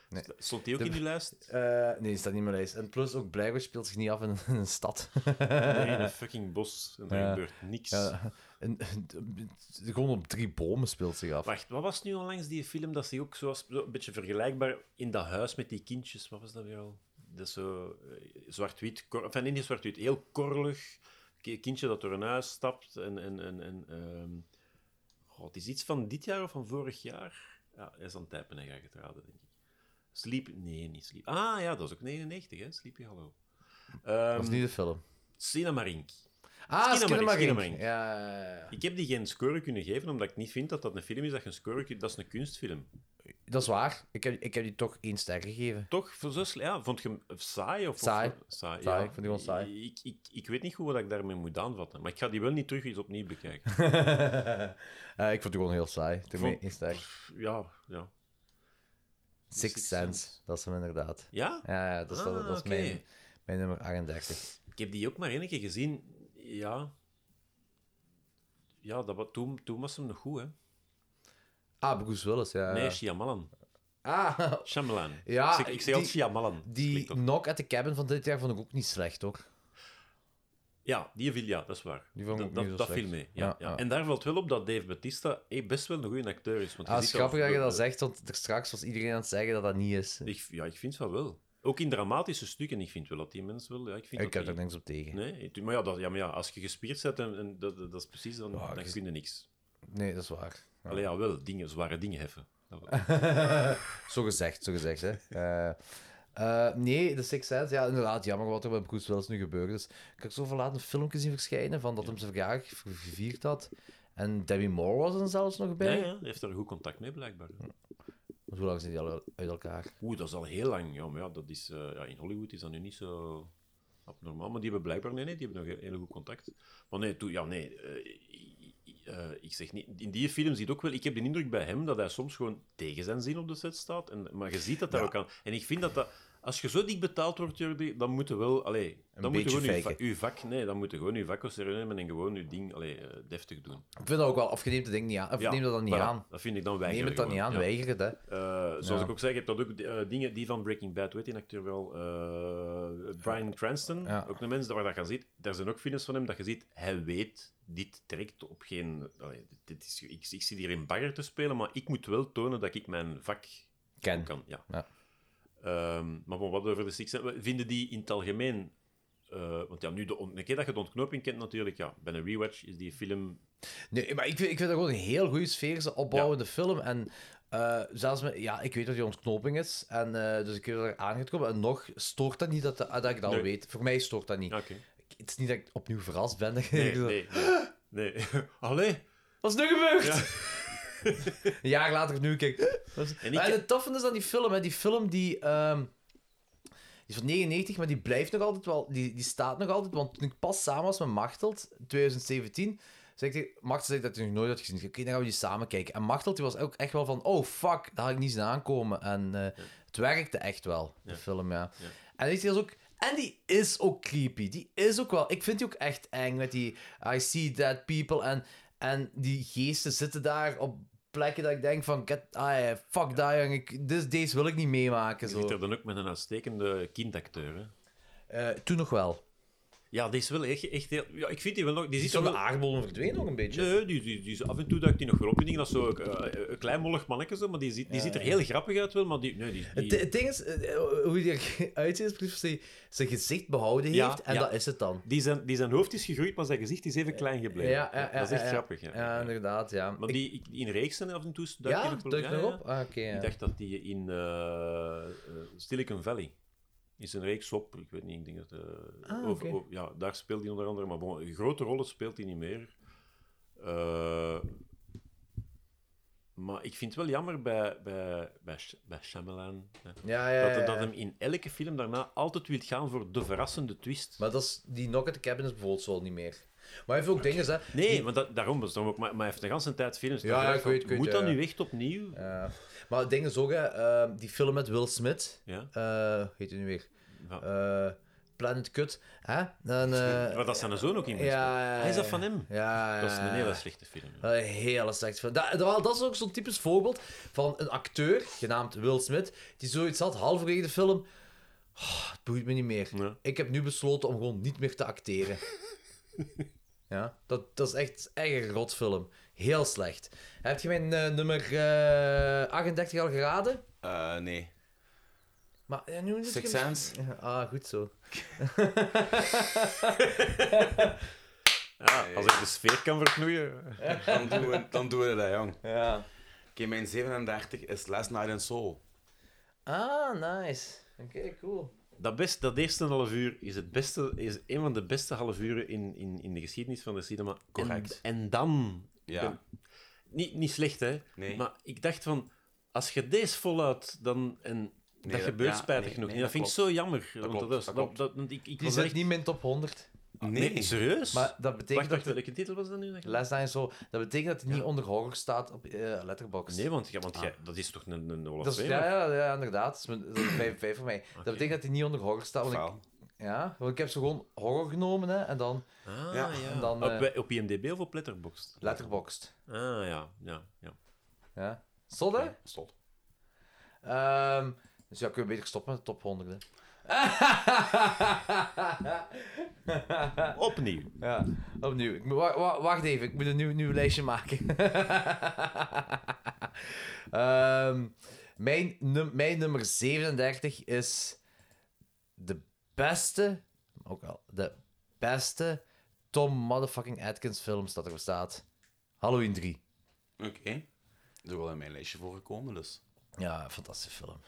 [SPEAKER 3] Nee.
[SPEAKER 4] Stond die ook
[SPEAKER 3] De-
[SPEAKER 4] in die lijst?
[SPEAKER 3] Eh, nee, staat niet in mijn lijst. En plus ook Blair Witch speelt zich niet af in, in een stad.
[SPEAKER 4] Nee, in een fucking bos. En daar
[SPEAKER 3] Ja.
[SPEAKER 4] gebeurt niks.
[SPEAKER 3] Ja, en, en- gewoon op drie bomen speelt zich af.
[SPEAKER 4] Wacht, wat was nu onlangs die film dat ze ook zo was, zo een beetje vergelijkbaar in dat huis met die kindjes? Wat was dat weer al? Dat is zo eh, zwart-wit, kor- enfin, nee, niet zwart-wit, heel korrelig. Ki- Kindje dat door een huis stapt en. en, en, en ehm, Goh, het is iets van dit jaar of van vorig jaar. Ja, hij is aan het typen en ga ik het raden, denk ik. Sleep, nee, niet Sleep. Ah ja, dat is ook 99, hè? Sleepy Hallo.
[SPEAKER 3] Dat is
[SPEAKER 4] Ehm
[SPEAKER 3] niet de film.
[SPEAKER 4] Cinemarink.
[SPEAKER 3] Ah,
[SPEAKER 4] Skinnamarink,
[SPEAKER 3] Skinnamarink.
[SPEAKER 4] Skinnamarink.
[SPEAKER 3] Ja, ja, ja.
[SPEAKER 4] Ik heb die geen score kunnen geven, omdat ik niet vind dat dat een film is dat je een score kunt... Dat is een kunstfilm.
[SPEAKER 3] Dat is waar. Ik heb, ik heb die toch één ster gegeven.
[SPEAKER 4] Toch, voor zo sle- ja, vond je hem saai? Of,
[SPEAKER 3] Saai.
[SPEAKER 4] Of, saai,
[SPEAKER 3] Saai,
[SPEAKER 4] ja.
[SPEAKER 3] ik vond die gewoon saai.
[SPEAKER 4] Ik, ik, ik weet niet goed wat ik daarmee moet aanvatten, maar ik ga die wel niet terug eens opnieuw bekijken.
[SPEAKER 3] Eh, ik vond het gewoon heel saai. Ik
[SPEAKER 4] Vond-
[SPEAKER 3] vond... één ster.
[SPEAKER 4] ja, ja.
[SPEAKER 3] Six
[SPEAKER 4] Sixth
[SPEAKER 3] Sense,
[SPEAKER 4] Sense.
[SPEAKER 3] dat is hem inderdaad.
[SPEAKER 4] Ja?
[SPEAKER 3] Ja, ja, dat is, dat,
[SPEAKER 4] Ah,
[SPEAKER 3] dat is
[SPEAKER 4] oké.
[SPEAKER 3] mijn, mijn nummer 38.
[SPEAKER 4] Ik heb die ook maar één keer gezien. Ja. Ja, dat, wa- toen, toen was hem nog goed, hè.
[SPEAKER 3] Ah, Bruce Willis, ja.
[SPEAKER 4] Nee, Shyamalan.
[SPEAKER 3] Ah,
[SPEAKER 4] Shyamalan.
[SPEAKER 3] Ja,
[SPEAKER 4] ik zeg, ik zeg altijd
[SPEAKER 3] die-
[SPEAKER 4] Shyamalan. Dat klinkt
[SPEAKER 3] die
[SPEAKER 4] ook-
[SPEAKER 3] Knock at the Cabin van dit jaar vond ik ook niet slecht, hoor.
[SPEAKER 4] Ja, die viel, ja, dat is waar.
[SPEAKER 3] Die vond ik
[SPEAKER 4] dat
[SPEAKER 3] ook
[SPEAKER 4] dat,
[SPEAKER 3] niet zo
[SPEAKER 4] dat
[SPEAKER 3] slecht.
[SPEAKER 4] viel mee. Ja,
[SPEAKER 3] Ja,
[SPEAKER 4] ja,
[SPEAKER 3] ja.
[SPEAKER 4] En daar valt wel op dat Dave Batista eh, best wel een goede acteur is. Want
[SPEAKER 3] Ah,
[SPEAKER 4] je
[SPEAKER 3] het
[SPEAKER 4] ziet
[SPEAKER 3] is grappig dat je
[SPEAKER 4] wel-
[SPEAKER 3] dat zegt, want er straks was iedereen aan het zeggen dat dat niet is.
[SPEAKER 4] Ik, ja, ik vind van wel. Ook in dramatische stukken, ik vind wel dat die mensen wel... Ja, ik vind
[SPEAKER 3] Ik
[SPEAKER 4] dat
[SPEAKER 3] heb
[SPEAKER 4] die-
[SPEAKER 3] er niks op tegen. Nee,
[SPEAKER 4] Nee, maar ja, dat, ja, maar ja, als je gespierd bent, en, en dat, dat dat is precies, dan,
[SPEAKER 3] Ja,
[SPEAKER 4] dan
[SPEAKER 3] ik-
[SPEAKER 4] kun je niks.
[SPEAKER 3] dat is waar. Ja.
[SPEAKER 4] Allee, ja, wel, dingen, zware dingen heffen. Dat wel.
[SPEAKER 3] Zo gezegd, zo gezegd, hè. Eh, eh, nee, de Sixth Sense, ja, inderdaad, jammer wat er bij Bruce Willis nu gebeurd is. Ik heb zoveel laat een filmpje zien verschijnen van dat hem zijn verjaardag ge- gevierd had. En Debbie Moore was er zelfs nog
[SPEAKER 4] Ja,
[SPEAKER 3] bij.
[SPEAKER 4] ja, heeft er goed contact mee, blijkbaar.
[SPEAKER 3] Want Hoe lang zijn die al uit elkaar?
[SPEAKER 4] Oeh, dat is al heel lang. Ja, maar ja, dat is, eh, ja, in Hollywood is dat nu niet zo abnormaal, maar die hebben blijkbaar... Nee, nee, die hebben nog heel goed contact. Maar nee, toe, ja, nee... eh, i- i- eh, ik zeg niet... In die film ziet ook wel... Ik heb de indruk bij hem dat hij soms gewoon tegen zijn zin op de set staat. En, maar je ziet dat daar ook aan. En ik vind dat dat... Als je zo dik betaald wordt, Jordi, dan moeten wel... Allee, dan moet je
[SPEAKER 3] beetje
[SPEAKER 4] gewoon uw va-
[SPEAKER 3] faken.
[SPEAKER 4] uw vak... Nee, dan moet je gewoon uw vak wel serieus nemen en gewoon je ding allee, eh, deftig doen.
[SPEAKER 3] Ik vind dat ook wel, of je neemt het ding niet aan, of je
[SPEAKER 4] Ja,
[SPEAKER 3] neemt dat dan niet
[SPEAKER 4] voilà.
[SPEAKER 3] aan.
[SPEAKER 4] Dat vind ik dan
[SPEAKER 3] Neem
[SPEAKER 4] weigeren.
[SPEAKER 3] het dan niet
[SPEAKER 4] gewoon,
[SPEAKER 3] aan,
[SPEAKER 4] ja.
[SPEAKER 3] weiger het, hè.
[SPEAKER 4] Eh, zoals ik ook zei, je hebt dat ook eh, dingen die van Breaking Bad, weet je, die acteur wel, eh, Brian Cranston,
[SPEAKER 3] Ja.
[SPEAKER 4] ook een mens waar dat je aan ziet. Daar zijn ook films van hem dat je ziet, hij weet, dit trekt op geen... allee, dit is, ik, ik zit hier in bagger te spelen, maar ik moet wel tonen dat ik mijn vak
[SPEAKER 3] Ken.
[SPEAKER 4] kan. Ja.
[SPEAKER 3] Ja.
[SPEAKER 4] Ehm, maar bon, wat over de Six Sense- Vinden die in het algemeen... eh, want ja, nu de ont- een keer dat je de ontknoping kent natuurlijk, ja, bij een rewatch is die film...
[SPEAKER 3] Nee, maar ik vind, ik vind dat gewoon een heel goede sfeerse opbouwende film. En eh, zelfs met, ja, ik weet dat die ontknoping is. En, eh, dus ik weet dat er aan gaat komen. En nog stoort dat niet dat, dat, dat ik dat al
[SPEAKER 4] Nee.
[SPEAKER 3] weet. Voor mij stoort dat niet.
[SPEAKER 4] Ah, Oké.
[SPEAKER 3] Ik- Het is niet dat ik opnieuw verrast ben. Dat ik
[SPEAKER 4] Nee,
[SPEAKER 3] zo,
[SPEAKER 4] nee, nee. nee. Allee.
[SPEAKER 3] Wat is nu gebeurd? een jaar later nu kijk.
[SPEAKER 4] En
[SPEAKER 3] En,
[SPEAKER 4] ik-
[SPEAKER 3] het toffe is aan die film, hè, die film die. ehm, die is van 99, maar die blijft nog altijd wel. Die, die staat nog altijd. Want toen ik pas samen was met Machteld, 2017. Zei ik tegen Machteld zei dat hij nog nooit had gezien. Ik zei, Oké, dan gaan we die samen kijken. En Machteld die was ook echt wel van: oh fuck, daar had ik niet zien aankomen. En eh, het werkte echt wel, de film, ja. En die is ook. En die is ook creepy. Die is ook wel. Ik vind die ook echt eng met die I see dead people. En, en die geesten zitten daar op plekken dat ik denk van get, ah, eh, fuck die jong. Ik, dus deze wil ik niet meemaken.
[SPEAKER 4] Je zit
[SPEAKER 3] Zo.
[SPEAKER 4] er dan ook met een uitstekende kindacteur. Hè?
[SPEAKER 3] Eh, toen nog wel.
[SPEAKER 4] Ja, die is wel echt, echt heel... Ja, ik vind die wel nog... Die,
[SPEAKER 3] Die
[SPEAKER 4] zit
[SPEAKER 3] is op
[SPEAKER 4] er
[SPEAKER 3] de
[SPEAKER 4] wel...
[SPEAKER 3] aardbol verdwenen nog een beetje.
[SPEAKER 4] Nee, die, die, die is af en toe duikt die nog wel op. Ik denk dat is zo eh, een klein mollig mannetje, zo, maar die, ziet, die ziet er heel grappig uit wel, maar die... Nee, die, die-
[SPEAKER 3] Het, het ding is, eh, hoe hij eruit ziet, is precies of hij zijn gezicht behouden heeft.
[SPEAKER 4] Ja,
[SPEAKER 3] en
[SPEAKER 4] ja.
[SPEAKER 3] dat is het dan.
[SPEAKER 4] die zijn, die zijn hoofd is gegroeid, maar zijn gezicht is even klein gebleven. dat is echt
[SPEAKER 3] ja, ja.
[SPEAKER 4] grappig. Ja.
[SPEAKER 3] Ja, inderdaad, ja.
[SPEAKER 4] Maar
[SPEAKER 3] Ik-
[SPEAKER 4] die, ik- in reeksen af en toe duikt
[SPEAKER 3] ja,
[SPEAKER 4] die nog wel-
[SPEAKER 3] duikt
[SPEAKER 4] ja,
[SPEAKER 3] nog
[SPEAKER 4] ja.
[SPEAKER 3] op? Ah, oké, ja.
[SPEAKER 4] Ik dacht dat die in eh eh, Silicon Valley is een reeks op. Ik weet niet, ik denk dat. eh,
[SPEAKER 3] Ah,
[SPEAKER 4] over-
[SPEAKER 3] oké.
[SPEAKER 4] over- ja, daar speelt hij onder andere, maar bon, grote rollen speelt hij niet meer. Eh, Maar ik vind het wel jammer bij, bij, bij, Sh- bij Shyamalan hè,
[SPEAKER 3] Ja, ja, ja.
[SPEAKER 4] Dat,
[SPEAKER 3] ja.
[SPEAKER 4] dat hem in elke film daarna altijd wil gaan voor de verrassende twist.
[SPEAKER 3] Maar dat is, die Knock at the Cabin is bijvoorbeeld zo niet meer. Maar hij heeft ook dingen, hè.
[SPEAKER 4] Nee, want dat, daarom was het ook. Maar, maar hij heeft de hele tijd films.
[SPEAKER 3] Ja, ja, ik weet, ik weet,
[SPEAKER 4] Moet
[SPEAKER 3] ja,
[SPEAKER 4] dat
[SPEAKER 3] ja.
[SPEAKER 4] nu echt opnieuw? Ja.
[SPEAKER 3] Ja. maar dingen zo, hè. eh, die film met Will Smith. eh, heet hij nu weer?
[SPEAKER 4] Ja.
[SPEAKER 3] Eh, Planet Cut. Hè? Dan, eh,
[SPEAKER 4] maar dat zijn er zo ook in.
[SPEAKER 3] ja, ja,
[SPEAKER 4] Hij is dat
[SPEAKER 3] ja.
[SPEAKER 4] van hem.
[SPEAKER 3] Ja,
[SPEAKER 4] Dat is een
[SPEAKER 3] ja,
[SPEAKER 4] hele
[SPEAKER 3] ja.
[SPEAKER 4] slechte film.
[SPEAKER 3] Een hele slechte film. Dat, dat, dat is ook zo'n typisch voorbeeld van een acteur, genaamd Will Smith, die zoiets had halverwege de film. "Oh, het boeit me niet meer.
[SPEAKER 4] Ja.
[SPEAKER 3] Ik heb nu besloten om gewoon niet meer te acteren. ja, dat, dat is echt, echt een rotfilm. Heel slecht. Heb je mijn eh, nummer eh, 38 al geraden?
[SPEAKER 2] Eh, nee.
[SPEAKER 3] Maar, ja, nu moet ik
[SPEAKER 2] Six
[SPEAKER 3] hem-
[SPEAKER 2] Sense?
[SPEAKER 3] Ja, Ah, goed zo.
[SPEAKER 4] Ja, als ik de sfeer kan verknoeien.
[SPEAKER 2] Dan doen we, dan doen we dat, jong. Oké,
[SPEAKER 3] Ja.
[SPEAKER 2] mijn 37 is Last Night in Soul.
[SPEAKER 3] Ah, nice. Oké, cool.
[SPEAKER 4] Dat, best, dat eerste half uur is, het beste, is een van de beste half uren in, in, in de geschiedenis van de cinema.
[SPEAKER 2] Correct.
[SPEAKER 4] En, en dan...
[SPEAKER 2] Ja.
[SPEAKER 4] ben- niet, niet slecht, hè.
[SPEAKER 2] Nee.
[SPEAKER 4] Maar ik dacht van, als je deze voluit, dan... En dat
[SPEAKER 2] dat-
[SPEAKER 4] gebeurt
[SPEAKER 2] ja,
[SPEAKER 4] spijtig
[SPEAKER 2] nee,
[SPEAKER 4] nog
[SPEAKER 2] nee,
[SPEAKER 4] niet.
[SPEAKER 2] dat
[SPEAKER 4] Dat, vind ik zo jammer. want
[SPEAKER 2] klopt,
[SPEAKER 4] dat is-
[SPEAKER 2] dat
[SPEAKER 4] dat-
[SPEAKER 2] klopt.
[SPEAKER 4] dat- want ik, ik
[SPEAKER 3] Die
[SPEAKER 4] was
[SPEAKER 3] zit
[SPEAKER 4] echt-
[SPEAKER 3] niet in mijn top 100.
[SPEAKER 2] Nee.
[SPEAKER 4] Nee, serieus?
[SPEAKER 3] Maar dat
[SPEAKER 4] Wacht,
[SPEAKER 3] betekent
[SPEAKER 4] wacht,
[SPEAKER 3] dat
[SPEAKER 4] welke titel was dat nu? dat je-
[SPEAKER 3] Last Night zo. Dat betekent dat hij niet onder horror staat op eh Letterboxd.
[SPEAKER 4] Nee, want, jij- want jij- dat is toch een, een Olaf
[SPEAKER 3] dat is,
[SPEAKER 4] Weber?
[SPEAKER 3] ja, ja, ja, inderdaad. Dat is mijn- dat is een vijf, vijf voor mij.
[SPEAKER 4] Oké.
[SPEAKER 3] Dat betekent dat hij niet onder horror staat. Want ik,
[SPEAKER 2] Faal.
[SPEAKER 3] ja, want ik heb ze gewoon horror genomen hè, en dan
[SPEAKER 4] Ah,
[SPEAKER 2] Ja,
[SPEAKER 4] ja.
[SPEAKER 3] en dan,
[SPEAKER 4] op,
[SPEAKER 3] eh,
[SPEAKER 4] bij- op IMDb of op Letterboxd?
[SPEAKER 3] Letterboxd.
[SPEAKER 4] Ah, ja. ja, ja.
[SPEAKER 3] Ja. Zot, hè?
[SPEAKER 2] Stop.
[SPEAKER 3] Ehm, dus ja, kun je beter stoppen met de top 100. Hè.
[SPEAKER 4] Opnieuw.
[SPEAKER 3] Ja, opnieuw. Ik, moet- wa- wa- wacht even, ik moet een nieuw, nieuw lijstje maken. Ehm, mijn, num- mijn nummer 37 is de beste, ook al, de beste Tom motherfucking Atkins films dat er bestaat. Halloween 3.
[SPEAKER 2] Oké. Dat is ook wel in mijn lijstje voorgekomen, dus.
[SPEAKER 3] Ja, fantastische film.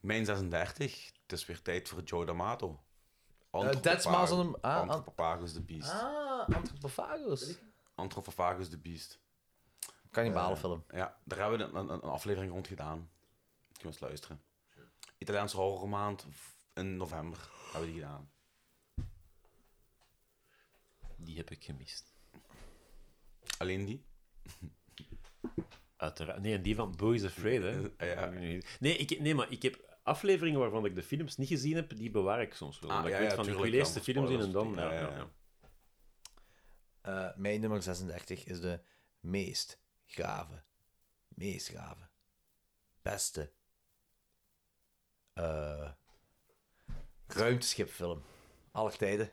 [SPEAKER 2] Mijn 36. Het is weer tijd voor Joe D'Amato.
[SPEAKER 3] Eh, Dead Smiles on the- ah, an-
[SPEAKER 2] Anthropophagus the Beast.
[SPEAKER 3] Ah, Anthropophagus.
[SPEAKER 2] Anthropophagus the Beast.
[SPEAKER 3] Cannibale film.
[SPEAKER 2] Ja, daar hebben we een, een, een aflevering rond gedaan. Kun je eens luisteren. Italiaanse horrormaand v- in november hebben we die gedaan.
[SPEAKER 4] Die heb ik gemist.
[SPEAKER 2] Alleen die?
[SPEAKER 4] Uiteraard. Nee, en die van Boys Afraid, hè?
[SPEAKER 2] Eh, ja.
[SPEAKER 4] Nee, ik, nee, maar ik heb afleveringen waarvan ik de films niet gezien heb, die bewaar ik soms wel.
[SPEAKER 2] Ah,
[SPEAKER 4] omdat
[SPEAKER 2] ja,
[SPEAKER 4] ik weet
[SPEAKER 2] ja,
[SPEAKER 4] van, ik
[SPEAKER 2] tuurlijk,
[SPEAKER 4] wil eerst de
[SPEAKER 2] dan
[SPEAKER 4] film zien en dan...
[SPEAKER 2] spoilers,
[SPEAKER 4] Ja, ja,
[SPEAKER 2] ja, ja.
[SPEAKER 4] ja.
[SPEAKER 3] Eh, mijn nummer 36 is de meest gave, meest gave, beste eh, ruimteschipfilm aller tijden.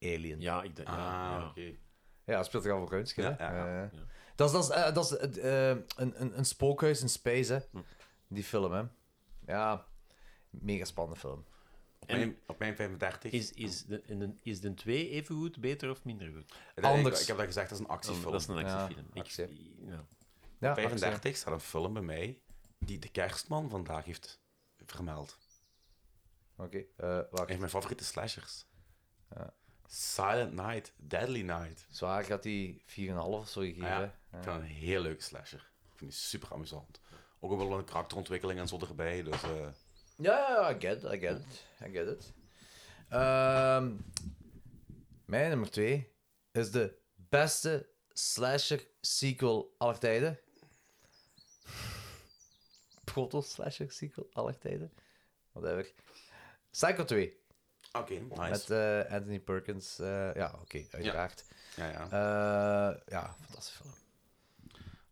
[SPEAKER 3] Alien. Ja,
[SPEAKER 4] Ja, ik denk... ja,
[SPEAKER 2] Ah,
[SPEAKER 4] ja.
[SPEAKER 2] oké.
[SPEAKER 3] het speelt toch al over ruimteschip,
[SPEAKER 2] Ja,
[SPEAKER 3] hè?
[SPEAKER 2] ja, ja.
[SPEAKER 3] Ja, ja. Dat is, dat is, eh, dat is het, eh, een, een, een spookhuis in space, hè?
[SPEAKER 2] Hm.
[SPEAKER 3] Die film, hè? Ja, mega spannende film.
[SPEAKER 2] Op mijn, op mijn 35.
[SPEAKER 4] Is, is, de, en de- is de 2 even goed, beter of minder goed?
[SPEAKER 2] eh,
[SPEAKER 4] Um,
[SPEAKER 2] Ik-
[SPEAKER 3] anders.
[SPEAKER 2] Ik, heb dat gezegd, dat is een actiefilm.
[SPEAKER 4] Dat is een
[SPEAKER 3] Ja,
[SPEAKER 4] actiefilm. Ik-
[SPEAKER 3] actie.
[SPEAKER 4] ja.
[SPEAKER 3] Ja,
[SPEAKER 2] Op 35 staat een film bij mij die de kerstman vandaag heeft vermeld.
[SPEAKER 3] Oké, eh,
[SPEAKER 2] Een van
[SPEAKER 3] wacht.
[SPEAKER 2] mijn favoriete slashers. Silent Night, Deadly Night.
[SPEAKER 3] Zwaar gaat hij 4,5 of zo gegeven.
[SPEAKER 2] Ah ja,
[SPEAKER 3] hè?
[SPEAKER 2] ik vind dat een heel leuke slasher. Ik vind die super amusant. Ook wel een karakterontwikkeling en zo erbij. Dus, eh,
[SPEAKER 3] Ja, ja, ja, I get it, I get it. I get it. Ehm, mijn nummer twee is de beste slasher sequel aller tijden. Proto slasher sequel aller tijden. Whatever. Psycho 2
[SPEAKER 2] Oké, nice.
[SPEAKER 3] met eh, Anthony Perkins. eh, ja, oké, uiteraard.
[SPEAKER 2] Ja, ja.
[SPEAKER 3] Eh, ja, fantastische film.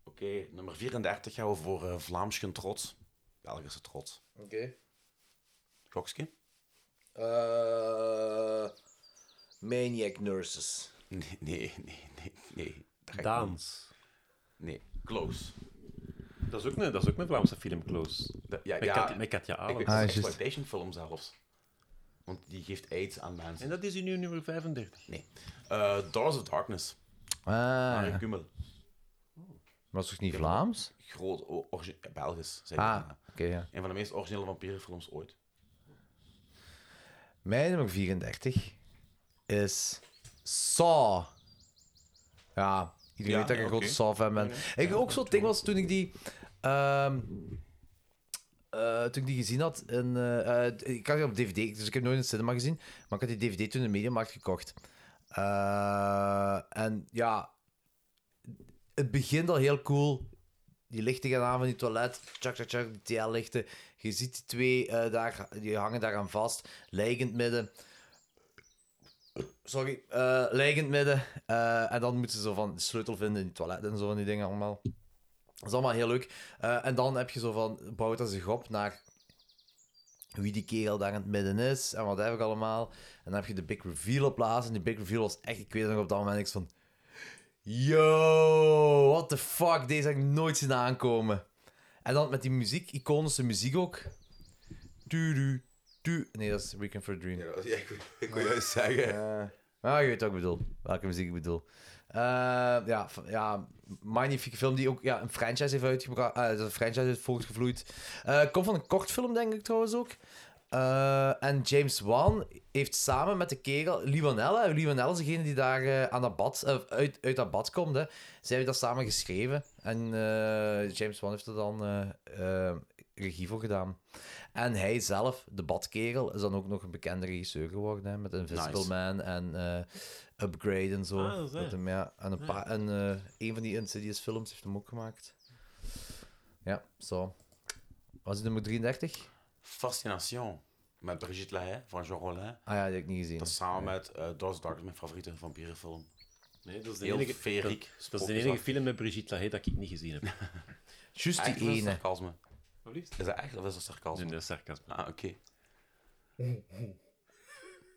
[SPEAKER 2] Oké, nummer 34 gaan we voor eh, Vlaamsken trots. Belgische trots.
[SPEAKER 3] Oké.
[SPEAKER 2] Klokske?
[SPEAKER 3] Eh, Maniac Nurses.
[SPEAKER 2] Nee, nee, nee, nee. nee. Dat ga ik niet.
[SPEAKER 4] Daans.
[SPEAKER 2] Nee, Close.
[SPEAKER 4] Dat is ook een, dat is ook een Vlaamse film, Close.
[SPEAKER 2] Dat- ja,
[SPEAKER 4] Met,
[SPEAKER 2] ja,
[SPEAKER 4] Katja, met Katja
[SPEAKER 2] ik
[SPEAKER 4] Arendt.
[SPEAKER 2] weet,
[SPEAKER 3] Ah,
[SPEAKER 2] dat is een
[SPEAKER 3] juist.
[SPEAKER 2] exploitation film zelfs. Want die geeft aids aan mensen.
[SPEAKER 4] En dat is in uw nummer 35.
[SPEAKER 2] Eh, Doors of Darkness.
[SPEAKER 3] Ah,
[SPEAKER 2] Arie Kummel.
[SPEAKER 3] was toch niet Vlaams?
[SPEAKER 2] Groot, o- origi- Belgisch. Zei
[SPEAKER 3] Ah,
[SPEAKER 2] hij.
[SPEAKER 3] oké, ja.
[SPEAKER 2] Een van de meest originele vampierenfilms ooit.
[SPEAKER 3] Mijn nummer 34 is Saw. Ja, Iedereen weet dat ik een grote Saw fan ben. Ik ook zo'n ding was toen ik die. ehm, eh, toen ik die gezien had, in, eh, eh, ik had die op DVD, dus ik heb nooit in het cinema gezien, maar ik had die DVD toen in de Mediamarkt gekocht. Eh, en ja, het begint al heel cool. Die lichten gaan aan van die toilet, tjak, tjak, tjak, die TL-lichten. Je ziet die twee eh, daar, die hangen daaraan vast, lijkend midden. Sorry, eh lijkend midden. Eh, en dan moeten ze zo van de sleutel vinden in het toilet en zo van die dingen allemaal. Dat is allemaal heel leuk. Eh, en dan heb je zo van, bouwt dat zich op naar wie die kerel daar in het midden is en wat heb ik allemaal. En dan heb je de big reveal op laatst. En die big reveal was echt, ik weet nog op dat moment niks van... Yo, what the fuck, deze heb ik nooit zien aankomen. En dan met die muziek, iconische muziek ook. Tu, tu, Nee, dat is Weekend for a Dream.
[SPEAKER 16] Ja, ik, ik wil juist zeggen.
[SPEAKER 3] Eh, ah, je weet wat ik bedoel. Welke muziek ik bedoel. Eh, ja, f- ja, magnifieke film die ook ja, een franchise heeft uitgebracht. eh, een franchise heeft voortgevloeid. Eh, komt van een kort film, denk ik trouwens ook. Eh, en James Wan heeft samen met de kerel Liwanella. eh, Liwanella is degene die daar eh, aan dat bad, eh, uit, uit dat bad komt. Hè. Zij hebben dat samen geschreven. En eh, James Wan heeft er dan eh, eh, regie voor gedaan. En hij zelf, de badkerel, is dan ook nog een bekende regisseur geworden. Hè, met Invisible
[SPEAKER 2] Nice.
[SPEAKER 3] Man en eh, Upgrade en zo.
[SPEAKER 4] Ah, dat is
[SPEAKER 3] Dat
[SPEAKER 4] hij.
[SPEAKER 3] hem, ja, en een, paar, en, eh, een van die Insidious films heeft hem ook gemaakt. Ja, zo. Was het nummer 33?
[SPEAKER 2] Fascination. Met Brigitte Lahaye van Jean Rollin.
[SPEAKER 3] Ah ja, die heb ik niet gezien.
[SPEAKER 2] Dat is samen met eh Doors Dark, mijn favoriete vampierenfilm.
[SPEAKER 4] Nee, dat is de
[SPEAKER 2] Heel
[SPEAKER 4] enige,
[SPEAKER 2] feeriek.
[SPEAKER 4] dat, dat is de enige film met Brigitte Lahaye dat ik niet gezien heb.
[SPEAKER 3] Juist die
[SPEAKER 2] Eigenlijk is dat
[SPEAKER 3] ene.
[SPEAKER 2] sarcasme.
[SPEAKER 4] Wat liefst?
[SPEAKER 2] Is dat echt of is dat
[SPEAKER 4] Nee,
[SPEAKER 2] sarcasme?
[SPEAKER 4] Dus dat is sarcasme.
[SPEAKER 2] Ah, oké.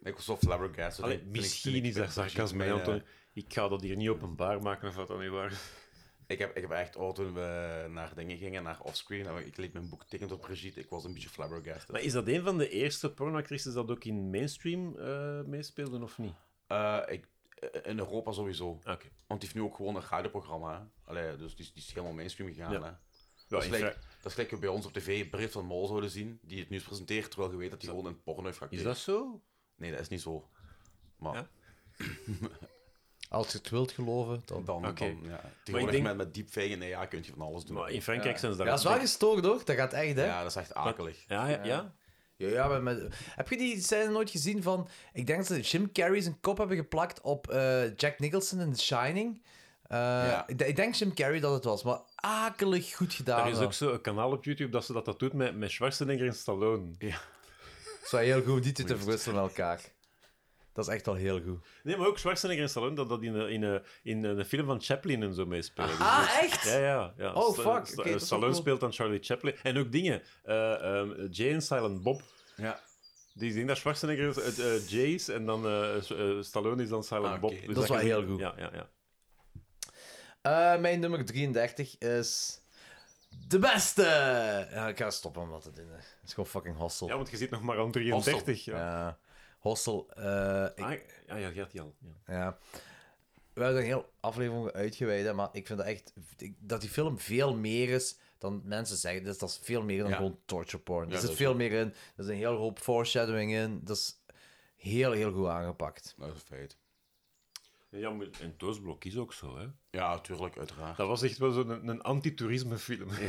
[SPEAKER 2] ik was zo flabbergasted.
[SPEAKER 4] Allee,
[SPEAKER 2] Toen ik- toen ik-
[SPEAKER 4] misschien
[SPEAKER 2] toen ik
[SPEAKER 4] is dat
[SPEAKER 2] Brigitte
[SPEAKER 4] sarcasme,
[SPEAKER 2] Lahaie-
[SPEAKER 4] Anton. Ik ga dat hier niet openbaar maken of dat dan niet waar is.
[SPEAKER 2] Ik heb, ik heb echt, oh, toen we naar dingen gingen, naar offscreen, en ik liet mijn boek tekenen op Brigitte, ik was een beetje flabbergasted.
[SPEAKER 4] Maar is dat een van de eerste pornoactrices dat ook in mainstream eh meespeelde of niet?
[SPEAKER 2] Eh, ik, eh, in Europa sowieso.
[SPEAKER 4] Oké.
[SPEAKER 2] Want die heeft nu ook gewoon een radioprogramma. hè. Allee, dus die, is- die is helemaal mainstream gegaan.
[SPEAKER 4] Ja.
[SPEAKER 2] Hè.
[SPEAKER 4] Ja,
[SPEAKER 2] Dat, is
[SPEAKER 4] in
[SPEAKER 2] gelijk,
[SPEAKER 4] Fra-
[SPEAKER 2] dat is gelijk je bij ons op tv Britt van Mol zouden zien, die het nieuws presenteert, terwijl je weet dat hij gewoon een porno heeft
[SPEAKER 4] is
[SPEAKER 2] geacteerd.
[SPEAKER 4] dat zo?
[SPEAKER 2] Nee, dat is niet zo. Maar
[SPEAKER 4] Ja?
[SPEAKER 3] Als je het wilt geloven, dan...
[SPEAKER 2] dan,
[SPEAKER 4] Oké.
[SPEAKER 2] dan ja. Tegenwoordig
[SPEAKER 4] denk-
[SPEAKER 2] met, met deepfake, nee, ja, kun je van alles doen.
[SPEAKER 4] Maar in Frankrijk zijn ze daar...
[SPEAKER 3] Ja, dat is wel gestoord, hoor. Dat gaat echt, hè?
[SPEAKER 2] Ja, dat is echt akelig.
[SPEAKER 4] Ja, ja, ja.
[SPEAKER 3] Ja, ja maar met- Heb je die scène nooit gezien van... Ik denk dat ze Jim Carrey zijn kop hebben geplakt op eh, Jack Nicholson in The Shining. Eh,
[SPEAKER 2] Ja.
[SPEAKER 3] ik, de- ik denk Jim Carrey dat het was, maar akelig goed gedaan.
[SPEAKER 4] Er is
[SPEAKER 3] hoor.
[SPEAKER 4] ook zo'n kanaal op YouTube dat ze dat, dat doet met, met Schwarzenegger en Stallone.
[SPEAKER 3] Het is wel heel goed om die twee te verwisselen met elkaar. Dat is echt wel heel goed.
[SPEAKER 4] Nee, maar ook Schwarzenegger en Stallone dat dat in, een- in, een- in een film van Chaplin en zo meespelen. Dus dat-
[SPEAKER 3] Ah, echt?
[SPEAKER 4] Ja, ja, ja.
[SPEAKER 3] Oh,
[SPEAKER 4] Sta-
[SPEAKER 3] fuck,
[SPEAKER 4] Sta-
[SPEAKER 3] oké, dat is wel
[SPEAKER 4] Stallone
[SPEAKER 3] cool.
[SPEAKER 4] speelt dan Charlie Chaplin. En ook dingen. eh ehm, Jay en Silent Bob.
[SPEAKER 2] Ja.
[SPEAKER 4] Die ik denk dat Schwarzenegger is, het, eh, Jay is en dan eh, S- eh, Stallone is dan Silent
[SPEAKER 2] Ah, oké.
[SPEAKER 4] Bob.
[SPEAKER 2] Dat
[SPEAKER 4] Dus
[SPEAKER 3] is wel
[SPEAKER 4] je-
[SPEAKER 3] heel goed.
[SPEAKER 4] Ja, ja, ja.
[SPEAKER 3] Eh, mijn nummer 33 is... De beste! Ja, ik ga stoppen om dat te doen. hè. Het is gewoon fucking hostel.
[SPEAKER 4] ja, want je zit nog maar aan
[SPEAKER 2] Hostel.
[SPEAKER 4] 33. Ja.
[SPEAKER 3] Ja, hostel. eh, ik,
[SPEAKER 4] Ah, ja, ja, je had die al. Ja.
[SPEAKER 3] Ja. We hebben er een heel aflevering uitgeweid, hè, maar ik vind dat echt... ik- Dat die film veel meer is dan mensen zeggen. Dus dat is veel meer dan
[SPEAKER 2] Ja.
[SPEAKER 3] gewoon torture porn. Er
[SPEAKER 2] Ja,
[SPEAKER 3] zit
[SPEAKER 2] dat is
[SPEAKER 3] veel meer in. Er is een hele hoop foreshadowing in. Dat is heel, heel goed aangepakt.
[SPEAKER 2] Dat is een feit.
[SPEAKER 4] Ja, maar en Toosblok is ook zo, hè.
[SPEAKER 2] Ja, tuurlijk, uiteraard.
[SPEAKER 4] Dat was echt wel zo'n een, een anti-toerisme film.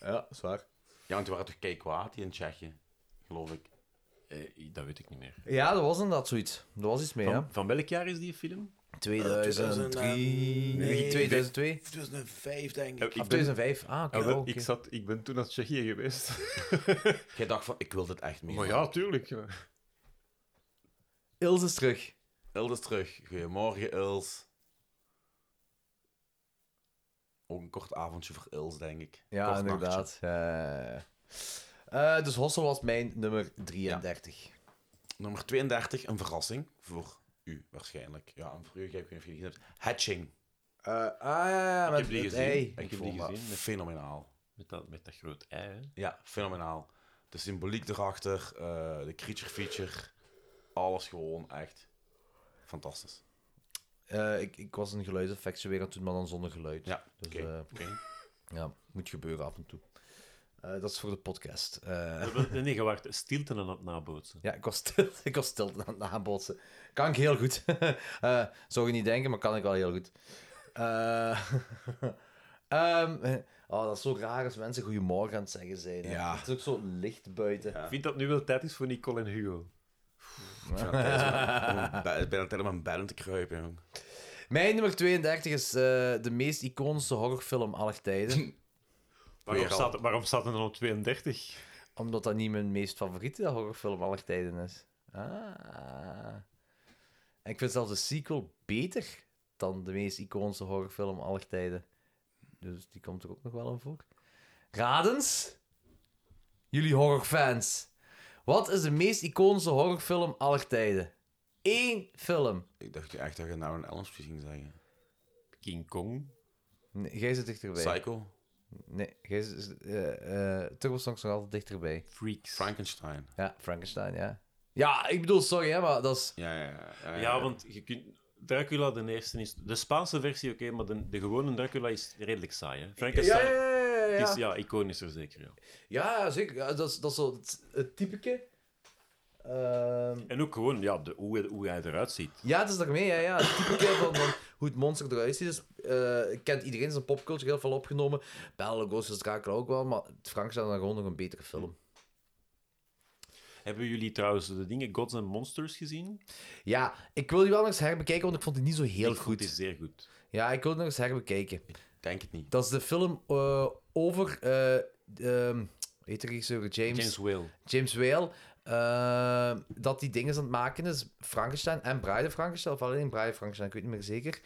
[SPEAKER 3] Ja, zwaar.
[SPEAKER 2] Ja, want die waren toch keikwaad, die in Tsjechië, geloof ik.
[SPEAKER 4] Eh, dat weet ik niet meer.
[SPEAKER 3] Ja, dat was inderdaad zoiets. Er was iets mee, hè.
[SPEAKER 4] Van, van welk jaar is die film?
[SPEAKER 3] 2003... Nee, 2002?
[SPEAKER 16] 2005, denk
[SPEAKER 4] Eh,
[SPEAKER 16] ik.
[SPEAKER 4] ik
[SPEAKER 3] Of
[SPEAKER 4] ben-
[SPEAKER 3] 2005? Ah, oké.
[SPEAKER 4] Ah, wel,
[SPEAKER 3] oké.
[SPEAKER 4] ik, zat, ik ben toen naar Tsjechië geweest.
[SPEAKER 2] Jij dacht van, ik wil dit echt meer.
[SPEAKER 4] maar ja, tuurlijk.
[SPEAKER 3] Ilse is terug.
[SPEAKER 2] Ilse is terug. Goedemorgen, Ilse. Ook een kort avondje voor Ilse, denk ik.
[SPEAKER 3] Ja,
[SPEAKER 2] Kort nachtje.
[SPEAKER 3] inderdaad. Eh, eh, dus Hostel was mijn nummer 33.
[SPEAKER 2] Nummer 32, een verrassing voor u waarschijnlijk. Ja, en voor u, ik weet niet of je die gezien hebt. Hatching.
[SPEAKER 3] Eh, ah, ja, ja,
[SPEAKER 2] Ik
[SPEAKER 3] met-
[SPEAKER 2] heb die
[SPEAKER 3] met-
[SPEAKER 2] gezien.
[SPEAKER 3] hey.
[SPEAKER 2] ik heb die gezien. Fenomenaal.
[SPEAKER 4] Met dat, met dat groot ei, hè.
[SPEAKER 2] Ja, fenomenaal. De symboliek erachter, eh, de creature feature, alles gewoon echt fantastisch.
[SPEAKER 3] Eh, ik, ik was een geluidseffectje weer aan het doen, maar dan zonder geluid.
[SPEAKER 2] Ja,
[SPEAKER 3] Dus,
[SPEAKER 2] oké.
[SPEAKER 3] eh,
[SPEAKER 2] oké.
[SPEAKER 3] ja, moet gebeuren af en toe. Eh, dat is voor de podcast. Eh,
[SPEAKER 4] Nee, nee, je waart stilte aan het nabootsen.
[SPEAKER 3] ja, ik was stil, ik was stil aan het nabootsen. Kan ik heel goed. Eh, zou je niet denken, maar kan ik wel heel goed. Eh, ehm, eh, oh, dat is zo raar als mensen goedemorgen aan het zeggen zijn. hè.
[SPEAKER 2] Ja.
[SPEAKER 3] Het is ook zo licht buiten.
[SPEAKER 17] Ik vind dat nu wel tijd is voor Nicole en Hugo.
[SPEAKER 2] Ik ben bijna tijd om aan bedden te kruipen, jong.
[SPEAKER 3] Mijn nummer 32 is eh, de meest iconische horrorfilm aller tijden.
[SPEAKER 17] Waarom
[SPEAKER 2] Weer al.
[SPEAKER 17] staat, waarom staat er dan op 32?
[SPEAKER 3] Omdat dat niet mijn meest favoriete horrorfilm aller tijden is. Ah. En ik vind zelfs de sequel beter dan de meest iconische horrorfilm aller tijden. Dus die komt er ook nog wel aan voor. Radens, jullie horrorfans. Wat is de meest iconische horrorfilm aller tijden? Eén film.
[SPEAKER 2] Ik dacht echt dat je nou een Elm Street ging zeggen.
[SPEAKER 17] King Kong.
[SPEAKER 3] Nee, jij zit dichterbij.
[SPEAKER 2] Psycho,
[SPEAKER 3] Nee, jij zit... eh eh Turbo Song is nog altijd dichterbij.
[SPEAKER 17] Freaks.
[SPEAKER 2] Frankenstein.
[SPEAKER 3] Ja, Frankenstein, ja. Ja, ik bedoel, sorry, hè, maar dat is...
[SPEAKER 2] Ja, ja, ja. ja,
[SPEAKER 4] Ja, want je kunt... Dracula, de eerste is... De Spaanse versie, oké, maar de, de gewone Dracula is redelijk saai, hè?
[SPEAKER 3] Ja,
[SPEAKER 4] Frankenstein
[SPEAKER 3] ja, ja, ja,
[SPEAKER 4] ja, is
[SPEAKER 3] ja.
[SPEAKER 4] ja, iconischer zeker, ja.
[SPEAKER 3] Ja, zeker. Ja, dat, is, dat is zo het, het typeke. Ehm,
[SPEAKER 4] En ook gewoon, ja, de, hoe, hoe hij eruit ziet.
[SPEAKER 3] ja, het is daarmee, ja, ja. Het typeke van, van hoe het monster eruit ziet. Dus, eh, kent iedereen zijn popculture heel veel opgenomen. Bella Lugosi's Dracula ook wel, maar Frankenstein is dan gewoon nog een betere film.
[SPEAKER 4] Hebben jullie trouwens de dingen Gods and Monsters gezien?
[SPEAKER 3] Ja, ik wil die wel nog eens herbekijken, want ik vond die niet zo heel
[SPEAKER 4] Ik vond
[SPEAKER 3] goed.
[SPEAKER 4] die zeer goed.
[SPEAKER 3] Ja, ik wil die nog eens herbekijken.
[SPEAKER 2] Ik denk het niet.
[SPEAKER 3] Dat is de film eh, over. eh ehm heet de regisseur James,
[SPEAKER 4] James
[SPEAKER 3] James,
[SPEAKER 4] Whale.
[SPEAKER 3] Whale. eh, dat die dingen aan het maken is. Frankenstein en Bride of Frankenstein. Of alleen Bride of Frankenstein, ik weet niet meer zeker.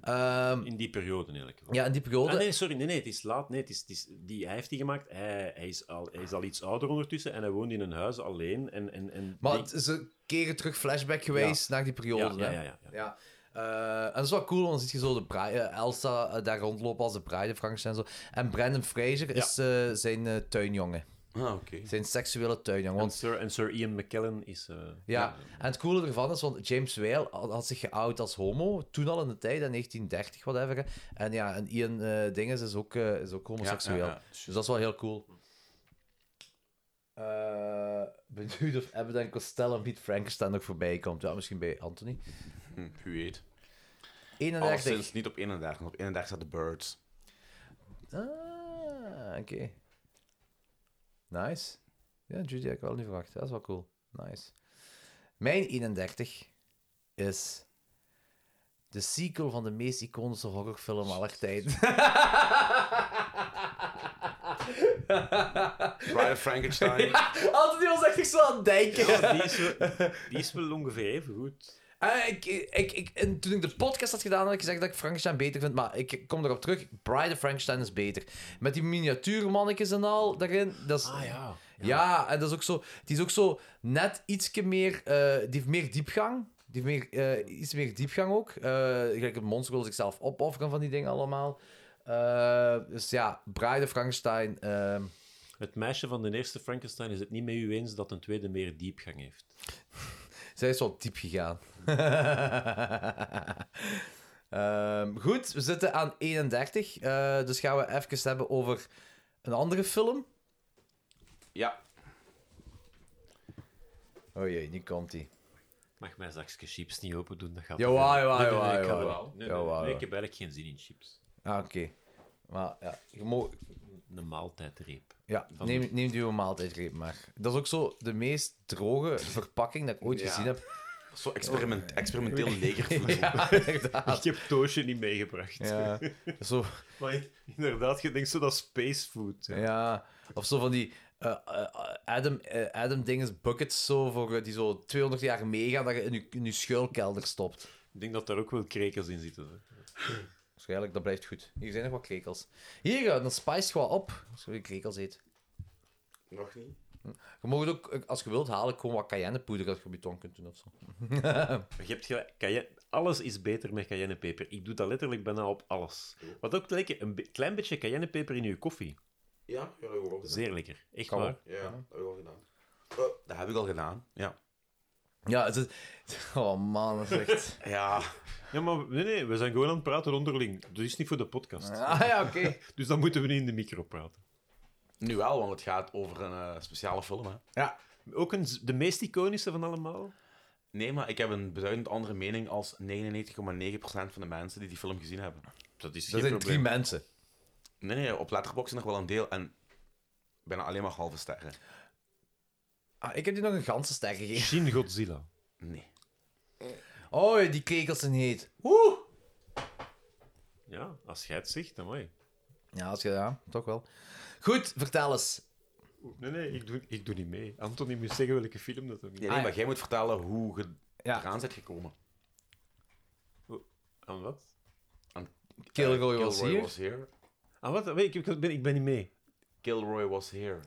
[SPEAKER 3] Ehm,
[SPEAKER 4] In die periode, in elk geval.
[SPEAKER 3] ja, in die periode.
[SPEAKER 4] Ah, nee, sorry, nee, nee, het is laat. Nee, het is, het is, die, hij heeft die gemaakt. Hij, hij, is al, hij is al iets ouder ondertussen en hij woont in een huis alleen. En, en, en
[SPEAKER 3] Maar
[SPEAKER 4] die-
[SPEAKER 3] het is een keren terug flashback geweest naar die periode.
[SPEAKER 4] ja,
[SPEAKER 3] hè.
[SPEAKER 4] ja, ja, ja.
[SPEAKER 3] Ja. Eh, en dat is wel cool, want dan zie je zo de Bri- eh, Elsa eh, daar rondlopen als de Bride of Frankenstein. En, zo. en Brandon Fraser is eh, zijn eh, tuinjongen.
[SPEAKER 2] Ah, oké.
[SPEAKER 3] Zijn seksuele tuinjongen.
[SPEAKER 4] En
[SPEAKER 3] Want
[SPEAKER 4] Sir, en Sir Ian McKellen is... eh,
[SPEAKER 3] Ja, en het coole ervan is, want James Whale had had zich geout als homo, toen al in de tijd, in 1930, whatever. hè. En ja, en Ian eh Dinges is ook, eh, is ook homoseksueel.
[SPEAKER 2] Ja, ja, ja.
[SPEAKER 3] Dus dat is wel heel cool. Eh benieuwd of Abbott en Costello niet Frankenstein nog voorbij komt. Ja, misschien bij Anthony.
[SPEAKER 2] Hm, Wie weet.
[SPEAKER 3] 31. dus.
[SPEAKER 2] Alleszins niet op 31, want op 31 staat de Birds.
[SPEAKER 3] Ah, oké. Nice. Ja, Judy had ik wel niet verwacht. Dat is wel cool. Nice. Mijn 31 is de sequel van de meest iconische horrorfilm aller tijden.
[SPEAKER 2] Bride of Frankenstein.
[SPEAKER 3] Anthony was echt zo aan het denken.
[SPEAKER 4] Ja, die, is wel, die is wel ongeveer even goed.
[SPEAKER 3] Eh, ik, ik, ik, en toen ik de podcast had gedaan, had ik gezegd dat ik Frankenstein beter vind. Maar ik kom erop terug. Bride of Frankenstein is beter. Met die miniatuurmannetjes en al daarin. Dat is,
[SPEAKER 4] Ah ja.
[SPEAKER 3] Ja. en dat is ook zo, die is ook zo net ietsje meer, eh, die heeft meer diepgang. Die heeft meer, eh, iets meer diepgang ook. Eh, Gelijk het monster wil zichzelf opofferen van die dingen allemaal. Eh, dus ja, Bride of Frankenstein. ehm,
[SPEAKER 4] Het meisje van de eerste Frankenstein is het niet met u eens dat een tweede meer diepgang heeft.
[SPEAKER 3] zij is wel diep gegaan. Ehm, goed, we zitten aan 31. eh, dus gaan we even hebben over een andere film.
[SPEAKER 2] Ja.
[SPEAKER 3] Oh jee, nu komt die.
[SPEAKER 4] Mag mijn zakje chips niet open doen? Dat gaat
[SPEAKER 3] Jawel, jawel,
[SPEAKER 4] wel. Nee, nee, nee,
[SPEAKER 3] jawel,
[SPEAKER 4] ik ga
[SPEAKER 3] jawel.
[SPEAKER 4] wel. Nee, nee,
[SPEAKER 3] Jawel,
[SPEAKER 4] nee,
[SPEAKER 3] jawel.
[SPEAKER 4] ik heb eigenlijk geen zin in chips.
[SPEAKER 3] Ah, oké. Maar ja, je mag,
[SPEAKER 4] Een maaltijdreep.
[SPEAKER 3] Ja,
[SPEAKER 4] Van
[SPEAKER 3] neem, neem die uw maaltijdreep maar. Dat is ook zo de meest droge verpakking dat ik ooit
[SPEAKER 2] Ja.
[SPEAKER 3] gezien heb.
[SPEAKER 2] Zo experiment, experimenteel legervoedsel.
[SPEAKER 3] Ja, inderdaad.
[SPEAKER 4] Ik heb Toosje niet meegebracht.
[SPEAKER 3] Ja. Zo,
[SPEAKER 4] Maar inderdaad, je denkt zo dat space food.
[SPEAKER 3] ja. Of zo van die eh, eh, Adam, eh, Adam Dinges buckets zo voor, eh, die zo 200 jaar meegaan dat je in je, in je schuilkelder stopt.
[SPEAKER 4] Ik denk dat daar ook wel krekels in zitten. hè.
[SPEAKER 3] Waarschijnlijk, Dus dat blijft goed. Hier zijn nog wat krekels. Hier, eh, dan spice je wat op als je krekels eet.
[SPEAKER 2] Nog niet?
[SPEAKER 3] Je mag het ook, eh, als je wilt, halen gewoon wat cayennepoeder dat je op je tong kunt doen of zo.
[SPEAKER 4] Maar je hebt gelijk, cayenne- alles is beter met cayennepeper. Ik doe dat letterlijk bijna op alles. Wat ook lekker, een be- klein beetje cayennepeper in je koffie.
[SPEAKER 2] Ja, ja, dat heb ik al gedaan.
[SPEAKER 4] Zeer lekker. Echt
[SPEAKER 3] Kan
[SPEAKER 4] waar.
[SPEAKER 2] Ja, dat heb ik al gedaan. Oh, dat heb ik al gedaan, ja.
[SPEAKER 3] Ja, het is... Oh man, dat is echt...
[SPEAKER 2] Ja,
[SPEAKER 4] Ja, maar nee, nee, we zijn gewoon aan het praten onderling. Dat is niet voor de podcast.
[SPEAKER 3] Ah ja, oké.
[SPEAKER 4] Dus dan moeten we niet in de micro praten.
[SPEAKER 2] nu wel, want het gaat over een eh, speciale film, hè.
[SPEAKER 4] Ook een, z- de meest iconische van allemaal.
[SPEAKER 2] Nee, maar ik heb een beduidend andere mening als 99,9% van de mensen die die film gezien hebben.
[SPEAKER 18] Dat is
[SPEAKER 3] Dat
[SPEAKER 18] geen
[SPEAKER 3] zijn drie
[SPEAKER 18] probleem.
[SPEAKER 3] mensen.
[SPEAKER 2] Nee, nee, op Letterboxd nog wel een deel en bijna alleen maar halve sterren.
[SPEAKER 3] Ah, ik heb die nog een ganse ster gegeven.
[SPEAKER 4] Shin Godzilla.
[SPEAKER 2] Nee.
[SPEAKER 3] Oh, die krekels zijn heet.
[SPEAKER 4] Ja, als jij het zegt, dan mooi.
[SPEAKER 3] Ja, als je, ja, toch wel. Goed, vertel eens.
[SPEAKER 4] Nee, nee, ik doe, ik doe niet mee. Anthony moet zeggen welke film dat ook
[SPEAKER 2] Nee,
[SPEAKER 4] is.
[SPEAKER 2] nee
[SPEAKER 3] Ah, ja.
[SPEAKER 2] maar jij moet vertellen hoe je
[SPEAKER 3] Ja.
[SPEAKER 2] eraan bent gekomen.
[SPEAKER 4] Aan wat?
[SPEAKER 3] Kilroy
[SPEAKER 2] Eh,
[SPEAKER 3] was hier.
[SPEAKER 2] was here.
[SPEAKER 4] Aan wat? Weet Ik, ik, ben, ik ben niet mee.
[SPEAKER 2] Kilroy was here.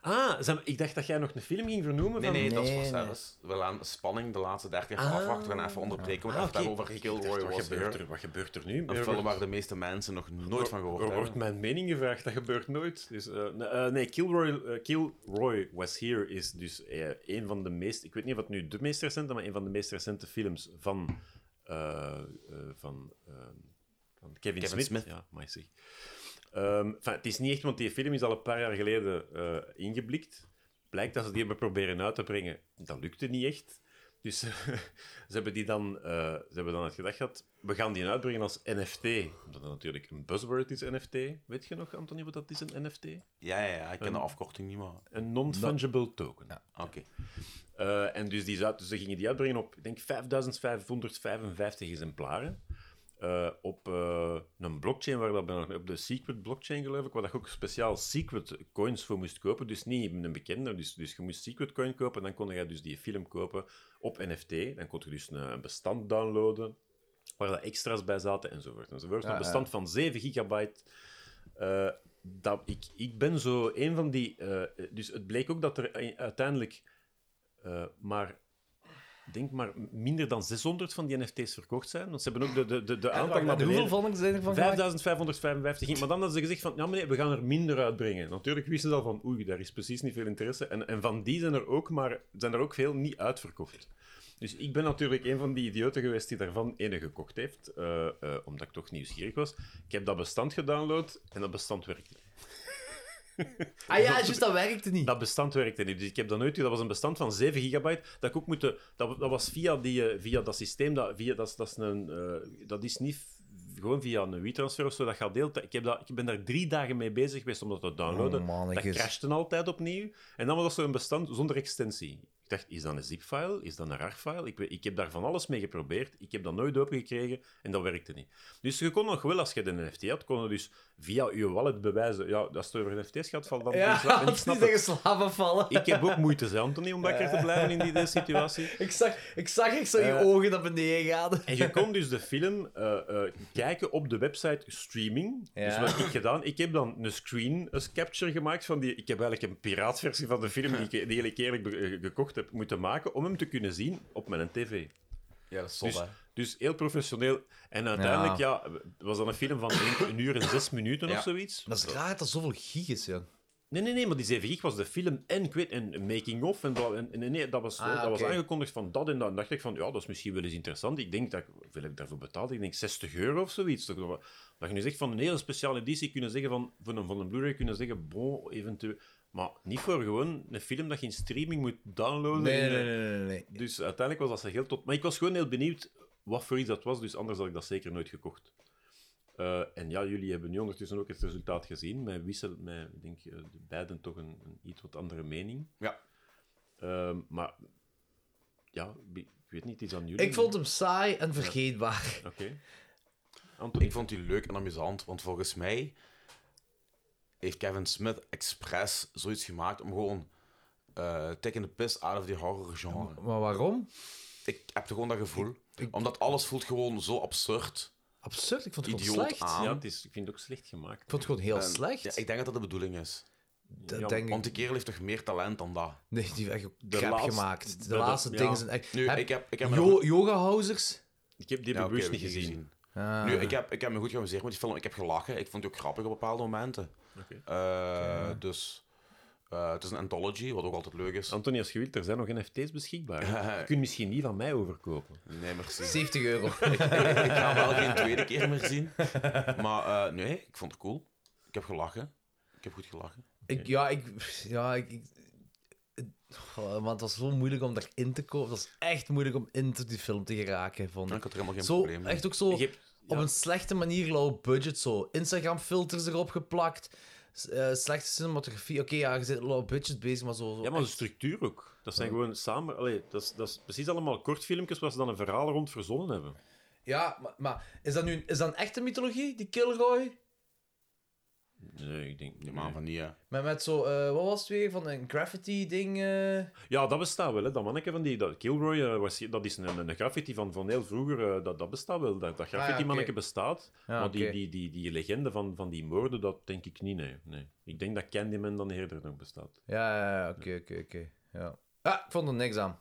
[SPEAKER 4] Ah, zeg maar, ik dacht dat jij nog een film ging vernoemen.
[SPEAKER 2] Nee,
[SPEAKER 4] van...
[SPEAKER 2] nee, dat is
[SPEAKER 3] Nee,
[SPEAKER 2] voor
[SPEAKER 3] nee.
[SPEAKER 2] zelfs wel aan spanning. De laatste 30 even
[SPEAKER 4] Ah.
[SPEAKER 2] afwachten en even onderbreken. We
[SPEAKER 4] Ah,
[SPEAKER 2] ah,
[SPEAKER 4] oké.
[SPEAKER 2] daarover Kilroy
[SPEAKER 4] Dacht, wat,
[SPEAKER 2] was
[SPEAKER 4] gebeurt
[SPEAKER 2] here.
[SPEAKER 4] er, wat gebeurt er nu?
[SPEAKER 2] Een film waar de meeste mensen nog nooit van gehoord
[SPEAKER 4] Er wordt
[SPEAKER 2] hebben.
[SPEAKER 4] mijn mening gevraagd, dat gebeurt nooit. Dus, eh, nee, eh, nee, Kilroy, eh, Kilroy Was Here is dus eh, een van de meest... Ik weet niet wat nu de meest recente, maar een van de meest recente films van, eh, eh, van, eh, van Kevin,
[SPEAKER 2] Kevin
[SPEAKER 4] Smith.
[SPEAKER 2] Smith.
[SPEAKER 4] Ja, maar zeg. Ehm, enfin, het is niet echt, want die film is al een paar jaar geleden eh, ingeblikt. Blijkt dat ze die hebben proberen uit te brengen. Dat lukte niet echt. Dus ze hebben, die dan, eh, ze hebben dan het gedacht gehad, we gaan die uitbrengen als NFT. Omdat dat natuurlijk een buzzword is, NFT. Weet je nog, Anthony, wat dat is, een NFT?
[SPEAKER 2] Ja, ja, ja, ik ken de afkorting niet, maar... Ah,
[SPEAKER 4] Een non-fungible token.
[SPEAKER 2] Oké.
[SPEAKER 4] Eh, en dus, die, zou- dus ze gingen die uitbrengen op, ik denk, 5555 exemplaren. Eh, op eh, een blockchain, waar dat bij- op de Secret blockchain geloof ik, waar dat je ook speciaal Secret coins voor moest kopen. Dus niet een bekende, dus, dus je moest Secret coin kopen. Dan kon je dus die film kopen op NFT. Dan kon je dus een, een bestand downloaden, waar dat extra's bij zaten enzovoort. enzovoort. een bestand van 7 gigabyte eh, dat ik, ik ben zo een van die. eh, dus het bleek ook dat er i- uiteindelijk eh, maar. ik Denk maar minder dan 600 van die NFT's verkocht zijn. Want ze hebben ook de, de, de, de aantal naar
[SPEAKER 3] hoeveel
[SPEAKER 4] beneden-
[SPEAKER 3] vond zijn er van
[SPEAKER 4] 5555 ging. Maar dan hadden ze gezegd van, ja meneer, we gaan er minder uitbrengen. Natuurlijk wisten ze al van, oei, daar is precies niet veel interesse. En, en van die zijn er ook maar, zijn er ook veel niet uitverkocht. Dus ik ben natuurlijk een van die idioten geweest die daarvan ene gekocht heeft, eh, eh, omdat ik toch nieuwsgierig was. Ik heb dat bestand gedownload en dat bestand werkte niet.
[SPEAKER 3] Ah ja, juist, dat werkte niet.
[SPEAKER 4] Dat bestand werkte niet. Dus ik heb dat nooit... Dat was een bestand van 7 gigabyte. Dat ik ook moeten... Dat, dat was via, die, eh, via dat systeem. Dat, via, dat, is- dat, is een, eh, dat is niet... f- Gewoon via een WeTransfer of zo. Dat gaat deelt. Ik, heb dat, ik ben daar drie dagen mee bezig geweest om dat te downloaden.
[SPEAKER 3] Oh, mannetjes.
[SPEAKER 4] dat crashte altijd opnieuw. En dan was dat zo'n bestand zonder extensie. Ik dacht, is dat een zip-file? Is dat een RAR-file? Ik, weet- ik heb daar van alles mee geprobeerd. Ik heb dat nooit opengekregen en dat werkte niet. Dus je kon nog wel, als je de NFT had, kon je dus via je wallet bewijzen... Ja, als het over NFT's gaat, valt dan...
[SPEAKER 3] ja,
[SPEAKER 4] dan- dan-
[SPEAKER 3] het is niet tegen slaven vallen.
[SPEAKER 4] ik heb ook moeite, zei Anthony, om wakker te blijven in die, deze situatie.
[SPEAKER 3] Ik zag, ik zag echt zo je ogen naar beneden gaan.
[SPEAKER 4] En je kon dus de film eh, eh, kijken op de website streaming.
[SPEAKER 3] Ja.
[SPEAKER 4] Dus wat heb ik gedaan? Ik heb dan een screen als capture gemaakt van die... Ik heb eigenlijk een piraatversie van de film die ik, die ik eerlijk be- eh, gekocht heb moeten maken om hem te kunnen zien op mijn tv.
[SPEAKER 2] Ja, dat is zot,
[SPEAKER 4] Dus-
[SPEAKER 2] hè.
[SPEAKER 4] Dus heel professioneel. En uiteindelijk, ja, was dat een film van denk ik, een uur en zes minuten
[SPEAKER 2] Ja.
[SPEAKER 4] of zoiets.
[SPEAKER 3] Dat is raar dat dat zoveel gig is, ja.
[SPEAKER 4] Nee, nee, nee, maar die 7 gig was de film en, ik weet, en making-of. En, bla- en, en nee, nee, dat, was,
[SPEAKER 3] Ah,
[SPEAKER 4] dat was
[SPEAKER 3] oké.
[SPEAKER 4] aangekondigd van dat en dat. En dacht ik van, ja, dat is misschien wel eens interessant. Ik denk, dat, ik- hoeveel heb ik daarvoor betaald? Ik denk 60 euro of zoiets. Toch? Dat je nu zegt van een hele speciale editie kunnen zeggen van, van een, van een Blu-ray kunnen zeggen, bon, eventueel. Maar niet voor gewoon een film dat je in streaming moet downloaden. eh,
[SPEAKER 3] Nee, nee, nee, nee. nee.
[SPEAKER 4] Dus uiteindelijk was dat zijn geld tot. Maar ik was gewoon heel benieuwd wat voor iets dat was, dus anders had ik dat zeker nooit gekocht. Eh, en ja, jullie hebben nu ondertussen ook het resultaat gezien. Mij wisselt mij, ik denk, eh, de beiden toch een, een iets wat andere mening.
[SPEAKER 2] Ja.
[SPEAKER 4] Ehm, maar ja, ik weet niet, het is aan jullie.
[SPEAKER 3] Ik vond hem saai en vergeetbaar.
[SPEAKER 4] Oké. Anthony,
[SPEAKER 2] Ik vond die leuk en amusant, want volgens mij heeft Kevin Smith expres zoiets gemaakt om gewoon eh taking the piss out of die horror genre.
[SPEAKER 3] Maar waarom?
[SPEAKER 2] Ik heb gewoon dat gevoel. Omdat alles voelt gewoon zo absurd,
[SPEAKER 3] Absurd, ik vond het gewoon
[SPEAKER 2] idioot
[SPEAKER 3] slecht.
[SPEAKER 2] aan.
[SPEAKER 4] ja, het is, ik vind het ook slecht gemaakt.
[SPEAKER 3] Ik vond het gewoon heel
[SPEAKER 2] En-
[SPEAKER 3] slecht.
[SPEAKER 2] Ja, ik denk dat dat de bedoeling is.
[SPEAKER 3] dat
[SPEAKER 4] ja,
[SPEAKER 3] denk ik.
[SPEAKER 2] Want die kerel heeft toch meer talent dan dat.
[SPEAKER 3] Nee, die hebben echt
[SPEAKER 4] De
[SPEAKER 3] crap
[SPEAKER 4] laatste-
[SPEAKER 3] gemaakt. De,
[SPEAKER 4] de- de-
[SPEAKER 3] laatste
[SPEAKER 4] ja.
[SPEAKER 3] dingen zijn echt...
[SPEAKER 2] Nu,
[SPEAKER 3] Heb-
[SPEAKER 2] ik heb... Ik heb me
[SPEAKER 3] Jo
[SPEAKER 2] goed-
[SPEAKER 3] Yoga-housers?
[SPEAKER 4] Ik heb die
[SPEAKER 2] Ja, oké,
[SPEAKER 4] bewust
[SPEAKER 2] heb ik
[SPEAKER 4] niet gezien.
[SPEAKER 3] Ah.
[SPEAKER 2] Nu, ik heb, ik heb me goed geamuseerd met die film. Ik heb gelachen. Ik vond die ook grappig op bepaalde momenten.
[SPEAKER 4] Oké.
[SPEAKER 2] Eh, Dus... eh, het is een anthology, wat ook altijd leuk is.
[SPEAKER 4] Anthony, als je wilt, er zijn nog NFT's beschikbaar. Je kunt misschien die van mij overkopen.
[SPEAKER 2] Nee, merci.
[SPEAKER 3] 70 euro.
[SPEAKER 2] ik ga hem wel geen tweede keer meer zien. Maar eh, nee, ik vond het cool. Ik heb gelachen. Ik heb goed gelachen.
[SPEAKER 3] Ik, ja, ik... Ja, ik... ik Oh, man, het was zo moeilijk om daarin te komen. Het was echt moeilijk om in te die film te geraken, vond
[SPEAKER 2] Ik
[SPEAKER 3] ik.
[SPEAKER 2] had er helemaal geen
[SPEAKER 3] Zo,
[SPEAKER 2] probleem mee.
[SPEAKER 3] echt ook zo...
[SPEAKER 4] Je hebt,
[SPEAKER 3] op een slechte manier low budget zo. Instagram-filters erop geplakt. s- eh, slechte cinematografie. Oké, ja, je zit low budget bezig, maar zo. zo
[SPEAKER 4] Ja, maar de
[SPEAKER 3] echt-
[SPEAKER 4] structuur ook. Dat zijn gewoon samen... Allee, dat, is, dat is precies allemaal kortfilmpjes waar ze dan een verhaal rond verzonnen hebben.
[SPEAKER 3] ja maar, maar is dat nu een- is dat een echte mythologie, die Kilroy?
[SPEAKER 4] Nee, ik denk niet.
[SPEAKER 19] Maar van
[SPEAKER 4] Oh,
[SPEAKER 19] die, ja.
[SPEAKER 3] Met, met zo, eh, wat was het weer? Van een graffiti-ding. eh?
[SPEAKER 4] Ja, dat bestaat wel. Hè. Dat manneke van die... Dat Kilroy, eh, was, dat is een, een graffiti van, van heel vroeger. eh, dat, dat bestaat wel. Dat, dat graffiti-manneke
[SPEAKER 3] oké.
[SPEAKER 4] bestaat.
[SPEAKER 3] Ja,
[SPEAKER 4] maar Oh, die,
[SPEAKER 3] oké.
[SPEAKER 4] die, die, die legende van, van die moorden, dat denk ik niet, nee. nee. Ik denk dat Candyman dan eerder nog bestaat.
[SPEAKER 3] Ja, ja, ja, oké, oké, oké. Ja. Ah, ik vond er niks aan.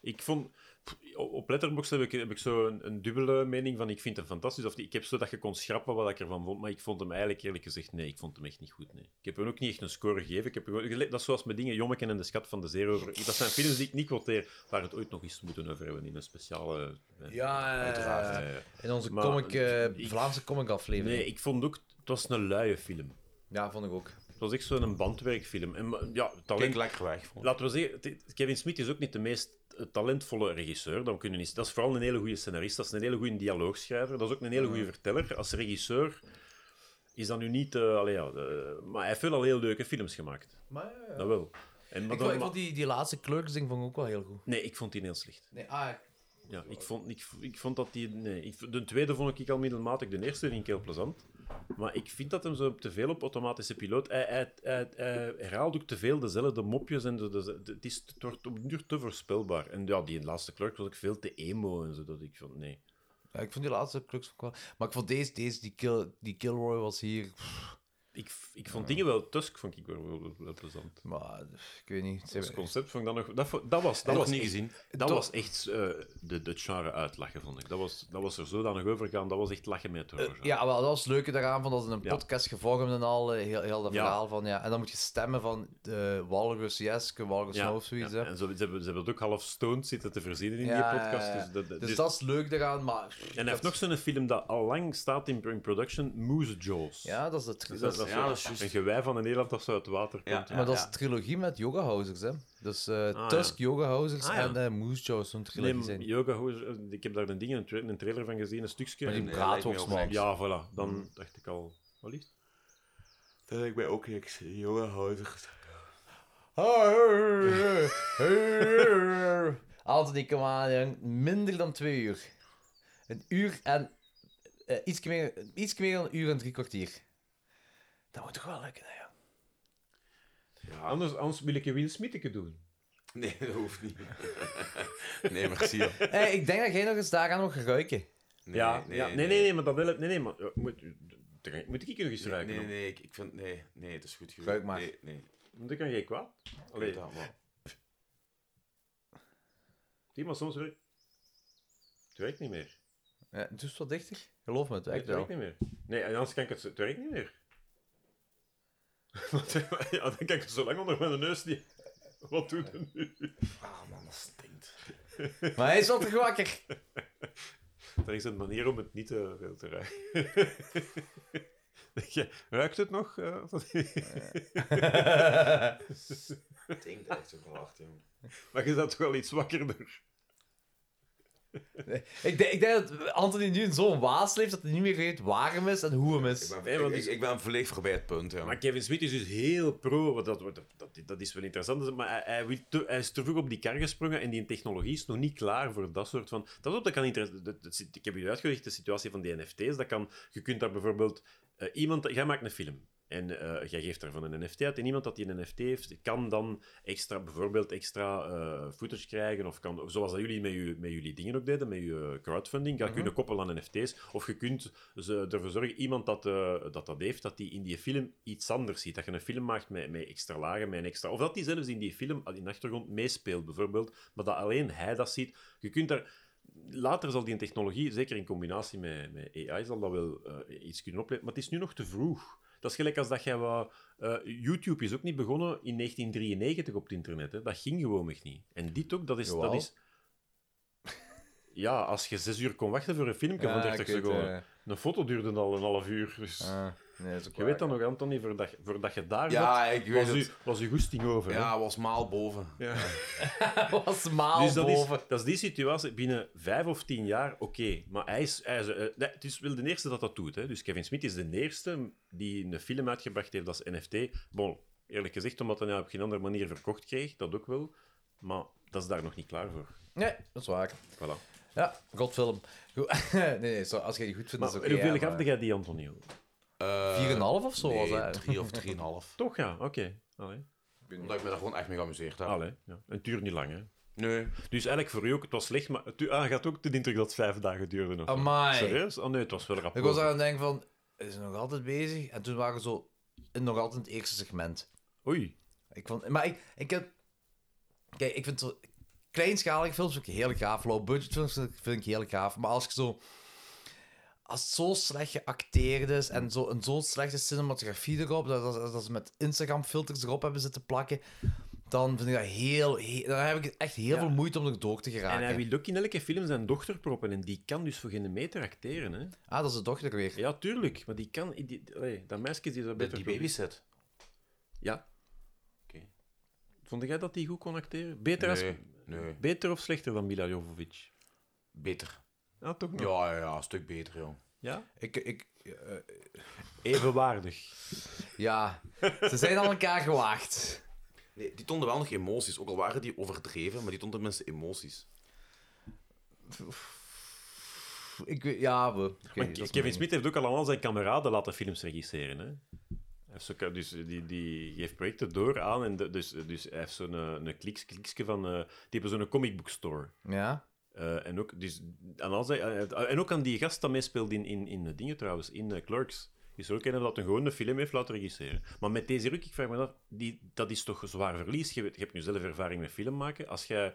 [SPEAKER 4] Ik vond... pff, Op Letterboxd heb ik, heb ik zo een, een dubbele mening van ik vind hem fantastisch. Of niet. ik heb zo dat je kon schrappen wat ik ervan vond, maar ik vond hem eigenlijk eerlijk gezegd nee. Ik vond hem echt niet goed, nee. Ik heb hem ook niet echt een score gegeven. Ik heb hem gewoon, dat is zoals met dingen Jommeken en de Schat van de Zeerover. Dat zijn films die ik niet quoteer, waar we het ooit nog eens moeten over hebben in een speciale... eh,
[SPEAKER 3] Ja,
[SPEAKER 4] uiteraard.
[SPEAKER 3] eh, in onze
[SPEAKER 4] Maar,
[SPEAKER 3] comic, eh,
[SPEAKER 4] ik-
[SPEAKER 3] Vlaamse comic-aflevering.
[SPEAKER 4] Nee, ik vond ook... Het was een luie film.
[SPEAKER 3] Ja, vond ik ook.
[SPEAKER 4] Het was echt zo'n bandwerkfilm. En, maar, ja,
[SPEAKER 19] Kijk,
[SPEAKER 4] talent...
[SPEAKER 19] lekker weg. vond ik.
[SPEAKER 4] Laten we zeggen, het- Kevin Smith is ook niet de meest eh, talentvolle regisseur. Dat, we kunnen niet, dat is vooral een hele goede scenarist, dat is een hele goede dialoogschrijver, dat is ook een hele goede verteller. Als regisseur is dat nu niet... eh, allee, ja, de- maar hij heeft wel al heel leuke films gemaakt.
[SPEAKER 3] Maar, eh,
[SPEAKER 4] Dat wel. En, maar
[SPEAKER 3] ik,
[SPEAKER 4] dan-
[SPEAKER 3] vond, ik
[SPEAKER 4] maar-
[SPEAKER 3] vond die, die laatste kleursding vond ik ook wel heel goed.
[SPEAKER 4] Nee, ik vond die heel slecht.
[SPEAKER 3] Nee, ah,
[SPEAKER 4] Ja, ik, vond, ik, ik vond dat die... Nee, ik- de tweede vond ik al middelmatig, de eerste vind ik heel plezant. Maar ik vind dat hem zo te veel op automatische piloot... Hij, hij, hij, hij herhaalt ook te veel dezelfde mopjes. En de, de- de- het, is, het wordt op den duur te voorspelbaar. En ja, die laatste clerk was ook veel te emo en zo. Dat ik van, nee.
[SPEAKER 3] Ja, ik vond die laatste Crux ook wel. Maar ik vond deze, deze die, Kill, die Kilroy was hier. pff,
[SPEAKER 4] Ik, ik vond dingen wel... Tusk vond ik wel, wel, wel- wel plezant.
[SPEAKER 3] Maar ik weet niet.
[SPEAKER 4] Het concept vond ik dan nog... Dat, vo- dat was... Dat
[SPEAKER 2] nog
[SPEAKER 4] was
[SPEAKER 2] niet
[SPEAKER 4] echt-
[SPEAKER 2] gezien.
[SPEAKER 4] Dat
[SPEAKER 3] Dat-
[SPEAKER 4] was echt eh, de, de genre uitlachen, vond ik. Dat was, dat was er zodanig overgaan. Dat was echt lachen met
[SPEAKER 2] Eh,
[SPEAKER 4] het horror.
[SPEAKER 3] Ja, wel, dat was het leuke daaraan, van dat ze een
[SPEAKER 4] Ja.
[SPEAKER 3] podcast gevormd en al, eh, heel, heel dat
[SPEAKER 4] Ja.
[SPEAKER 3] verhaal van, ja. En dan moet je stemmen van eh Walrus yes, Walrus no of zoiets,
[SPEAKER 4] ja.
[SPEAKER 3] hè.
[SPEAKER 4] En ze, ze hebben, ze hebben het ook half stoned zitten te verzinnen in
[SPEAKER 3] Ja,
[SPEAKER 4] die
[SPEAKER 3] ja,
[SPEAKER 4] podcast.
[SPEAKER 3] ja.
[SPEAKER 4] Dus dat, dat-
[SPEAKER 3] Dus
[SPEAKER 4] dus-
[SPEAKER 3] dat is leuk daaraan, maar...
[SPEAKER 4] en hij heeft nog zo'n film dat al lang staat in in production, Moose Jaws.
[SPEAKER 3] Ja, dat is, het,
[SPEAKER 4] Dus
[SPEAKER 3] dat is-
[SPEAKER 4] dat is
[SPEAKER 2] ja,
[SPEAKER 4] zo-
[SPEAKER 2] dat is juist.
[SPEAKER 4] een gewei van een Nederland dat zo uit het water
[SPEAKER 2] Ja,
[SPEAKER 4] komt.
[SPEAKER 2] ja,
[SPEAKER 3] maar dat
[SPEAKER 2] ja.
[SPEAKER 3] is een trilogie met Yoga Housers, hè. Dus eh,
[SPEAKER 4] Ah,
[SPEAKER 3] Tusk, Yoga Housers
[SPEAKER 4] Ah, ja.
[SPEAKER 3] en eh Moose Jaw, zo'n trilogie
[SPEAKER 4] Nee,
[SPEAKER 3] zijn.
[SPEAKER 4] Yoga Hoser, eh, ik heb daar een, ding, een, tra- een trailer van gezien, een stukje.
[SPEAKER 3] Maar die
[SPEAKER 4] En-
[SPEAKER 2] nee, lijkt me ook
[SPEAKER 3] braadworstman.
[SPEAKER 2] niks.
[SPEAKER 4] ja, voilà. Dan
[SPEAKER 3] Mm.
[SPEAKER 4] dacht ik al, wat lief.
[SPEAKER 19] Dat lijkt mij ook niks. Jonge huidig.
[SPEAKER 3] Anthony, kom aan, jong. Minder dan twee uur. Een uur en... eh iets, meer, iets meer dan een uur en drie kwartier. Dat moet toch wel lukken, hè, jong?
[SPEAKER 4] Anders, anders wil ik een Will Smitheke doen.
[SPEAKER 2] Nee, dat hoeft niet. nee, merci. hoor.
[SPEAKER 3] Hey, ik denk dat jij nog eens daaraan mag ruiken.
[SPEAKER 2] Nee,
[SPEAKER 4] ja, nee, ja, nee, nee, nee, maar dat wil ik... Nee, nee, maar... ja, Moet, moet ik hier nog eens
[SPEAKER 2] Nee,
[SPEAKER 4] ruiken?
[SPEAKER 2] nee,
[SPEAKER 4] dan?
[SPEAKER 2] nee, ik, ik vind... Nee, nee, het is goed genoeg.
[SPEAKER 3] Ruik maar.
[SPEAKER 2] Nee, nee.
[SPEAKER 4] Want ik kan geen kwaad. Allee,
[SPEAKER 2] Allee. Dat, maar.
[SPEAKER 4] zie, maar soms werkt... Het werkt niet meer.
[SPEAKER 3] Ja, doe eens wat dichter. Geloof me, het
[SPEAKER 4] Nee,
[SPEAKER 3] werkt
[SPEAKER 4] het
[SPEAKER 3] wel.
[SPEAKER 4] werkt niet meer. Nee, en anders kan ik het... Het werkt niet meer. Want, ja, dan kan ik het zo lang onder mijn neus niet... Wat doet het nu?
[SPEAKER 2] Ah, man, dat stinkt.
[SPEAKER 3] Maar hij is wel terug wakker.
[SPEAKER 4] Er is een manier om het niet te, veel te ruiken. Denk je, Ruikt het nog? eh, of-
[SPEAKER 2] Stinkt echt zo hard, jongen.
[SPEAKER 4] maar je zat toch wel iets wakkerder.
[SPEAKER 3] Ik denk, ik denk dat Anthony nu in zo'n waas leeft dat hij niet meer weet waar hem is en hoe hem
[SPEAKER 2] Ik
[SPEAKER 3] is.
[SPEAKER 2] ben,
[SPEAKER 4] Nee, want
[SPEAKER 2] ik,
[SPEAKER 4] is-
[SPEAKER 2] ik, ik ben volledig voorbij het punt, jongen.
[SPEAKER 4] Maar Kevin Smith is dus heel pro. want Dat, dat, dat, dat is wel interessant. Maar hij, hij, wil te- hij is te vroeg op die kar gesprongen en die technologie is nog niet klaar voor dat soort van. Dat is ook dat kan interessant. dat- dat- Ik heb jullie uitgelegd de situatie van die NFT's. Dat kan, je kunt daar bijvoorbeeld eh, iemand. Jij maakt een film. En eh, jij geeft daarvan een NFT uit. En iemand dat die een NFT heeft, kan dan extra, bijvoorbeeld extra eh footage krijgen. Of kan, zoals dat jullie met, je, met jullie dingen ook deden, met je eh, crowdfunding. Ga kunnen koppelen aan NFT's. Of je kunt ze ervoor zorgen, iemand dat, eh, dat dat heeft, dat die in die film iets anders ziet. Dat je een film maakt met, met extra lagen, met een extra... Of dat die zelfs in die film in de achtergrond meespeelt, bijvoorbeeld. Maar dat alleen hij dat ziet. Je kunt daar... Later zal die technologie, zeker in combinatie met, met AI, zal dat wel eh, iets kunnen opleveren. Maar het is nu nog te vroeg. Dat is gelijk als dat jij wat... eh, YouTube is ook niet begonnen in 1993 op het internet. Hè. Dat ging gewoon echt niet. En dit ook, dat is...
[SPEAKER 3] Jawel.
[SPEAKER 4] Dat is ja, als je zes uur kon wachten voor een filmpje
[SPEAKER 3] Ja,
[SPEAKER 4] van
[SPEAKER 3] ik
[SPEAKER 4] 30
[SPEAKER 3] weet,
[SPEAKER 4] seconden.
[SPEAKER 3] eh,
[SPEAKER 4] Een foto duurde al een half uur. Dus...
[SPEAKER 3] eh. Nee, dat is ook
[SPEAKER 4] Je
[SPEAKER 3] waar.
[SPEAKER 4] weet dat nog, Anthony, voordat, je- voordat je daar
[SPEAKER 2] Ja,
[SPEAKER 4] zat,
[SPEAKER 2] ik weet
[SPEAKER 4] was,
[SPEAKER 2] het.
[SPEAKER 4] je, was je goesting over. hè?
[SPEAKER 2] Ja, was maal boven.
[SPEAKER 3] was maal
[SPEAKER 4] Dus dat is,
[SPEAKER 3] boven.
[SPEAKER 4] dat is die situatie. Binnen vijf of tien jaar, oké. Maar hij is... Hij is eh, nee, het is wel de eerste dat dat doet. Hè. Dus Kevin Smith is de eerste die een film uitgebracht heeft als NFT. Bon, eerlijk gezegd, omdat hij nou op geen andere manier verkocht kreeg. Dat ook wel. Maar dat is daar nog niet klaar voor.
[SPEAKER 3] Nee, dat is waar.
[SPEAKER 4] Voilà.
[SPEAKER 3] Ja, godfilm. Goed. nee, nee, zo, als je die goed vindt,
[SPEAKER 4] Maar
[SPEAKER 3] is oké.
[SPEAKER 4] hoeveel
[SPEAKER 3] hè,
[SPEAKER 4] gaf
[SPEAKER 3] maar- Eh,
[SPEAKER 4] jij die, Antonio?
[SPEAKER 3] 4,5 of zo was
[SPEAKER 2] Eh, Nee,
[SPEAKER 3] hij.
[SPEAKER 2] drie of drieënhalf.
[SPEAKER 4] Toch, ja. Oké. Allee.
[SPEAKER 2] Omdat ik me daar gewoon echt mee geamuseerd heb.
[SPEAKER 4] Allee. Ja. Het duurt niet lang, hè.
[SPEAKER 2] Nee.
[SPEAKER 4] Dus eigenlijk voor u ook, het was slecht, maar het, ah, gaat ook de indruk dat het vijf dagen duurde. Of zo.
[SPEAKER 3] Amai.
[SPEAKER 4] Serieus? Oh nee, het was wel rap.
[SPEAKER 3] Ik was aan het denken van, is hij nog altijd bezig? En toen waren we zo in nog altijd het eerste segment.
[SPEAKER 4] Oei.
[SPEAKER 3] Ik vond, maar ik, ik heb... Kijk, ik vind zo- kleinschalige films ook heel gaaf. Low budget films vind ik- vind ik heel gaaf. Maar als ik zo... Als het zo slecht geacteerd is en zo- en zo'n slechte cinematografie erop, dat, dat, dat ze met Instagram-filters erop hebben zitten plakken, dan vind ik dat heel... he- dan heb ik echt heel
[SPEAKER 4] Ja.
[SPEAKER 3] veel moeite om er door te
[SPEAKER 4] En
[SPEAKER 3] geraken.
[SPEAKER 4] hij wil ook in elke film zijn dochter proppen. En die kan dus voor geen meter acteren. Hè?
[SPEAKER 3] Ah, dat is de dochter weer.
[SPEAKER 4] Ja, tuurlijk. Maar die kan... Die, allee, dat meisje die dat
[SPEAKER 20] Met
[SPEAKER 4] beter
[SPEAKER 20] die
[SPEAKER 4] doet.
[SPEAKER 20] babysit.
[SPEAKER 4] Ja.
[SPEAKER 20] Oké.
[SPEAKER 4] Vond jij dat die goed kon acteren? Beter, als,
[SPEAKER 2] Nee, nee.
[SPEAKER 4] beter of slechter dan Mila Jovovich?
[SPEAKER 2] Beter.
[SPEAKER 4] Ja, toch nog.
[SPEAKER 2] Ja, ja, ja, een stuk beter, joh.
[SPEAKER 4] Ja?
[SPEAKER 3] Ik, ik, eh,
[SPEAKER 4] Evenwaardig.
[SPEAKER 3] ja, ze zijn aan elkaar gewaagd.
[SPEAKER 20] Nee, die tonden wel nog emoties, ook al waren die overdreven, maar die tonden mensen emoties.
[SPEAKER 3] Ik weet, ja, we.
[SPEAKER 4] Maar Kevin Smith heeft ook allemaal zijn kameraden laten films regisseren. Hè? Hij heeft zo- Dus die, die geeft projecten door aan. En de- dus, dus hij heeft zo'n eh, een kliks, kliksje van... eh, die hebben zo'n comic book store.
[SPEAKER 3] Ja.
[SPEAKER 4] Eh, en, ook, dus, aan al zijn- eh, en ook aan die gast dat meespeelde in, in, in de dingen trouwens, in eh, Clerks. Is er ook een dat een gewone film heeft laten regisseren. Maar met deze ruk, ik vraag me af, die, dat is toch een zwaar verlies? Je, weet- je hebt nu zelf ervaring met film maken. Als jij...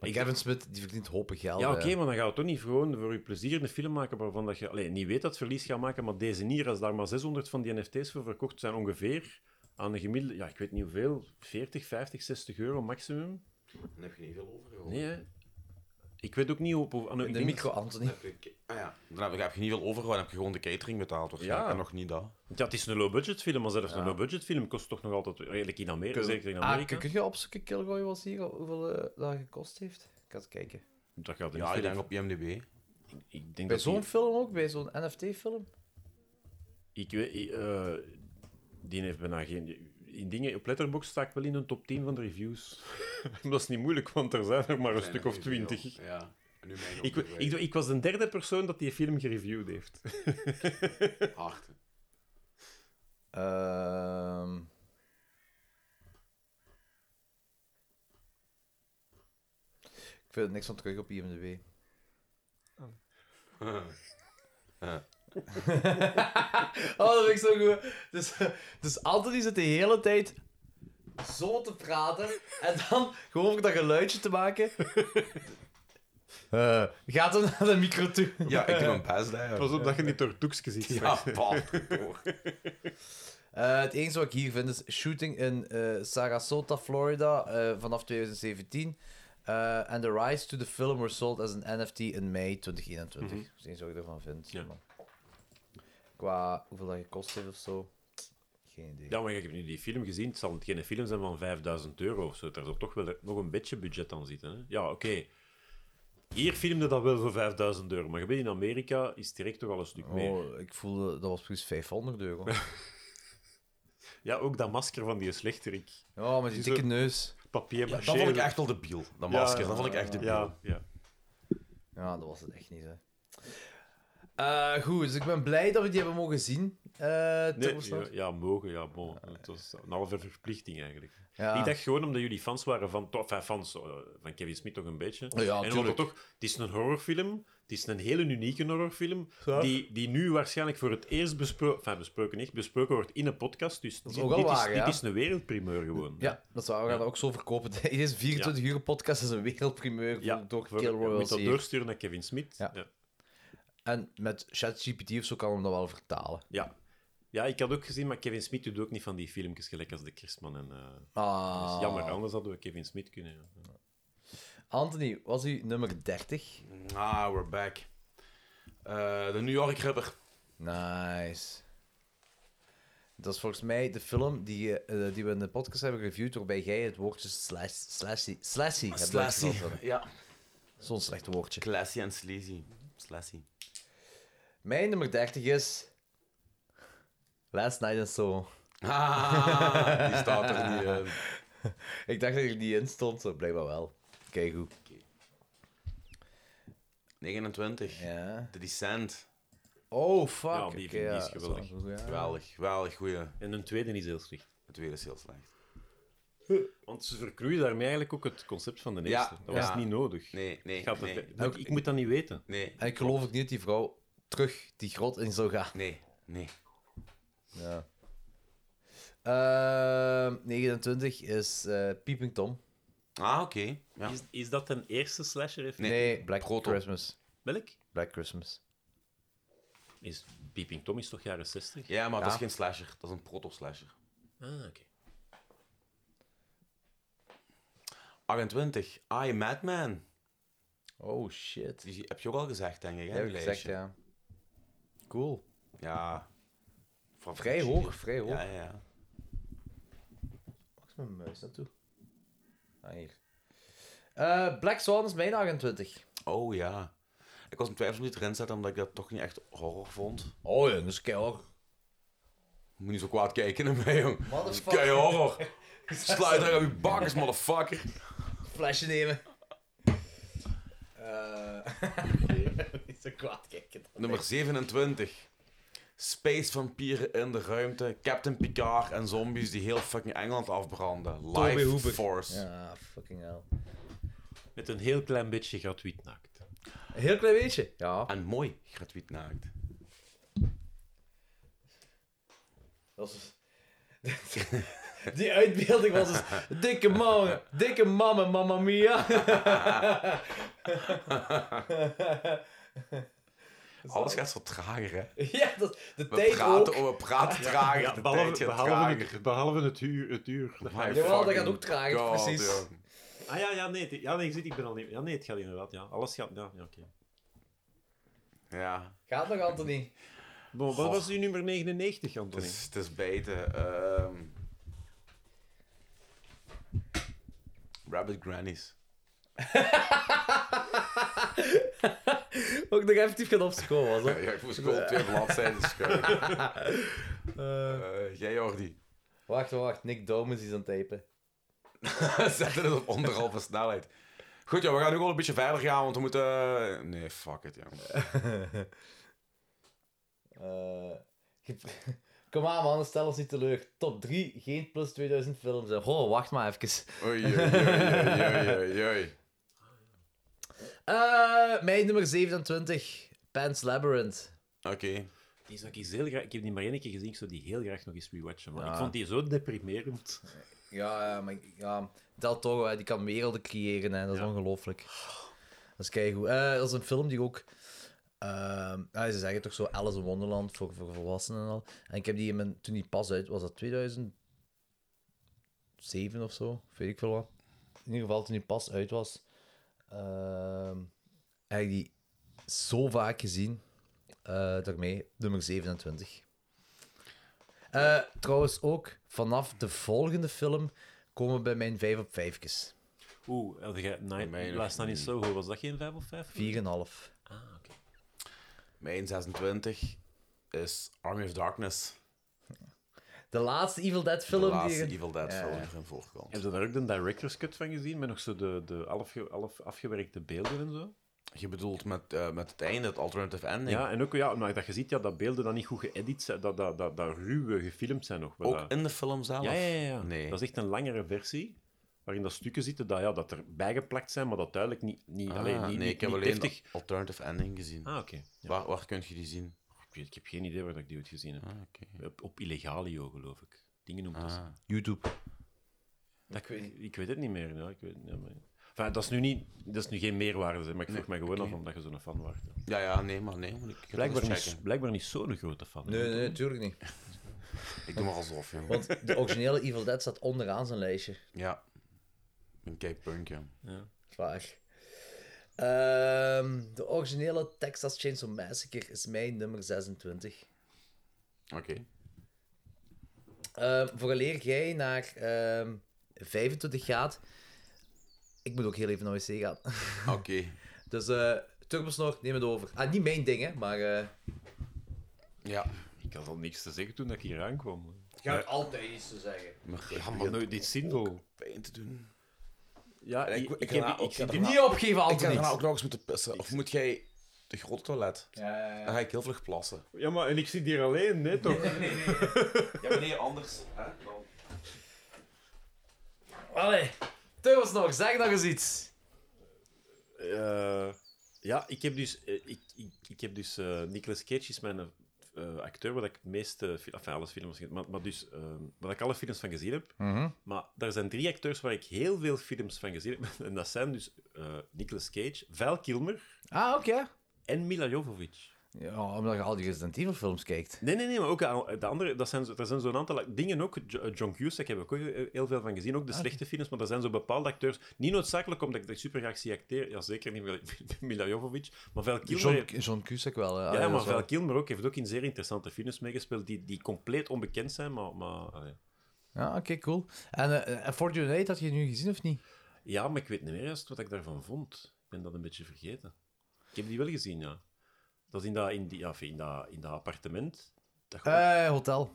[SPEAKER 3] Maar
[SPEAKER 4] Ik-
[SPEAKER 3] Kevin Smith die verdient hopen geld.
[SPEAKER 4] ja,
[SPEAKER 3] hè.
[SPEAKER 4] oké, maar dan gaat het toch niet gewoon voor je plezier een film maken waarvan dat je allee, niet weet dat het verlies gaat maken, maar deze hier, als daar maar 600 van die NFT's voor verkocht zijn, ongeveer aan een gemiddelde, ja, ik weet niet hoeveel, 40, 50, 60 euro maximum.
[SPEAKER 20] Dan heb je niet veel overgehouden.
[SPEAKER 4] Nee, hè? Ik weet ook niet hoe... hoe- aan- ik
[SPEAKER 3] De
[SPEAKER 4] denk-
[SPEAKER 3] micro Anthony.
[SPEAKER 20] Ah ja.
[SPEAKER 2] Dan heb, ik- heb je niet veel overgehouden, heb je gewoon de catering betaald. waarschijnlijk.
[SPEAKER 4] Ja.
[SPEAKER 2] En nog niet dat.
[SPEAKER 4] Ja, het is een low-budget film, maar zelfs een low-budget film kost toch nog altijd redelijk in Amerika, zeker in
[SPEAKER 3] Ah,
[SPEAKER 4] Amerika.
[SPEAKER 3] kun kun je opzoeken, Kilroy was hier, hoeveel eh, dat gekost heeft? Ik ga eens kijken.
[SPEAKER 4] dat gaat er
[SPEAKER 2] Ja, ik
[SPEAKER 4] niet veel
[SPEAKER 2] denk
[SPEAKER 4] in.
[SPEAKER 2] op IMDb.
[SPEAKER 4] Ik denk
[SPEAKER 3] Bij
[SPEAKER 4] dat die-
[SPEAKER 3] zo'n film ook, bij zo'n NFT-film.
[SPEAKER 4] Ik weet... ik, eh, die heeft bijna geen... In dingen, op Letterboxd sta ik wel in de top 10 van de reviews. dat is niet moeilijk, want er zijn er maar een stuk of twintig.
[SPEAKER 2] Ja. En nu mijn
[SPEAKER 4] Ik, ik, ik was de derde persoon dat die film gereviewd heeft.
[SPEAKER 2] hart.
[SPEAKER 3] Ehm Ik vind er niks van terug op IMDb. Oh, dat vind ik zo goed. Dus, dus Anthony zit de hele tijd zo te praten en dan gewoon om dat geluidje te maken. Eh, gaat hem naar de micro toe.
[SPEAKER 2] Ja, ik doe mijn best, hè.
[SPEAKER 4] Pas op dat je niet door Toeks ziet.
[SPEAKER 2] Ja, bam. hoor.
[SPEAKER 3] Eh, het enige wat ik hier vind is Shooting in eh, Sarasota, Florida eh, vanaf 2017. Eh, and the rights to the film were sold as an NFT in mei 2021. Dat is het enige wat ik ervan vind.
[SPEAKER 4] Mhm. Ja.
[SPEAKER 3] Maar Qua hoeveel dat gekost heeft of zo. Geen idee.
[SPEAKER 4] Ja, maar ik heb nu die film gezien. Het zal geen film zijn van 5000 euro of zo. Daar zal toch wel nog een beetje budget aan zitten. Hè? Ja, oké. Hier filmde dat wel voor 5000 euro. Maar je weet, in Amerika is het direct toch al een stuk meer.
[SPEAKER 3] Oh, ik voelde dat was precies 500 euro.
[SPEAKER 4] Ja, ook dat masker van die slechterik.
[SPEAKER 3] Ja, met die
[SPEAKER 4] Zo-
[SPEAKER 3] dikke neus.
[SPEAKER 4] Papier
[SPEAKER 2] Ja, dat vond ik echt wel debiel. Dat masker, dat vond ik echt debiel.
[SPEAKER 4] Ja, ja.
[SPEAKER 3] Ja, dat was het echt niet, hè. Eh, goed, dus ik ben blij dat we die hebben mogen zien. eh
[SPEAKER 4] Nee,
[SPEAKER 3] Turboslag.
[SPEAKER 4] ja, ja, mogen, ja, bon. Het was een halve verplichting eigenlijk.
[SPEAKER 3] Ja.
[SPEAKER 4] Ik dacht gewoon omdat jullie fans waren van, to- enfin, fans, eh, van Kevin Smith toch een beetje.
[SPEAKER 3] ja,
[SPEAKER 4] en omdat
[SPEAKER 3] tuurlijk.
[SPEAKER 4] het toch, het is een horrorfilm, het is een hele unieke horrorfilm, die, die nu waarschijnlijk voor het eerst besproken, enfin besproken echt, besproken wordt in een podcast. Dus
[SPEAKER 3] is
[SPEAKER 4] dit,
[SPEAKER 3] ook wel
[SPEAKER 4] dit
[SPEAKER 3] waar,
[SPEAKER 4] is,
[SPEAKER 3] ja.
[SPEAKER 4] dit is een wereldprimeur gewoon.
[SPEAKER 3] Ja, dat zou we gaan dat ook zo verkopen. Deze 24 uur podcast is een wereldprimeur
[SPEAKER 4] Ja,
[SPEAKER 3] door
[SPEAKER 4] voor-
[SPEAKER 3] Kilroy
[SPEAKER 4] je moet dat
[SPEAKER 3] Osier.
[SPEAKER 4] doorsturen naar Kevin Smith.
[SPEAKER 3] Ja.
[SPEAKER 4] Ja.
[SPEAKER 3] En met ChatGPT of zo kan hem dat wel vertalen.
[SPEAKER 4] Ja. Ja, ik had ook gezien, maar Kevin Smith doet ook niet van die filmpjes gelijk als de Christman. En, eh,
[SPEAKER 3] Ah.
[SPEAKER 4] dat is jammer, anders hadden we Kevin Smith kunnen. ja.
[SPEAKER 3] Anthony, was u nummer 30?
[SPEAKER 2] Ah, we're back. Eh, de New York rapper.
[SPEAKER 3] Nice. Dat is volgens mij de film die, je, eh, die we in de podcast hebben reviewd, waarbij jij het woordje slash, slashy, slashy hebt
[SPEAKER 2] Slashy.
[SPEAKER 3] uitgesproken.
[SPEAKER 2] Ja.
[SPEAKER 3] Zo'n slecht woordje.
[SPEAKER 2] Classy en sleazy. Slashy.
[SPEAKER 3] Mijn nummer 30 is... Last Night in Soho.
[SPEAKER 2] Ah, die eh, staat er niet in.
[SPEAKER 3] Ik dacht dat ik er niet in stond, maar blijkbaar wel. Kijk goed.
[SPEAKER 2] 29.
[SPEAKER 3] Ja.
[SPEAKER 2] The Descent.
[SPEAKER 3] Oh, fuck.
[SPEAKER 4] Ja, die-
[SPEAKER 3] Oké,
[SPEAKER 4] die is
[SPEAKER 3] ja,
[SPEAKER 4] geweldig.
[SPEAKER 3] zo, ja.
[SPEAKER 2] Geweldig, geweldig goeie.
[SPEAKER 4] En een tweede is heel slecht.
[SPEAKER 2] Het tweede is heel slecht.
[SPEAKER 4] Want ze verkroeien daarmee eigenlijk ook het concept van de eerste.
[SPEAKER 2] Ja,
[SPEAKER 4] dat
[SPEAKER 2] ja.
[SPEAKER 4] was niet nodig.
[SPEAKER 2] Nee, nee,
[SPEAKER 4] Gaat het-
[SPEAKER 2] nee,
[SPEAKER 4] moet- ik moet dat niet weten.
[SPEAKER 2] nee,
[SPEAKER 3] En ik geloof ook niet dat die vrouw terug die grot in zou gaan.
[SPEAKER 2] nee, nee.
[SPEAKER 3] Ja. Ehm, 29 is eh Peeping Tom.
[SPEAKER 2] Ah, oké. Ja.
[SPEAKER 4] Is, is dat een eerste slasher? even?
[SPEAKER 2] Nee,
[SPEAKER 3] Nee, Black
[SPEAKER 2] Proton.
[SPEAKER 3] Christmas.
[SPEAKER 4] Welk?
[SPEAKER 3] Black Christmas.
[SPEAKER 4] Is, Peeping Tom is toch jaren 60?
[SPEAKER 2] ja, maar dat is geen slasher. Dat is een proto-slasher.
[SPEAKER 4] Ah, oké.
[SPEAKER 2] 28. I, Ah, Madman.
[SPEAKER 3] Oh shit.
[SPEAKER 2] Die heb je ook al gezegd, denk ik. Hè?
[SPEAKER 3] Dat heb
[SPEAKER 2] die
[SPEAKER 3] ik gezegd,
[SPEAKER 2] lijstje.
[SPEAKER 3] ja. Cool.
[SPEAKER 2] Ja. Van
[SPEAKER 3] Vrij
[SPEAKER 2] Fuji.
[SPEAKER 3] hoog, vrij hoog.
[SPEAKER 2] Ja, ja, ja.
[SPEAKER 3] Waar is mijn muis naartoe? Ah, hier. Eh, Black Swan is mijn 28.
[SPEAKER 2] Oh ja. Ik was in twijfel niet erin zetten, omdat ik dat toch niet echt horror vond.
[SPEAKER 3] Oh jongens, keihard.
[SPEAKER 2] Moet niet zo kwaad kijken naar mij, jong.
[SPEAKER 3] Motherfucker.
[SPEAKER 2] Kei horror. Sluit daar aan je bakkers, motherfucker.
[SPEAKER 3] Flesje nemen. Eh Niet zo kwaad kijken.
[SPEAKER 2] Nummer 27. Space vampieren in de ruimte, Captain Picard en zombies die heel fucking Engeland afbranden. Life Force.
[SPEAKER 3] Ja, fucking hell.
[SPEAKER 4] Met een heel klein beetje gratuit naakt.
[SPEAKER 3] Een heel klein beetje. Ja.
[SPEAKER 2] En mooi, gratuit naakt.
[SPEAKER 3] Dat is... Die uitbeelding was dus... Dikke man, dikke mannen, mamma mia.
[SPEAKER 2] Alles gaat zo trager, hè?
[SPEAKER 3] Ja, dat, de
[SPEAKER 2] We
[SPEAKER 3] tijd ook.
[SPEAKER 2] praten, oh, we praten trager, de tijd
[SPEAKER 4] behalve,
[SPEAKER 2] gaat
[SPEAKER 4] behalve,
[SPEAKER 2] trager.
[SPEAKER 4] het, behalve het uur. Het uur.
[SPEAKER 2] My
[SPEAKER 3] Jawel, dat gaat
[SPEAKER 2] fucking
[SPEAKER 3] ook trager,
[SPEAKER 2] God,
[SPEAKER 3] precies.
[SPEAKER 2] jong.
[SPEAKER 4] Ah ja, ja, nee, het- ja, nee, ik, zit, ik ben al niet. Ja, nee, het gaat inderdaad. Ja, alles gaat. Ja, ja, oké.
[SPEAKER 2] Ja.
[SPEAKER 3] Gaat nog, Anthony?
[SPEAKER 4] Bon, wat was uw nummer 99, Anthony?
[SPEAKER 2] Het is, het is bijten. ehm. Rabbit Grannies.
[SPEAKER 3] Ook nog effectief gaan opschoon was,
[SPEAKER 2] Ja, ik moest gewoon twee bladzijden schuiven. Eh, jij, Jordi.
[SPEAKER 3] Wacht, wacht. Nick Domus is aan het typen.
[SPEAKER 2] Zetten het op anderhalve snelheid. Goed, ja, we gaan nu wel een beetje verder gaan, want we moeten... eh, Nee, fuck it, ja.
[SPEAKER 3] Eh, je- Kom aan, man. Stel ons niet teleur. Top 3, geen plus 2000 films. Oh, wacht maar even.
[SPEAKER 2] Oei, oei, oei, oei, oei, oei.
[SPEAKER 3] Eh, mijn nummer 27. Pan's Labyrinth.
[SPEAKER 2] Oké.
[SPEAKER 4] Die zou ik eens heel graag... Ik heb die maar één keer gezien, ik zou die heel graag nog eens rewatchen. Maar ik vond die zo deprimerend.
[SPEAKER 3] Ja, ja, maar ja, Del Toro, hè, die kan werelden creëren, hè, dat is ongelooflijk. Dat is keigoed. Eh dat is een film die ook... ehm, ja, ze zeggen toch zo Alice in Wonderland voor, voor volwassenen en al. En ik heb die in mijn, toen die pas uit... Was dat 2007 of zo? Of Weet ik veel wat. In ieder geval, toen die pas uit was... ehm, heb ik die zo vaak gezien. Eh, daarmee nummer 27. Eh, trouwens ook, vanaf de volgende film komen we bij mijn 5 op 5.
[SPEAKER 4] Oeh, had jij Night,
[SPEAKER 2] Mij nog
[SPEAKER 4] Last Night in Soho, was dat geen 5 of 5?
[SPEAKER 3] 4,5.
[SPEAKER 4] Ah, oké.
[SPEAKER 2] Mijn 26 is Army of Darkness.
[SPEAKER 3] De laatste Evil Dead film
[SPEAKER 2] de laatste
[SPEAKER 3] die...
[SPEAKER 2] Evil Dead
[SPEAKER 3] Ja,
[SPEAKER 2] film
[SPEAKER 3] ja.
[SPEAKER 2] die erin voorkomt.
[SPEAKER 4] Heb je daar ook de director's cut van gezien, met nog zo de, de half, half afgewerkte beelden en zo?
[SPEAKER 2] Je bedoelt met, eh, met het einde, het alternative ending.
[SPEAKER 4] Ja, en ook ja, maar dat je ziet ja, dat beelden dan niet goed geëdit zijn, dat, dat, dat, dat ruwe gefilmd zijn nog. wat
[SPEAKER 2] Ook
[SPEAKER 4] dat-
[SPEAKER 2] in de film zelf?
[SPEAKER 4] Ja, ja, ja. ja.
[SPEAKER 2] Nee.
[SPEAKER 4] Dat is echt een langere versie, waarin dat stukken zitten dat, ja, dat er bijgeplakt zijn, maar dat duidelijk niet... niet
[SPEAKER 2] Ah,
[SPEAKER 4] alleen, niet,
[SPEAKER 2] nee,
[SPEAKER 4] niet,
[SPEAKER 2] ik heb
[SPEAKER 4] niet
[SPEAKER 2] alleen
[SPEAKER 4] deftig-
[SPEAKER 2] de alternative ending gezien.
[SPEAKER 4] Ah, oké. Ja.
[SPEAKER 2] Waar, waar kun je die zien?
[SPEAKER 4] Ik, weet- ik heb geen idee waar dat ik die ooit gezien heb.
[SPEAKER 2] Ah, oké.
[SPEAKER 4] Op, op Illegalio, geloof ik. Dingen noemt dat.
[SPEAKER 2] Ah.
[SPEAKER 3] YouTube.
[SPEAKER 4] Dat ik, weet, ik weet het niet meer. Ja. Ik weet, ja, maar... enfin, dat, is nu niet, dat is nu geen meerwaarde, hè, maar ik vroeg me gewoon af omdat je zo'n fan was.
[SPEAKER 2] Ja, ja, nee, maar nee. Maar ik, ik,
[SPEAKER 4] Blijkbaar
[SPEAKER 2] ga het eens
[SPEAKER 4] niet,
[SPEAKER 2] checken.
[SPEAKER 4] blijkbaar niet zo'n grote fan.
[SPEAKER 3] Nee, nee, natuurlijk niet.
[SPEAKER 2] ik doe maar alsof, jongen.
[SPEAKER 3] Want de originele Evil Dead staat onderaan zijn lijstje.
[SPEAKER 2] Ja. Een keipunk, ja.
[SPEAKER 3] Zwaar. Ehm, de originele Texas Chainsaw Massacre is mijn nummer 26.
[SPEAKER 2] Oké.
[SPEAKER 3] Ehm vooraleer jij naar ehm 25 gaat, ik moet ook heel even naar wc gaan.
[SPEAKER 2] Oké.
[SPEAKER 3] Dus eh Turbosnor, neem het over. Ah, niet mijn ding, hè, maar... eh
[SPEAKER 2] Ja.
[SPEAKER 4] Ik had al niks te zeggen toen ik hier aankwam.
[SPEAKER 3] je hebt altijd iets te zeggen.
[SPEAKER 2] Maar
[SPEAKER 4] Ja, maar nooit dit zinvol.
[SPEAKER 2] pijn te doen.
[SPEAKER 4] Ja,
[SPEAKER 2] ik-
[SPEAKER 4] ik, ik,
[SPEAKER 2] ik
[SPEAKER 4] heb...
[SPEAKER 2] ga
[SPEAKER 4] Ik,
[SPEAKER 2] ook-
[SPEAKER 4] zit
[SPEAKER 2] ik
[SPEAKER 4] in-
[SPEAKER 2] ga-
[SPEAKER 3] Niet opgeven,
[SPEAKER 2] Ik ga
[SPEAKER 3] altijd
[SPEAKER 2] daarna
[SPEAKER 3] niks.
[SPEAKER 2] ook nog eens moeten pissen. Of moet jij de grote toilet?
[SPEAKER 3] Ja, ja, ja.
[SPEAKER 2] Dan ga ik heel vlug plassen.
[SPEAKER 4] ja, maar en ik zit hier alleen, hè, toch?
[SPEAKER 21] Ja, maar nee, anders. Hè? Dan...
[SPEAKER 3] Allee, Turbosnor, zeg nog eens iets.
[SPEAKER 4] Eh, ja, ik heb dus, eh, ik, ik, ik heb dus eh, Nicolas Cage is mijn eh, acteur waar ik het meeste, fil- enfin, alles films, maar, maar dus, eh, waar ik alle films van gezien heb. Maar daar zijn drie acteurs waar ik heel veel films van gezien heb. En dat zijn dus eh Nicolas Cage, Val Kilmer
[SPEAKER 3] Ah, oké.
[SPEAKER 4] en Mila Jovovich.
[SPEAKER 3] Ja, omdat je al die Resident Evil films kijkt.
[SPEAKER 4] Nee, nee, nee, maar ook aan- de andere, dat zijn, zo- daar zijn zo'n aantal ac- dingen ook. Jo- eh, John Cusack heb ik ook eh, heel veel van gezien,
[SPEAKER 3] Ah,
[SPEAKER 4] ook de slechte films, maar daar zijn zo bepaalde acteurs. Niet noodzakelijk omdat ik dat super graag zie acteren, ja, zeker niet Mila- Mila Jovovich, maar Val Kilmer... heeft-
[SPEAKER 3] John, John Cusack wel. hè. Ah,
[SPEAKER 4] Ja, maar
[SPEAKER 3] dat is wel-
[SPEAKER 4] Val Kilmer ook heeft ook in zeer interessante films meegespeeld die, die compleet onbekend zijn, maar... maar ah, allee.
[SPEAKER 3] Ja, oké, cool. En eh, eh, Fortune 8 had je nu gezien of niet?
[SPEAKER 4] ja, maar ik weet niet meer juist wat ik daarvan vond. Ik ben dat een beetje vergeten. Ik heb die wel gezien, ja. Dat is in dat, in die, ja, in dat, in dat appartement. Dat gewoon-
[SPEAKER 3] Eh, hotel.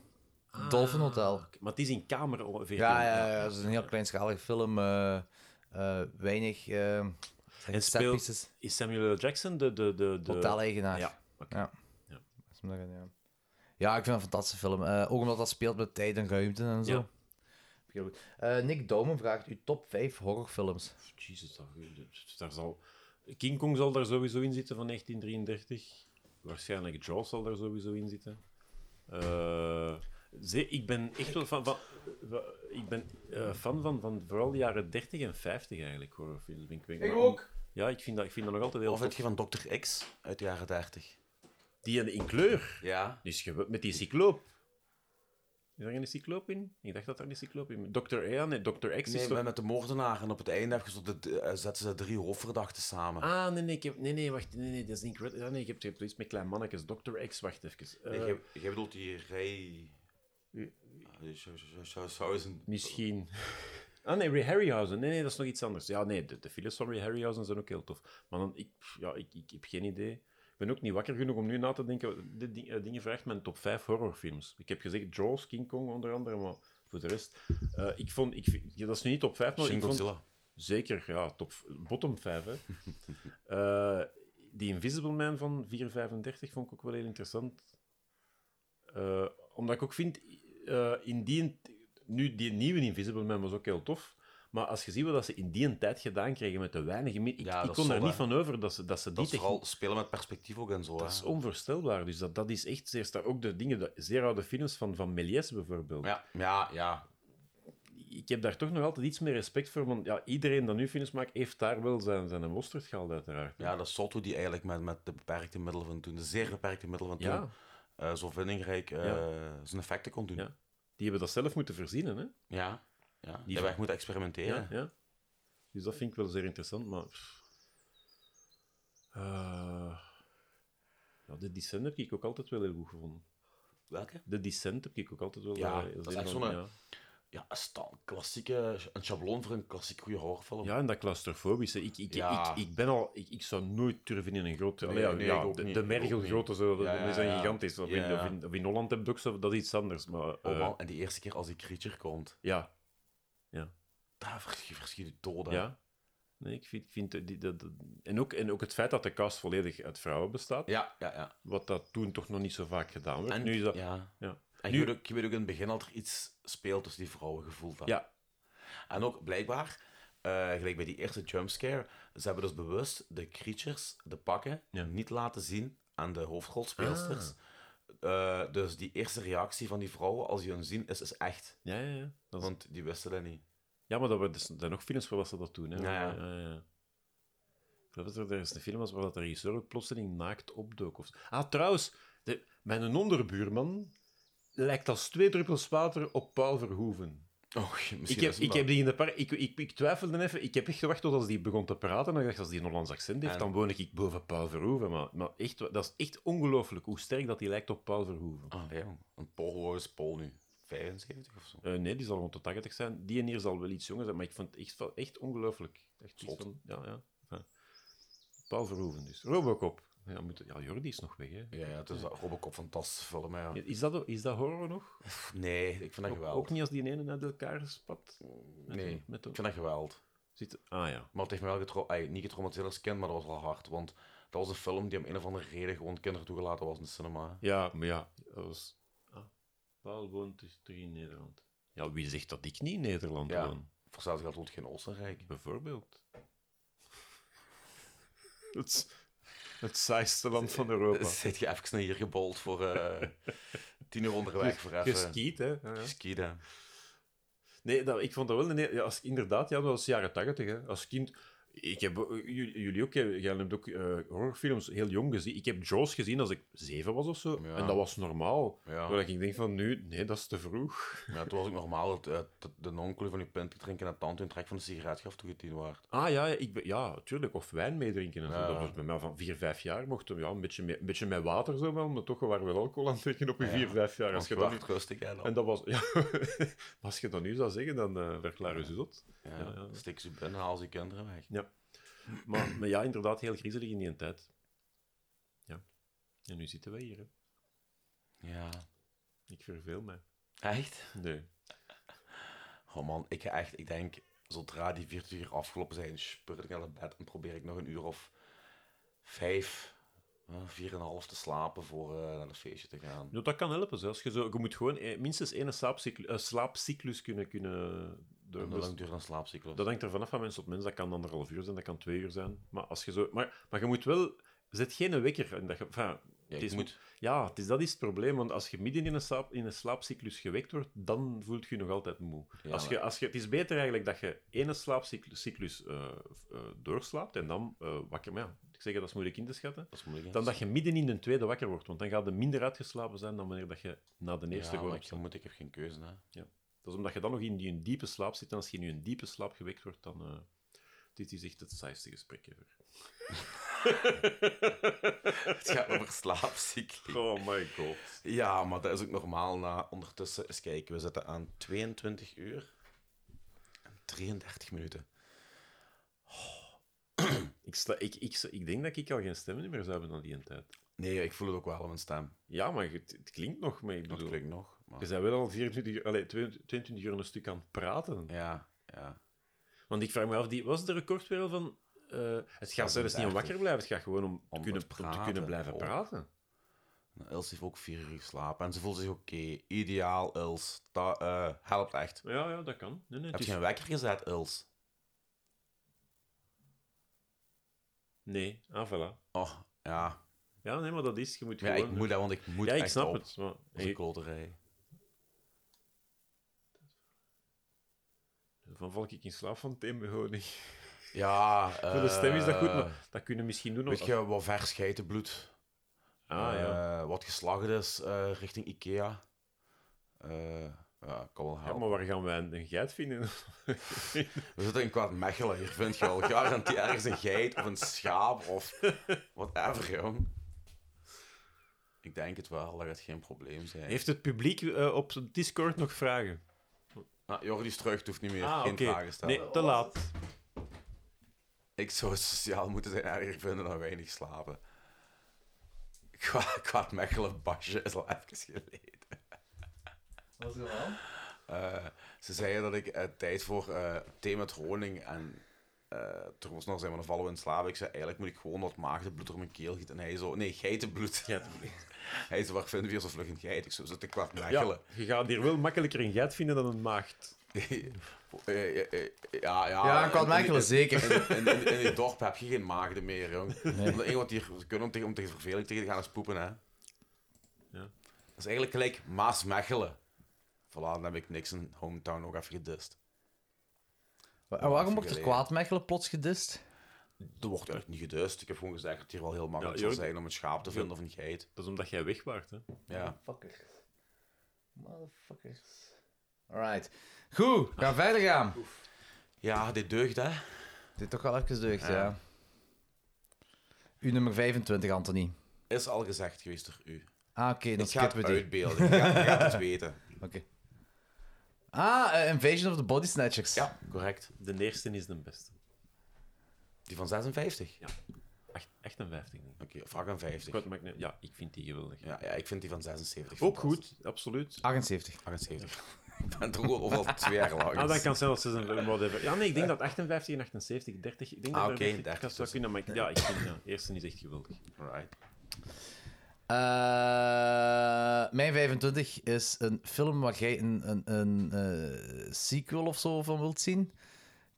[SPEAKER 4] Ah.
[SPEAKER 3] Dolphin Hotel.
[SPEAKER 4] Maar het is in kamer oh, ongeveer.
[SPEAKER 3] Ja, ja, ja, dat is een heel kleinschalige film. eh, eh, weinig eh,
[SPEAKER 4] En
[SPEAKER 3] set
[SPEAKER 4] speelt
[SPEAKER 3] pieces.
[SPEAKER 4] is Samuel L. Jackson de... de, de, de...
[SPEAKER 3] Hotel-eigenaar.
[SPEAKER 4] Ja, oké.
[SPEAKER 3] Ja.
[SPEAKER 4] Ja.
[SPEAKER 3] Dat is hem daarin, ja. Ja, ik vind het een fantastische film. Eh, ook omdat dat speelt met tijd en ruimte en zo.
[SPEAKER 4] Ja.
[SPEAKER 3] Heel goed. Eh, Nick Douwen vraagt uw top 5 horrorfilms.
[SPEAKER 4] Jezus, dat, daar zal... King Kong zal daar sowieso in zitten van 1933. Waarschijnlijk Jaws zal daar sowieso in zitten. Eh, ze, ik ben echt wel fan van... van- ik ben eh, fan van, van vooral de jaren 30 en 50 eigenlijk, horrorfilms. Ik, weet- maar- Ja, ik vind, dat, ik vind dat nog altijd heel
[SPEAKER 2] Of heb
[SPEAKER 4] tof.
[SPEAKER 2] je van Dr. X uit de jaren 30?
[SPEAKER 4] Die in, in kleur.
[SPEAKER 2] Ja.
[SPEAKER 4] Die is gewo- met die cycloop. Is daar een cycloop in? Ik dacht dat daar een cycloop in... Dr. E, nee, Dr. X is
[SPEAKER 2] Nee,
[SPEAKER 4] toch...
[SPEAKER 2] maar met de moordenaar. En op het einde heb je zo de, de- eh, zetten ze drie hoofdverdachten samen.
[SPEAKER 4] Ah, nee, nee, ik heb, nee, nee, wacht, nee, nee, dat is niet correct. Ja, nee, ik heb, ik heb iets met klein mannetjes, Dr. X, wacht even. Eh,
[SPEAKER 2] Nee, jij, jij bedoelt die Ray... Ah, Sausen.
[SPEAKER 4] Misschien. Ah, nee, Ray Harryhausen, nee, nee, dat is nog iets anders. Ja, nee, de, de films van Ray Harryhausen zijn ook heel tof. Maar dan, ik, ja, ik, ik heb geen idee. Ik ben ook niet wakker genoeg om nu na te denken. Dit ding, eh, dingen vraagt mijn top 5 horrorfilms. Ik heb gezegd Jaws, King Kong onder andere, maar voor de rest... eh, ik vond, ik, vind- ja, dat is nu niet top 5, maar
[SPEAKER 2] Shin
[SPEAKER 4] ik vond...
[SPEAKER 2] Godzilla.
[SPEAKER 4] Zeker, ja, top, bottom 5. Hè. Eh, die Invisible Man van 435 vond ik ook wel heel interessant. Eh, omdat ik ook vind, eh, in die, nu, die nieuwe Invisible Man was ook heel tof. Maar als je ziet wat dat ze in die tijd gedaan kregen met de weinige... mi- Ik,
[SPEAKER 2] Ja,
[SPEAKER 4] ik
[SPEAKER 2] dat
[SPEAKER 4] kon
[SPEAKER 2] is
[SPEAKER 4] daar
[SPEAKER 2] zot,
[SPEAKER 4] niet van over dat ze, dat ze die
[SPEAKER 2] Dat is
[SPEAKER 4] techniek...
[SPEAKER 2] vooral spelen met perspectief ook en zo.
[SPEAKER 4] Dat
[SPEAKER 2] hè.
[SPEAKER 4] is onvoorstelbaar. Dus dat, dat is echt zeer sta- Ook de dingen, de zeer oude films van, van Méliès bijvoorbeeld
[SPEAKER 2] Ja, ja, ja.
[SPEAKER 4] ik heb daar toch nog altijd iets meer respect voor, want ja, iedereen dat nu films maakt, heeft daar wel zijn, zijn mosterd gehaald, uiteraard.
[SPEAKER 2] Ja, dat is zot hoe die eigenlijk met, met de beperkte middelen van toen, de zeer beperkte middelen van toen,
[SPEAKER 4] Ja.
[SPEAKER 2] eh, zo vindingrijk eh, zijn effecten kon doen.
[SPEAKER 4] Ja. Die hebben dat zelf moeten verzinnen, hè?
[SPEAKER 2] Ja, ja. Die
[SPEAKER 4] Die
[SPEAKER 2] hebben echt moeten experimenteren.
[SPEAKER 4] Ja, ja. Dus dat vind ik wel zeer interessant, maar... pff. Eh, Ja, de Descent heb ik ook altijd wel heel goed gevonden.
[SPEAKER 2] Welke?
[SPEAKER 4] De Descent heb ik ook altijd wel...
[SPEAKER 2] Ja,
[SPEAKER 4] eh, heel
[SPEAKER 2] dat is
[SPEAKER 4] zeer
[SPEAKER 2] echt
[SPEAKER 4] van-
[SPEAKER 2] zo'n-
[SPEAKER 4] ja.
[SPEAKER 2] Ja, een sta- klassieke, een schabloon voor een klassiek goede horrorfilm.
[SPEAKER 4] Ja, en dat claustrofobische. Ik, ik,
[SPEAKER 2] eh, Ja.
[SPEAKER 4] ik, ik ben al... Ik, ik zou nooit durven in een grote...
[SPEAKER 2] Nee,
[SPEAKER 4] Allee, ja,
[SPEAKER 2] nee,
[SPEAKER 4] ja,
[SPEAKER 2] ik ook
[SPEAKER 4] de,
[SPEAKER 2] niet,
[SPEAKER 4] de
[SPEAKER 2] ik ook
[SPEAKER 4] mergelgrote, zo, dat,
[SPEAKER 2] Ja, ja,
[SPEAKER 4] die zijn
[SPEAKER 2] ja.
[SPEAKER 4] gigantisch. Of,
[SPEAKER 2] Ja,
[SPEAKER 4] in,
[SPEAKER 2] ja.
[SPEAKER 4] of, in, of in Holland heb je ook zo, dat is iets anders. Maar,
[SPEAKER 2] Oh,
[SPEAKER 4] eh,
[SPEAKER 2] man, en die eerste keer als die creature komt,
[SPEAKER 4] ja,
[SPEAKER 2] daar verschiet, verschiet je dood. hè.
[SPEAKER 4] Ja. Nee, ik vind, ik vind dat die, dat, dat- en, ook, en ook het feit dat de cast volledig uit vrouwen bestaat,
[SPEAKER 2] ja, ja. ja.
[SPEAKER 4] wat dat toen toch nog niet zo vaak gedaan werd.
[SPEAKER 2] En,
[SPEAKER 4] nu is dat, ja.
[SPEAKER 2] ja.
[SPEAKER 4] Ja.
[SPEAKER 2] en
[SPEAKER 4] Nu-
[SPEAKER 2] je, weet ook, je weet ook in het begin dat er iets speelt tussen die vrouwen gevoeld. hè.
[SPEAKER 4] Ja.
[SPEAKER 2] En ook blijkbaar, eh, gelijk bij die eerste jumpscare, ze hebben dus bewust de creatures, de pakken,
[SPEAKER 4] Ja. Ah.
[SPEAKER 2] niet laten zien aan de hoofdrolspeelsters. Eh, dus die eerste reactie van die vrouwen als die hun zien, is, is echt.
[SPEAKER 4] Ja, ja, ja. Dat is-
[SPEAKER 2] Want die wisten dat niet.
[SPEAKER 4] ja, maar dat waren- er zijn nog films waar ze dat doen. Hè.
[SPEAKER 2] Ja, ja.
[SPEAKER 4] Ik geloof dat er, er eens een film was waar dat de regisseur ook plotseling naakt opdook. Of... Ah, trouwens, de, mijn onderbuurman lijkt als twee druppels water op Paul Verhoeven.
[SPEAKER 2] Oh,
[SPEAKER 4] Ik heb, ik heb die in de park... Ik, ik, ik twijfelde even. Ik heb echt gewacht tot als die begon te praten. En ik dacht, als die een Hollands accent heeft,
[SPEAKER 2] En-
[SPEAKER 4] dan woon ik boven Paul Verhoeven. Maar, maar echt,
[SPEAKER 2] Ah,
[SPEAKER 4] wa- dat is echt ongelooflijk hoe sterk dat hij lijkt op Paul Verhoeven.
[SPEAKER 2] Allee, jong. Een Pool is Pool nu. 75 of zo.
[SPEAKER 4] Eh, nee, die zal rond de 80 zijn. Die en hier zal wel iets jonger zijn, maar ik vond het echt, wel- echt ongelooflijk. Echt iets van, ja, ja. Enfin, Paul Verhoeven dus. Robocop. Ja, moet, ja, Jordi is nog weg, hè.
[SPEAKER 2] Ja, ja, het is dat Robocop fantastisch film, ja.
[SPEAKER 4] Is dat, is dat horror nog?
[SPEAKER 2] Nee, ik vind dat
[SPEAKER 4] Ook,
[SPEAKER 2] geweld.
[SPEAKER 4] ook niet als die ene uit elkaar spat? Met
[SPEAKER 2] Nee,
[SPEAKER 4] de- Met de,
[SPEAKER 2] Ik vind dat geweld.
[SPEAKER 4] zit, ah ja.
[SPEAKER 2] Maar het heeft me wel getro ey, niet getraumatiseerd als kind, maar dat was wel hard. Want dat was een film die om een of andere reden gewoon kinderen toegelaten was in de cinema.
[SPEAKER 4] Ja, maar ja, dat was... Ah, Paul woont dus drie in Nederland. Ja, wie zegt dat ik niet in Nederland
[SPEAKER 2] Ja.
[SPEAKER 4] woon?
[SPEAKER 2] Voor hetzelfde geld wordt geen Oostenrijk.
[SPEAKER 4] Bijvoorbeeld. Het, s- het saaiste land van Europa.
[SPEAKER 2] Zit je even naar hier gebold voor eh tien uur onderweg voor even...
[SPEAKER 4] Geskiet, hè? Ja, ja.
[SPEAKER 2] Geskiet, hè.
[SPEAKER 4] Nee, dat, ik vond dat wel... een heel- ja, als, inderdaad, ja, dat was jaren tachtig. hè. Als kind... Ik heb, eh, jullie jullie ook, hè, jij hebt ook eh, horrorfilms heel jong gezien. Ik heb Jaws gezien als ik zeven was of zo.
[SPEAKER 2] Ja.
[SPEAKER 4] En dat was normaal.
[SPEAKER 2] Ja.
[SPEAKER 4] Waar ik denk van nu, nee, dat is te vroeg.
[SPEAKER 2] Ja, toen was ook normaal dat, eh, dat de nonkel van je pint drinken en tante een trek van de sigaret gaf toen je tien waard.
[SPEAKER 4] Ah ja, ja, ik ben, ja tuurlijk. Of wijn meedrinken. En zo.
[SPEAKER 2] Ja.
[SPEAKER 4] Dat was bij mij van vier, vijf jaar. Mocht, ja, een, beetje, mee- een beetje met water zo wel. Maar toch, we waren wel alcohol aan het drinken op je vier, vijf jaar. Als
[SPEAKER 2] Als
[SPEAKER 4] je
[SPEAKER 2] je
[SPEAKER 4] dat
[SPEAKER 2] wel
[SPEAKER 4] niet
[SPEAKER 2] niet rustig, hè, dan.
[SPEAKER 4] En dat was... Ja, maar als je dat nu zou zeggen, dan eh verklaar je ze zot.
[SPEAKER 2] Ja,
[SPEAKER 4] Ja, ja.
[SPEAKER 2] Stik ze binnen, haal ze je kinderen weg.
[SPEAKER 4] Maar, maar ja, inderdaad, heel griezelig in die tijd. Ja. En nu zitten wij hier, hè.
[SPEAKER 2] Ja.
[SPEAKER 4] Ik verveel mij.
[SPEAKER 2] Echt?
[SPEAKER 4] Nee.
[SPEAKER 2] Oh man, ik ga echt, ik denk, zodra die 40 uur afgelopen zijn, speur ik naar het bed en probeer ik nog een uur of vijf, eh, vier en een half te slapen voor eh, naar een feestje te gaan.
[SPEAKER 4] Nou, dat kan helpen, zelfs. Je, zo, je moet gewoon eh, minstens één slaapcyclus, eh, slaapcyclus kunnen... kunnen eh, door-
[SPEAKER 2] Een lang duur een slaapcyclus.
[SPEAKER 4] dus Dat hangt er vanaf van mens tot mens. Dat kan anderhalf uur zijn, dat kan twee uur zijn. Maar, als je, zo, maar, maar je moet wel... Zet geen wekker. En dat je, enfin,
[SPEAKER 2] ja,
[SPEAKER 4] het
[SPEAKER 2] ik
[SPEAKER 4] is,
[SPEAKER 2] moet,
[SPEAKER 4] ja, het is, dat is het probleem. Want als je midden in een, slaap, in een slaapcyclus gewekt wordt, dan voelt je je nog altijd moe.
[SPEAKER 2] Ja,
[SPEAKER 4] als je, als je, het is beter eigenlijk dat je één slaapcyclus eh, eh, doorslaapt en dan eh, wakker... Maar ja, ik zeg, dat is moeilijk in te schatten.
[SPEAKER 2] dat is moeilijk. hè.
[SPEAKER 4] Dan dat je midden in de tweede wakker wordt. Want dan gaat je minder uitgeslapen zijn dan wanneer dat je na de eerste
[SPEAKER 2] ja,
[SPEAKER 4] gewoon
[SPEAKER 2] maar ik,
[SPEAKER 4] opstaat.
[SPEAKER 2] moet, ik heb geen keuze, hè.
[SPEAKER 4] Dat is omdat je dan nog in die een diepe slaap zit. En als je nu een diepe slaap gewekt wordt, dan... eh, dit is echt het saaiste gesprek ever.
[SPEAKER 2] Het gaat over slaapcyclus.
[SPEAKER 4] Oh my god.
[SPEAKER 2] Ja, maar dat is ook normaal na ondertussen. Eens kijken, we zitten aan 22 uur en 33 minuten.
[SPEAKER 4] Ik, sta, ik, ik, ik denk dat ik al geen stemmen meer zou hebben aan die tijd.
[SPEAKER 2] Nee, ik voel het ook wel aan mijn stem.
[SPEAKER 4] Ja, maar het, het klinkt nog mee. Ik
[SPEAKER 2] Dat
[SPEAKER 4] bedoel,
[SPEAKER 2] klinkt nog.
[SPEAKER 4] je
[SPEAKER 2] Maar...
[SPEAKER 4] bent wel al 24 uur, allee, 22 22 uur een stuk aan het praten.
[SPEAKER 2] Ja, ja.
[SPEAKER 4] Want ik vraag me af, die, was de record weer al van... eh, het gaat zelfs niet om
[SPEAKER 2] 35.
[SPEAKER 4] wakker blijven, het gaat gewoon om, te
[SPEAKER 2] Om
[SPEAKER 4] kunnen,
[SPEAKER 2] het
[SPEAKER 4] om te
[SPEAKER 2] praten,
[SPEAKER 4] kunnen blijven
[SPEAKER 2] om-
[SPEAKER 4] praten. Oh.
[SPEAKER 2] Nou, Els heeft ook vier uur geslapen en ze voelt zich oké. Ideaal, Els. Dat eh, helpt echt.
[SPEAKER 4] Ja, ja, dat kan. Nee, nee, het
[SPEAKER 2] Heb je
[SPEAKER 4] is-
[SPEAKER 2] een wekker gezet, Els?
[SPEAKER 4] nee. ah, voilà.
[SPEAKER 2] Oh, ja.
[SPEAKER 4] Ja, nee, maar dat is, je moet
[SPEAKER 2] Ja,
[SPEAKER 4] gewoon...
[SPEAKER 2] ik moet dat, want ik moet
[SPEAKER 4] ja, ik
[SPEAKER 2] echt
[SPEAKER 4] snap
[SPEAKER 2] op.
[SPEAKER 4] het. Maar,
[SPEAKER 2] Dat is een
[SPEAKER 4] ik-
[SPEAKER 2] kloterij.
[SPEAKER 4] dan val ik in slaap van teambehoning.
[SPEAKER 2] Ja,
[SPEAKER 4] Voor de stem is dat goed,
[SPEAKER 2] eh,
[SPEAKER 4] maar dat kunnen we misschien doen.
[SPEAKER 2] Weet
[SPEAKER 4] Als...
[SPEAKER 2] je, wat vers geitenbloed.
[SPEAKER 4] Ah, ja.
[SPEAKER 2] Eh, wat geslagen is eh, richting Ikea. Eh, ja, kan wel
[SPEAKER 4] ja,
[SPEAKER 2] helpen.
[SPEAKER 4] maar waar gaan wij een, een geit vinden?
[SPEAKER 2] We zitten in kwaad Mechelen. Hier vind je al garantie ergens een geit of een schaap of whatever, jong. Ik denk het wel, dat gaat geen probleem zijn.
[SPEAKER 4] Heeft het publiek eh, op Discord nog vragen?
[SPEAKER 2] Ah, Jordi is terug, het hoeft niet meer.
[SPEAKER 4] Ah,
[SPEAKER 2] geen
[SPEAKER 4] oké.
[SPEAKER 2] vragen stellen.
[SPEAKER 4] Nee, te laat.
[SPEAKER 2] Ik zou het sociaal moeten zijn erger vinden dan weinig slapen. Qua, qua het Mechelen basje is al even geleden.
[SPEAKER 3] Wat is er aan?
[SPEAKER 2] Eh, ze zeiden dat ik eh, tijd voor eh, thee met honing en eh toen was nog zijn, maar dan vallen we in slaap. Ik zei, eigenlijk moet ik gewoon dat maagdenbloed door mijn keel gieten. En hij zo, nee, geitenbloed. hij zo, waar vinden we hier zo vlug een geit? Ik zo, zit ik kwaad Mechelen.
[SPEAKER 4] Ja, je gaat hier wel makkelijker een geit vinden dan een maagd.
[SPEAKER 2] Eh, eh, eh, ja, ja.
[SPEAKER 3] Ah, Ja,
[SPEAKER 2] in-
[SPEAKER 3] qua
[SPEAKER 2] in-
[SPEAKER 3] Mechelen zeker.
[SPEAKER 2] In, in, in, in dit dorp heb je geen maagden meer, jong. Want Het enige wat hier ze kunnen om tegen, om tegen verveling tegen te gaan is poepen, hè.
[SPEAKER 4] Ja.
[SPEAKER 2] Dat is eigenlijk gelijk Maas-Mechelen. Voilà, dan heb ik niks in hometown nog even gedist.
[SPEAKER 3] En waarom wordt er
[SPEAKER 2] geleden.
[SPEAKER 3] kwaad Mechelen plots gedist?
[SPEAKER 2] Er wordt eigenlijk niet gedust. Ik heb gewoon gezegd dat het hier wel heel makkelijk
[SPEAKER 4] Ja,
[SPEAKER 2] zou
[SPEAKER 4] Jordi-
[SPEAKER 2] zijn om een schaap te vinden of een geit.
[SPEAKER 4] Dat is omdat jij weg waart, hè?
[SPEAKER 2] Ja.
[SPEAKER 3] Motherfuckers. Motherfuckers. Alright. Ah. Goed, we gaan verder gaan.
[SPEAKER 2] ja, dit deugt, hè.
[SPEAKER 3] Dit toch wel even deugd, ja. Uw nummer 25, Anthony.
[SPEAKER 2] Is al gezegd geweest door u.
[SPEAKER 3] Ah, oké, dan
[SPEAKER 2] ik ga het
[SPEAKER 3] skippen we die.
[SPEAKER 2] uitbeelden. Ik ga, ik ga het weten.
[SPEAKER 3] Oké. Ah, eh, Invasion of the Body Snatchers.
[SPEAKER 2] Ja, correct.
[SPEAKER 4] De eerste is de beste.
[SPEAKER 2] Die van 56.
[SPEAKER 4] Echt, 58, denk ik.
[SPEAKER 2] Oké, of 58.
[SPEAKER 4] Goed, maar ik neem- Ja, ik vind die geweldig.
[SPEAKER 2] Ja, ja, ik vind die van 76.
[SPEAKER 4] Ook
[SPEAKER 2] fantastisch.
[SPEAKER 4] goed, absoluut.
[SPEAKER 3] 78.
[SPEAKER 2] 78. Ik ben toch al overal twee jaar lang.
[SPEAKER 4] Ah, dat kan zelfs 56, whatever. Ja, nee, ik denk dat 58 en 78, 30... Ik denk
[SPEAKER 2] Ah,
[SPEAKER 4] dat
[SPEAKER 2] oké,
[SPEAKER 4] er
[SPEAKER 2] 30
[SPEAKER 4] dat zou kunnen, maar ik- ja, ik vind ja, de eerste is echt geweldig.
[SPEAKER 2] Alright.
[SPEAKER 3] Eh, mijn 25 is een film waar jij een, een, een eh, sequel of zo van wilt zien.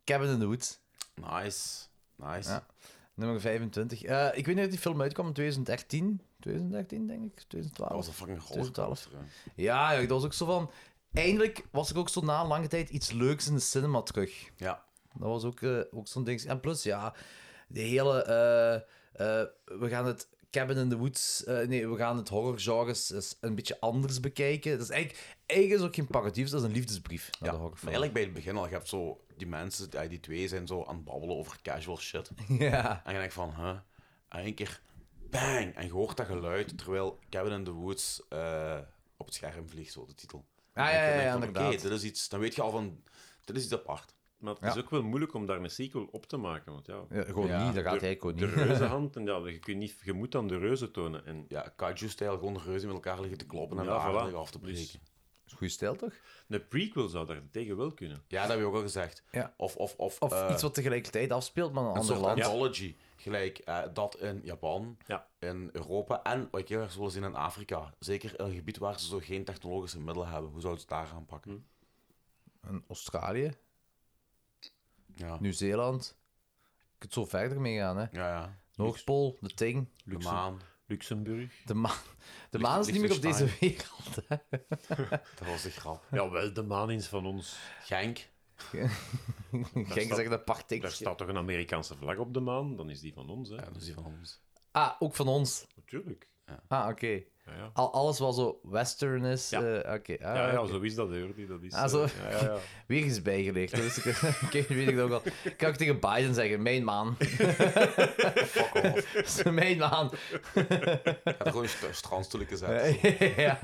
[SPEAKER 3] Cabin in the Woods,
[SPEAKER 2] Nice. Nice.
[SPEAKER 3] Ja. nummer 25. Eh, ik weet niet of die film uitkwam in 2013. 2013, denk ik.
[SPEAKER 2] Dat
[SPEAKER 3] 2012.
[SPEAKER 2] was een fucking
[SPEAKER 3] 2012.
[SPEAKER 2] rollercoaster. hè.
[SPEAKER 3] Ja, ja, dat was ook zo van... Eindelijk was er ook zo na een lange tijd iets leuks in de cinema terug.
[SPEAKER 2] Ja.
[SPEAKER 3] Dat was ook, eh, ook zo'n ding. En plus, ja, de hele... eh, eh, we gaan het Cabin in the Woods... eh, nee, we gaan het horrorgenre eens- eens een beetje anders bekijken. Dat is eigenlijk, eigenlijk is ook geen parodie, dat is een liefdesbrief naar
[SPEAKER 2] Ja,
[SPEAKER 3] de
[SPEAKER 2] maar
[SPEAKER 3] horrorfilm.
[SPEAKER 2] eigenlijk bij het begin al, je hebt zo die mensen, die, die twee zijn zo aan het babbelen over casual shit.
[SPEAKER 3] Ja.
[SPEAKER 2] En je denkt van, huh? En één keer, bang! En je hoort dat geluid, terwijl Cabin in the Woods eh, op het scherm vliegt, zo de titel.
[SPEAKER 3] Ah,
[SPEAKER 2] En
[SPEAKER 3] ja,
[SPEAKER 2] dan
[SPEAKER 3] ja,
[SPEAKER 2] denk je
[SPEAKER 3] ja,
[SPEAKER 2] van,
[SPEAKER 3] inderdaad.
[SPEAKER 2] Oké, dit is iets, dan weet je al van, dit is iets apart.
[SPEAKER 4] Maar het is ook wel moeilijk om daar een sequel op te maken, want ja...
[SPEAKER 3] Ja, gewoon
[SPEAKER 2] Ja,
[SPEAKER 3] niet, dat gaat
[SPEAKER 4] de-
[SPEAKER 3] hij gewoon
[SPEAKER 4] De
[SPEAKER 3] niet.
[SPEAKER 4] reuzenhand, en ja, je, kunt niet, je moet dan de reuzen tonen. En,
[SPEAKER 2] Ja, kaiju-stijl, gewoon de reuzen met elkaar liggen te kloppen en
[SPEAKER 4] Ja,
[SPEAKER 2] de
[SPEAKER 4] voilà.
[SPEAKER 2] aardig af te breken.
[SPEAKER 4] Dus-
[SPEAKER 3] Goeie stijl, toch?
[SPEAKER 4] Een prequel zou daar tegen wel kunnen.
[SPEAKER 2] Ja, dat heb je ook al gezegd.
[SPEAKER 3] Ja.
[SPEAKER 2] Of, of, of,
[SPEAKER 3] Of
[SPEAKER 2] eh,
[SPEAKER 3] iets wat tegelijkertijd afspeelt, maar in een
[SPEAKER 2] een
[SPEAKER 3] ander
[SPEAKER 2] soort
[SPEAKER 3] land.
[SPEAKER 2] anthology. Gelijk eh, dat in Japan,
[SPEAKER 4] Ja.
[SPEAKER 2] in Europa en wat ik heel erg zou willen zien in Afrika. Zeker in een gebied waar ze zo geen technologische middelen hebben. Hoe zouden ze het daar aanpakken?
[SPEAKER 3] In Australië,
[SPEAKER 4] Hm.
[SPEAKER 2] Ja.
[SPEAKER 3] Nieuw-Zeeland. Je kunt zo verder meegaan, hè.
[SPEAKER 2] Ja, ja.
[SPEAKER 3] Noordpool, de Ting,
[SPEAKER 2] De maan.
[SPEAKER 4] Luxemburg.
[SPEAKER 3] de maan. De maan is
[SPEAKER 2] ligt
[SPEAKER 3] niet meer op deze
[SPEAKER 2] Liechtenstein.
[SPEAKER 3] wereld, hè.
[SPEAKER 2] Dat was een grap.
[SPEAKER 4] Ja, wel, de maan is van ons.
[SPEAKER 2] Genk.
[SPEAKER 3] Genk
[SPEAKER 4] staat-
[SPEAKER 3] zegt een paar
[SPEAKER 4] Daar
[SPEAKER 3] tikjes.
[SPEAKER 4] staat toch een Amerikaanse vlag op de maan? Dan is die van ons, hè?
[SPEAKER 2] Ja, dat is die van ons.
[SPEAKER 3] Ah, ook van ons.
[SPEAKER 4] Natuurlijk.
[SPEAKER 3] Ah, oké.
[SPEAKER 4] Ja, ja.
[SPEAKER 3] Al, alles wat zo western is.
[SPEAKER 4] Ja.
[SPEAKER 3] eh, oké. Ah,
[SPEAKER 4] Ja, ja,
[SPEAKER 3] oké.
[SPEAKER 4] zo is dat, Jordi. Dat is,
[SPEAKER 3] Ah, zo.
[SPEAKER 4] eh, ja, ja, ja.
[SPEAKER 3] Weer eens bijgeleerd. Dus ik, oké, weet ik nog wel. Ik kan ook tegen Biden zeggen: Mijn maan.
[SPEAKER 2] Fuck off.
[SPEAKER 3] Dat is Mijn maan.
[SPEAKER 2] Ik had er gewoon een st- strandstoelje gezet.
[SPEAKER 3] ja.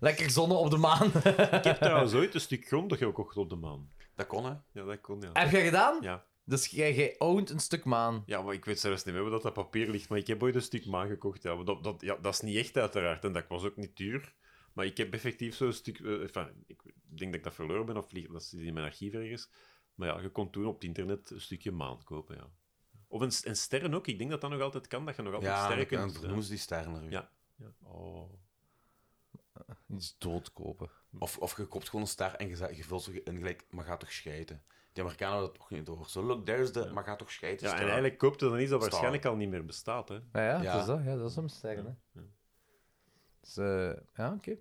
[SPEAKER 3] Lekker zonne op de maan.
[SPEAKER 4] Ik heb trouwens ooit een stuk grond gekocht op de maan.
[SPEAKER 2] Dat kon, hè?
[SPEAKER 4] Ja, dat kon, ja.
[SPEAKER 3] Heb jij gedaan?
[SPEAKER 4] Ja.
[SPEAKER 3] Dus jij, jij owned een stuk maan.
[SPEAKER 4] Ja, maar ik weet zelfs niet meer waar dat, dat papier ligt, maar ik heb ooit een stuk maan gekocht. Ja. Maar Dat, dat, ja, dat is niet echt, uiteraard, en dat was ook niet duur. Maar ik heb effectief zo'n stuk... eh, enfin, ik denk dat ik dat verloren ben, of ligt- dat zit in mijn archief ergens. Maar ja, je kon toen op het internet een stukje maan kopen, ja. Of een, en sterren ook. Ik denk dat dat nog altijd kan, dat je nog altijd
[SPEAKER 2] Ja, en
[SPEAKER 4] sterren
[SPEAKER 2] dan
[SPEAKER 4] kunt... eh,
[SPEAKER 2] vernoemen ze die sterren er weer.
[SPEAKER 4] Ja. ja. Oh.
[SPEAKER 3] Iets doodkopen.
[SPEAKER 2] Of, of je koopt gewoon een ster en je, zet- je vult ze in gelijk, maar gaat toch scheiden. Die Amerikanen hebben dat toch niet door. Zo, look, there's the, maar gaat toch scheiden.
[SPEAKER 4] Ja, en
[SPEAKER 2] ster.
[SPEAKER 4] eigenlijk koopt er dan iets dat
[SPEAKER 2] Star.
[SPEAKER 4] waarschijnlijk al niet meer bestaat. Hè?
[SPEAKER 3] Ja, Ah,
[SPEAKER 2] Ja.
[SPEAKER 3] ja, Dat, is dat, ja dat is hem sterren. hè. Dus, eh, ja, oké.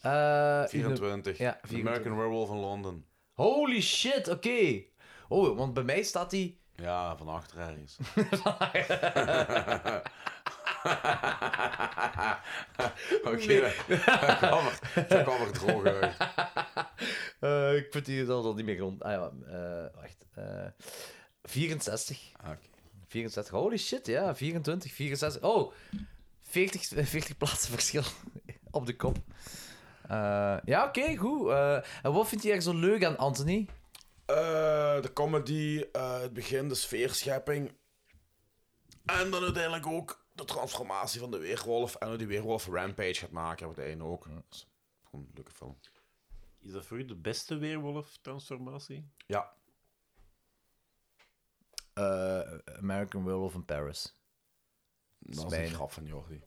[SPEAKER 3] Eh, in de-
[SPEAKER 2] 24.
[SPEAKER 3] Ja,
[SPEAKER 2] The American Werewolf in Londen.
[SPEAKER 3] Holy shit, oké. Oh, want bij mij staat die.
[SPEAKER 2] Ja, van achter ergens. Oké, dat- dat kwam er- dat kwam er droog uit.
[SPEAKER 3] Eh, ik vind die zelfs al niet meer rond. Ah ja, eh, wacht. eh, 64.
[SPEAKER 2] Ah, oké.
[SPEAKER 3] 64. Holy shit, ja. 24, 64. Oh, 40, 40 plaatsen verschil op de kop. Eh, ja, oké, goed. Eh, en wat vind je er zo leuk aan, Anthony?
[SPEAKER 2] Eh, de comedy, eh, het begin, de sfeerschepping. En dan uiteindelijk ook de transformatie van de weerwolf. En hoe die weerwolf Rampage gaat maken op het einde ook. Dus, gewoon een leuke film.
[SPEAKER 4] Is dat voor u de beste weerwolf-transformatie?
[SPEAKER 2] Ja,
[SPEAKER 3] Eh, American Werewolf in Paris.
[SPEAKER 2] dat is een
[SPEAKER 3] Spijnen.
[SPEAKER 2] grap van Jordi.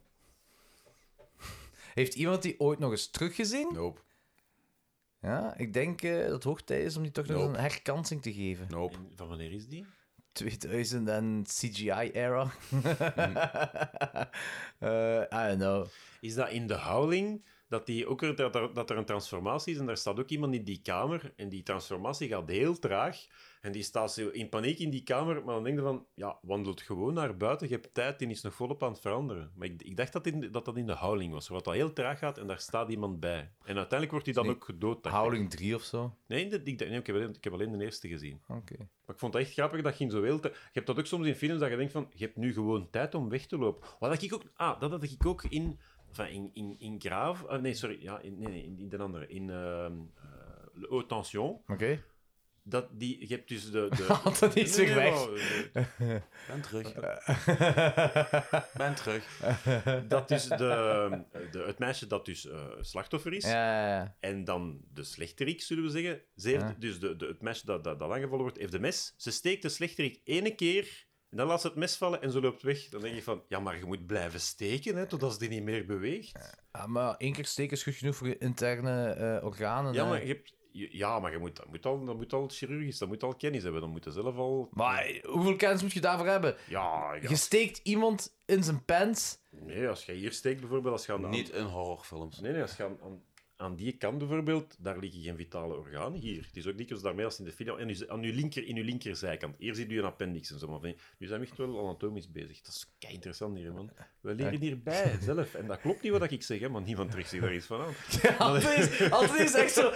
[SPEAKER 3] Heeft iemand die ooit nog eens teruggezien?
[SPEAKER 2] Nope,
[SPEAKER 3] Ja, ik denk eh, dat het hoog tijd is om die toch nog eens
[SPEAKER 2] Nope.
[SPEAKER 3] een herkansing te geven.
[SPEAKER 2] nope.
[SPEAKER 4] En van wanneer is die?
[SPEAKER 3] 2000 en CGI-era. Eh, I don't know.
[SPEAKER 4] Is dat in de Howling? Dat, die ook er, dat, er, dat er een transformatie is en daar staat ook iemand in die kamer. En die transformatie gaat heel traag. En die staat zo in paniek in die kamer. Maar dan denk je van, ja, wandelt gewoon naar buiten. Je hebt tijd, die is nog volop aan het veranderen. Maar ik, ik dacht dat, in, dat dat in de Howling was. Wat dat heel traag gaat en daar staat iemand bij. En uiteindelijk wordt hij dan
[SPEAKER 3] Nee,
[SPEAKER 4] ook gedood. dacht ik.
[SPEAKER 3] Howling 3 of zo.
[SPEAKER 4] Nee, dat- ik, dacht- nee ik, heb alleen, ik heb alleen de eerste gezien.
[SPEAKER 3] Oké.
[SPEAKER 4] Maar ik vond het echt grappig dat je in zo heel... te- Je hebt dat ook soms in films dat je denkt van... Je hebt nu gewoon tijd om weg te lopen. Wat had ik ook... Ah, dat had ik ook in... Enfin, in, in, in Graaf... ah, nee, sorry. Ja, in, nee, nee, in, in de andere. In... ehm, eh, Le Haut Tension.
[SPEAKER 3] Oké.
[SPEAKER 4] Dat die, je hebt dus de... de...
[SPEAKER 3] Oh, Dat is
[SPEAKER 4] Nee,
[SPEAKER 3] weer
[SPEAKER 4] nee,
[SPEAKER 3] weg.
[SPEAKER 4] maar, eh,
[SPEAKER 2] Ben terug. ben terug.
[SPEAKER 4] dat is de, ehm, de, het meisje dat dus eh, slachtoffer is.
[SPEAKER 3] Ja, ja, ja.
[SPEAKER 4] En dan de slechterik, zullen we zeggen. Ze heeft,
[SPEAKER 3] Ja.
[SPEAKER 4] Dus de, de, het mes dat, dat, dat aangevallen wordt, heeft de mes. Ze steekt de slechterik ene keer, en dan laat ze het mes vallen en ze loopt weg. Dan denk je van, ja, maar je moet blijven steken, hè, totdat ze die niet meer beweegt.
[SPEAKER 3] Ah, maar één keer steken is goed genoeg voor je interne eh, organen.
[SPEAKER 4] Ja,
[SPEAKER 3] hè.
[SPEAKER 4] maar je, hebt, je- ja, maar je moet, dat, moet al, dat moet al chirurgisch, dat moet al kennis hebben. Dan moet je zelf al...
[SPEAKER 3] Maar hoeveel kennis moet je daarvoor hebben?
[SPEAKER 4] Ja, ja.
[SPEAKER 3] Je steekt iemand in zijn pants.
[SPEAKER 4] Nee, als je hier steekt bijvoorbeeld, als je aan,
[SPEAKER 2] Niet in horrorfilms.
[SPEAKER 4] Nee, nee, als je aan, aan, aan die kant bijvoorbeeld, daar liggen geen vitale organen. Hier, het is ook dikwijls daarmee als in de film. En je- aan je linker, in je linkerzijkant. Hier zit u een appendix en zo. Maar van- nu zijn we echt wel anatomisch bezig. Dat is kei interessant hier, man. We leren hierbij zelf. En dat klopt niet wat ik zeg, hè, maar niemand trekt zich daar iets van aan.
[SPEAKER 3] Altijd is, altijd is echt zo.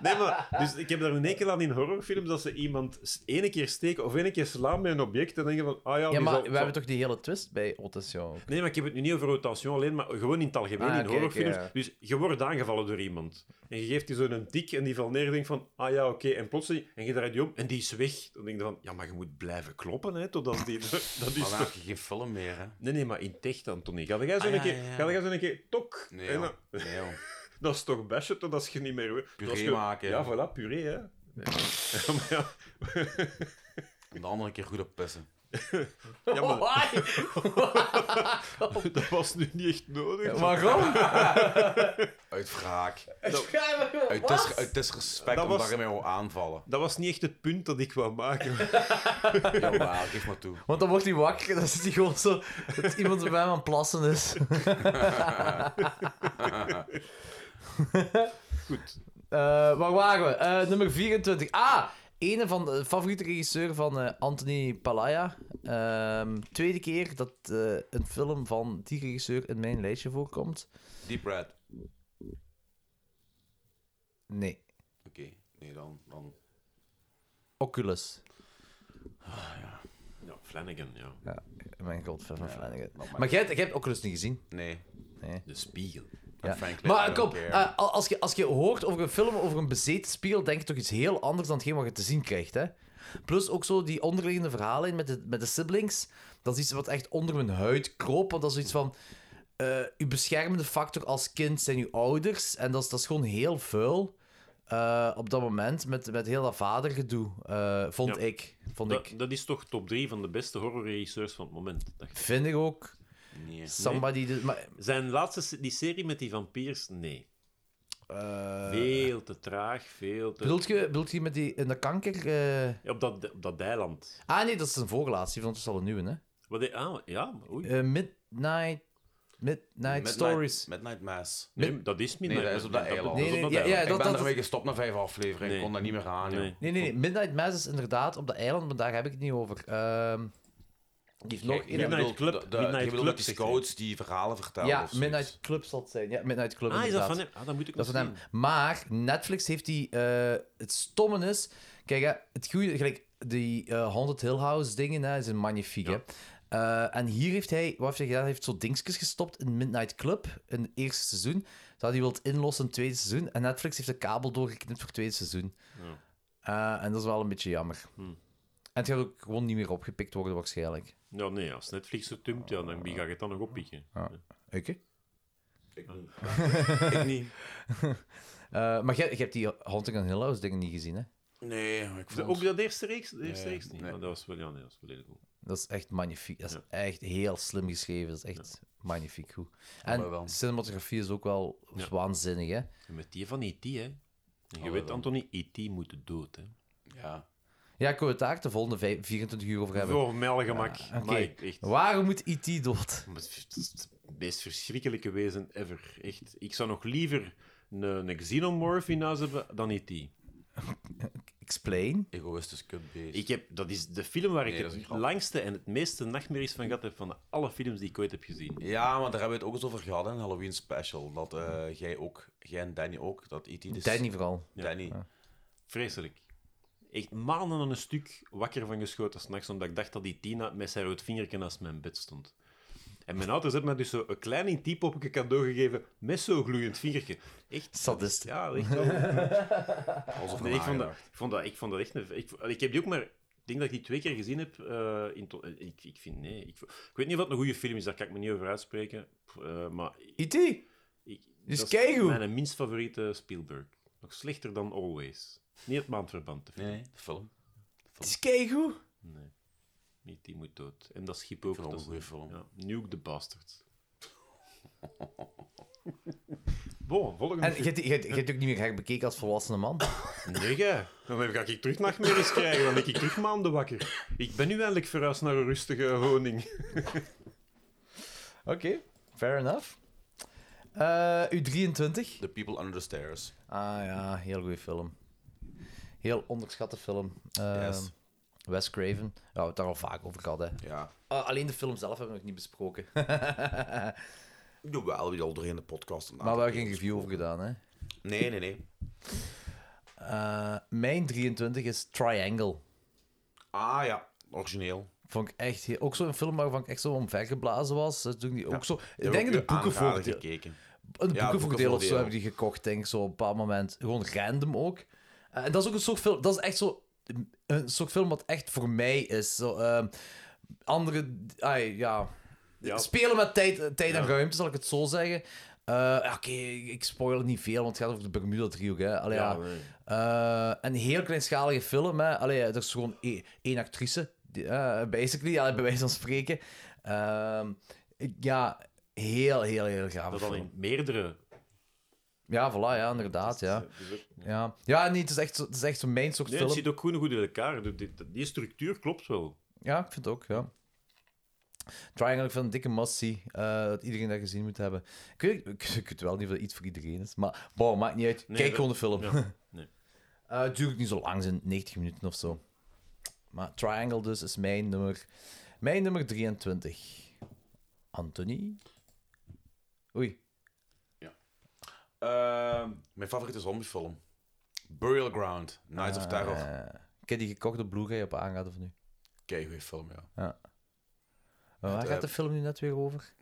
[SPEAKER 4] Nee, maar dus ik heb daar een enkel aan in horrorfilms dat ze iemand s- ene keer steken of ene keer slaan met een object en denken van, ah ja,
[SPEAKER 3] Ja,
[SPEAKER 4] die
[SPEAKER 3] maar
[SPEAKER 4] zal-
[SPEAKER 3] we
[SPEAKER 4] zal-
[SPEAKER 3] hebben toch die hele twist bij Otation.
[SPEAKER 4] Nee, maar ik heb het nu niet over rotation alleen, maar gewoon in het algemeen,
[SPEAKER 3] Ah,
[SPEAKER 4] in
[SPEAKER 3] oké,
[SPEAKER 4] horrorfilms.
[SPEAKER 3] oké, ja.
[SPEAKER 4] Dus je wordt aangevallen door iemand. En je geeft die zo'n tik en die valt neer en denkt van, ah ja, oké. En plotseling, en je draait die om en die is weg. Dan denk je van, ja, maar je moet blijven kloppen, hè, totdat die... Dat
[SPEAKER 2] Maar dan
[SPEAKER 4] is
[SPEAKER 2] heb
[SPEAKER 4] toch...
[SPEAKER 2] je geen film meer, hè?
[SPEAKER 4] Nee, nee, maar in tech dan, Tony. Ga jij zo'n
[SPEAKER 2] Ah, ja,
[SPEAKER 4] keer,
[SPEAKER 2] ja, ja.
[SPEAKER 4] ga jij zo'n keer, tok.
[SPEAKER 2] Nee,
[SPEAKER 4] En
[SPEAKER 2] joh.
[SPEAKER 4] dan-
[SPEAKER 2] Nee, joh.
[SPEAKER 4] dat is toch bashen totdat je niet meer...
[SPEAKER 2] Puree
[SPEAKER 4] dat is ge-
[SPEAKER 2] maken,
[SPEAKER 4] Ja,
[SPEAKER 2] hè.
[SPEAKER 4] voilà, puree, hè. Ja, maar ja.
[SPEAKER 2] En de andere keer goed op pissen.
[SPEAKER 4] Ja, maar... dat was nu niet echt nodig.
[SPEAKER 3] Waarom?
[SPEAKER 2] Uit wraak.
[SPEAKER 3] Ja,
[SPEAKER 2] Uit, dis uit disrespect
[SPEAKER 4] Dat
[SPEAKER 2] omdat
[SPEAKER 4] was-
[SPEAKER 2] je mij wou aanvallen.
[SPEAKER 4] Dat was niet echt het punt dat ik wou maken.
[SPEAKER 2] Ja, maar geef maar toe.
[SPEAKER 3] Want dan wordt hij wakker, dan zit hij gewoon zo. dat iemand bij hem aan het plassen is.
[SPEAKER 4] Goed.
[SPEAKER 3] Eh, waar waren we? Eh, nummer 24. Ah, ene van de favoriete regisseur van eh, Anthony Palaya. Ehm, tweede keer dat eh, een film van die regisseur in mijn lijstje voorkomt.
[SPEAKER 2] Deep Red. Oké,
[SPEAKER 3] Nee,
[SPEAKER 2] nee, dan, dan.
[SPEAKER 3] Oculus.
[SPEAKER 4] Ja, Flanagan, ja.
[SPEAKER 3] Mijn god, fan van Flanagan. Maar jij, jij hebt Oculus niet gezien.
[SPEAKER 2] Nee.
[SPEAKER 4] De spiegel.
[SPEAKER 3] Ja.
[SPEAKER 2] Frank Lake, I
[SPEAKER 3] Maar
[SPEAKER 2] don't
[SPEAKER 3] kom,
[SPEAKER 2] care.
[SPEAKER 3] eh, al- als, je, als je hoort over een film over een bezeten spiegel, denk je toch iets heel anders dan hetgeen wat je te zien krijgt. Hè? Plus ook zo die onderliggende verhalen in met de, met de siblings. Dat is iets wat echt onder mijn huid kroop. Want dat is iets van. eh uw beschermende factor als kind zijn uw ouders. En dat is, dat is gewoon heel vuil eh, op dat moment met, met heel dat vadergedoe. eh, vond
[SPEAKER 4] Ja.
[SPEAKER 3] ik. Vond
[SPEAKER 4] Dat,
[SPEAKER 3] ik.
[SPEAKER 4] dat is toch top 3 van de beste horrorregisseurs van het moment. dacht ik.
[SPEAKER 3] Vind ik ook.
[SPEAKER 2] Nee.
[SPEAKER 3] Somebody. did- maar,
[SPEAKER 4] Zijn laatste se- die serie met die vampiers, nee.
[SPEAKER 3] eh,
[SPEAKER 4] Veel te traag, veel te.
[SPEAKER 3] bedoelt, je, bedoelt je met die in de kanker? eh,
[SPEAKER 4] Op, dat, op dat eiland.
[SPEAKER 3] Ah nee, dat is een voorlaatste. Die vond het al een nieuwe, hè?
[SPEAKER 4] Wat die- ah, ja, maar oei.
[SPEAKER 3] Eh, midnight, midnight. Stories.
[SPEAKER 2] Midnight Mass.
[SPEAKER 4] Nee, dat is niet
[SPEAKER 2] Nee,
[SPEAKER 4] meer-
[SPEAKER 2] dat is op dat eiland.
[SPEAKER 3] Nee,
[SPEAKER 4] is op
[SPEAKER 3] nee,
[SPEAKER 4] dat
[SPEAKER 3] ja,
[SPEAKER 4] eiland.
[SPEAKER 3] ja,
[SPEAKER 2] ik
[SPEAKER 3] dat-
[SPEAKER 2] ben
[SPEAKER 3] dat-
[SPEAKER 2] ermee gestopt na vijf afleveringen. Ik
[SPEAKER 4] Nee.
[SPEAKER 2] kon dat niet meer aan, joh.
[SPEAKER 4] Nee.
[SPEAKER 3] Nee, nee, nee. Midnight Mass is inderdaad op dat eiland, maar daar heb ik het niet over. Ehm, die heeft nog
[SPEAKER 2] Kijk,
[SPEAKER 3] één-
[SPEAKER 2] jij
[SPEAKER 4] Midnight
[SPEAKER 2] bedoelt
[SPEAKER 4] Club.
[SPEAKER 2] de- de-
[SPEAKER 4] Midnight
[SPEAKER 2] jij bedoelt met
[SPEAKER 4] Club,
[SPEAKER 2] die
[SPEAKER 4] zegt hij.
[SPEAKER 2] scouts die verhalen vertellen.
[SPEAKER 3] Ja,
[SPEAKER 2] of zoiets.
[SPEAKER 3] Midnight Club zal het zijn. Ja, Midnight Club
[SPEAKER 4] Ah, is dat
[SPEAKER 3] inderdaad.
[SPEAKER 4] van hem? Ah, dat moet ik
[SPEAKER 3] Dat is
[SPEAKER 4] nog
[SPEAKER 3] van hem.
[SPEAKER 4] zien.
[SPEAKER 3] Maar Netflix heeft die... eh, het stomme is... Kijk, hè, het goede... Gelijk, die eh, Haunted Hill House dingen hè, is een magnifiek, hè. Eh, en hier heeft hij, wat heeft hij gedaan? Hij heeft zo dingetjes gestopt in Midnight Club in het eerste seizoen. Dat hij wilt inlossen in het tweede seizoen. En Netflix heeft de kabel doorgeknipt voor het tweede seizoen. Eh, en dat is wel een beetje jammer. En het gaat ook gewoon niet meer opgepikt worden, waarschijnlijk.
[SPEAKER 4] Ja, nee, als Netflix het dumpt, ja, dan wie ga je het dan nog oppikken?
[SPEAKER 3] Ah. Oké.
[SPEAKER 2] Ik niet.
[SPEAKER 3] Ah. Eh, maar jij jij hebt die Haunting on Hill House dingen niet gezien, hè?
[SPEAKER 2] Nee, ik vond...
[SPEAKER 4] Ook dat eerste reeks? De eerste reeks niet.
[SPEAKER 2] nee.
[SPEAKER 4] Ah, dat was wel, ja, nee, dat was wel heel goed.
[SPEAKER 3] Dat is echt magnifiek. Dat is
[SPEAKER 4] Ja.
[SPEAKER 3] echt heel slim geschreven. Dat is echt magnifiek goed.
[SPEAKER 2] maar wel.
[SPEAKER 3] En cinematografie is ook wel
[SPEAKER 4] Ja.
[SPEAKER 3] waanzinnig, hè?
[SPEAKER 4] En met die van E.T., hè. En je weet, Anthony, E.T. moet dood, hè.
[SPEAKER 2] Ja.
[SPEAKER 3] Ja, ik wil het daar de volgende vij- 24 uur over hebben.
[SPEAKER 4] Voor mijn gemak.
[SPEAKER 3] Oké.
[SPEAKER 4] Maar ik- echt.
[SPEAKER 3] Waarom moet E.T. dood?
[SPEAKER 4] Maar Het is- het is het meest verschrikkelijke wezen ever. Echt. Ik zou nog liever een, een xenomorph in huis hebben dan E E.T.
[SPEAKER 3] Explain.
[SPEAKER 2] Egoïstisch kutbeest.
[SPEAKER 4] Ik heb, dat is de film waar
[SPEAKER 2] Nee,
[SPEAKER 4] ik
[SPEAKER 2] dat is
[SPEAKER 4] het
[SPEAKER 2] een grap.
[SPEAKER 4] langste en het meeste nachtmerries van gehad heb van alle films die ik ooit heb gezien.
[SPEAKER 2] Ja, maar daar hebben we het ook eens over gehad in een Halloween special. Dat eh, jij ook, jij en Danny ook, dat E.T. dus...
[SPEAKER 3] Danny vooral.
[SPEAKER 2] Danny.
[SPEAKER 4] Vreselijk. Echt maanden aan een E stuk wakker van geschoten s'nachts, omdat ik dacht dat die Tina met zijn rood vingertje naast mijn bed stond. En mijn ouders hebben mij dus zo een klein intiepopje cadeau gegeven met zo'n gloeiend vingertje. Echt.
[SPEAKER 3] Sadist.
[SPEAKER 4] Ja, echt wel.
[SPEAKER 2] Alsof
[SPEAKER 4] Nee, ik, vond dat,
[SPEAKER 2] dat...
[SPEAKER 4] ik, vond dat, ik vond dat echt een... Ik, ik heb die ook maar... Ik denk dat ik die twee keer gezien heb. eh, in to- eh, ik, ik vind... Nee. Ik, ik weet niet wat een goede film is, daar kan ik me niet over uitspreken. Pff, eh, maar... Ik,
[SPEAKER 3] E.T. Die
[SPEAKER 4] dat
[SPEAKER 3] is keigoed.
[SPEAKER 4] Mijn minst favoriete Spielberg. Nog slechter dan Always. Niet het maandverband te
[SPEAKER 22] Nee, nee, de film.
[SPEAKER 3] is keigoed.
[SPEAKER 4] Nee. Niet die moet dood. En dat schip ook.
[SPEAKER 22] vond
[SPEAKER 4] Dat
[SPEAKER 22] het
[SPEAKER 4] is
[SPEAKER 22] een goeie
[SPEAKER 4] Ja, Nuke the Bastards. bon, volgende.
[SPEAKER 3] En je hebt- je hebt je hebt ook niet meer herbekeken als volwassene man.
[SPEAKER 4] Nee, gij. dan ga ik terug nachtmerries krijgen. Dan ben ik terug maanden wakker. Ik ben nu eindelijk verhuisd naar een rustige woning.
[SPEAKER 3] Oké, fair enough. Eh, U23.
[SPEAKER 2] The People Under the Stairs.
[SPEAKER 3] Ah ja, heel goede film. Heel onderschatte film. Eh,
[SPEAKER 2] Yes.
[SPEAKER 3] Wes Craven. Ja, we hebben het daar al vaak over gehad. Hè.
[SPEAKER 2] Ja.
[SPEAKER 3] Ah, alleen de film zelf hebben we nog niet besproken.
[SPEAKER 2] Jawel, we al doorheen de podcast. een
[SPEAKER 3] maar we
[SPEAKER 2] aantal
[SPEAKER 3] hebben geen
[SPEAKER 2] keer
[SPEAKER 3] review over gedaan. Hè.
[SPEAKER 2] besproken. Nee, nee, nee.
[SPEAKER 3] Eh, mijn 23 is Triangle.
[SPEAKER 2] Ah ja, origineel.
[SPEAKER 3] Vond ik echt heel- ook zo'n film waarvan ik echt zo omvergeblazen was. Dat Toen die ook zo, ik denk
[SPEAKER 2] Heb
[SPEAKER 3] een
[SPEAKER 2] ik u aanraden
[SPEAKER 3] boekenvoordeel,
[SPEAKER 2] gekeken.
[SPEAKER 3] een
[SPEAKER 2] Ja,
[SPEAKER 3] boekenvoordeel of zo
[SPEAKER 2] boekenvoordeel.
[SPEAKER 3] heb ik die gekocht, denk ik, zo op een bepaald moment. Gewoon random ook. Eh, en dat is ook een soort film, dat is echt zo, een soort film wat echt voor mij is. Zo, ehm, andere, ai, ja.
[SPEAKER 4] Ja.
[SPEAKER 3] Spelen met tijd, tijd en ruimte, zal ik het zo zeggen. Eh, ja, Oké, ik spoil het niet veel, want het gaat over de Bermuda-driehoek. hè. Allee, ja.
[SPEAKER 4] nee.
[SPEAKER 3] Eh, een heel kleinschalige film. Hè. Allee, er is gewoon é- één actrice, die, eh, basically, allee, bij wijze van spreken. Ehm, ik- ja, heel, heel, heel gaaf.
[SPEAKER 4] Dat al in meerdere.
[SPEAKER 3] Ja, voilà, ja, inderdaad. Ja,
[SPEAKER 4] Dus ook-
[SPEAKER 3] ja. ja nee, het is echt, zo- het is echt zo mijn soort
[SPEAKER 4] Nee, het
[SPEAKER 3] film.
[SPEAKER 4] zit ook gewoon goed in elkaar. Die, die- die structuur klopt wel.
[SPEAKER 3] Ja, ik vind het ook, ja. Triangle, ik vind een dikke massie eh, dat iedereen dat gezien moet hebben. Ik weet, ik, ik weet wel niet of dat iets voor iedereen is, maar wow, maakt niet uit.
[SPEAKER 4] Nee,
[SPEAKER 3] Kijk
[SPEAKER 4] dat-
[SPEAKER 3] gewoon de film.
[SPEAKER 4] ja, nee.
[SPEAKER 3] Eh, het duurt niet zo lang, zijn 90 minuten of zo. Maar Triangle dus is mijn nummer, mijn nummer 23. Anthony? Oei.
[SPEAKER 2] Ehm, mijn favoriete zombiefilm. Burial Ground, Nights of Terror. Kijk,
[SPEAKER 3] Eh, ik heb die gekocht op Blu-ray op aanraden van u.
[SPEAKER 2] goede film, ja.
[SPEAKER 3] Maar waar
[SPEAKER 2] Het,
[SPEAKER 3] gaat
[SPEAKER 2] eh,
[SPEAKER 3] de film nu net weer over?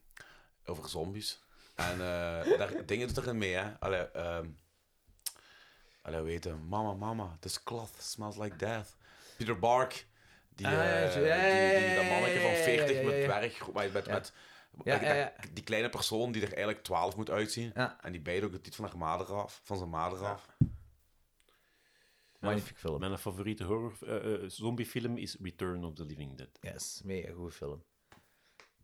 [SPEAKER 2] Over zombies. En eh, daar dingen doet erin mee, hè. Allee, ehm allee, weten. Mama, mama, this cloth smells like death. Peter Bark, die,
[SPEAKER 3] Ah,
[SPEAKER 2] eh,
[SPEAKER 3] ja,
[SPEAKER 2] die,
[SPEAKER 3] ja, ja,
[SPEAKER 2] die, die, dat mannetje
[SPEAKER 3] ja,
[SPEAKER 2] van
[SPEAKER 3] ja, ja,
[SPEAKER 2] 40
[SPEAKER 3] ja,
[SPEAKER 2] met
[SPEAKER 3] ja.
[SPEAKER 2] dwerg, met, met,
[SPEAKER 3] Ja.
[SPEAKER 2] met-
[SPEAKER 3] Ja,
[SPEAKER 2] dat-
[SPEAKER 3] ja, ja.
[SPEAKER 2] die kleine persoon die er eigenlijk 12 moet uitzien.
[SPEAKER 3] Ja.
[SPEAKER 2] En die bijt ook de titel van haar vader af, van zijn vader af.
[SPEAKER 3] Magnifiek film.
[SPEAKER 4] Mijn favoriete horror, eh, eh, zombiefilm is Return of the Living Dead.
[SPEAKER 3] Yes, mega goede film.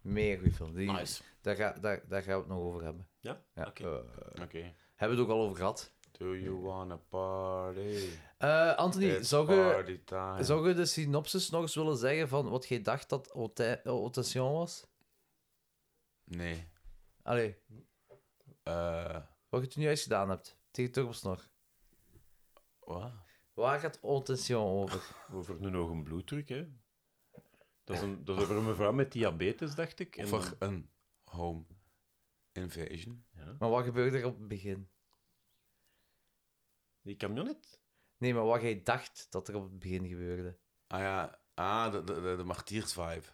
[SPEAKER 3] Mega goede film. Die,
[SPEAKER 2] Nice.
[SPEAKER 3] daar, ga, daar, daar gaan we het nog over hebben.
[SPEAKER 4] Ja?
[SPEAKER 3] Ja.
[SPEAKER 4] Oké.
[SPEAKER 3] Eh,
[SPEAKER 2] Oké.
[SPEAKER 3] hebben we het ook al over gehad.
[SPEAKER 2] Do you wanna party?
[SPEAKER 3] Eh, Anthony,
[SPEAKER 2] It's
[SPEAKER 3] zou je,
[SPEAKER 2] party time.
[SPEAKER 3] zou je de synopsis nog eens willen zeggen van wat jij dacht dat Ota- eh, Otation was?
[SPEAKER 2] Nee.
[SPEAKER 3] Allee,
[SPEAKER 2] Eh,
[SPEAKER 3] wat je toen juist gedaan hebt. Tegen Turbosnor.
[SPEAKER 2] wat?
[SPEAKER 3] Waar gaat Otation over?
[SPEAKER 4] Over een hoge bloeddruk, hè. Dat is, een, dat is over een mevrouw met diabetes, dacht ik. En
[SPEAKER 2] Over
[SPEAKER 4] dan-
[SPEAKER 2] een home invasion.
[SPEAKER 3] Maar wat gebeurde er op het begin?
[SPEAKER 4] Die camionet?
[SPEAKER 3] Nee, maar wat jij dacht dat er op het begin gebeurde.
[SPEAKER 2] Ah ja, ah, de, de, de, de martiersvibe.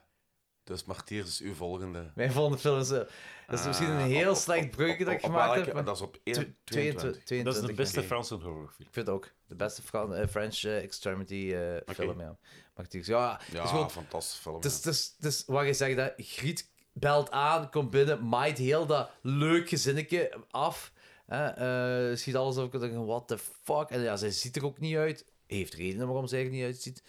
[SPEAKER 2] Dus martiers is uw volgende.
[SPEAKER 3] Mijn volgende film is... eh, dat is misschien een
[SPEAKER 2] Ah,
[SPEAKER 3] heel
[SPEAKER 2] op- op-
[SPEAKER 3] slecht
[SPEAKER 2] op- op-
[SPEAKER 3] bruggetje dat ik
[SPEAKER 2] op
[SPEAKER 3] gemaakt
[SPEAKER 2] welke?
[SPEAKER 3] heb. maar
[SPEAKER 2] Dat is op
[SPEAKER 3] tw-
[SPEAKER 2] 1, 22.
[SPEAKER 3] 22.
[SPEAKER 4] Dat is de
[SPEAKER 3] 22,
[SPEAKER 4] beste
[SPEAKER 3] ja.
[SPEAKER 4] Franse horrorfilm.
[SPEAKER 3] Ik vind het ook. De beste Fran eh, French eh, Extremity eh, film, ja. Mag ik die- Ja, het
[SPEAKER 2] Ja,
[SPEAKER 3] is gewoon...
[SPEAKER 2] fantastische film.
[SPEAKER 3] Dus Het is,
[SPEAKER 2] ja.
[SPEAKER 3] het is, het is wat je zegt, dat Griet belt aan, komt binnen, maait heel dat leuk gezinnetje af. Hè, eh, schiet alles op, ik denk, what the fuck? En ja, zij ziet er ook niet uit. Heeft redenen waarom zij er niet uitziet.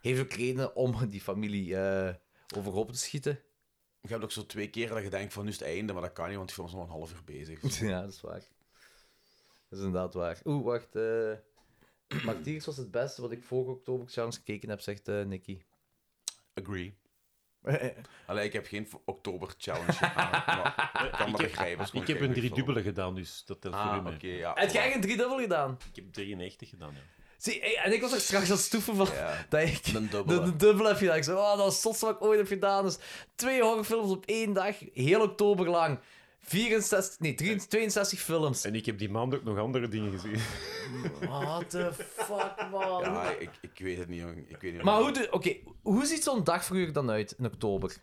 [SPEAKER 3] Heeft ook redenen om die familie eh overhoop te schieten.
[SPEAKER 2] Je hebt ook zo twee keer dat je denkt van nu is het einde, maar dat kan niet, want die film is nog een half uur bezig.
[SPEAKER 3] Ja, dat is waar. Dat is inderdaad waar. Oeh, wacht. eh Martiers was het beste wat ik voor oktober Charms gekeken heb, zegt eh, Nicky.
[SPEAKER 2] Agree.
[SPEAKER 3] Eh,
[SPEAKER 2] Allee, ik heb geen v- oktober challenge gedaan, maar ik kan dat begrijpen.
[SPEAKER 4] Ik heb een driedubbele gedaan, dus dat telt voor u
[SPEAKER 2] Ah, oké,
[SPEAKER 4] mee.
[SPEAKER 2] ja.
[SPEAKER 3] Heb jij
[SPEAKER 2] voilà.
[SPEAKER 3] een driedubbel gedaan?
[SPEAKER 4] Ik heb 93 gedaan, ja.
[SPEAKER 3] Zie, eh, en ik was er straks aan het stoeven van
[SPEAKER 2] Ja,
[SPEAKER 3] dat ik...
[SPEAKER 2] een
[SPEAKER 3] De,
[SPEAKER 2] dubbele.
[SPEAKER 3] de dubbel heb je gedaan. Ik zei, oh, dat is het zotste wat ik ooit heb gedaan. Dus twee horrorfilms op één dag, heel oktober lang. 64, nee, 63 62 films.
[SPEAKER 4] En ik heb die maand ook nog andere dingen gezien.
[SPEAKER 3] What the fuck, man.
[SPEAKER 2] Ja, Ah, ik, ik weet het niet, jong. Ik weet niet
[SPEAKER 3] Maar hoe, doe- oké, hoe ziet zo'n dag voor u er dan uit in oktober?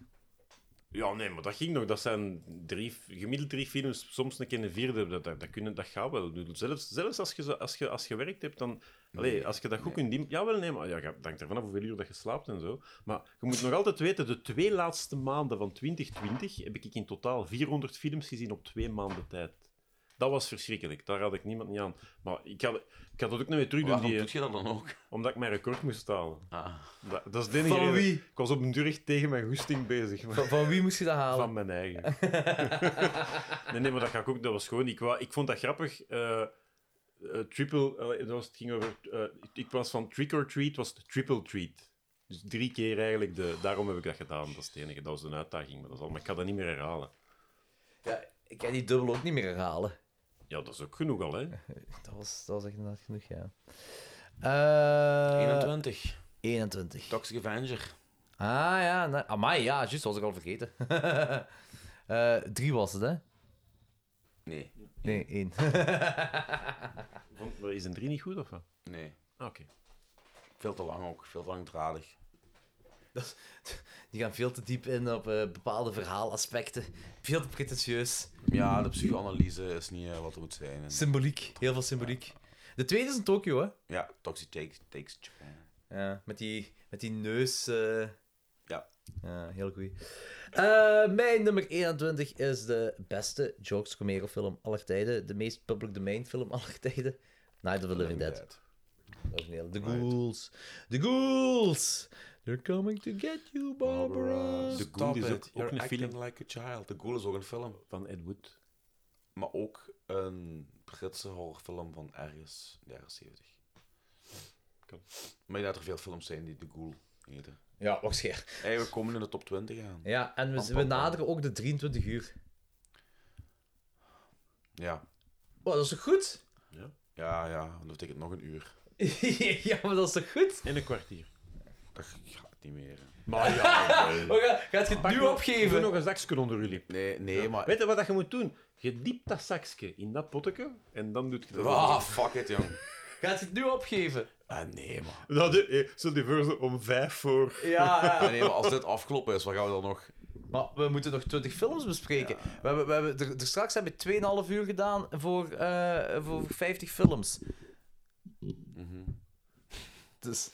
[SPEAKER 4] Ja, nee, maar dat ging nog. Dat zijn drie, gemiddeld drie films, soms een keer een vierde. Dat, dat, dat kunnen, dat gaat wel. Ik bedoel, Zelfs, zelfs als, je, zo- als, je, als je werkt hebt, dan... allee, als je dat goed kunt... in- Jawel, nee, maar ja, dat hangt ervan af hoeveel uur dat je slaapt en zo. Maar je moet nog altijd weten, de twee laatste maanden van 2020 heb ik in totaal 400 films gezien op twee maanden tijd. Dat was verschrikkelijk. Daar had ik niemand niet aan. Maar ik had, ik had dat ook nog weer terug doen,
[SPEAKER 2] Waarom
[SPEAKER 4] die,
[SPEAKER 2] doet je dat dan ook?
[SPEAKER 4] omdat ik mijn record moest halen.
[SPEAKER 2] Ah.
[SPEAKER 4] Dat, dat is de enige
[SPEAKER 3] Van
[SPEAKER 4] reden.
[SPEAKER 3] wie?
[SPEAKER 4] Ik was op een duur echt tegen mijn goesting bezig. maar-
[SPEAKER 3] Van, van wie moest je dat halen?
[SPEAKER 4] van mijn eigen. nee, nee, maar dat ga ik ook. Dat was gewoon. Ik, wou, ik vond dat grappig. eh, eh, triple. eh, dat was, het ging over. eh, ik was van trick or treat, was het triple treat. Dus drie keer eigenlijk. De, daarom heb ik dat gedaan. Dat is het enige. Dat was een uitdaging. Maar, dat is al, maar ik ga dat niet meer herhalen.
[SPEAKER 3] Ja, ik kan die dubbel ook niet meer herhalen.
[SPEAKER 4] Ja, dat is ook genoeg al, hè?
[SPEAKER 3] Dat was, dat was echt inderdaad genoeg, ja. Eh,
[SPEAKER 2] 21.
[SPEAKER 3] 21.
[SPEAKER 2] Toxic Avenger.
[SPEAKER 3] Ah ja, nee. amai, ja, juist, was ik al vergeten. Eh, drie was het, hè?
[SPEAKER 2] Nee.
[SPEAKER 3] Nee, één.
[SPEAKER 4] Vond- Is een drie niet goed of wat?
[SPEAKER 2] Nee.
[SPEAKER 4] Ah, Oké.
[SPEAKER 2] Veel te lang ook. Veel te langdradig.
[SPEAKER 3] Die gaan veel te diep in op eh, bepaalde verhaalaspecten. Veel te pretentieus.
[SPEAKER 2] Ja, de psychoanalyse is niet eh, wat het moet zijn. En-
[SPEAKER 3] Symboliek, heel veel symboliek. De tweede is in Tokio, hè?
[SPEAKER 2] ja, Toxic Takes, takes eh, Japan.
[SPEAKER 3] Ja, met die, met die neus. eh.
[SPEAKER 2] Ja.
[SPEAKER 3] Ja, heel goed. Eh, mijn nummer 21 is de beste George Romero-film aller tijden. De meest public domain-film aller tijden. Night of the Living Dead. Origineel. The Ghouls. The Ghouls! They're coming to get you, Barbara.
[SPEAKER 2] The
[SPEAKER 4] Ghoul is
[SPEAKER 2] is
[SPEAKER 4] ook-
[SPEAKER 2] ook,
[SPEAKER 4] ook een
[SPEAKER 2] acting
[SPEAKER 4] film.
[SPEAKER 2] like a child. The Ghoul is ook een film.
[SPEAKER 4] Van Ed Wood.
[SPEAKER 2] Maar ook een Britse horrorfilm van ergens de jaren 70.
[SPEAKER 4] Kan.
[SPEAKER 2] Maar je laat er veel films zijn die The Ghoul heten.
[SPEAKER 3] Ja, waarschijnlijk.
[SPEAKER 2] Eigenlijk komen in de top 20 aan.
[SPEAKER 3] Ja, en we, we naderen ook de 23 uur.
[SPEAKER 2] Ja,
[SPEAKER 3] Oh, dat is toch goed?
[SPEAKER 2] ja, ja. want Dat betekent nog een uur.
[SPEAKER 3] ja, maar dat is toch goed?
[SPEAKER 4] En een kwartier.
[SPEAKER 2] Dat gaat niet meer.
[SPEAKER 4] Maar ja, nee.
[SPEAKER 3] Oh, ga- gaat je het nu
[SPEAKER 4] We doen
[SPEAKER 3] opgeven?
[SPEAKER 4] nog een zakje onder jullie.
[SPEAKER 2] Nee, nee, maar...
[SPEAKER 4] Weet je wat dat je moet doen? Je diept dat zakje in dat potje en dan doet je dat.
[SPEAKER 2] Ah, fuck it, jong.
[SPEAKER 3] Gaat je het nu opgeven?
[SPEAKER 2] Ah, nee, man.
[SPEAKER 4] Dat is, zo die verse om vijf voor.
[SPEAKER 3] Ja, ja.
[SPEAKER 2] Ah, nee, maar als dit afgelopen is, wat gaan we dan nog...
[SPEAKER 3] Maar we moeten nog 20 films bespreken. We hebben, we hebben, er, er straks hebben we 2,5 uur gedaan voor, eh, voor 50 films.
[SPEAKER 4] Mhm.
[SPEAKER 3] Dus.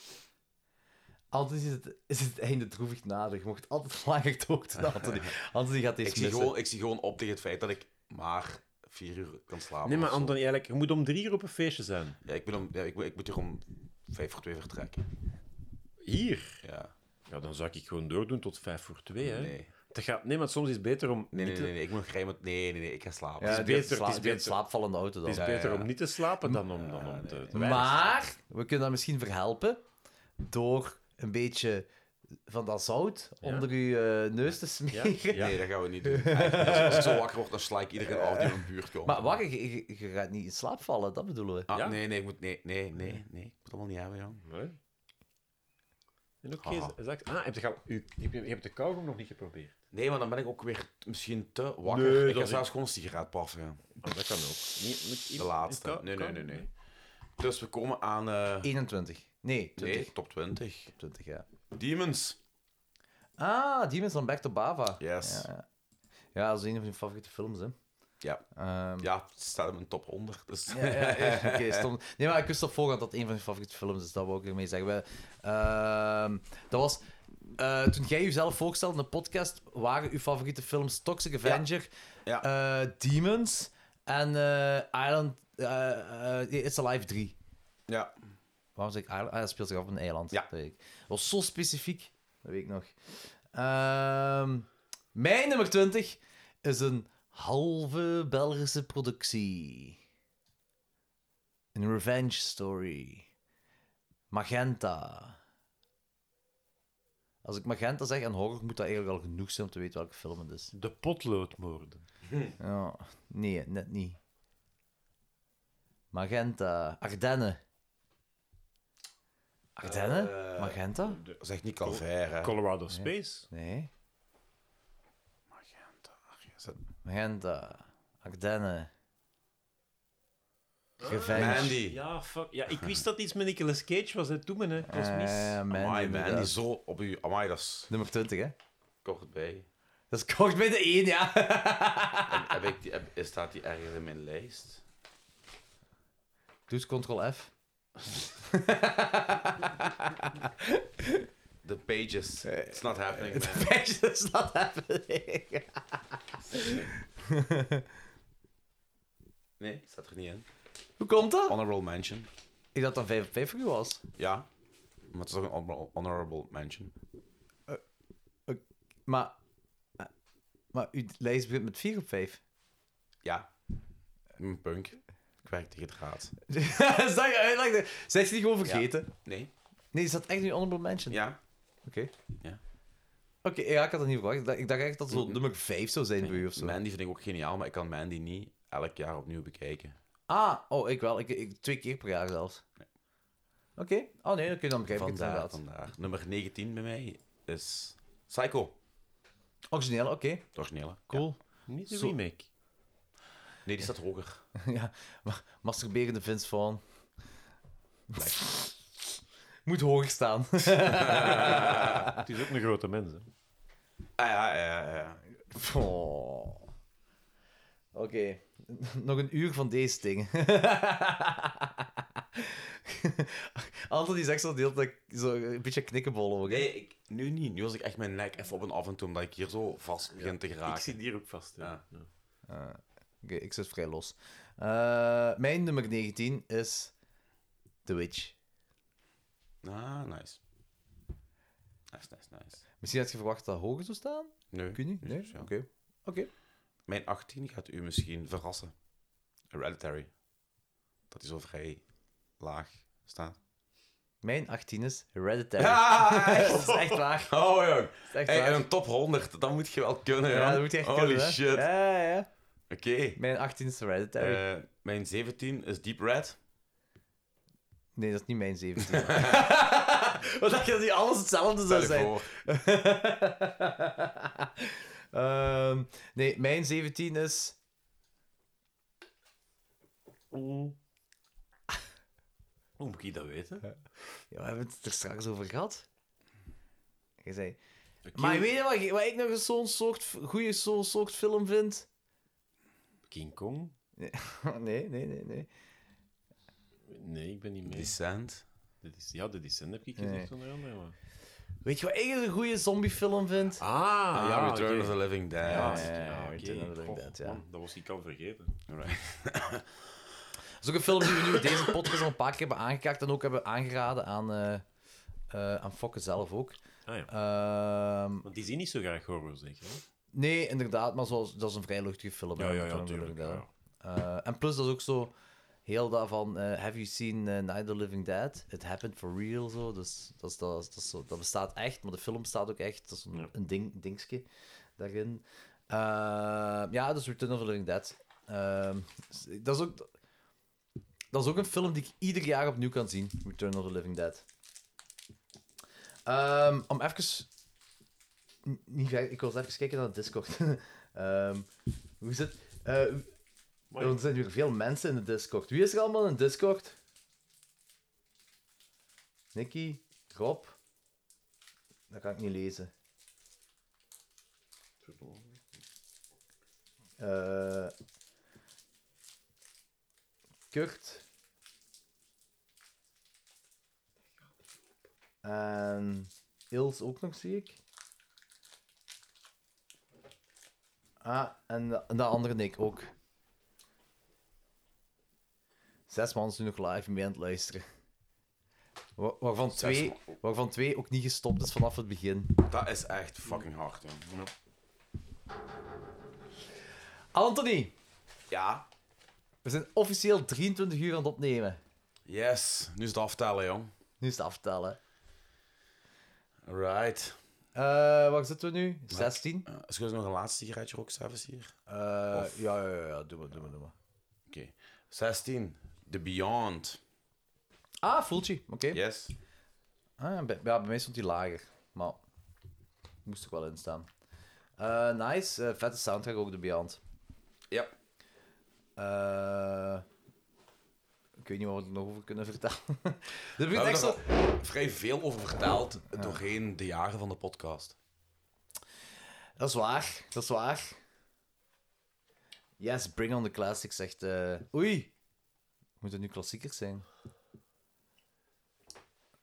[SPEAKER 3] Altijd is het, is het einde droevig nader. Je mocht altijd langer dood, Anthony. Anthony gaat deze
[SPEAKER 2] Ik zie,
[SPEAKER 3] missen.
[SPEAKER 2] gewoon, ik zie gewoon op tegen het feit dat ik maar vier uur kan slapen.
[SPEAKER 4] Nee, maar
[SPEAKER 2] of zo.
[SPEAKER 4] Anton, eigenlijk, je moet om drie uur op een feestje zijn.
[SPEAKER 2] Ja, ik, ben om, ja, ik, moet- ik moet hier om vijf voor twee vertrekken.
[SPEAKER 4] Hier?
[SPEAKER 2] Ja.
[SPEAKER 4] Ja, dan zou ik gewoon doordoen tot vijf voor twee, hè.
[SPEAKER 2] Nee.
[SPEAKER 4] Dat gaat, nee, maar soms is het beter om
[SPEAKER 2] Nee, nee,
[SPEAKER 4] niet te,
[SPEAKER 2] nee, nee, ik moet nog rijden met... Nee, nee, nee, ik ga slapen.
[SPEAKER 3] Ja,
[SPEAKER 4] het is
[SPEAKER 3] die had
[SPEAKER 4] beter,
[SPEAKER 3] sla-
[SPEAKER 4] het is
[SPEAKER 3] die had
[SPEAKER 4] beter.
[SPEAKER 3] slaapvallende auto dan.
[SPEAKER 4] het is
[SPEAKER 2] Ja, ja,
[SPEAKER 4] beter
[SPEAKER 2] ja.
[SPEAKER 4] om niet te slapen dan om, dan om te, te weinig te
[SPEAKER 3] Maar we kunnen dat misschien verhelpen door een beetje van dat zout onder uw eh, neus te smeren.
[SPEAKER 4] Ja.
[SPEAKER 2] Nee, dat gaan we niet doen. Eigenlijk, Als, als ik zo wakker word, dan sla ik iedereen af die in mijn buurt komt.
[SPEAKER 3] Maar wacht, je, je- je gaat niet in slaap vallen, dat bedoelen we.
[SPEAKER 2] Ah,
[SPEAKER 4] Ja?
[SPEAKER 2] Nee, nee, ik moet... Nee, nee, nee, nee. Ik moet het allemaal niet hebben, jong.
[SPEAKER 4] slapen. Nee. En ook
[SPEAKER 2] Haha.
[SPEAKER 4] geen zak. Ah, heb je, al- u- je, hebt- je hebt de kauwgom nog niet geprobeerd.
[SPEAKER 2] Nee, maar dan ben ik ook weer misschien te wakker.
[SPEAKER 4] Nee,
[SPEAKER 2] ik
[SPEAKER 4] dat
[SPEAKER 2] ga
[SPEAKER 4] is-
[SPEAKER 2] zelfs gewoon een sigaret paffen. ja.
[SPEAKER 4] Ah, dat kan ook. Niet- moet-
[SPEAKER 2] De laatste.
[SPEAKER 4] kou-
[SPEAKER 2] Nee, nee,
[SPEAKER 4] kou-
[SPEAKER 2] nee, nee. Dus we komen aan... eh
[SPEAKER 3] 21. Nee, 20.
[SPEAKER 2] nee, top 20.
[SPEAKER 3] 20, ja.
[SPEAKER 2] Demons.
[SPEAKER 3] Ah, Demons van Back to Bava.
[SPEAKER 2] Yes.
[SPEAKER 3] Ja, ja. ja, dat is een van mijn favoriete films, hè.
[SPEAKER 2] Ja.
[SPEAKER 3] Ehm,
[SPEAKER 2] Ja, het staat in mijn top 100. Dus...
[SPEAKER 3] Ja, ja, ja, oké, stond. Nee, maar ik wist al voorhand dat het een van mijn favoriete films is, dat wil ik ermee zeggen. We, ehm, dat was... eh, toen jij jezelf voorstelde in de podcast, waren uw favoriete films Toxic Avenger,
[SPEAKER 2] Ja.
[SPEAKER 3] eh, Demons en eh, Island... eh, eh, It's Alive 3.
[SPEAKER 2] Ja.
[SPEAKER 3] Waarom zeg ik Ireland? Ah, dat speelt zich af op een eiland.
[SPEAKER 2] Ja.
[SPEAKER 3] Dat, weet ik. Dat was zo specifiek. Dat weet ik nog. Ehm, mijn nummer 20 is een halve Belgische productie. Een revenge story. Magenta. Als ik Magenta zeg en horror, moet dat eigenlijk al genoeg zijn om te weten welke film het is.
[SPEAKER 4] De potloodmoorden.
[SPEAKER 3] Ja, nee, net niet. Magenta. Ardennen. Ardennen?
[SPEAKER 2] Eh,
[SPEAKER 3] Magenta?
[SPEAKER 2] Zeg niet Calvair, hè.
[SPEAKER 4] Colorado Space.
[SPEAKER 3] Nee.
[SPEAKER 2] Magenta. Is het-
[SPEAKER 3] Magenta. Ardennen. Revenge.
[SPEAKER 2] Eh, Mandy.
[SPEAKER 4] Ja, fuck. Ja, ik wist dat iets met Nicolas Cage was, hè. Toen men, hè. Ik was mis.
[SPEAKER 2] Ehm,
[SPEAKER 3] Eh, Mandy,
[SPEAKER 2] Amai, Mandy.
[SPEAKER 3] inderdaad.
[SPEAKER 2] Zo op u. Amai, dat is
[SPEAKER 3] Nummer 20, hè?
[SPEAKER 2] kort bij.
[SPEAKER 3] Dat is kort bij de één, ja.
[SPEAKER 10] Heb ik die, heb- staat die ergens in mijn lijst?
[SPEAKER 3] Dus ctrl F.
[SPEAKER 10] The pages. It's not happening, man.
[SPEAKER 3] Patch does not happening.
[SPEAKER 10] Nee, staat er niet in.
[SPEAKER 3] Hoe komt dat?
[SPEAKER 2] Honorable mention.
[SPEAKER 3] Ik dacht dat 5 op 5 was.
[SPEAKER 2] Ja. Maar het is toch een honorable- honorable mention.
[SPEAKER 3] Maar, eh, maar uw lijst begint met 4 op 5.
[SPEAKER 2] Ja. Een punk. Ik werk tegen het raad.
[SPEAKER 3] Zeg je uitlegde. Zijn ze niet gewoon vergeten?
[SPEAKER 2] Nee.
[SPEAKER 3] Nee, is dat echt nu honorable mention?
[SPEAKER 2] Ja.
[SPEAKER 3] Oké.
[SPEAKER 2] Ja. Mhm.
[SPEAKER 3] Oké, ja, ik had dat niet verwacht. Ik dacht ik dacht echt dat het zo nummer 5 zou zijn bij u of zo.
[SPEAKER 2] Mandy vind ik ook geniaal, maar ik kan Mandy niet elk jaar opnieuw bekijken.
[SPEAKER 3] Ah, oh, ik wel. Ik, ik, twee keer per jaar zelfs. Oké. Oh nee, oké, dan begrijp ik het
[SPEAKER 2] Vandaar,
[SPEAKER 3] inderdaad.
[SPEAKER 2] vandaar. Nummer 19 bij mij is Psycho.
[SPEAKER 3] Origineel, oké.
[SPEAKER 2] Het originele.
[SPEAKER 3] Cool.
[SPEAKER 7] Niet
[SPEAKER 3] Zo-
[SPEAKER 7] remake.
[SPEAKER 2] Ja. Nee, die staat hoger.
[SPEAKER 3] Ja, maar masturberende Vince Vaughn. Moet hoger staan.
[SPEAKER 7] Het is ook een grote mens, hè.
[SPEAKER 2] Ah ja, ja, ja, ja.
[SPEAKER 3] Oh. Oké, nog een uur van deze dingen. Anton die zegt zo de hele tijd zo een beetje knikkenbol ook. hè.
[SPEAKER 2] Nee, ik, nu niet. Nu was ik echt mijn nek even op en af en toe, omdat ik hier zo vast begin te
[SPEAKER 7] Ik
[SPEAKER 2] geraken.
[SPEAKER 7] zit hier ook vast. hè.
[SPEAKER 2] Ja.
[SPEAKER 7] Ja.
[SPEAKER 3] Oké, ik zit vrij los. Eh, mijn nummer 19 is The Witch.
[SPEAKER 2] Ah, nice. Nice, nice, nice.
[SPEAKER 3] Misschien had je verwacht dat hoger zou staan?
[SPEAKER 2] Nee.
[SPEAKER 3] Kun je? Nee? Oké.
[SPEAKER 2] Ja.
[SPEAKER 3] Oké.
[SPEAKER 2] Mijn 18 gaat u misschien verrassen. Hereditary. Dat is zo vrij laag staat.
[SPEAKER 3] Mijn 18 is Hereditary.
[SPEAKER 2] Ah,
[SPEAKER 3] Dat is echt waar.
[SPEAKER 2] Oh, jong.
[SPEAKER 3] Dat is echt
[SPEAKER 2] Hey,
[SPEAKER 3] waar.
[SPEAKER 2] en een top 100, dat moet je wel kunnen,
[SPEAKER 3] Ja,
[SPEAKER 2] Jan.
[SPEAKER 3] dat moet je echt
[SPEAKER 2] Holy
[SPEAKER 3] kunnen, hè.
[SPEAKER 2] shit.
[SPEAKER 3] Ja, ja, ja.
[SPEAKER 2] Oké.
[SPEAKER 3] Mijn 18 is Hereditary.
[SPEAKER 2] Eh, mijn 17 is Deep Red.
[SPEAKER 3] Nee, dat is niet mijn 17. Wat dacht je dat die alles hetzelfde zou
[SPEAKER 2] Stel je
[SPEAKER 3] zijn?
[SPEAKER 2] voor.
[SPEAKER 3] Ehm, nee, mijn 17 is.
[SPEAKER 7] Hoe moet ik dat weten?
[SPEAKER 3] Ja, we hebben het er straks over gehad. Je zei.
[SPEAKER 7] Kill,
[SPEAKER 3] Maar weet je wat, ik- wat ik nog eens zo'n soort. goede zo'n soort film vind?
[SPEAKER 7] King Kong?
[SPEAKER 3] nee, nee, nee, nee.
[SPEAKER 7] Nee, ik ben niet mee.
[SPEAKER 2] Descent.
[SPEAKER 7] Dit is, ja, de Descent heb ik
[SPEAKER 3] Nee.
[SPEAKER 7] gezegd, onder andere. maar-
[SPEAKER 3] Weet je wat ik een goede zombiefilm vind?
[SPEAKER 7] Ah,
[SPEAKER 2] Ah,
[SPEAKER 7] ja,
[SPEAKER 2] Return
[SPEAKER 7] oké.
[SPEAKER 2] of the Living Dead.
[SPEAKER 7] Ja,
[SPEAKER 3] ja,
[SPEAKER 7] ja,
[SPEAKER 3] ja,
[SPEAKER 7] oké.
[SPEAKER 3] Return of the Living
[SPEAKER 7] Goh,
[SPEAKER 3] Dead, ja.
[SPEAKER 7] man, Dat was ik al vergeten.
[SPEAKER 3] Dat is ook een film die we nu in deze podcast al een paar keer hebben aangekaart en ook hebben aangeraden aan, eh eh, aan Fokke zelf ook.
[SPEAKER 7] Ah ja.
[SPEAKER 3] Ehm,
[SPEAKER 7] Want die zien niet zo graag horror, zeg je. hè?
[SPEAKER 3] nee, inderdaad, maar zoals, dat is een vrij luchtige film. hè, Return of the
[SPEAKER 7] tuurlijk,
[SPEAKER 3] Living Dead.
[SPEAKER 7] ja.
[SPEAKER 3] Eh, en plus, dat is ook zo heel dat van... eh, have you seen eh, Night of the Living Dead? It happened for real, zo. Dus dat, is, dat, is, dat, is zo, dat bestaat echt, maar de film bestaat ook echt. Dat is een,
[SPEAKER 7] Ja.
[SPEAKER 3] een ding, dingetje daarin. Eh, ja, dus Return of the Living Dead. Ehm, s- dat, is ook, dat is ook een film die ik ieder jaar opnieuw kan zien. Return of the Living Dead. Ehm, om even... n- Niet ver, ik wil eens even kijken naar de Discord. Ehm, hoe zit... eh,
[SPEAKER 7] Mooi.
[SPEAKER 3] er zijn hier veel mensen in de Discord. Wie is er allemaal in de Discord? Nicky, Rob. Dat kan ik niet lezen. Eh Kurt. En Ils ook nog, zie ik. Ah, en de, en de andere Nick ook. Zes man zijn nog live mee aan het luisteren. Wa- Waarvan twee, waarvan twee ook niet gestopt is vanaf het begin.
[SPEAKER 2] Dat is echt fucking hard, man.
[SPEAKER 3] Anthony,
[SPEAKER 2] Ja.
[SPEAKER 3] we zijn officieel 23 uur aan het opnemen.
[SPEAKER 2] Yes. Nu is het aftellen, jong.
[SPEAKER 3] Nu is het aftellen.
[SPEAKER 2] Right.
[SPEAKER 3] Eh waar zitten we nu? 16?
[SPEAKER 2] Eh, Is er nog een laatste sigaretje rook zelfs hier?
[SPEAKER 3] Eh, ja, ja, ja, ja, doe maar, doe maar, doe maar.
[SPEAKER 2] Oké. 16. The Beyond.
[SPEAKER 3] Ah, Fulci, oké.
[SPEAKER 2] Yes.
[SPEAKER 3] Ah, ja, bij, ja, bij mij stond die lager, maar moest er wel in staan. Eh, nice, eh, vette soundtrack ook, de Beyond.
[SPEAKER 2] Ja.
[SPEAKER 3] Eh, ik weet niet wat we er nog over kunnen vertellen. Dit
[SPEAKER 2] We
[SPEAKER 3] begint echt
[SPEAKER 2] hebben
[SPEAKER 3] zo...
[SPEAKER 2] er vrij veel over verteld doorheen de jaren van de podcast.
[SPEAKER 3] Dat Dat is waar, dat is waar. Yes, bring on the classics, zegt... eh, Oei! Moeten nu klassiekers zijn?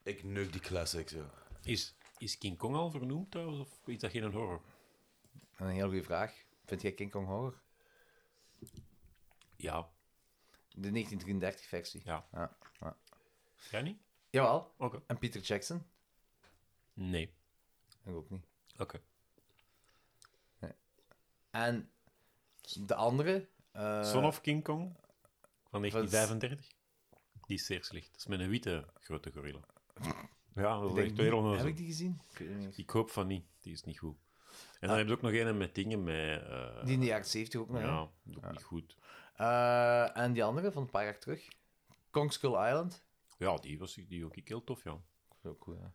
[SPEAKER 2] Ik neuk die classics, ja.
[SPEAKER 4] Is, is King Kong al vernoemd trouwens, of is dat geen horror?
[SPEAKER 3] Een heel goede vraag. Vind jij King Kong horror?
[SPEAKER 4] Ja.
[SPEAKER 3] De 1933-versie.
[SPEAKER 4] Ja.
[SPEAKER 3] Ja, ja.
[SPEAKER 4] Jij niet?
[SPEAKER 3] Jawel.
[SPEAKER 4] Oké.
[SPEAKER 3] En Peter Jackson?
[SPEAKER 4] Nee.
[SPEAKER 3] Ik ook niet.
[SPEAKER 4] Oké.
[SPEAKER 3] En de andere? eh,
[SPEAKER 4] Son of King Kong van
[SPEAKER 3] is-
[SPEAKER 4] 1935. Die is zeer slecht. Dat is met een witte grote gorilla. Ja, dat
[SPEAKER 3] ik
[SPEAKER 4] is
[SPEAKER 3] denk
[SPEAKER 4] echt heel
[SPEAKER 3] niet-
[SPEAKER 4] onnozel.
[SPEAKER 3] Heb ik
[SPEAKER 4] Ik,
[SPEAKER 3] die gezien? Ik weet het niet.
[SPEAKER 4] hoop van niet. Die is niet goed. En dan heb je ook nog een met dingen met... eh,
[SPEAKER 3] Ah. Die in de jaren 70 ook nog. hè?
[SPEAKER 4] ja, ook niet goed.
[SPEAKER 3] Eh, en die andere van een paar jaar terug? Kong Skull Island?
[SPEAKER 4] Ja, die was die ook heel tof, ja.
[SPEAKER 3] Dat is ook cool, ja.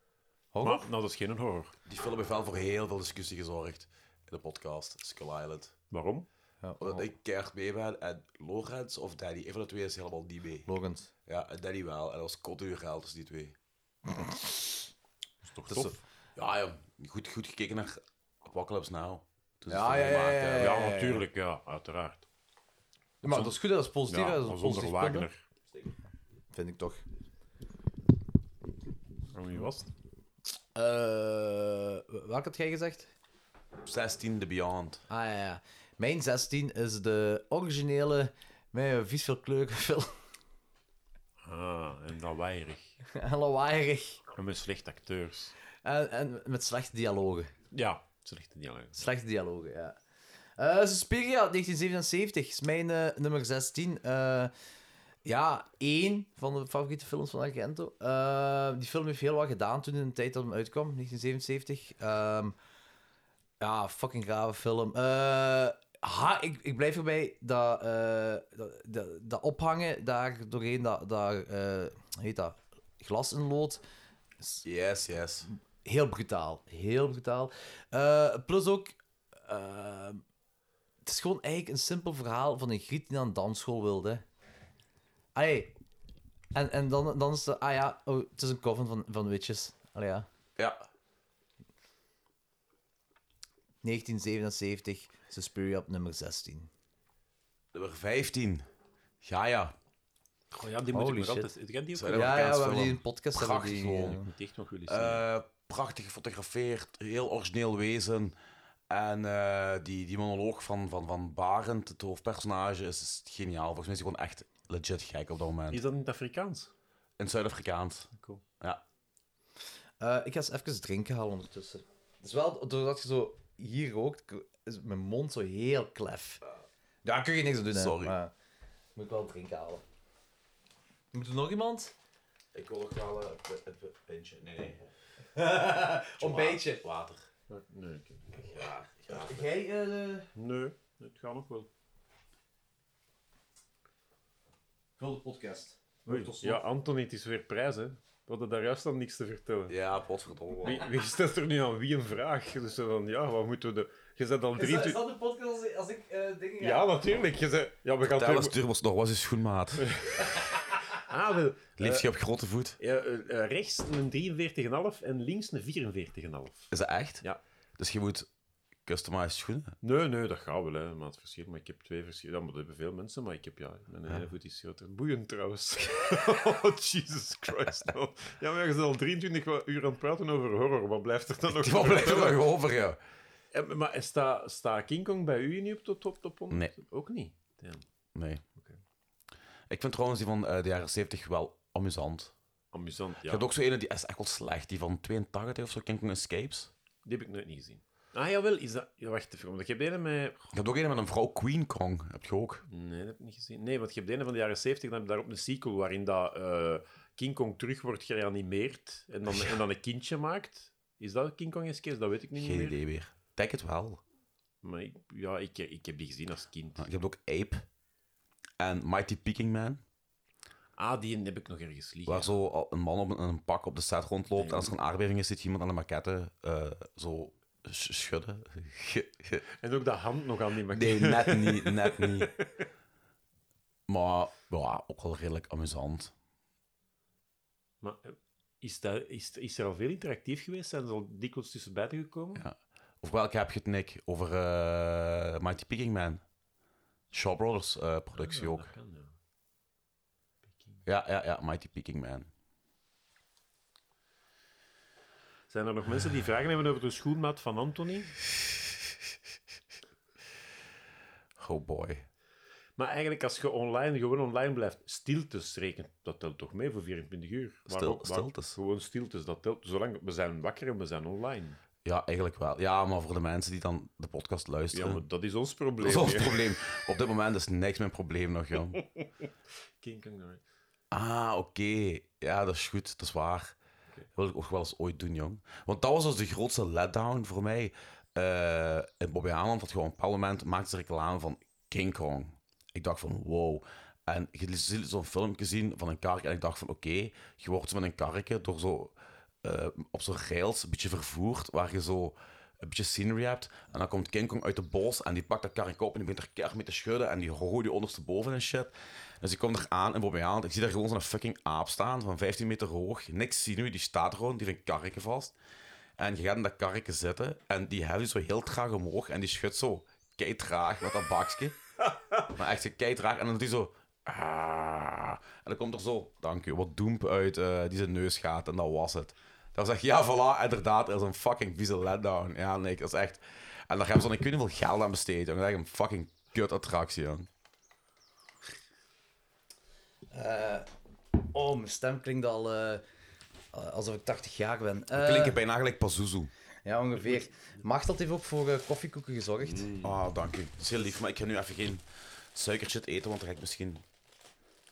[SPEAKER 4] Maar nou, dat is geen horror.
[SPEAKER 2] Die film heeft wel voor heel veel discussie gezorgd in de podcast Skull Island.
[SPEAKER 4] Waarom?
[SPEAKER 3] Ja,
[SPEAKER 2] Omdat ik keihard mee ben en Lorenz of Danny, een van de twee is helemaal niet mee.
[SPEAKER 3] Logans.
[SPEAKER 2] Ja, en Danny wel. En dat was cultureel tussen die twee.
[SPEAKER 4] Dat is toch
[SPEAKER 2] Dat is
[SPEAKER 4] tof?
[SPEAKER 2] Ja, ja. Goed, goed gekeken naar Apocalypse Now. Toen ze
[SPEAKER 3] Ja,
[SPEAKER 2] het
[SPEAKER 3] ja, ja,
[SPEAKER 2] gemaakt
[SPEAKER 3] ja,
[SPEAKER 2] hebben.
[SPEAKER 4] Ja, natuurlijk, ja, uiteraard.
[SPEAKER 3] Maar dat is goed, dat is positief.
[SPEAKER 4] Ja,
[SPEAKER 3] hè, dat is een
[SPEAKER 4] zonder
[SPEAKER 3] positief punt, hè.
[SPEAKER 4] Wagner.
[SPEAKER 3] Vind ik toch.
[SPEAKER 4] En wie was het?
[SPEAKER 3] Eh welke had jij gezegd?
[SPEAKER 2] 16 The Beyond.
[SPEAKER 3] Ah ja, ja. Mijn 16 is de originele, met vies veel kleuren, veel
[SPEAKER 4] Ah, en dan weirig.
[SPEAKER 3] en lawaaierig.
[SPEAKER 4] En met slechte acteurs.
[SPEAKER 3] En, en met slechte dialogen.
[SPEAKER 4] Ja, slechte dialoog.
[SPEAKER 3] Slechte dialogen, ja. Eh Suspiria, 1977, is mijn eh, nummer 16. Eh, ja, één van de favoriete films van Argento. Eh, die film heeft heel wat gedaan toen in de tijd dat hem uitkwam, 1977. Ehm, ja, fucking grave film. Eh, ha, ik, ik blijf erbij dat, eh, dat, dat, dat ophangen daar doorheen, dat, dat eh, heet dat, glas in lood
[SPEAKER 2] Yes, yes.
[SPEAKER 3] heel brutaal. Heel brutaal. Eh, plus ook... eh, het is gewoon eigenlijk een simpel verhaal van een griet die naar een dansschool wilde. hè. Allee. En, en dan, dan is de... Ah ja, oh, het is een coven van, van Witches. Allee, ja.
[SPEAKER 2] Ja.
[SPEAKER 3] 1977, Suspiria op nummer 16.
[SPEAKER 2] Nummer 15. Gaia.
[SPEAKER 4] Oh ja, die moet
[SPEAKER 3] Holy
[SPEAKER 4] ik nog
[SPEAKER 3] shit.
[SPEAKER 4] altijd... Ken die ook?
[SPEAKER 2] Zou
[SPEAKER 4] nog?
[SPEAKER 2] dat-
[SPEAKER 3] Ja, ja, we
[SPEAKER 2] Amerikaans
[SPEAKER 3] hebben die
[SPEAKER 2] film.
[SPEAKER 3] in podcast.
[SPEAKER 2] Prachtig
[SPEAKER 3] hebben die,
[SPEAKER 2] gewoon.
[SPEAKER 3] eh,
[SPEAKER 4] Moet ik echt nog willen zien.
[SPEAKER 2] Eh, prachtig gefotografeerd. Heel origineel wezen. En eh, die, die monoloog van, van, van Barend, het hoofdpersonage, is, is geniaal. Volgens mij is hij gewoon echt legit gek op dat moment.
[SPEAKER 4] Is dat in het Afrikaans?
[SPEAKER 2] In Zuid-Afrikaans.
[SPEAKER 4] Cool.
[SPEAKER 2] Ja.
[SPEAKER 3] Eh, ik ga eens even drinken halen ondertussen. Het is wel doordat je zo hier rookt, k- is mijn mond zo heel klef. Daar kun je niks aan doen, hè.
[SPEAKER 2] Sorry.
[SPEAKER 3] Maar, moet ik wel drinken halen. Moet er nog iemand?
[SPEAKER 2] Ik wil ook wel eh, een pintje. Nee, nee.
[SPEAKER 3] Ontbijtje.
[SPEAKER 2] Water.
[SPEAKER 4] Nee.
[SPEAKER 2] Ja, ja.
[SPEAKER 3] Jij, eh
[SPEAKER 4] Nee, het gaat nog wel.
[SPEAKER 3] vul de podcast.
[SPEAKER 4] Ja, Anton, het is weer prijs, hè. We hadden daar juist al niks te vertellen.
[SPEAKER 2] Ja, potverdomme.
[SPEAKER 4] Wie, wie stelt er nu aan wie een vraag? Dus zo van, ja, wat moeten we... De... Je zet al drie...
[SPEAKER 3] dat de podcast als, ik- als ik eh, dingen ga-
[SPEAKER 4] Ja, natuurlijk. Je zet... Ja, we gaan
[SPEAKER 2] Vertel eens,
[SPEAKER 4] terug...
[SPEAKER 2] Turbos, nog was je schoenmaat?
[SPEAKER 4] Ah, we-
[SPEAKER 2] Leef je op grote voet?
[SPEAKER 4] ja, eh, eh, rechts een 43,5 en links een 44,5.
[SPEAKER 2] Is dat echt?
[SPEAKER 4] Ja.
[SPEAKER 2] Dus je moet customized schoenen?
[SPEAKER 4] Nee, nee, dat gaat wel, hè. Maar het verschil... Maar ik heb twee verschillende... Ja, maar dat hebben veel mensen, maar ik heb... Ja, mijn ene voet is groter. Boeiend, trouwens. oh, Jesus Christ. man. Ja, maar je bent al 23 uur aan het praten over horror. Wat blijft er dan nog
[SPEAKER 2] Wat
[SPEAKER 4] over
[SPEAKER 2] blijft er
[SPEAKER 4] vertellen?
[SPEAKER 2] nog over, ja?
[SPEAKER 4] Eh, Maar staat sta King Kong bij u niet op de top, top 100? Ook niet? Damn.
[SPEAKER 2] Nee. Ik vind trouwens die van eh, de jaren 70 wel amusant.
[SPEAKER 4] Amusant,
[SPEAKER 2] Je
[SPEAKER 4] ja.
[SPEAKER 2] hebt ook zo ene, die is echt wel slecht. Die van 82 of zo, King Kong Escapes.
[SPEAKER 4] Die heb ik nooit niet gezien. Ah, jawel, is dat... Ja, wacht even, want ik heb de ene met...
[SPEAKER 2] Je hebt ook ene met een vrouw, Queen Kong. Heb je ook.
[SPEAKER 4] Nee, dat heb ik niet gezien. Nee, want je hebt de ene van de jaren 70, dan heb je daarop een sequel waarin dat, eh, King Kong terug wordt gereanimeerd en dan, en dan een kindje maakt. Is dat King Kong Escapes? Dat weet ik nu niet
[SPEAKER 2] Geen
[SPEAKER 4] meer.
[SPEAKER 2] idee weer. Ik Denk het wel.
[SPEAKER 4] Maar ik, ja, ik, ik heb die gezien als kind.
[SPEAKER 2] Nou, Je hebt ook Ape. En Mighty Peking Man.
[SPEAKER 4] Ah, die heb ik nog ergens liggen.
[SPEAKER 2] Waar zo al een man op een, een pak op de set rondloopt. En als er een aardbeving is, zit iemand aan de maquette eh, zo sch- schudden. Ge- ge-
[SPEAKER 4] En ook dat hand nog aan die maakt.
[SPEAKER 2] Nee, net niet, net niet. Maar ja, ook wel redelijk amusant.
[SPEAKER 4] Maar eh, is, dat, is, is er al veel interactief geweest? Zijn ze al dikwijls tussenbuiten gekomen?
[SPEAKER 2] Ja. Of welke heb je het, Nick? Over eh, Mighty Peking Man. Shaw Brothers eh, productie
[SPEAKER 4] Ja,
[SPEAKER 2] ook.
[SPEAKER 4] dat kan, ja.
[SPEAKER 2] Ja, ja, ja, Mighty Peking Man.
[SPEAKER 4] Zijn er nog mensen die vragen hebben over de schoenmaat van Anthony?
[SPEAKER 2] Oh boy.
[SPEAKER 4] Maar eigenlijk, als je online, gewoon online blijft, stiltes rekent, dat telt toch mee voor 24 uur?
[SPEAKER 2] Stil-
[SPEAKER 4] ook-
[SPEAKER 2] stiltes.
[SPEAKER 4] Gewoon stiltes, dat telt. Zolang we zijn wakker en we zijn online.
[SPEAKER 2] Ja, eigenlijk wel. Ja, maar voor de mensen die dan de podcast
[SPEAKER 4] Ja,
[SPEAKER 2] luisteren.
[SPEAKER 4] maar dat is ons probleem.
[SPEAKER 2] dat is ons
[SPEAKER 4] hè.
[SPEAKER 2] probleem. Op dit moment is niks mijn probleem nog, joh.
[SPEAKER 4] King Kong, alright.
[SPEAKER 2] Ah, oké. Ja, dat is goed. Dat is waar. Dat wil ik ook wel eens ooit doen, jong. Want dat was dus de grootste letdown voor mij. Eh en Bobby Haaland had gewoon op een bepaald moment maakte ze reclame van King Kong. Ik dacht van, wow. En je liet zo'n filmpje zien van een kark. En ik dacht van, oké, je wordt zo met een karretje door zo, eh, op zo'n rails een beetje vervoerd. Waar je zo een beetje scenery hebt. En dan komt King Kong uit de bos en die pakt dat karretje op en die begint er keihard mee te schudden. En die gooit die ondersteboven en shit. Dus ik kom er aan en Bobby Haaland, ik zie daar gewoon zo'n fucking aap staan van 15 meter hoog. Niks zien we, die staat er gewoon, die heeft een karretje vast. En je gaat in dat karretje zitten en die heft je zo heel traag omhoog en die schudt zo kei traag met dat bakje. maar echt zo kei traag en dan doet hij zo. "Ah." En dan komt er zo, dank u, wat doemp uit eh, die zijn neus gaat en dat was het. Dan zeg je, ja, voilà, inderdaad, dat is een fucking vieze letdown. Ja, nee, dat is echt. En daar hebben ze dan ik weet niet hoeveel geld aan besteed, jongen. Dat is echt een fucking kut attractie, jong.
[SPEAKER 3] Oh, mijn stem klinkt al eh, alsof ik 80 jaar ben. Eh,
[SPEAKER 2] Klinken bijna gelijk Pazuzu.
[SPEAKER 3] Ja, ongeveer. Machteld heeft ook voor eh, koffiekoeken gezorgd.
[SPEAKER 2] Ah, dank u. Dat is heel lief, maar ik ga nu even geen suikershit eten, want dan ga ik misschien...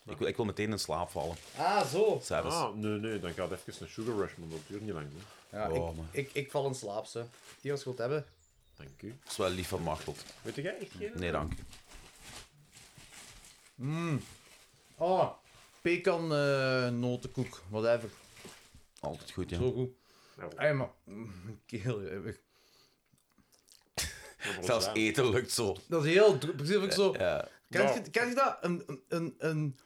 [SPEAKER 2] Ik wil, ik wil meteen in slaap vallen.
[SPEAKER 3] Ah, zo.
[SPEAKER 2] S'avonds.
[SPEAKER 4] Ah, nee, nee, dan gaat even een sugar rush, maar dat duurt niet lang. Hè.
[SPEAKER 3] Ja,
[SPEAKER 2] Oh,
[SPEAKER 3] ik,
[SPEAKER 2] man.
[SPEAKER 3] ik, ik val in slaap, ze. Hier, als je wilt hebben.
[SPEAKER 4] Dank u.
[SPEAKER 2] Dat is wel lief van Martelt.
[SPEAKER 4] Weet jij echt geen?
[SPEAKER 2] Nee, dank u.
[SPEAKER 3] Oh, pecan eh, notenkoek, whatever.
[SPEAKER 2] Altijd goed, ja.
[SPEAKER 3] Zo goed.
[SPEAKER 4] Nou.
[SPEAKER 2] Ah,
[SPEAKER 3] Hey, maar... mm, Keel, eh, weg.
[SPEAKER 2] Zelfs eten lukt zo.
[SPEAKER 3] dat is heel... dro- Precies, ook zo...
[SPEAKER 2] Ja.
[SPEAKER 3] Kijk je, ken je dat? Een, een- een, een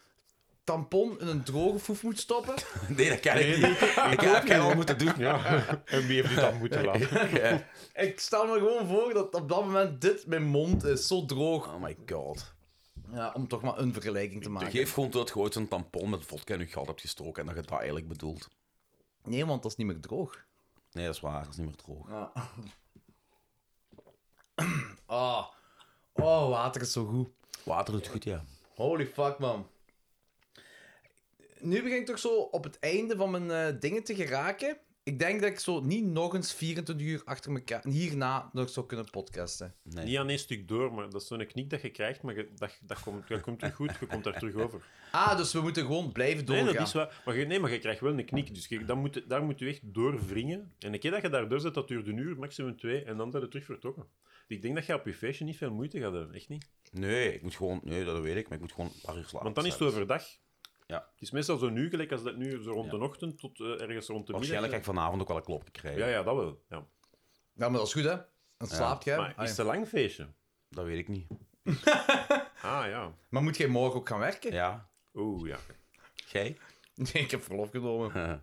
[SPEAKER 3] tampon in een droge foef moet stoppen?
[SPEAKER 2] Nee, dat kan ik niet. ik heb geen al moeten doen.
[SPEAKER 4] En wie heeft u dat moeten laten?
[SPEAKER 3] Ik stel me gewoon voor dat op dat moment dit mijn mond is, zo droog.
[SPEAKER 2] Oh my god.
[SPEAKER 3] Ja, om toch maar een vergelijking te maken.
[SPEAKER 2] Geef gewoon toe dat je ooit zo'n tampon met vodka in je gat hebt gestoken en dat je dat eigenlijk bedoelt.
[SPEAKER 3] Nee, want dat is niet meer droog.
[SPEAKER 2] Nee, dat is waar. Dat is niet meer droog.
[SPEAKER 3] Ah. Oh, water is zo goed.
[SPEAKER 2] Water doet goed, ja.
[SPEAKER 3] Holy fuck, man. Nu begin ik toch zo op het einde van mijn eh, dingen te geraken. Ik denk dat ik zo niet nog eens 24 uur achter elkaar hierna nog zou kunnen podcasten.
[SPEAKER 4] Niet aan één stuk door, maar dat is zo'n knik dat je krijgt, maar je- dat, dat, komt, dat komt terug goed, je komt daar terug over.
[SPEAKER 3] Ah, dus we moeten gewoon blijven
[SPEAKER 4] Nee,
[SPEAKER 3] doorgaan.
[SPEAKER 4] dat is wel, maar je, nee, maar je krijgt wel een knik, dus je, dan moet, je- daar moet je echt doorwringen. En een keer dat je daar doorzet, dat duurt een uur, maximum twee, en dan ben je terug vertrokken. Dus Ik denk dat je op je feestje niet veel moeite gaat hebben, echt niet.
[SPEAKER 2] Nee, ik moet gewoon... Nee, dat weet ik, maar ik moet gewoon een paar uur slapen.
[SPEAKER 4] Want dan is het overdag.
[SPEAKER 2] Ja.
[SPEAKER 4] Het is meestal zo nu, gelijk als dat nu, zo rond de ochtend tot eh, ergens rond de middag.
[SPEAKER 2] Waarschijnlijk ga ik vanavond ook wel een klopje krijgen.
[SPEAKER 4] Ja, ja, dat wel. Ja.
[SPEAKER 3] Ja, maar dat is goed, hè? Dan slaapt jij.
[SPEAKER 4] Maar
[SPEAKER 3] Ah,
[SPEAKER 4] is
[SPEAKER 3] ja.
[SPEAKER 4] het een lang feestje?
[SPEAKER 2] Dat weet ik niet.
[SPEAKER 4] Ah, ja.
[SPEAKER 3] Maar moet jij morgen ook gaan werken?
[SPEAKER 2] Ja.
[SPEAKER 4] Oeh, ja.
[SPEAKER 2] Jij?
[SPEAKER 3] Nee, ik heb verlof genomen.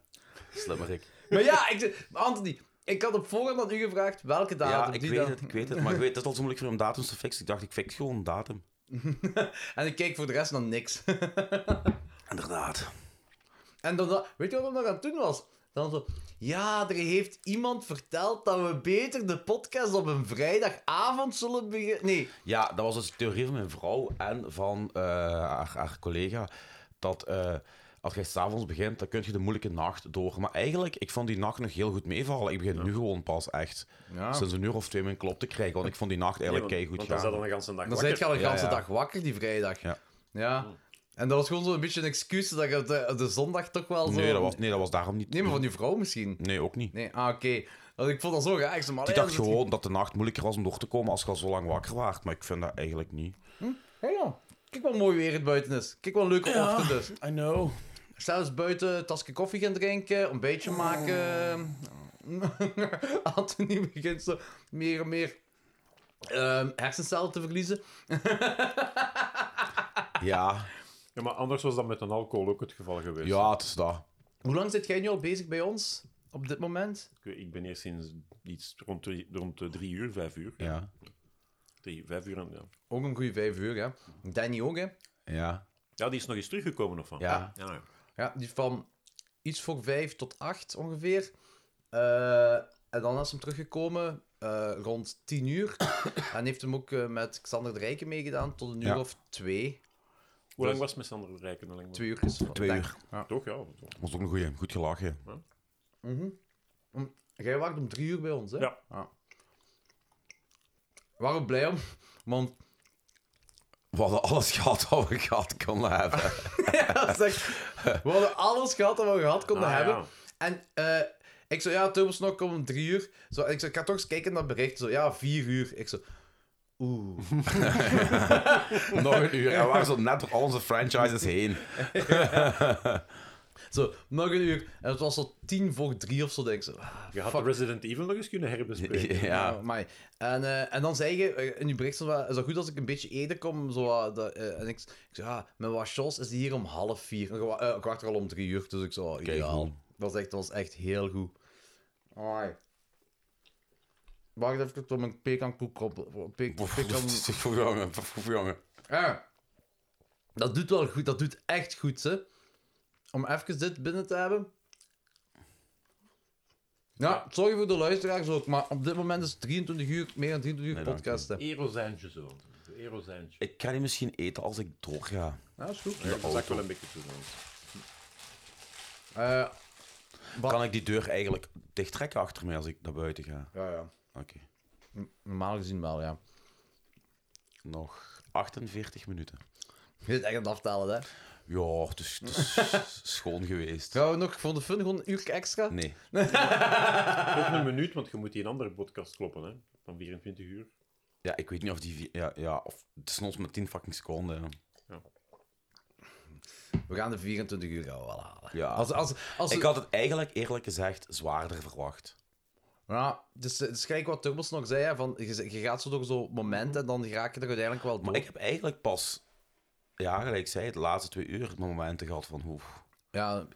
[SPEAKER 2] Slimmerik.
[SPEAKER 3] maar ja, ik, Anthony, ik had op voorhand aan u gevraagd welke datum.
[SPEAKER 2] Ja, ik
[SPEAKER 3] die
[SPEAKER 2] weet
[SPEAKER 3] dan-
[SPEAKER 2] het, ik weet het. Maar ik weet, het is al zo moeilijk voor om datums te fixen. Ik dacht, ik fix gewoon een datum.
[SPEAKER 3] En ik keek voor de rest naar niks.
[SPEAKER 2] Inderdaad.
[SPEAKER 3] En dan, dat- weet je wat ik nog aan het doen was? Dan zo, ja, er heeft iemand verteld dat we beter de podcast op een vrijdagavond zullen beginnen. Nee,
[SPEAKER 2] Ja, dat was dus de theorie van mijn vrouw en van eh, haar, haar collega. Dat eh, als jij s'avonds begint, dan kun je de moeilijke nacht door. Maar eigenlijk, ik vond die nacht nog heel goed meevallen. Ik begin nu gewoon pas echt sinds een uur of twee mijn klop te krijgen. Want ik vond die nacht eigenlijk
[SPEAKER 4] Nee,
[SPEAKER 2] keigoed
[SPEAKER 4] want, want dan
[SPEAKER 2] gaan.
[SPEAKER 4] zat dan een hele dag
[SPEAKER 3] dan
[SPEAKER 4] wakker.
[SPEAKER 3] zit je al een
[SPEAKER 2] Ja,
[SPEAKER 3] hele
[SPEAKER 2] ja.
[SPEAKER 3] dag wakker die vrijdag.
[SPEAKER 2] Ja.
[SPEAKER 3] Ja. En dat was gewoon zo'n beetje een excuus dat je op de, op de zondag toch wel zo...
[SPEAKER 2] Nee, dat was, nee, dat was daarom niet.
[SPEAKER 3] Nee, maar van die vrouw misschien.
[SPEAKER 2] Nee, ook niet.
[SPEAKER 3] Nee, ah, oké. Want ik vond dat zo raar. Ik zei, maar,
[SPEAKER 2] Die
[SPEAKER 3] ja,
[SPEAKER 2] dacht
[SPEAKER 3] dat is-
[SPEAKER 2] gewoon dat de nacht moeilijker was om door te komen als je al zo lang wakker waart. Maar ik vind dat eigenlijk niet.
[SPEAKER 3] Ja, ja. Kijk wat mooi weer het buiten is. Kijk wat een leuke ochtend is.
[SPEAKER 2] I know.
[SPEAKER 3] Zelfs buiten een tasje koffie gaan drinken, een beetje
[SPEAKER 2] Oh.
[SPEAKER 3] maken. Anthony begint zo meer en meer ehm, hersencellen te verliezen.
[SPEAKER 2] Ja,
[SPEAKER 4] Ja, maar anders was dat met een alcohol ook het geval geweest.
[SPEAKER 2] ja, het is dat.
[SPEAKER 3] Hoe lang zit jij nu al bezig bij ons? op dit moment?
[SPEAKER 4] Ik, weet- ik ben eerst sinds iets rond, twee- rond eh, drie uur, vijf uur.
[SPEAKER 2] Ja.
[SPEAKER 4] Drie, vijf uur aan, ja.
[SPEAKER 3] Ook een goede vijf uur, hè. Danny ook, hè.
[SPEAKER 2] Ja.
[SPEAKER 4] ja, die is nog eens teruggekomen of van?
[SPEAKER 2] Ja.
[SPEAKER 4] ja, ja.
[SPEAKER 3] Ja, die van iets voor vijf tot acht ongeveer. Eh, en dan is hem teruggekomen eh, rond tien uur. en heeft hem ook eh, met Xander de Rijken meegedaan tot een uur
[SPEAKER 2] Ja.
[SPEAKER 3] of twee.
[SPEAKER 4] Hoe lang was het met Sander de Rijken? Hoe lang was-
[SPEAKER 3] Twee uur is
[SPEAKER 2] Twee
[SPEAKER 3] Dank.
[SPEAKER 2] uur.
[SPEAKER 4] Toch, ja. Ah, toch.
[SPEAKER 2] was ook een goeie. Goed gelachen.
[SPEAKER 3] Mhm. Om- Jij wacht om drie uur bij ons, hè? Ah.
[SPEAKER 4] Ja.
[SPEAKER 3] Waarom blij om? Want
[SPEAKER 2] We hadden alles gehad wat we gehad konden hebben.
[SPEAKER 3] ja, zeg, we hadden alles gehad dat we gehad konden
[SPEAKER 4] Ah, ja.
[SPEAKER 3] hebben. En eh, ik zo, ja, Turbos nog komt om drie uur. Zo, en ik zo, ik ga toch eens kijken naar het bericht. Zo, ja, vier uur. Ik zo, oeh.
[SPEAKER 2] Nog een uur. En we waren zo net door al onze franchises heen.
[SPEAKER 3] Zo, nog een uur. En het was zo tien voor drie of zo, denk ik. Zo, ah,
[SPEAKER 4] Je had
[SPEAKER 3] fuck.
[SPEAKER 4] Resident Evil nog eens kunnen herbespreken.
[SPEAKER 2] Ja.
[SPEAKER 3] Amai. En, eh, en dan zei je eh, in je bericht: zo, wel, Is dat goed als ik een beetje eerder kom? Zo, wat, dat, eh, en ik, ik zei: ah, Mijn wachos is hier om half vier. En ik wa- eh, ik wacht er al om drie uur, dus ik zo: ah, Ideaal.
[SPEAKER 2] goed.
[SPEAKER 3] Dat, was echt, dat was echt heel goed. Amai. Wacht even tot mijn pekankoek op.
[SPEAKER 2] nou,
[SPEAKER 3] Pekan...
[SPEAKER 2] Jongen, jongen.
[SPEAKER 3] Ah, dat doet wel goed, dat doet echt goed, hè? Om even dit binnen te hebben. Ja, sorry voor de luisteraars ook, maar op dit moment is het 23 uur, meer dan 23 uur
[SPEAKER 2] dank
[SPEAKER 3] podcast. hè.
[SPEAKER 4] Erozijntje zo. Anton. Erozijntje.
[SPEAKER 2] Ik kan die misschien eten als ik doorga.
[SPEAKER 3] Ja, is goed.
[SPEAKER 4] Ja, dat is wel een beetje te doen.
[SPEAKER 3] Eh, Wat?
[SPEAKER 2] Kan ik die deur eigenlijk dicht trekken achter mij als ik naar buiten ga?
[SPEAKER 3] ja, ja.
[SPEAKER 2] Oké.
[SPEAKER 3] Normaal gezien wel, ja.
[SPEAKER 2] Nog 48 minuten.
[SPEAKER 3] Je zit echt aan het aftalen, hè?
[SPEAKER 2] Ja, het is, het is schoon geweest.
[SPEAKER 3] Gaan we nog voor de fun gewoon een uurtje extra?
[SPEAKER 2] Nee.
[SPEAKER 4] Ook een minuut, want je moet die een andere podcast kloppen, hè. Van 24 uur.
[SPEAKER 2] Ja, ik weet niet of die... vi- Ja, ja of het is nog maar 10 fucking seconden. ja.
[SPEAKER 3] We gaan de 24 uur gaan we wel halen.
[SPEAKER 2] Ja.
[SPEAKER 3] Als, als, als,
[SPEAKER 2] Ik had het eigenlijk, eerlijk gezegd, zwaarder verwacht.
[SPEAKER 3] Ja, dus, eh, dus gelijk wat Turbos nog zei, hè, van, je, je gaat zo door zo'n moment en dan raak je er uiteindelijk wel door.
[SPEAKER 2] Maar ik heb eigenlijk pas, ja, gelijk ik zei, de laatste twee uur momenten gehad van hoe.
[SPEAKER 3] Ja,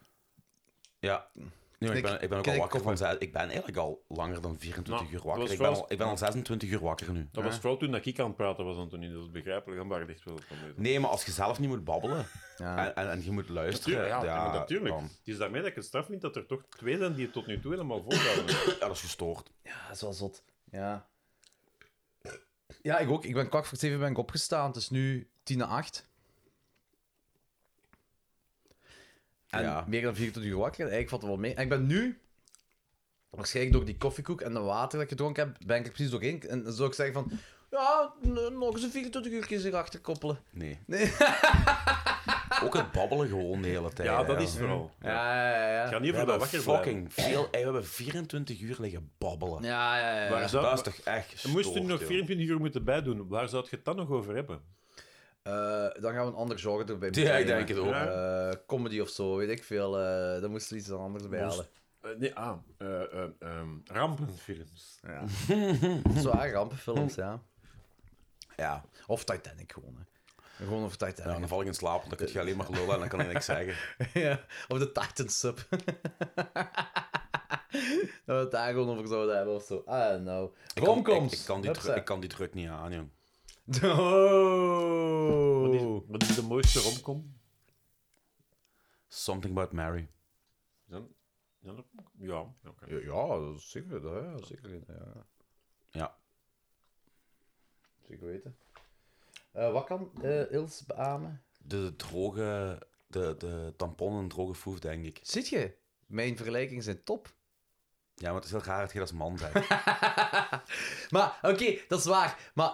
[SPEAKER 2] Ja. Nee, maar ik,
[SPEAKER 3] Knik-
[SPEAKER 2] ben, ik ben ook al
[SPEAKER 3] knik-
[SPEAKER 2] wakker van zes- Ik ben eigenlijk al langer dan 24
[SPEAKER 4] Nou,
[SPEAKER 2] uur
[SPEAKER 4] dat
[SPEAKER 2] wakker.
[SPEAKER 4] was
[SPEAKER 2] Ik ben,
[SPEAKER 4] wel-
[SPEAKER 2] al, ik ben al 26 uur wakker nu.
[SPEAKER 4] Dat was vooral toen dat ik aan het praten was, Antonie. Dat is begrijpelijk. Dan waren echt wel van deze.
[SPEAKER 2] Nee, maar als je zelf niet moet babbelen
[SPEAKER 3] Ja.
[SPEAKER 2] en, en, en je moet luisteren,
[SPEAKER 4] Natuurlijk, ja,
[SPEAKER 2] ja,
[SPEAKER 4] natuurlijk.
[SPEAKER 2] dan-
[SPEAKER 4] Het is daarmee dat ik het straf vind dat er toch twee zijn die het tot nu toe helemaal volhouden.
[SPEAKER 2] ja, dat is gestoord.
[SPEAKER 3] Ja, dat Ah, is wel zot. Ja. Ja, ik ook. Ik ben kwart voor zeven ben ik opgestaan. Het is nu tien na acht. En
[SPEAKER 2] Ja.
[SPEAKER 3] meer dan 24 uur wakker. Eigenlijk valt het wel mee. En ik ben nu, waarschijnlijk door die koffiekoek en de water dat ik gedronken heb, ben ik er precies doorheen. En dan zou ik zeggen van, ja, n- nog eens een 24 uurtjes erachter koppelen.
[SPEAKER 2] Nee.
[SPEAKER 3] Nee.
[SPEAKER 2] Ook het babbelen gewoon de hele tijd.
[SPEAKER 4] Ja,
[SPEAKER 2] hè,
[SPEAKER 4] dat is vooral.
[SPEAKER 3] Ja, ja, ja.
[SPEAKER 4] Ik ga niet
[SPEAKER 2] We
[SPEAKER 4] over dat
[SPEAKER 2] hebben
[SPEAKER 4] wakker blijven.
[SPEAKER 2] fucking veel... hey, we hebben 24 uur liggen babbelen.
[SPEAKER 3] Ja, ja, ja, ja.
[SPEAKER 4] Waar zou-
[SPEAKER 2] Dat is toch echt gestoord,
[SPEAKER 4] Moest u nog
[SPEAKER 2] joh.
[SPEAKER 4] 24 uur moeten bijdoen, waar zou je het dan nog over hebben?
[SPEAKER 3] Eh, dan gaan we een ander genre erbij
[SPEAKER 2] Ja, ik
[SPEAKER 3] moeten
[SPEAKER 2] denk het ook.
[SPEAKER 4] Ja.
[SPEAKER 3] Eh, comedy of zo, weet ik veel. eh dan moesten we iets anders bij
[SPEAKER 4] Moest-
[SPEAKER 3] halen.
[SPEAKER 4] Eh, nee, ah, eh, eh, ehm, rampenfilms.
[SPEAKER 3] Zwaar, rampenfilms, ja.
[SPEAKER 2] Ja.
[SPEAKER 3] Of Titanic gewoon, hè. Gewoon over
[SPEAKER 2] Ja, dan
[SPEAKER 3] Titanic.
[SPEAKER 2] val ik in slaap, want dan kun je alleen maar lullen en dan kan ik niks zeggen.
[SPEAKER 3] Ja, of de Titan Sub. dat we het daar gewoon over zouden hebben of zo. I don't know.
[SPEAKER 2] Ik kan-
[SPEAKER 3] Romcoms.
[SPEAKER 2] Ik, ik, kan die dru-
[SPEAKER 3] Hupsa.
[SPEAKER 2] ik kan die druk niet aan, jong.
[SPEAKER 4] Wat is,
[SPEAKER 3] Oh.
[SPEAKER 4] wat is de mooiste romcom?
[SPEAKER 2] Something About Mary.
[SPEAKER 4] Is dat- is dat een- Ja, oké.
[SPEAKER 3] Ja, zeker. Ja, zeker. Ja.
[SPEAKER 2] Ja.
[SPEAKER 3] Zeker weten. Eh, wat kan eh, Ils beamen?
[SPEAKER 2] De droge... De, de tampon en droge foef, denk ik.
[SPEAKER 3] Zit je? Mijn vergelijkingen zijn top.
[SPEAKER 2] Ja, maar het is heel raar dat je dat als man zegt.
[SPEAKER 3] Maar oké, dat is waar. Maar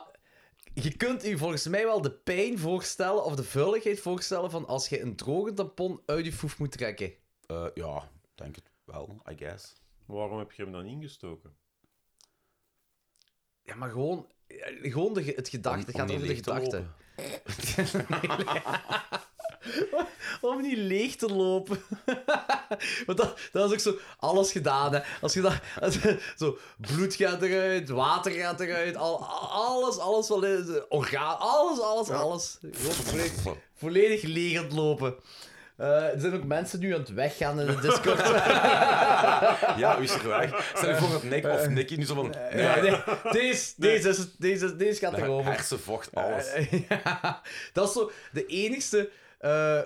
[SPEAKER 3] je kunt je volgens mij wel de pijn voorstellen of de vuiligheid voorstellen van als je een droge tampon uit je foef moet trekken.
[SPEAKER 2] Eh, ja, denk het wel, I guess.
[SPEAKER 4] Maar Waarom heb je hem dan ingestoken?
[SPEAKER 3] Ja, maar gewoon, eh, gewoon de, ge- het gedachte.
[SPEAKER 2] Om-
[SPEAKER 3] Het
[SPEAKER 2] om
[SPEAKER 3] gaat
[SPEAKER 2] niet
[SPEAKER 3] over de
[SPEAKER 2] leeg te
[SPEAKER 3] gedachte.
[SPEAKER 2] lopen.
[SPEAKER 3] Om niet leeg te lopen. Want dat, dat is ook zo alles gedaan. Hè. Als je dat, als- zo, bloed gaat eruit, water gaat eruit, al, alles, alles, eh, wat is- orgaan, alles, alles, alles. Gewoon volledig, volledig leeg aan het lopen. Eh, er zijn ook mensen nu aan het weggaan in de Discord.
[SPEAKER 2] Ja, wie is er weg? Stel je voor dat Nick of Nicky nu zo van... Nee,
[SPEAKER 3] Ja, nee, deze, deze, is het- deze, is- deze gaat erover.
[SPEAKER 2] hersenvocht,
[SPEAKER 3] Eh.
[SPEAKER 2] alles.
[SPEAKER 3] ja, dat is zo de enigste eh,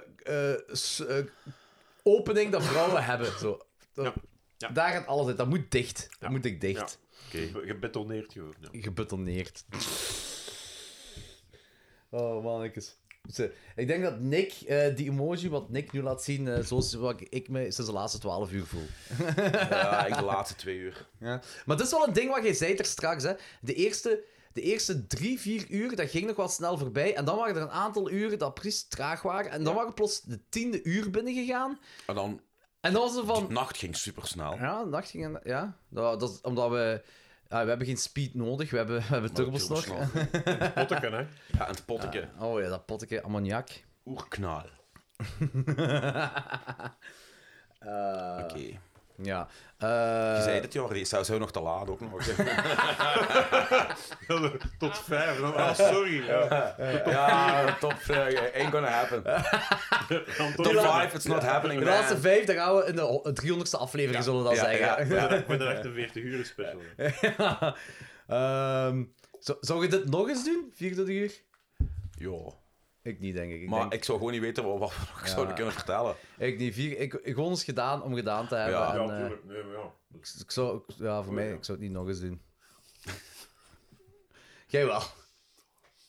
[SPEAKER 3] eh, s- eh, opening dat vrouwen hebben. Zo. Dat-
[SPEAKER 23] Ja, ja.
[SPEAKER 3] Daar gaat alles uit. Dat moet dicht. Dat moet ik dicht.
[SPEAKER 23] Oké. Gebetoneerd gewoon. Ja.
[SPEAKER 3] Gebetonneerd. Oh, mannetjes. Ze- Ik denk dat Nick, eh, die emoji wat Nick nu laat zien, eh, zoals wat ik me sinds de laatste 12 uur voel.
[SPEAKER 2] Ja, ik de laatste twee uur.
[SPEAKER 3] Ja. Maar dat is wel een ding wat jij zei er straks. Hè. De, eerste, de eerste drie, vier uur, dat ging nog wel snel voorbij. En dan waren er een aantal uren dat precies traag waren. En dan waren we plots de tiende uur binnengegaan.
[SPEAKER 2] En dan,
[SPEAKER 3] En dan was er
[SPEAKER 2] die
[SPEAKER 3] van...
[SPEAKER 2] nacht ging supersnel.
[SPEAKER 3] Ja, de nacht ging... en- Ja, dat, dat is omdat we... ja, we hebben geen speed nodig, we hebben, we hebben turbos nog.
[SPEAKER 2] Turbosnel.
[SPEAKER 23] Potteken, hè?
[SPEAKER 2] Ja, en het potteke.
[SPEAKER 3] Oh ja, dat potje ammoniak.
[SPEAKER 2] Oerknal. Oké.
[SPEAKER 3] Ja. Eh,
[SPEAKER 2] Eh. Je zei dit jaar, die zou, zou nog te laat ook nog.
[SPEAKER 23] Tot vijf. Dan, ah, sorry. Ja.
[SPEAKER 2] ja, top. eh, ain't gonna happen.
[SPEAKER 23] Anton,
[SPEAKER 2] Top 5, it's not happening.
[SPEAKER 3] de
[SPEAKER 2] man.
[SPEAKER 3] laatste vijf, daar gaan we in de ho- 300ste aflevering, zullen we dat
[SPEAKER 2] ja,
[SPEAKER 3] zeggen.
[SPEAKER 2] ja.
[SPEAKER 23] Ik ben er 48 uur special. hè.
[SPEAKER 3] Ehm, zou, zou je dit nog eens doen? 24 uur?
[SPEAKER 2] Ja.
[SPEAKER 3] Ik niet, denk ik. ik
[SPEAKER 2] Maar
[SPEAKER 3] denk-
[SPEAKER 2] ik zou gewoon niet weten wat, wat we nog zouden kunnen vertellen.
[SPEAKER 3] Ik niet vier. Ik, ik gewoon eens gedaan om gedaan te hebben.
[SPEAKER 2] Ja.
[SPEAKER 3] en,
[SPEAKER 23] Ja,
[SPEAKER 3] eh,
[SPEAKER 23] tuurlijk. Nee, maar ja.
[SPEAKER 3] ik, ik zou, ik- ja, voor mij, ik zou het niet nog eens doen. Jij wel.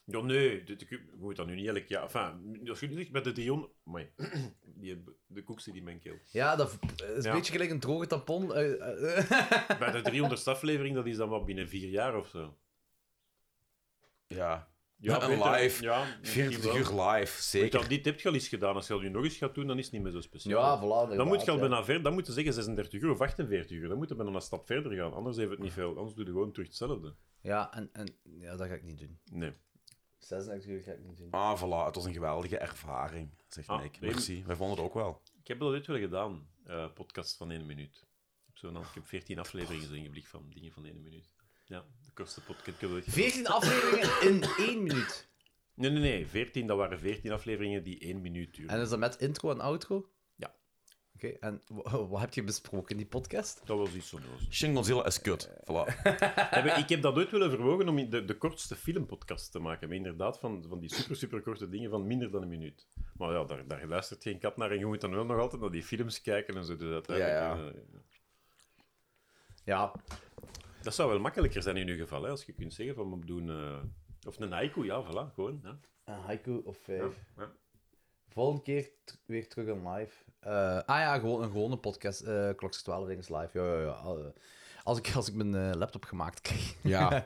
[SPEAKER 4] Ja, nee, dit, ik ik moet dat nu niet elk jaar. Enfin, als je nu zegt met de Dion. Amai, die, de koek zit in mijn keel.
[SPEAKER 3] Ja, dat eh, is
[SPEAKER 4] Ja.
[SPEAKER 3] een beetje gelijk een droge tampon. eh, eh, eh.
[SPEAKER 4] Bij de 300 aflevering, dat is dan wat binnen vier jaar of zo.
[SPEAKER 2] Ja.
[SPEAKER 4] Ja,
[SPEAKER 2] Een
[SPEAKER 4] beter-
[SPEAKER 2] live.
[SPEAKER 4] Ja,
[SPEAKER 2] 24 uur live,
[SPEAKER 4] Zeker.
[SPEAKER 2] zeker.
[SPEAKER 4] dit heb je al eens gedaan. Als je dat nu nog eens gaat doen, dan is het niet meer zo speciaal.
[SPEAKER 3] ja, voilà.
[SPEAKER 4] dan
[SPEAKER 3] inderdaad,
[SPEAKER 4] moet je al
[SPEAKER 3] ja.
[SPEAKER 4] bijna ver, dan moet je zeggen 36 uur of 48 uur. Dan moet je bijna een stap verder gaan. Anders heeft het niet veel. Anders doe je gewoon terug hetzelfde.
[SPEAKER 3] Ja, en, en ja, dat ga ik niet doen.
[SPEAKER 4] Nee.
[SPEAKER 3] 36 uur ga ik niet doen.
[SPEAKER 2] Ah, voilà. Het was een geweldige ervaring, zegt
[SPEAKER 4] Ah,
[SPEAKER 2] Nick.
[SPEAKER 4] nee.
[SPEAKER 2] Merci. Wij vonden het ook wel.
[SPEAKER 4] Ik heb dat dit wel gedaan. eh, podcast van 1 minuut. Ik heb, zo'n, ik heb 14 afleveringen zo ingeblikt van dingen van 1 minuut. Ja, de kortste podcast. Ik heb dat ooit gedaan.
[SPEAKER 3] 14 afleveringen in 1 minuut.
[SPEAKER 4] Nee, nee, nee. 14, dat waren 14 afleveringen die 1 minuut duurden.
[SPEAKER 3] En is dat met intro en outro?
[SPEAKER 4] Ja.
[SPEAKER 3] Oké, en wa- wat heb je besproken in die podcast?
[SPEAKER 4] Dat was iets zonneloos.
[SPEAKER 2] Shingonzilla is kut. Voilà.
[SPEAKER 4] Ja, maar ik heb dat ooit willen verwogen om de, de kortste filmpodcast te maken. Maar inderdaad, van, van die super, super korte dingen van minder dan een minuut. Maar ja, daar, daar luistert geen kat naar. En je moet dan wel nog altijd naar die films kijken en zo. Dus uiteindelijk,
[SPEAKER 2] Ja,
[SPEAKER 4] eh,
[SPEAKER 3] Ja,
[SPEAKER 4] dat zou wel makkelijker zijn in uw geval. Hè, als je kunt zeggen van we doen. eh, of een haiku, ja, voilà, gewoon. Ja.
[SPEAKER 3] een haiku of vijf.
[SPEAKER 4] ja.
[SPEAKER 3] Volgende keer t- weer terug een live. Eh, ah ja, gewoon een gewone podcast. eh Klokjes 12 dingen is live. Ja, ja, ja. Al, eh, als, ik, als ik mijn eh, laptop gemaakt krijg.
[SPEAKER 2] Ja.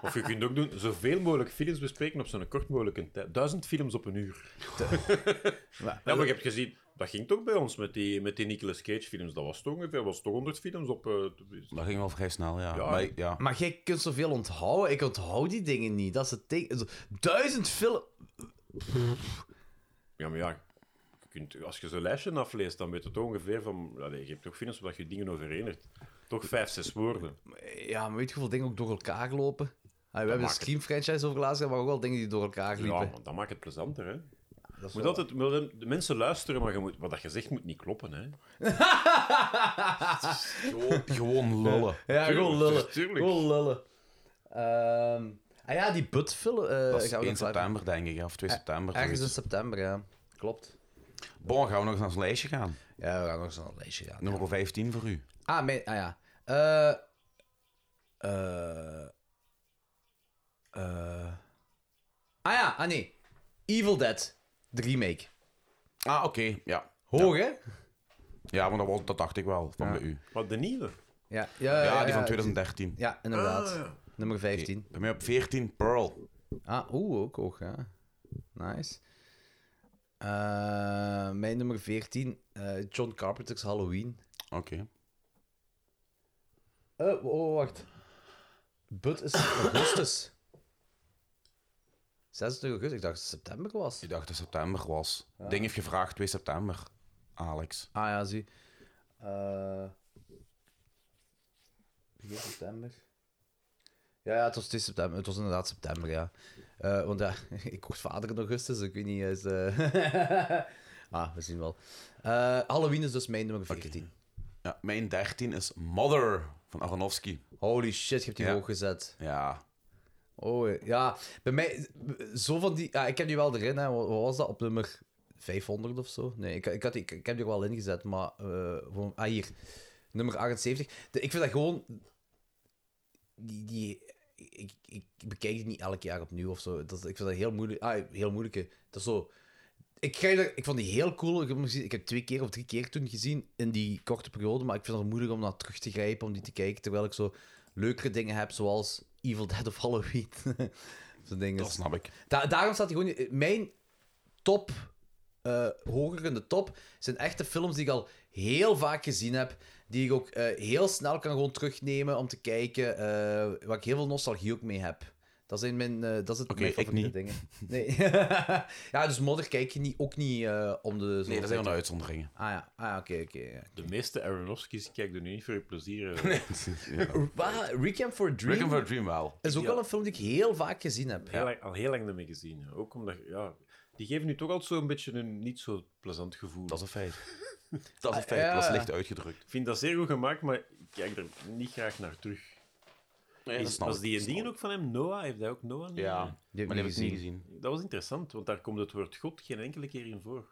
[SPEAKER 4] Of je kunt ook doen zoveel mogelijk films bespreken op zo'n kort mogelijke tijd. Duizend films op een uur. ja, maar je hebt gezien, dat ging toch bij ons met die, met die Nicolas Cage films. Dat was toch ongeveer was toch 100 films op. eh,
[SPEAKER 2] Dat ging wel vrij snel, ja.
[SPEAKER 4] Ja.
[SPEAKER 2] Maar, ja.
[SPEAKER 3] Maar jij kunt zoveel onthouden. Ik onthoud die dingen niet. Dat is het teken. Zo, Duizend film.
[SPEAKER 4] Ja, maar ja, je kunt, als je zo'n lijstje afleest, dan weet je toch ongeveer van... Allee, je hebt toch films waar je dingen over herinnert. Toch vijf, zes woorden.
[SPEAKER 3] Ja, maar weet je hoeveel dingen ook door elkaar lopen? Ah, we hebben een
[SPEAKER 4] maakt
[SPEAKER 3] Scream franchise over laatst, maar ook wel dingen die door elkaar
[SPEAKER 4] Ja,
[SPEAKER 3] liepen.
[SPEAKER 4] maar dat maakt het plezanter, hè.
[SPEAKER 3] dat is
[SPEAKER 4] Moet
[SPEAKER 3] wel-
[SPEAKER 4] altijd, de mensen luisteren, maar je moet, wat dat je zegt moet niet kloppen, hè.
[SPEAKER 2] Gewoon, gewoon lullen.
[SPEAKER 3] Ja,
[SPEAKER 4] Tuurlijk,
[SPEAKER 3] gewoon lullen.
[SPEAKER 4] dus tuurlijk.
[SPEAKER 3] Gewoon lullen. Ehm, ah ja, die butfilm. eh
[SPEAKER 2] Dat is
[SPEAKER 3] gaan we
[SPEAKER 2] 1
[SPEAKER 3] nog live-
[SPEAKER 2] september, denk ik, hè, of 2 september.
[SPEAKER 3] Ergens in
[SPEAKER 2] zoiets.
[SPEAKER 3] september, ja. Klopt.
[SPEAKER 2] Bon, gaan we nog eens naar ons lijstje gaan.
[SPEAKER 3] Ja, we gaan nog eens naar een lijstje gaan.
[SPEAKER 2] Nummer 15 voor u.
[SPEAKER 3] Ah, mijn, ah ja. Eh eh eh. ah ja, ah nee. Evil Dead, de remake.
[SPEAKER 2] Ah, oké. Ja.
[SPEAKER 3] Hoog, hè?
[SPEAKER 2] Ja, maar dat, was, dat dacht ik wel, van
[SPEAKER 3] Ja. Eh,
[SPEAKER 2] bij u.
[SPEAKER 4] Wat, de nieuwe?
[SPEAKER 3] Ja,
[SPEAKER 2] Ja,
[SPEAKER 3] ja,
[SPEAKER 2] die van 2013.
[SPEAKER 3] Ja, inderdaad.
[SPEAKER 4] Ah, ja.
[SPEAKER 3] Nummer 15.
[SPEAKER 2] Bij mij op 14, Pearl.
[SPEAKER 3] Ah, oeh, ook hoog, ja. Nice. Eh, mijn nummer 14, eh, John Carpenter's Halloween.
[SPEAKER 2] Oké.
[SPEAKER 3] Oh, oh, wacht. But is augustus. 26 augustus, ik dacht dat het september was.
[SPEAKER 2] Ik dacht dat september was. Ding heeft gevraagd 2 september. Alex.
[SPEAKER 3] Ah ja, zie. Eh, begin september. Ja, ja, het was 2 september. Het was inderdaad september, ja. Eh, Eh, want ja, ik word vader in augustus, dus ik weet niet eens... ah, we zien wel. Eh, Halloween is dus mijn nummer 14.
[SPEAKER 2] Ja, mijn 13 is Mother van Aronofsky.
[SPEAKER 3] Holy shit, je hebt die
[SPEAKER 2] Ja.
[SPEAKER 3] hoog gezet.
[SPEAKER 2] Ja,
[SPEAKER 3] Oh, ja. Bij mij, zo van die... Ja, ik heb die wel erin, hè. Wat wat was dat? Op nummer 500 of zo? Nee, ik, ik, had, die- ik, ik heb die er wel ingezet, maar... eh, gewoon, ah, hier. Nummer 78. De- ik vind dat gewoon... Die... die ik, ik, ik bekijk die niet elk jaar opnieuw of zo. Dat, ik vind dat heel moeilijk. Ah, heel moeilijke. Dat is zo... Ik, krijg er, ik vond die heel cool. Ik heb, hem gezien- ik heb twee keer of drie keer toen gezien in die korte periode. Maar ik vind het moeilijk om naar terug te grijpen, om die te kijken. Terwijl ik zo leukere dingen heb, zoals Evil Dead of Halloween. Zo'n ding
[SPEAKER 2] dat
[SPEAKER 3] is.
[SPEAKER 2] snap ik.
[SPEAKER 3] Da- daarom staat hij gewoon... niet- Mijn top, eh, hoger in de top, zijn echte films die ik al heel vaak gezien heb. Die ik ook eh, heel snel kan gewoon terugnemen om te kijken. eh, waar ik heel veel nostalgie ook mee heb. Dat zijn mijn... eh, dat is het
[SPEAKER 2] Oké,
[SPEAKER 3] mijn
[SPEAKER 2] ik
[SPEAKER 3] favoriete
[SPEAKER 2] niet.
[SPEAKER 3] dingen. Nee. ja, dus Modder kijk je niet, ook niet eh, om de...
[SPEAKER 2] Nee,
[SPEAKER 3] zoveel
[SPEAKER 2] dat zijn
[SPEAKER 3] tijd.
[SPEAKER 2] wel uitzonderingen.
[SPEAKER 3] Ah ja, ah, ja, oké, oké. ja.
[SPEAKER 7] De meeste Aronofskis kijken er nu niet voor je plezier. eh.
[SPEAKER 3] Wa- Requiem for a Dream
[SPEAKER 2] Requiem for a Dream wel.
[SPEAKER 3] is ook wel een film die ik heel vaak gezien heb.
[SPEAKER 7] Heel lang- al heel lang niet meer gezien. Ook omdat, ja, die geven nu toch altijd zo'n beetje een niet zo plezant gevoel.
[SPEAKER 2] Dat is een feit. Ah, Dat is een feit,
[SPEAKER 3] ja.
[SPEAKER 2] dat is licht uitgedrukt.
[SPEAKER 7] Ik vind dat zeer goed gemaakt, maar ik kijk er niet graag naar terug.
[SPEAKER 2] Nee, dat
[SPEAKER 7] Is,
[SPEAKER 2] snap
[SPEAKER 7] was
[SPEAKER 2] ik,
[SPEAKER 7] die
[SPEAKER 2] dat
[SPEAKER 7] een dingen
[SPEAKER 2] snap
[SPEAKER 7] ook van hem? Noah? Heeft hij ook Noah?
[SPEAKER 2] ik. Ja, maar
[SPEAKER 3] Die
[SPEAKER 2] die
[SPEAKER 3] heb
[SPEAKER 2] heb ik niet gezien.
[SPEAKER 7] Dat was interessant, want daar komt het woord God geen enkele keer in voor.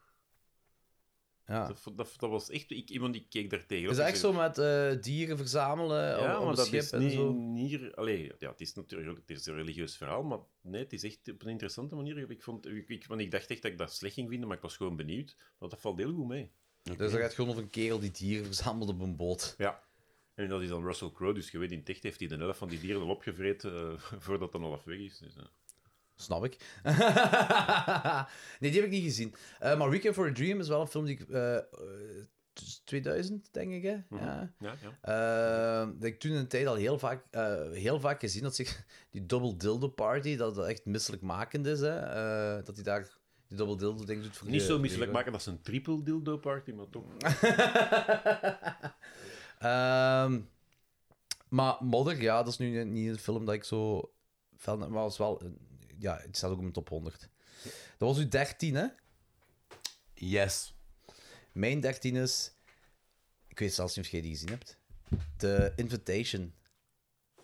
[SPEAKER 3] Ja.
[SPEAKER 7] Dat, vo- dat, dat was echt... Ik, iemand die keek daar tegen.
[SPEAKER 3] Is dat echt zo met eh, dieren verzamelen
[SPEAKER 7] Ja,
[SPEAKER 3] om, om
[SPEAKER 7] maar
[SPEAKER 3] een
[SPEAKER 7] dat
[SPEAKER 3] schip
[SPEAKER 7] is
[SPEAKER 3] en
[SPEAKER 7] niet...
[SPEAKER 3] zo?
[SPEAKER 7] niet allee, ja, het is natuurlijk het is een religieus verhaal, maar nee, het is echt op een interessante manier. Ik, vond, ik, ik, want ik dacht echt dat ik dat slecht ging vinden, maar ik was gewoon benieuwd. Want dat valt heel goed mee.
[SPEAKER 3] Dus er gaat gewoon over een kerel die dieren verzamelt op een boot.
[SPEAKER 7] Ja. En dat is dan Russell Crowe, dus je weet, in het echt heeft hij de helft van die dieren al opgevreten eh, voordat dan half weg is. Dus, eh.
[SPEAKER 3] Snap ik. nee, die heb ik niet gezien. Eh, maar Weekend for a Dream is wel een film die ik... eh, eh, t- 2000, denk ik, hè?
[SPEAKER 7] Mhm.
[SPEAKER 3] Ja.
[SPEAKER 7] ja, ja.
[SPEAKER 3] Eh, dat ik toen in de tijd al heel vaak, eh, heel vaak gezien had. zich- Die double dildo party, dat dat echt misselijkmakend is, hè? Eh, dat hij daar die double dildo ding doet voor
[SPEAKER 7] Niet
[SPEAKER 3] de-
[SPEAKER 7] zo
[SPEAKER 3] de-
[SPEAKER 7] misselijk maken als een triple dildo party, maar toch.
[SPEAKER 3] Ehm, maar Modder, ja, dat is nu niet een film dat ik zo fel... Maar was wel... een- Ja, het staat ook in mijn top 100. Dat was uw 13, hè?
[SPEAKER 2] Yes.
[SPEAKER 3] Mijn 13 is... Ik weet zelfs niet of jij die gezien hebt. The Invitation.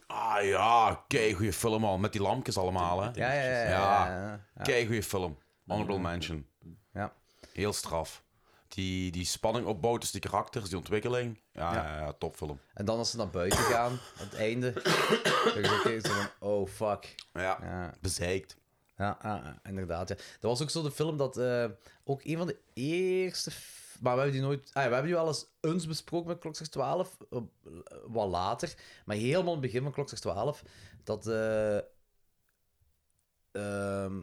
[SPEAKER 2] Ah ja, kei goede film al. Met die lampjes allemaal, hè.
[SPEAKER 3] Ja, ja, ja. ja,
[SPEAKER 2] Ja.
[SPEAKER 3] ja, ja.
[SPEAKER 2] Kei goede film. Honorable Mansion.
[SPEAKER 3] Ja.
[SPEAKER 2] Heel straf. Die, die spanning opbouwt tussen die karakters, die ontwikkeling. Ja, ja. ja, topfilm.
[SPEAKER 3] En dan als ze naar buiten gaan, aan het einde... Dan is het oké, zo van, oh, fuck.
[SPEAKER 2] Ja,
[SPEAKER 3] Ja.
[SPEAKER 2] bezeikt.
[SPEAKER 3] Ja, ja, ja, inderdaad. Ja. Dat was ook zo de film dat eh, ook een van de eerste. f- Maar we hebben die nooit. Ah, ja, we hebben die wel eens eens besproken met Klokslag 12. eh, wat later. Maar helemaal in het begin van Klokslag 12. Dat. eh ehm,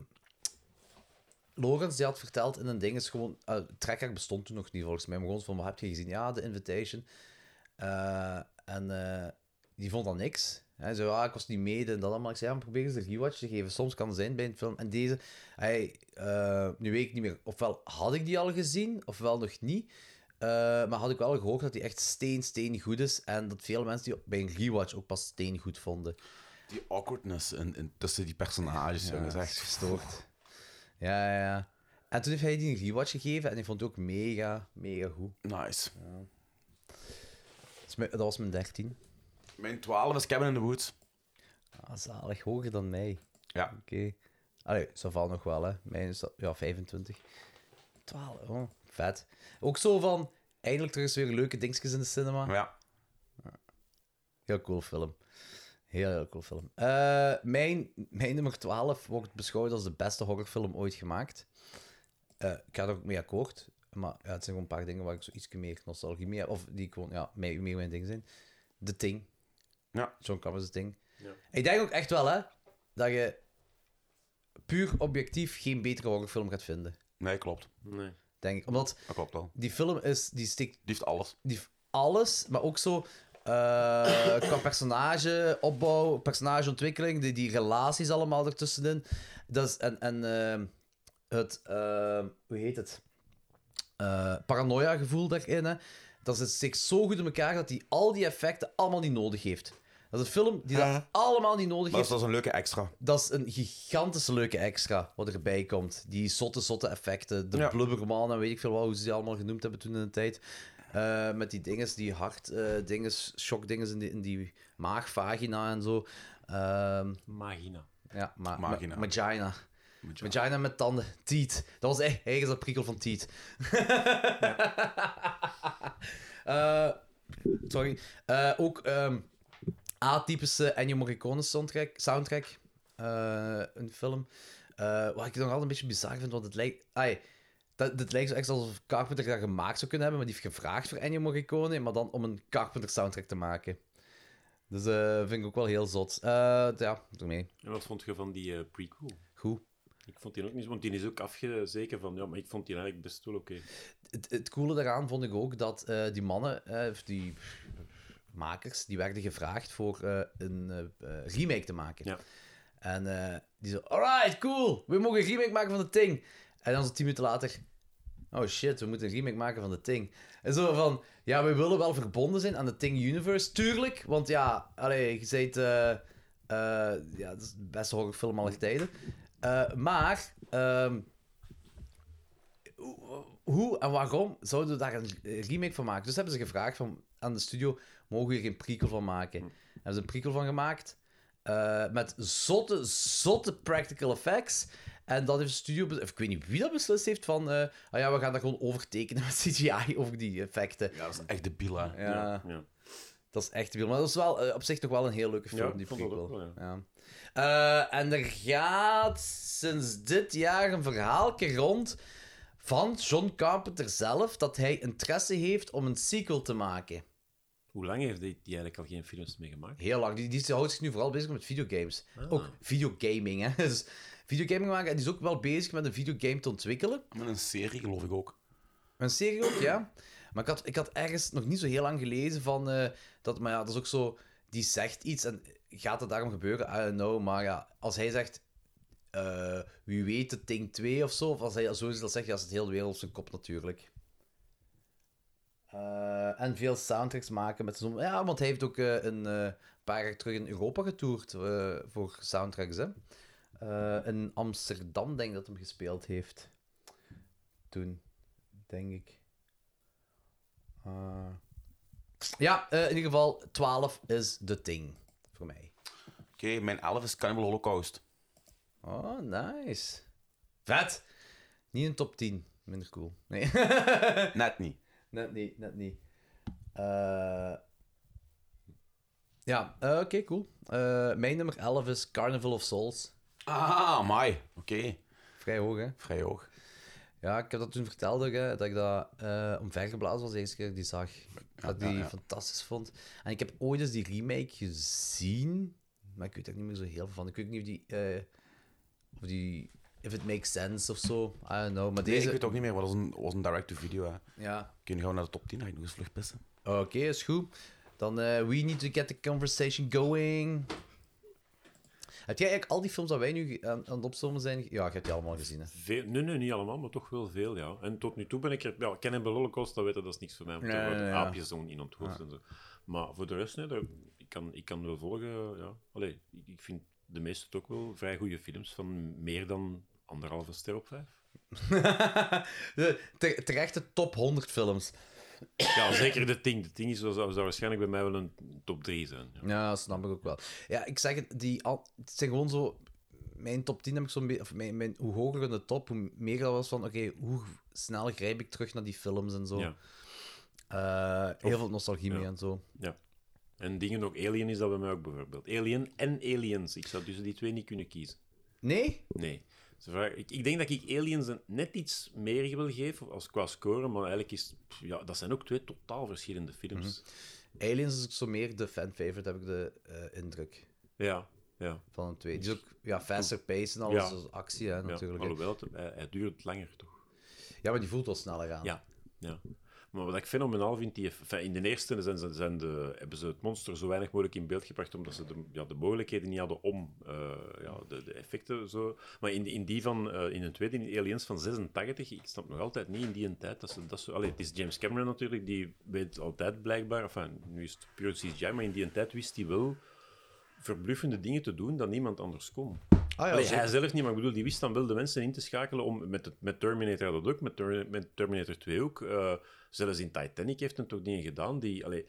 [SPEAKER 3] Logans die had verteld in een ding is gewoon. eh Trekker bestond toen nog niet volgens mij. Maar gewoon van: wat heb je gezien? Ja, de Invitation. Eh, en eh, die vond dan niks. Hij zei, ah, ik was niet mee en dat allemaal. Ik zei, ja, maar probeer eens een rewatch te geven. Soms kan het zijn bij een film. En deze, hij, eh, nu weet ik niet meer. Ofwel had ik die al gezien, ofwel nog niet. Eh, maar had ik wel gehoord dat die echt steen, steen goed is. En dat veel mensen die bij een rewatch ook pas steen goed vonden.
[SPEAKER 2] Die awkwardness in, in- tussen die personages, jongen, is
[SPEAKER 3] dat is
[SPEAKER 2] echt
[SPEAKER 3] gestoord. Ja, ja, ja. En toen heeft hij die een rewatch gegeven en die vond het ook mega, mega goed.
[SPEAKER 2] nice.
[SPEAKER 3] Dat is mijn- Dat was mijn 13.
[SPEAKER 2] Mijn 12 is Cabin in the Woods.
[SPEAKER 3] Ah, zalig, hoger dan mij.
[SPEAKER 2] Ja.
[SPEAKER 3] Oké. Allee, zo valt nog wel, hè. Mijn is dat- ja, 25. 12, oh, vet. Ook zo van, eindelijk er is weer leuke dingetjes in de cinema.
[SPEAKER 2] Ah. Ja.
[SPEAKER 3] Heel cool film. Heel, heel cool film. Eh, mijn, mijn nummer 12 wordt beschouwd als de beste horrorfilm ooit gemaakt. Eh, ik ga er ook mee akkoord. Maar ja, het zijn gewoon een paar dingen waar ik zo iets meer nostalgie mee heb. Of die gewoon, ja, mee- meer mijn ding zijn. The Thing.
[SPEAKER 2] Ja.
[SPEAKER 3] John Carpenter's Thing. Ik denk ook echt wel, hè, dat je puur objectief geen betere horrorfilm gaat vinden.
[SPEAKER 2] Nee, klopt.
[SPEAKER 7] Nee.
[SPEAKER 3] Denk ik. Omdat
[SPEAKER 2] Dat klopt wel.
[SPEAKER 3] die film is, die steekt
[SPEAKER 2] Die heeft alles.
[SPEAKER 3] die heeft alles, maar ook zo eh, qua personage, opbouw, personageontwikkeling, die, die relaties allemaal ertussenin. Dat is, en en eh, het, eh, hoe heet het? Eh, paranoia-gevoel daarin. Hè. Dat zit steekt zo goed in elkaar dat hij al die effecten allemaal niet nodig heeft. Dat is een film die dat
[SPEAKER 2] Ja.
[SPEAKER 3] allemaal niet
[SPEAKER 2] Maar
[SPEAKER 3] nodig
[SPEAKER 2] dat is-
[SPEAKER 3] heeft.
[SPEAKER 2] dat is een leuke extra.
[SPEAKER 3] Dat is een gigantische leuke extra wat erbij komt. Die zotte, zotte effecten. De
[SPEAKER 2] Ja.
[SPEAKER 3] blubberman en weet ik veel wat, hoe ze die allemaal genoemd hebben toen in de tijd. Eh, met die dinges, die hart eh dinges, shock dinges in die, in die maagvagina en zo. Ehm,
[SPEAKER 4] Magina.
[SPEAKER 3] ja, maar
[SPEAKER 2] Magina.
[SPEAKER 3] ma- Vagina. Vagina met tanden. Tiet. Dat was echt ergens dat prikkel van Tiet. Eh, sorry. Eh, ook ehm, atypische Ennio Morricone soundtrack. soundtrack Eh, een film. Eh, wat ik nog altijd een beetje bizar vind, want het lijkt... Ai, dat, dit lijkt zo echt alsof Carpenter dat gemaakt zou kunnen hebben, maar die heeft gevraagd voor Ennio Morricone, maar dan om een Carpenter soundtrack te maken. Dus eh vind ik ook wel heel zot. Eh ja, daarmee.
[SPEAKER 4] En wat vond je van die eh, prequel?
[SPEAKER 3] Goed.
[SPEAKER 4] Ik vond die ook niet, want die is ook afgezeken van, ja, maar ik vond die eigenlijk best wel oké.
[SPEAKER 3] het, het coole daaraan vond ik ook dat eh, die mannen, eh, of die makers, die werden gevraagd voor eh, een eh, eh, remake te maken.
[SPEAKER 4] Ja.
[SPEAKER 3] En eh, die zo, alright, cool, we mogen een remake maken van de Ting. En dan zo tien minuten later, oh shit, we moeten een remake maken van de Ting. En zo van, ja, we willen wel verbonden zijn aan de Ting Universe, tuurlijk. Want ja, allee, je zei het, eh, eh, ja, dat is de beste horrorfilm aller tijden. Eh, maar, ehm, hoe en waarom zouden we daar een eh, remake van maken? Dus hebben ze gevraagd van, aan de studio, mogen we hier een prequel van maken? Hebben ze een prequel van gemaakt, eh, met zotte, zotte practical effects. En dat heeft de studio, be- of ik weet niet wie dat beslist heeft, van, eh, ah ja, we gaan dat gewoon overtekenen met CGI over die effecten.
[SPEAKER 2] Ja, dat is echt de bila.
[SPEAKER 3] Ja,
[SPEAKER 4] ja.
[SPEAKER 3] dat is echt wild. Maar dat is wel eh, op zich nog wel een heel leuke film,
[SPEAKER 4] Ja,
[SPEAKER 3] die
[SPEAKER 4] ik vond dat
[SPEAKER 3] prequel.
[SPEAKER 4] ook
[SPEAKER 3] ja. Eh, en er gaat sinds dit jaar een verhaaltje rond van John Carpenter zelf dat hij interesse heeft om een sequel te maken.
[SPEAKER 4] Hoe lang heeft die, die eigenlijk al geen films meer gemaakt?
[SPEAKER 3] Heel lang. Die, die houdt zich nu vooral bezig met videogames.
[SPEAKER 4] Ah.
[SPEAKER 3] Ook videogaming, hè. Dus videogaming maken. En die is ook wel bezig met een videogame te ontwikkelen.
[SPEAKER 2] Met een serie, geloof ik ook.
[SPEAKER 3] Een serie ook, ja. Maar ik had, ik had ergens nog niet zo heel lang gelezen van... eh, dat, maar ja, dat is ook zo... Die zegt iets en gaat het daarom gebeuren? I don't know. Maar ja, als hij zegt... eh, wie weet het Ting 2 of zo. Of als hij zo dat zegt, ja, is het heel de wereld op zijn kop natuurlijk. Eh, en veel soundtracks maken met zo'n... Ja, want hij heeft ook eh, een eh, paar jaar terug in Europa getoerd eh, voor soundtracks, hè. Eh, in Amsterdam denk ik dat hem gespeeld heeft. Toen denk ik. Eh, ja, eh, in ieder geval, 12 is de ting voor mij.
[SPEAKER 2] Oké, mijn 11 is Cannibal Holocaust.
[SPEAKER 3] Oh, nice. Vet! Niet een top 10. Minder cool. Nee,
[SPEAKER 2] Net niet.
[SPEAKER 3] net niet, net niet. Eh, ja, eh, oké, cool. Eh, mijn nummer 11 is Carnival of Souls.
[SPEAKER 2] Ah, mai. Oké,
[SPEAKER 3] Vrij hoog, hè?
[SPEAKER 2] vrij hoog.
[SPEAKER 3] Ja, ik heb dat toen verteld ook, hè, dat ik dat eh omvergeblazen was de eerste keer dat ik die zag. dat ik die fantastisch vond. En ik heb ooit eens die remake gezien, maar ik weet er niet meer zo heel veel van. Ik weet niet of die... eh, of die... If it makes sense of zo. I don't know.
[SPEAKER 2] Nee,
[SPEAKER 3] Maar deze...
[SPEAKER 2] ik weet ook niet meer, want dat was een, was een direct-to-video. hè.
[SPEAKER 3] Ja.
[SPEAKER 2] Kun je gaan we naar de top 10? Dan ga ik nog eens vlug pissen.
[SPEAKER 3] Oké, is goed. Dan eh, we need to get the conversation going. Heb jij eigenlijk al die films dat wij nu eh, aan, aan het opzommen zijn... ge- Ja, ik heb die allemaal gezien, hè.
[SPEAKER 4] Veel, nee, nee, niet allemaal, maar toch wel veel, ja. En tot nu toe ben ik er... Ja, Cannibal Holocaust, dat weten, dat is niks voor mij. Want
[SPEAKER 3] Ja,
[SPEAKER 4] daar worden
[SPEAKER 3] ja, ja.
[SPEAKER 4] aapjes dan in onthoofd en zo. Maar voor de rest, nee, daar- ik, kan, ik kan wel volgen, ja. Allee, ik, ik vind de meeste toch wel vrij goede films van meer dan anderhalve ster op vijf.
[SPEAKER 3] De- te- Terecht de top 100 films.
[SPEAKER 4] Ja, zeker de Ting. De Ting is, zou, zou waarschijnlijk bij mij wel een top 3 zijn. Ja.
[SPEAKER 3] Ja, dat snap ik ook wel. Ja, ik zeg het, die al, het zijn gewoon zo... Mijn top 10 heb ik zo'n beetje... Of mijn, mijn, hoe hoger in de top, hoe meer dat was van... Oké, hoe snel grijp ik terug naar die films en zo.
[SPEAKER 4] Ja.
[SPEAKER 3] Eh, heel
[SPEAKER 4] Of-
[SPEAKER 3] veel nostalgie mee
[SPEAKER 4] ja.
[SPEAKER 3] en zo.
[SPEAKER 4] En dingen ook. Alien is dat bij mij ook bijvoorbeeld. Alien en Aliens. Ik zou tussen die twee niet kunnen kiezen.
[SPEAKER 3] Nee?
[SPEAKER 4] Nee. Ze vragen- ik, ik denk dat ik Aliens een- net iets meer wil geven als qua score, maar eigenlijk is... pff, Ja, dat zijn ook twee totaal verschillende films.
[SPEAKER 3] Mhm. Aliens is ook zo meer de fan-favorite, heb ik de eh, indruk.
[SPEAKER 4] Ja, ja.
[SPEAKER 3] Van de twee. Die is ook ja, faster pace en alles.
[SPEAKER 4] Ja.
[SPEAKER 3] dus actie, hè,
[SPEAKER 4] ja.
[SPEAKER 3] natuurlijk. hè.
[SPEAKER 4] Alhoewel, het, hij, hij duurt langer, toch?
[SPEAKER 3] Ja, maar die voelt wel sneller aan.
[SPEAKER 4] Ja, ja. Maar wat ik fenomenaal vind, die, enfin, in de eerste zijn, ze- zijn de, hebben ze het monster zo weinig mogelijk in beeld gebracht, omdat ze de, ja, de mogelijkheden niet hadden om eh, ja, de, de effecten zo... Maar in, in die van, eh, in de tweede, in Aliens van 86, ik snap nog altijd niet in die een tijd dat ze dat zo... Allee, het is James Cameron natuurlijk, die weet altijd blijkbaar, enfin, nu is het puur CGI, maar in die een tijd wist hij wel verbluffende dingen te doen dat niemand anders kon.
[SPEAKER 3] Ah ja,
[SPEAKER 4] Allee,
[SPEAKER 3] zeker.
[SPEAKER 4] hij zelf niet, maar ik bedoel, die wist dan wel de mensen in te schakelen om met, het- met Terminator had dat ook, met, Ter- met Terminator 2 ook. eh, zelfs in Titanic heeft hij toch dingen gedaan die... Allee,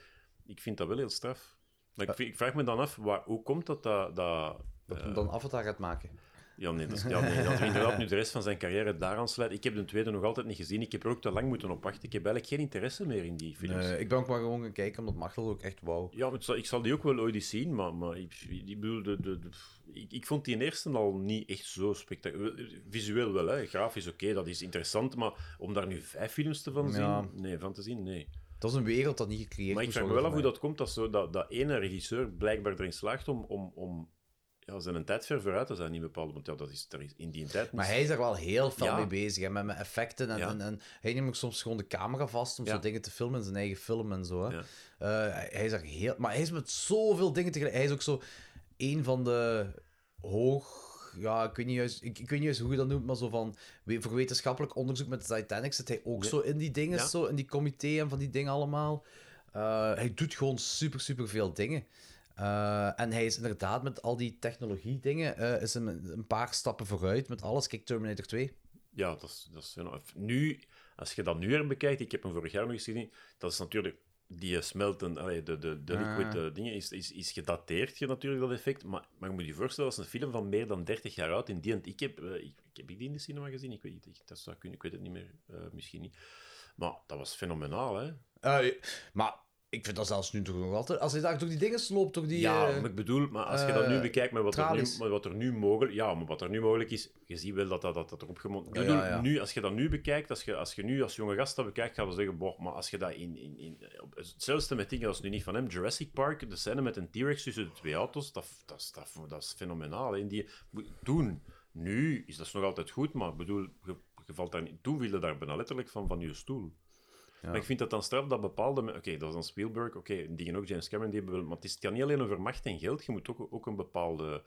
[SPEAKER 4] ik vind dat wel heel straf. Maar
[SPEAKER 3] Ah.
[SPEAKER 4] ik, vind- ik vraag me dan af, waar, hoe komt dat dat... dat
[SPEAKER 3] dat hem dan Avatar gaat maken.
[SPEAKER 4] ja, nee, dat, is- ja, nee, dat hij inderdaad nu de rest van zijn carrière daaraan sluit. Ik heb de tweede nog altijd niet gezien. Ik heb er ook te lang moeten op wachten. Ik heb eigenlijk geen interesse meer in die films.
[SPEAKER 3] Nee, Eh, ik ben ook maar gewoon gaan kijken, omdat Machtel ook echt wou.
[SPEAKER 4] Ja, maar het zal- ik zal die ook wel ooit eens zien, maar, maar ik, ik bedoel, de, de, de- ik, ik vond die eerste al niet echt zo spectaculair. Visueel wel, hè. grafisch oké, dat is interessant, maar om daar nu vijf films te van,
[SPEAKER 3] Ja.
[SPEAKER 4] zien, nee, van te zien, nee.
[SPEAKER 3] Dat is een wereld dat niet gecreëerd
[SPEAKER 4] Maar ik
[SPEAKER 3] moest
[SPEAKER 4] vraag me wel af hoe
[SPEAKER 3] worden
[SPEAKER 4] dat komt, dat, zo, dat, dat ene regisseur blijkbaar erin slaagt om, om, om ja, zijn een tijd ver vooruit te zijn in bepaalde... Want ja, dat is, er is in die tijd
[SPEAKER 3] Maar hij is daar wel heel veel
[SPEAKER 4] Ja.
[SPEAKER 3] mee bezig, hè, met, met effecten. En,
[SPEAKER 4] Ja.
[SPEAKER 3] en, en hij neemt ook soms gewoon de camera vast om
[SPEAKER 4] Ja.
[SPEAKER 3] zo dingen te filmen, in zijn eigen film en zo. Hè.
[SPEAKER 4] Ja.
[SPEAKER 3] Eh, hij- hij is daar heel... Maar hij is met zoveel dingen tegelijk. Hij is ook zo een van de hoog... Ja, ik weet, niet juist, ik, ik weet niet juist hoe je dat noemt, maar zo van... we- Voor wetenschappelijk onderzoek met de Titanic zit hij ook zo in die dingen,
[SPEAKER 4] Ja.
[SPEAKER 3] zo in die comité en van die dingen allemaal. Eh, hij doet gewoon super, super veel dingen. Eh, en hij is inderdaad met al die technologie-dingen eh, is hem een, een paar stappen vooruit met alles. Kijk, Terminator 2.
[SPEAKER 4] Ja, dat is, dat is of nu, als je dat nu weer bekijkt, ik heb hem vorig jaar nog eens gezien, dat is natuurlijk die smelten, allee, de, de, de liquid eh, dingen, is, is, is gedateerd je natuurlijk dat effect, maar, maar je moet je voorstellen, dat is een film van meer dan 30 jaar oud. In die, ik heb, eh, ik, ik heb ik die in de cinema gezien, ik weet niet, ik- dat zou kunnen, ik weet het niet meer, eh, misschien niet. Maar dat was fenomenaal, hè?
[SPEAKER 3] Eh, maar ik vind dat zelfs nu toch nog altijd... Als hij daar door die dingen sloopt, door die...
[SPEAKER 4] ja,
[SPEAKER 3] eh,
[SPEAKER 4] maar ik bedoel, maar als je dat nu
[SPEAKER 3] eh,
[SPEAKER 4] bekijkt met wat, er nu,
[SPEAKER 3] tralies.
[SPEAKER 4] met wat er nu mogelijk ja, maar wat er nu mogelijk is, je ziet wel dat dat, dat, dat erop gemond. Ik
[SPEAKER 3] Ja,
[SPEAKER 4] bedoel,
[SPEAKER 3] ja, ja.
[SPEAKER 4] Nu, als je dat nu bekijkt, als je, als je nu als jonge gast dat bekijkt, gaan we zeggen, boh, maar als je dat in, in, in op- hetzelfde met dingen als nu niet van hem, Jurassic Park, de scène met een T-Rex tussen de twee auto's, dat, dat, is- dat, dat is fenomenaal. hè. In die, toen, nu is dat nog altijd goed, maar ik bedoel, je, je valt daar niet, toen viel je daar bijna letterlijk van, van je stoel. Maar ik vind dat dan straf dat bepaalde... me- Oké, dat is dan Spielberg, oké, dingen ook, James Cameron, die hebben wel... Maar het, is, het gaat niet alleen over macht en geld, je moet ook, ook een bepaalde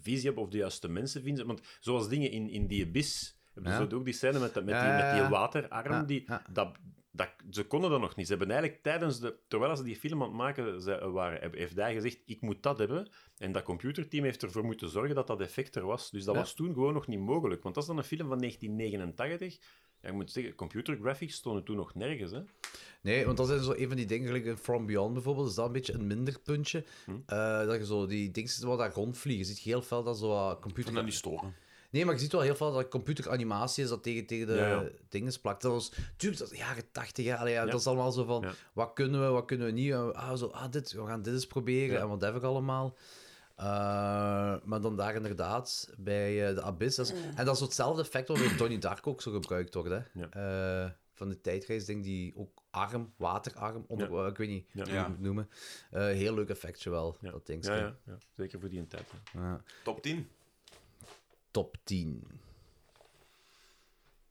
[SPEAKER 4] visie hebben of de juiste mensen vinden. Want zoals dingen in, in die abyss, hebben ze ook die scène met, dat- met,
[SPEAKER 3] Ja,
[SPEAKER 4] die,
[SPEAKER 3] ja,
[SPEAKER 4] met die
[SPEAKER 3] ja.
[SPEAKER 4] waterarm,
[SPEAKER 3] Ja,
[SPEAKER 4] die,
[SPEAKER 3] ja.
[SPEAKER 4] Dat, dat, ze konden dat nog niet. Ze hebben eigenlijk tijdens de... Terwijl ze die film aan het maken ze- eh, waren, heb- heeft hij gezegd, ik moet dat hebben. En dat computerteam heeft ervoor moeten zorgen dat dat effect er was. Dus dat was toen gewoon nog niet mogelijk. Want dat is dan een film van 1989... Ja, ik moet zeggen, computer graphics stonden toen nog nergens, hè?
[SPEAKER 3] Nee, want dat zijn zo een van die dingen, gelijk in From Beyond bijvoorbeeld, is dat een beetje een minder puntje. Eh, dat je zo die dingen ziet waar daar rondvliegen. Je ziet heel veel dat zo eh, computer...
[SPEAKER 24] dat niet storen.
[SPEAKER 3] Nee, maar je ziet wel heel veel dat computeranimatie is dat tegen, tegen de
[SPEAKER 4] Ja, ja.
[SPEAKER 3] dingen plakt. Dat was natuurlijk dat is jaren tachtig, ja, allee, ja,
[SPEAKER 4] Ja.
[SPEAKER 3] dat is allemaal zo van,
[SPEAKER 4] Ja.
[SPEAKER 3] wat kunnen we, wat kunnen we niet? En, ah, zo, ah, dit, we gaan dit eens proberen
[SPEAKER 4] Ja.
[SPEAKER 3] en wat heb ik allemaal. Eh, maar dan daar inderdaad, bij eh, de Abyss. dat is- en dat is hetzelfde effect wat bij Tony Dark ook zo gebruikt wordt. Hè?
[SPEAKER 4] Ja.
[SPEAKER 3] Eh, van de tijdreisding die ook arm, waterarm, onder, eh, ik weet niet
[SPEAKER 4] Ja.
[SPEAKER 3] hoe je het moet noemen. Eh, heel leuk effectje wel, dat ding.
[SPEAKER 4] Ja, ja, ja. Zeker voor die tijd. hè.
[SPEAKER 24] Top 10.
[SPEAKER 3] Top 10.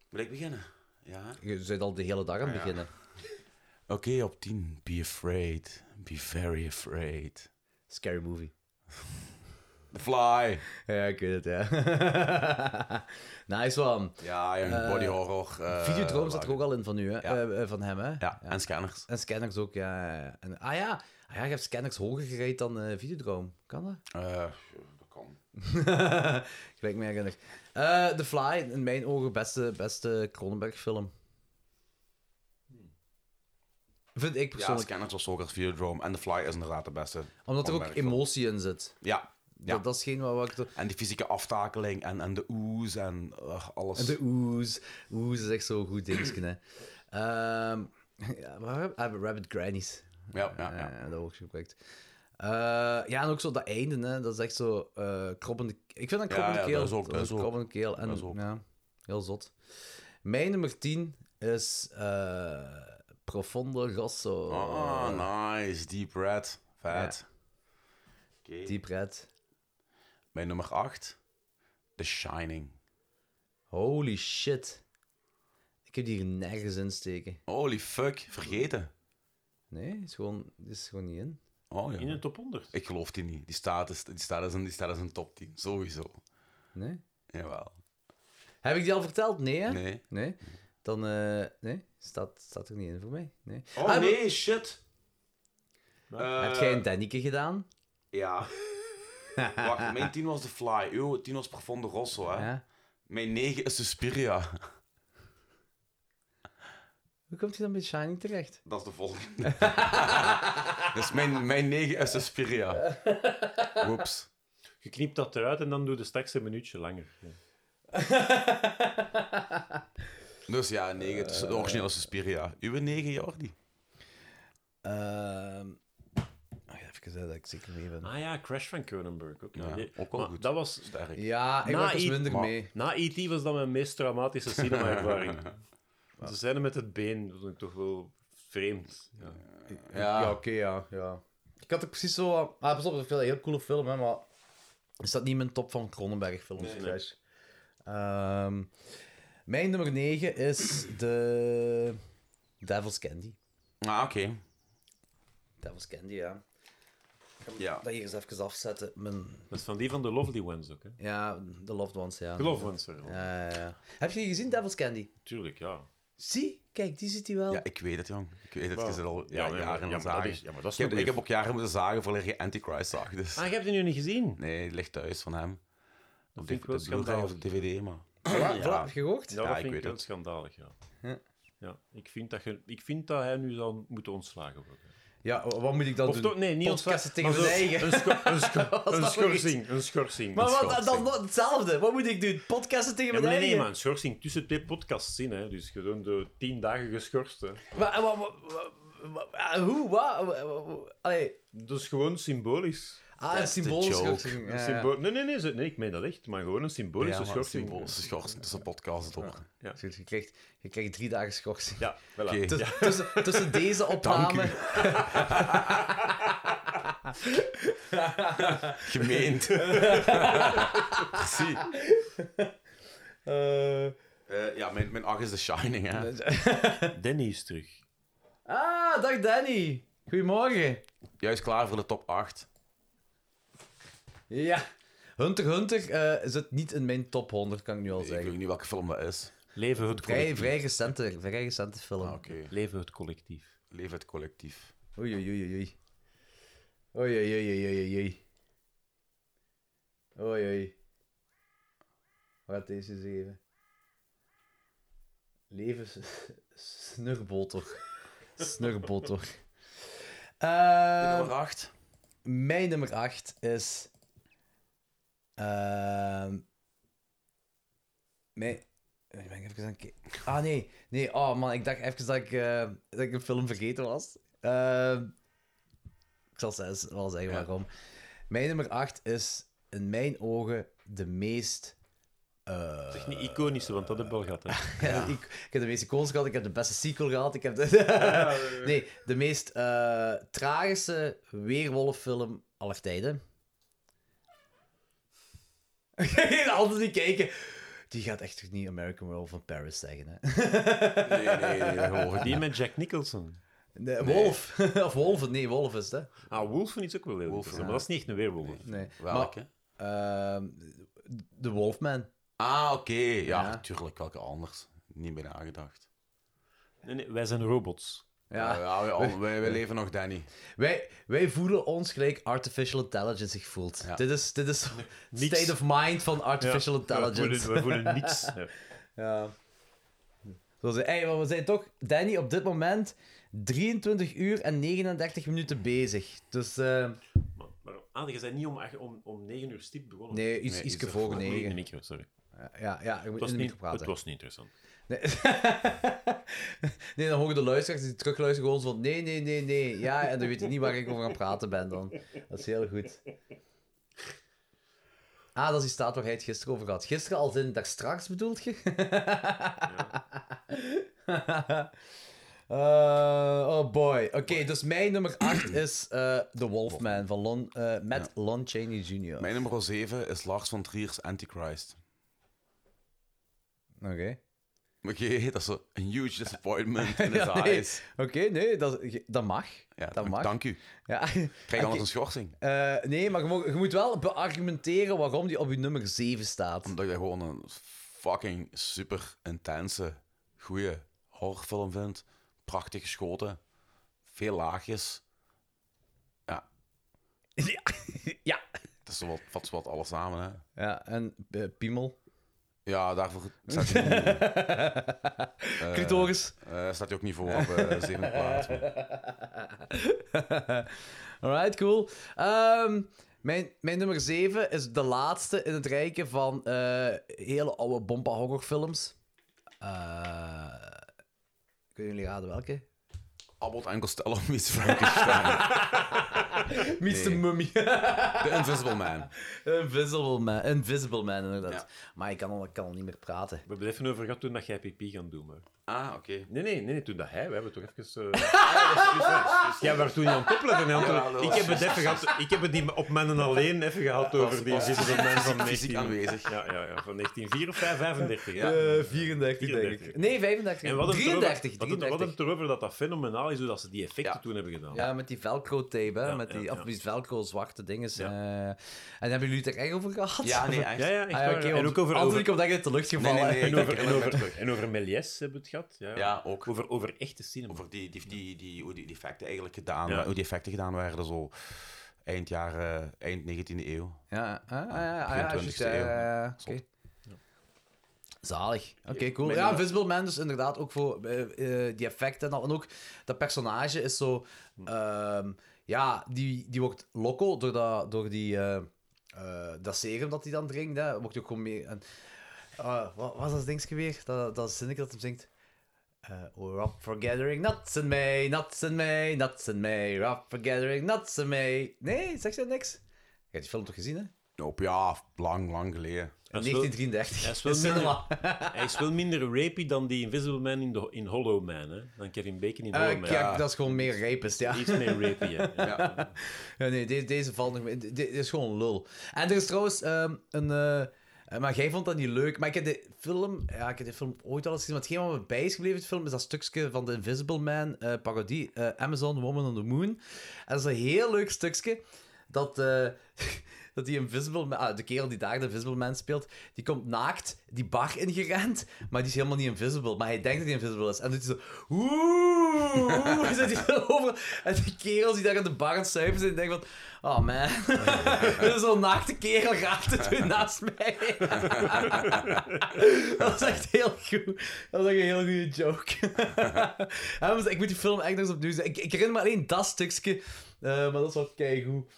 [SPEAKER 24] Wil ik beginnen? Ja.
[SPEAKER 3] Je bent al de hele dag aan het beginnen.
[SPEAKER 2] Oké, op 10. Be afraid. Be very afraid.
[SPEAKER 3] Scary movie.
[SPEAKER 2] The Fly.
[SPEAKER 3] Ja, ik weet het, ja. nice one.
[SPEAKER 2] Ja, ja, body horror. eh,
[SPEAKER 3] Videodroom zat er ook al in van u, hè?
[SPEAKER 2] ja.
[SPEAKER 3] Eh, eh, van hem, hè?
[SPEAKER 2] Ja, en scanners.
[SPEAKER 3] En Scanners ook, ja. ja, ja. En, ah ja, ah, ja je hebt Scanners hoger gereed dan eh, Videodroom. Kan dat?
[SPEAKER 2] Eh,
[SPEAKER 3] Gelijk me herinner. Eh, The Fly, in mijn ogen, beste, beste Cronenberg-film. Vind ik
[SPEAKER 2] ja,
[SPEAKER 3] persoonlijk.
[SPEAKER 2] scanners was ook als Videodrome. En The Fly is inderdaad de beste.
[SPEAKER 3] Omdat er ook
[SPEAKER 2] Cronenberg-film.
[SPEAKER 3] emotie in zit.
[SPEAKER 2] Ja. Ja.
[SPEAKER 3] Dat, dat is geen wat, wat ik... er-
[SPEAKER 2] En die fysieke aftakeling en, en de ooze en eh, alles.
[SPEAKER 3] En de oes. Oes is echt zo'n goed dingetje, hè. Ehm, ja, waar heb- ah, Rabbit Grannies.
[SPEAKER 2] Ja, ja, ja.
[SPEAKER 3] dat wordt gebruikt. Eh, ja, en ook zo dat einde, hè. Dat is echt zo eh kroppende... Ik vind dat
[SPEAKER 2] Ja,
[SPEAKER 3] kroppende
[SPEAKER 2] ja,
[SPEAKER 3] keel.
[SPEAKER 2] dat
[SPEAKER 3] eh,
[SPEAKER 2] is ook, dat is ook.
[SPEAKER 3] Kroppende keel. En,
[SPEAKER 2] Dat is ook.
[SPEAKER 3] Ja, heel zot. Mijn nummer 10 is eh, Profondo Rosso.
[SPEAKER 2] Ah,
[SPEAKER 3] eh,
[SPEAKER 2] nice. Deep Red. Vet.
[SPEAKER 3] Deep Red.
[SPEAKER 2] Mijn nummer 8. The Shining.
[SPEAKER 3] Holy shit. Ik heb die hier nergens in steken.
[SPEAKER 2] Holy fuck. Vergeten.
[SPEAKER 3] Nee, is gewoon, is gewoon niet in.
[SPEAKER 2] Oh
[SPEAKER 4] In
[SPEAKER 2] ja.
[SPEAKER 4] een top 100.
[SPEAKER 2] Ik geloof die niet. Die staat, is- die staat, als, een, die staat als een top 10. Sowieso.
[SPEAKER 3] Nee.
[SPEAKER 2] Jawel.
[SPEAKER 3] Heb ik die al verteld? Nee, hè?
[SPEAKER 2] Nee.
[SPEAKER 3] Nee? Dan, eh, nee, staat, staat er niet in voor mij. Nee.
[SPEAKER 24] Oh
[SPEAKER 3] Ah,
[SPEAKER 24] nee, shit.
[SPEAKER 2] Eh,
[SPEAKER 3] Heb jij een Dannike gedaan?
[SPEAKER 24] Ja.
[SPEAKER 2] Wacht, mijn 10 was The Fly. Uw 10 was Profondo Rosso, hè?
[SPEAKER 3] Ja.
[SPEAKER 2] Mijn 9 is Suspiria.
[SPEAKER 3] Hoe komt hij dan bij Shining terecht?
[SPEAKER 2] Dat is de volgende. dus mijn, mijn 9 is Suspiria. Woeps.
[SPEAKER 4] Je knipt dat eruit en dan doe je straks een minuutje langer. Ja.
[SPEAKER 2] Dus ja, 9. Dus de originele Suspiria. Uw 9, Jordi.
[SPEAKER 3] Ehm, wacht even zeggen dat ik zeker mee ben.
[SPEAKER 4] Ah ja, Crash van Cronenberg. Ook,
[SPEAKER 2] Ja,
[SPEAKER 4] Die-
[SPEAKER 2] ook wel
[SPEAKER 4] maar
[SPEAKER 2] goed.
[SPEAKER 4] Dat was,
[SPEAKER 2] Sterk.
[SPEAKER 3] Ja, ik
[SPEAKER 4] Na
[SPEAKER 3] was
[SPEAKER 4] i-
[SPEAKER 3] minder
[SPEAKER 2] maar-
[SPEAKER 3] mee.
[SPEAKER 4] na E.T. was dat mijn meest traumatische cinema-ervaring. Ze zijn er met het been, dat vond ik toch wel vreemd. Ja.
[SPEAKER 3] Ja, oké, ja, ja. Ik had er precies zo... aan- Ah, pas op, dat is wel een heel coole film, hè, maar... Is dat niet mijn top van Cronenberg-films, Crash? Ehm, mijn nummer 9 is de... Devil's Candy.
[SPEAKER 2] Ah, oké.
[SPEAKER 3] Devil's Candy, ja.
[SPEAKER 2] Ja.
[SPEAKER 3] Dat hier eens even afzetten. Mijn...
[SPEAKER 4] Dat is van die van de Lovely Ones ook, hè?
[SPEAKER 3] Ja, The Loved Ones, ja.
[SPEAKER 4] De Lovely Ones, sorry.
[SPEAKER 3] Ja, ja, ja. Heb je die gezien, Devil's Candy?
[SPEAKER 4] Tuurlijk, ja.
[SPEAKER 3] Zie, kijk, die zit hij wel.
[SPEAKER 2] Ja, ik weet het, jong. Ik weet het. Je zit al ja,
[SPEAKER 4] maar-
[SPEAKER 2] jaren aan
[SPEAKER 4] ja,
[SPEAKER 2] het
[SPEAKER 4] maar dat
[SPEAKER 2] zagen.
[SPEAKER 4] is- ja, maar dat is
[SPEAKER 2] ik, heb,
[SPEAKER 4] nog
[SPEAKER 2] ik
[SPEAKER 4] even-
[SPEAKER 2] heb ook jaren moeten zagen voordat je Antichrist zag. Dus.
[SPEAKER 4] Ah, je hebt die nu niet gezien?
[SPEAKER 2] Nee, die ligt thuis van hem. Op
[SPEAKER 4] vind ik wel
[SPEAKER 2] de Blu-ray of
[SPEAKER 4] schandalig. Oh,
[SPEAKER 2] DVD, maar...
[SPEAKER 3] Voilà, voilà,
[SPEAKER 2] Ja.
[SPEAKER 3] heb je gehoord?
[SPEAKER 4] Ja,
[SPEAKER 2] Ja,
[SPEAKER 4] dat
[SPEAKER 2] ik
[SPEAKER 4] vind ik
[SPEAKER 2] weet
[SPEAKER 4] heel
[SPEAKER 2] het.
[SPEAKER 4] schandalig, ja.
[SPEAKER 3] Ja.
[SPEAKER 4] Ja, ik vind, dat je, ik vind dat hij nu zou moeten ontslagen worden.
[SPEAKER 3] Ja, wat moet ik dan
[SPEAKER 4] Of
[SPEAKER 3] doen?
[SPEAKER 4] toch, nee, niet
[SPEAKER 3] Podcasten
[SPEAKER 4] ontslagen.
[SPEAKER 3] tegen
[SPEAKER 4] maar
[SPEAKER 3] mijn
[SPEAKER 4] zo-
[SPEAKER 3] eigen.
[SPEAKER 4] Een, scho- een, scho- een
[SPEAKER 3] nog
[SPEAKER 4] schorsing, een schorsing.
[SPEAKER 3] Maar
[SPEAKER 4] een
[SPEAKER 3] wat,
[SPEAKER 4] schorsing.
[SPEAKER 3] dan wat- hetzelfde. Wat moet ik doen? Podcasten tegen
[SPEAKER 4] Ja,
[SPEAKER 3] mijn
[SPEAKER 4] maar nee, nee,
[SPEAKER 3] eigen?
[SPEAKER 4] maar een schorsing tussen twee podcasts in, hè. Dus gewoon door tien dagen geschorst, hè.
[SPEAKER 3] Maar, maar- maar- maar- maar- ah, hoe? Wat? Wa- wa- wa- Allee.
[SPEAKER 4] Dat is gewoon symbolisch.
[SPEAKER 3] Ah, een symbolische schorsing. Ja,
[SPEAKER 4] Een
[SPEAKER 3] ja.
[SPEAKER 4] symbool- Nee, nee, nee, ze- nee, ik meen dat echt, maar gewoon een
[SPEAKER 2] Ja,
[SPEAKER 4] symbolische
[SPEAKER 2] maar
[SPEAKER 4] schorsing.
[SPEAKER 2] symbolische schorsen tussen podcasts door.
[SPEAKER 3] Goed, Je krijgt, je krijgt drie dagen schorsing.
[SPEAKER 4] Ja, voilà.
[SPEAKER 2] Oké.
[SPEAKER 3] Tussen- tussen, tussen deze opname...
[SPEAKER 2] Gemeend. Zie.
[SPEAKER 3] Eh,
[SPEAKER 2] Eh, ja, mijn, mijn acht is The Shining, hè.
[SPEAKER 4] Danny is terug.
[SPEAKER 3] Ah, dag Danny. Goedemorgen.
[SPEAKER 2] Juist klaar voor de top 8.
[SPEAKER 3] Ja. Hunter Hunter eh, zit niet in mijn top 100, kan ik nu al
[SPEAKER 2] Ik weet
[SPEAKER 3] zeggen.
[SPEAKER 2] niet welke film dat is.
[SPEAKER 4] Leven het
[SPEAKER 3] Vrij,
[SPEAKER 4] collectief.
[SPEAKER 3] vrij, recente, vrij recente film.
[SPEAKER 2] Ah, oké.
[SPEAKER 4] Leven het collectief.
[SPEAKER 2] Leef het collectief.
[SPEAKER 3] Oei, oei, oei, oei. Oei, oei, oei, oei, oei, oei. Oei, oei. Wat gaat deze eens even? Leven s- snurboter. Snurboter.
[SPEAKER 2] De
[SPEAKER 3] Ehm
[SPEAKER 2] nummer 8.
[SPEAKER 3] mijn nummer 8 is. ehm mijn. Ik ben even aan het ki- Ah nee, nee, oh man, ik dacht even dat ik, eh, dat ik een film vergeten was. Ehm, ik zal zelfs wel zeggen waarom. Mijn nummer 8 is in mijn ogen de meest. eh,
[SPEAKER 4] Zeg niet iconische, want dat heb ik al gehad. Hè.
[SPEAKER 3] ik, ik heb de meeste goals gehad, ik heb de beste sequel gehad, ik heb de... nee, de meest eh, tragische weerwolffilm aller tijden. De anderen die dus kijken, die gaat echt toch niet American Werewolf van Paris zeggen, hè?
[SPEAKER 2] Nee, nee, nee. gewoon.
[SPEAKER 4] Die met Jack Nicholson.
[SPEAKER 3] Nee, Wolf. of Wolven, nee, Wolf is het, hè?
[SPEAKER 4] Ah, Wolfen is ook wel heel
[SPEAKER 2] Wolfen,
[SPEAKER 4] interessant, maar dat is niet echt een weerwolf.
[SPEAKER 3] Nee. Maar,
[SPEAKER 2] Welke?
[SPEAKER 3] ehm, de Wolfman.
[SPEAKER 2] Ah, oké. Ja,
[SPEAKER 3] Ja.
[SPEAKER 2] natuurlijk. Welke anders? Niet meer nagedacht.
[SPEAKER 4] Nee, nee, wij zijn robots.
[SPEAKER 3] Ja.
[SPEAKER 2] Eh, ja, wij, wij, wij leven nog Danny.
[SPEAKER 3] Wij, wij voelen ons gelijk artificial intelligence zich voelt.
[SPEAKER 2] Ja.
[SPEAKER 3] Dit is, dit is
[SPEAKER 4] niks.
[SPEAKER 3] state of mind van artificial intelligence.
[SPEAKER 4] We voelen, wij voelen niks. Ja.
[SPEAKER 3] Ja. Zoals, hey, maar we zijn toch, Danny, op dit moment 23 uur en 39 minuten bezig. Dus eh,
[SPEAKER 4] Maar, maar ah, je bent niet om, acht- om, om 9 uur stipt begonnen.
[SPEAKER 3] nee, iets,
[SPEAKER 2] Nee,
[SPEAKER 3] ietsje
[SPEAKER 2] is er
[SPEAKER 3] voor
[SPEAKER 4] Om negen in de
[SPEAKER 3] negen.
[SPEAKER 4] micro, sorry.
[SPEAKER 3] Ja, ja, je moet in
[SPEAKER 4] Het was,
[SPEAKER 3] de
[SPEAKER 4] niet,
[SPEAKER 3] micro
[SPEAKER 4] het
[SPEAKER 3] praten.
[SPEAKER 4] was niet interessant.
[SPEAKER 3] Nee. nee, dan horen de luisteraars die terugluisteren gewoon zo van nee, nee, nee, nee. Ja, en dan weet je niet waar ik over aan het praten ben dan. Dat is heel goed. Ah, dat is die staat waar hij het gisteren over had. Gisteren als in daar straks bedoelt je? Eh, oh boy. Oké, dus mijn nummer 8 is eh The Wolfman van Lon, eh, met Lon Chaney Jr. Oké.
[SPEAKER 2] Mijn nummer 7 is Lars van Trier's Antichrist. Oké, dat is een huge disappointment in his
[SPEAKER 3] Ja, nee.
[SPEAKER 2] eyes.
[SPEAKER 3] Oké, nee, dat, dat mag.
[SPEAKER 2] Ja,
[SPEAKER 3] dat
[SPEAKER 2] dank-
[SPEAKER 3] mag.
[SPEAKER 2] Dank u.
[SPEAKER 3] Ja.
[SPEAKER 2] Krijg
[SPEAKER 3] Oké.
[SPEAKER 2] anders een schorsing.
[SPEAKER 3] Eh, nee, maar je, mo- je moet wel beargumenteren waarom die op je nummer 7 staat.
[SPEAKER 2] Omdat ik dat gewoon een fucking super intense, goede horrorfilm vind. Prachtig geschoten. Veel laagjes.
[SPEAKER 3] Ja. ja.
[SPEAKER 2] Het is zo wat, vat zo wat alles samen, hè.
[SPEAKER 3] Ja, en eh, piemel.
[SPEAKER 2] Ja, daarvoor staat je niet, eh,
[SPEAKER 3] Clitoris.
[SPEAKER 2] eh, staat je ook niet voor op eh, zevende plaats. maar-
[SPEAKER 3] Alright, cool. Ehm, mijn, mijn nummer 7 is de laatste in het rijken van eh, hele oude bompa horrorfilms. Eh, kunnen jullie raden welke?
[SPEAKER 2] Abbott en Costello meets Frankenstein.
[SPEAKER 3] Meets the
[SPEAKER 2] Nee.
[SPEAKER 3] Mummy.
[SPEAKER 2] The Invisible Man.
[SPEAKER 3] Invisible Man. Invisible Man, inderdaad. Maar ik kan, al, ik kan al niet meer praten.
[SPEAKER 4] We hebben het even over gehad toen dat jij pipi gaat doen. Maar...
[SPEAKER 25] Ah, oké.
[SPEAKER 4] Nee, nee, nee, nee, toen dat hij. We hebben toch even. eh, Jij was toen niet aan het opletten. hè, Anton.
[SPEAKER 25] Ja, dat
[SPEAKER 4] ik,
[SPEAKER 25] was
[SPEAKER 4] heb het even gehad, ik heb het die op mannen alleen even gehad over die zitten van mijn van 19...
[SPEAKER 25] aanwezig.
[SPEAKER 4] Ja, ja, ja, van 1904 of 35. Ja.
[SPEAKER 3] Eh, 34, denk
[SPEAKER 4] 34.
[SPEAKER 3] ik. Nee, 35.
[SPEAKER 4] En wat hebben we het
[SPEAKER 3] 33.
[SPEAKER 4] erover-
[SPEAKER 3] 33.
[SPEAKER 4] Wat hebben we het erover dat dat fenomenaal is hoe dat ze die effecten toen hebben gedaan?
[SPEAKER 3] Ja, met die velcro-tape, hè?
[SPEAKER 4] Ja,
[SPEAKER 3] met die,
[SPEAKER 4] ja,
[SPEAKER 3] of
[SPEAKER 4] ja.
[SPEAKER 3] die velcro-zwarte dinges.
[SPEAKER 4] Ja.
[SPEAKER 3] eh. en hebben jullie het er echt over gehad?
[SPEAKER 25] Ja, nee,
[SPEAKER 4] Ja,
[SPEAKER 25] echt.
[SPEAKER 4] ja, echt
[SPEAKER 3] Ah, ja,
[SPEAKER 4] waar.
[SPEAKER 3] oké,
[SPEAKER 4] en
[SPEAKER 3] want
[SPEAKER 4] ook over,
[SPEAKER 3] anders
[SPEAKER 4] over,
[SPEAKER 3] komt dat uit de lucht gevallen.
[SPEAKER 25] nee, nee,
[SPEAKER 4] en
[SPEAKER 25] ik
[SPEAKER 4] over,
[SPEAKER 25] denk
[SPEAKER 4] en over, en over Méliès hebben we het gehad. Ja,
[SPEAKER 25] Ja, ook.
[SPEAKER 4] Over, over echte cinema.
[SPEAKER 2] Over die, die, die, die, hoe die, die effecten eigenlijk gedaan,
[SPEAKER 4] Ja.
[SPEAKER 2] wa- hoe die effecten gedaan waren, zo eind, jaren, eind 19e eeuw.
[SPEAKER 3] Ja, ah, ah, ja, ah, ja,
[SPEAKER 2] 21ste
[SPEAKER 3] juist,
[SPEAKER 2] eeuw.
[SPEAKER 3] eh,
[SPEAKER 2] Zot.
[SPEAKER 3] oké. Zalig. Oké, cool.
[SPEAKER 25] mijn
[SPEAKER 3] Ja,
[SPEAKER 25] nummer-
[SPEAKER 3] Visible Man dus inderdaad ook voor eh, eh, die effecten en al. En ook dat personage is zo... ehm, ja, die, die wordt loco door, dat, door die, eh, eh, dat serum dat hij dan drinkt. Hè. Wordt ook gewoon meer... En, eh, wat was dat dingetje weer? Dat, dat zinnetje dat hem zingt. Eh, we're up for gathering nuts in May, nuts in May, nuts in May. We're up for gathering nuts in May. Nee, zeg ze niks? Je hebt die film toch gezien, hè?
[SPEAKER 2] Op ja, lang, lang geleden.
[SPEAKER 4] Hij is wel-
[SPEAKER 3] 1933.
[SPEAKER 4] hij is wel
[SPEAKER 3] In cinema.
[SPEAKER 4] Hij is wel minder rapy dan die Invisible Man in, de, in Hollow Man. Hè? Dan Kevin Bacon
[SPEAKER 2] Ah,
[SPEAKER 4] in Hollow
[SPEAKER 3] Eh,
[SPEAKER 4] Man.
[SPEAKER 3] ja, dat is gewoon meer rapist, ja.
[SPEAKER 4] Iets meer rapy, hè. Ja.
[SPEAKER 3] Ja, nee, deze, deze valt nog mee. Dit dit is gewoon lul. En er is trouwens ehm, een... eh, eh, maar jij vond dat niet leuk. Maar ik heb de film... Ja, ik heb de film ooit al eens gezien. Maar hetgeen wat me bij is gebleven, in het film, is dat stukje van The Invisible Man eh, parodie. eh, Amazon Woman on the Moon. En dat is een heel leuk stukje. Dat, eh, dat die Invisible Man... ah, de kerel die daar de Invisible Man speelt, die komt naakt die bar ingerend. Maar die is helemaal niet invisible. Maar hij denkt dat hij invisible is. En dan doet hij zo... Oeh! oeh, zit hij erover. En die kerels die daar aan de bar aan het zuipen zijn, denken van... Oh man, zo'n naakte kerel gaat het doen naast mij. dat was echt heel goed. Dat was echt een heel goede joke. Ja, maar ik moet die film echt nog eens opnieuw zien. Ik, ik herinner me alleen dat stukje. eh, maar dat is wel keigoed.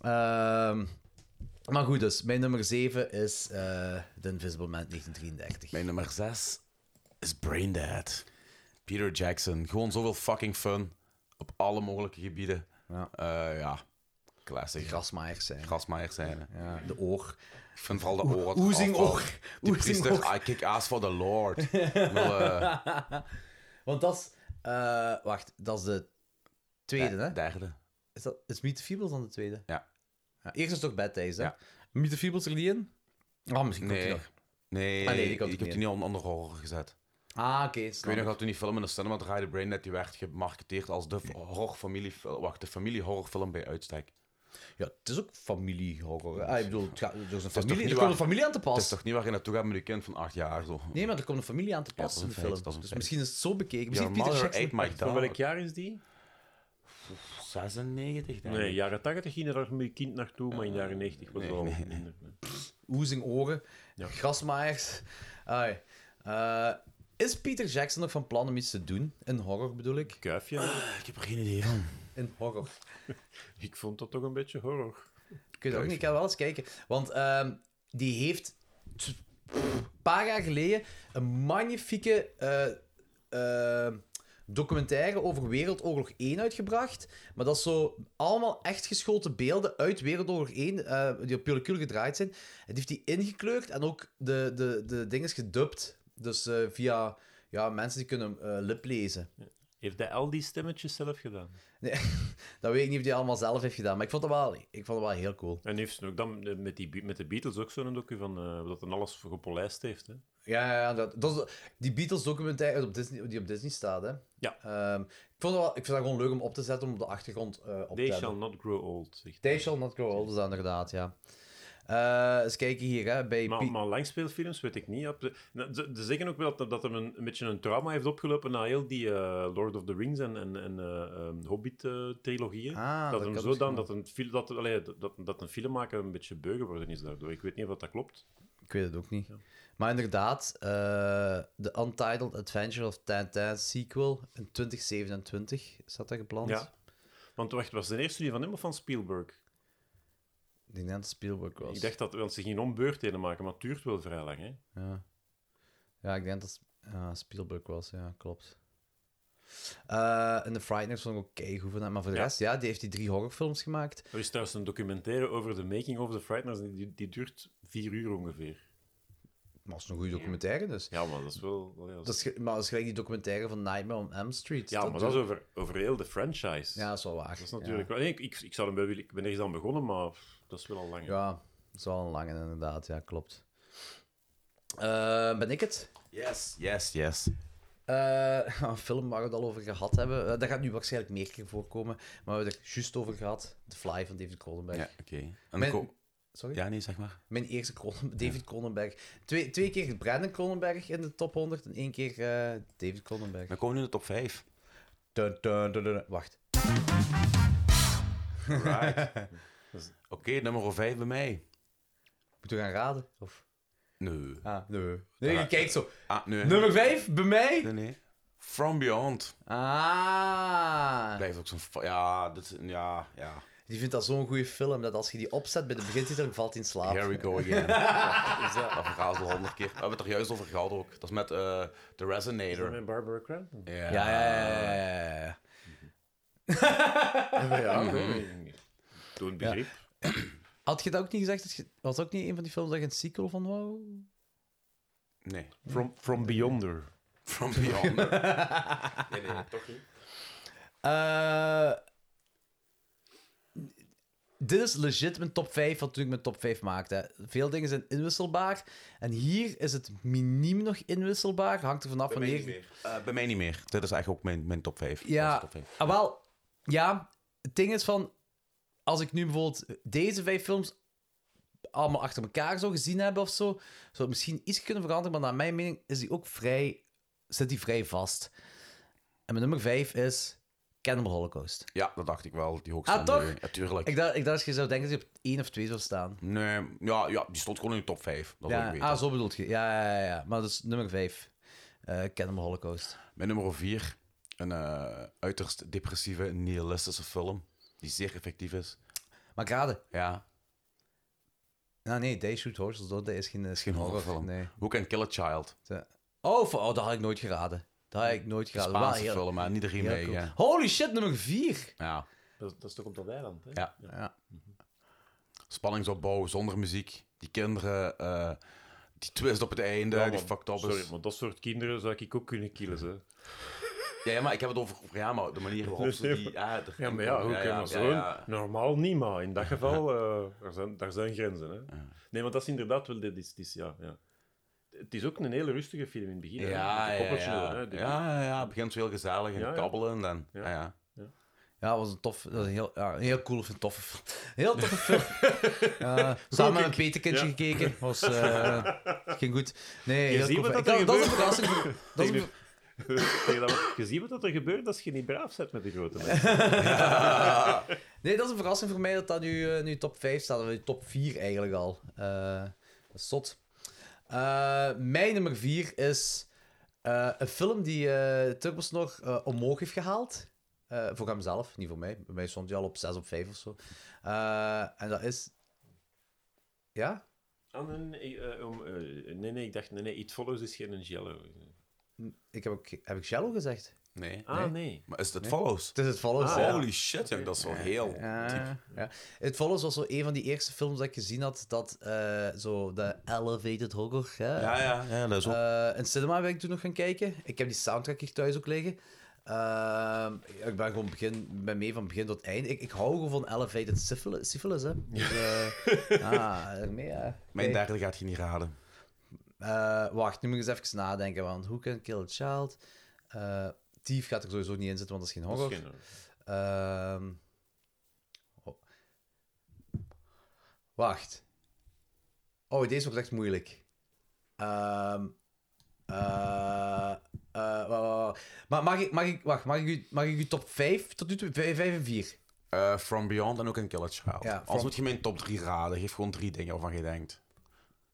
[SPEAKER 3] Ehm, maar goed, dus. Mijn nummer 7 is eh The Invisible Man 1933.
[SPEAKER 2] Mijn nummer 6 is Braindead. Peter Jackson. Gewoon zoveel fucking fun. Op alle mogelijke gebieden.
[SPEAKER 3] Ja.
[SPEAKER 2] Eh, ja. Classic.
[SPEAKER 3] Grasmaaiers zijn.
[SPEAKER 2] Grasmaaier zijn.
[SPEAKER 3] Ja, de oor.
[SPEAKER 2] Ik vind vooral de oor.
[SPEAKER 3] Oezing oor.
[SPEAKER 2] Die
[SPEAKER 3] Oezing oor.
[SPEAKER 2] priester, I kick ass for the Lord. Ik bedoel, eh,
[SPEAKER 3] Want dat is... eh, wacht, dat is de tweede, hè?
[SPEAKER 2] Derde.
[SPEAKER 3] Is, dat, is Meet the Feebles dan de tweede?
[SPEAKER 2] Ja.
[SPEAKER 3] Ja, Eerst is toch Bad Days, hè?
[SPEAKER 2] Ja.
[SPEAKER 3] Meet the Feebles er niet in? Ah, misschien komt die
[SPEAKER 2] Nee.
[SPEAKER 3] nog.
[SPEAKER 2] Nee,
[SPEAKER 3] Ah, nee, die
[SPEAKER 2] ik
[SPEAKER 3] komt
[SPEAKER 2] heb
[SPEAKER 3] niet
[SPEAKER 2] die niet on- onder horror gezet.
[SPEAKER 3] Ah, oké.
[SPEAKER 2] Ik
[SPEAKER 3] snap
[SPEAKER 2] weet nog
[SPEAKER 3] ik.
[SPEAKER 2] dat toen die film in de cinema draaide, Braindead, die werd gemarketeerd als de horrorfamilie... Wacht, de familiehorrorfilm bij uitstek.
[SPEAKER 3] Ja, het is ook familiehorror. hè. Ah, ik bedoel, het gaat, er, is een
[SPEAKER 2] toch
[SPEAKER 3] familie,
[SPEAKER 2] niet
[SPEAKER 3] er komt
[SPEAKER 2] waar-
[SPEAKER 3] een familie aan te
[SPEAKER 2] Het is
[SPEAKER 3] pas.
[SPEAKER 2] toch niet waar je naartoe gaat met je kind van acht jaar? Zo.
[SPEAKER 3] Nee, maar er komt een familie aan te
[SPEAKER 2] dat is
[SPEAKER 3] passen in
[SPEAKER 2] een
[SPEAKER 3] de
[SPEAKER 2] feit,
[SPEAKER 3] film.
[SPEAKER 2] dat is een
[SPEAKER 3] dus
[SPEAKER 2] feit.
[SPEAKER 3] misschien is het zo bekeken.
[SPEAKER 2] Your
[SPEAKER 3] Misschien Peter
[SPEAKER 2] mother
[SPEAKER 3] Jackson.
[SPEAKER 2] ate my
[SPEAKER 4] Van welk
[SPEAKER 2] dog.
[SPEAKER 4] jaar is die?
[SPEAKER 25] 96, denk ik.
[SPEAKER 4] Nee, jaren 80 ging er daar met je kind naartoe, maar in de jaren 90 was het wel minder.
[SPEAKER 3] Oezing oren,
[SPEAKER 4] Ja.
[SPEAKER 3] grasmaaiers. Ai. Eh, is Peter Jackson nog van plan om iets te doen? In horror bedoel ik.
[SPEAKER 4] Kuifje,
[SPEAKER 2] Ah, Ik heb er geen idee van.
[SPEAKER 3] In horror.
[SPEAKER 4] ik vond dat toch een beetje horror.
[SPEAKER 3] Ik weet het ook niet, ik ga wel eens kijken. Want ehm, die heeft t- een paar jaar geleden een magnifieke eh, eh, documentaire over Wereldoorlog 1 uitgebracht. Maar dat is zo allemaal echt geschoten beelden uit Wereldoorlog 1, eh, die op pellicule gedraaid zijn. En die heeft die ingekleurd en ook de, de, de dinges gedubt. Dus eh, via ja, mensen die kunnen eh, liplezen.
[SPEAKER 4] Heeft hij al die stemmetjes zelf gedaan?
[SPEAKER 3] Dat weet ik niet of die allemaal zelf heeft gedaan, maar ik vond dat wel, ik vond dat wel heel cool.
[SPEAKER 4] En heeft ze ook dan eh, met, die, Be- met de Beatles ook zo'n docu van eh, dat dan alles voor gepolijst heeft. Hè?
[SPEAKER 3] Ja, ja, ja, dat, dat is die Beatles-documentaire op Disney- die op Disney staat. Hè.
[SPEAKER 4] Ja.
[SPEAKER 3] Ehm, ik, vond dat wel, ik vind dat gewoon leuk om op te zetten, om op de achtergrond eh, op
[SPEAKER 4] They
[SPEAKER 3] te
[SPEAKER 4] shall
[SPEAKER 3] hebben.
[SPEAKER 4] not grow old. Zegt
[SPEAKER 3] They shall not grow old, is dat inderdaad, ja. Ehm, Eh, eens kijken hier, hè, bij Pi-
[SPEAKER 4] Maar, maar langspeelfilms weet ik niet. ja. Nou, Ze, ze zeggen ook wel dat, dat hem een, een beetje een trauma heeft opgelopen na heel die eh, Lord of the Rings en, en, en eh, ehm, Hobbit-trilogieën.
[SPEAKER 3] Ah,
[SPEAKER 4] eh, dat
[SPEAKER 3] dat
[SPEAKER 4] hem
[SPEAKER 3] kan
[SPEAKER 4] zo dan,
[SPEAKER 3] misschien
[SPEAKER 4] dat een, fil- dat, allee, dat, dat, dat een film maken een beetje beu geworden is daardoor. Ik weet niet of dat klopt.
[SPEAKER 3] Ik weet het ook niet. Maar inderdaad, eh, de Untitled Adventure of Tintin sequel in 2027 staat dat gepland.
[SPEAKER 4] Ja. Want wacht, was de eerste die van hem of van Spielberg?
[SPEAKER 3] Ik denk dat het Spielberg was.
[SPEAKER 4] Ik dacht dat, want ze gingen om beurtheden maken, maar het duurt wel vrij lang. Hè?
[SPEAKER 3] Ja. ja, ik denk dat het ja, Spielberg was. Ja, klopt. Eh, en The Frighteners vond ik ook keigoed van hem. Maar voor de
[SPEAKER 4] Ja.
[SPEAKER 3] rest, ja, die heeft die drie horrorfilms gemaakt.
[SPEAKER 4] Er is trouwens een documentaire over de making of The Frighteners, en die, die duurt vier uur ongeveer.
[SPEAKER 3] Maar het is een goede documentaire, dus.
[SPEAKER 4] Ja, maar dat is wel... allee, als-
[SPEAKER 3] Dat is, ge- maar dat is gelijk die documentaire van Nightmare on Elm Street.
[SPEAKER 4] ja, maar dat is over, over heel de franchise.
[SPEAKER 3] Ja, dat is wel waar.
[SPEAKER 4] Dat is natuurlijk wel... nee, ik, ik, ik zou hem wel willen... Ik ben ergens aan begonnen, maar pff, dat is wel al lang.
[SPEAKER 3] Ja, ja dat is wel een lange, inderdaad. Ja, klopt. Eh, ben ik het?
[SPEAKER 2] Yes, yes, yes.
[SPEAKER 3] Eh, een film waar we het al over gehad hebben. Eh, dat gaat nu waarschijnlijk meer keer voorkomen. Maar we hebben het er juist over gehad. The Fly van David Cronenberg.
[SPEAKER 26] Ja.
[SPEAKER 2] Oké. En
[SPEAKER 3] Mijn-
[SPEAKER 2] ko-
[SPEAKER 3] Sorry?
[SPEAKER 2] Ja, nee, zeg maar.
[SPEAKER 3] Mijn eerste Cronen- David Cronenberg. Twee, twee keer Brandon Cronenberg in de top 100 en één keer eh, David Cronenberg.
[SPEAKER 2] Dan komen we nu in de top 5.
[SPEAKER 3] Dun, dun, dun, dun. Wacht.
[SPEAKER 2] Oké, nummer 5 bij mij.
[SPEAKER 3] Moeten we gaan raden? Of...
[SPEAKER 2] Nee.
[SPEAKER 3] Ah, nee. Nee, je
[SPEAKER 2] Ah.
[SPEAKER 3] kijkt zo.
[SPEAKER 2] Ah, nee.
[SPEAKER 3] Nummer 5, bij mij?
[SPEAKER 2] Nee, nee. From Beyond.
[SPEAKER 3] Ah.
[SPEAKER 2] Blijft ook zo'n... fa- Ja, dat is... Ja, ja.
[SPEAKER 3] Die vindt dat zo'n goede film, dat als je die opzet bij de begintitel, valt hij in slaap.
[SPEAKER 2] Here we go again. Ja, is dat? Dat verhaal is al honderd keer. We hebben het er juist over gehad ook. Dat is met eh The Resonator.
[SPEAKER 4] Met Barbara Crampton.
[SPEAKER 2] Ja,
[SPEAKER 3] Ja, ja, ja, ja, ja, ja.
[SPEAKER 4] Ja, ik weet het niet. Toen begrip.
[SPEAKER 3] Had je dat ook niet gezegd? dat je- Was dat ook niet een van die films dat je een sequel van wou?
[SPEAKER 2] Nee.
[SPEAKER 4] From, from Beyonder.
[SPEAKER 2] From Beyond. nee, nee.
[SPEAKER 3] Eh, dit is legit mijn top 5 van toen ik mijn top 5 maakte. Veel dingen zijn inwisselbaar. En hier is het miniem nog inwisselbaar. Hangt er vanaf wanneer. je-
[SPEAKER 2] Eh, bij mij niet meer. Dit is eigenlijk ook mijn, mijn top 5.
[SPEAKER 3] Ja, ah, wel. Ja, het ding is van. Als ik nu bijvoorbeeld deze vijf films allemaal achter elkaar zou gezien hebben of zo, zou het misschien iets kunnen veranderen. Maar naar mijn mening is die ook vrij, zit die vrij vast. En mijn nummer 5 is Cannibal Holocaust.
[SPEAKER 2] Ja, dat dacht ik wel. Die hoogste.
[SPEAKER 3] Ah, toch?
[SPEAKER 2] Ja, tuurlijk.
[SPEAKER 3] Ik dacht, ik dacht, je zou denken dat je op één of twee zou staan.
[SPEAKER 2] Nee, ja, ja, die stond gewoon in de top 5. Dat wil ik
[SPEAKER 3] Ja,
[SPEAKER 2] weten.
[SPEAKER 3] ah, zo bedoelt je. Ja, ja, ja, ja. Maar dat is nummer vijf. Eh Cannibal Holocaust.
[SPEAKER 2] Mijn nummer 4. Een eh, uiterst depressieve, nihilistische film. Die zeer effectief is.
[SPEAKER 3] Maar ik raadde.
[SPEAKER 2] Ja.
[SPEAKER 3] Nou nee, They Shoot Horses Don't. Dat is geen, eh, is
[SPEAKER 2] Geen horrorfilm.
[SPEAKER 3] Nee.
[SPEAKER 2] Who Can Kill a Child.
[SPEAKER 3] Oh, voor- oh, dat had ik nooit geraden. Dat had ik nooit
[SPEAKER 2] Een
[SPEAKER 3] geraden.
[SPEAKER 2] Spaanse
[SPEAKER 3] Wel heel-
[SPEAKER 2] film, maar niet de
[SPEAKER 3] heel
[SPEAKER 2] remake.
[SPEAKER 3] cool.
[SPEAKER 2] Ja.
[SPEAKER 3] Holy shit, nummer vier.
[SPEAKER 2] ja.
[SPEAKER 4] Dat, dat is toch op dat eiland, hè?
[SPEAKER 2] Ja. Spanningsopbouw zonder muziek. Die kinderen, eh, die twist op het einde,
[SPEAKER 4] Ja,
[SPEAKER 2] die
[SPEAKER 4] maar-
[SPEAKER 2] fucked up is.
[SPEAKER 4] Sorry, maar dat soort kinderen zou ik ook kunnen killen, hè.
[SPEAKER 2] Ja, ja, maar ik heb het over ja, maar de manier waarop ze die... Ja, er-
[SPEAKER 4] Dus Ja, maar ja, hoe kan
[SPEAKER 2] ja,
[SPEAKER 4] dat
[SPEAKER 2] ja,
[SPEAKER 4] zo?
[SPEAKER 2] ja.
[SPEAKER 4] Normaal niet, maar in dat geval, eh, daar, zijn, daar zijn grenzen. Hè? Nee, maar dat is inderdaad wel... Dit is, dit is- ja, ja. Het is ook een hele rustige film in het begin. hè.
[SPEAKER 2] Ja,
[SPEAKER 4] Met de
[SPEAKER 2] ja,
[SPEAKER 4] koppertje,
[SPEAKER 2] ja.
[SPEAKER 4] hè. Die-
[SPEAKER 2] Ja, ja, ja, het begint zo heel gezellig en
[SPEAKER 4] Ja, ja.
[SPEAKER 2] kabbelen en dan...
[SPEAKER 4] Ja.
[SPEAKER 2] Ja, ja.
[SPEAKER 3] Ja, dat was een tof, dat was een heel, ja, een heel cool, een toffe film. Heel toffe film. Eh, samen met een Peterkindje
[SPEAKER 4] Ja.
[SPEAKER 3] gekeken. Was, eh, ging goed. Nee, heel
[SPEAKER 4] ziet
[SPEAKER 3] cool
[SPEAKER 4] wat
[SPEAKER 3] film.
[SPEAKER 4] dat er
[SPEAKER 3] Ik- dat is een
[SPEAKER 4] gebeurt.
[SPEAKER 3] verrassing. voor- Dat is
[SPEAKER 4] Tegen
[SPEAKER 3] een,
[SPEAKER 4] de- tegen dat we- Je ziet wat er gebeurt als je niet braaf bent met de grote mensen.
[SPEAKER 3] Nee, dat is een verrassing voor mij dat dat nu, eh, nu top 5 staat. Of eh, top 4 eigenlijk al. Eh, dat is zot. Eh, mijn nummer 4 is eh, een film die eh Turbos nog eh, omhoog heeft gehaald. Eh, voor hemzelf, niet voor mij. Bij mij stond hij al op 6 op 5 of zo. Eh, en dat is. Ja?
[SPEAKER 4] Ah, nee, nee, eh, om, eh, nee, nee, ik dacht, nee, nee, It Follows is geen eh. Jello.
[SPEAKER 3] Ik heb, ook, heb ik Shallow gezegd?
[SPEAKER 2] Nee.
[SPEAKER 4] Ah, nee.
[SPEAKER 2] Maar is het Follows?
[SPEAKER 3] Het is het Follows. ja.
[SPEAKER 2] Holy shit, jong, dat is wel heel...
[SPEAKER 3] Ja, ja. Het Follows was zo een van die eerste films dat ik gezien had. Dat eh, zo de elevated horror. Hè?
[SPEAKER 2] Ja, ja, ja, dat is ook...
[SPEAKER 3] Eh, in cinema ben ik toen nog gaan kijken. Ik heb die soundtrack hier thuis ook liggen. Ehm, ik ben gewoon begin, ben mee van begin tot eind. Ik, ik hou gewoon van elevated syphilis, syphilis hè. Dus, eh, ah, ermee, ja.
[SPEAKER 2] Mijn
[SPEAKER 3] Oké.
[SPEAKER 2] derde gaat je niet raden.
[SPEAKER 3] Eh, wacht, nu moet ik eens even nadenken, want Who Can Kill a Child? Eh Thief gaat er sowieso niet in zitten, want dat is geen
[SPEAKER 4] Dat is
[SPEAKER 3] horror.
[SPEAKER 4] geen eh, horror.
[SPEAKER 3] Ehm, oh. Wacht. Oh, deze wordt echt moeilijk. Ehm, eh, eh, eh, maar mag ik, mag ik, wacht, mag ik, u- mag ik uw top 5 tot nu toe? 5 en 4.
[SPEAKER 2] Eh, From Beyond en ook een Kill a Child.
[SPEAKER 3] Ja,
[SPEAKER 2] Als
[SPEAKER 3] From-
[SPEAKER 2] moet je mijn top 3 raden, geef gewoon drie dingen waarvan je denkt.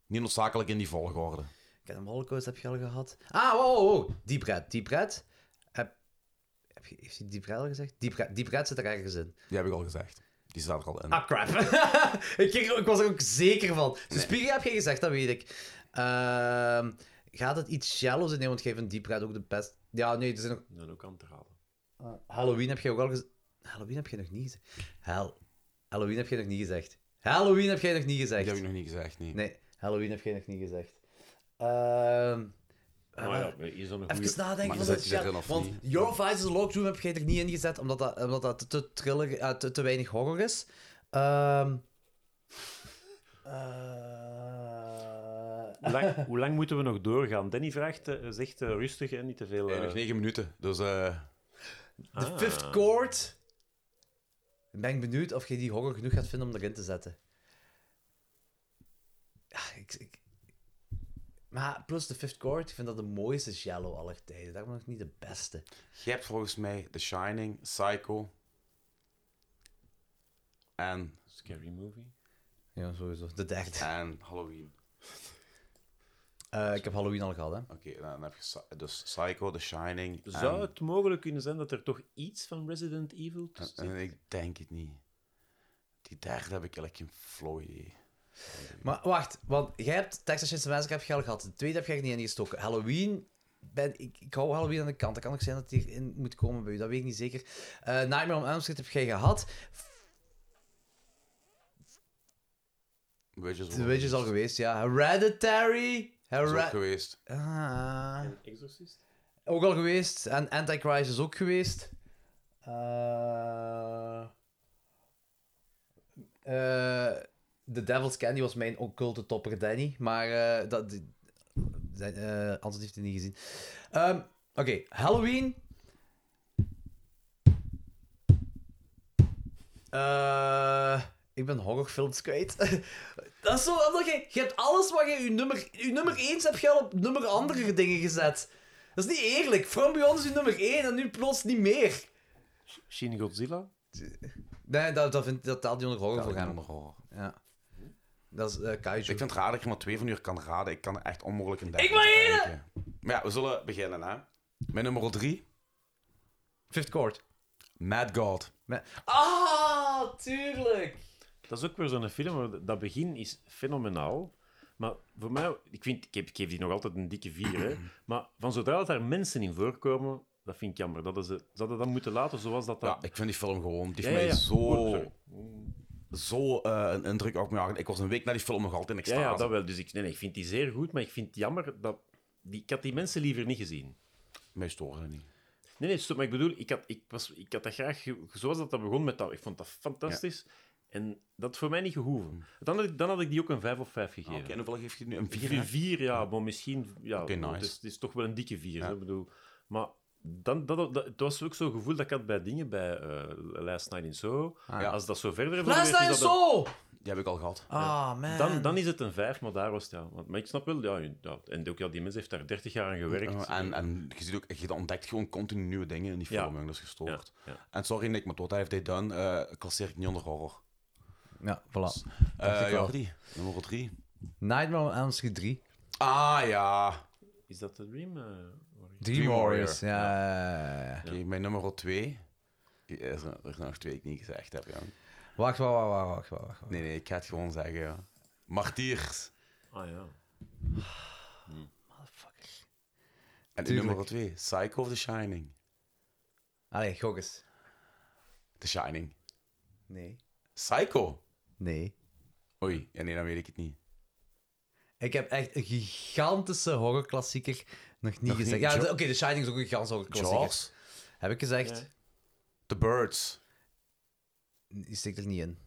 [SPEAKER 2] Niet noodzakelijk in die volgorde.
[SPEAKER 3] Ik heb een rollercoaster heb je al gehad. Ah, wow, wow, wow. Deep Red, Deep Red. Heb, heb je, heeft hij Deep Red al gezegd? Deep Red, Deep Red zit er ergens in.
[SPEAKER 2] Die heb ik al gezegd. Die staat er al in.
[SPEAKER 3] Ah, crap. ik, kreeg- ik was er ook zeker van. Suspiria heb jij gezegd, dat weet ik. Ehm, gaat het iets shallow zijn? Nee, want jij vindt Deep Red ook de best. Ja, nee, er zijn nog...
[SPEAKER 4] Dan ook aan te halen.
[SPEAKER 3] Halloween heb jij ook al gezegd. Halloween heb jij nog niet gezegd. Hel... Halloween heb jij nog niet gezegd. Halloween heb jij nog niet gezegd.
[SPEAKER 2] Die heb ik nog niet gezegd, nee.
[SPEAKER 3] Nee, Halloween heb jij nog niet gezegd. Ehm
[SPEAKER 2] Oh,
[SPEAKER 4] Maar ja, hier is dan een goede.
[SPEAKER 3] eh, Even nadenken
[SPEAKER 2] Maar
[SPEAKER 3] van
[SPEAKER 2] zet
[SPEAKER 3] dat
[SPEAKER 2] je erin
[SPEAKER 3] shit.
[SPEAKER 2] of
[SPEAKER 3] Want
[SPEAKER 2] niet?
[SPEAKER 3] Your Vice is a Lockdown heb jij er niet in gezet, omdat dat, omdat dat te, thriller, eh, te, te weinig horror is. Ehm eh,
[SPEAKER 4] Hoe lang, hoe lang moeten we nog doorgaan? Danny vraagt, eh, zegt eh, rustig en niet te veel.
[SPEAKER 2] Eh,
[SPEAKER 4] eh,
[SPEAKER 2] nog 9 minuten, dus eh,
[SPEAKER 3] The Fifth Chord. Ik ben benieuwd of jij die horror genoeg gaat vinden om erin te zetten. Ja, ik, ik... Maar plus The Fifth Chord, ik vind dat de mooiste shallow aller tijden. Daarom nog niet de beste.
[SPEAKER 2] je hebt volgens mij The Shining, Psycho en,
[SPEAKER 4] Scary movie.
[SPEAKER 3] Ja, sowieso. De derde.
[SPEAKER 2] en Halloween.
[SPEAKER 3] Eh, ik heb Halloween al gehad, hè.
[SPEAKER 2] Oké, dan heb je Psy- dus Psycho, The Shining en-
[SPEAKER 4] Zou het mogelijk kunnen zijn dat er toch iets van Resident Evil
[SPEAKER 2] en,
[SPEAKER 4] tussen
[SPEAKER 2] en
[SPEAKER 4] zit?
[SPEAKER 2] Eh, ik denk het niet. Die derde heb ik eigenlijk geen flow idee.
[SPEAKER 3] Maar wacht, want jij hebt Texas Chainsaw Massacre heb je al gehad. De tweede heb je er niet ingestoken. Halloween, ben, ik, ik hou Halloween aan de kant. Dat kan ook zijn dat die erin moet komen bij u. Dat weet ik niet zeker. Eh, Nightmare on Elm Street heb jij gehad.
[SPEAKER 2] Weet je,
[SPEAKER 3] The Witch is al geweest, ja. Hereditary.
[SPEAKER 2] Is ook
[SPEAKER 3] Heredi-
[SPEAKER 2] geweest.
[SPEAKER 3] Ah,
[SPEAKER 4] Exorcist?
[SPEAKER 3] ook al geweest. En Antichrist is ook geweest. Eh, eh, The Devil's Candy was mijn occulte topper, Danny. Maar eh, dat... die- Zijn, eh, Anton heeft het niet gezien. Ehm, Oké, Halloween. Eh, ik ben horrorfilms kwijt. dat is zo omdat je... Je hebt alles wat je... Je nummer, je nummer 1 heb je al op nummer andere dingen gezet. Dat is niet eerlijk. From Beyond is je nummer 1 en nu plots niet meer.
[SPEAKER 4] Shin Godzilla?
[SPEAKER 3] Nee, dat, dat, vind, dat telt niet onder horror
[SPEAKER 2] Ja, ik
[SPEAKER 3] voor
[SPEAKER 2] ben
[SPEAKER 3] hem.
[SPEAKER 2] onder horror.
[SPEAKER 3] Ja. Dat is eh kaiju.
[SPEAKER 2] Ik vind het raar dat je maar twee van uur kan raden. Ik kan er echt onmogelijk een derde
[SPEAKER 3] Ik wil
[SPEAKER 2] aan
[SPEAKER 3] heden!
[SPEAKER 2] denken. Maar ja, we zullen beginnen, hè. Mijn nummer drie,
[SPEAKER 3] Fifth Chord.
[SPEAKER 2] Mad God.
[SPEAKER 3] Ah, tuurlijk.
[SPEAKER 4] Dat is ook weer zo'n film, waar dat begin is fenomenaal. Maar voor mij, ik, vind, ik, heb, ik geef die nog altijd een dikke vier. Hè. Maar van zodra dat daar mensen in voorkomen, dat vind ik jammer. Dat is, ze hadden dat moeten laten zoals dat...
[SPEAKER 2] Ja,
[SPEAKER 4] dat...
[SPEAKER 2] ik vind die film gewoon... Die
[SPEAKER 4] Ja,
[SPEAKER 2] heeft
[SPEAKER 4] ja,
[SPEAKER 2] mij
[SPEAKER 4] ja.
[SPEAKER 2] zo,
[SPEAKER 4] Oh, sorry.
[SPEAKER 2] zo eh, een indruk op me gehad. Ik was een week na die film nog altijd in
[SPEAKER 4] Ja,
[SPEAKER 2] extase.
[SPEAKER 4] ja, dat wel. Dus ik, nee, nee, ik vind die zeer goed, maar ik vind het jammer dat... Die, ik had die mensen liever niet gezien.
[SPEAKER 2] Mij storen dat niet.
[SPEAKER 4] Nee, nee, stop. Maar ik bedoel, ik had, ik, was, ik had dat graag... ge- Zoals dat, dat begon met dat... Ik vond dat fantastisch. En dat had voor mij niet gehoeven. Dan had ik, dan had ik die ook een 5 of 5 gegeven.
[SPEAKER 2] Ah, Oké, en hoeveel geef je nu? Een vier?
[SPEAKER 4] Vier,
[SPEAKER 2] hè?
[SPEAKER 4] vier ja, maar misschien... Ja,
[SPEAKER 2] Oké, nice.
[SPEAKER 4] het, is, het is toch wel een dikke vier,
[SPEAKER 2] Ja.
[SPEAKER 4] hè, ik bedoel. Maar dan, dat, dat, het was ook zo'n gevoel dat ik had bij dingen, bij eh, Last Night in Soho.
[SPEAKER 2] Ah, ja.
[SPEAKER 4] Als dat zo verder...
[SPEAKER 3] Last
[SPEAKER 4] evolueert, is
[SPEAKER 3] Night
[SPEAKER 4] dat
[SPEAKER 3] is
[SPEAKER 4] een-
[SPEAKER 3] zo.
[SPEAKER 2] Die heb ik al gehad.
[SPEAKER 3] Ah, man.
[SPEAKER 4] Dan, dan is het een vijf, maar daar was het ja. Want, maar ik snap wel, ja, je- ja, en ook, ja, die mens heeft daar 30 jaar aan gewerkt.
[SPEAKER 2] Oh, En, en je, ziet ook, je ontdekt gewoon continu nieuwe dingen in die
[SPEAKER 4] Ja.
[SPEAKER 2] film. jong, Dat is gestoord.
[SPEAKER 4] Ja, ja.
[SPEAKER 2] En sorry Nick, maar tot hij heeft dit done, eh, klasseer ik niet onder horror.
[SPEAKER 3] Ja, voilà.
[SPEAKER 2] Eh,
[SPEAKER 3] ik wel.
[SPEAKER 2] Jordi, nummer drie.
[SPEAKER 3] Nightmare on Elm Street 3.
[SPEAKER 2] Ah ja,
[SPEAKER 4] Is dat de Dream? eh, Warrior?
[SPEAKER 3] Dream, Warriors, ja.
[SPEAKER 2] Oké, mijn nummer twee. Er is er er zijn nog twee die ik niet gezegd heb. Ja.
[SPEAKER 3] Wacht, wacht, wacht, wacht, wacht, wacht, wacht.
[SPEAKER 2] Nee, nee, ik ga het gewoon zeggen. Ja. Martiers.
[SPEAKER 4] Ah ja.
[SPEAKER 2] En uw
[SPEAKER 3] Tuurlijk.
[SPEAKER 2] nummer twee, Psycho of The Shining.
[SPEAKER 3] Allee, gok eens.
[SPEAKER 2] The Shining.
[SPEAKER 3] Nee.
[SPEAKER 2] Psycho?
[SPEAKER 3] Nee.
[SPEAKER 2] Oei, ja, nee, dan weet ik het niet.
[SPEAKER 3] Ik heb echt een gigantische horrorklassieker nog niet
[SPEAKER 2] niet?
[SPEAKER 3] gezegd. Ja,
[SPEAKER 2] Jo-
[SPEAKER 3] oké, The Shining is ook een gigantische horrorklassieker.
[SPEAKER 2] Jaws?
[SPEAKER 3] Heb ik gezegd.
[SPEAKER 4] Ja.
[SPEAKER 2] The Birds.
[SPEAKER 3] Die steekt er niet in.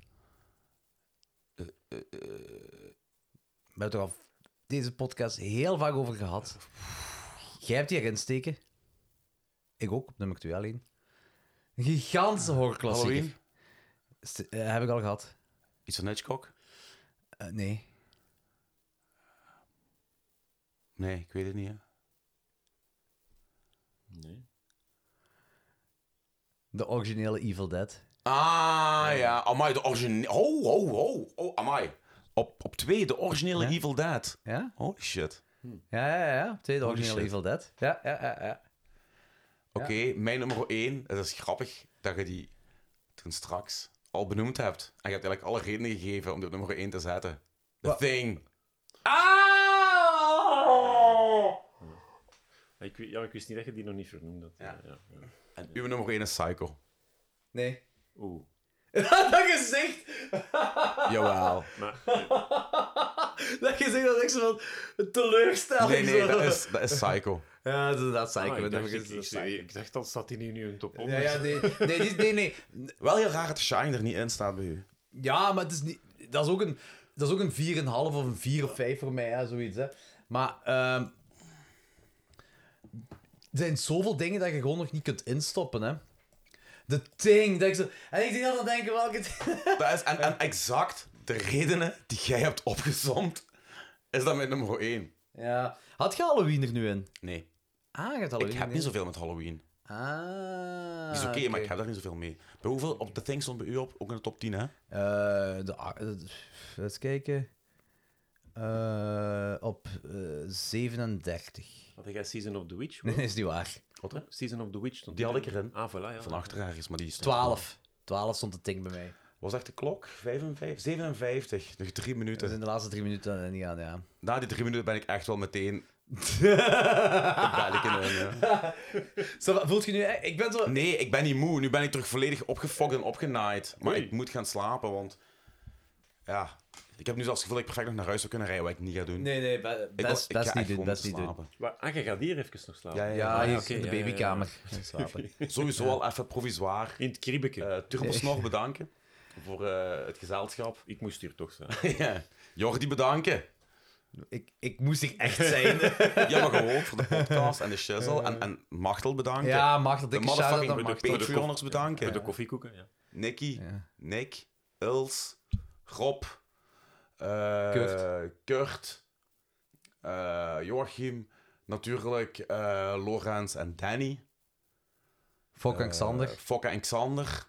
[SPEAKER 3] Eh, We hebben het er al deze podcast heel vaak over gehad. Jij hebt die erin steken. Ik ook, op nummer 2 alleen. Een gigantische horrorklassieker.
[SPEAKER 2] Halloween?
[SPEAKER 3] St- eh, heb ik al gehad.
[SPEAKER 2] Iets van Hitchcock?
[SPEAKER 3] Eh, nee.
[SPEAKER 2] Nee, ik weet het niet. Hè.
[SPEAKER 7] Nee.
[SPEAKER 3] De originele Evil Dead.
[SPEAKER 2] Ah, ja. Amai, de originele... Oh, oh, oh. Oh, amai. Op, op twee, de originele
[SPEAKER 3] Ja.
[SPEAKER 2] Evil Dead.
[SPEAKER 3] Ja?
[SPEAKER 2] Holy shit.
[SPEAKER 3] Ja, ja, ja, ja. Tweede
[SPEAKER 2] Holy
[SPEAKER 3] originele
[SPEAKER 2] shit.
[SPEAKER 3] Evil Dead. Ja, ja, ja. ja.
[SPEAKER 2] Oké, mijn nummer één. Het is grappig dat je die toen straks al benoemd hebt. En je hebt eigenlijk alle redenen gegeven om dit op nummer één te zetten. The Thing.
[SPEAKER 3] Oh!
[SPEAKER 7] Ah, Ik, wi- ja, ik wist niet dat je die nog niet vernoemd had. Ja. Ja, ja.
[SPEAKER 2] En uw nummer één is Psycho.
[SPEAKER 3] Nee.
[SPEAKER 7] Oeh.
[SPEAKER 3] dat gezicht!
[SPEAKER 2] Jawel.
[SPEAKER 7] Maar
[SPEAKER 3] Dat gezicht dat echt zo van teleurstelling.
[SPEAKER 2] Nee, nee,
[SPEAKER 3] zo. Oh
[SPEAKER 2] dat is, dat is Psycho.
[SPEAKER 3] Ja, dat is inderdaad psycho.
[SPEAKER 7] Ah, ik
[SPEAKER 3] Dat
[SPEAKER 7] dacht,
[SPEAKER 3] is-
[SPEAKER 7] ik-
[SPEAKER 3] dat is
[SPEAKER 1] Ik,
[SPEAKER 3] psycho.
[SPEAKER 1] ik dacht al, staat die nu in top 100.
[SPEAKER 3] Ja, ja, nee, nee, die is- nee, nee.
[SPEAKER 2] Wel heel raar dat Shine er niet in staat bij u.
[SPEAKER 3] Ja, maar het is niet, dat is ook een, dat is ook een 4,5 of een 4 of 5 voor mij, hè, zoiets. Hè. Maar ehm, er zijn zoveel dingen dat je gewoon nog niet kunt instoppen. Hè. De thing, dat ik zo... En ik denk altijd denken, welke...
[SPEAKER 2] Dat is, en, en exact de redenen die jij hebt opgezomd, is dat mijn nummer één.
[SPEAKER 3] ja. Had je Halloween er nu in?
[SPEAKER 2] Nee,
[SPEAKER 3] Ah, je had
[SPEAKER 2] ik
[SPEAKER 3] Halloween
[SPEAKER 2] heb
[SPEAKER 3] er
[SPEAKER 2] niet
[SPEAKER 3] in.
[SPEAKER 2] zoveel met Halloween.
[SPEAKER 3] Ah.
[SPEAKER 2] Die is oké, maar ik heb daar niet zoveel mee. Bij hoeveel op The Thing stond bij u op? Ook in de top 10, hè?
[SPEAKER 3] Eh, de, a- eh, eens kijken. Eh, op eh, 37.
[SPEAKER 7] had jij Season of the Witch?
[SPEAKER 3] Nee, is niet waar.
[SPEAKER 7] Wat? hè? Season of the Witch. stond
[SPEAKER 2] Die had
[SPEAKER 7] erin.
[SPEAKER 2] ik erin.
[SPEAKER 7] Ah, voilà, ja.
[SPEAKER 3] Oh.
[SPEAKER 2] Van achter ergens, maar die stond...
[SPEAKER 3] 12. 12 stond de ting bij mij.
[SPEAKER 2] Was echt de klok? 55? 57. Nog drie
[SPEAKER 3] Dus
[SPEAKER 2] minuten.
[SPEAKER 3] in de laatste drie minuten eh, niet aan, ja.
[SPEAKER 2] Na die drie minuten ben ik echt wel meteen... Dan ben ik in een, ja.
[SPEAKER 3] Zo, wat voelt je nu... eh, Ik ben zo...
[SPEAKER 2] Nee, ik ben niet moe. Nu ben ik terug volledig opgefokt en opgenaaid. Maar ik moet gaan slapen, want... Ja, ik heb nu zelfs het gevoel dat ik perfect nog naar huis zou kunnen rijden, wat ik niet ga doen.
[SPEAKER 3] Nee, nee, be-
[SPEAKER 2] Ik wil-
[SPEAKER 3] best,
[SPEAKER 2] ik
[SPEAKER 3] best
[SPEAKER 2] ga echt
[SPEAKER 3] niet doen,
[SPEAKER 2] gewoon
[SPEAKER 3] best niet doen.
[SPEAKER 2] slapen.
[SPEAKER 7] Wa- Ah, je gaat hier even nog slapen.
[SPEAKER 2] Ja, ja,
[SPEAKER 3] Ja,
[SPEAKER 2] ja.
[SPEAKER 3] hier
[SPEAKER 7] Ah, oké,
[SPEAKER 3] in de
[SPEAKER 7] ja, ja, ja.
[SPEAKER 3] babykamer. Slapen.
[SPEAKER 2] Sowieso al even provisoir.
[SPEAKER 7] In het kriebeke.
[SPEAKER 2] Eh Turbosnor bedanken voor eh, het gezelschap.
[SPEAKER 7] ik moest hier toch zijn.
[SPEAKER 2] ja. Jordi bedanken.
[SPEAKER 3] Ik, ik moest hier echt zijn.
[SPEAKER 2] Ja, maar gewoon voor de podcast en de shizzle. En, en Machtel bedanken.
[SPEAKER 3] ja, mag dat.
[SPEAKER 2] de
[SPEAKER 3] Ik shout-out
[SPEAKER 2] motherfucking
[SPEAKER 3] naar
[SPEAKER 2] de
[SPEAKER 3] Martel.
[SPEAKER 2] Patreoners bedanken.
[SPEAKER 7] Met de koffiekoeken, ja.
[SPEAKER 2] Nicky,
[SPEAKER 3] Ja.
[SPEAKER 2] Nick, Ils, Rob, eh,
[SPEAKER 3] Kurt.
[SPEAKER 2] Kurt, eh, Joachim, natuurlijk eh Lorenz en Danny.
[SPEAKER 3] Fok en Xander.
[SPEAKER 2] Eh, Fokke en Xander.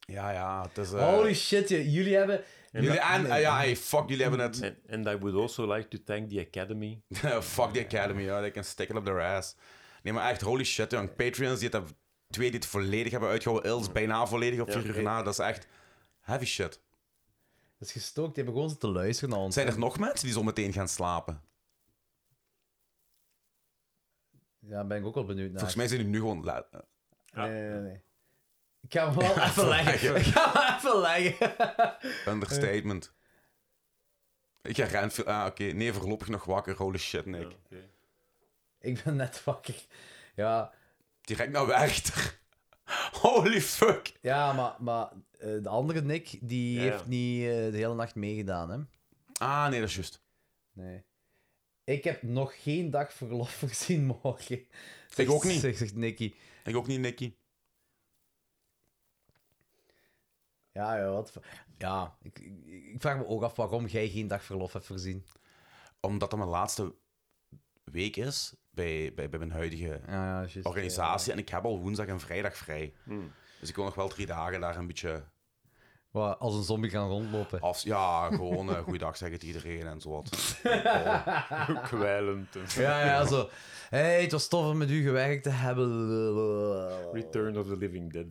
[SPEAKER 2] Ja, ja, het is... eh,
[SPEAKER 3] Holy shit, je- jullie hebben...
[SPEAKER 2] Jullie en, eh, ja, hey, fuck, jullie hebben het.
[SPEAKER 7] En and I would also like to thank the Academy.
[SPEAKER 2] fuck the academy, ja, they can stick it up their ass. Nee, maar echt, holy shit, jong. Patreons die het hebben, twee die het volledig hebben uitgehouden. Ils bijna volledig op vier uur na. Dat is echt heavy shit.
[SPEAKER 3] Dat is gestookt, die hebben gewoon zitten luisteren naar ons.
[SPEAKER 2] Zijn er nog mensen die zo meteen gaan slapen?
[SPEAKER 3] Ja, daar ben ik ook wel benieuwd naar.
[SPEAKER 2] Volgens mij zijn die nu gewoon... la- eh,
[SPEAKER 3] Nee, nee, nee, nee. Ik ga hem wel even leggen. Ik ga hem even leggen.
[SPEAKER 2] Understatement. Ik ga Renfield... Ah, oké. Nee, voorlopig nog wakker. Holy shit, Nick.
[SPEAKER 3] Ik ben net wakker. Ja,
[SPEAKER 2] Direct naar Werchter. Holy fuck.
[SPEAKER 3] ja maar, maar eh, de andere Nick, die
[SPEAKER 7] Ja, ja.
[SPEAKER 3] heeft niet eh, de hele nacht meegedaan, hè.
[SPEAKER 2] Ah, nee, dat is juist.
[SPEAKER 3] Nee. Ik heb nog geen dag verlof gezien morgen.
[SPEAKER 2] Ik ook niet.
[SPEAKER 3] Zegt, zegt Nicky.
[SPEAKER 2] Ik ook niet, Nicky.
[SPEAKER 3] Ja, ja, wat. voor- Ja, ik, ik, ik vraag me ook af waarom jij geen dag verlof hebt voorzien.
[SPEAKER 2] Omdat dat mijn laatste week is bij, bij, bij mijn huidige
[SPEAKER 3] Ja, ja, juist.
[SPEAKER 2] organisatie. En ik heb al woensdag en vrijdag vrij. Dus ik wil nog wel drie dagen daar een beetje
[SPEAKER 3] Wat, als een zombie gaan rondlopen.
[SPEAKER 2] af... Ja, gewoon eh, goeiedag zeggen tegen iedereen en zo wat.
[SPEAKER 1] Kwijlend.
[SPEAKER 3] Ja, ja, zo. Hé, hey, het was tof om met u gewerkt te hebben.
[SPEAKER 7] Return of the Living Dead.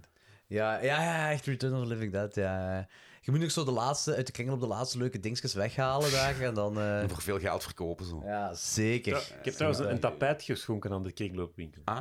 [SPEAKER 3] Ja, ja, ja, echt Return of the Living Dead, ja. ja. Je moet nog zo de laatste, uit de kringel op de laatste leuke dingetjes weghalen daar. En dan... eh,
[SPEAKER 2] En voor veel geld verkopen zo.
[SPEAKER 3] Ja, zeker.
[SPEAKER 7] Ik heb trouwens een, een tapijt geschonken aan de kringloopwinkel.